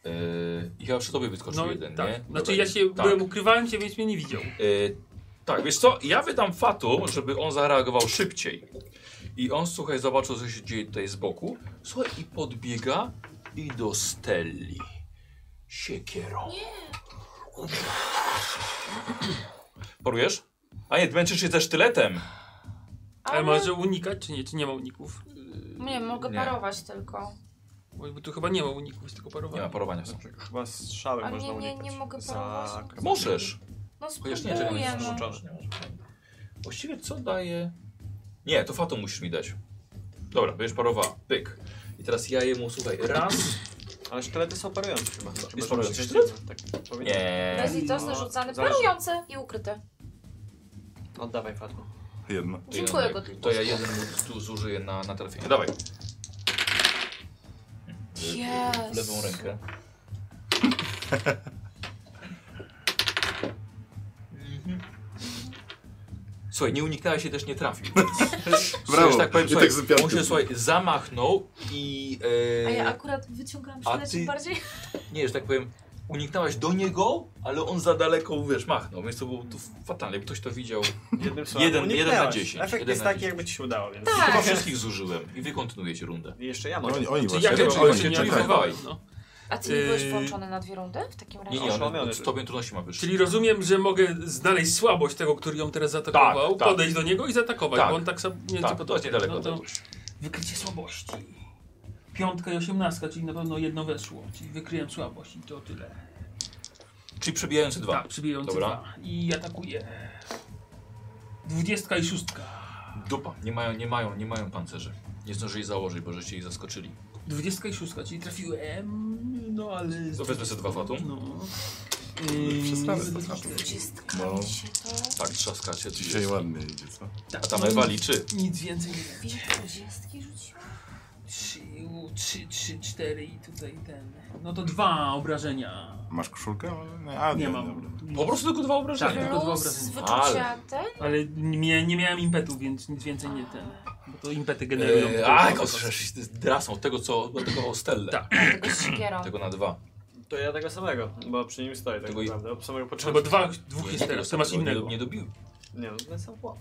[SPEAKER 5] Yy, ja przy tobie wyskoczył
[SPEAKER 4] No
[SPEAKER 5] jeden,
[SPEAKER 4] tak.
[SPEAKER 5] nie?
[SPEAKER 4] Znaczy
[SPEAKER 5] Dobra,
[SPEAKER 4] ja się
[SPEAKER 5] tak.
[SPEAKER 4] byłem, ukrywałem się, więc mnie nie widział.
[SPEAKER 5] Yy, Tak, wiesz co, ja wydam Fatu, żeby on zareagował szybciej. I on, słuchaj, zobaczył, co się dzieje tutaj z boku. Słuchaj, i podbiega i do Stelli. Siekierą. Porujesz? A nie, męczysz się ze sztyletem.
[SPEAKER 4] Ale
[SPEAKER 3] Ale-
[SPEAKER 4] może unikać, czy nie? Czy nie ma uników?
[SPEAKER 3] Nie, mogę
[SPEAKER 5] Nie.
[SPEAKER 3] parować tylko.
[SPEAKER 4] Bo bo tu chyba nie ma uników, jest tylko
[SPEAKER 5] Nie ma
[SPEAKER 4] parowanie.
[SPEAKER 5] parowania w sumie.
[SPEAKER 6] Chyba strzały
[SPEAKER 3] Ale
[SPEAKER 6] można
[SPEAKER 3] nie, nie,
[SPEAKER 6] unikać.
[SPEAKER 3] nie mogę
[SPEAKER 6] Za
[SPEAKER 3] parować.
[SPEAKER 6] akrobat-
[SPEAKER 5] Możesz.
[SPEAKER 3] No
[SPEAKER 5] Chociaż nie, czego nie
[SPEAKER 3] spróbuję,
[SPEAKER 5] jest
[SPEAKER 3] no.
[SPEAKER 5] zrzucone. Właściwie co daje... Nie, to Fatu musisz mi dać. Dobra, będziesz parowała. Pyk. I teraz ja jemu, słuchaj, raz,
[SPEAKER 6] Ale sztylety są parujące
[SPEAKER 5] No,
[SPEAKER 6] chyba. Chyba, że
[SPEAKER 5] parujący
[SPEAKER 6] przecież-
[SPEAKER 5] sztylet?
[SPEAKER 6] Tak powinien.
[SPEAKER 5] Nie.
[SPEAKER 3] Bezlitosny,
[SPEAKER 6] No,
[SPEAKER 3] rzucany,
[SPEAKER 6] zależy.
[SPEAKER 3] parujący i ukryty.
[SPEAKER 6] Oddawaj no, Fatma.
[SPEAKER 2] Jedno.
[SPEAKER 3] Dziękuję go.
[SPEAKER 5] To ja jeden tu zużyję na, na trafienie. Dawaj. W
[SPEAKER 3] Yes.
[SPEAKER 5] lewą rękę. Słuchaj, nie uniknęła się też nie trafił. Słuchaj, że tak powiem,
[SPEAKER 2] I
[SPEAKER 5] słuchaj,
[SPEAKER 2] tak z piątym.
[SPEAKER 5] on się słuchaj, zamachnął i.
[SPEAKER 3] A
[SPEAKER 5] E,
[SPEAKER 3] ja akurat wyciągam
[SPEAKER 5] A
[SPEAKER 3] sztylet
[SPEAKER 5] ty-
[SPEAKER 3] bardziej.
[SPEAKER 5] Nie, że tak powiem, uniknęłaś do niego, ale on za daleko wiesz, machnął, więc to było tu fatalne. Jakby ktoś to widział.
[SPEAKER 3] Tak.
[SPEAKER 6] Jednym słowem
[SPEAKER 5] Jeden- jeden na
[SPEAKER 6] uniknęłaś.
[SPEAKER 5] dziesięć,
[SPEAKER 6] Efekt
[SPEAKER 5] jeden
[SPEAKER 6] jest
[SPEAKER 5] na
[SPEAKER 6] taki,
[SPEAKER 5] dziesięć.
[SPEAKER 6] jakby ci się udało, więc...
[SPEAKER 3] Tak.
[SPEAKER 5] Chyba wszystkich zużyłem i wy kontynuujecie rundę.
[SPEAKER 6] I Jeszcze ja
[SPEAKER 2] No,
[SPEAKER 6] może.
[SPEAKER 2] Oni, oni
[SPEAKER 5] Czyli
[SPEAKER 2] właśnie.
[SPEAKER 5] Znaczy, jak
[SPEAKER 2] oni
[SPEAKER 5] się
[SPEAKER 2] się
[SPEAKER 5] nie
[SPEAKER 2] czekają.
[SPEAKER 5] atakowałeś?
[SPEAKER 4] no.
[SPEAKER 3] A ty nie byłeś
[SPEAKER 4] Yy.
[SPEAKER 3] połączony na dwie rundy w takim razie?
[SPEAKER 5] Nie, nie, on
[SPEAKER 6] Oszalony.
[SPEAKER 5] stopień trudności ma wyższy.
[SPEAKER 4] Czyli rozumiem, że mogę znaleźć słabość tego, który ją teraz zaatakował,
[SPEAKER 5] Tak, tak.
[SPEAKER 4] podejść do niego i zaatakować,
[SPEAKER 5] Tak.
[SPEAKER 4] bo on tak samo nie
[SPEAKER 5] Tak,
[SPEAKER 4] tylko-
[SPEAKER 5] to jest niedaleko
[SPEAKER 4] No to
[SPEAKER 5] byłeś.
[SPEAKER 4] wykrycie słabości. Piątka i osiemnastka, czyli na pewno jedno weszło, czyli wykryłem słabość i to tyle.
[SPEAKER 5] Czyli przebijający dwa.
[SPEAKER 4] Tak, przybijający
[SPEAKER 5] Dobra.
[SPEAKER 4] dwa. I atakuje. Dwudziestka i szóstka.
[SPEAKER 5] Dupa, nie mają, nie mają, nie mają pancerzy. Nie zdążyli założyć, bo żeście ich zaskoczyli.
[SPEAKER 4] Dwudziestka i szóstka, czyli trafiłem, no ale...
[SPEAKER 5] To wezmę sobie dwa fatum.
[SPEAKER 4] No.
[SPEAKER 2] Przesrane
[SPEAKER 4] Yy,
[SPEAKER 2] to fatum.
[SPEAKER 3] Dwudziestka
[SPEAKER 2] No.
[SPEAKER 3] mi się to...
[SPEAKER 5] Tak, trzaskacie. tu
[SPEAKER 2] Dzisiaj
[SPEAKER 5] jest.
[SPEAKER 2] ładnie idzie, co?
[SPEAKER 5] A tam Ewa liczy.
[SPEAKER 4] Nic więcej nie wiem.
[SPEAKER 3] Wiesz, dwudziestki rzuciłam?
[SPEAKER 4] 3, 3, 3, 4 i tutaj ten. No to dwa obrażenia.
[SPEAKER 2] Masz koszulkę? Nie, a, nie,
[SPEAKER 4] Nie
[SPEAKER 2] dobra.
[SPEAKER 4] mam.
[SPEAKER 5] Po prostu tylko dwa
[SPEAKER 4] Tak,
[SPEAKER 6] no.
[SPEAKER 5] obrażenia.
[SPEAKER 4] tylko dwa
[SPEAKER 3] Plus z
[SPEAKER 4] obrażenia.
[SPEAKER 3] wyczucia ten?
[SPEAKER 4] Ale nie, nie miałem impetu, więc nic więcej nie ten. Bo to impety generują.
[SPEAKER 5] Eee, a, jak osłyszysz, drasą od tego, co, od tego o Stellę.
[SPEAKER 4] Tak.
[SPEAKER 3] Tego z siekierą.
[SPEAKER 5] Tego na dwa.
[SPEAKER 6] To ja tego samego, bo przy nim stoję tak
[SPEAKER 5] Tego i-
[SPEAKER 6] naprawdę, od samego początku.
[SPEAKER 4] Albo dwa, dwóch jest teraz, to masz
[SPEAKER 5] nie,
[SPEAKER 4] innego.
[SPEAKER 5] Nie dobił.
[SPEAKER 6] Nie, no ten sam chłop.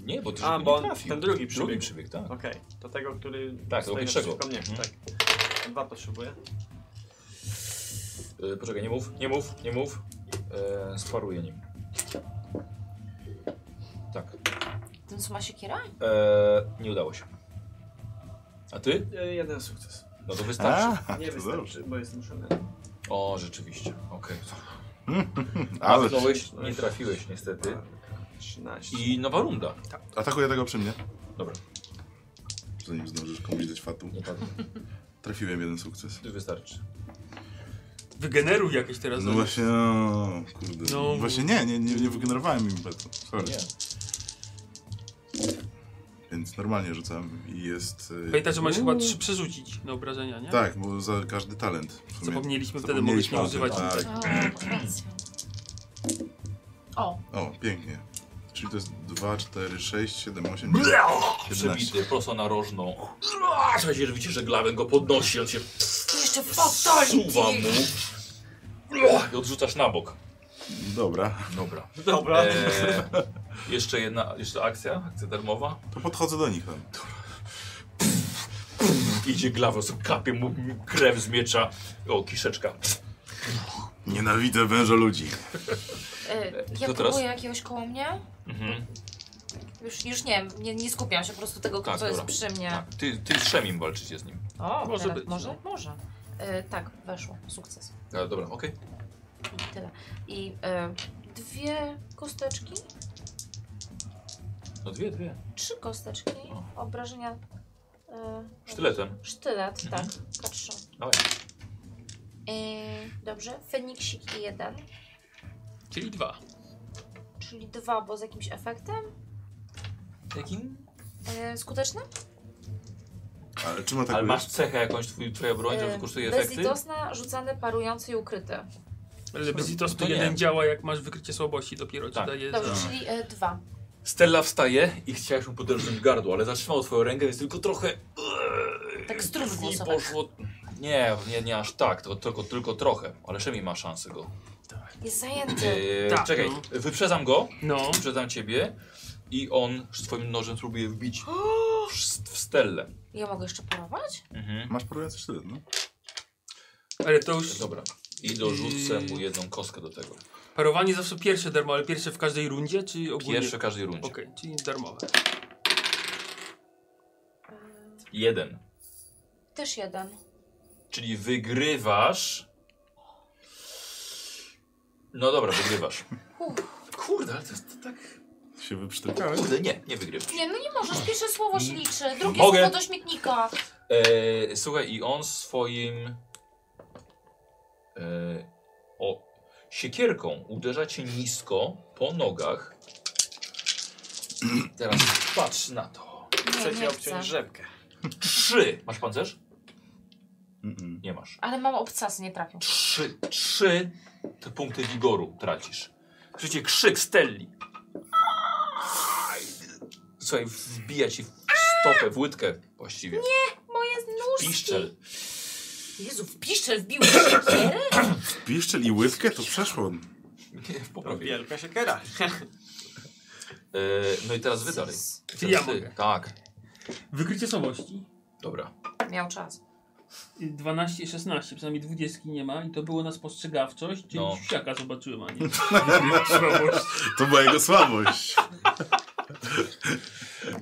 [SPEAKER 5] Nie, bo ty
[SPEAKER 6] A,
[SPEAKER 5] żeby
[SPEAKER 6] bo
[SPEAKER 5] nie
[SPEAKER 6] on-
[SPEAKER 5] trafił.
[SPEAKER 6] ten drugi
[SPEAKER 5] Drugi
[SPEAKER 6] przybiegł.
[SPEAKER 5] przybieg, tak.
[SPEAKER 6] Okej, to tego, który
[SPEAKER 5] Tak,
[SPEAKER 6] stoi
[SPEAKER 5] tego
[SPEAKER 6] naprzeciwko mnie.
[SPEAKER 5] pierwszego. Mhm.
[SPEAKER 6] Tak. Dwa potrzebuję.
[SPEAKER 5] Eee, poczekaj, nie mów, nie mów, nie mów. Eee, sparuję nim. Tak.
[SPEAKER 3] Ten co ma siekiera?
[SPEAKER 5] Eee, nie udało się. A ty?
[SPEAKER 6] E, Jeden sukces.
[SPEAKER 5] No to wystarczy.
[SPEAKER 2] A,
[SPEAKER 6] Nie
[SPEAKER 2] to dobrze.
[SPEAKER 6] wystarczy, bo jestem szalony.
[SPEAKER 5] O, rzeczywiście. Okej.
[SPEAKER 2] Ale
[SPEAKER 5] Machnąłeś, nie trafiłeś niestety.
[SPEAKER 6] 13.
[SPEAKER 5] I nowa runda.
[SPEAKER 2] atakuje tego przy mnie.
[SPEAKER 5] Dobra,
[SPEAKER 2] Zanim zdążysz komuś dać fatu.
[SPEAKER 5] nie padło.
[SPEAKER 2] Trafiłem jeden sukces.
[SPEAKER 5] To wystarczy.
[SPEAKER 4] Wygeneruj jakieś teraz.
[SPEAKER 2] No właśnie, no, kurde.
[SPEAKER 4] No.
[SPEAKER 2] Właśnie nie, nie, nie, nie wygenerowałem impetu. Sorry.
[SPEAKER 5] Nie.
[SPEAKER 2] Więc normalnie rzucam i jest... e,
[SPEAKER 4] Pamiętaj, że masz
[SPEAKER 5] No.
[SPEAKER 4] chyba trzy przerzucić na obrażenia, nie?
[SPEAKER 2] Tak, bo za każdy talent. w sumie.
[SPEAKER 4] Zapomnieliśmy wtedy,
[SPEAKER 2] Zapomnieliśmy
[SPEAKER 4] mogliśmy
[SPEAKER 2] o tym,
[SPEAKER 4] używać
[SPEAKER 2] Tak.
[SPEAKER 3] O, masz rację. O,
[SPEAKER 2] O, pięknie. Czyli to jest 2, 4, 6, 7, 8, 9, 11.
[SPEAKER 5] Przebity prosto na rożną. Słuchajcie, że widzicie, że Glaven go podnosi, on się
[SPEAKER 3] ty jeszcze
[SPEAKER 5] suwa
[SPEAKER 3] fotoli!
[SPEAKER 5] mu. I odrzucasz na bok.
[SPEAKER 2] Dobra,
[SPEAKER 5] Dobra.
[SPEAKER 6] Dobra.
[SPEAKER 5] Eee, jeszcze jedna, jeszcze akcja, akcja darmowa.
[SPEAKER 2] to podchodzę do nich tam.
[SPEAKER 5] Idzie Glaven, so kapie mu krew z miecza. O, kiszeczka.
[SPEAKER 2] Nienawidzę węża ludzi.
[SPEAKER 3] Y, Ja
[SPEAKER 5] To teraz?
[SPEAKER 3] próbuję jakiegoś koło mnie?
[SPEAKER 5] Mhm.
[SPEAKER 3] Już, już nie, nie, nie skupiam się po prostu tego,
[SPEAKER 5] Tak,
[SPEAKER 3] co jest
[SPEAKER 5] dobra.
[SPEAKER 3] przy mnie.
[SPEAKER 5] Tak, ty, ty z Szemim walczycie z nim.
[SPEAKER 3] O,
[SPEAKER 4] Może
[SPEAKER 3] może teraz,
[SPEAKER 4] być,
[SPEAKER 3] może?
[SPEAKER 4] no.
[SPEAKER 3] Może. Y, tak, weszło, sukces.
[SPEAKER 5] A, E, dobra, okej.
[SPEAKER 3] I tyle. I y, dwie kosteczki,
[SPEAKER 5] No dwie, dwie.
[SPEAKER 3] trzy kosteczki,
[SPEAKER 5] O.
[SPEAKER 3] obrażenia... y,
[SPEAKER 5] Sztyletem.
[SPEAKER 3] Sztylet,
[SPEAKER 5] Mhm.
[SPEAKER 3] tak. K3.
[SPEAKER 5] Dawaj.
[SPEAKER 3] Yy, dobrze, Feniksik i jeden,
[SPEAKER 4] Czyli dwa.
[SPEAKER 3] czyli dwa, bo z jakimś efektem
[SPEAKER 5] Jakim?
[SPEAKER 3] yy, skutecznym.
[SPEAKER 2] Ale czym tak atakujesz?
[SPEAKER 5] Ale masz cechę jakąś, twój, twoja broń, która
[SPEAKER 3] Yy,
[SPEAKER 5] kosztuje efekty?
[SPEAKER 3] Bezlitosna, rzucany, parujący i ukryty.
[SPEAKER 4] Ale bez to,
[SPEAKER 5] To
[SPEAKER 4] to
[SPEAKER 5] nie.
[SPEAKER 4] jeden działa, jak masz wykrycie słabości, dopiero ci
[SPEAKER 5] Tak.
[SPEAKER 4] daje.
[SPEAKER 3] Dobrze,
[SPEAKER 4] za-
[SPEAKER 3] czyli yy, dwa.
[SPEAKER 5] Stella wstaje i chciałaś mu podrżnąć gardło, ale zatrzymał twoją rękę, więc tylko trochę...
[SPEAKER 3] Tak z trudów
[SPEAKER 5] I
[SPEAKER 3] głosowych.
[SPEAKER 5] poszło... Nie, nie, nie aż tak, tylko, tylko, tylko trochę. Ale Szemi ma szansę go.
[SPEAKER 4] Tak.
[SPEAKER 3] Jest zajęty.
[SPEAKER 5] Eee,
[SPEAKER 4] Tak,
[SPEAKER 5] czekaj,
[SPEAKER 4] no.
[SPEAKER 5] wyprzedzam go,
[SPEAKER 4] No.
[SPEAKER 5] wyprzedzam ciebie i on swoim nożem próbuje wbić w st- w stelę.
[SPEAKER 3] Ja mogę jeszcze parować?
[SPEAKER 5] Mhm.
[SPEAKER 2] Masz porujący sztylet, no?
[SPEAKER 4] Ale to już
[SPEAKER 5] Dobra. I
[SPEAKER 4] Eee.
[SPEAKER 5] dorzucę mu jedną kostkę do tego.
[SPEAKER 4] parowanie zawsze pierwsze darmo, ale pierwsze w każdej rundzie, czy ogólnie?
[SPEAKER 5] Pierwsze każdej rundzie.
[SPEAKER 4] Okej, czyli darmowe.
[SPEAKER 5] Jeden.
[SPEAKER 3] Też jeden.
[SPEAKER 5] Czyli wygrywasz. No dobra, wygrywasz. Kurde, ale to jest to tak.
[SPEAKER 2] Się wyprztykałem.
[SPEAKER 5] Kurde, nie, nie wygrywasz.
[SPEAKER 3] Nie, no nie możesz. Pierwsze słowo się liczy, drugie
[SPEAKER 5] Mm. Mogę.
[SPEAKER 3] słowo do śmietnika.
[SPEAKER 5] Eee, słuchaj, i on swoim. Eee, o, siekierką uderza cię nisko po nogach. Teraz patrz na to.
[SPEAKER 3] Nie,
[SPEAKER 6] Chcę ci
[SPEAKER 3] nie chcę.
[SPEAKER 6] obciąć rzepkę.
[SPEAKER 5] Trzy! Masz pancerz?
[SPEAKER 2] Mm-mm.
[SPEAKER 5] Nie masz.
[SPEAKER 3] Ale mam obcasy, nie trafią.
[SPEAKER 5] Trzy, trzy te punkty wigoru tracisz. Słyszycie krzyk Stelli. Słuchaj, wbija ci w stopę, w łydkę właściwie. Nie,
[SPEAKER 3] Moje nóżki.
[SPEAKER 5] Piszczel.
[SPEAKER 3] Jezu, w piszczel wbiłeś siekierę?
[SPEAKER 2] Piszczel i łydkę to przeszło.
[SPEAKER 5] Nie, w
[SPEAKER 6] To
[SPEAKER 5] poprawie.
[SPEAKER 6] wielka
[SPEAKER 2] Tak.
[SPEAKER 6] siekiera.
[SPEAKER 5] E, no i teraz wy dalej.
[SPEAKER 4] Czyli ja
[SPEAKER 5] Teraz ty.
[SPEAKER 4] mogę.
[SPEAKER 5] Tak,
[SPEAKER 4] Wykrycie słabości.
[SPEAKER 5] dobra.
[SPEAKER 3] Miał czas.
[SPEAKER 4] Y, 12 i 16, przynajmniej 20 nie ma i to było na spostrzegawczość, czyli
[SPEAKER 5] No.
[SPEAKER 4] no. siaka zobaczyłem, a nie.
[SPEAKER 2] To była jego słabość.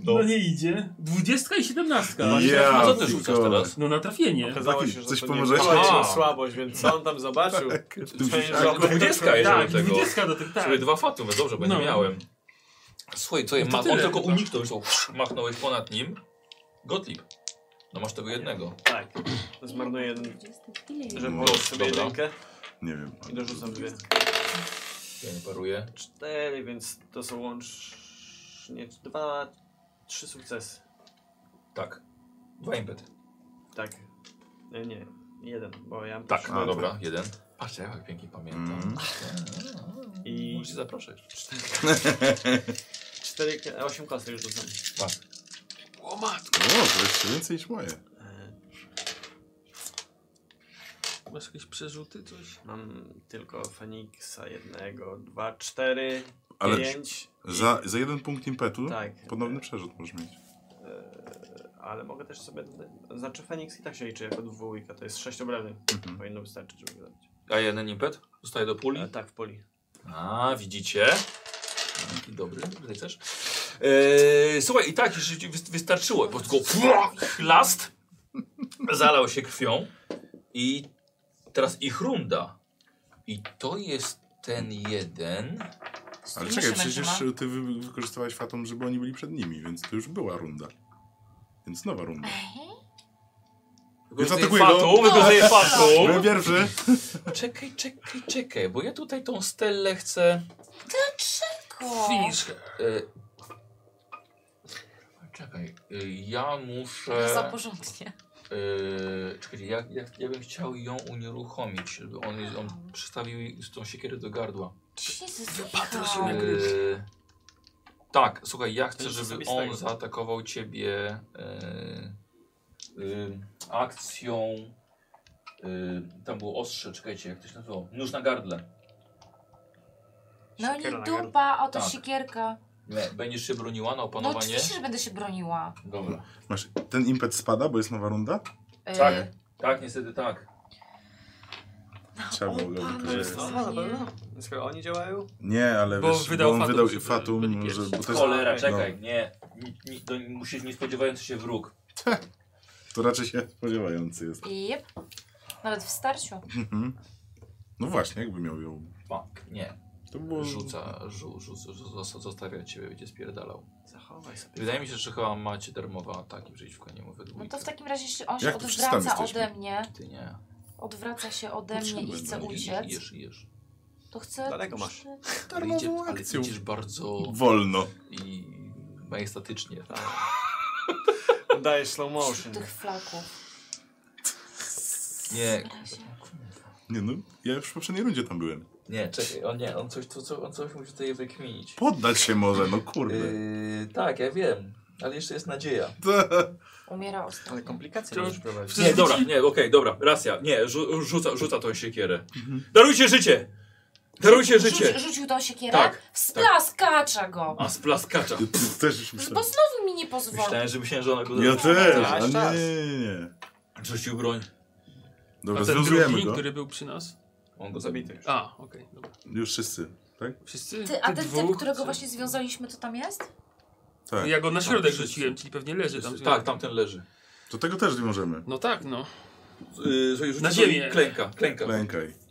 [SPEAKER 4] No, nie idzie. 20 i 17.
[SPEAKER 2] Ja
[SPEAKER 5] A co ty
[SPEAKER 2] pikowe.
[SPEAKER 5] rzucasz teraz?
[SPEAKER 4] No na trafienie.
[SPEAKER 6] Okazało
[SPEAKER 2] Taki-
[SPEAKER 6] się, że
[SPEAKER 2] coś
[SPEAKER 6] to
[SPEAKER 2] pomożecie?
[SPEAKER 6] nie była
[SPEAKER 5] A.
[SPEAKER 6] słabość, więc co on tam zobaczył?
[SPEAKER 2] Ty musisz-
[SPEAKER 6] Twoim żołnierzem.
[SPEAKER 5] Dwudziestka jest
[SPEAKER 4] Tak,
[SPEAKER 5] do tego.
[SPEAKER 4] 20 do tych, tak.
[SPEAKER 5] Słuchaj, dwa fatumy, dobrze, bo
[SPEAKER 4] No.
[SPEAKER 5] nie miałem. Słuchaj, co je
[SPEAKER 4] No
[SPEAKER 5] ma?
[SPEAKER 4] to
[SPEAKER 5] On
[SPEAKER 4] tyle
[SPEAKER 5] tylko
[SPEAKER 4] chyba.
[SPEAKER 5] uniknął, już tą- machnąłeś ponad nim. Gotlib. No masz tego jednego.
[SPEAKER 6] Tak. To zmarnuję jeden,
[SPEAKER 3] Ile
[SPEAKER 6] żeby
[SPEAKER 2] No,
[SPEAKER 6] położyć sobie
[SPEAKER 5] dobra.
[SPEAKER 6] jedynkę
[SPEAKER 2] Nie wiem.
[SPEAKER 6] i dorzucam dwie.
[SPEAKER 5] Ja nie paruję.
[SPEAKER 6] Cztery, więc to są łącznie dwa, trzy sukcesy.
[SPEAKER 5] Tak. Dwa impety.
[SPEAKER 6] Tak. E, Nie, jeden, bo ja mam
[SPEAKER 5] Tak,
[SPEAKER 6] też-
[SPEAKER 5] no
[SPEAKER 2] A,
[SPEAKER 5] dobra, jeden. Patrzcie, jak pięknie pamiętam.
[SPEAKER 2] Mm.
[SPEAKER 6] I-
[SPEAKER 5] Może się zaproszę jeszcze.
[SPEAKER 6] cztery, e, osiem kostek już rzucam.
[SPEAKER 5] Tak.
[SPEAKER 2] O, No, to jeszcze więcej niż moje.
[SPEAKER 6] E,
[SPEAKER 4] Masz jakieś przerzuty, coś?
[SPEAKER 6] Mam tylko Feniksa jednego, dwa, cztery,
[SPEAKER 2] Ale
[SPEAKER 6] pięć.
[SPEAKER 2] Za, za jeden punkt impetu
[SPEAKER 6] Tak.
[SPEAKER 2] ponowny przerzut możesz mieć.
[SPEAKER 6] Ale mogę też sobie dodać. Znaczy Feniks i tak się liczy jako dwójka, to jest sześć obrażeń.
[SPEAKER 2] Mhm.
[SPEAKER 6] Powinno wystarczyć, żeby zabić.
[SPEAKER 5] A jeden impet? Zostaje do puli?
[SPEAKER 6] E, tak, w puli.
[SPEAKER 5] A, widzicie? Taki dobry, tutaj też. Eee, słuchaj, i tak już ci wys- wystarczyło, bo tylko chlast zalał się krwią i teraz ich runda. I to jest ten jeden.
[SPEAKER 3] Z
[SPEAKER 2] Ale
[SPEAKER 3] którymi
[SPEAKER 2] czekaj,
[SPEAKER 3] się
[SPEAKER 2] przecież
[SPEAKER 3] męczyła?
[SPEAKER 2] ty wy- wykorzystałeś fatum, żeby oni byli przed nimi, więc to już była runda. Więc nowa runda.
[SPEAKER 3] Ej,
[SPEAKER 2] atakuję go. No.
[SPEAKER 5] fatum, wykorzystuje
[SPEAKER 2] Byłem
[SPEAKER 5] fatum.
[SPEAKER 2] pierwszy.
[SPEAKER 5] No, Czekaj, czekaj, czekaj, bo ja tutaj tą stelę chcę...
[SPEAKER 3] Dlaczego?
[SPEAKER 5] E, czekaj, e, ja muszę...
[SPEAKER 3] Nie No, Za porządnie.
[SPEAKER 5] Yy, czekajcie, ja, ja, ja bym chciał ją unieruchomić, żeby on, jej- on przystawił jej tą siekierę do gardła.
[SPEAKER 3] Jezus,
[SPEAKER 4] Patrzę
[SPEAKER 3] Michał.
[SPEAKER 4] na gry.
[SPEAKER 5] Yy, tak, słuchaj, ja chcę,
[SPEAKER 6] Ten
[SPEAKER 5] żeby
[SPEAKER 6] osobistego.
[SPEAKER 5] on zaatakował ciebie yy, yy, akcją. Yy, tam było ostrze, czekajcie, jak to się nazywało? Nóż na gardle.
[SPEAKER 3] No
[SPEAKER 6] Siekiera na
[SPEAKER 3] nie
[SPEAKER 6] gardle.
[SPEAKER 3] dupa, oto
[SPEAKER 5] Tak.
[SPEAKER 3] siekierka.
[SPEAKER 5] Nie, będziesz się broniła na
[SPEAKER 3] No
[SPEAKER 5] opanowanie.
[SPEAKER 3] oczywiście, że będę się broniła.
[SPEAKER 5] Dobra.
[SPEAKER 2] Masz, ten impet spada, bo jest nowa runda.
[SPEAKER 3] Yy,
[SPEAKER 5] Tak. Tak, niestety tak.
[SPEAKER 2] Trzeba było go
[SPEAKER 3] Opanowanie.
[SPEAKER 2] wykorzystać.
[SPEAKER 6] No, na pewno. Skoro oni działają,
[SPEAKER 2] Nie, ale
[SPEAKER 4] Bo
[SPEAKER 2] wiesz,
[SPEAKER 4] wydał
[SPEAKER 2] bo on
[SPEAKER 4] fatum,
[SPEAKER 2] wydał
[SPEAKER 4] żeby byli
[SPEAKER 2] fatum,
[SPEAKER 4] pierwsi.
[SPEAKER 2] że... Bo to, jest,
[SPEAKER 5] Cholera,
[SPEAKER 6] No.
[SPEAKER 5] czekaj, nie. Ni, ni, to musisz niespodziewający się wróg.
[SPEAKER 2] to raczej się spodziewający jest.
[SPEAKER 3] Jep. Nawet w starciu.
[SPEAKER 2] Mhm. No właśnie, jakby miał ją...
[SPEAKER 5] Fuck, nie.
[SPEAKER 2] To było...
[SPEAKER 5] Rzuca, rzu, rzu, rzu, zosta- zostawia ciebie, będzie spierdalał.
[SPEAKER 6] zachowaj sobie.
[SPEAKER 5] Wydaje mi się, że chyba macie darmowe ataki przeciwko niemu
[SPEAKER 3] No
[SPEAKER 5] we dwójkę.
[SPEAKER 3] to w takim razie, jeśli on się
[SPEAKER 2] Jak tu przystami
[SPEAKER 3] odwraca
[SPEAKER 2] jesteśmy?
[SPEAKER 3] ode mnie,
[SPEAKER 5] Ty nie.
[SPEAKER 3] odwraca się ode mnie i
[SPEAKER 2] Potrzebne,
[SPEAKER 3] chce
[SPEAKER 2] no,
[SPEAKER 3] uciec,
[SPEAKER 5] Jesz, jesz.
[SPEAKER 3] to chcę...
[SPEAKER 6] Daleko masz.
[SPEAKER 5] Ale, idzie,
[SPEAKER 2] Darmową
[SPEAKER 5] ale
[SPEAKER 2] akcją.
[SPEAKER 5] idziesz bardzo
[SPEAKER 2] Wolno.
[SPEAKER 5] i majestatycznie.
[SPEAKER 6] Dajesz slow motion.
[SPEAKER 3] Wśród tych flaków.
[SPEAKER 5] Nie,
[SPEAKER 3] Razie.
[SPEAKER 2] Nie no, ja już w poprzedniej rundzie tam byłem.
[SPEAKER 5] nie, czekaj, on nie, on coś, co, co, on coś musi tutaj wykminić.
[SPEAKER 2] Poddać się może, no kurde.
[SPEAKER 5] Yy, tak, ja wiem, ale jeszcze jest nadzieja.
[SPEAKER 3] Umiera
[SPEAKER 6] Ale
[SPEAKER 3] ostatnio.
[SPEAKER 6] komplikacje
[SPEAKER 4] Czy-
[SPEAKER 6] możesz prowadzić.
[SPEAKER 5] Nie,
[SPEAKER 2] Mhm.
[SPEAKER 5] dobra, nie, okej, dobra, racja, nie, rzu, rzuca, rzuca tą siekierę. Darujcie życie! Darujcie
[SPEAKER 3] Rzuci,
[SPEAKER 5] życie!
[SPEAKER 3] rzucił tą siekierę,
[SPEAKER 5] Tak,
[SPEAKER 3] tak, splaskacza go.
[SPEAKER 5] A, splaskacza.
[SPEAKER 2] Pff, Też już Tak.
[SPEAKER 3] Bo
[SPEAKER 2] myślałem.
[SPEAKER 3] znowu mi nie pozwolił.
[SPEAKER 5] Myślałem, że myślałem, że ona go
[SPEAKER 2] Ja też,
[SPEAKER 6] Aż
[SPEAKER 2] a
[SPEAKER 6] czas.
[SPEAKER 2] nie, nie, nie, nie.
[SPEAKER 5] rzucił broń.
[SPEAKER 2] Dobra,
[SPEAKER 4] ten drugi,
[SPEAKER 2] związujemy No, go.
[SPEAKER 4] który był przy nas?
[SPEAKER 5] On go zabity już.
[SPEAKER 4] A, okej, dobra.
[SPEAKER 2] Już wszyscy, tak?
[SPEAKER 4] Wszyscy?
[SPEAKER 3] Ty, a
[SPEAKER 4] Tych
[SPEAKER 3] ten
[SPEAKER 4] dwóch,
[SPEAKER 3] typ, którego
[SPEAKER 4] co?
[SPEAKER 3] właśnie związaliśmy, to tam jest?
[SPEAKER 2] Tak.
[SPEAKER 4] Ja go na
[SPEAKER 5] Tak,
[SPEAKER 4] środek
[SPEAKER 5] wszyscy.
[SPEAKER 4] rzuciłem, czyli pewnie leży tam.
[SPEAKER 5] Tak, tamten leży.
[SPEAKER 2] To tego też nie możemy.
[SPEAKER 4] No tak, no.
[SPEAKER 5] Yy, Słuchaj, rzucił
[SPEAKER 4] Na
[SPEAKER 5] broń.
[SPEAKER 4] ziemię.
[SPEAKER 5] Klęka, klęka.
[SPEAKER 2] Klękaj.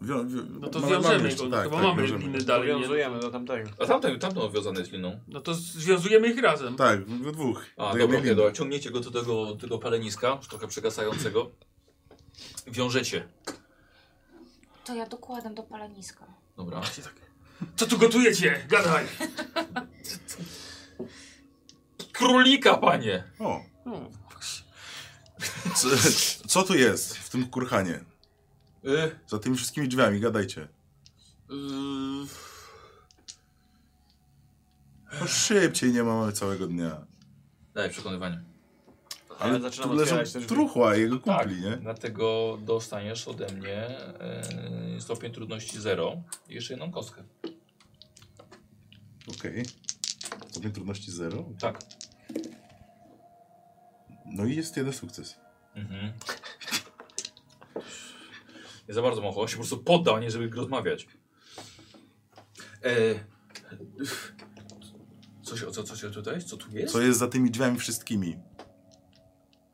[SPEAKER 2] Wią, wią,
[SPEAKER 4] No to
[SPEAKER 2] mamy- mamy
[SPEAKER 4] wiążemy
[SPEAKER 2] jeszcze-
[SPEAKER 4] go,
[SPEAKER 2] tak,
[SPEAKER 4] bo
[SPEAKER 2] tak,
[SPEAKER 4] mamy
[SPEAKER 2] wiążemy.
[SPEAKER 4] liny dalej. Nie?
[SPEAKER 6] Nawiązujemy do tamtego.
[SPEAKER 5] A tamten, tamten obwiązany jest liną.
[SPEAKER 4] No to związujemy ich razem.
[SPEAKER 2] Tak, we dwóch.
[SPEAKER 5] A,
[SPEAKER 2] Do
[SPEAKER 5] dobra,
[SPEAKER 2] jednej
[SPEAKER 5] okay,
[SPEAKER 2] linii.
[SPEAKER 5] dobra, ciągniecie go do tego, do tego paleniska, już trochę przegasającego. Wiążecie.
[SPEAKER 3] To ja dokładam do paleniska.
[SPEAKER 5] Dobra.
[SPEAKER 4] Co tu gotujecie? Gadaj!
[SPEAKER 5] Królika, panie!
[SPEAKER 2] O,
[SPEAKER 4] No,
[SPEAKER 2] co, co tu jest w tym kurhanie?
[SPEAKER 5] Y,
[SPEAKER 2] Za tymi wszystkimi drzwiami, gadajcie.
[SPEAKER 5] y,
[SPEAKER 2] No szybciej, nie mamy całego dnia.
[SPEAKER 5] Daj przekonywanie.
[SPEAKER 6] Ale,
[SPEAKER 2] Ale
[SPEAKER 6] zaczynam
[SPEAKER 2] tu leżą
[SPEAKER 6] otwierać te drzwi.
[SPEAKER 2] truchła i jego kumpli,
[SPEAKER 5] tak,
[SPEAKER 2] nie?
[SPEAKER 5] dlatego dostaniesz ode mnie y, stopień trudności 0 i jeszcze jedną kostkę.
[SPEAKER 2] Okej. Stopień trudności zero.
[SPEAKER 5] Tak.
[SPEAKER 2] No i jest jeden sukces.
[SPEAKER 5] Mhm. Nie za bardzo mocho, on się po prostu poddał, nie żeby rozmawiać. E, coś, o co, coś o tutaj? Co tu jest?
[SPEAKER 2] Co jest za tymi drzwiami wszystkimi?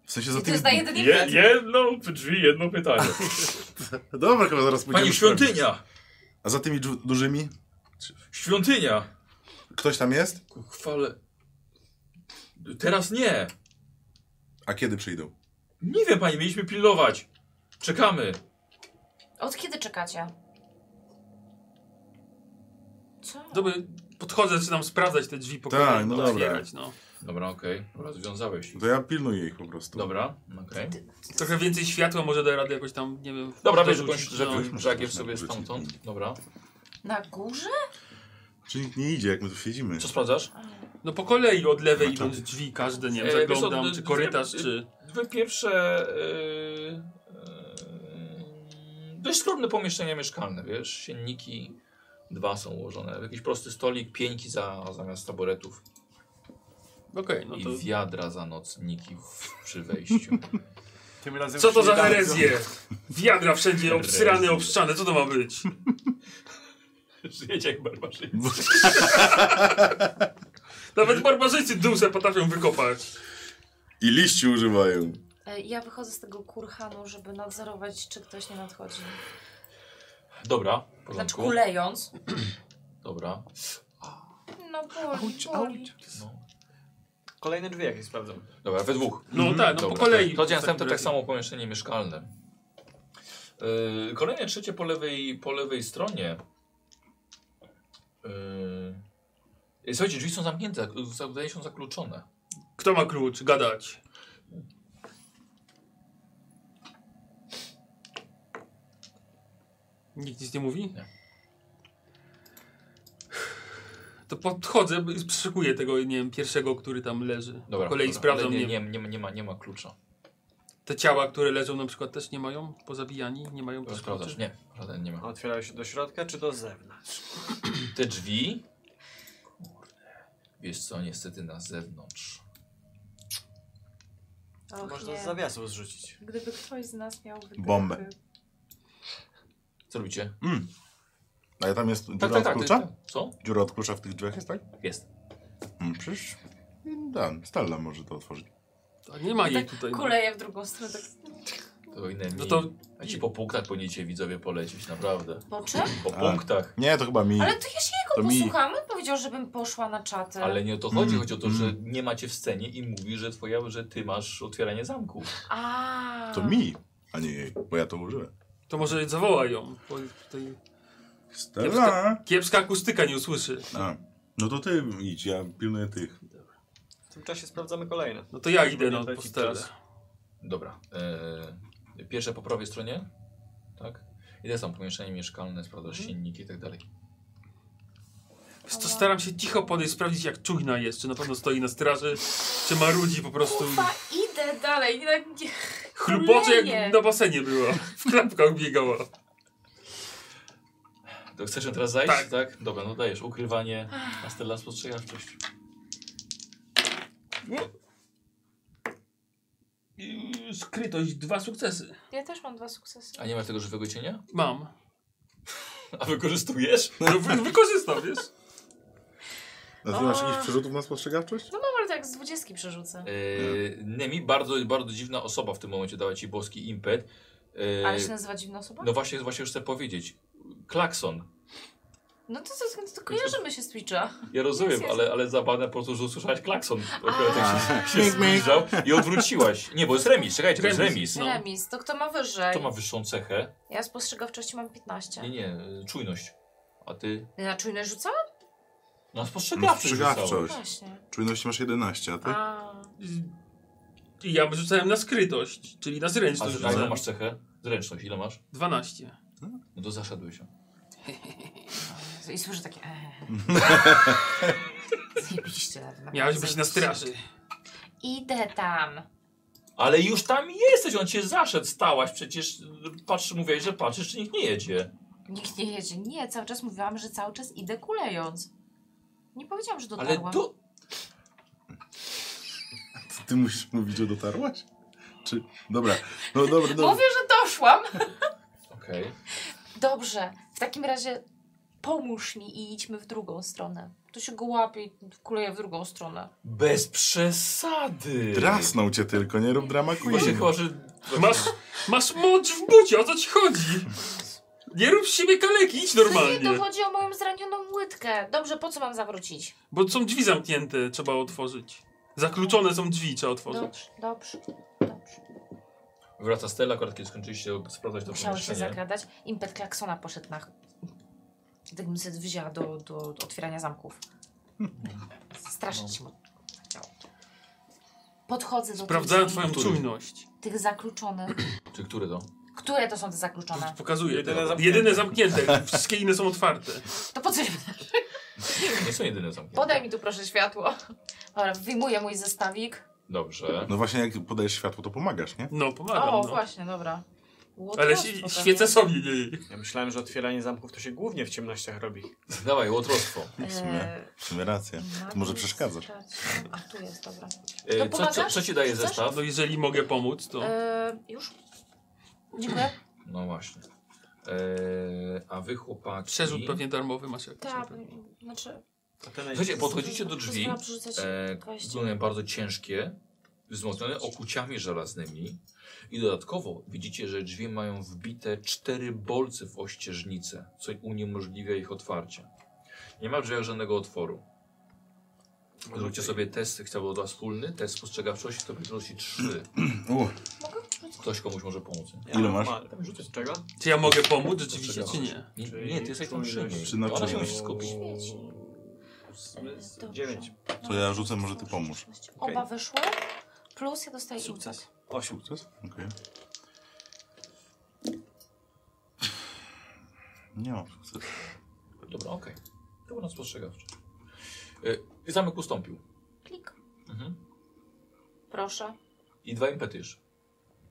[SPEAKER 2] W sensie za
[SPEAKER 3] I to
[SPEAKER 2] tymi...
[SPEAKER 3] jest na jedynie
[SPEAKER 5] Je, jedno drzwi, jedno pytanie.
[SPEAKER 2] Dobra, chyba zaraz
[SPEAKER 5] Pani
[SPEAKER 2] pójdziemy sprawdzić.
[SPEAKER 5] świątynia!
[SPEAKER 2] A za tymi dżu- dużymi?
[SPEAKER 5] Świątynia!
[SPEAKER 2] Ktoś tam jest?
[SPEAKER 5] Ku- Chwale. Teraz nie.
[SPEAKER 2] A kiedy przyjdą?
[SPEAKER 5] Nie wiem, pani, mieliśmy pilnować. Czekamy.
[SPEAKER 3] Od kiedy czekacie? Co?
[SPEAKER 4] dobra, podchodzę, zaczynam sprawdzać te drzwi po
[SPEAKER 2] Tak,
[SPEAKER 4] kolei,
[SPEAKER 2] no
[SPEAKER 4] no
[SPEAKER 2] dobra.
[SPEAKER 4] otwierać, no.
[SPEAKER 5] Dobra, okej. Dobra, związałeś ich.
[SPEAKER 2] To ja pilnuję ich po prostu.
[SPEAKER 5] Dobra, okej.
[SPEAKER 4] Trochę więcej światła może da radę jakoś tam, nie wiem...
[SPEAKER 5] Dobra, wiesz,
[SPEAKER 4] dorzucić,
[SPEAKER 5] jakąś
[SPEAKER 4] no.
[SPEAKER 5] żagiem żagiem
[SPEAKER 2] Można
[SPEAKER 5] sobie
[SPEAKER 2] wyrzucić.
[SPEAKER 5] stamtąd. Dobra.
[SPEAKER 3] Na górze?
[SPEAKER 2] Czy nikt nie idzie, jak my tu siedzimy?
[SPEAKER 5] Co sprawdzasz?
[SPEAKER 4] No po kolei od lewej
[SPEAKER 2] No tak.
[SPEAKER 4] idąc drzwi każde, nie
[SPEAKER 5] E,
[SPEAKER 4] wiem,
[SPEAKER 5] wiesz co,
[SPEAKER 4] zaglądam,
[SPEAKER 5] d-
[SPEAKER 4] czy
[SPEAKER 5] d-
[SPEAKER 4] korytarz,
[SPEAKER 5] d-
[SPEAKER 4] czy...
[SPEAKER 5] Dwie pierwsze... Yy, yy, dość skromne pomieszczenia mieszkalne, wiesz? Sienniki dwa są ułożone. Jakiś prosty stolik, pieńki za, zamiast taboretów.
[SPEAKER 4] Okej, no
[SPEAKER 5] I
[SPEAKER 4] to...
[SPEAKER 5] wiadra za nocniki w, przy wejściu.
[SPEAKER 6] Tym
[SPEAKER 5] e,
[SPEAKER 6] razem
[SPEAKER 4] Co to
[SPEAKER 6] już
[SPEAKER 4] za
[SPEAKER 6] nie dadzą.
[SPEAKER 4] herezje? Wiadra wszędzie obsrane,
[SPEAKER 5] Herezje.
[SPEAKER 4] obszczane, co to ma być?
[SPEAKER 5] Żyjecie jak barbarzyńcy.
[SPEAKER 4] Nawet barbarzyńcy dusę potrafią wykopać.
[SPEAKER 2] I liści używają.
[SPEAKER 3] E, Ja wychodzę z tego kurhanu, żeby nadzorować, czy ktoś nie nadchodzi.
[SPEAKER 5] Dobra, w
[SPEAKER 3] Znaczy
[SPEAKER 5] porządku.
[SPEAKER 3] kulejąc.
[SPEAKER 5] Dobra.
[SPEAKER 3] No boli, boli.
[SPEAKER 5] No.
[SPEAKER 6] Kolejne drzwi jakieś sprawdzam.
[SPEAKER 5] Dobra, we dwóch.
[SPEAKER 4] No tak, no
[SPEAKER 5] Dobra,
[SPEAKER 4] po kolei.
[SPEAKER 5] tak. To dzień
[SPEAKER 4] w takim
[SPEAKER 5] następny tak
[SPEAKER 4] razie.
[SPEAKER 5] samo pomieszczenie mieszkalne. Yy, kolejne trzecie po lewej, po lewej stronie. Yy, słuchajcie, drzwi są zamknięte, za- wydaje się zakluczone.
[SPEAKER 4] Kto ma klucz? Gadać. Nikt nic nie mówi?
[SPEAKER 5] Nie.
[SPEAKER 4] To podchodzę, by- przeszukuję tego, nie wiem, pierwszego, który tam leży.
[SPEAKER 5] Dobra,
[SPEAKER 4] po kolei
[SPEAKER 5] dobra.
[SPEAKER 4] sprawdzam,
[SPEAKER 5] Ale
[SPEAKER 4] nie,
[SPEAKER 5] nie, nie, nie, ma- nie, ma, nie ma klucza.
[SPEAKER 4] Te ciała, które leżą na przykład też nie mają, pozabijani, nie mają też
[SPEAKER 5] Sprawdzasz?
[SPEAKER 4] kluczy?
[SPEAKER 5] Nie, żaden nie ma.
[SPEAKER 6] Otwierają się do środka czy do zewnątrz?
[SPEAKER 5] Te drzwi. Kurde. Wiesz co, niestety na zewnątrz.
[SPEAKER 3] Och,
[SPEAKER 6] Można
[SPEAKER 3] nie.
[SPEAKER 6] z zawiasów zrzucić.
[SPEAKER 3] Gdyby ktoś z nas miał wykryty...
[SPEAKER 2] Bombę.
[SPEAKER 5] Co robicie?
[SPEAKER 2] Ale tam jest dziura
[SPEAKER 5] Tak, tak,
[SPEAKER 2] od
[SPEAKER 5] tak. ty-
[SPEAKER 2] klucza?
[SPEAKER 5] Co?
[SPEAKER 2] Dziura od klucza w tych drzwiach jest, tak?
[SPEAKER 5] Jest.
[SPEAKER 2] Mm, przecież... nie Dan, Stella może to otworzyć.
[SPEAKER 4] To nie ma jej
[SPEAKER 3] Tak
[SPEAKER 4] tutaj.
[SPEAKER 3] kuleję w drugą stronę. Tak.
[SPEAKER 5] To inne
[SPEAKER 4] No
[SPEAKER 5] mi-
[SPEAKER 4] to
[SPEAKER 5] A ci po punktach powinniście widzowie polecieć, naprawdę.
[SPEAKER 3] Po czym?
[SPEAKER 5] Po
[SPEAKER 2] A.
[SPEAKER 5] punktach.
[SPEAKER 2] Nie, to chyba mi...
[SPEAKER 3] Ale to ja się
[SPEAKER 2] To
[SPEAKER 3] jego
[SPEAKER 2] mi.
[SPEAKER 3] posłucham. On powiedział, żebym poszła na czatę.
[SPEAKER 5] Ale nie o to chodzi,
[SPEAKER 2] Mm,
[SPEAKER 5] chodzi o to, że nie macie w scenie i mówi, że twoja, że ty masz otwieranie zamku.
[SPEAKER 3] A.
[SPEAKER 2] To mi, a nie jej, bo ja to użyłem.
[SPEAKER 4] To może zawołaj ją. Bo tutaj
[SPEAKER 2] Stella!
[SPEAKER 4] kiepska akustyka nie usłyszy.
[SPEAKER 2] A, no to ty idź, ja pilnuję tych.
[SPEAKER 6] W tym czasie sprawdzamy kolejne.
[SPEAKER 4] No to ja
[SPEAKER 6] Żeby
[SPEAKER 4] idę
[SPEAKER 6] nie
[SPEAKER 4] no, po
[SPEAKER 6] tracić
[SPEAKER 4] stelę.
[SPEAKER 6] czasu.
[SPEAKER 5] Dobra. Eee, pierwsze po prawej stronie? Tak? I też tam pomieszczenie mieszkalne, sprawdzasz
[SPEAKER 3] Mhm.
[SPEAKER 5] sienniki i tak dalej.
[SPEAKER 4] Wiesz co, staram się cicho podejść, sprawdzić jak czujna jest, czy na pewno stoi na straży, czy marudzi po prostu.
[SPEAKER 3] Kurwa, idę dalej. Nie, tak nie.
[SPEAKER 4] Chlupocze
[SPEAKER 3] kuleje.
[SPEAKER 4] jak na basenie była, w klapkach biegała.
[SPEAKER 5] To chcesz ją teraz zajść?
[SPEAKER 4] Tak.
[SPEAKER 5] Dobra, no dajesz. Ukrywanie, Astella spostrzegawczość.
[SPEAKER 4] Yy, Skrytość, dwa sukcesy.
[SPEAKER 3] Ja też mam dwa sukcesy.
[SPEAKER 5] A nie masz tego żywego cienia?
[SPEAKER 4] Mam.
[SPEAKER 5] A wykorzystujesz?
[SPEAKER 4] No, wy, wykorzystam, wiesz?
[SPEAKER 2] A ty masz jakichś przerzutów na spostrzegawczość?
[SPEAKER 3] No mam, ale tak z dwudziestki przerzucę.
[SPEAKER 5] Yy, Nemi, bardzo, bardzo dziwna osoba w tym momencie dała ci boski impet. Yy,
[SPEAKER 3] Ale się nazywa dziwna osoba?
[SPEAKER 5] no właśnie, właśnie już chcę powiedzieć. Klakson.
[SPEAKER 3] No to, to, to, to kojarzymy się z Twitcha.
[SPEAKER 5] Ja rozumiem,
[SPEAKER 3] Jest, jest.
[SPEAKER 5] ale, ale zabawne po prostu, że usłyszałaś klakson. Trochę
[SPEAKER 3] A.
[SPEAKER 5] tak się, się zbliżał i odwróciłaś. Nie, bo jest remis, czekajcie, to jest
[SPEAKER 4] Remis.
[SPEAKER 5] remis.
[SPEAKER 4] No.
[SPEAKER 3] Remis, to kto ma wyżej?
[SPEAKER 5] Kto ma wyższą cechę?
[SPEAKER 3] Ja spostrzegawczości mam 15.
[SPEAKER 5] Nie, nie, y, czujność. A ty?
[SPEAKER 3] Na czujność rzucałam?
[SPEAKER 5] Na
[SPEAKER 2] No,
[SPEAKER 5] spostrzegawczość. rzucałeś.
[SPEAKER 2] Spostrzegawczość.
[SPEAKER 3] Właśnie.
[SPEAKER 2] Czujności masz 11, a ty?
[SPEAKER 3] A,
[SPEAKER 4] I Ja rzucałem na skrytość, czyli na
[SPEAKER 5] A
[SPEAKER 4] zręczność
[SPEAKER 5] z- a ile
[SPEAKER 4] rzucałem.
[SPEAKER 5] masz cechę? Zręczność, ile masz?
[SPEAKER 4] 12.
[SPEAKER 5] No to zaszedłeś.
[SPEAKER 3] i słyszę takie. eee. Zajebiście nawet.
[SPEAKER 4] Miałeś być na straży.
[SPEAKER 3] Idę tam.
[SPEAKER 5] Ale już tam jesteś, on cię zaszedł, stałaś, przecież y, patrz, mówiłeś, że patrzysz, czy nikt nie jedzie.
[SPEAKER 3] Nikt nie jedzie. Nie, cały czas mówiłam, że cały czas idę kulejąc. Nie powiedziałam, że
[SPEAKER 5] Ale
[SPEAKER 3] dotarłam.
[SPEAKER 5] do...
[SPEAKER 2] To Ty musisz mówić, że dotarłaś? Czy... Dobra, no dobra, dobra.
[SPEAKER 3] Mówię, że doszłam.
[SPEAKER 5] Okej.
[SPEAKER 3] Dobrze, w takim razie pomóż mi i idźmy w drugą stronę. Tu się go łapie i kuleje w drugą stronę.
[SPEAKER 5] Bez przesady.
[SPEAKER 2] Drasnął cię tylko, nie rób drama
[SPEAKER 5] Właśnie
[SPEAKER 2] queen.
[SPEAKER 5] chyba, że...
[SPEAKER 4] Masz, masz moc w bucie, o co ci chodzi? Nie rób z siebie kaleki, idź
[SPEAKER 3] To nie
[SPEAKER 4] normalnie.
[SPEAKER 3] dochodzi o moją zranioną łydkę. Dobrze, po co mam zawrócić?
[SPEAKER 4] Bo są drzwi zamknięte, trzeba otworzyć. Zakluczone są drzwi, trzeba otworzyć.
[SPEAKER 3] Dobrze, dobrze, dobrze.
[SPEAKER 5] Wraca Stella, akurat kiedy skończyliście sprawdzać to
[SPEAKER 3] Musiało się
[SPEAKER 5] pomieszczenie.
[SPEAKER 3] zakradać. Impet klaksona poszedł na... Tak bym sobie wzięła do, do otwierania zamków. Straszyć mu. Podchodzę do
[SPEAKER 4] Sprawdzałem
[SPEAKER 3] tych,
[SPEAKER 4] twoją
[SPEAKER 5] Który?
[SPEAKER 4] czujność.
[SPEAKER 3] tych zakluczonych.
[SPEAKER 5] Czy który to?
[SPEAKER 3] Które to są te zakluczone?
[SPEAKER 4] Pokazuję.
[SPEAKER 6] Jedyne
[SPEAKER 4] Jedyne zamknięte.
[SPEAKER 6] zamknięte.
[SPEAKER 4] Wszystkie inne są otwarte.
[SPEAKER 3] To po co się
[SPEAKER 5] Nie są jedyne zamknięte.
[SPEAKER 3] Podaj mi tu proszę światło. Dobra, wyjmuję mój zestawik.
[SPEAKER 5] Dobrze.
[SPEAKER 2] No właśnie, jak podajesz światło, to pomagasz, nie?
[SPEAKER 4] No, pomagam.
[SPEAKER 3] o,
[SPEAKER 4] no.
[SPEAKER 3] właśnie, dobra.
[SPEAKER 4] Ale
[SPEAKER 3] Łotrostwo
[SPEAKER 4] si-
[SPEAKER 3] to
[SPEAKER 4] świecę
[SPEAKER 3] jest.
[SPEAKER 4] sobie nie jej.
[SPEAKER 6] Ja myślałem, że otwieranie zamków to się głównie w ciemnościach robi.
[SPEAKER 5] Dawaj, łotrostwo.
[SPEAKER 2] W sumie,
[SPEAKER 3] Eee,
[SPEAKER 2] w sumie rację. To może
[SPEAKER 3] na-
[SPEAKER 2] przeszkadzasz.
[SPEAKER 3] A tu jest, dobra.
[SPEAKER 5] E,
[SPEAKER 3] No
[SPEAKER 5] co, co,
[SPEAKER 3] pomagasz?
[SPEAKER 5] co ci daje
[SPEAKER 3] Chcesz?
[SPEAKER 5] zestaw?
[SPEAKER 4] No, jeżeli mogę pomóc, to.
[SPEAKER 3] Eee, już? Dziękuję.
[SPEAKER 5] No właśnie. E, a wy chłopaki...
[SPEAKER 4] Przerzut pewnie darmowy masz jakiś. na
[SPEAKER 3] Tak,
[SPEAKER 4] pewno.
[SPEAKER 3] znaczy...
[SPEAKER 6] A ten
[SPEAKER 5] Słuchajcie, podchodzicie do drzwi.
[SPEAKER 3] Pozwolę przerzucać
[SPEAKER 5] E,
[SPEAKER 3] kości.
[SPEAKER 5] Wyglądają bardzo ciężkie, wzmocnione okuciami żelaznymi. I dodatkowo widzicie, że drzwi mają wbite cztery bolce w ościeżnicę, co uniemożliwia ich otwarcie. Nie ma w drzwiach żadnego otworu. Zróbcie sobie test, chciałbym od was wspólny, test spostrzegawczości, to wyprosi trzy.
[SPEAKER 2] U,
[SPEAKER 3] Mogę rzucić?
[SPEAKER 5] Ktoś komuś może pomóc.
[SPEAKER 6] Ja
[SPEAKER 2] Ile masz?
[SPEAKER 6] mam- tam rzucę z czego?
[SPEAKER 4] Czy ja mogę pomóc rzeczywiście, czy nie?
[SPEAKER 5] Nie,
[SPEAKER 6] Czyli
[SPEAKER 5] nie ty jesteś tam
[SPEAKER 6] czujność. no.
[SPEAKER 5] przy
[SPEAKER 2] Czy
[SPEAKER 5] niej.
[SPEAKER 2] na
[SPEAKER 5] Ona się
[SPEAKER 2] czujność?
[SPEAKER 5] musi skupić.
[SPEAKER 3] Świeci.
[SPEAKER 6] Zmysł.
[SPEAKER 3] Dobrze.
[SPEAKER 6] Dziewięć.
[SPEAKER 2] To ja rzucę, może ty pomóż.
[SPEAKER 3] Oba
[SPEAKER 6] Okej.
[SPEAKER 3] wyszły, plus ja dostaję
[SPEAKER 6] Sukces.
[SPEAKER 3] impet.
[SPEAKER 6] Osiem.
[SPEAKER 2] Sukces? Okej. Nie mam sukcesu.
[SPEAKER 5] Dobra, okej. To był nas spostrzegawczy. Y, zamek ustąpił.
[SPEAKER 3] Klik.
[SPEAKER 5] Mhm.
[SPEAKER 3] Proszę.
[SPEAKER 5] I dwa impety już.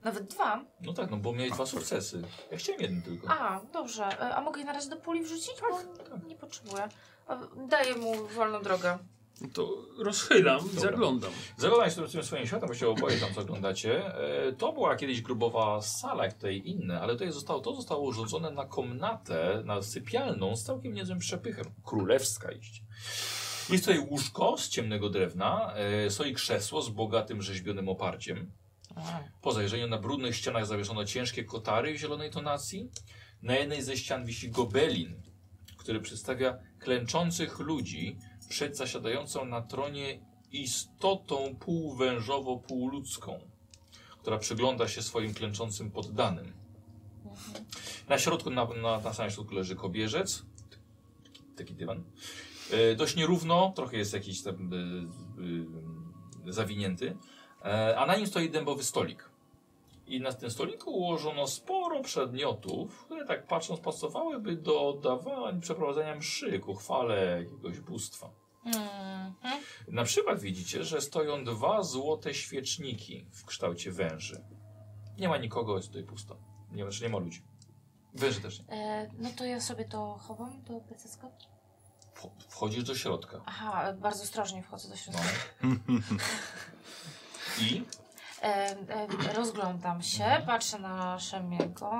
[SPEAKER 3] Nawet dwa.
[SPEAKER 5] No tak, no bo miałeś dwa sukcesy. Ja chciałem jeden tylko.
[SPEAKER 3] A, dobrze. E, A mogę je na razie do puli wrzucić? Bo
[SPEAKER 5] tak.
[SPEAKER 3] nie potrzebuję. E, Daję mu wolną drogę.
[SPEAKER 4] No To rozchylam i
[SPEAKER 5] Dobra.
[SPEAKER 4] zaglądam.
[SPEAKER 5] Zaglądając tym, tym swoim światem, właściwie oboje tam zaglądacie, e, to była kiedyś grubowa sala, jak tutaj inne, ale tutaj zostało, to zostało urządzone na komnatę, na sypialną z całkiem niezłym przepychem. Królewska iść. Jest tutaj łóżko z ciemnego drewna, e, stoi krzesło z bogatym rzeźbionym oparciem. Po zajrzeniu na brudnych ścianach zawieszono ciężkie kotary w zielonej tonacji. Na jednej ze ścian wisi gobelin, który przedstawia klęczących ludzi przed zasiadającą na tronie istotą półwężowo-półludzką, która przygląda się swoim klęczącym poddanym. Na środku, na, na, na samym środku leży kobierzec, taki dywan. E, dość nierówno, trochę jest jakiś tam e, e, zawinięty, e, a na nim stoi dębowy stolik. I na tym stoliku ułożono sporo przedmiotów, które tak patrząc pasowałyby do oddawań, przeprowadzenia mszy ku chwale jakiegoś bóstwa.
[SPEAKER 3] Mhm.
[SPEAKER 5] Na przykład widzicie, że stoją dwa złote świeczniki w kształcie węży. Nie ma nikogo, jest tutaj pusto. Nie, znaczy nie ma ludzi. Węży też nie.
[SPEAKER 3] E, no to ja sobie to chowam do pececka.
[SPEAKER 5] Wch- Wchodzisz do środka.
[SPEAKER 3] Aha, bardzo ostrożnie wchodzę do
[SPEAKER 5] No.
[SPEAKER 3] środka.
[SPEAKER 5] I
[SPEAKER 3] E, e, rozglądam się, patrzę na Szemiego.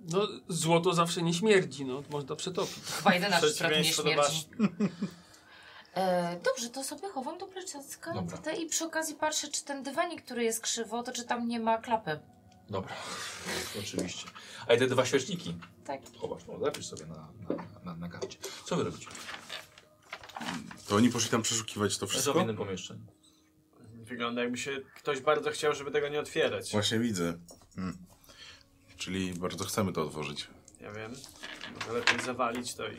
[SPEAKER 4] No, złoto zawsze nie śmierdzi, no, można przetopić.
[SPEAKER 3] Chyba jedyna rzecz, która tu nie
[SPEAKER 6] Przeciwieństwo do
[SPEAKER 3] śmierdzi. E, dobrze, to sobie chowam do plecacka
[SPEAKER 5] Dobra.
[SPEAKER 3] te- i przy okazji patrzę, czy ten dywanik, który jest krzywo, to czy tam nie ma klapy.
[SPEAKER 5] dobra, oczywiście. A i te dwa świeczniki.
[SPEAKER 3] Tak.
[SPEAKER 5] Zobacz, no, zapisz sobie na, na, na, na karcie. Co wy robicie?
[SPEAKER 2] To oni poszli tam przeszukiwać to
[SPEAKER 5] Są w
[SPEAKER 2] wszystko?
[SPEAKER 5] innym pomieszczeniu.
[SPEAKER 6] Wygląda jakby się ktoś bardzo chciał, żeby tego nie otwierać.
[SPEAKER 2] Właśnie widzę. Hmm. Czyli bardzo chcemy to otworzyć.
[SPEAKER 6] Ja wiem. Może lepiej zawalić to i...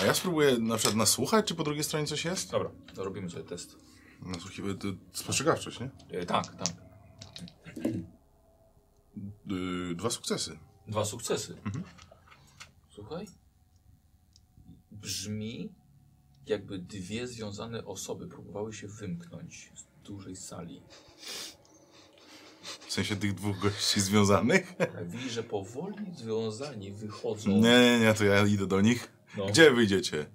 [SPEAKER 2] A ja spróbuję na przykład nasłuchać, czy po drugiej stronie coś jest?
[SPEAKER 5] Dobra, to robimy sobie test.
[SPEAKER 2] Nasłuchiwać, to spostrzegawczość, nie?
[SPEAKER 5] E, tak, tak.
[SPEAKER 2] Yy, dwa sukcesy.
[SPEAKER 5] Dwa sukcesy.
[SPEAKER 2] Mhm.
[SPEAKER 5] Słuchaj. Brzmi, jakby dwie związane osoby próbowały się wymknąć z dużej sali.
[SPEAKER 2] W sensie tych dwóch gości związanych?
[SPEAKER 5] Tak, Widzisz, że powoli związani wychodzą.
[SPEAKER 2] Nie, nie, nie, to ja idę do nich.
[SPEAKER 5] No.
[SPEAKER 2] Gdzie wyjdziecie?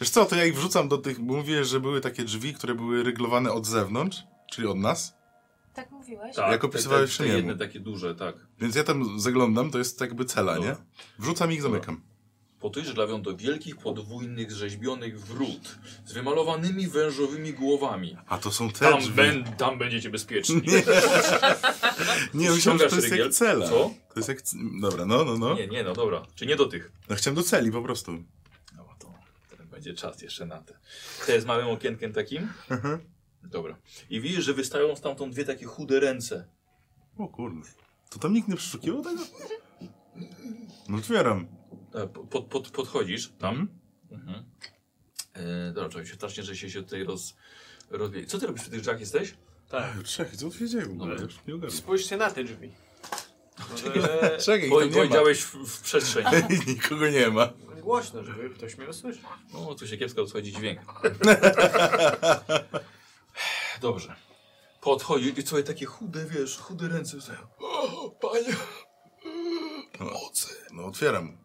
[SPEAKER 2] Wiesz co, to ja ich wrzucam do tych, bo mówię, że były takie drzwi, które były ryglowane od zewnątrz, czyli od nas.
[SPEAKER 3] Tak mówiłeś?
[SPEAKER 5] Tak,
[SPEAKER 2] Jak
[SPEAKER 5] te-
[SPEAKER 2] opisywałeś
[SPEAKER 5] te, te
[SPEAKER 2] Szymiemu.
[SPEAKER 5] jedne takie duże, tak.
[SPEAKER 2] Więc ja tam zaglądam, to jest jakby cela,
[SPEAKER 5] Dobra.
[SPEAKER 2] nie? Wrzucam i ich zamykam.
[SPEAKER 5] No. Potycz lawią do wielkich, podwójnych, rzeźbionych wrót z wymalowanymi wężowymi głowami.
[SPEAKER 2] A to są te
[SPEAKER 5] Tam,
[SPEAKER 2] drzwi.
[SPEAKER 5] ben, tam będziecie bezpieczni.
[SPEAKER 2] Nie, nie myślałem, że to jest
[SPEAKER 5] rygiel.
[SPEAKER 2] jak cela.
[SPEAKER 5] Co?
[SPEAKER 2] To jest jak... c- Dobra, no, no, no.
[SPEAKER 5] Nie, nie, no dobra. Czy nie do tych?
[SPEAKER 2] No chciałem do celi po prostu.
[SPEAKER 5] No bo to ten będzie czas jeszcze na te. Te z małym okienkiem takim?
[SPEAKER 2] Mhm.
[SPEAKER 5] Dobra. I widzisz, że wystają stamtąd dwie takie chude ręce.
[SPEAKER 2] O kurde. To tam nikt nie przeszukiwał tego? No otwieram.
[SPEAKER 5] E, po- Pod, pod, podchodzisz tam.
[SPEAKER 2] Mhm.
[SPEAKER 5] Mhm. E, dobra, czekaj, się strasznie, że się, się tutaj roz, rozbije. Co ty robisz przy tych drzwiach jesteś?
[SPEAKER 6] Tak.
[SPEAKER 2] Czekaj, co odwiedziłem w ogóle?
[SPEAKER 5] Dobra.
[SPEAKER 2] Już nie ogarnę.
[SPEAKER 6] Spójrzcie na te drzwi. Może
[SPEAKER 2] Czekaj,
[SPEAKER 5] Bo,
[SPEAKER 2] ich tam nie ma.
[SPEAKER 5] powiedziałeś w, w przestrzeń.
[SPEAKER 2] Nikogo nie ma.
[SPEAKER 6] głośno, żeby ktoś mnie usłyszał.
[SPEAKER 5] No, tu się kiepsko odchodzi dźwięk. Dobrze. Podchodzi i sobie takie chude, wiesz, chude ręce wstają. O, panie!
[SPEAKER 2] Mocy. No otwieram.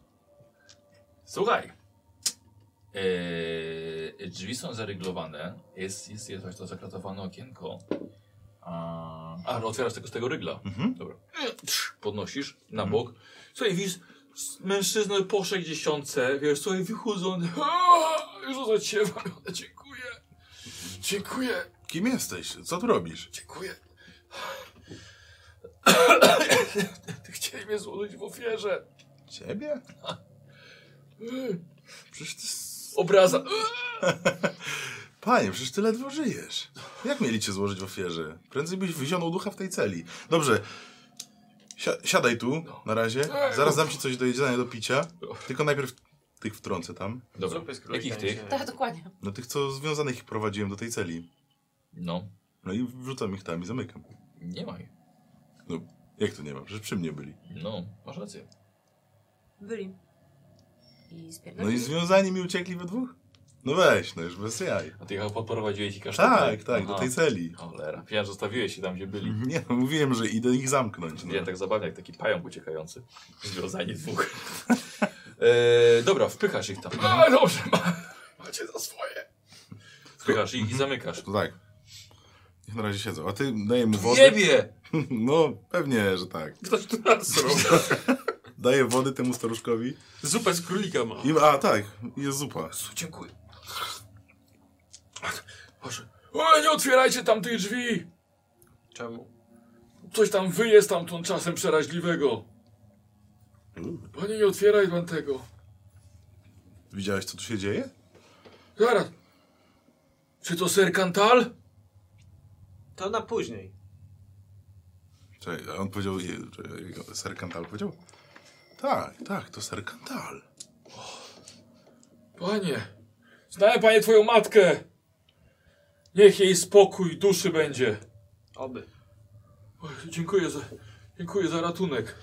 [SPEAKER 5] Słuchaj. Eee, drzwi są zaryglowane. Jest, jest, jest właśnie to zakratowane okienko. A, a no, otwierasz tego z tego rygla.
[SPEAKER 2] Mhm.
[SPEAKER 5] Dobra. Trz, Podnosisz na bok. Słuchaj, widzisz s- mężczyznę po 60, wiesz, słuchaj, wychudzony. Aaa, Rzucę cię, wariole, dziękuję. Dziękuję,
[SPEAKER 2] Kim jesteś? Co tu robisz?
[SPEAKER 5] dziękuję. Ty chciałeś mnie złożyć w ofierze.
[SPEAKER 2] Ciebie? Przecież ty... s-
[SPEAKER 5] Obraza.
[SPEAKER 2] Panie, przecież ty ledwo żyjesz. Jak mieli cię złożyć w ofierze? Prędzej byś wyzionął ducha w tej celi. Dobrze. Si- siadaj tu, na razie.
[SPEAKER 5] No.
[SPEAKER 2] Zaraz dam ci coś do jedzenia, do picia. Tylko najpierw tych wtrącę tam.
[SPEAKER 5] Dobra,
[SPEAKER 6] Zupy z królika
[SPEAKER 5] jakich
[SPEAKER 6] nie
[SPEAKER 5] tych?
[SPEAKER 6] się-
[SPEAKER 3] Tak, dokładnie.
[SPEAKER 2] No tych, co związanych ich prowadziłem do tej celi.
[SPEAKER 5] No,
[SPEAKER 2] No i wrzucam ich tam i zamykam.
[SPEAKER 5] nie ma ich.
[SPEAKER 2] No, jak to nie ma? Przecież przy mnie byli.
[SPEAKER 5] No, masz rację.
[SPEAKER 3] Byli. I
[SPEAKER 2] No i
[SPEAKER 3] spierdolili.
[SPEAKER 2] związani mi uciekli we dwóch? No weź, no już bez jaj.
[SPEAKER 5] A ty ich podprowadziłeś i kasztan?
[SPEAKER 2] Tak, tak, do tej celi.
[SPEAKER 5] Cholera, ja zostawiłeś się tam, gdzie byli.
[SPEAKER 2] Nie, no, mówiłem, że idę ich zamknąć. No.
[SPEAKER 5] Ja tak zabawnie, jak taki pająk uciekający. Związanie dwóch. E, dobra, wpychasz ich tam. A, dobrze, ma, macie za swoje. Wpychasz ich i zamykasz.
[SPEAKER 2] To tak. Niech na razie siedzą. A ty daję mu wody.
[SPEAKER 5] Niebie!
[SPEAKER 2] No, pewnie, że tak.
[SPEAKER 4] Ktoś to nas zrobił.
[SPEAKER 2] Daję wody temu staruszkowi.
[SPEAKER 4] Zupę z królika ma.
[SPEAKER 2] I, a, tak, jest zupa.
[SPEAKER 5] Dziękuję. Proszę. O, nie otwierajcie tam tych drzwi!
[SPEAKER 6] Czemu?
[SPEAKER 5] Coś tam wyje stamtąd czasem przeraźliwego. Panie, nie otwieraj pan tego.
[SPEAKER 2] Widziałeś, co tu się dzieje?
[SPEAKER 5] Zaraz. Czy to ser Kantal?
[SPEAKER 6] To na później.
[SPEAKER 2] Czekaj, a on powiedział, je- czekaj, ser Kantal powiedział? Tak, tak, to ser Kantal.
[SPEAKER 5] Panie, znałem panie twoją matkę. Niech jej spokój duszy będzie.
[SPEAKER 6] Oby.
[SPEAKER 5] Oj, dziękuję za, dziękuję za ratunek.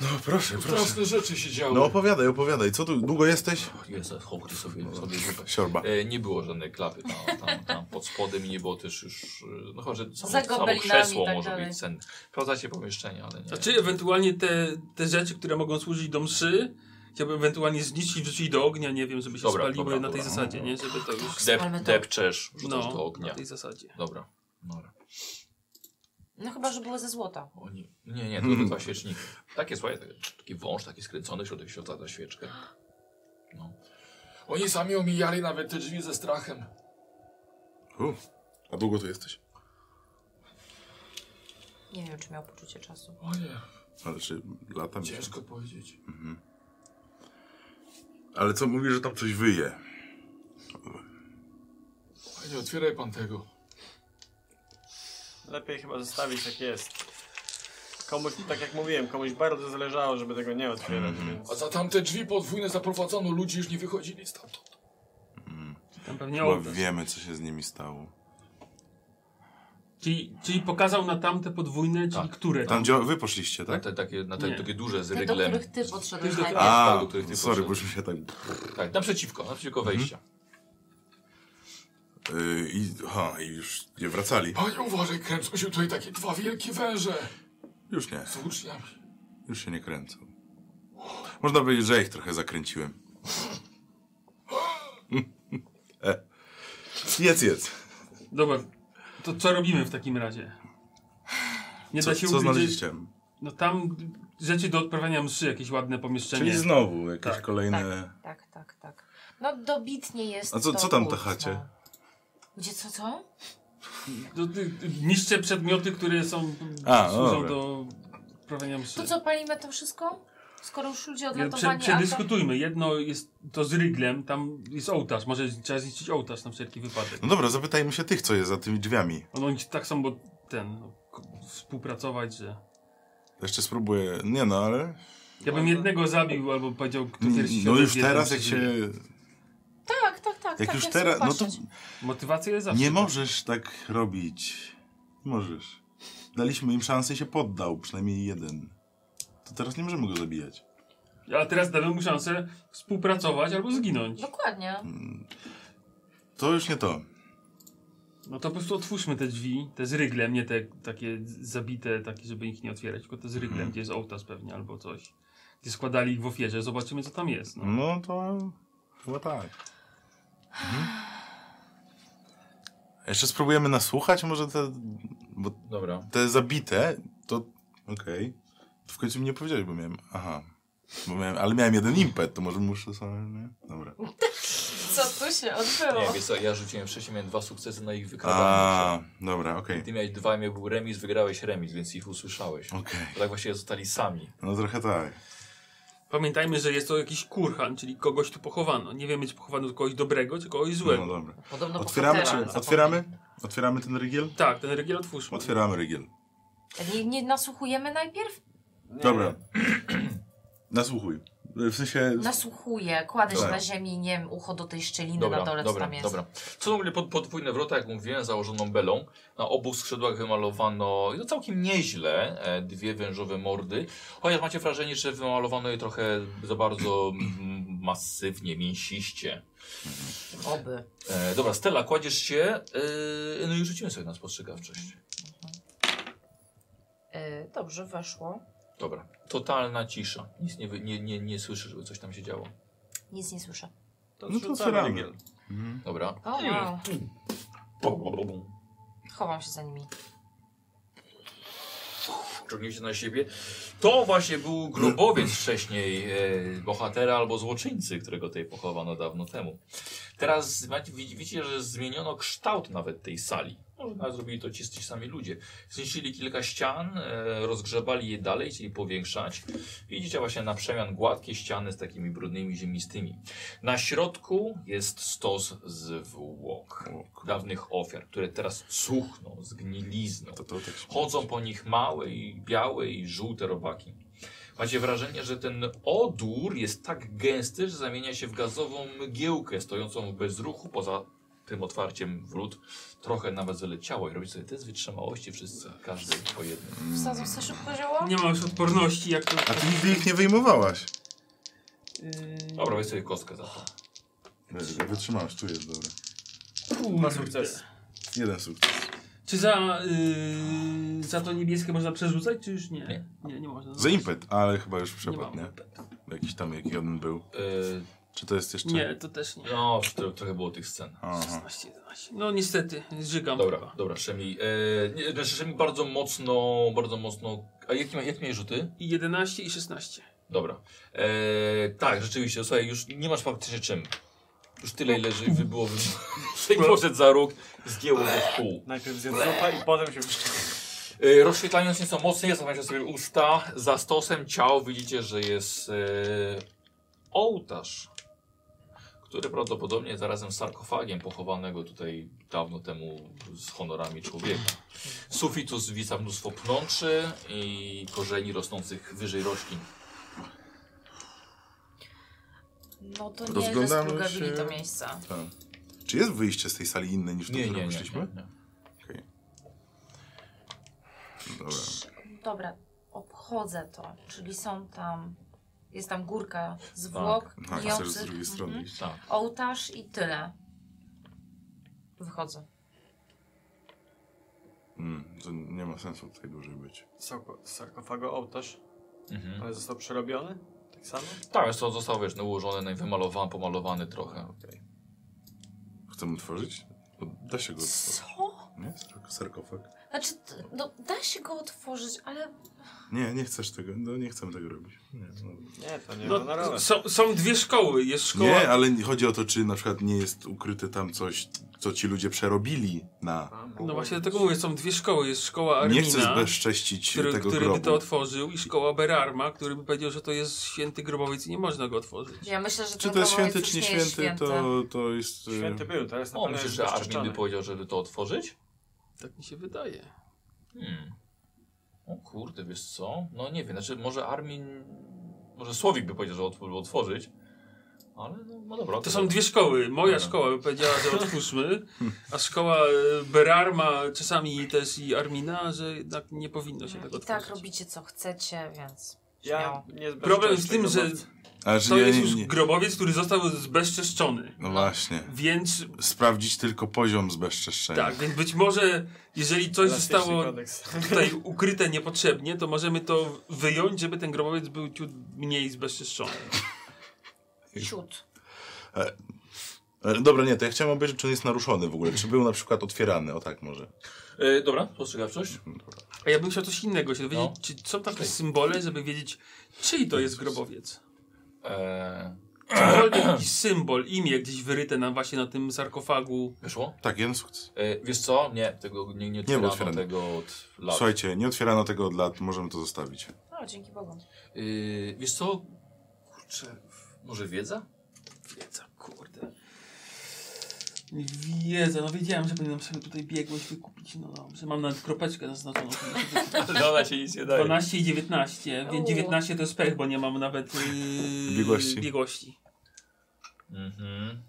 [SPEAKER 2] No proszę, proszę.
[SPEAKER 1] Straszne rzeczy się działy.
[SPEAKER 2] No opowiadaj, opowiadaj. Co tu, długo jesteś?
[SPEAKER 5] Jezu, chłopcy sobie, sobie zupę.
[SPEAKER 2] Siorba.
[SPEAKER 5] E, nie było żadnej klapy tam, tam, tam pod spodem i nie było też już, e, no chyba, że
[SPEAKER 3] Za
[SPEAKER 5] samo, samo
[SPEAKER 3] gobelinami
[SPEAKER 5] krzesło
[SPEAKER 3] i tak
[SPEAKER 5] może
[SPEAKER 3] dalej.
[SPEAKER 5] być cenne. Sprawdzacie pomieszczenie, ale nie.
[SPEAKER 4] A czy Znaczy, ewentualnie te, te rzeczy, które mogą służyć do mszy, chciałbym ewentualnie zniszczyć i wrzucić do ognia, nie wiem, żeby się
[SPEAKER 5] Dobra,
[SPEAKER 4] spaliły
[SPEAKER 5] dobra,
[SPEAKER 4] na tej
[SPEAKER 5] dobra.
[SPEAKER 4] zasadzie, nie? Żeby to już...
[SPEAKER 3] Spalmy
[SPEAKER 5] Dep,
[SPEAKER 3] to.
[SPEAKER 5] depczesz, rzucasz do
[SPEAKER 4] No, na
[SPEAKER 5] ognia.
[SPEAKER 4] tej zasadzie.
[SPEAKER 5] Dobra. Dobra.
[SPEAKER 3] No chyba, że były ze złota.
[SPEAKER 5] Oni... Nie, nie, to były dwa świeczniki. Takie, słuchaj, takie- taki wąż, taki skręcony, środek świeca na świeczkę. No.
[SPEAKER 1] Oni sami omijali nawet te drzwi ze strachem.
[SPEAKER 2] U, a długo tu jesteś?
[SPEAKER 3] Nie wiem, czy miał poczucie czasu.
[SPEAKER 1] O nie,
[SPEAKER 2] Ale czy lata mi
[SPEAKER 1] ciężko powiedzieć.
[SPEAKER 2] Ale co mówisz, że tam coś wyje?
[SPEAKER 1] O nie otwieraj pan tego.
[SPEAKER 6] Lepiej chyba zostawić jak jest. Komuś, tak jak mówiłem, komuś bardzo zależało, żeby tego nie otwierać, więc...
[SPEAKER 1] A za tamte drzwi podwójne zaprowadzono ludzi, już nie wychodzili stamtąd.
[SPEAKER 4] Tam pewnie
[SPEAKER 2] Bo
[SPEAKER 4] ołtarz.
[SPEAKER 2] wiemy, co się z nimi stało.
[SPEAKER 4] Czyli, czyli pokazał na tamte podwójne, czyli
[SPEAKER 5] Tak.
[SPEAKER 4] które?
[SPEAKER 2] Tam gdzie wy poszliście,
[SPEAKER 5] Na
[SPEAKER 2] tak?
[SPEAKER 5] te, takie, na te
[SPEAKER 4] Nie.
[SPEAKER 5] takie duże z
[SPEAKER 3] Te, do
[SPEAKER 5] ryglem.
[SPEAKER 3] których ty podszedłeś
[SPEAKER 4] Tylko-
[SPEAKER 3] najpierw.
[SPEAKER 2] A,
[SPEAKER 5] do których ty
[SPEAKER 2] sorry, bo
[SPEAKER 5] poszedłeś.
[SPEAKER 2] już mi się tak...
[SPEAKER 5] Tak, naprzeciwko, naprzeciwko wejścia.
[SPEAKER 2] Yy, i, ha, I już nie wracali.
[SPEAKER 1] Panie uważaj, kręcą się tutaj takie dwa wielkie węże
[SPEAKER 2] Już nie,
[SPEAKER 1] z uczniami.
[SPEAKER 2] już się nie kręcą. Można powiedzieć, że ja ich trochę zakręciłem. E. Jedz, jedz.
[SPEAKER 4] Dobra, to co robimy w takim razie? Nie
[SPEAKER 2] Co,
[SPEAKER 4] da
[SPEAKER 2] co
[SPEAKER 4] się ukryć, że-
[SPEAKER 2] znaleźliście?
[SPEAKER 4] No tam rzeczy do odprawiania mszy, jakieś ładne pomieszczenie.
[SPEAKER 2] Czyli znowu jakieś
[SPEAKER 4] Tak.
[SPEAKER 2] kolejne...
[SPEAKER 3] Tak, tak, tak. No dobitnie jest
[SPEAKER 2] A co-
[SPEAKER 3] to
[SPEAKER 2] co tam na
[SPEAKER 3] płótno.
[SPEAKER 2] chacie?
[SPEAKER 3] Gdzie co, co?
[SPEAKER 4] Do, y, y, niszczę przedmioty, które są
[SPEAKER 2] A,
[SPEAKER 5] no
[SPEAKER 4] służą
[SPEAKER 2] dobra.
[SPEAKER 4] do odprawiania mszy.
[SPEAKER 3] To co, palimy to wszystko? Skoro już ludzie
[SPEAKER 4] Ja, prze,
[SPEAKER 3] odlatowani,
[SPEAKER 4] przedyskutujmy. Jedno jest to z ryglem, tam jest ołtarz. Może trzeba zniszczyć ołtarz na wszelki wypadek.
[SPEAKER 2] No dobra, zapytajmy się tych, co jest za tymi drzwiami.
[SPEAKER 4] No, oni tak samo ten, no, k- współpracować, że...
[SPEAKER 2] Jeszcze spróbuję... Nie no, ale...
[SPEAKER 4] Ja bym jednego zabił, albo powiedział, kto pierwszy się
[SPEAKER 2] No już
[SPEAKER 4] odezwie, ten
[SPEAKER 2] teraz, jak
[SPEAKER 4] przeżyje.
[SPEAKER 2] się...
[SPEAKER 3] a... Tak, tak, tak.
[SPEAKER 2] Jak
[SPEAKER 3] tak,
[SPEAKER 2] już
[SPEAKER 3] ja chcę
[SPEAKER 2] teraz... No to...
[SPEAKER 3] patrzeć.
[SPEAKER 4] Motywacja jest zawsze.
[SPEAKER 2] Nie
[SPEAKER 4] tak.
[SPEAKER 2] możesz tak robić. Nie możesz. Daliśmy im szansę i się poddał, przynajmniej jeden. To teraz nie możemy go zabijać.
[SPEAKER 4] A teraz damy mu szansę współpracować albo zginąć.
[SPEAKER 3] Dokładnie.
[SPEAKER 2] To już nie to.
[SPEAKER 4] No to po prostu otwórzmy te drzwi, te z ryglem, nie te takie z- zabite, takie, żeby ich nie otwierać, tylko te z ryglem,
[SPEAKER 2] Mhm.
[SPEAKER 4] gdzie jest ołtarz pewnie albo coś. Gdzie składali ich w ofierze, zobaczymy co tam jest. No.
[SPEAKER 2] No to chyba tak. Mhm. Jeszcze spróbujemy nasłuchać może te... Bo
[SPEAKER 5] Dobra.
[SPEAKER 2] te zabite, to... Okej. To w końcu mi nie powiedziałeś, bo miałem... Aha. Bo miałem, ale miałem jeden impet, to może muszę sobie... Nie? Dobra.
[SPEAKER 3] Co tu się
[SPEAKER 5] Nie,
[SPEAKER 3] odbyło?
[SPEAKER 5] wiesz co, ja rzuciłem wcześniej, miałem dwa sukcesy na ich wykradanie.
[SPEAKER 2] A, dobra, okej.
[SPEAKER 5] Ty miałeś dwa, miał był remis, wygrałeś remis, więc ich usłyszałeś.
[SPEAKER 2] Okej.
[SPEAKER 5] Bo tak właściwie zostali sami.
[SPEAKER 2] No trochę tak.
[SPEAKER 4] Pamiętajmy, że jest to jakiś kurhan, czyli kogoś tu pochowano. Nie wiemy, czy pochowano kogoś dobrego, czy kogoś złego.
[SPEAKER 2] No dobra.
[SPEAKER 3] Podobno
[SPEAKER 2] Otwieramy,
[SPEAKER 3] bohatera,
[SPEAKER 2] czy,
[SPEAKER 3] zapomnij.
[SPEAKER 2] otwieramy? Otwieramy ten rygiel?
[SPEAKER 4] Tak, ten rygiel otwórzmy.
[SPEAKER 2] Otwieramy rygiel.
[SPEAKER 3] Nie, nie nasłuchujemy najpierw?
[SPEAKER 6] Nie,
[SPEAKER 2] Dobra. Nasłuchuj. W sensie...
[SPEAKER 3] Nasłuchuję, kładę się
[SPEAKER 2] Dobra.
[SPEAKER 3] na ziemi, nie wiem, ucho do tej szczeliny na dole,
[SPEAKER 5] Dobra,
[SPEAKER 3] co
[SPEAKER 5] dobra,
[SPEAKER 3] tam jest.
[SPEAKER 5] dobra. Co w ogóle pod, podwójne wrota, jak mówiłem, założoną belą. Na obu skrzydłach wymalowano, no całkiem nieźle, e, dwie wężowe mordy. Chociaż macie wrażenie, że wymalowano je trochę za bardzo mm, masywnie, mięsiście.
[SPEAKER 3] Mhm. Oby.
[SPEAKER 5] E, dobra, Stella, kładziesz się, e, no i rzucimy sobie na spostrzegawczość.
[SPEAKER 3] Y, dobrze, weszło.
[SPEAKER 5] Dobra, totalna cisza. Nic nie, wy- nie, nie, nie słyszę, żeby coś tam się działo.
[SPEAKER 3] Nic nie słyszę.
[SPEAKER 6] To
[SPEAKER 2] No to
[SPEAKER 6] zrzucamy
[SPEAKER 2] otwieramy.
[SPEAKER 6] rygiel.
[SPEAKER 5] Dobra.
[SPEAKER 3] O, wow.
[SPEAKER 5] Bum, bum, bum, bum.
[SPEAKER 3] Chowam się za nimi.
[SPEAKER 5] ciągnięcie na siebie. To właśnie był grobowiec wcześniej e, bohatera albo złoczyńcy, którego tutaj pochowano dawno temu. Teraz macie- widzi- widzicie, że zmieniono kształt nawet tej sali. Może nawet zrobili to ci, ci sami ludzie. Zniszczyli kilka ścian, e, rozgrzebali je dalej, chcieli powiększać. Widzicie właśnie na przemian gładkie ściany z takimi brudnymi, ziemistymi. Na środku jest stos zwłok dawnych ofiar, które teraz cuchną, zgnilizną.
[SPEAKER 2] To, to tak się...
[SPEAKER 5] Chodzą po nich małe i białe i żółte robaki. Macie wrażenie, że ten odór jest tak gęsty, że zamienia się w gazową mgiełkę stojącą bez ruchu poza tym otwarciem wrót trochę nawet wyleciało i robi sobie test wytrzymałości wszyscy, każdy po jednym.
[SPEAKER 3] Wsadzą sobie szybko zioło?
[SPEAKER 4] Nie ma już odporności, jak to...
[SPEAKER 2] A ty nigdy ich nie wyjmowałaś.
[SPEAKER 4] Yy,
[SPEAKER 5] Dobra, weź sobie kostkę za to.
[SPEAKER 2] Wytrzymałaś, czujesz, dobra.
[SPEAKER 4] kurde.
[SPEAKER 6] Dwa sukcesy.
[SPEAKER 2] Jeden sukces.
[SPEAKER 4] Czy za, yy, za to niebieskie można przerzucać, czy już nie?
[SPEAKER 5] Nie.
[SPEAKER 4] nie, nie
[SPEAKER 5] No
[SPEAKER 4] można.
[SPEAKER 2] Za impet, ale chyba już
[SPEAKER 4] Nie mam
[SPEAKER 2] przepadł, nie? Jakiś tam, jaki on był.
[SPEAKER 5] Yy,
[SPEAKER 2] Czy to jest jeszcze...
[SPEAKER 4] Nie, to też nie.
[SPEAKER 5] no, tro, trochę było tych scen.
[SPEAKER 2] Aha.
[SPEAKER 4] 16, 11. No niestety, zżygam
[SPEAKER 5] Dobra,
[SPEAKER 4] chyba.
[SPEAKER 5] dobra, Szemi. Yy, nie, znaczy Szemi bardzo mocno, bardzo mocno... A jakie ma, jak miałeś rzuty?
[SPEAKER 4] I 11 i 16.
[SPEAKER 5] Dobra. E, tak, rzeczywiście, słuchaj, już nie masz faktycznie czym. Już tyle, ile ży- wy było wybuchło. poszedł za róg, zgięło go w pół.
[SPEAKER 6] Najpierw zjadł zupa i potem się wsz-
[SPEAKER 5] E, rozświetlając nieco mocniej, zamknęliście sobie usta. Za stosem ciał widzicie, że jest e, ołtarz, który prawdopodobnie jest zarazem sarkofagiem pochowanego tutaj dawno temu z honorami człowieka. Z sufitu zwisa mnóstwo pnączy i korzeni rosnących wyżej roślin.
[SPEAKER 3] No to nie, że
[SPEAKER 2] Rozglądamy
[SPEAKER 3] splugawili
[SPEAKER 2] się.
[SPEAKER 3] to miejsca.
[SPEAKER 2] Tak. Czy jest wyjście z tej sali inne niż to,
[SPEAKER 5] Nie, nie,
[SPEAKER 2] które
[SPEAKER 5] nie,
[SPEAKER 2] wyszliśmy?
[SPEAKER 5] nie, nie.
[SPEAKER 2] Dobra.
[SPEAKER 3] Dobra, obchodzę to. Czyli są tam... Jest tam górka zwłok,
[SPEAKER 2] No, a chcesz z
[SPEAKER 3] gnijących,
[SPEAKER 2] drugiej strony
[SPEAKER 3] mhm.
[SPEAKER 2] iść.
[SPEAKER 5] Tak.
[SPEAKER 3] ołtarz i tyle. Wychodzę.
[SPEAKER 2] Mm, to nie ma sensu tutaj dłużej być.
[SPEAKER 6] Sarko- Sarkofago ołtarz,
[SPEAKER 5] Mhm.
[SPEAKER 6] ale został przerobiony? Tak samo?
[SPEAKER 5] Tak, jest to został wiesz, no, ułożony, no, i wymalowany, pomalowany trochę.
[SPEAKER 2] Chcemy tworzyć? Bo Da się go otworzyć,
[SPEAKER 3] Co?
[SPEAKER 2] nie? Sarko- Sarkofag.
[SPEAKER 3] Znaczy, t- no, da się go otworzyć, ale
[SPEAKER 2] Nie, nie chcesz tego, no nie chcemy tego robić. Nie, no.
[SPEAKER 6] Nie, to nie
[SPEAKER 4] No,
[SPEAKER 6] honorowe.
[SPEAKER 4] są, są dwie szkoły. Jest szkoła...
[SPEAKER 2] nie ale nie- chodzi o to, czy na przykład nie jest ukryte tam coś, co ci ludzie przerobili na...
[SPEAKER 6] A, mogło
[SPEAKER 4] No właśnie
[SPEAKER 6] być.
[SPEAKER 4] dlatego mówię, są dwie szkoły. Jest szkoła Armina,
[SPEAKER 2] Nie chcę zbezcześcić
[SPEAKER 4] który,
[SPEAKER 2] tego
[SPEAKER 4] który by
[SPEAKER 2] grobu.
[SPEAKER 4] to otworzył i szkoła Berarma, który by powiedział, że to jest święty grobowiec i nie można go otworzyć.
[SPEAKER 3] ja myślę, że
[SPEAKER 2] Czy
[SPEAKER 3] ten
[SPEAKER 2] to jest
[SPEAKER 3] kawałek
[SPEAKER 2] święty,
[SPEAKER 3] już
[SPEAKER 2] czy nie
[SPEAKER 3] jest
[SPEAKER 2] święty, to, to jest... e,
[SPEAKER 6] Święty był, teraz na
[SPEAKER 4] No,
[SPEAKER 5] O,
[SPEAKER 6] pewno jest
[SPEAKER 5] myślisz, że Armin by
[SPEAKER 6] bezczeszczony.
[SPEAKER 5] powiedział, żeby to otworzyć?
[SPEAKER 4] Tak mi się wydaje.
[SPEAKER 5] Hmm. O kurde, wiesz co? No nie wiem, znaczy może Armin... Może Słowik by powiedział, że otw- żeby otworzyć, ale no, no dobra.
[SPEAKER 4] To są dwie szkoły. Moja
[SPEAKER 5] Dobra.
[SPEAKER 4] szkoła by powiedziała, że otwórzmy, a szkoła e, Berarma, czasami też i Armina, że jednak nie powinno się tego
[SPEAKER 3] I
[SPEAKER 4] otworzyć.
[SPEAKER 3] tak robicie co chcecie, więc
[SPEAKER 6] Ja
[SPEAKER 3] śmiało.
[SPEAKER 6] nie zbezczeszczę
[SPEAKER 4] Problem w tym,
[SPEAKER 6] tego,
[SPEAKER 4] że
[SPEAKER 2] A że
[SPEAKER 4] to
[SPEAKER 2] ja
[SPEAKER 4] jest
[SPEAKER 2] nie-
[SPEAKER 4] już
[SPEAKER 2] nie-
[SPEAKER 4] grobowiec, który został zbezczeszczony.
[SPEAKER 2] No właśnie.
[SPEAKER 4] Więc
[SPEAKER 2] Sprawdzić tylko poziom zbezczeszczenia.
[SPEAKER 4] tak, więc być może jeżeli
[SPEAKER 6] bo
[SPEAKER 4] coś
[SPEAKER 6] elastyczny
[SPEAKER 4] zostało
[SPEAKER 6] kodeks.
[SPEAKER 4] tutaj ukryte niepotrzebnie, to możemy to wyjąć, żeby ten grobowiec był ciut mniej zbezczeszczony.
[SPEAKER 3] Ciut.
[SPEAKER 2] E, Dobra, nie, to ja chciałem obejrzeć, czy on jest naruszony w ogóle. Czy był na przykład otwierany, o tak może.
[SPEAKER 5] E, dobra, spostrzegawczość?
[SPEAKER 4] A ja bym chciał coś innego się dowiedzieć,
[SPEAKER 5] No.
[SPEAKER 4] czy są takie
[SPEAKER 5] Okej.
[SPEAKER 4] symbole, żeby wiedzieć, czyj to jest grobowiec.
[SPEAKER 5] E,
[SPEAKER 4] Cokolwiek, jakiś symbol, imię gdzieś wyryte na właśnie na tym sarkofagu.
[SPEAKER 5] wyszło?
[SPEAKER 2] Tak, jeden sukces.
[SPEAKER 5] E, wiesz co? Nie, tego nie, nie
[SPEAKER 2] bo
[SPEAKER 5] otwierano
[SPEAKER 2] otwierane.
[SPEAKER 5] tego od lat.
[SPEAKER 2] Słuchajcie, nie otwierano tego od lat, możemy to zostawić.
[SPEAKER 3] O, dzięki Bogu.
[SPEAKER 5] E, wiesz co? Kurczę, może wiedza?
[SPEAKER 4] Wiedza, kurde. Wiedza, no wiedziałem, że powinienem sobie tutaj biegłość wykupić, no dobrze. Mam nawet kropeczkę naznaczoną.
[SPEAKER 5] Ale ona ci nic nie
[SPEAKER 4] 12 i 19, więc
[SPEAKER 3] Uuu.
[SPEAKER 4] 19 to jest pech, bo nie mam nawet yy,
[SPEAKER 2] Biegłości.
[SPEAKER 4] biegłości.
[SPEAKER 5] Mhm.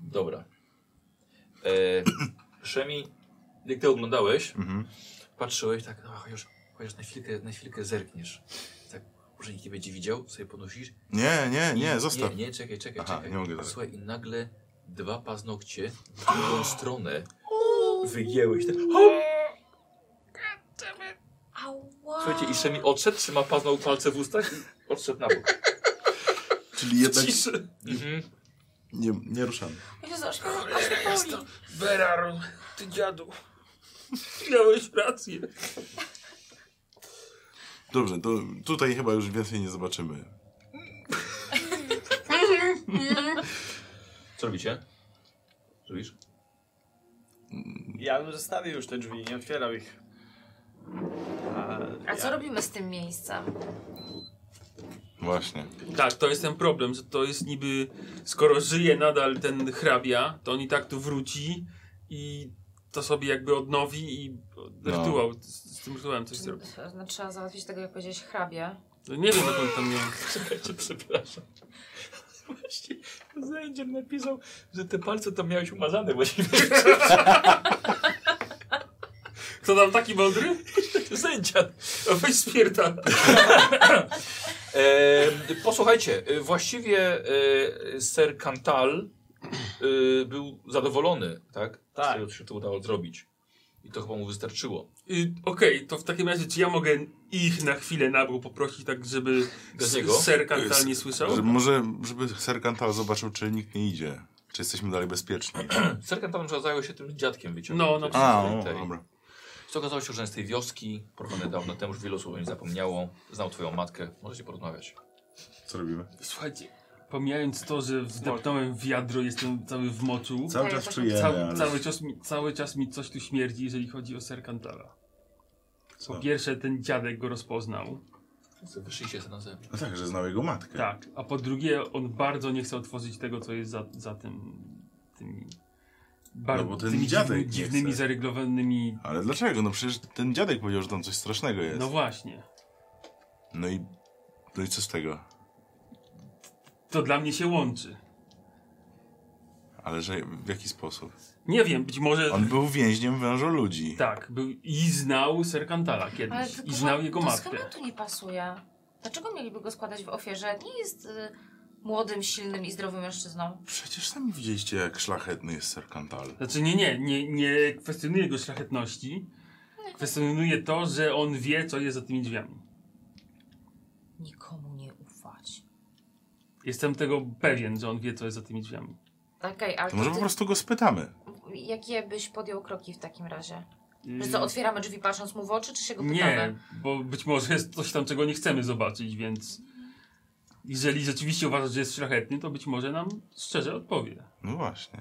[SPEAKER 5] Dobra. E, Szemi, jak ty oglądałeś,
[SPEAKER 2] Mhm.
[SPEAKER 5] patrzyłeś tak, no, chociaż, chociaż na, chwilkę, na chwilkę zerkniesz. Tak, może nikt nie będzie widział, sobie podnosisz.
[SPEAKER 2] Nie, nie,
[SPEAKER 5] I-
[SPEAKER 2] nie, zostaw.
[SPEAKER 5] Nie, nie, czekaj, czekaj,
[SPEAKER 2] Aha,
[SPEAKER 5] czekaj.
[SPEAKER 2] nie mogę tak.
[SPEAKER 5] Słuchaj, i nagle dwa paznokcie w drugą stronę wygięłeś. Tak. O!
[SPEAKER 3] Ała.
[SPEAKER 5] Słuchajcie, i Szemi odszedł, trzyma paznok palce w ustach i odszedł na bok.
[SPEAKER 2] Czyli jednak
[SPEAKER 4] Ciszy.
[SPEAKER 5] Mhm.
[SPEAKER 2] nie, nie ruszamy.
[SPEAKER 3] Jezu, aż mnie aż boli.
[SPEAKER 4] Berar, ty dziadu. Miałeś rację.
[SPEAKER 2] Dobrze, to tutaj chyba już więcej nie zobaczymy.
[SPEAKER 5] Co robicie? Robisz?
[SPEAKER 6] Ja bym zostawił już te drzwi, nie otwierał ich. A,
[SPEAKER 3] A co
[SPEAKER 6] ja-
[SPEAKER 3] robimy z tym miejscem?
[SPEAKER 2] Właśnie.
[SPEAKER 4] Tak, to jest ten problem, że to jest niby, skoro żyje nadal ten hrabia, to on i tak tu wróci i to sobie jakby odnowi i
[SPEAKER 1] No.
[SPEAKER 4] rytuał, z, z tym rytuałem coś zrobi.
[SPEAKER 3] No, trzeba załatwić tego, jak powiedziałeś, hrabia.
[SPEAKER 4] No nie wiem, jak on tam miał.
[SPEAKER 5] Czekajcie, przepraszam.
[SPEAKER 1] Właśnie Zędziel napisał, że te palce tam miałeś umazane właściwie.
[SPEAKER 4] Kto tam taki mądry?
[SPEAKER 1] Zędziel.
[SPEAKER 4] A weź spierta.
[SPEAKER 1] E, posłuchajcie, e, właściwie e, ser Cantal e, był zadowolony, tak?
[SPEAKER 6] Tak.
[SPEAKER 1] Z tego, co się to udało zrobić. I to chyba mu wystarczyło.
[SPEAKER 4] Y, Okej, to w takim razie czy ja mogę ich na chwilę na bok poprosić, tak żeby
[SPEAKER 1] Bez
[SPEAKER 4] s-
[SPEAKER 1] niego?
[SPEAKER 4] ser Kantal nie słyszał?
[SPEAKER 2] Że może, żeby Serkantal zobaczył, czy nikt nie idzie. Czy jesteśmy dalej bezpieczni.
[SPEAKER 1] Ser Cantal trzeba zajął się tym dziadkiem
[SPEAKER 4] No,
[SPEAKER 1] wyciągniętym.
[SPEAKER 4] na
[SPEAKER 2] A,
[SPEAKER 1] z
[SPEAKER 2] o,
[SPEAKER 1] tej-
[SPEAKER 2] dobra.
[SPEAKER 1] Co okazało się, że z tej wioski, porwane dawno temu, już wielu osób o nim zapomniało, znał twoją matkę, możecie porozmawiać.
[SPEAKER 2] Co robimy?
[SPEAKER 4] Słuchajcie, pomijając to, że wdepnąłem w wiadro, jestem cały w moczu.
[SPEAKER 2] Cały
[SPEAKER 3] Ja
[SPEAKER 2] czas
[SPEAKER 3] też-
[SPEAKER 2] czujemy,
[SPEAKER 4] Ca
[SPEAKER 2] ale...
[SPEAKER 4] cały, czas mi, cały czas mi coś tu śmierdzi, jeżeli chodzi o ser Kantala.
[SPEAKER 2] Co?
[SPEAKER 4] Po pierwsze, ten dziadek go rozpoznał.
[SPEAKER 1] Wyszliście sobie na zewnątrz.
[SPEAKER 2] No tak, że znał jego matkę.
[SPEAKER 4] Tak. A po drugie, on bardzo nie chce otworzyć tego, co jest za, za tym. tymi. Bar-
[SPEAKER 2] No bo ten
[SPEAKER 4] tymi
[SPEAKER 2] dziadek
[SPEAKER 4] dziwnymi,
[SPEAKER 2] nie
[SPEAKER 4] dziwnymi
[SPEAKER 2] chce.
[SPEAKER 4] zaryglowanymi.
[SPEAKER 2] Ale dlaczego? No przecież ten dziadek powiedział, że tam coś strasznego jest.
[SPEAKER 4] No właśnie.
[SPEAKER 2] No i... No i co z tego?
[SPEAKER 4] To dla mnie się łączy.
[SPEAKER 2] Ale że w jaki sposób?
[SPEAKER 4] Nie wiem, być może.
[SPEAKER 2] On był więźniem węża ludzi.
[SPEAKER 4] Tak, był i znał Ser Kantala kiedyś. I
[SPEAKER 3] to-
[SPEAKER 4] znał jego
[SPEAKER 3] to
[SPEAKER 4] matkę.
[SPEAKER 3] schematu nie pasuje. Dlaczego mieliby go składać w ofierze? Nie jest y, młodym, silnym i zdrowym mężczyzną.
[SPEAKER 2] Przecież sami widzieliście, jak szlachetny jest Serkantal.
[SPEAKER 4] Znaczy nie, nie, nie, nie kwestionuję jego szlachetności. Kwestionuję to, że on wie, co jest za tymi drzwiami.
[SPEAKER 3] Nikomu nie ufać.
[SPEAKER 4] Jestem tego pewien, że on wie, co jest za tymi drzwiami.
[SPEAKER 3] Okej, ale
[SPEAKER 2] To
[SPEAKER 3] to
[SPEAKER 2] może
[SPEAKER 3] ty,
[SPEAKER 2] po prostu go spytamy.
[SPEAKER 3] jakie byś podjął kroki w takim razie?
[SPEAKER 4] Yy,
[SPEAKER 3] Że co, otwieramy drzwi patrząc mu w oczy, czy się go pytamy?
[SPEAKER 4] nie, bo być może jest coś tam, czego nie chcemy zobaczyć, więc jeżeli rzeczywiście uważasz, że jest szlachetny, to być może nam szczerze odpowie.
[SPEAKER 2] No właśnie.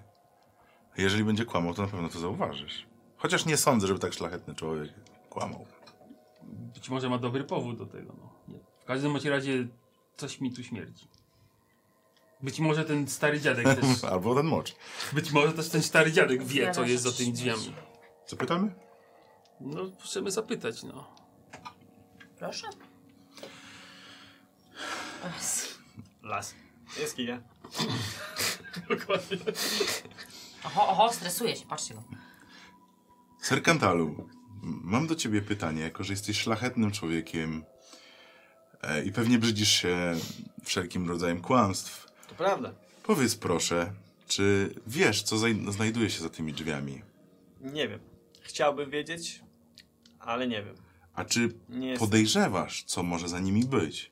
[SPEAKER 2] Jeżeli będzie kłamał, to na pewno to zauważysz. Chociaż nie sądzę, żeby tak szlachetny człowiek kłamał.
[SPEAKER 4] Być może ma dobry powód do tego. No. Nie. W każdym bądź razie coś mi tu śmierdzi. Być może ten stary dziadek też.
[SPEAKER 2] Albo ten mocz.
[SPEAKER 4] Być może też ten stary dziadek wie,
[SPEAKER 3] Wiele
[SPEAKER 4] co jest za
[SPEAKER 3] rzeczy
[SPEAKER 4] tymi
[SPEAKER 3] się
[SPEAKER 4] drzwiami.
[SPEAKER 3] dzieje.
[SPEAKER 2] Zapytamy?
[SPEAKER 4] No, możemy zapytać, no.
[SPEAKER 3] Proszę. Ach,
[SPEAKER 4] Las.
[SPEAKER 6] Jest kinia.
[SPEAKER 3] Oho, oho, stresuje się, patrzcie go.
[SPEAKER 2] Serkantalu, m- mam do ciebie pytanie, jako że jesteś szlachetnym człowiekiem e, i pewnie brzydzisz się wszelkim rodzajem kłamstw.
[SPEAKER 6] To prawda.
[SPEAKER 2] Powiedz proszę, czy wiesz, co zaj- znajduje się za tymi drzwiami?
[SPEAKER 6] Nie wiem. Chciałbym wiedzieć, ale nie wiem.
[SPEAKER 2] A czy
[SPEAKER 6] Nie jest,
[SPEAKER 2] podejrzewasz, co może za nimi być?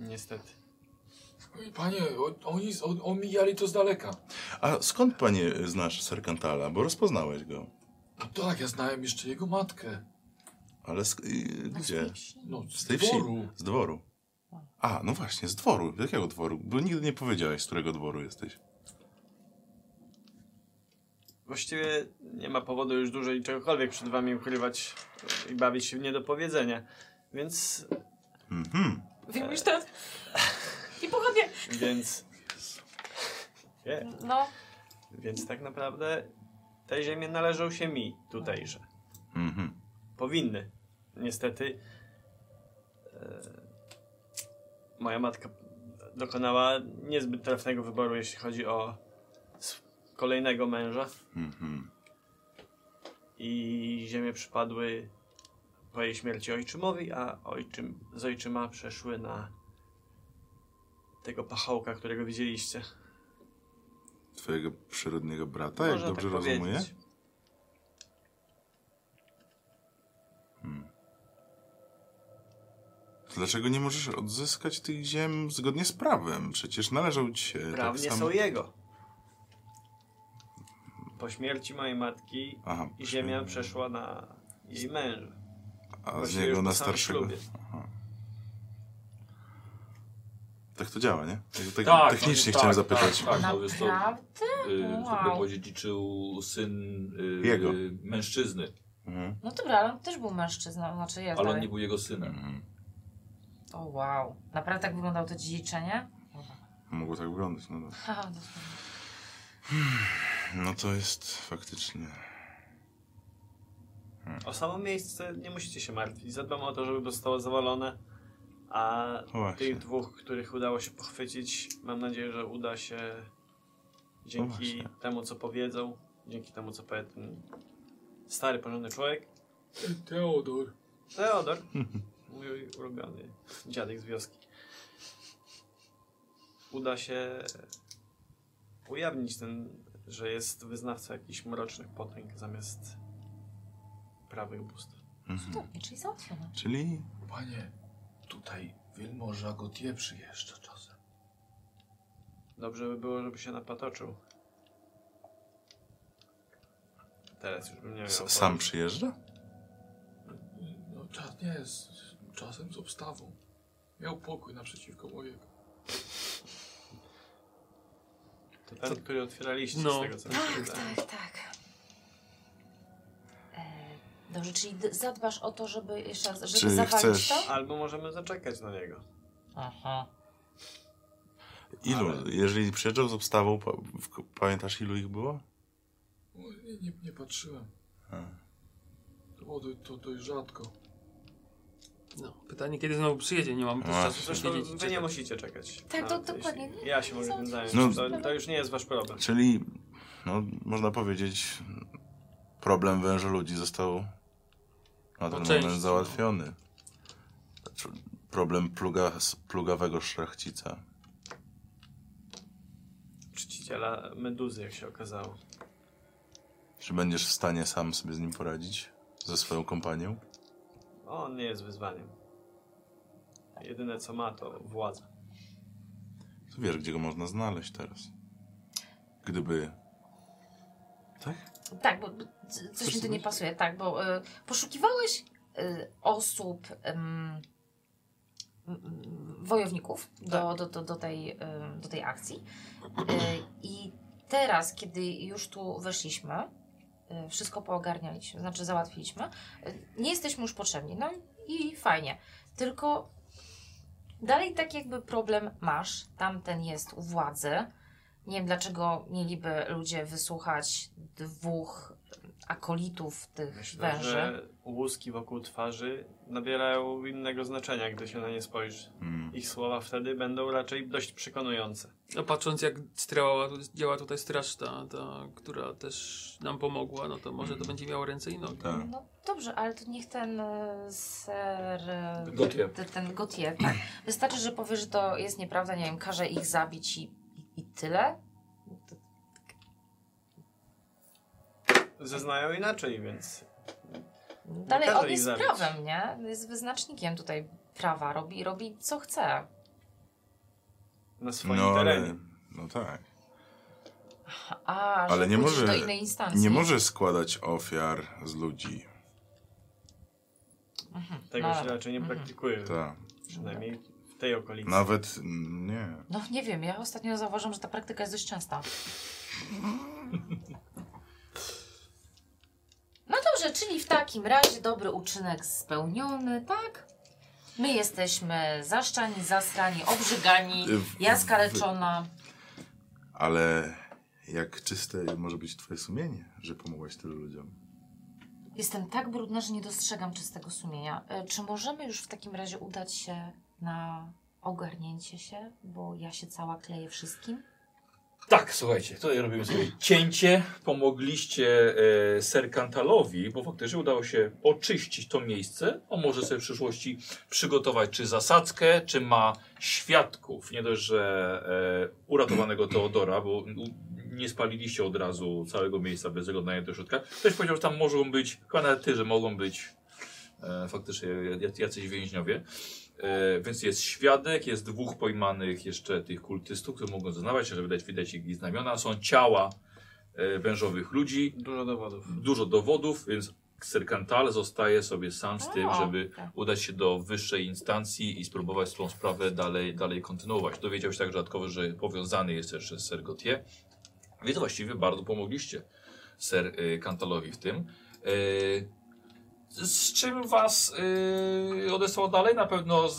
[SPEAKER 6] niestety.
[SPEAKER 1] Panie, oni omijali to z daleka.
[SPEAKER 2] A skąd, panie, znasz Serkantala? Bo rozpoznałeś go.
[SPEAKER 1] No tak, ja znałem jeszcze jego matkę.
[SPEAKER 2] Ale sk- i- gdzie?
[SPEAKER 1] No,
[SPEAKER 2] Z tej wsi? Z dworu. A, no właśnie, z dworu. Z jakiego dworu? Bo nigdy nie powiedziałeś, z którego dworu jesteś.
[SPEAKER 6] Właściwie nie ma powodu już dłużej czegokolwiek przed wami ukrywać i bawić się w niedopowiedzenie. Więc,
[SPEAKER 2] Mhm.
[SPEAKER 3] Wyjmujesz ten... I pochodnie.
[SPEAKER 6] więc, wie,
[SPEAKER 3] No,
[SPEAKER 6] więc tak naprawdę te ziemie należą się mi tutejże.
[SPEAKER 2] Mhm.
[SPEAKER 6] Powinny. Niestety e, moja matka dokonała niezbyt trafnego wyboru, jeśli chodzi o sw- kolejnego męża.
[SPEAKER 2] Mhm.
[SPEAKER 6] i ziemie przypadły po jej śmierci ojczymowi, a ojczym, z ojczyma przeszły na tego pachołka, którego widzieliście.
[SPEAKER 2] Twojego przyrodniego brata,
[SPEAKER 6] Można
[SPEAKER 2] jak dobrze
[SPEAKER 6] tak
[SPEAKER 2] rozumiem?
[SPEAKER 6] powiedzieć.
[SPEAKER 2] To Dlaczego nie możesz odzyskać tych ziem zgodnie z prawem? Przecież należą ci się
[SPEAKER 6] Prawnie
[SPEAKER 2] tak samo...
[SPEAKER 6] są jego. Po śmierci mojej matki
[SPEAKER 2] Aha,
[SPEAKER 6] ziemia przeszła na jej męża.
[SPEAKER 2] A z
[SPEAKER 6] Właściwie już
[SPEAKER 2] niego
[SPEAKER 6] po
[SPEAKER 2] na
[SPEAKER 6] samym
[SPEAKER 2] starszego.
[SPEAKER 6] ślubie.
[SPEAKER 2] Aha. Tak to działa, nie? Tak,
[SPEAKER 6] no,
[SPEAKER 1] Tak,
[SPEAKER 2] technicznie
[SPEAKER 1] tak,
[SPEAKER 2] chciałem
[SPEAKER 1] tak,
[SPEAKER 2] zapytać.
[SPEAKER 1] tak. no, jest to-
[SPEAKER 3] naprawdę?
[SPEAKER 1] Yy,
[SPEAKER 3] Wow.
[SPEAKER 1] wow. dziedziczył syn y,
[SPEAKER 2] Jego.
[SPEAKER 1] y, mężczyzny,
[SPEAKER 2] Mhm.
[SPEAKER 3] No dobra, ale on też był mężczyzną, znaczy
[SPEAKER 1] ale
[SPEAKER 3] jest
[SPEAKER 1] on
[SPEAKER 3] dalej.
[SPEAKER 1] nie był jego synem.
[SPEAKER 2] Mhm.
[SPEAKER 3] O wow, naprawdę tak wyglądało to dziedziczenie?
[SPEAKER 2] Mogło tak wyglądać. No, dobra.
[SPEAKER 3] Haha, no
[SPEAKER 2] no to jest faktycznie.
[SPEAKER 6] O samo miejsce nie musicie się martwić. Zadbam o to, żeby zostało zawalone, A
[SPEAKER 2] Właśnie.
[SPEAKER 6] tych dwóch, których udało się pochwycić, mam nadzieję, że uda się dzięki
[SPEAKER 2] No właśnie.
[SPEAKER 6] temu, co powiedzą, dzięki temu, co powie ten stary, porządny człowiek.
[SPEAKER 1] Teodor.
[SPEAKER 6] Teodor, mój ulubiony dziadek z wioski. Uda się ujawnić ten, że jest wyznawca jakichś mrocznych potęg zamiast prawych bóstw.
[SPEAKER 2] Mhm.
[SPEAKER 3] Cudownie, czyli załatwione.
[SPEAKER 2] Czyli
[SPEAKER 1] Panie, tutaj Wilmorza Gotie przyjeżdża czasem.
[SPEAKER 6] Dobrze by było, żeby się napatoczył. Teraz już bym nie miał.
[SPEAKER 2] s-
[SPEAKER 6] oporu.
[SPEAKER 2] sam przyjeżdża?
[SPEAKER 1] No czas nie, z, z, czasem z obstawą. Miał pokój naprzeciwko mojego.
[SPEAKER 6] To ten, który otwieraliście
[SPEAKER 4] No.
[SPEAKER 6] z tego co mi się
[SPEAKER 3] Tak,
[SPEAKER 6] wydaje.
[SPEAKER 3] tak, tak. E, Dobrze, czyli d- zadbasz o to, żeby jeszcze raz, żeby
[SPEAKER 2] Czy
[SPEAKER 3] zawalić
[SPEAKER 2] chcesz-
[SPEAKER 3] to?
[SPEAKER 6] Albo możemy zaczekać na niego.
[SPEAKER 3] Aha.
[SPEAKER 2] Ilu?
[SPEAKER 6] Ale-
[SPEAKER 2] Jeżeli przyjeżdżał z obstawą, pa- w- pamiętasz ilu ich było?
[SPEAKER 1] No, Nie, nie, nie patrzyłem.
[SPEAKER 2] A.
[SPEAKER 1] To było do, to dość rzadko.
[SPEAKER 4] No, pytanie, kiedy znowu przyjedzie, nie mamy też
[SPEAKER 2] A.
[SPEAKER 4] czasu
[SPEAKER 6] Zresztą
[SPEAKER 4] siedzieć i
[SPEAKER 6] wy nie
[SPEAKER 4] czekać.
[SPEAKER 6] musicie czekać.
[SPEAKER 3] Tak, to
[SPEAKER 6] Nawet jeśli-
[SPEAKER 3] dokładnie, nie?
[SPEAKER 6] Ja się mogę tym zająć.
[SPEAKER 2] No.
[SPEAKER 6] To, to już nie jest wasz problem.
[SPEAKER 2] Czyli, no, można powiedzieć, problem węża ludzi został na ten
[SPEAKER 4] Po części,
[SPEAKER 2] moment
[SPEAKER 4] no.
[SPEAKER 2] załatwiony. Znaczy, problem pluga, s- plugawego szlachcica.
[SPEAKER 6] Czciciela meduzy, jak się okazało.
[SPEAKER 2] Czy będziesz w stanie sam sobie z nim poradzić? Ze swoją kompanią?
[SPEAKER 6] On nie jest wyzwaniem. Jedyne co ma to władza.
[SPEAKER 2] To wiesz, gdzie go można znaleźć teraz. Gdyby... Tak?
[SPEAKER 3] Tak, bo bo c- coś mi tu nie pasuje, tak, bo y, poszukiwałeś y, osób, ym, mm, wojowników
[SPEAKER 6] Tak.
[SPEAKER 3] do, do, do, do, tej, ym, do tej akcji. Y, I teraz, kiedy już tu weszliśmy, y, wszystko poogarnialiśmy, znaczy załatwiliśmy, y, nie jesteśmy już potrzebni, no i fajnie, tylko dalej tak jakby problem masz, tamten jest u władzy, nie wiem, dlaczego mieliby ludzie wysłuchać dwóch akolitów tych
[SPEAKER 6] Myślę,
[SPEAKER 3] węży.
[SPEAKER 6] że łuski wokół twarzy nabierają innego znaczenia, gdy się na nie spojrzy.
[SPEAKER 2] Mm.
[SPEAKER 6] Ich słowa wtedy będą raczej dość przekonujące.
[SPEAKER 4] A patrząc jak strała, działa tutaj straż ta, ta, która też nam pomogła, no to może to będzie miało ręce i nogi.
[SPEAKER 2] Tak.
[SPEAKER 3] No dobrze, ale to niech ten e, ser. e,
[SPEAKER 5] Gautier.
[SPEAKER 3] te- Ten Gautier, tak. Wystarczy, że powie, że to jest nieprawda, nie wiem, każe ich zabić i, i, i tyle. To-
[SPEAKER 6] Zeznają inaczej, więc
[SPEAKER 3] Dalej
[SPEAKER 6] każe
[SPEAKER 3] on
[SPEAKER 6] ich
[SPEAKER 3] jest
[SPEAKER 6] zabić.
[SPEAKER 3] prawem, nie? Jest wyznacznikiem tutaj prawa, robi, robi co chce.
[SPEAKER 6] na swoim
[SPEAKER 2] No,
[SPEAKER 6] terenie.
[SPEAKER 2] ale... No tak.
[SPEAKER 3] A, że
[SPEAKER 2] Ale nie
[SPEAKER 3] wrócisz
[SPEAKER 2] może-
[SPEAKER 3] do innej instancji.
[SPEAKER 2] Nie może składać ofiar z ludzi.
[SPEAKER 3] Mhm,
[SPEAKER 6] Tego
[SPEAKER 3] no
[SPEAKER 6] się
[SPEAKER 3] dobra.
[SPEAKER 6] raczej nie
[SPEAKER 3] Mhm.
[SPEAKER 6] praktykuje,
[SPEAKER 2] Tak.
[SPEAKER 6] przynajmniej w tej okolicy.
[SPEAKER 2] Nawet... mm, nie.
[SPEAKER 3] No nie wiem, ja ostatnio zauważam, że ta praktyka jest dość częsta. No dobrze, czyli w takim razie dobry uczynek spełniony, tak? My jesteśmy zaszczani, zasrani, obrzygani,
[SPEAKER 2] Y, w-
[SPEAKER 3] ja skaleczona.
[SPEAKER 2] Ale jak czyste może być twoje sumienie, że pomogłeś tylu ludziom?
[SPEAKER 3] Jestem tak brudna, że nie dostrzegam czystego sumienia. E, Czy możemy już w takim razie udać się na ogarnięcie się, bo ja się cała kleję wszystkim?
[SPEAKER 5] Tak, słuchajcie, tutaj robimy sobie cięcie. Pomogliście e, Serkantalowi, bo faktycznie udało się oczyścić to miejsce. On może sobie w przyszłości przygotować czy zasadzkę, czy ma świadków. Nie dość, że e, uratowanego Teodora, bo u- nie spaliliście od razu całego miejsca bez zaglądania do środka. Ktoś powiedział, że tam mogą być, chyba nawet ty, że mogą być e, faktycznie jac- jacyś więźniowie. E, więc jest świadek, jest dwóch pojmanych jeszcze tych kultystów, którzy mogą zeznawać, żeby dać widać ich znamiona. Są ciała e, wężowych ludzi,
[SPEAKER 6] Dużo dowodów.
[SPEAKER 5] dużo dowodów, więc Serkantal zostaje sobie sam z tym,
[SPEAKER 3] O,
[SPEAKER 5] żeby
[SPEAKER 3] tak.
[SPEAKER 5] udać się do wyższej instancji i spróbować tą sprawę dalej, dalej kontynuować. Dowiedział się także dodatkowo, że powiązany jest jeszcze z Ser Gautier, więc właściwie bardzo pomogliście Ser y, Kantalowi w tym. Y, z czym was y, odesłał dalej? Na pewno z,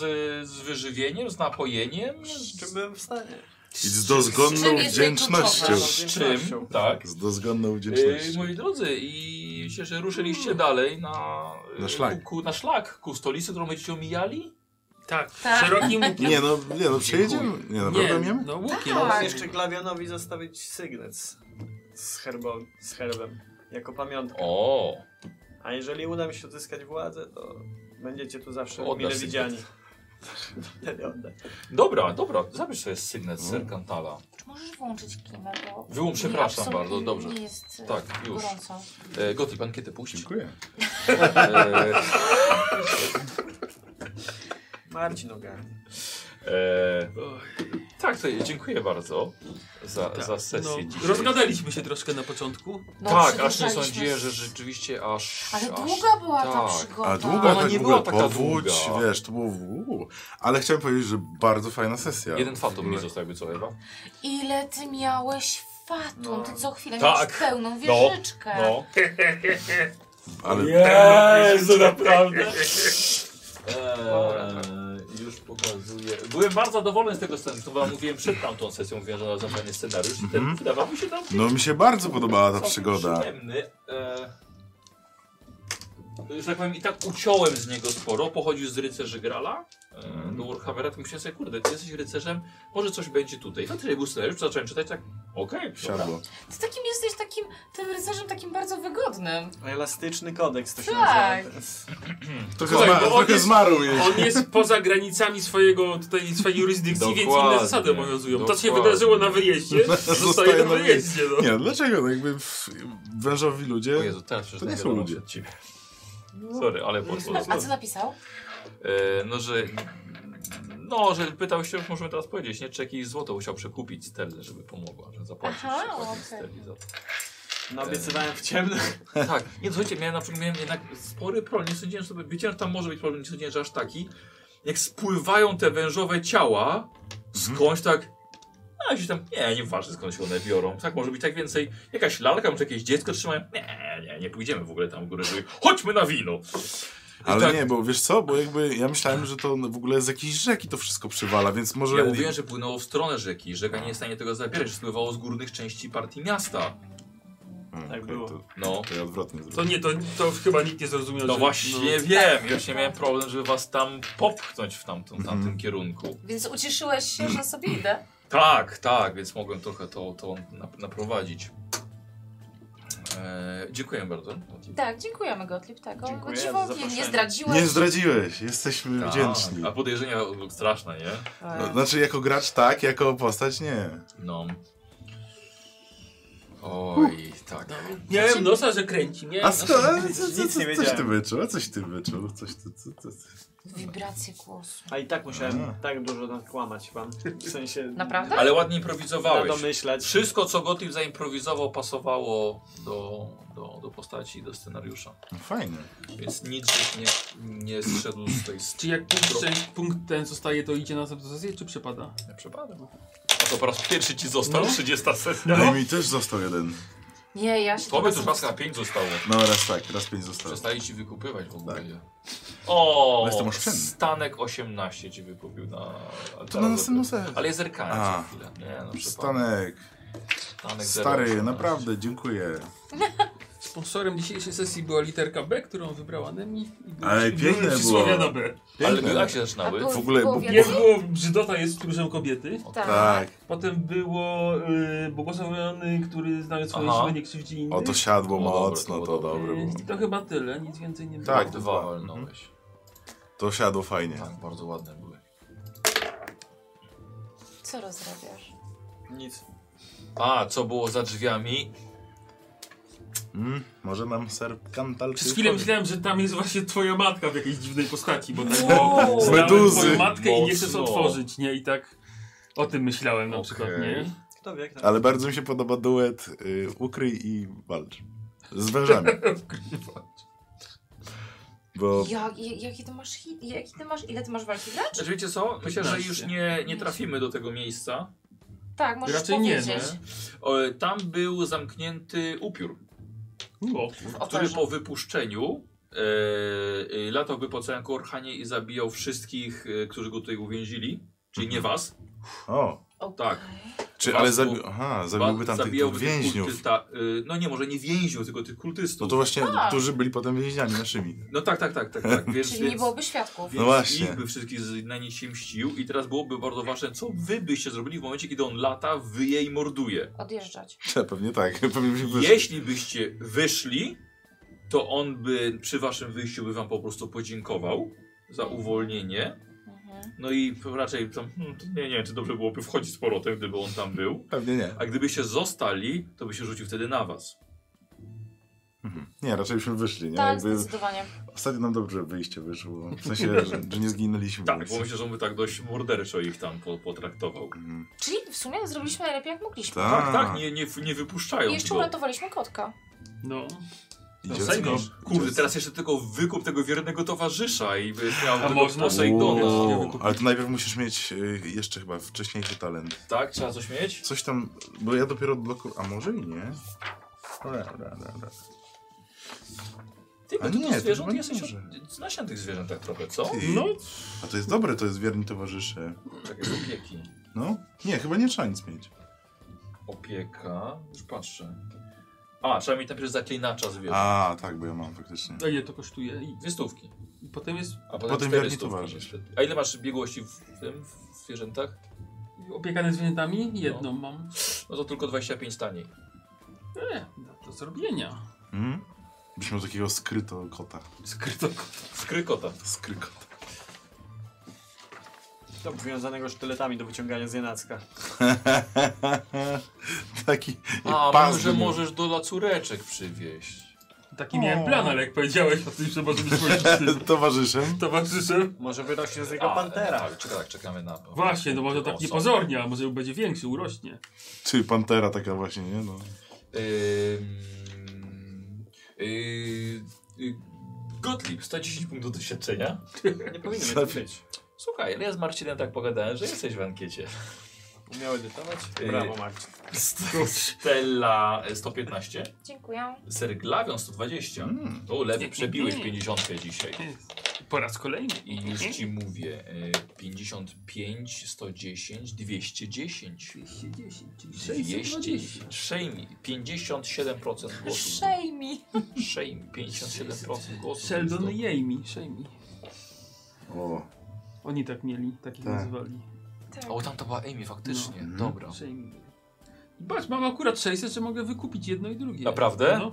[SPEAKER 5] z wyżywieniem, z napojeniem?
[SPEAKER 6] Z czym byłem w stanie?
[SPEAKER 2] I z dozgonną
[SPEAKER 3] czym jest
[SPEAKER 2] wdzięcznością.
[SPEAKER 3] jej
[SPEAKER 5] Z czym? Tak.
[SPEAKER 2] Z dozgonną
[SPEAKER 5] Yy,
[SPEAKER 2] wdzięcznością.
[SPEAKER 5] moi drodzy, i się, że ruszyliście dalej na, yy,
[SPEAKER 2] Na szlak.
[SPEAKER 5] Ku, ku, na szlak, ku stolicy, którą będziecie omijali.
[SPEAKER 4] Tak,
[SPEAKER 3] Tak.
[SPEAKER 4] szerokim łukiem.
[SPEAKER 2] Nie no, nie no, przejedziemy. Nie, naprawdę
[SPEAKER 4] nie
[SPEAKER 2] umiemy?
[SPEAKER 4] no łukiem.
[SPEAKER 3] Tak.
[SPEAKER 6] Możesz jeszcze Glawianowi zostawić sygnet z- z, herbą, z herbem, jako pamiątkę.
[SPEAKER 5] O,
[SPEAKER 6] A jeżeli uda mi się odzyskać władzę, to będziecie tu zawsze
[SPEAKER 5] Oddasz
[SPEAKER 6] mile
[SPEAKER 5] sygnet.
[SPEAKER 6] widziani. Wtedy oddam.
[SPEAKER 5] dobra, dobra, zabierz sobie sygnet z Serkantala.
[SPEAKER 3] Czy możesz włączyć klimę, bo...
[SPEAKER 5] Wyłą-
[SPEAKER 3] mi
[SPEAKER 5] przepraszam
[SPEAKER 3] absolutnie
[SPEAKER 5] bardzo, dobrze.
[SPEAKER 3] Nie jest e,
[SPEAKER 5] Tak, już.
[SPEAKER 3] gorąco.
[SPEAKER 5] E, Goti, pan kiedy puści?
[SPEAKER 2] Dziękuję.
[SPEAKER 5] E,
[SPEAKER 6] Marcin ogarnie.
[SPEAKER 5] e,
[SPEAKER 4] Oj,
[SPEAKER 5] tak, to dziękuję bardzo za,
[SPEAKER 4] tak.
[SPEAKER 5] za sesję.
[SPEAKER 4] No,
[SPEAKER 5] dzisiaj.
[SPEAKER 4] rozgadaliśmy się troszkę na początku.
[SPEAKER 3] No,
[SPEAKER 5] tak, aż nie
[SPEAKER 3] przyjeżdżaliśmy
[SPEAKER 5] sądziłem,
[SPEAKER 3] z-
[SPEAKER 5] że rzeczywiście aż.
[SPEAKER 3] Ale
[SPEAKER 5] aż...
[SPEAKER 3] długa była ta
[SPEAKER 5] tak.
[SPEAKER 3] przygoda.
[SPEAKER 2] A długa
[SPEAKER 5] Ona
[SPEAKER 2] tak
[SPEAKER 5] nie
[SPEAKER 2] nie
[SPEAKER 5] była
[SPEAKER 2] była
[SPEAKER 5] taka
[SPEAKER 2] powódź,
[SPEAKER 5] długa.
[SPEAKER 2] wiesz, to było uuu. Ale chciałem powiedzieć, że bardzo fajna sesja.
[SPEAKER 5] Jeden fatum mi
[SPEAKER 2] nie
[SPEAKER 5] został, jakby co, Ewa?
[SPEAKER 3] Ile ty miałeś
[SPEAKER 6] No.
[SPEAKER 3] fatum, ty co chwilę
[SPEAKER 5] Tak. No.
[SPEAKER 3] miałeś pełną wieżyczkę.
[SPEAKER 2] Ale
[SPEAKER 5] Eee, Jezu, naprawdę. Eee, już pokazuję. Byłem bardzo zadowolony z tego scenariusza. To wam mówiłem przed tamtą sesją, mówiłem, że za fajny scenariusz. I ten
[SPEAKER 2] Mhm.
[SPEAKER 5] wydawał mi się tam
[SPEAKER 2] no mi się bardzo podobała ta
[SPEAKER 5] całkiem
[SPEAKER 2] przygoda.
[SPEAKER 5] przyjemny. Eee, że tak powiem, i tak uciąłem z niego sporo. Pochodził z rycerzy Grala eee,
[SPEAKER 2] Mhm.
[SPEAKER 5] do Warhammera. To myślałem sobie, kurde, ty jesteś rycerzem, może coś będzie tutaj. Faktycznie był scenariusz, zacząłem czytać, tak, okej, dobra.
[SPEAKER 2] Siadło.
[SPEAKER 3] Ty takim jesteś takim, tym rycerzem takim bardzo wygodnym.
[SPEAKER 6] Elastyczny kodeks to się
[SPEAKER 3] Tak.
[SPEAKER 6] nazywa.
[SPEAKER 2] Trochę,
[SPEAKER 4] Słuchaj,
[SPEAKER 2] zma-
[SPEAKER 4] bo on
[SPEAKER 2] trochę
[SPEAKER 4] jest-
[SPEAKER 2] zmarł jej.
[SPEAKER 4] On jest poza granicami swojego, tutaj, swojej jurysdykcji, więc
[SPEAKER 5] Dokładnie,
[SPEAKER 4] inne zasady obowiązują. To, co się
[SPEAKER 5] dokładnie.
[SPEAKER 4] wydarzyło na wyjeździe, zostaje
[SPEAKER 2] Zostaje
[SPEAKER 4] na
[SPEAKER 2] na
[SPEAKER 4] wyjeździe. No.
[SPEAKER 2] Nie, dlaczego? Jakby w- wężowi ludzie...
[SPEAKER 5] O Jezu, teraz
[SPEAKER 2] To nie
[SPEAKER 5] przeczytałem
[SPEAKER 2] są
[SPEAKER 5] wiadomość
[SPEAKER 2] ludzie.
[SPEAKER 5] od ciebie. Sorry, ale po
[SPEAKER 3] A, a co napisał?
[SPEAKER 5] E, no, że. No, że pytał się, już możemy teraz powiedzieć, nie? Czy jakieś złoto musiał przekupić Sterlę, żeby pomogła, że zapłacić
[SPEAKER 3] Aha,
[SPEAKER 5] Aha,
[SPEAKER 3] okej.
[SPEAKER 5] Sterli za to.
[SPEAKER 6] No obiecywałem w ciemno.
[SPEAKER 5] Tak, nie, słuchajcie, miałem na przykład miałem jednak spory problem, nie sądziłem sobie, wiedziałem, że tam może być problem, nie sądziłem, że aż taki. Jak spływają te wężowe ciała, skądś tak, a się tam, nie, nieważne skąd się one biorą, tak może być tak więcej, jakaś lalka, może jakieś dziecko trzymają, nie, nie, nie pójdziemy w ogóle tam w górę, żeby, chodźmy na wino. I
[SPEAKER 2] Ale
[SPEAKER 5] tak-
[SPEAKER 2] nie, bo wiesz co, bo jakby ja myślałem, że to w ogóle z jakiejś rzeki to wszystko przywala, więc może...
[SPEAKER 5] Ja mówiłem, że płynęło w stronę rzeki. Rzeka nie jest w stanie tego zabierać. Spływało z górnych części partii miasta.
[SPEAKER 2] Mm,
[SPEAKER 6] Tak
[SPEAKER 2] okej,
[SPEAKER 6] było.
[SPEAKER 2] To,
[SPEAKER 5] No.
[SPEAKER 2] to ja odwrotnie
[SPEAKER 4] To
[SPEAKER 2] zrobię.
[SPEAKER 4] nie, to, to chyba nikt nie zrozumiał.
[SPEAKER 5] No
[SPEAKER 4] że-
[SPEAKER 5] właśnie wiem. Właśnie miałem problem, żeby was tam popchnąć w tamtym,
[SPEAKER 2] Mhm.
[SPEAKER 5] tamtym kierunku.
[SPEAKER 3] Więc ucieszyłeś się, że sobie idę.
[SPEAKER 5] Tak, tak, więc mogłem trochę to, to nap- naprowadzić. Eee, dziękuję bardzo.
[SPEAKER 3] Tak, dziękujemy Gottlieb tego.
[SPEAKER 6] Dziękuję za
[SPEAKER 3] Dziwotnie,
[SPEAKER 6] zaproszenie.
[SPEAKER 3] nie zdradziłeś.
[SPEAKER 2] Nie zdradziłeś, jesteśmy
[SPEAKER 5] Tak.
[SPEAKER 2] wdzięczni.
[SPEAKER 5] A podejrzenia straszne, nie?
[SPEAKER 3] e,
[SPEAKER 2] No, znaczy jako gracz tak, jako postać nie.
[SPEAKER 5] No. Oj, tak.
[SPEAKER 4] Miałem nosa, że kręci, nie?
[SPEAKER 2] A sto, a, co,
[SPEAKER 6] nic
[SPEAKER 2] co,
[SPEAKER 6] nie
[SPEAKER 2] co, coś ty
[SPEAKER 6] wiedziałem.
[SPEAKER 2] wyczuł, a coś ty wyczuł, coś ty, co, co, co.
[SPEAKER 3] Wibracje głosu.
[SPEAKER 6] A i tak musiałem
[SPEAKER 2] A.
[SPEAKER 6] tak dużo nakłamać wam. W sensie...
[SPEAKER 3] Naprawdę?
[SPEAKER 5] Ale ładnie improwizowałeś.
[SPEAKER 6] domyślać.
[SPEAKER 5] Wszystko, co Gottlieb zaimprowizował, pasowało do, do, do postaci i do scenariusza.
[SPEAKER 2] No Fajnie.
[SPEAKER 5] Więc nic żeś nie, nie zszedł z tej
[SPEAKER 4] Czy jak punkt, szczęścia- punkt ten zostaje, to idzie na następną sesję, czy przepada?
[SPEAKER 5] przypadku. A to po raz pierwszy ci został
[SPEAKER 4] No.
[SPEAKER 5] 30 sesja.
[SPEAKER 2] No i mi też został jeden.
[SPEAKER 3] Nie, ja się
[SPEAKER 5] Tobie
[SPEAKER 3] teraz-
[SPEAKER 5] już raz na 5 zostało.
[SPEAKER 2] No raz tak, raz pięć zostało.
[SPEAKER 5] Przestali ci wykupywać w ogóle.
[SPEAKER 2] Tak.
[SPEAKER 5] je.
[SPEAKER 2] No
[SPEAKER 5] O,
[SPEAKER 2] jestem oszczędny.
[SPEAKER 5] Stanek 18 ci wykupił na.
[SPEAKER 2] To na następną
[SPEAKER 5] Ale
[SPEAKER 2] serię.
[SPEAKER 5] jest zerkanie
[SPEAKER 2] A.
[SPEAKER 5] za chwilę. Nie, no, przypadek.
[SPEAKER 2] Stanek,
[SPEAKER 5] Stanek 0,18.
[SPEAKER 2] stary, naprawdę, dziękuję.
[SPEAKER 4] Sponsorem dzisiejszej sesji była literka B, którą wybrała Nemi. i był-
[SPEAKER 2] Ale
[SPEAKER 4] i był
[SPEAKER 2] piękne
[SPEAKER 4] przysłowiana
[SPEAKER 2] było.
[SPEAKER 4] B.
[SPEAKER 5] Ale by-
[SPEAKER 2] Piękne.
[SPEAKER 5] jak się zaczynały?
[SPEAKER 3] A było-
[SPEAKER 2] W ogóle,
[SPEAKER 3] było
[SPEAKER 2] bo-
[SPEAKER 4] Jest
[SPEAKER 3] więcej?
[SPEAKER 4] było Brzydota jest stróżem kobiety.
[SPEAKER 2] Tak.
[SPEAKER 4] Potem było y, Błogosławiony, który znając swoje
[SPEAKER 5] Aha.
[SPEAKER 4] siły nie krzywdzi innych.
[SPEAKER 2] O, to siadło
[SPEAKER 5] No dobre,
[SPEAKER 2] mocno,
[SPEAKER 5] to
[SPEAKER 2] to
[SPEAKER 5] było
[SPEAKER 2] dobre było.
[SPEAKER 4] Y, I to chyba tyle, nic więcej nie było.
[SPEAKER 2] Tak,
[SPEAKER 5] dwa
[SPEAKER 2] dwa. Mhm.
[SPEAKER 5] walnąłeś.
[SPEAKER 2] To siadło fajnie.
[SPEAKER 5] Tak, bardzo ładne były.
[SPEAKER 3] Co rozrabiasz?
[SPEAKER 6] Nic.
[SPEAKER 5] A, co było za drzwiami?
[SPEAKER 2] Mm, może nam serkantal
[SPEAKER 4] Przez chwilę myślałem, że tam jest właśnie twoja matka w jakiejś dziwnej postaci, bo tak
[SPEAKER 3] Wow.
[SPEAKER 4] bo znałem
[SPEAKER 2] Meduzy.
[SPEAKER 4] twoją matkę i nie chcesz
[SPEAKER 5] Mocno.
[SPEAKER 4] otworzyć, nie? I tak o tym myślałem na przykład, nie?
[SPEAKER 6] Kto wie, jak tam...
[SPEAKER 2] Ale bardzo mi się podoba duet y, Ukryj i Walcz. Z wężami. Bo
[SPEAKER 3] Jak, jak, jaki ty masz hit? Jaki ty masz, ile ty masz walki grać?
[SPEAKER 5] Znaczy wiecie co? Myślę, że już
[SPEAKER 4] 15.
[SPEAKER 5] nie, nie trafimy do tego miejsca.
[SPEAKER 3] Tak, możesz
[SPEAKER 4] Raczej nie,
[SPEAKER 3] powiedzieć.
[SPEAKER 5] O, Tam był zamknięty upiór,
[SPEAKER 4] No.
[SPEAKER 3] W
[SPEAKER 5] który
[SPEAKER 3] operze.
[SPEAKER 5] po wypuszczeniu e, e, latałby po całym Korchanie i zabijał
[SPEAKER 2] Mhm.
[SPEAKER 5] wszystkich, e, którzy go tutaj uwięzili. Czyli nie was.
[SPEAKER 2] o,
[SPEAKER 3] Okej.
[SPEAKER 5] tak.
[SPEAKER 2] Czy, ale
[SPEAKER 5] Was
[SPEAKER 2] zabi
[SPEAKER 5] mu-
[SPEAKER 2] Aha, zabiłby tam tych, tych
[SPEAKER 5] zabijałby tych
[SPEAKER 2] więźniów.
[SPEAKER 5] kultysta- y, no nie, może nie więźniów, tylko tych kultystów.
[SPEAKER 2] No to właśnie, którzy byli potem więźniami naszymi.
[SPEAKER 5] No tak, tak, tak, tak, tak. Więc,
[SPEAKER 3] Czyli nie
[SPEAKER 5] więc,
[SPEAKER 3] byłoby świadków.
[SPEAKER 5] więc
[SPEAKER 2] No właśnie.
[SPEAKER 5] ich by wszystkich z- na nich się mścił i teraz byłoby bardzo ważne, co wy byście zrobili w momencie, kiedy on lata, wyje i morduje.
[SPEAKER 3] Odjeżdżać.
[SPEAKER 2] Ja, pewnie tak. Pewnie byśmy wyszli.
[SPEAKER 5] Jeśli byście wyszli, to on by przy waszym wyjściu by wam po prostu podziękował za uwolnienie.
[SPEAKER 3] Mhm.
[SPEAKER 5] No i raczej tam, hmm, to nie, nie wiem, czy dobrze byłoby wchodzić z powrotem, gdyby on tam był.
[SPEAKER 2] Pewnie nie.
[SPEAKER 5] A gdybyście zostali, to by się rzucił wtedy na was.
[SPEAKER 2] Mhm. Nie, raczej byśmy wyszli. Nie?
[SPEAKER 3] Tak,
[SPEAKER 2] Jakby
[SPEAKER 3] zdecydowanie.
[SPEAKER 2] ostatnio nam dobrze wyjście wyszło. W sensie, że, że nie zginęliśmy.
[SPEAKER 5] Tak,
[SPEAKER 2] więc-
[SPEAKER 5] bo myślę, że on by tak dość morderczo ich tam po, potraktował.
[SPEAKER 2] Mhm.
[SPEAKER 3] Czyli w sumie zrobiliśmy najlepiej jak mogliśmy.
[SPEAKER 2] Tak.
[SPEAKER 5] Tak, tak, nie, nie, nie wypuszczają
[SPEAKER 3] I jeszcze
[SPEAKER 5] go.
[SPEAKER 3] uratowaliśmy kotka.
[SPEAKER 4] No.
[SPEAKER 2] I
[SPEAKER 5] No,
[SPEAKER 2] dziecko-
[SPEAKER 5] Sejmisz. Kurde,
[SPEAKER 2] dziecko-
[SPEAKER 5] teraz jeszcze tylko wykup tego wiernego towarzysza i byś miał
[SPEAKER 4] A można?
[SPEAKER 5] Sejdona.
[SPEAKER 4] Uuu.
[SPEAKER 2] Wow. Ale to najpierw musisz mieć y, jeszcze chyba wcześniejszy talent.
[SPEAKER 5] Tak, trzeba coś mieć?
[SPEAKER 2] Coś tam, bo ja dopiero odblokuję. A może i nie? Dobra, dobra, dobra.
[SPEAKER 5] Ty, bo
[SPEAKER 2] A
[SPEAKER 5] ty
[SPEAKER 2] nie,
[SPEAKER 5] nie,
[SPEAKER 2] to
[SPEAKER 5] zwierząt
[SPEAKER 2] chyba nie
[SPEAKER 5] jesteś...
[SPEAKER 2] może.
[SPEAKER 5] od- Znasz na tych zwierzętach trochę, co?
[SPEAKER 2] Ty,
[SPEAKER 4] No,
[SPEAKER 2] A to jest dobre, to jest wierni towarzysze.
[SPEAKER 5] Takie z opieki.
[SPEAKER 2] No? Nie, chyba nie trzeba nic mieć.
[SPEAKER 5] Opieka... Już patrzę. A, trzeba mieć najpierw zaklinacza zwierząt.
[SPEAKER 2] A, tak, bo ja mam faktycznie.
[SPEAKER 4] a ile to kosztuje? I,
[SPEAKER 5] Dwie stówki.
[SPEAKER 4] I potem jest
[SPEAKER 5] A potem,
[SPEAKER 2] Potem
[SPEAKER 5] potem
[SPEAKER 2] wierni
[SPEAKER 5] cztery stówki.
[SPEAKER 2] towarzysz.
[SPEAKER 5] A ile masz biegłości w tym, w zwierzętach?
[SPEAKER 4] opieka nad zwierzętami? Jedną mam.
[SPEAKER 5] No to tylko 25 taniej.
[SPEAKER 4] E, no do zrobienia.
[SPEAKER 2] Mhm. Byś miał takiego skryto kota.
[SPEAKER 4] Skryto.
[SPEAKER 5] Skrykota.
[SPEAKER 2] Skrykota.
[SPEAKER 6] To obwiązanego sztyletami do wyciągania z jenacka.
[SPEAKER 2] Taki
[SPEAKER 5] A,
[SPEAKER 2] pas
[SPEAKER 5] może
[SPEAKER 2] by był.
[SPEAKER 5] możesz do lacureczek przywieźć.
[SPEAKER 4] Taki miałem plan, ale jak powiedziałeś o tym, że może być moim
[SPEAKER 2] Z Towarzyszem?
[SPEAKER 4] towarzyszem.
[SPEAKER 6] Może wyrośnie z niego pantera.
[SPEAKER 5] Tak, czekaj, tak, czekamy na...
[SPEAKER 4] Właśnie, to może tak
[SPEAKER 5] Osobę.
[SPEAKER 4] niepozornie, a może będzie większy, urośnie.
[SPEAKER 2] Czy pantera taka właśnie, nie? No.
[SPEAKER 5] Ym, yy, yy, Gottlieb, 110 punktów doświadczenia.
[SPEAKER 6] Nie powinien tak być.
[SPEAKER 5] Słuchaj, ale ja z Marcinem tak pogadałem, że jesteś w ankiecie.
[SPEAKER 6] Umiał edytować?
[SPEAKER 5] Yy.
[SPEAKER 6] Brawo, Marcin.
[SPEAKER 5] Stella y, 115,
[SPEAKER 3] Dziękuję.
[SPEAKER 5] Serglawion 120.
[SPEAKER 2] Mm.
[SPEAKER 5] O, lewy przebiłeś 50 dzisiaj.
[SPEAKER 4] Po raz kolejny.
[SPEAKER 5] I już ci mówię, y, 55, 110, 210. 210. Szejmi, 57% głosów.
[SPEAKER 3] Szejmi.
[SPEAKER 5] Szejmi, 57% głosów.
[SPEAKER 4] Sheldon i Jamie, Jamie.
[SPEAKER 2] O,
[SPEAKER 4] Oni tak mieli, takich
[SPEAKER 2] Tak.
[SPEAKER 4] nazywali.
[SPEAKER 3] Tak.
[SPEAKER 5] O, tam to była Amy, faktycznie.
[SPEAKER 2] No.
[SPEAKER 5] Dobra.
[SPEAKER 4] Jamie. I Patrz, mam akurat 600, że mogę wykupić jedno i drugie.
[SPEAKER 5] Naprawdę?
[SPEAKER 4] No.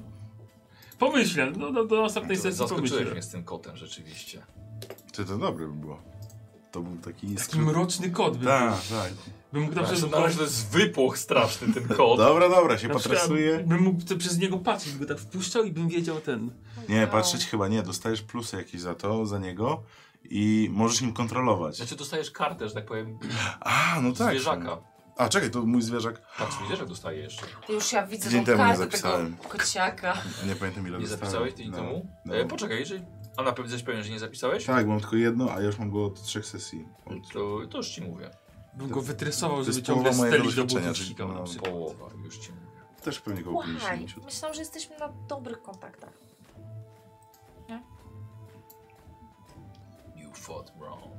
[SPEAKER 4] Pomyślę, no do, do następnej sesji
[SPEAKER 5] Zaskoczyłeś
[SPEAKER 4] pomyślę.
[SPEAKER 5] mnie z tym kotem rzeczywiście.
[SPEAKER 2] czy to dobre by było? To był taki...
[SPEAKER 4] Taki mroczny kod by był.
[SPEAKER 2] Tak, tak.
[SPEAKER 4] Bym mógł na
[SPEAKER 5] Znaczy,
[SPEAKER 4] przykład...
[SPEAKER 5] na razie to jest wypłoch straszny ten kot.
[SPEAKER 2] Dobra, dobra, się
[SPEAKER 4] na przykład
[SPEAKER 2] patresuje.
[SPEAKER 4] Bym mógł te- przez niego patrzeć, by go tak wpuszczał i bym wiedział ten.
[SPEAKER 2] Nie,
[SPEAKER 3] No.
[SPEAKER 2] patrzeć chyba nie, dostajesz plusy jakieś za to, za niego i możesz nim kontrolować.
[SPEAKER 5] Znaczy dostajesz kartę, że tak powiem,
[SPEAKER 2] A, no tak.
[SPEAKER 5] zwierzaka.
[SPEAKER 2] A, czekaj, to mój zwierzak.
[SPEAKER 5] Tak, zwierzak dostaje jeszcze.
[SPEAKER 3] To Już ja widzę
[SPEAKER 2] Dzień
[SPEAKER 3] tą
[SPEAKER 2] temu nie
[SPEAKER 3] kartę
[SPEAKER 2] zapisałem.
[SPEAKER 3] tego kociaka.
[SPEAKER 2] Nie pamiętam ile
[SPEAKER 5] Nie
[SPEAKER 2] dostałem.
[SPEAKER 5] zapisałeś tydzień
[SPEAKER 2] No,
[SPEAKER 5] temu?
[SPEAKER 2] no.
[SPEAKER 5] E, poczekaj, jeżeli... A na pewno jesteś pewien, że nie zapisałeś?
[SPEAKER 2] Tak, mam tylko jedno, a ja już mam go od trzech sesji. Od...
[SPEAKER 5] To, to już ci mówię.
[SPEAKER 4] Bym go wytresował,
[SPEAKER 2] to jest
[SPEAKER 4] żeby ciągle
[SPEAKER 2] połowa mojego
[SPEAKER 4] stelić do
[SPEAKER 2] doświadczenia,
[SPEAKER 4] butów
[SPEAKER 2] czyli
[SPEAKER 4] sikał na
[SPEAKER 2] no.
[SPEAKER 4] przykład.
[SPEAKER 5] Połowa, już ci mówię.
[SPEAKER 2] Też pewnie koło
[SPEAKER 3] Łaj.
[SPEAKER 2] 50.
[SPEAKER 3] Myślałam, że jesteśmy na dobrych kontaktach.
[SPEAKER 5] You fought wrong.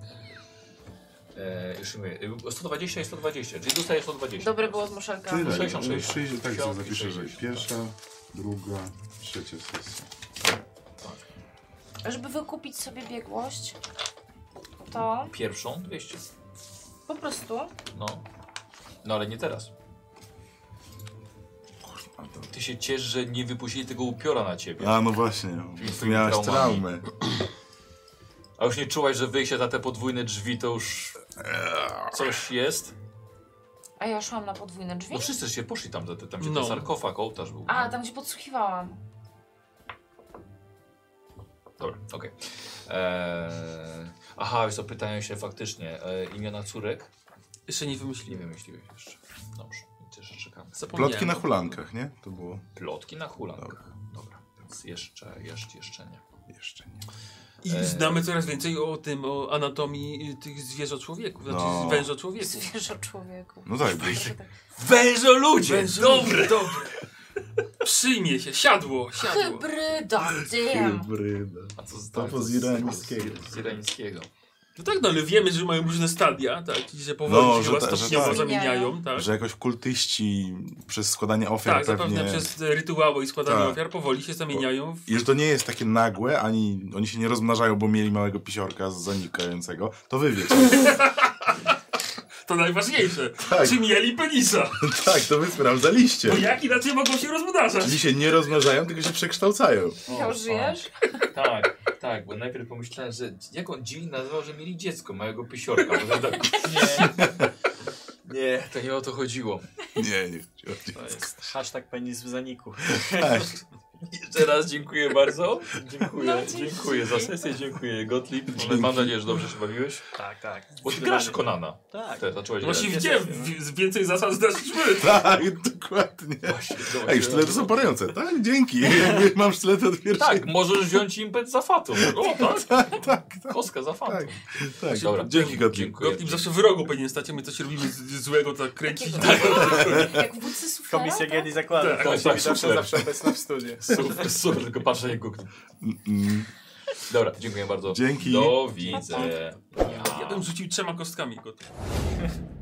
[SPEAKER 5] E, już ci mówię. E, 120 i 120, czyli dostajesz 120.
[SPEAKER 3] Dobre było z muszelka.
[SPEAKER 2] Tyle,
[SPEAKER 5] 66.
[SPEAKER 2] 60, tak sobie zapiszę, że
[SPEAKER 5] 60,
[SPEAKER 2] pierwsza, druga, trzecia sesja.
[SPEAKER 3] Żeby wykupić sobie biegłość, to
[SPEAKER 5] Pierwszą 200.
[SPEAKER 3] po prostu
[SPEAKER 5] No. No ale nie teraz.
[SPEAKER 2] A, to...
[SPEAKER 5] Ty się ciesz, że nie wypuścili tego upiora na ciebie.
[SPEAKER 2] a no właśnie,
[SPEAKER 5] Czyli z tymi
[SPEAKER 2] miałaś traumę.
[SPEAKER 5] traumami. A już nie czułaś, że wyjście za te podwójne drzwi to już
[SPEAKER 2] Eee.
[SPEAKER 5] coś jest?
[SPEAKER 3] A ja szłam na podwójne drzwi?
[SPEAKER 5] No wszyscy się poszli tam, za te- tam gdzie
[SPEAKER 4] No.
[SPEAKER 5] ten sarkofag, ołtarz był. No.
[SPEAKER 3] A, tak. tam się podsłuchiwałam.
[SPEAKER 5] Dobra, okej. Eee, aha, więc to pytają się faktycznie e, imiona córek.
[SPEAKER 4] Jeszcze nie
[SPEAKER 5] Nie
[SPEAKER 4] wymyśliłem.
[SPEAKER 5] wymyśliłeś jeszcze. Dobrze, jeszcze czekamy.
[SPEAKER 4] Zapomniałem.
[SPEAKER 2] Plotki na hulankach, nie? To było
[SPEAKER 5] Plotki na hulankach. Dobra, więc jeszcze, jeszcze, jeszcze nie.
[SPEAKER 2] jeszcze nie.
[SPEAKER 4] I
[SPEAKER 5] E.
[SPEAKER 4] znamy coraz więcej o tym, o anatomii y, tych zwierząt człowieków, znaczy
[SPEAKER 2] No.
[SPEAKER 4] węża człowieków.
[SPEAKER 3] Zwierzę człowieku.
[SPEAKER 2] No tak, bo
[SPEAKER 5] Wężo ludzie!
[SPEAKER 4] Dobry, dobry. Przyjmie się, siadło, siadło.
[SPEAKER 3] Hybryda, damn.
[SPEAKER 2] hybryda.
[SPEAKER 5] A co z,
[SPEAKER 2] To
[SPEAKER 5] tak,
[SPEAKER 2] po
[SPEAKER 5] z-
[SPEAKER 2] z irańskiego.
[SPEAKER 5] Z, z irańskiego.
[SPEAKER 4] No tak, no ale wiemy, że mają różne stadia, tak? I że powoli
[SPEAKER 2] No,
[SPEAKER 4] się
[SPEAKER 2] że
[SPEAKER 4] chyba
[SPEAKER 2] ta- że
[SPEAKER 4] stopniowo
[SPEAKER 2] tak.
[SPEAKER 4] zamieniają, tak?
[SPEAKER 2] Że jakoś kultyści przez składanie ofiar
[SPEAKER 4] Tak, zapewne
[SPEAKER 2] pewnie...
[SPEAKER 4] przez e, rytuały i składanie
[SPEAKER 2] Tak.
[SPEAKER 4] ofiar powoli się zamieniają w...
[SPEAKER 2] I że to nie jest takie nagłe, ani oni się nie rozmnażają, bo mieli małego pisiorka zanikającego, to wy wiecie.
[SPEAKER 4] To najważniejsze.
[SPEAKER 2] Tak.
[SPEAKER 4] Czy mieli penisa?
[SPEAKER 2] tak, to wy sprawdzaliście.
[SPEAKER 4] Bo jak inaczej mogą się rozmnażać?
[SPEAKER 2] Czyli się nie rozmnażają, tylko się przekształcają.
[SPEAKER 3] Michał, żyjesz?
[SPEAKER 5] Tak, tak, bo najpierw pomyślałem, że jak on dziwnie nazwał, że mieli dziecko, małego pisiorka. bo tak- Nie, nie, to nie o to chodziło.
[SPEAKER 2] Nie, nie chodzi
[SPEAKER 6] To jest hashtag penis w zaniku.
[SPEAKER 2] tak.
[SPEAKER 5] Jeszcze raz dziękuję bardzo. Dziękuję,
[SPEAKER 3] No, dzięki.
[SPEAKER 5] dziękuję za sesję, dziękuję Gottlieb. Mam nadzieję, że dobrze się bawiłeś.
[SPEAKER 6] Tak, tak.
[SPEAKER 5] Bo ty grasz Konana.
[SPEAKER 6] Tak.
[SPEAKER 5] Te, zacząłeś
[SPEAKER 2] No,
[SPEAKER 5] grać.
[SPEAKER 4] Właśnie widziałem, w- więcej zasad znasz niż my.
[SPEAKER 2] tak, dokładnie.
[SPEAKER 5] Właśnie, zobacz,
[SPEAKER 2] Ej, sztylety są parające. Tak, dzięki. Jakby Mam sztylet od pierwszej.
[SPEAKER 5] Tak, możesz wziąć impet za fatą. O, tak,
[SPEAKER 2] Tak, tak, tak.
[SPEAKER 5] kostka za fatą.
[SPEAKER 2] Tak. tak.
[SPEAKER 5] Dobra.
[SPEAKER 2] Dzięki, Gottlieb.
[SPEAKER 5] Dziękuję.
[SPEAKER 4] Gottlieb zawsze w rogu powinien stać, a my coś robimy z- z- złego, tak kręcić.
[SPEAKER 3] Takiego.
[SPEAKER 4] Tak.
[SPEAKER 3] Jak wódcy suflera?
[SPEAKER 6] Komisja
[SPEAKER 3] tak?
[SPEAKER 6] Giedi zakłada.
[SPEAKER 4] Tak,
[SPEAKER 6] Tak, tak,
[SPEAKER 5] tak,
[SPEAKER 6] zawsze,
[SPEAKER 5] super.
[SPEAKER 6] zawsze obecna w studiu.
[SPEAKER 5] Super, super, tylko patrzę jak go.
[SPEAKER 2] Mm,
[SPEAKER 5] Dobra, dziękuję bardzo.
[SPEAKER 2] Dzięki.
[SPEAKER 5] Do widzenia.
[SPEAKER 4] Ja bym rzucił trzema kostkami Gottlieb.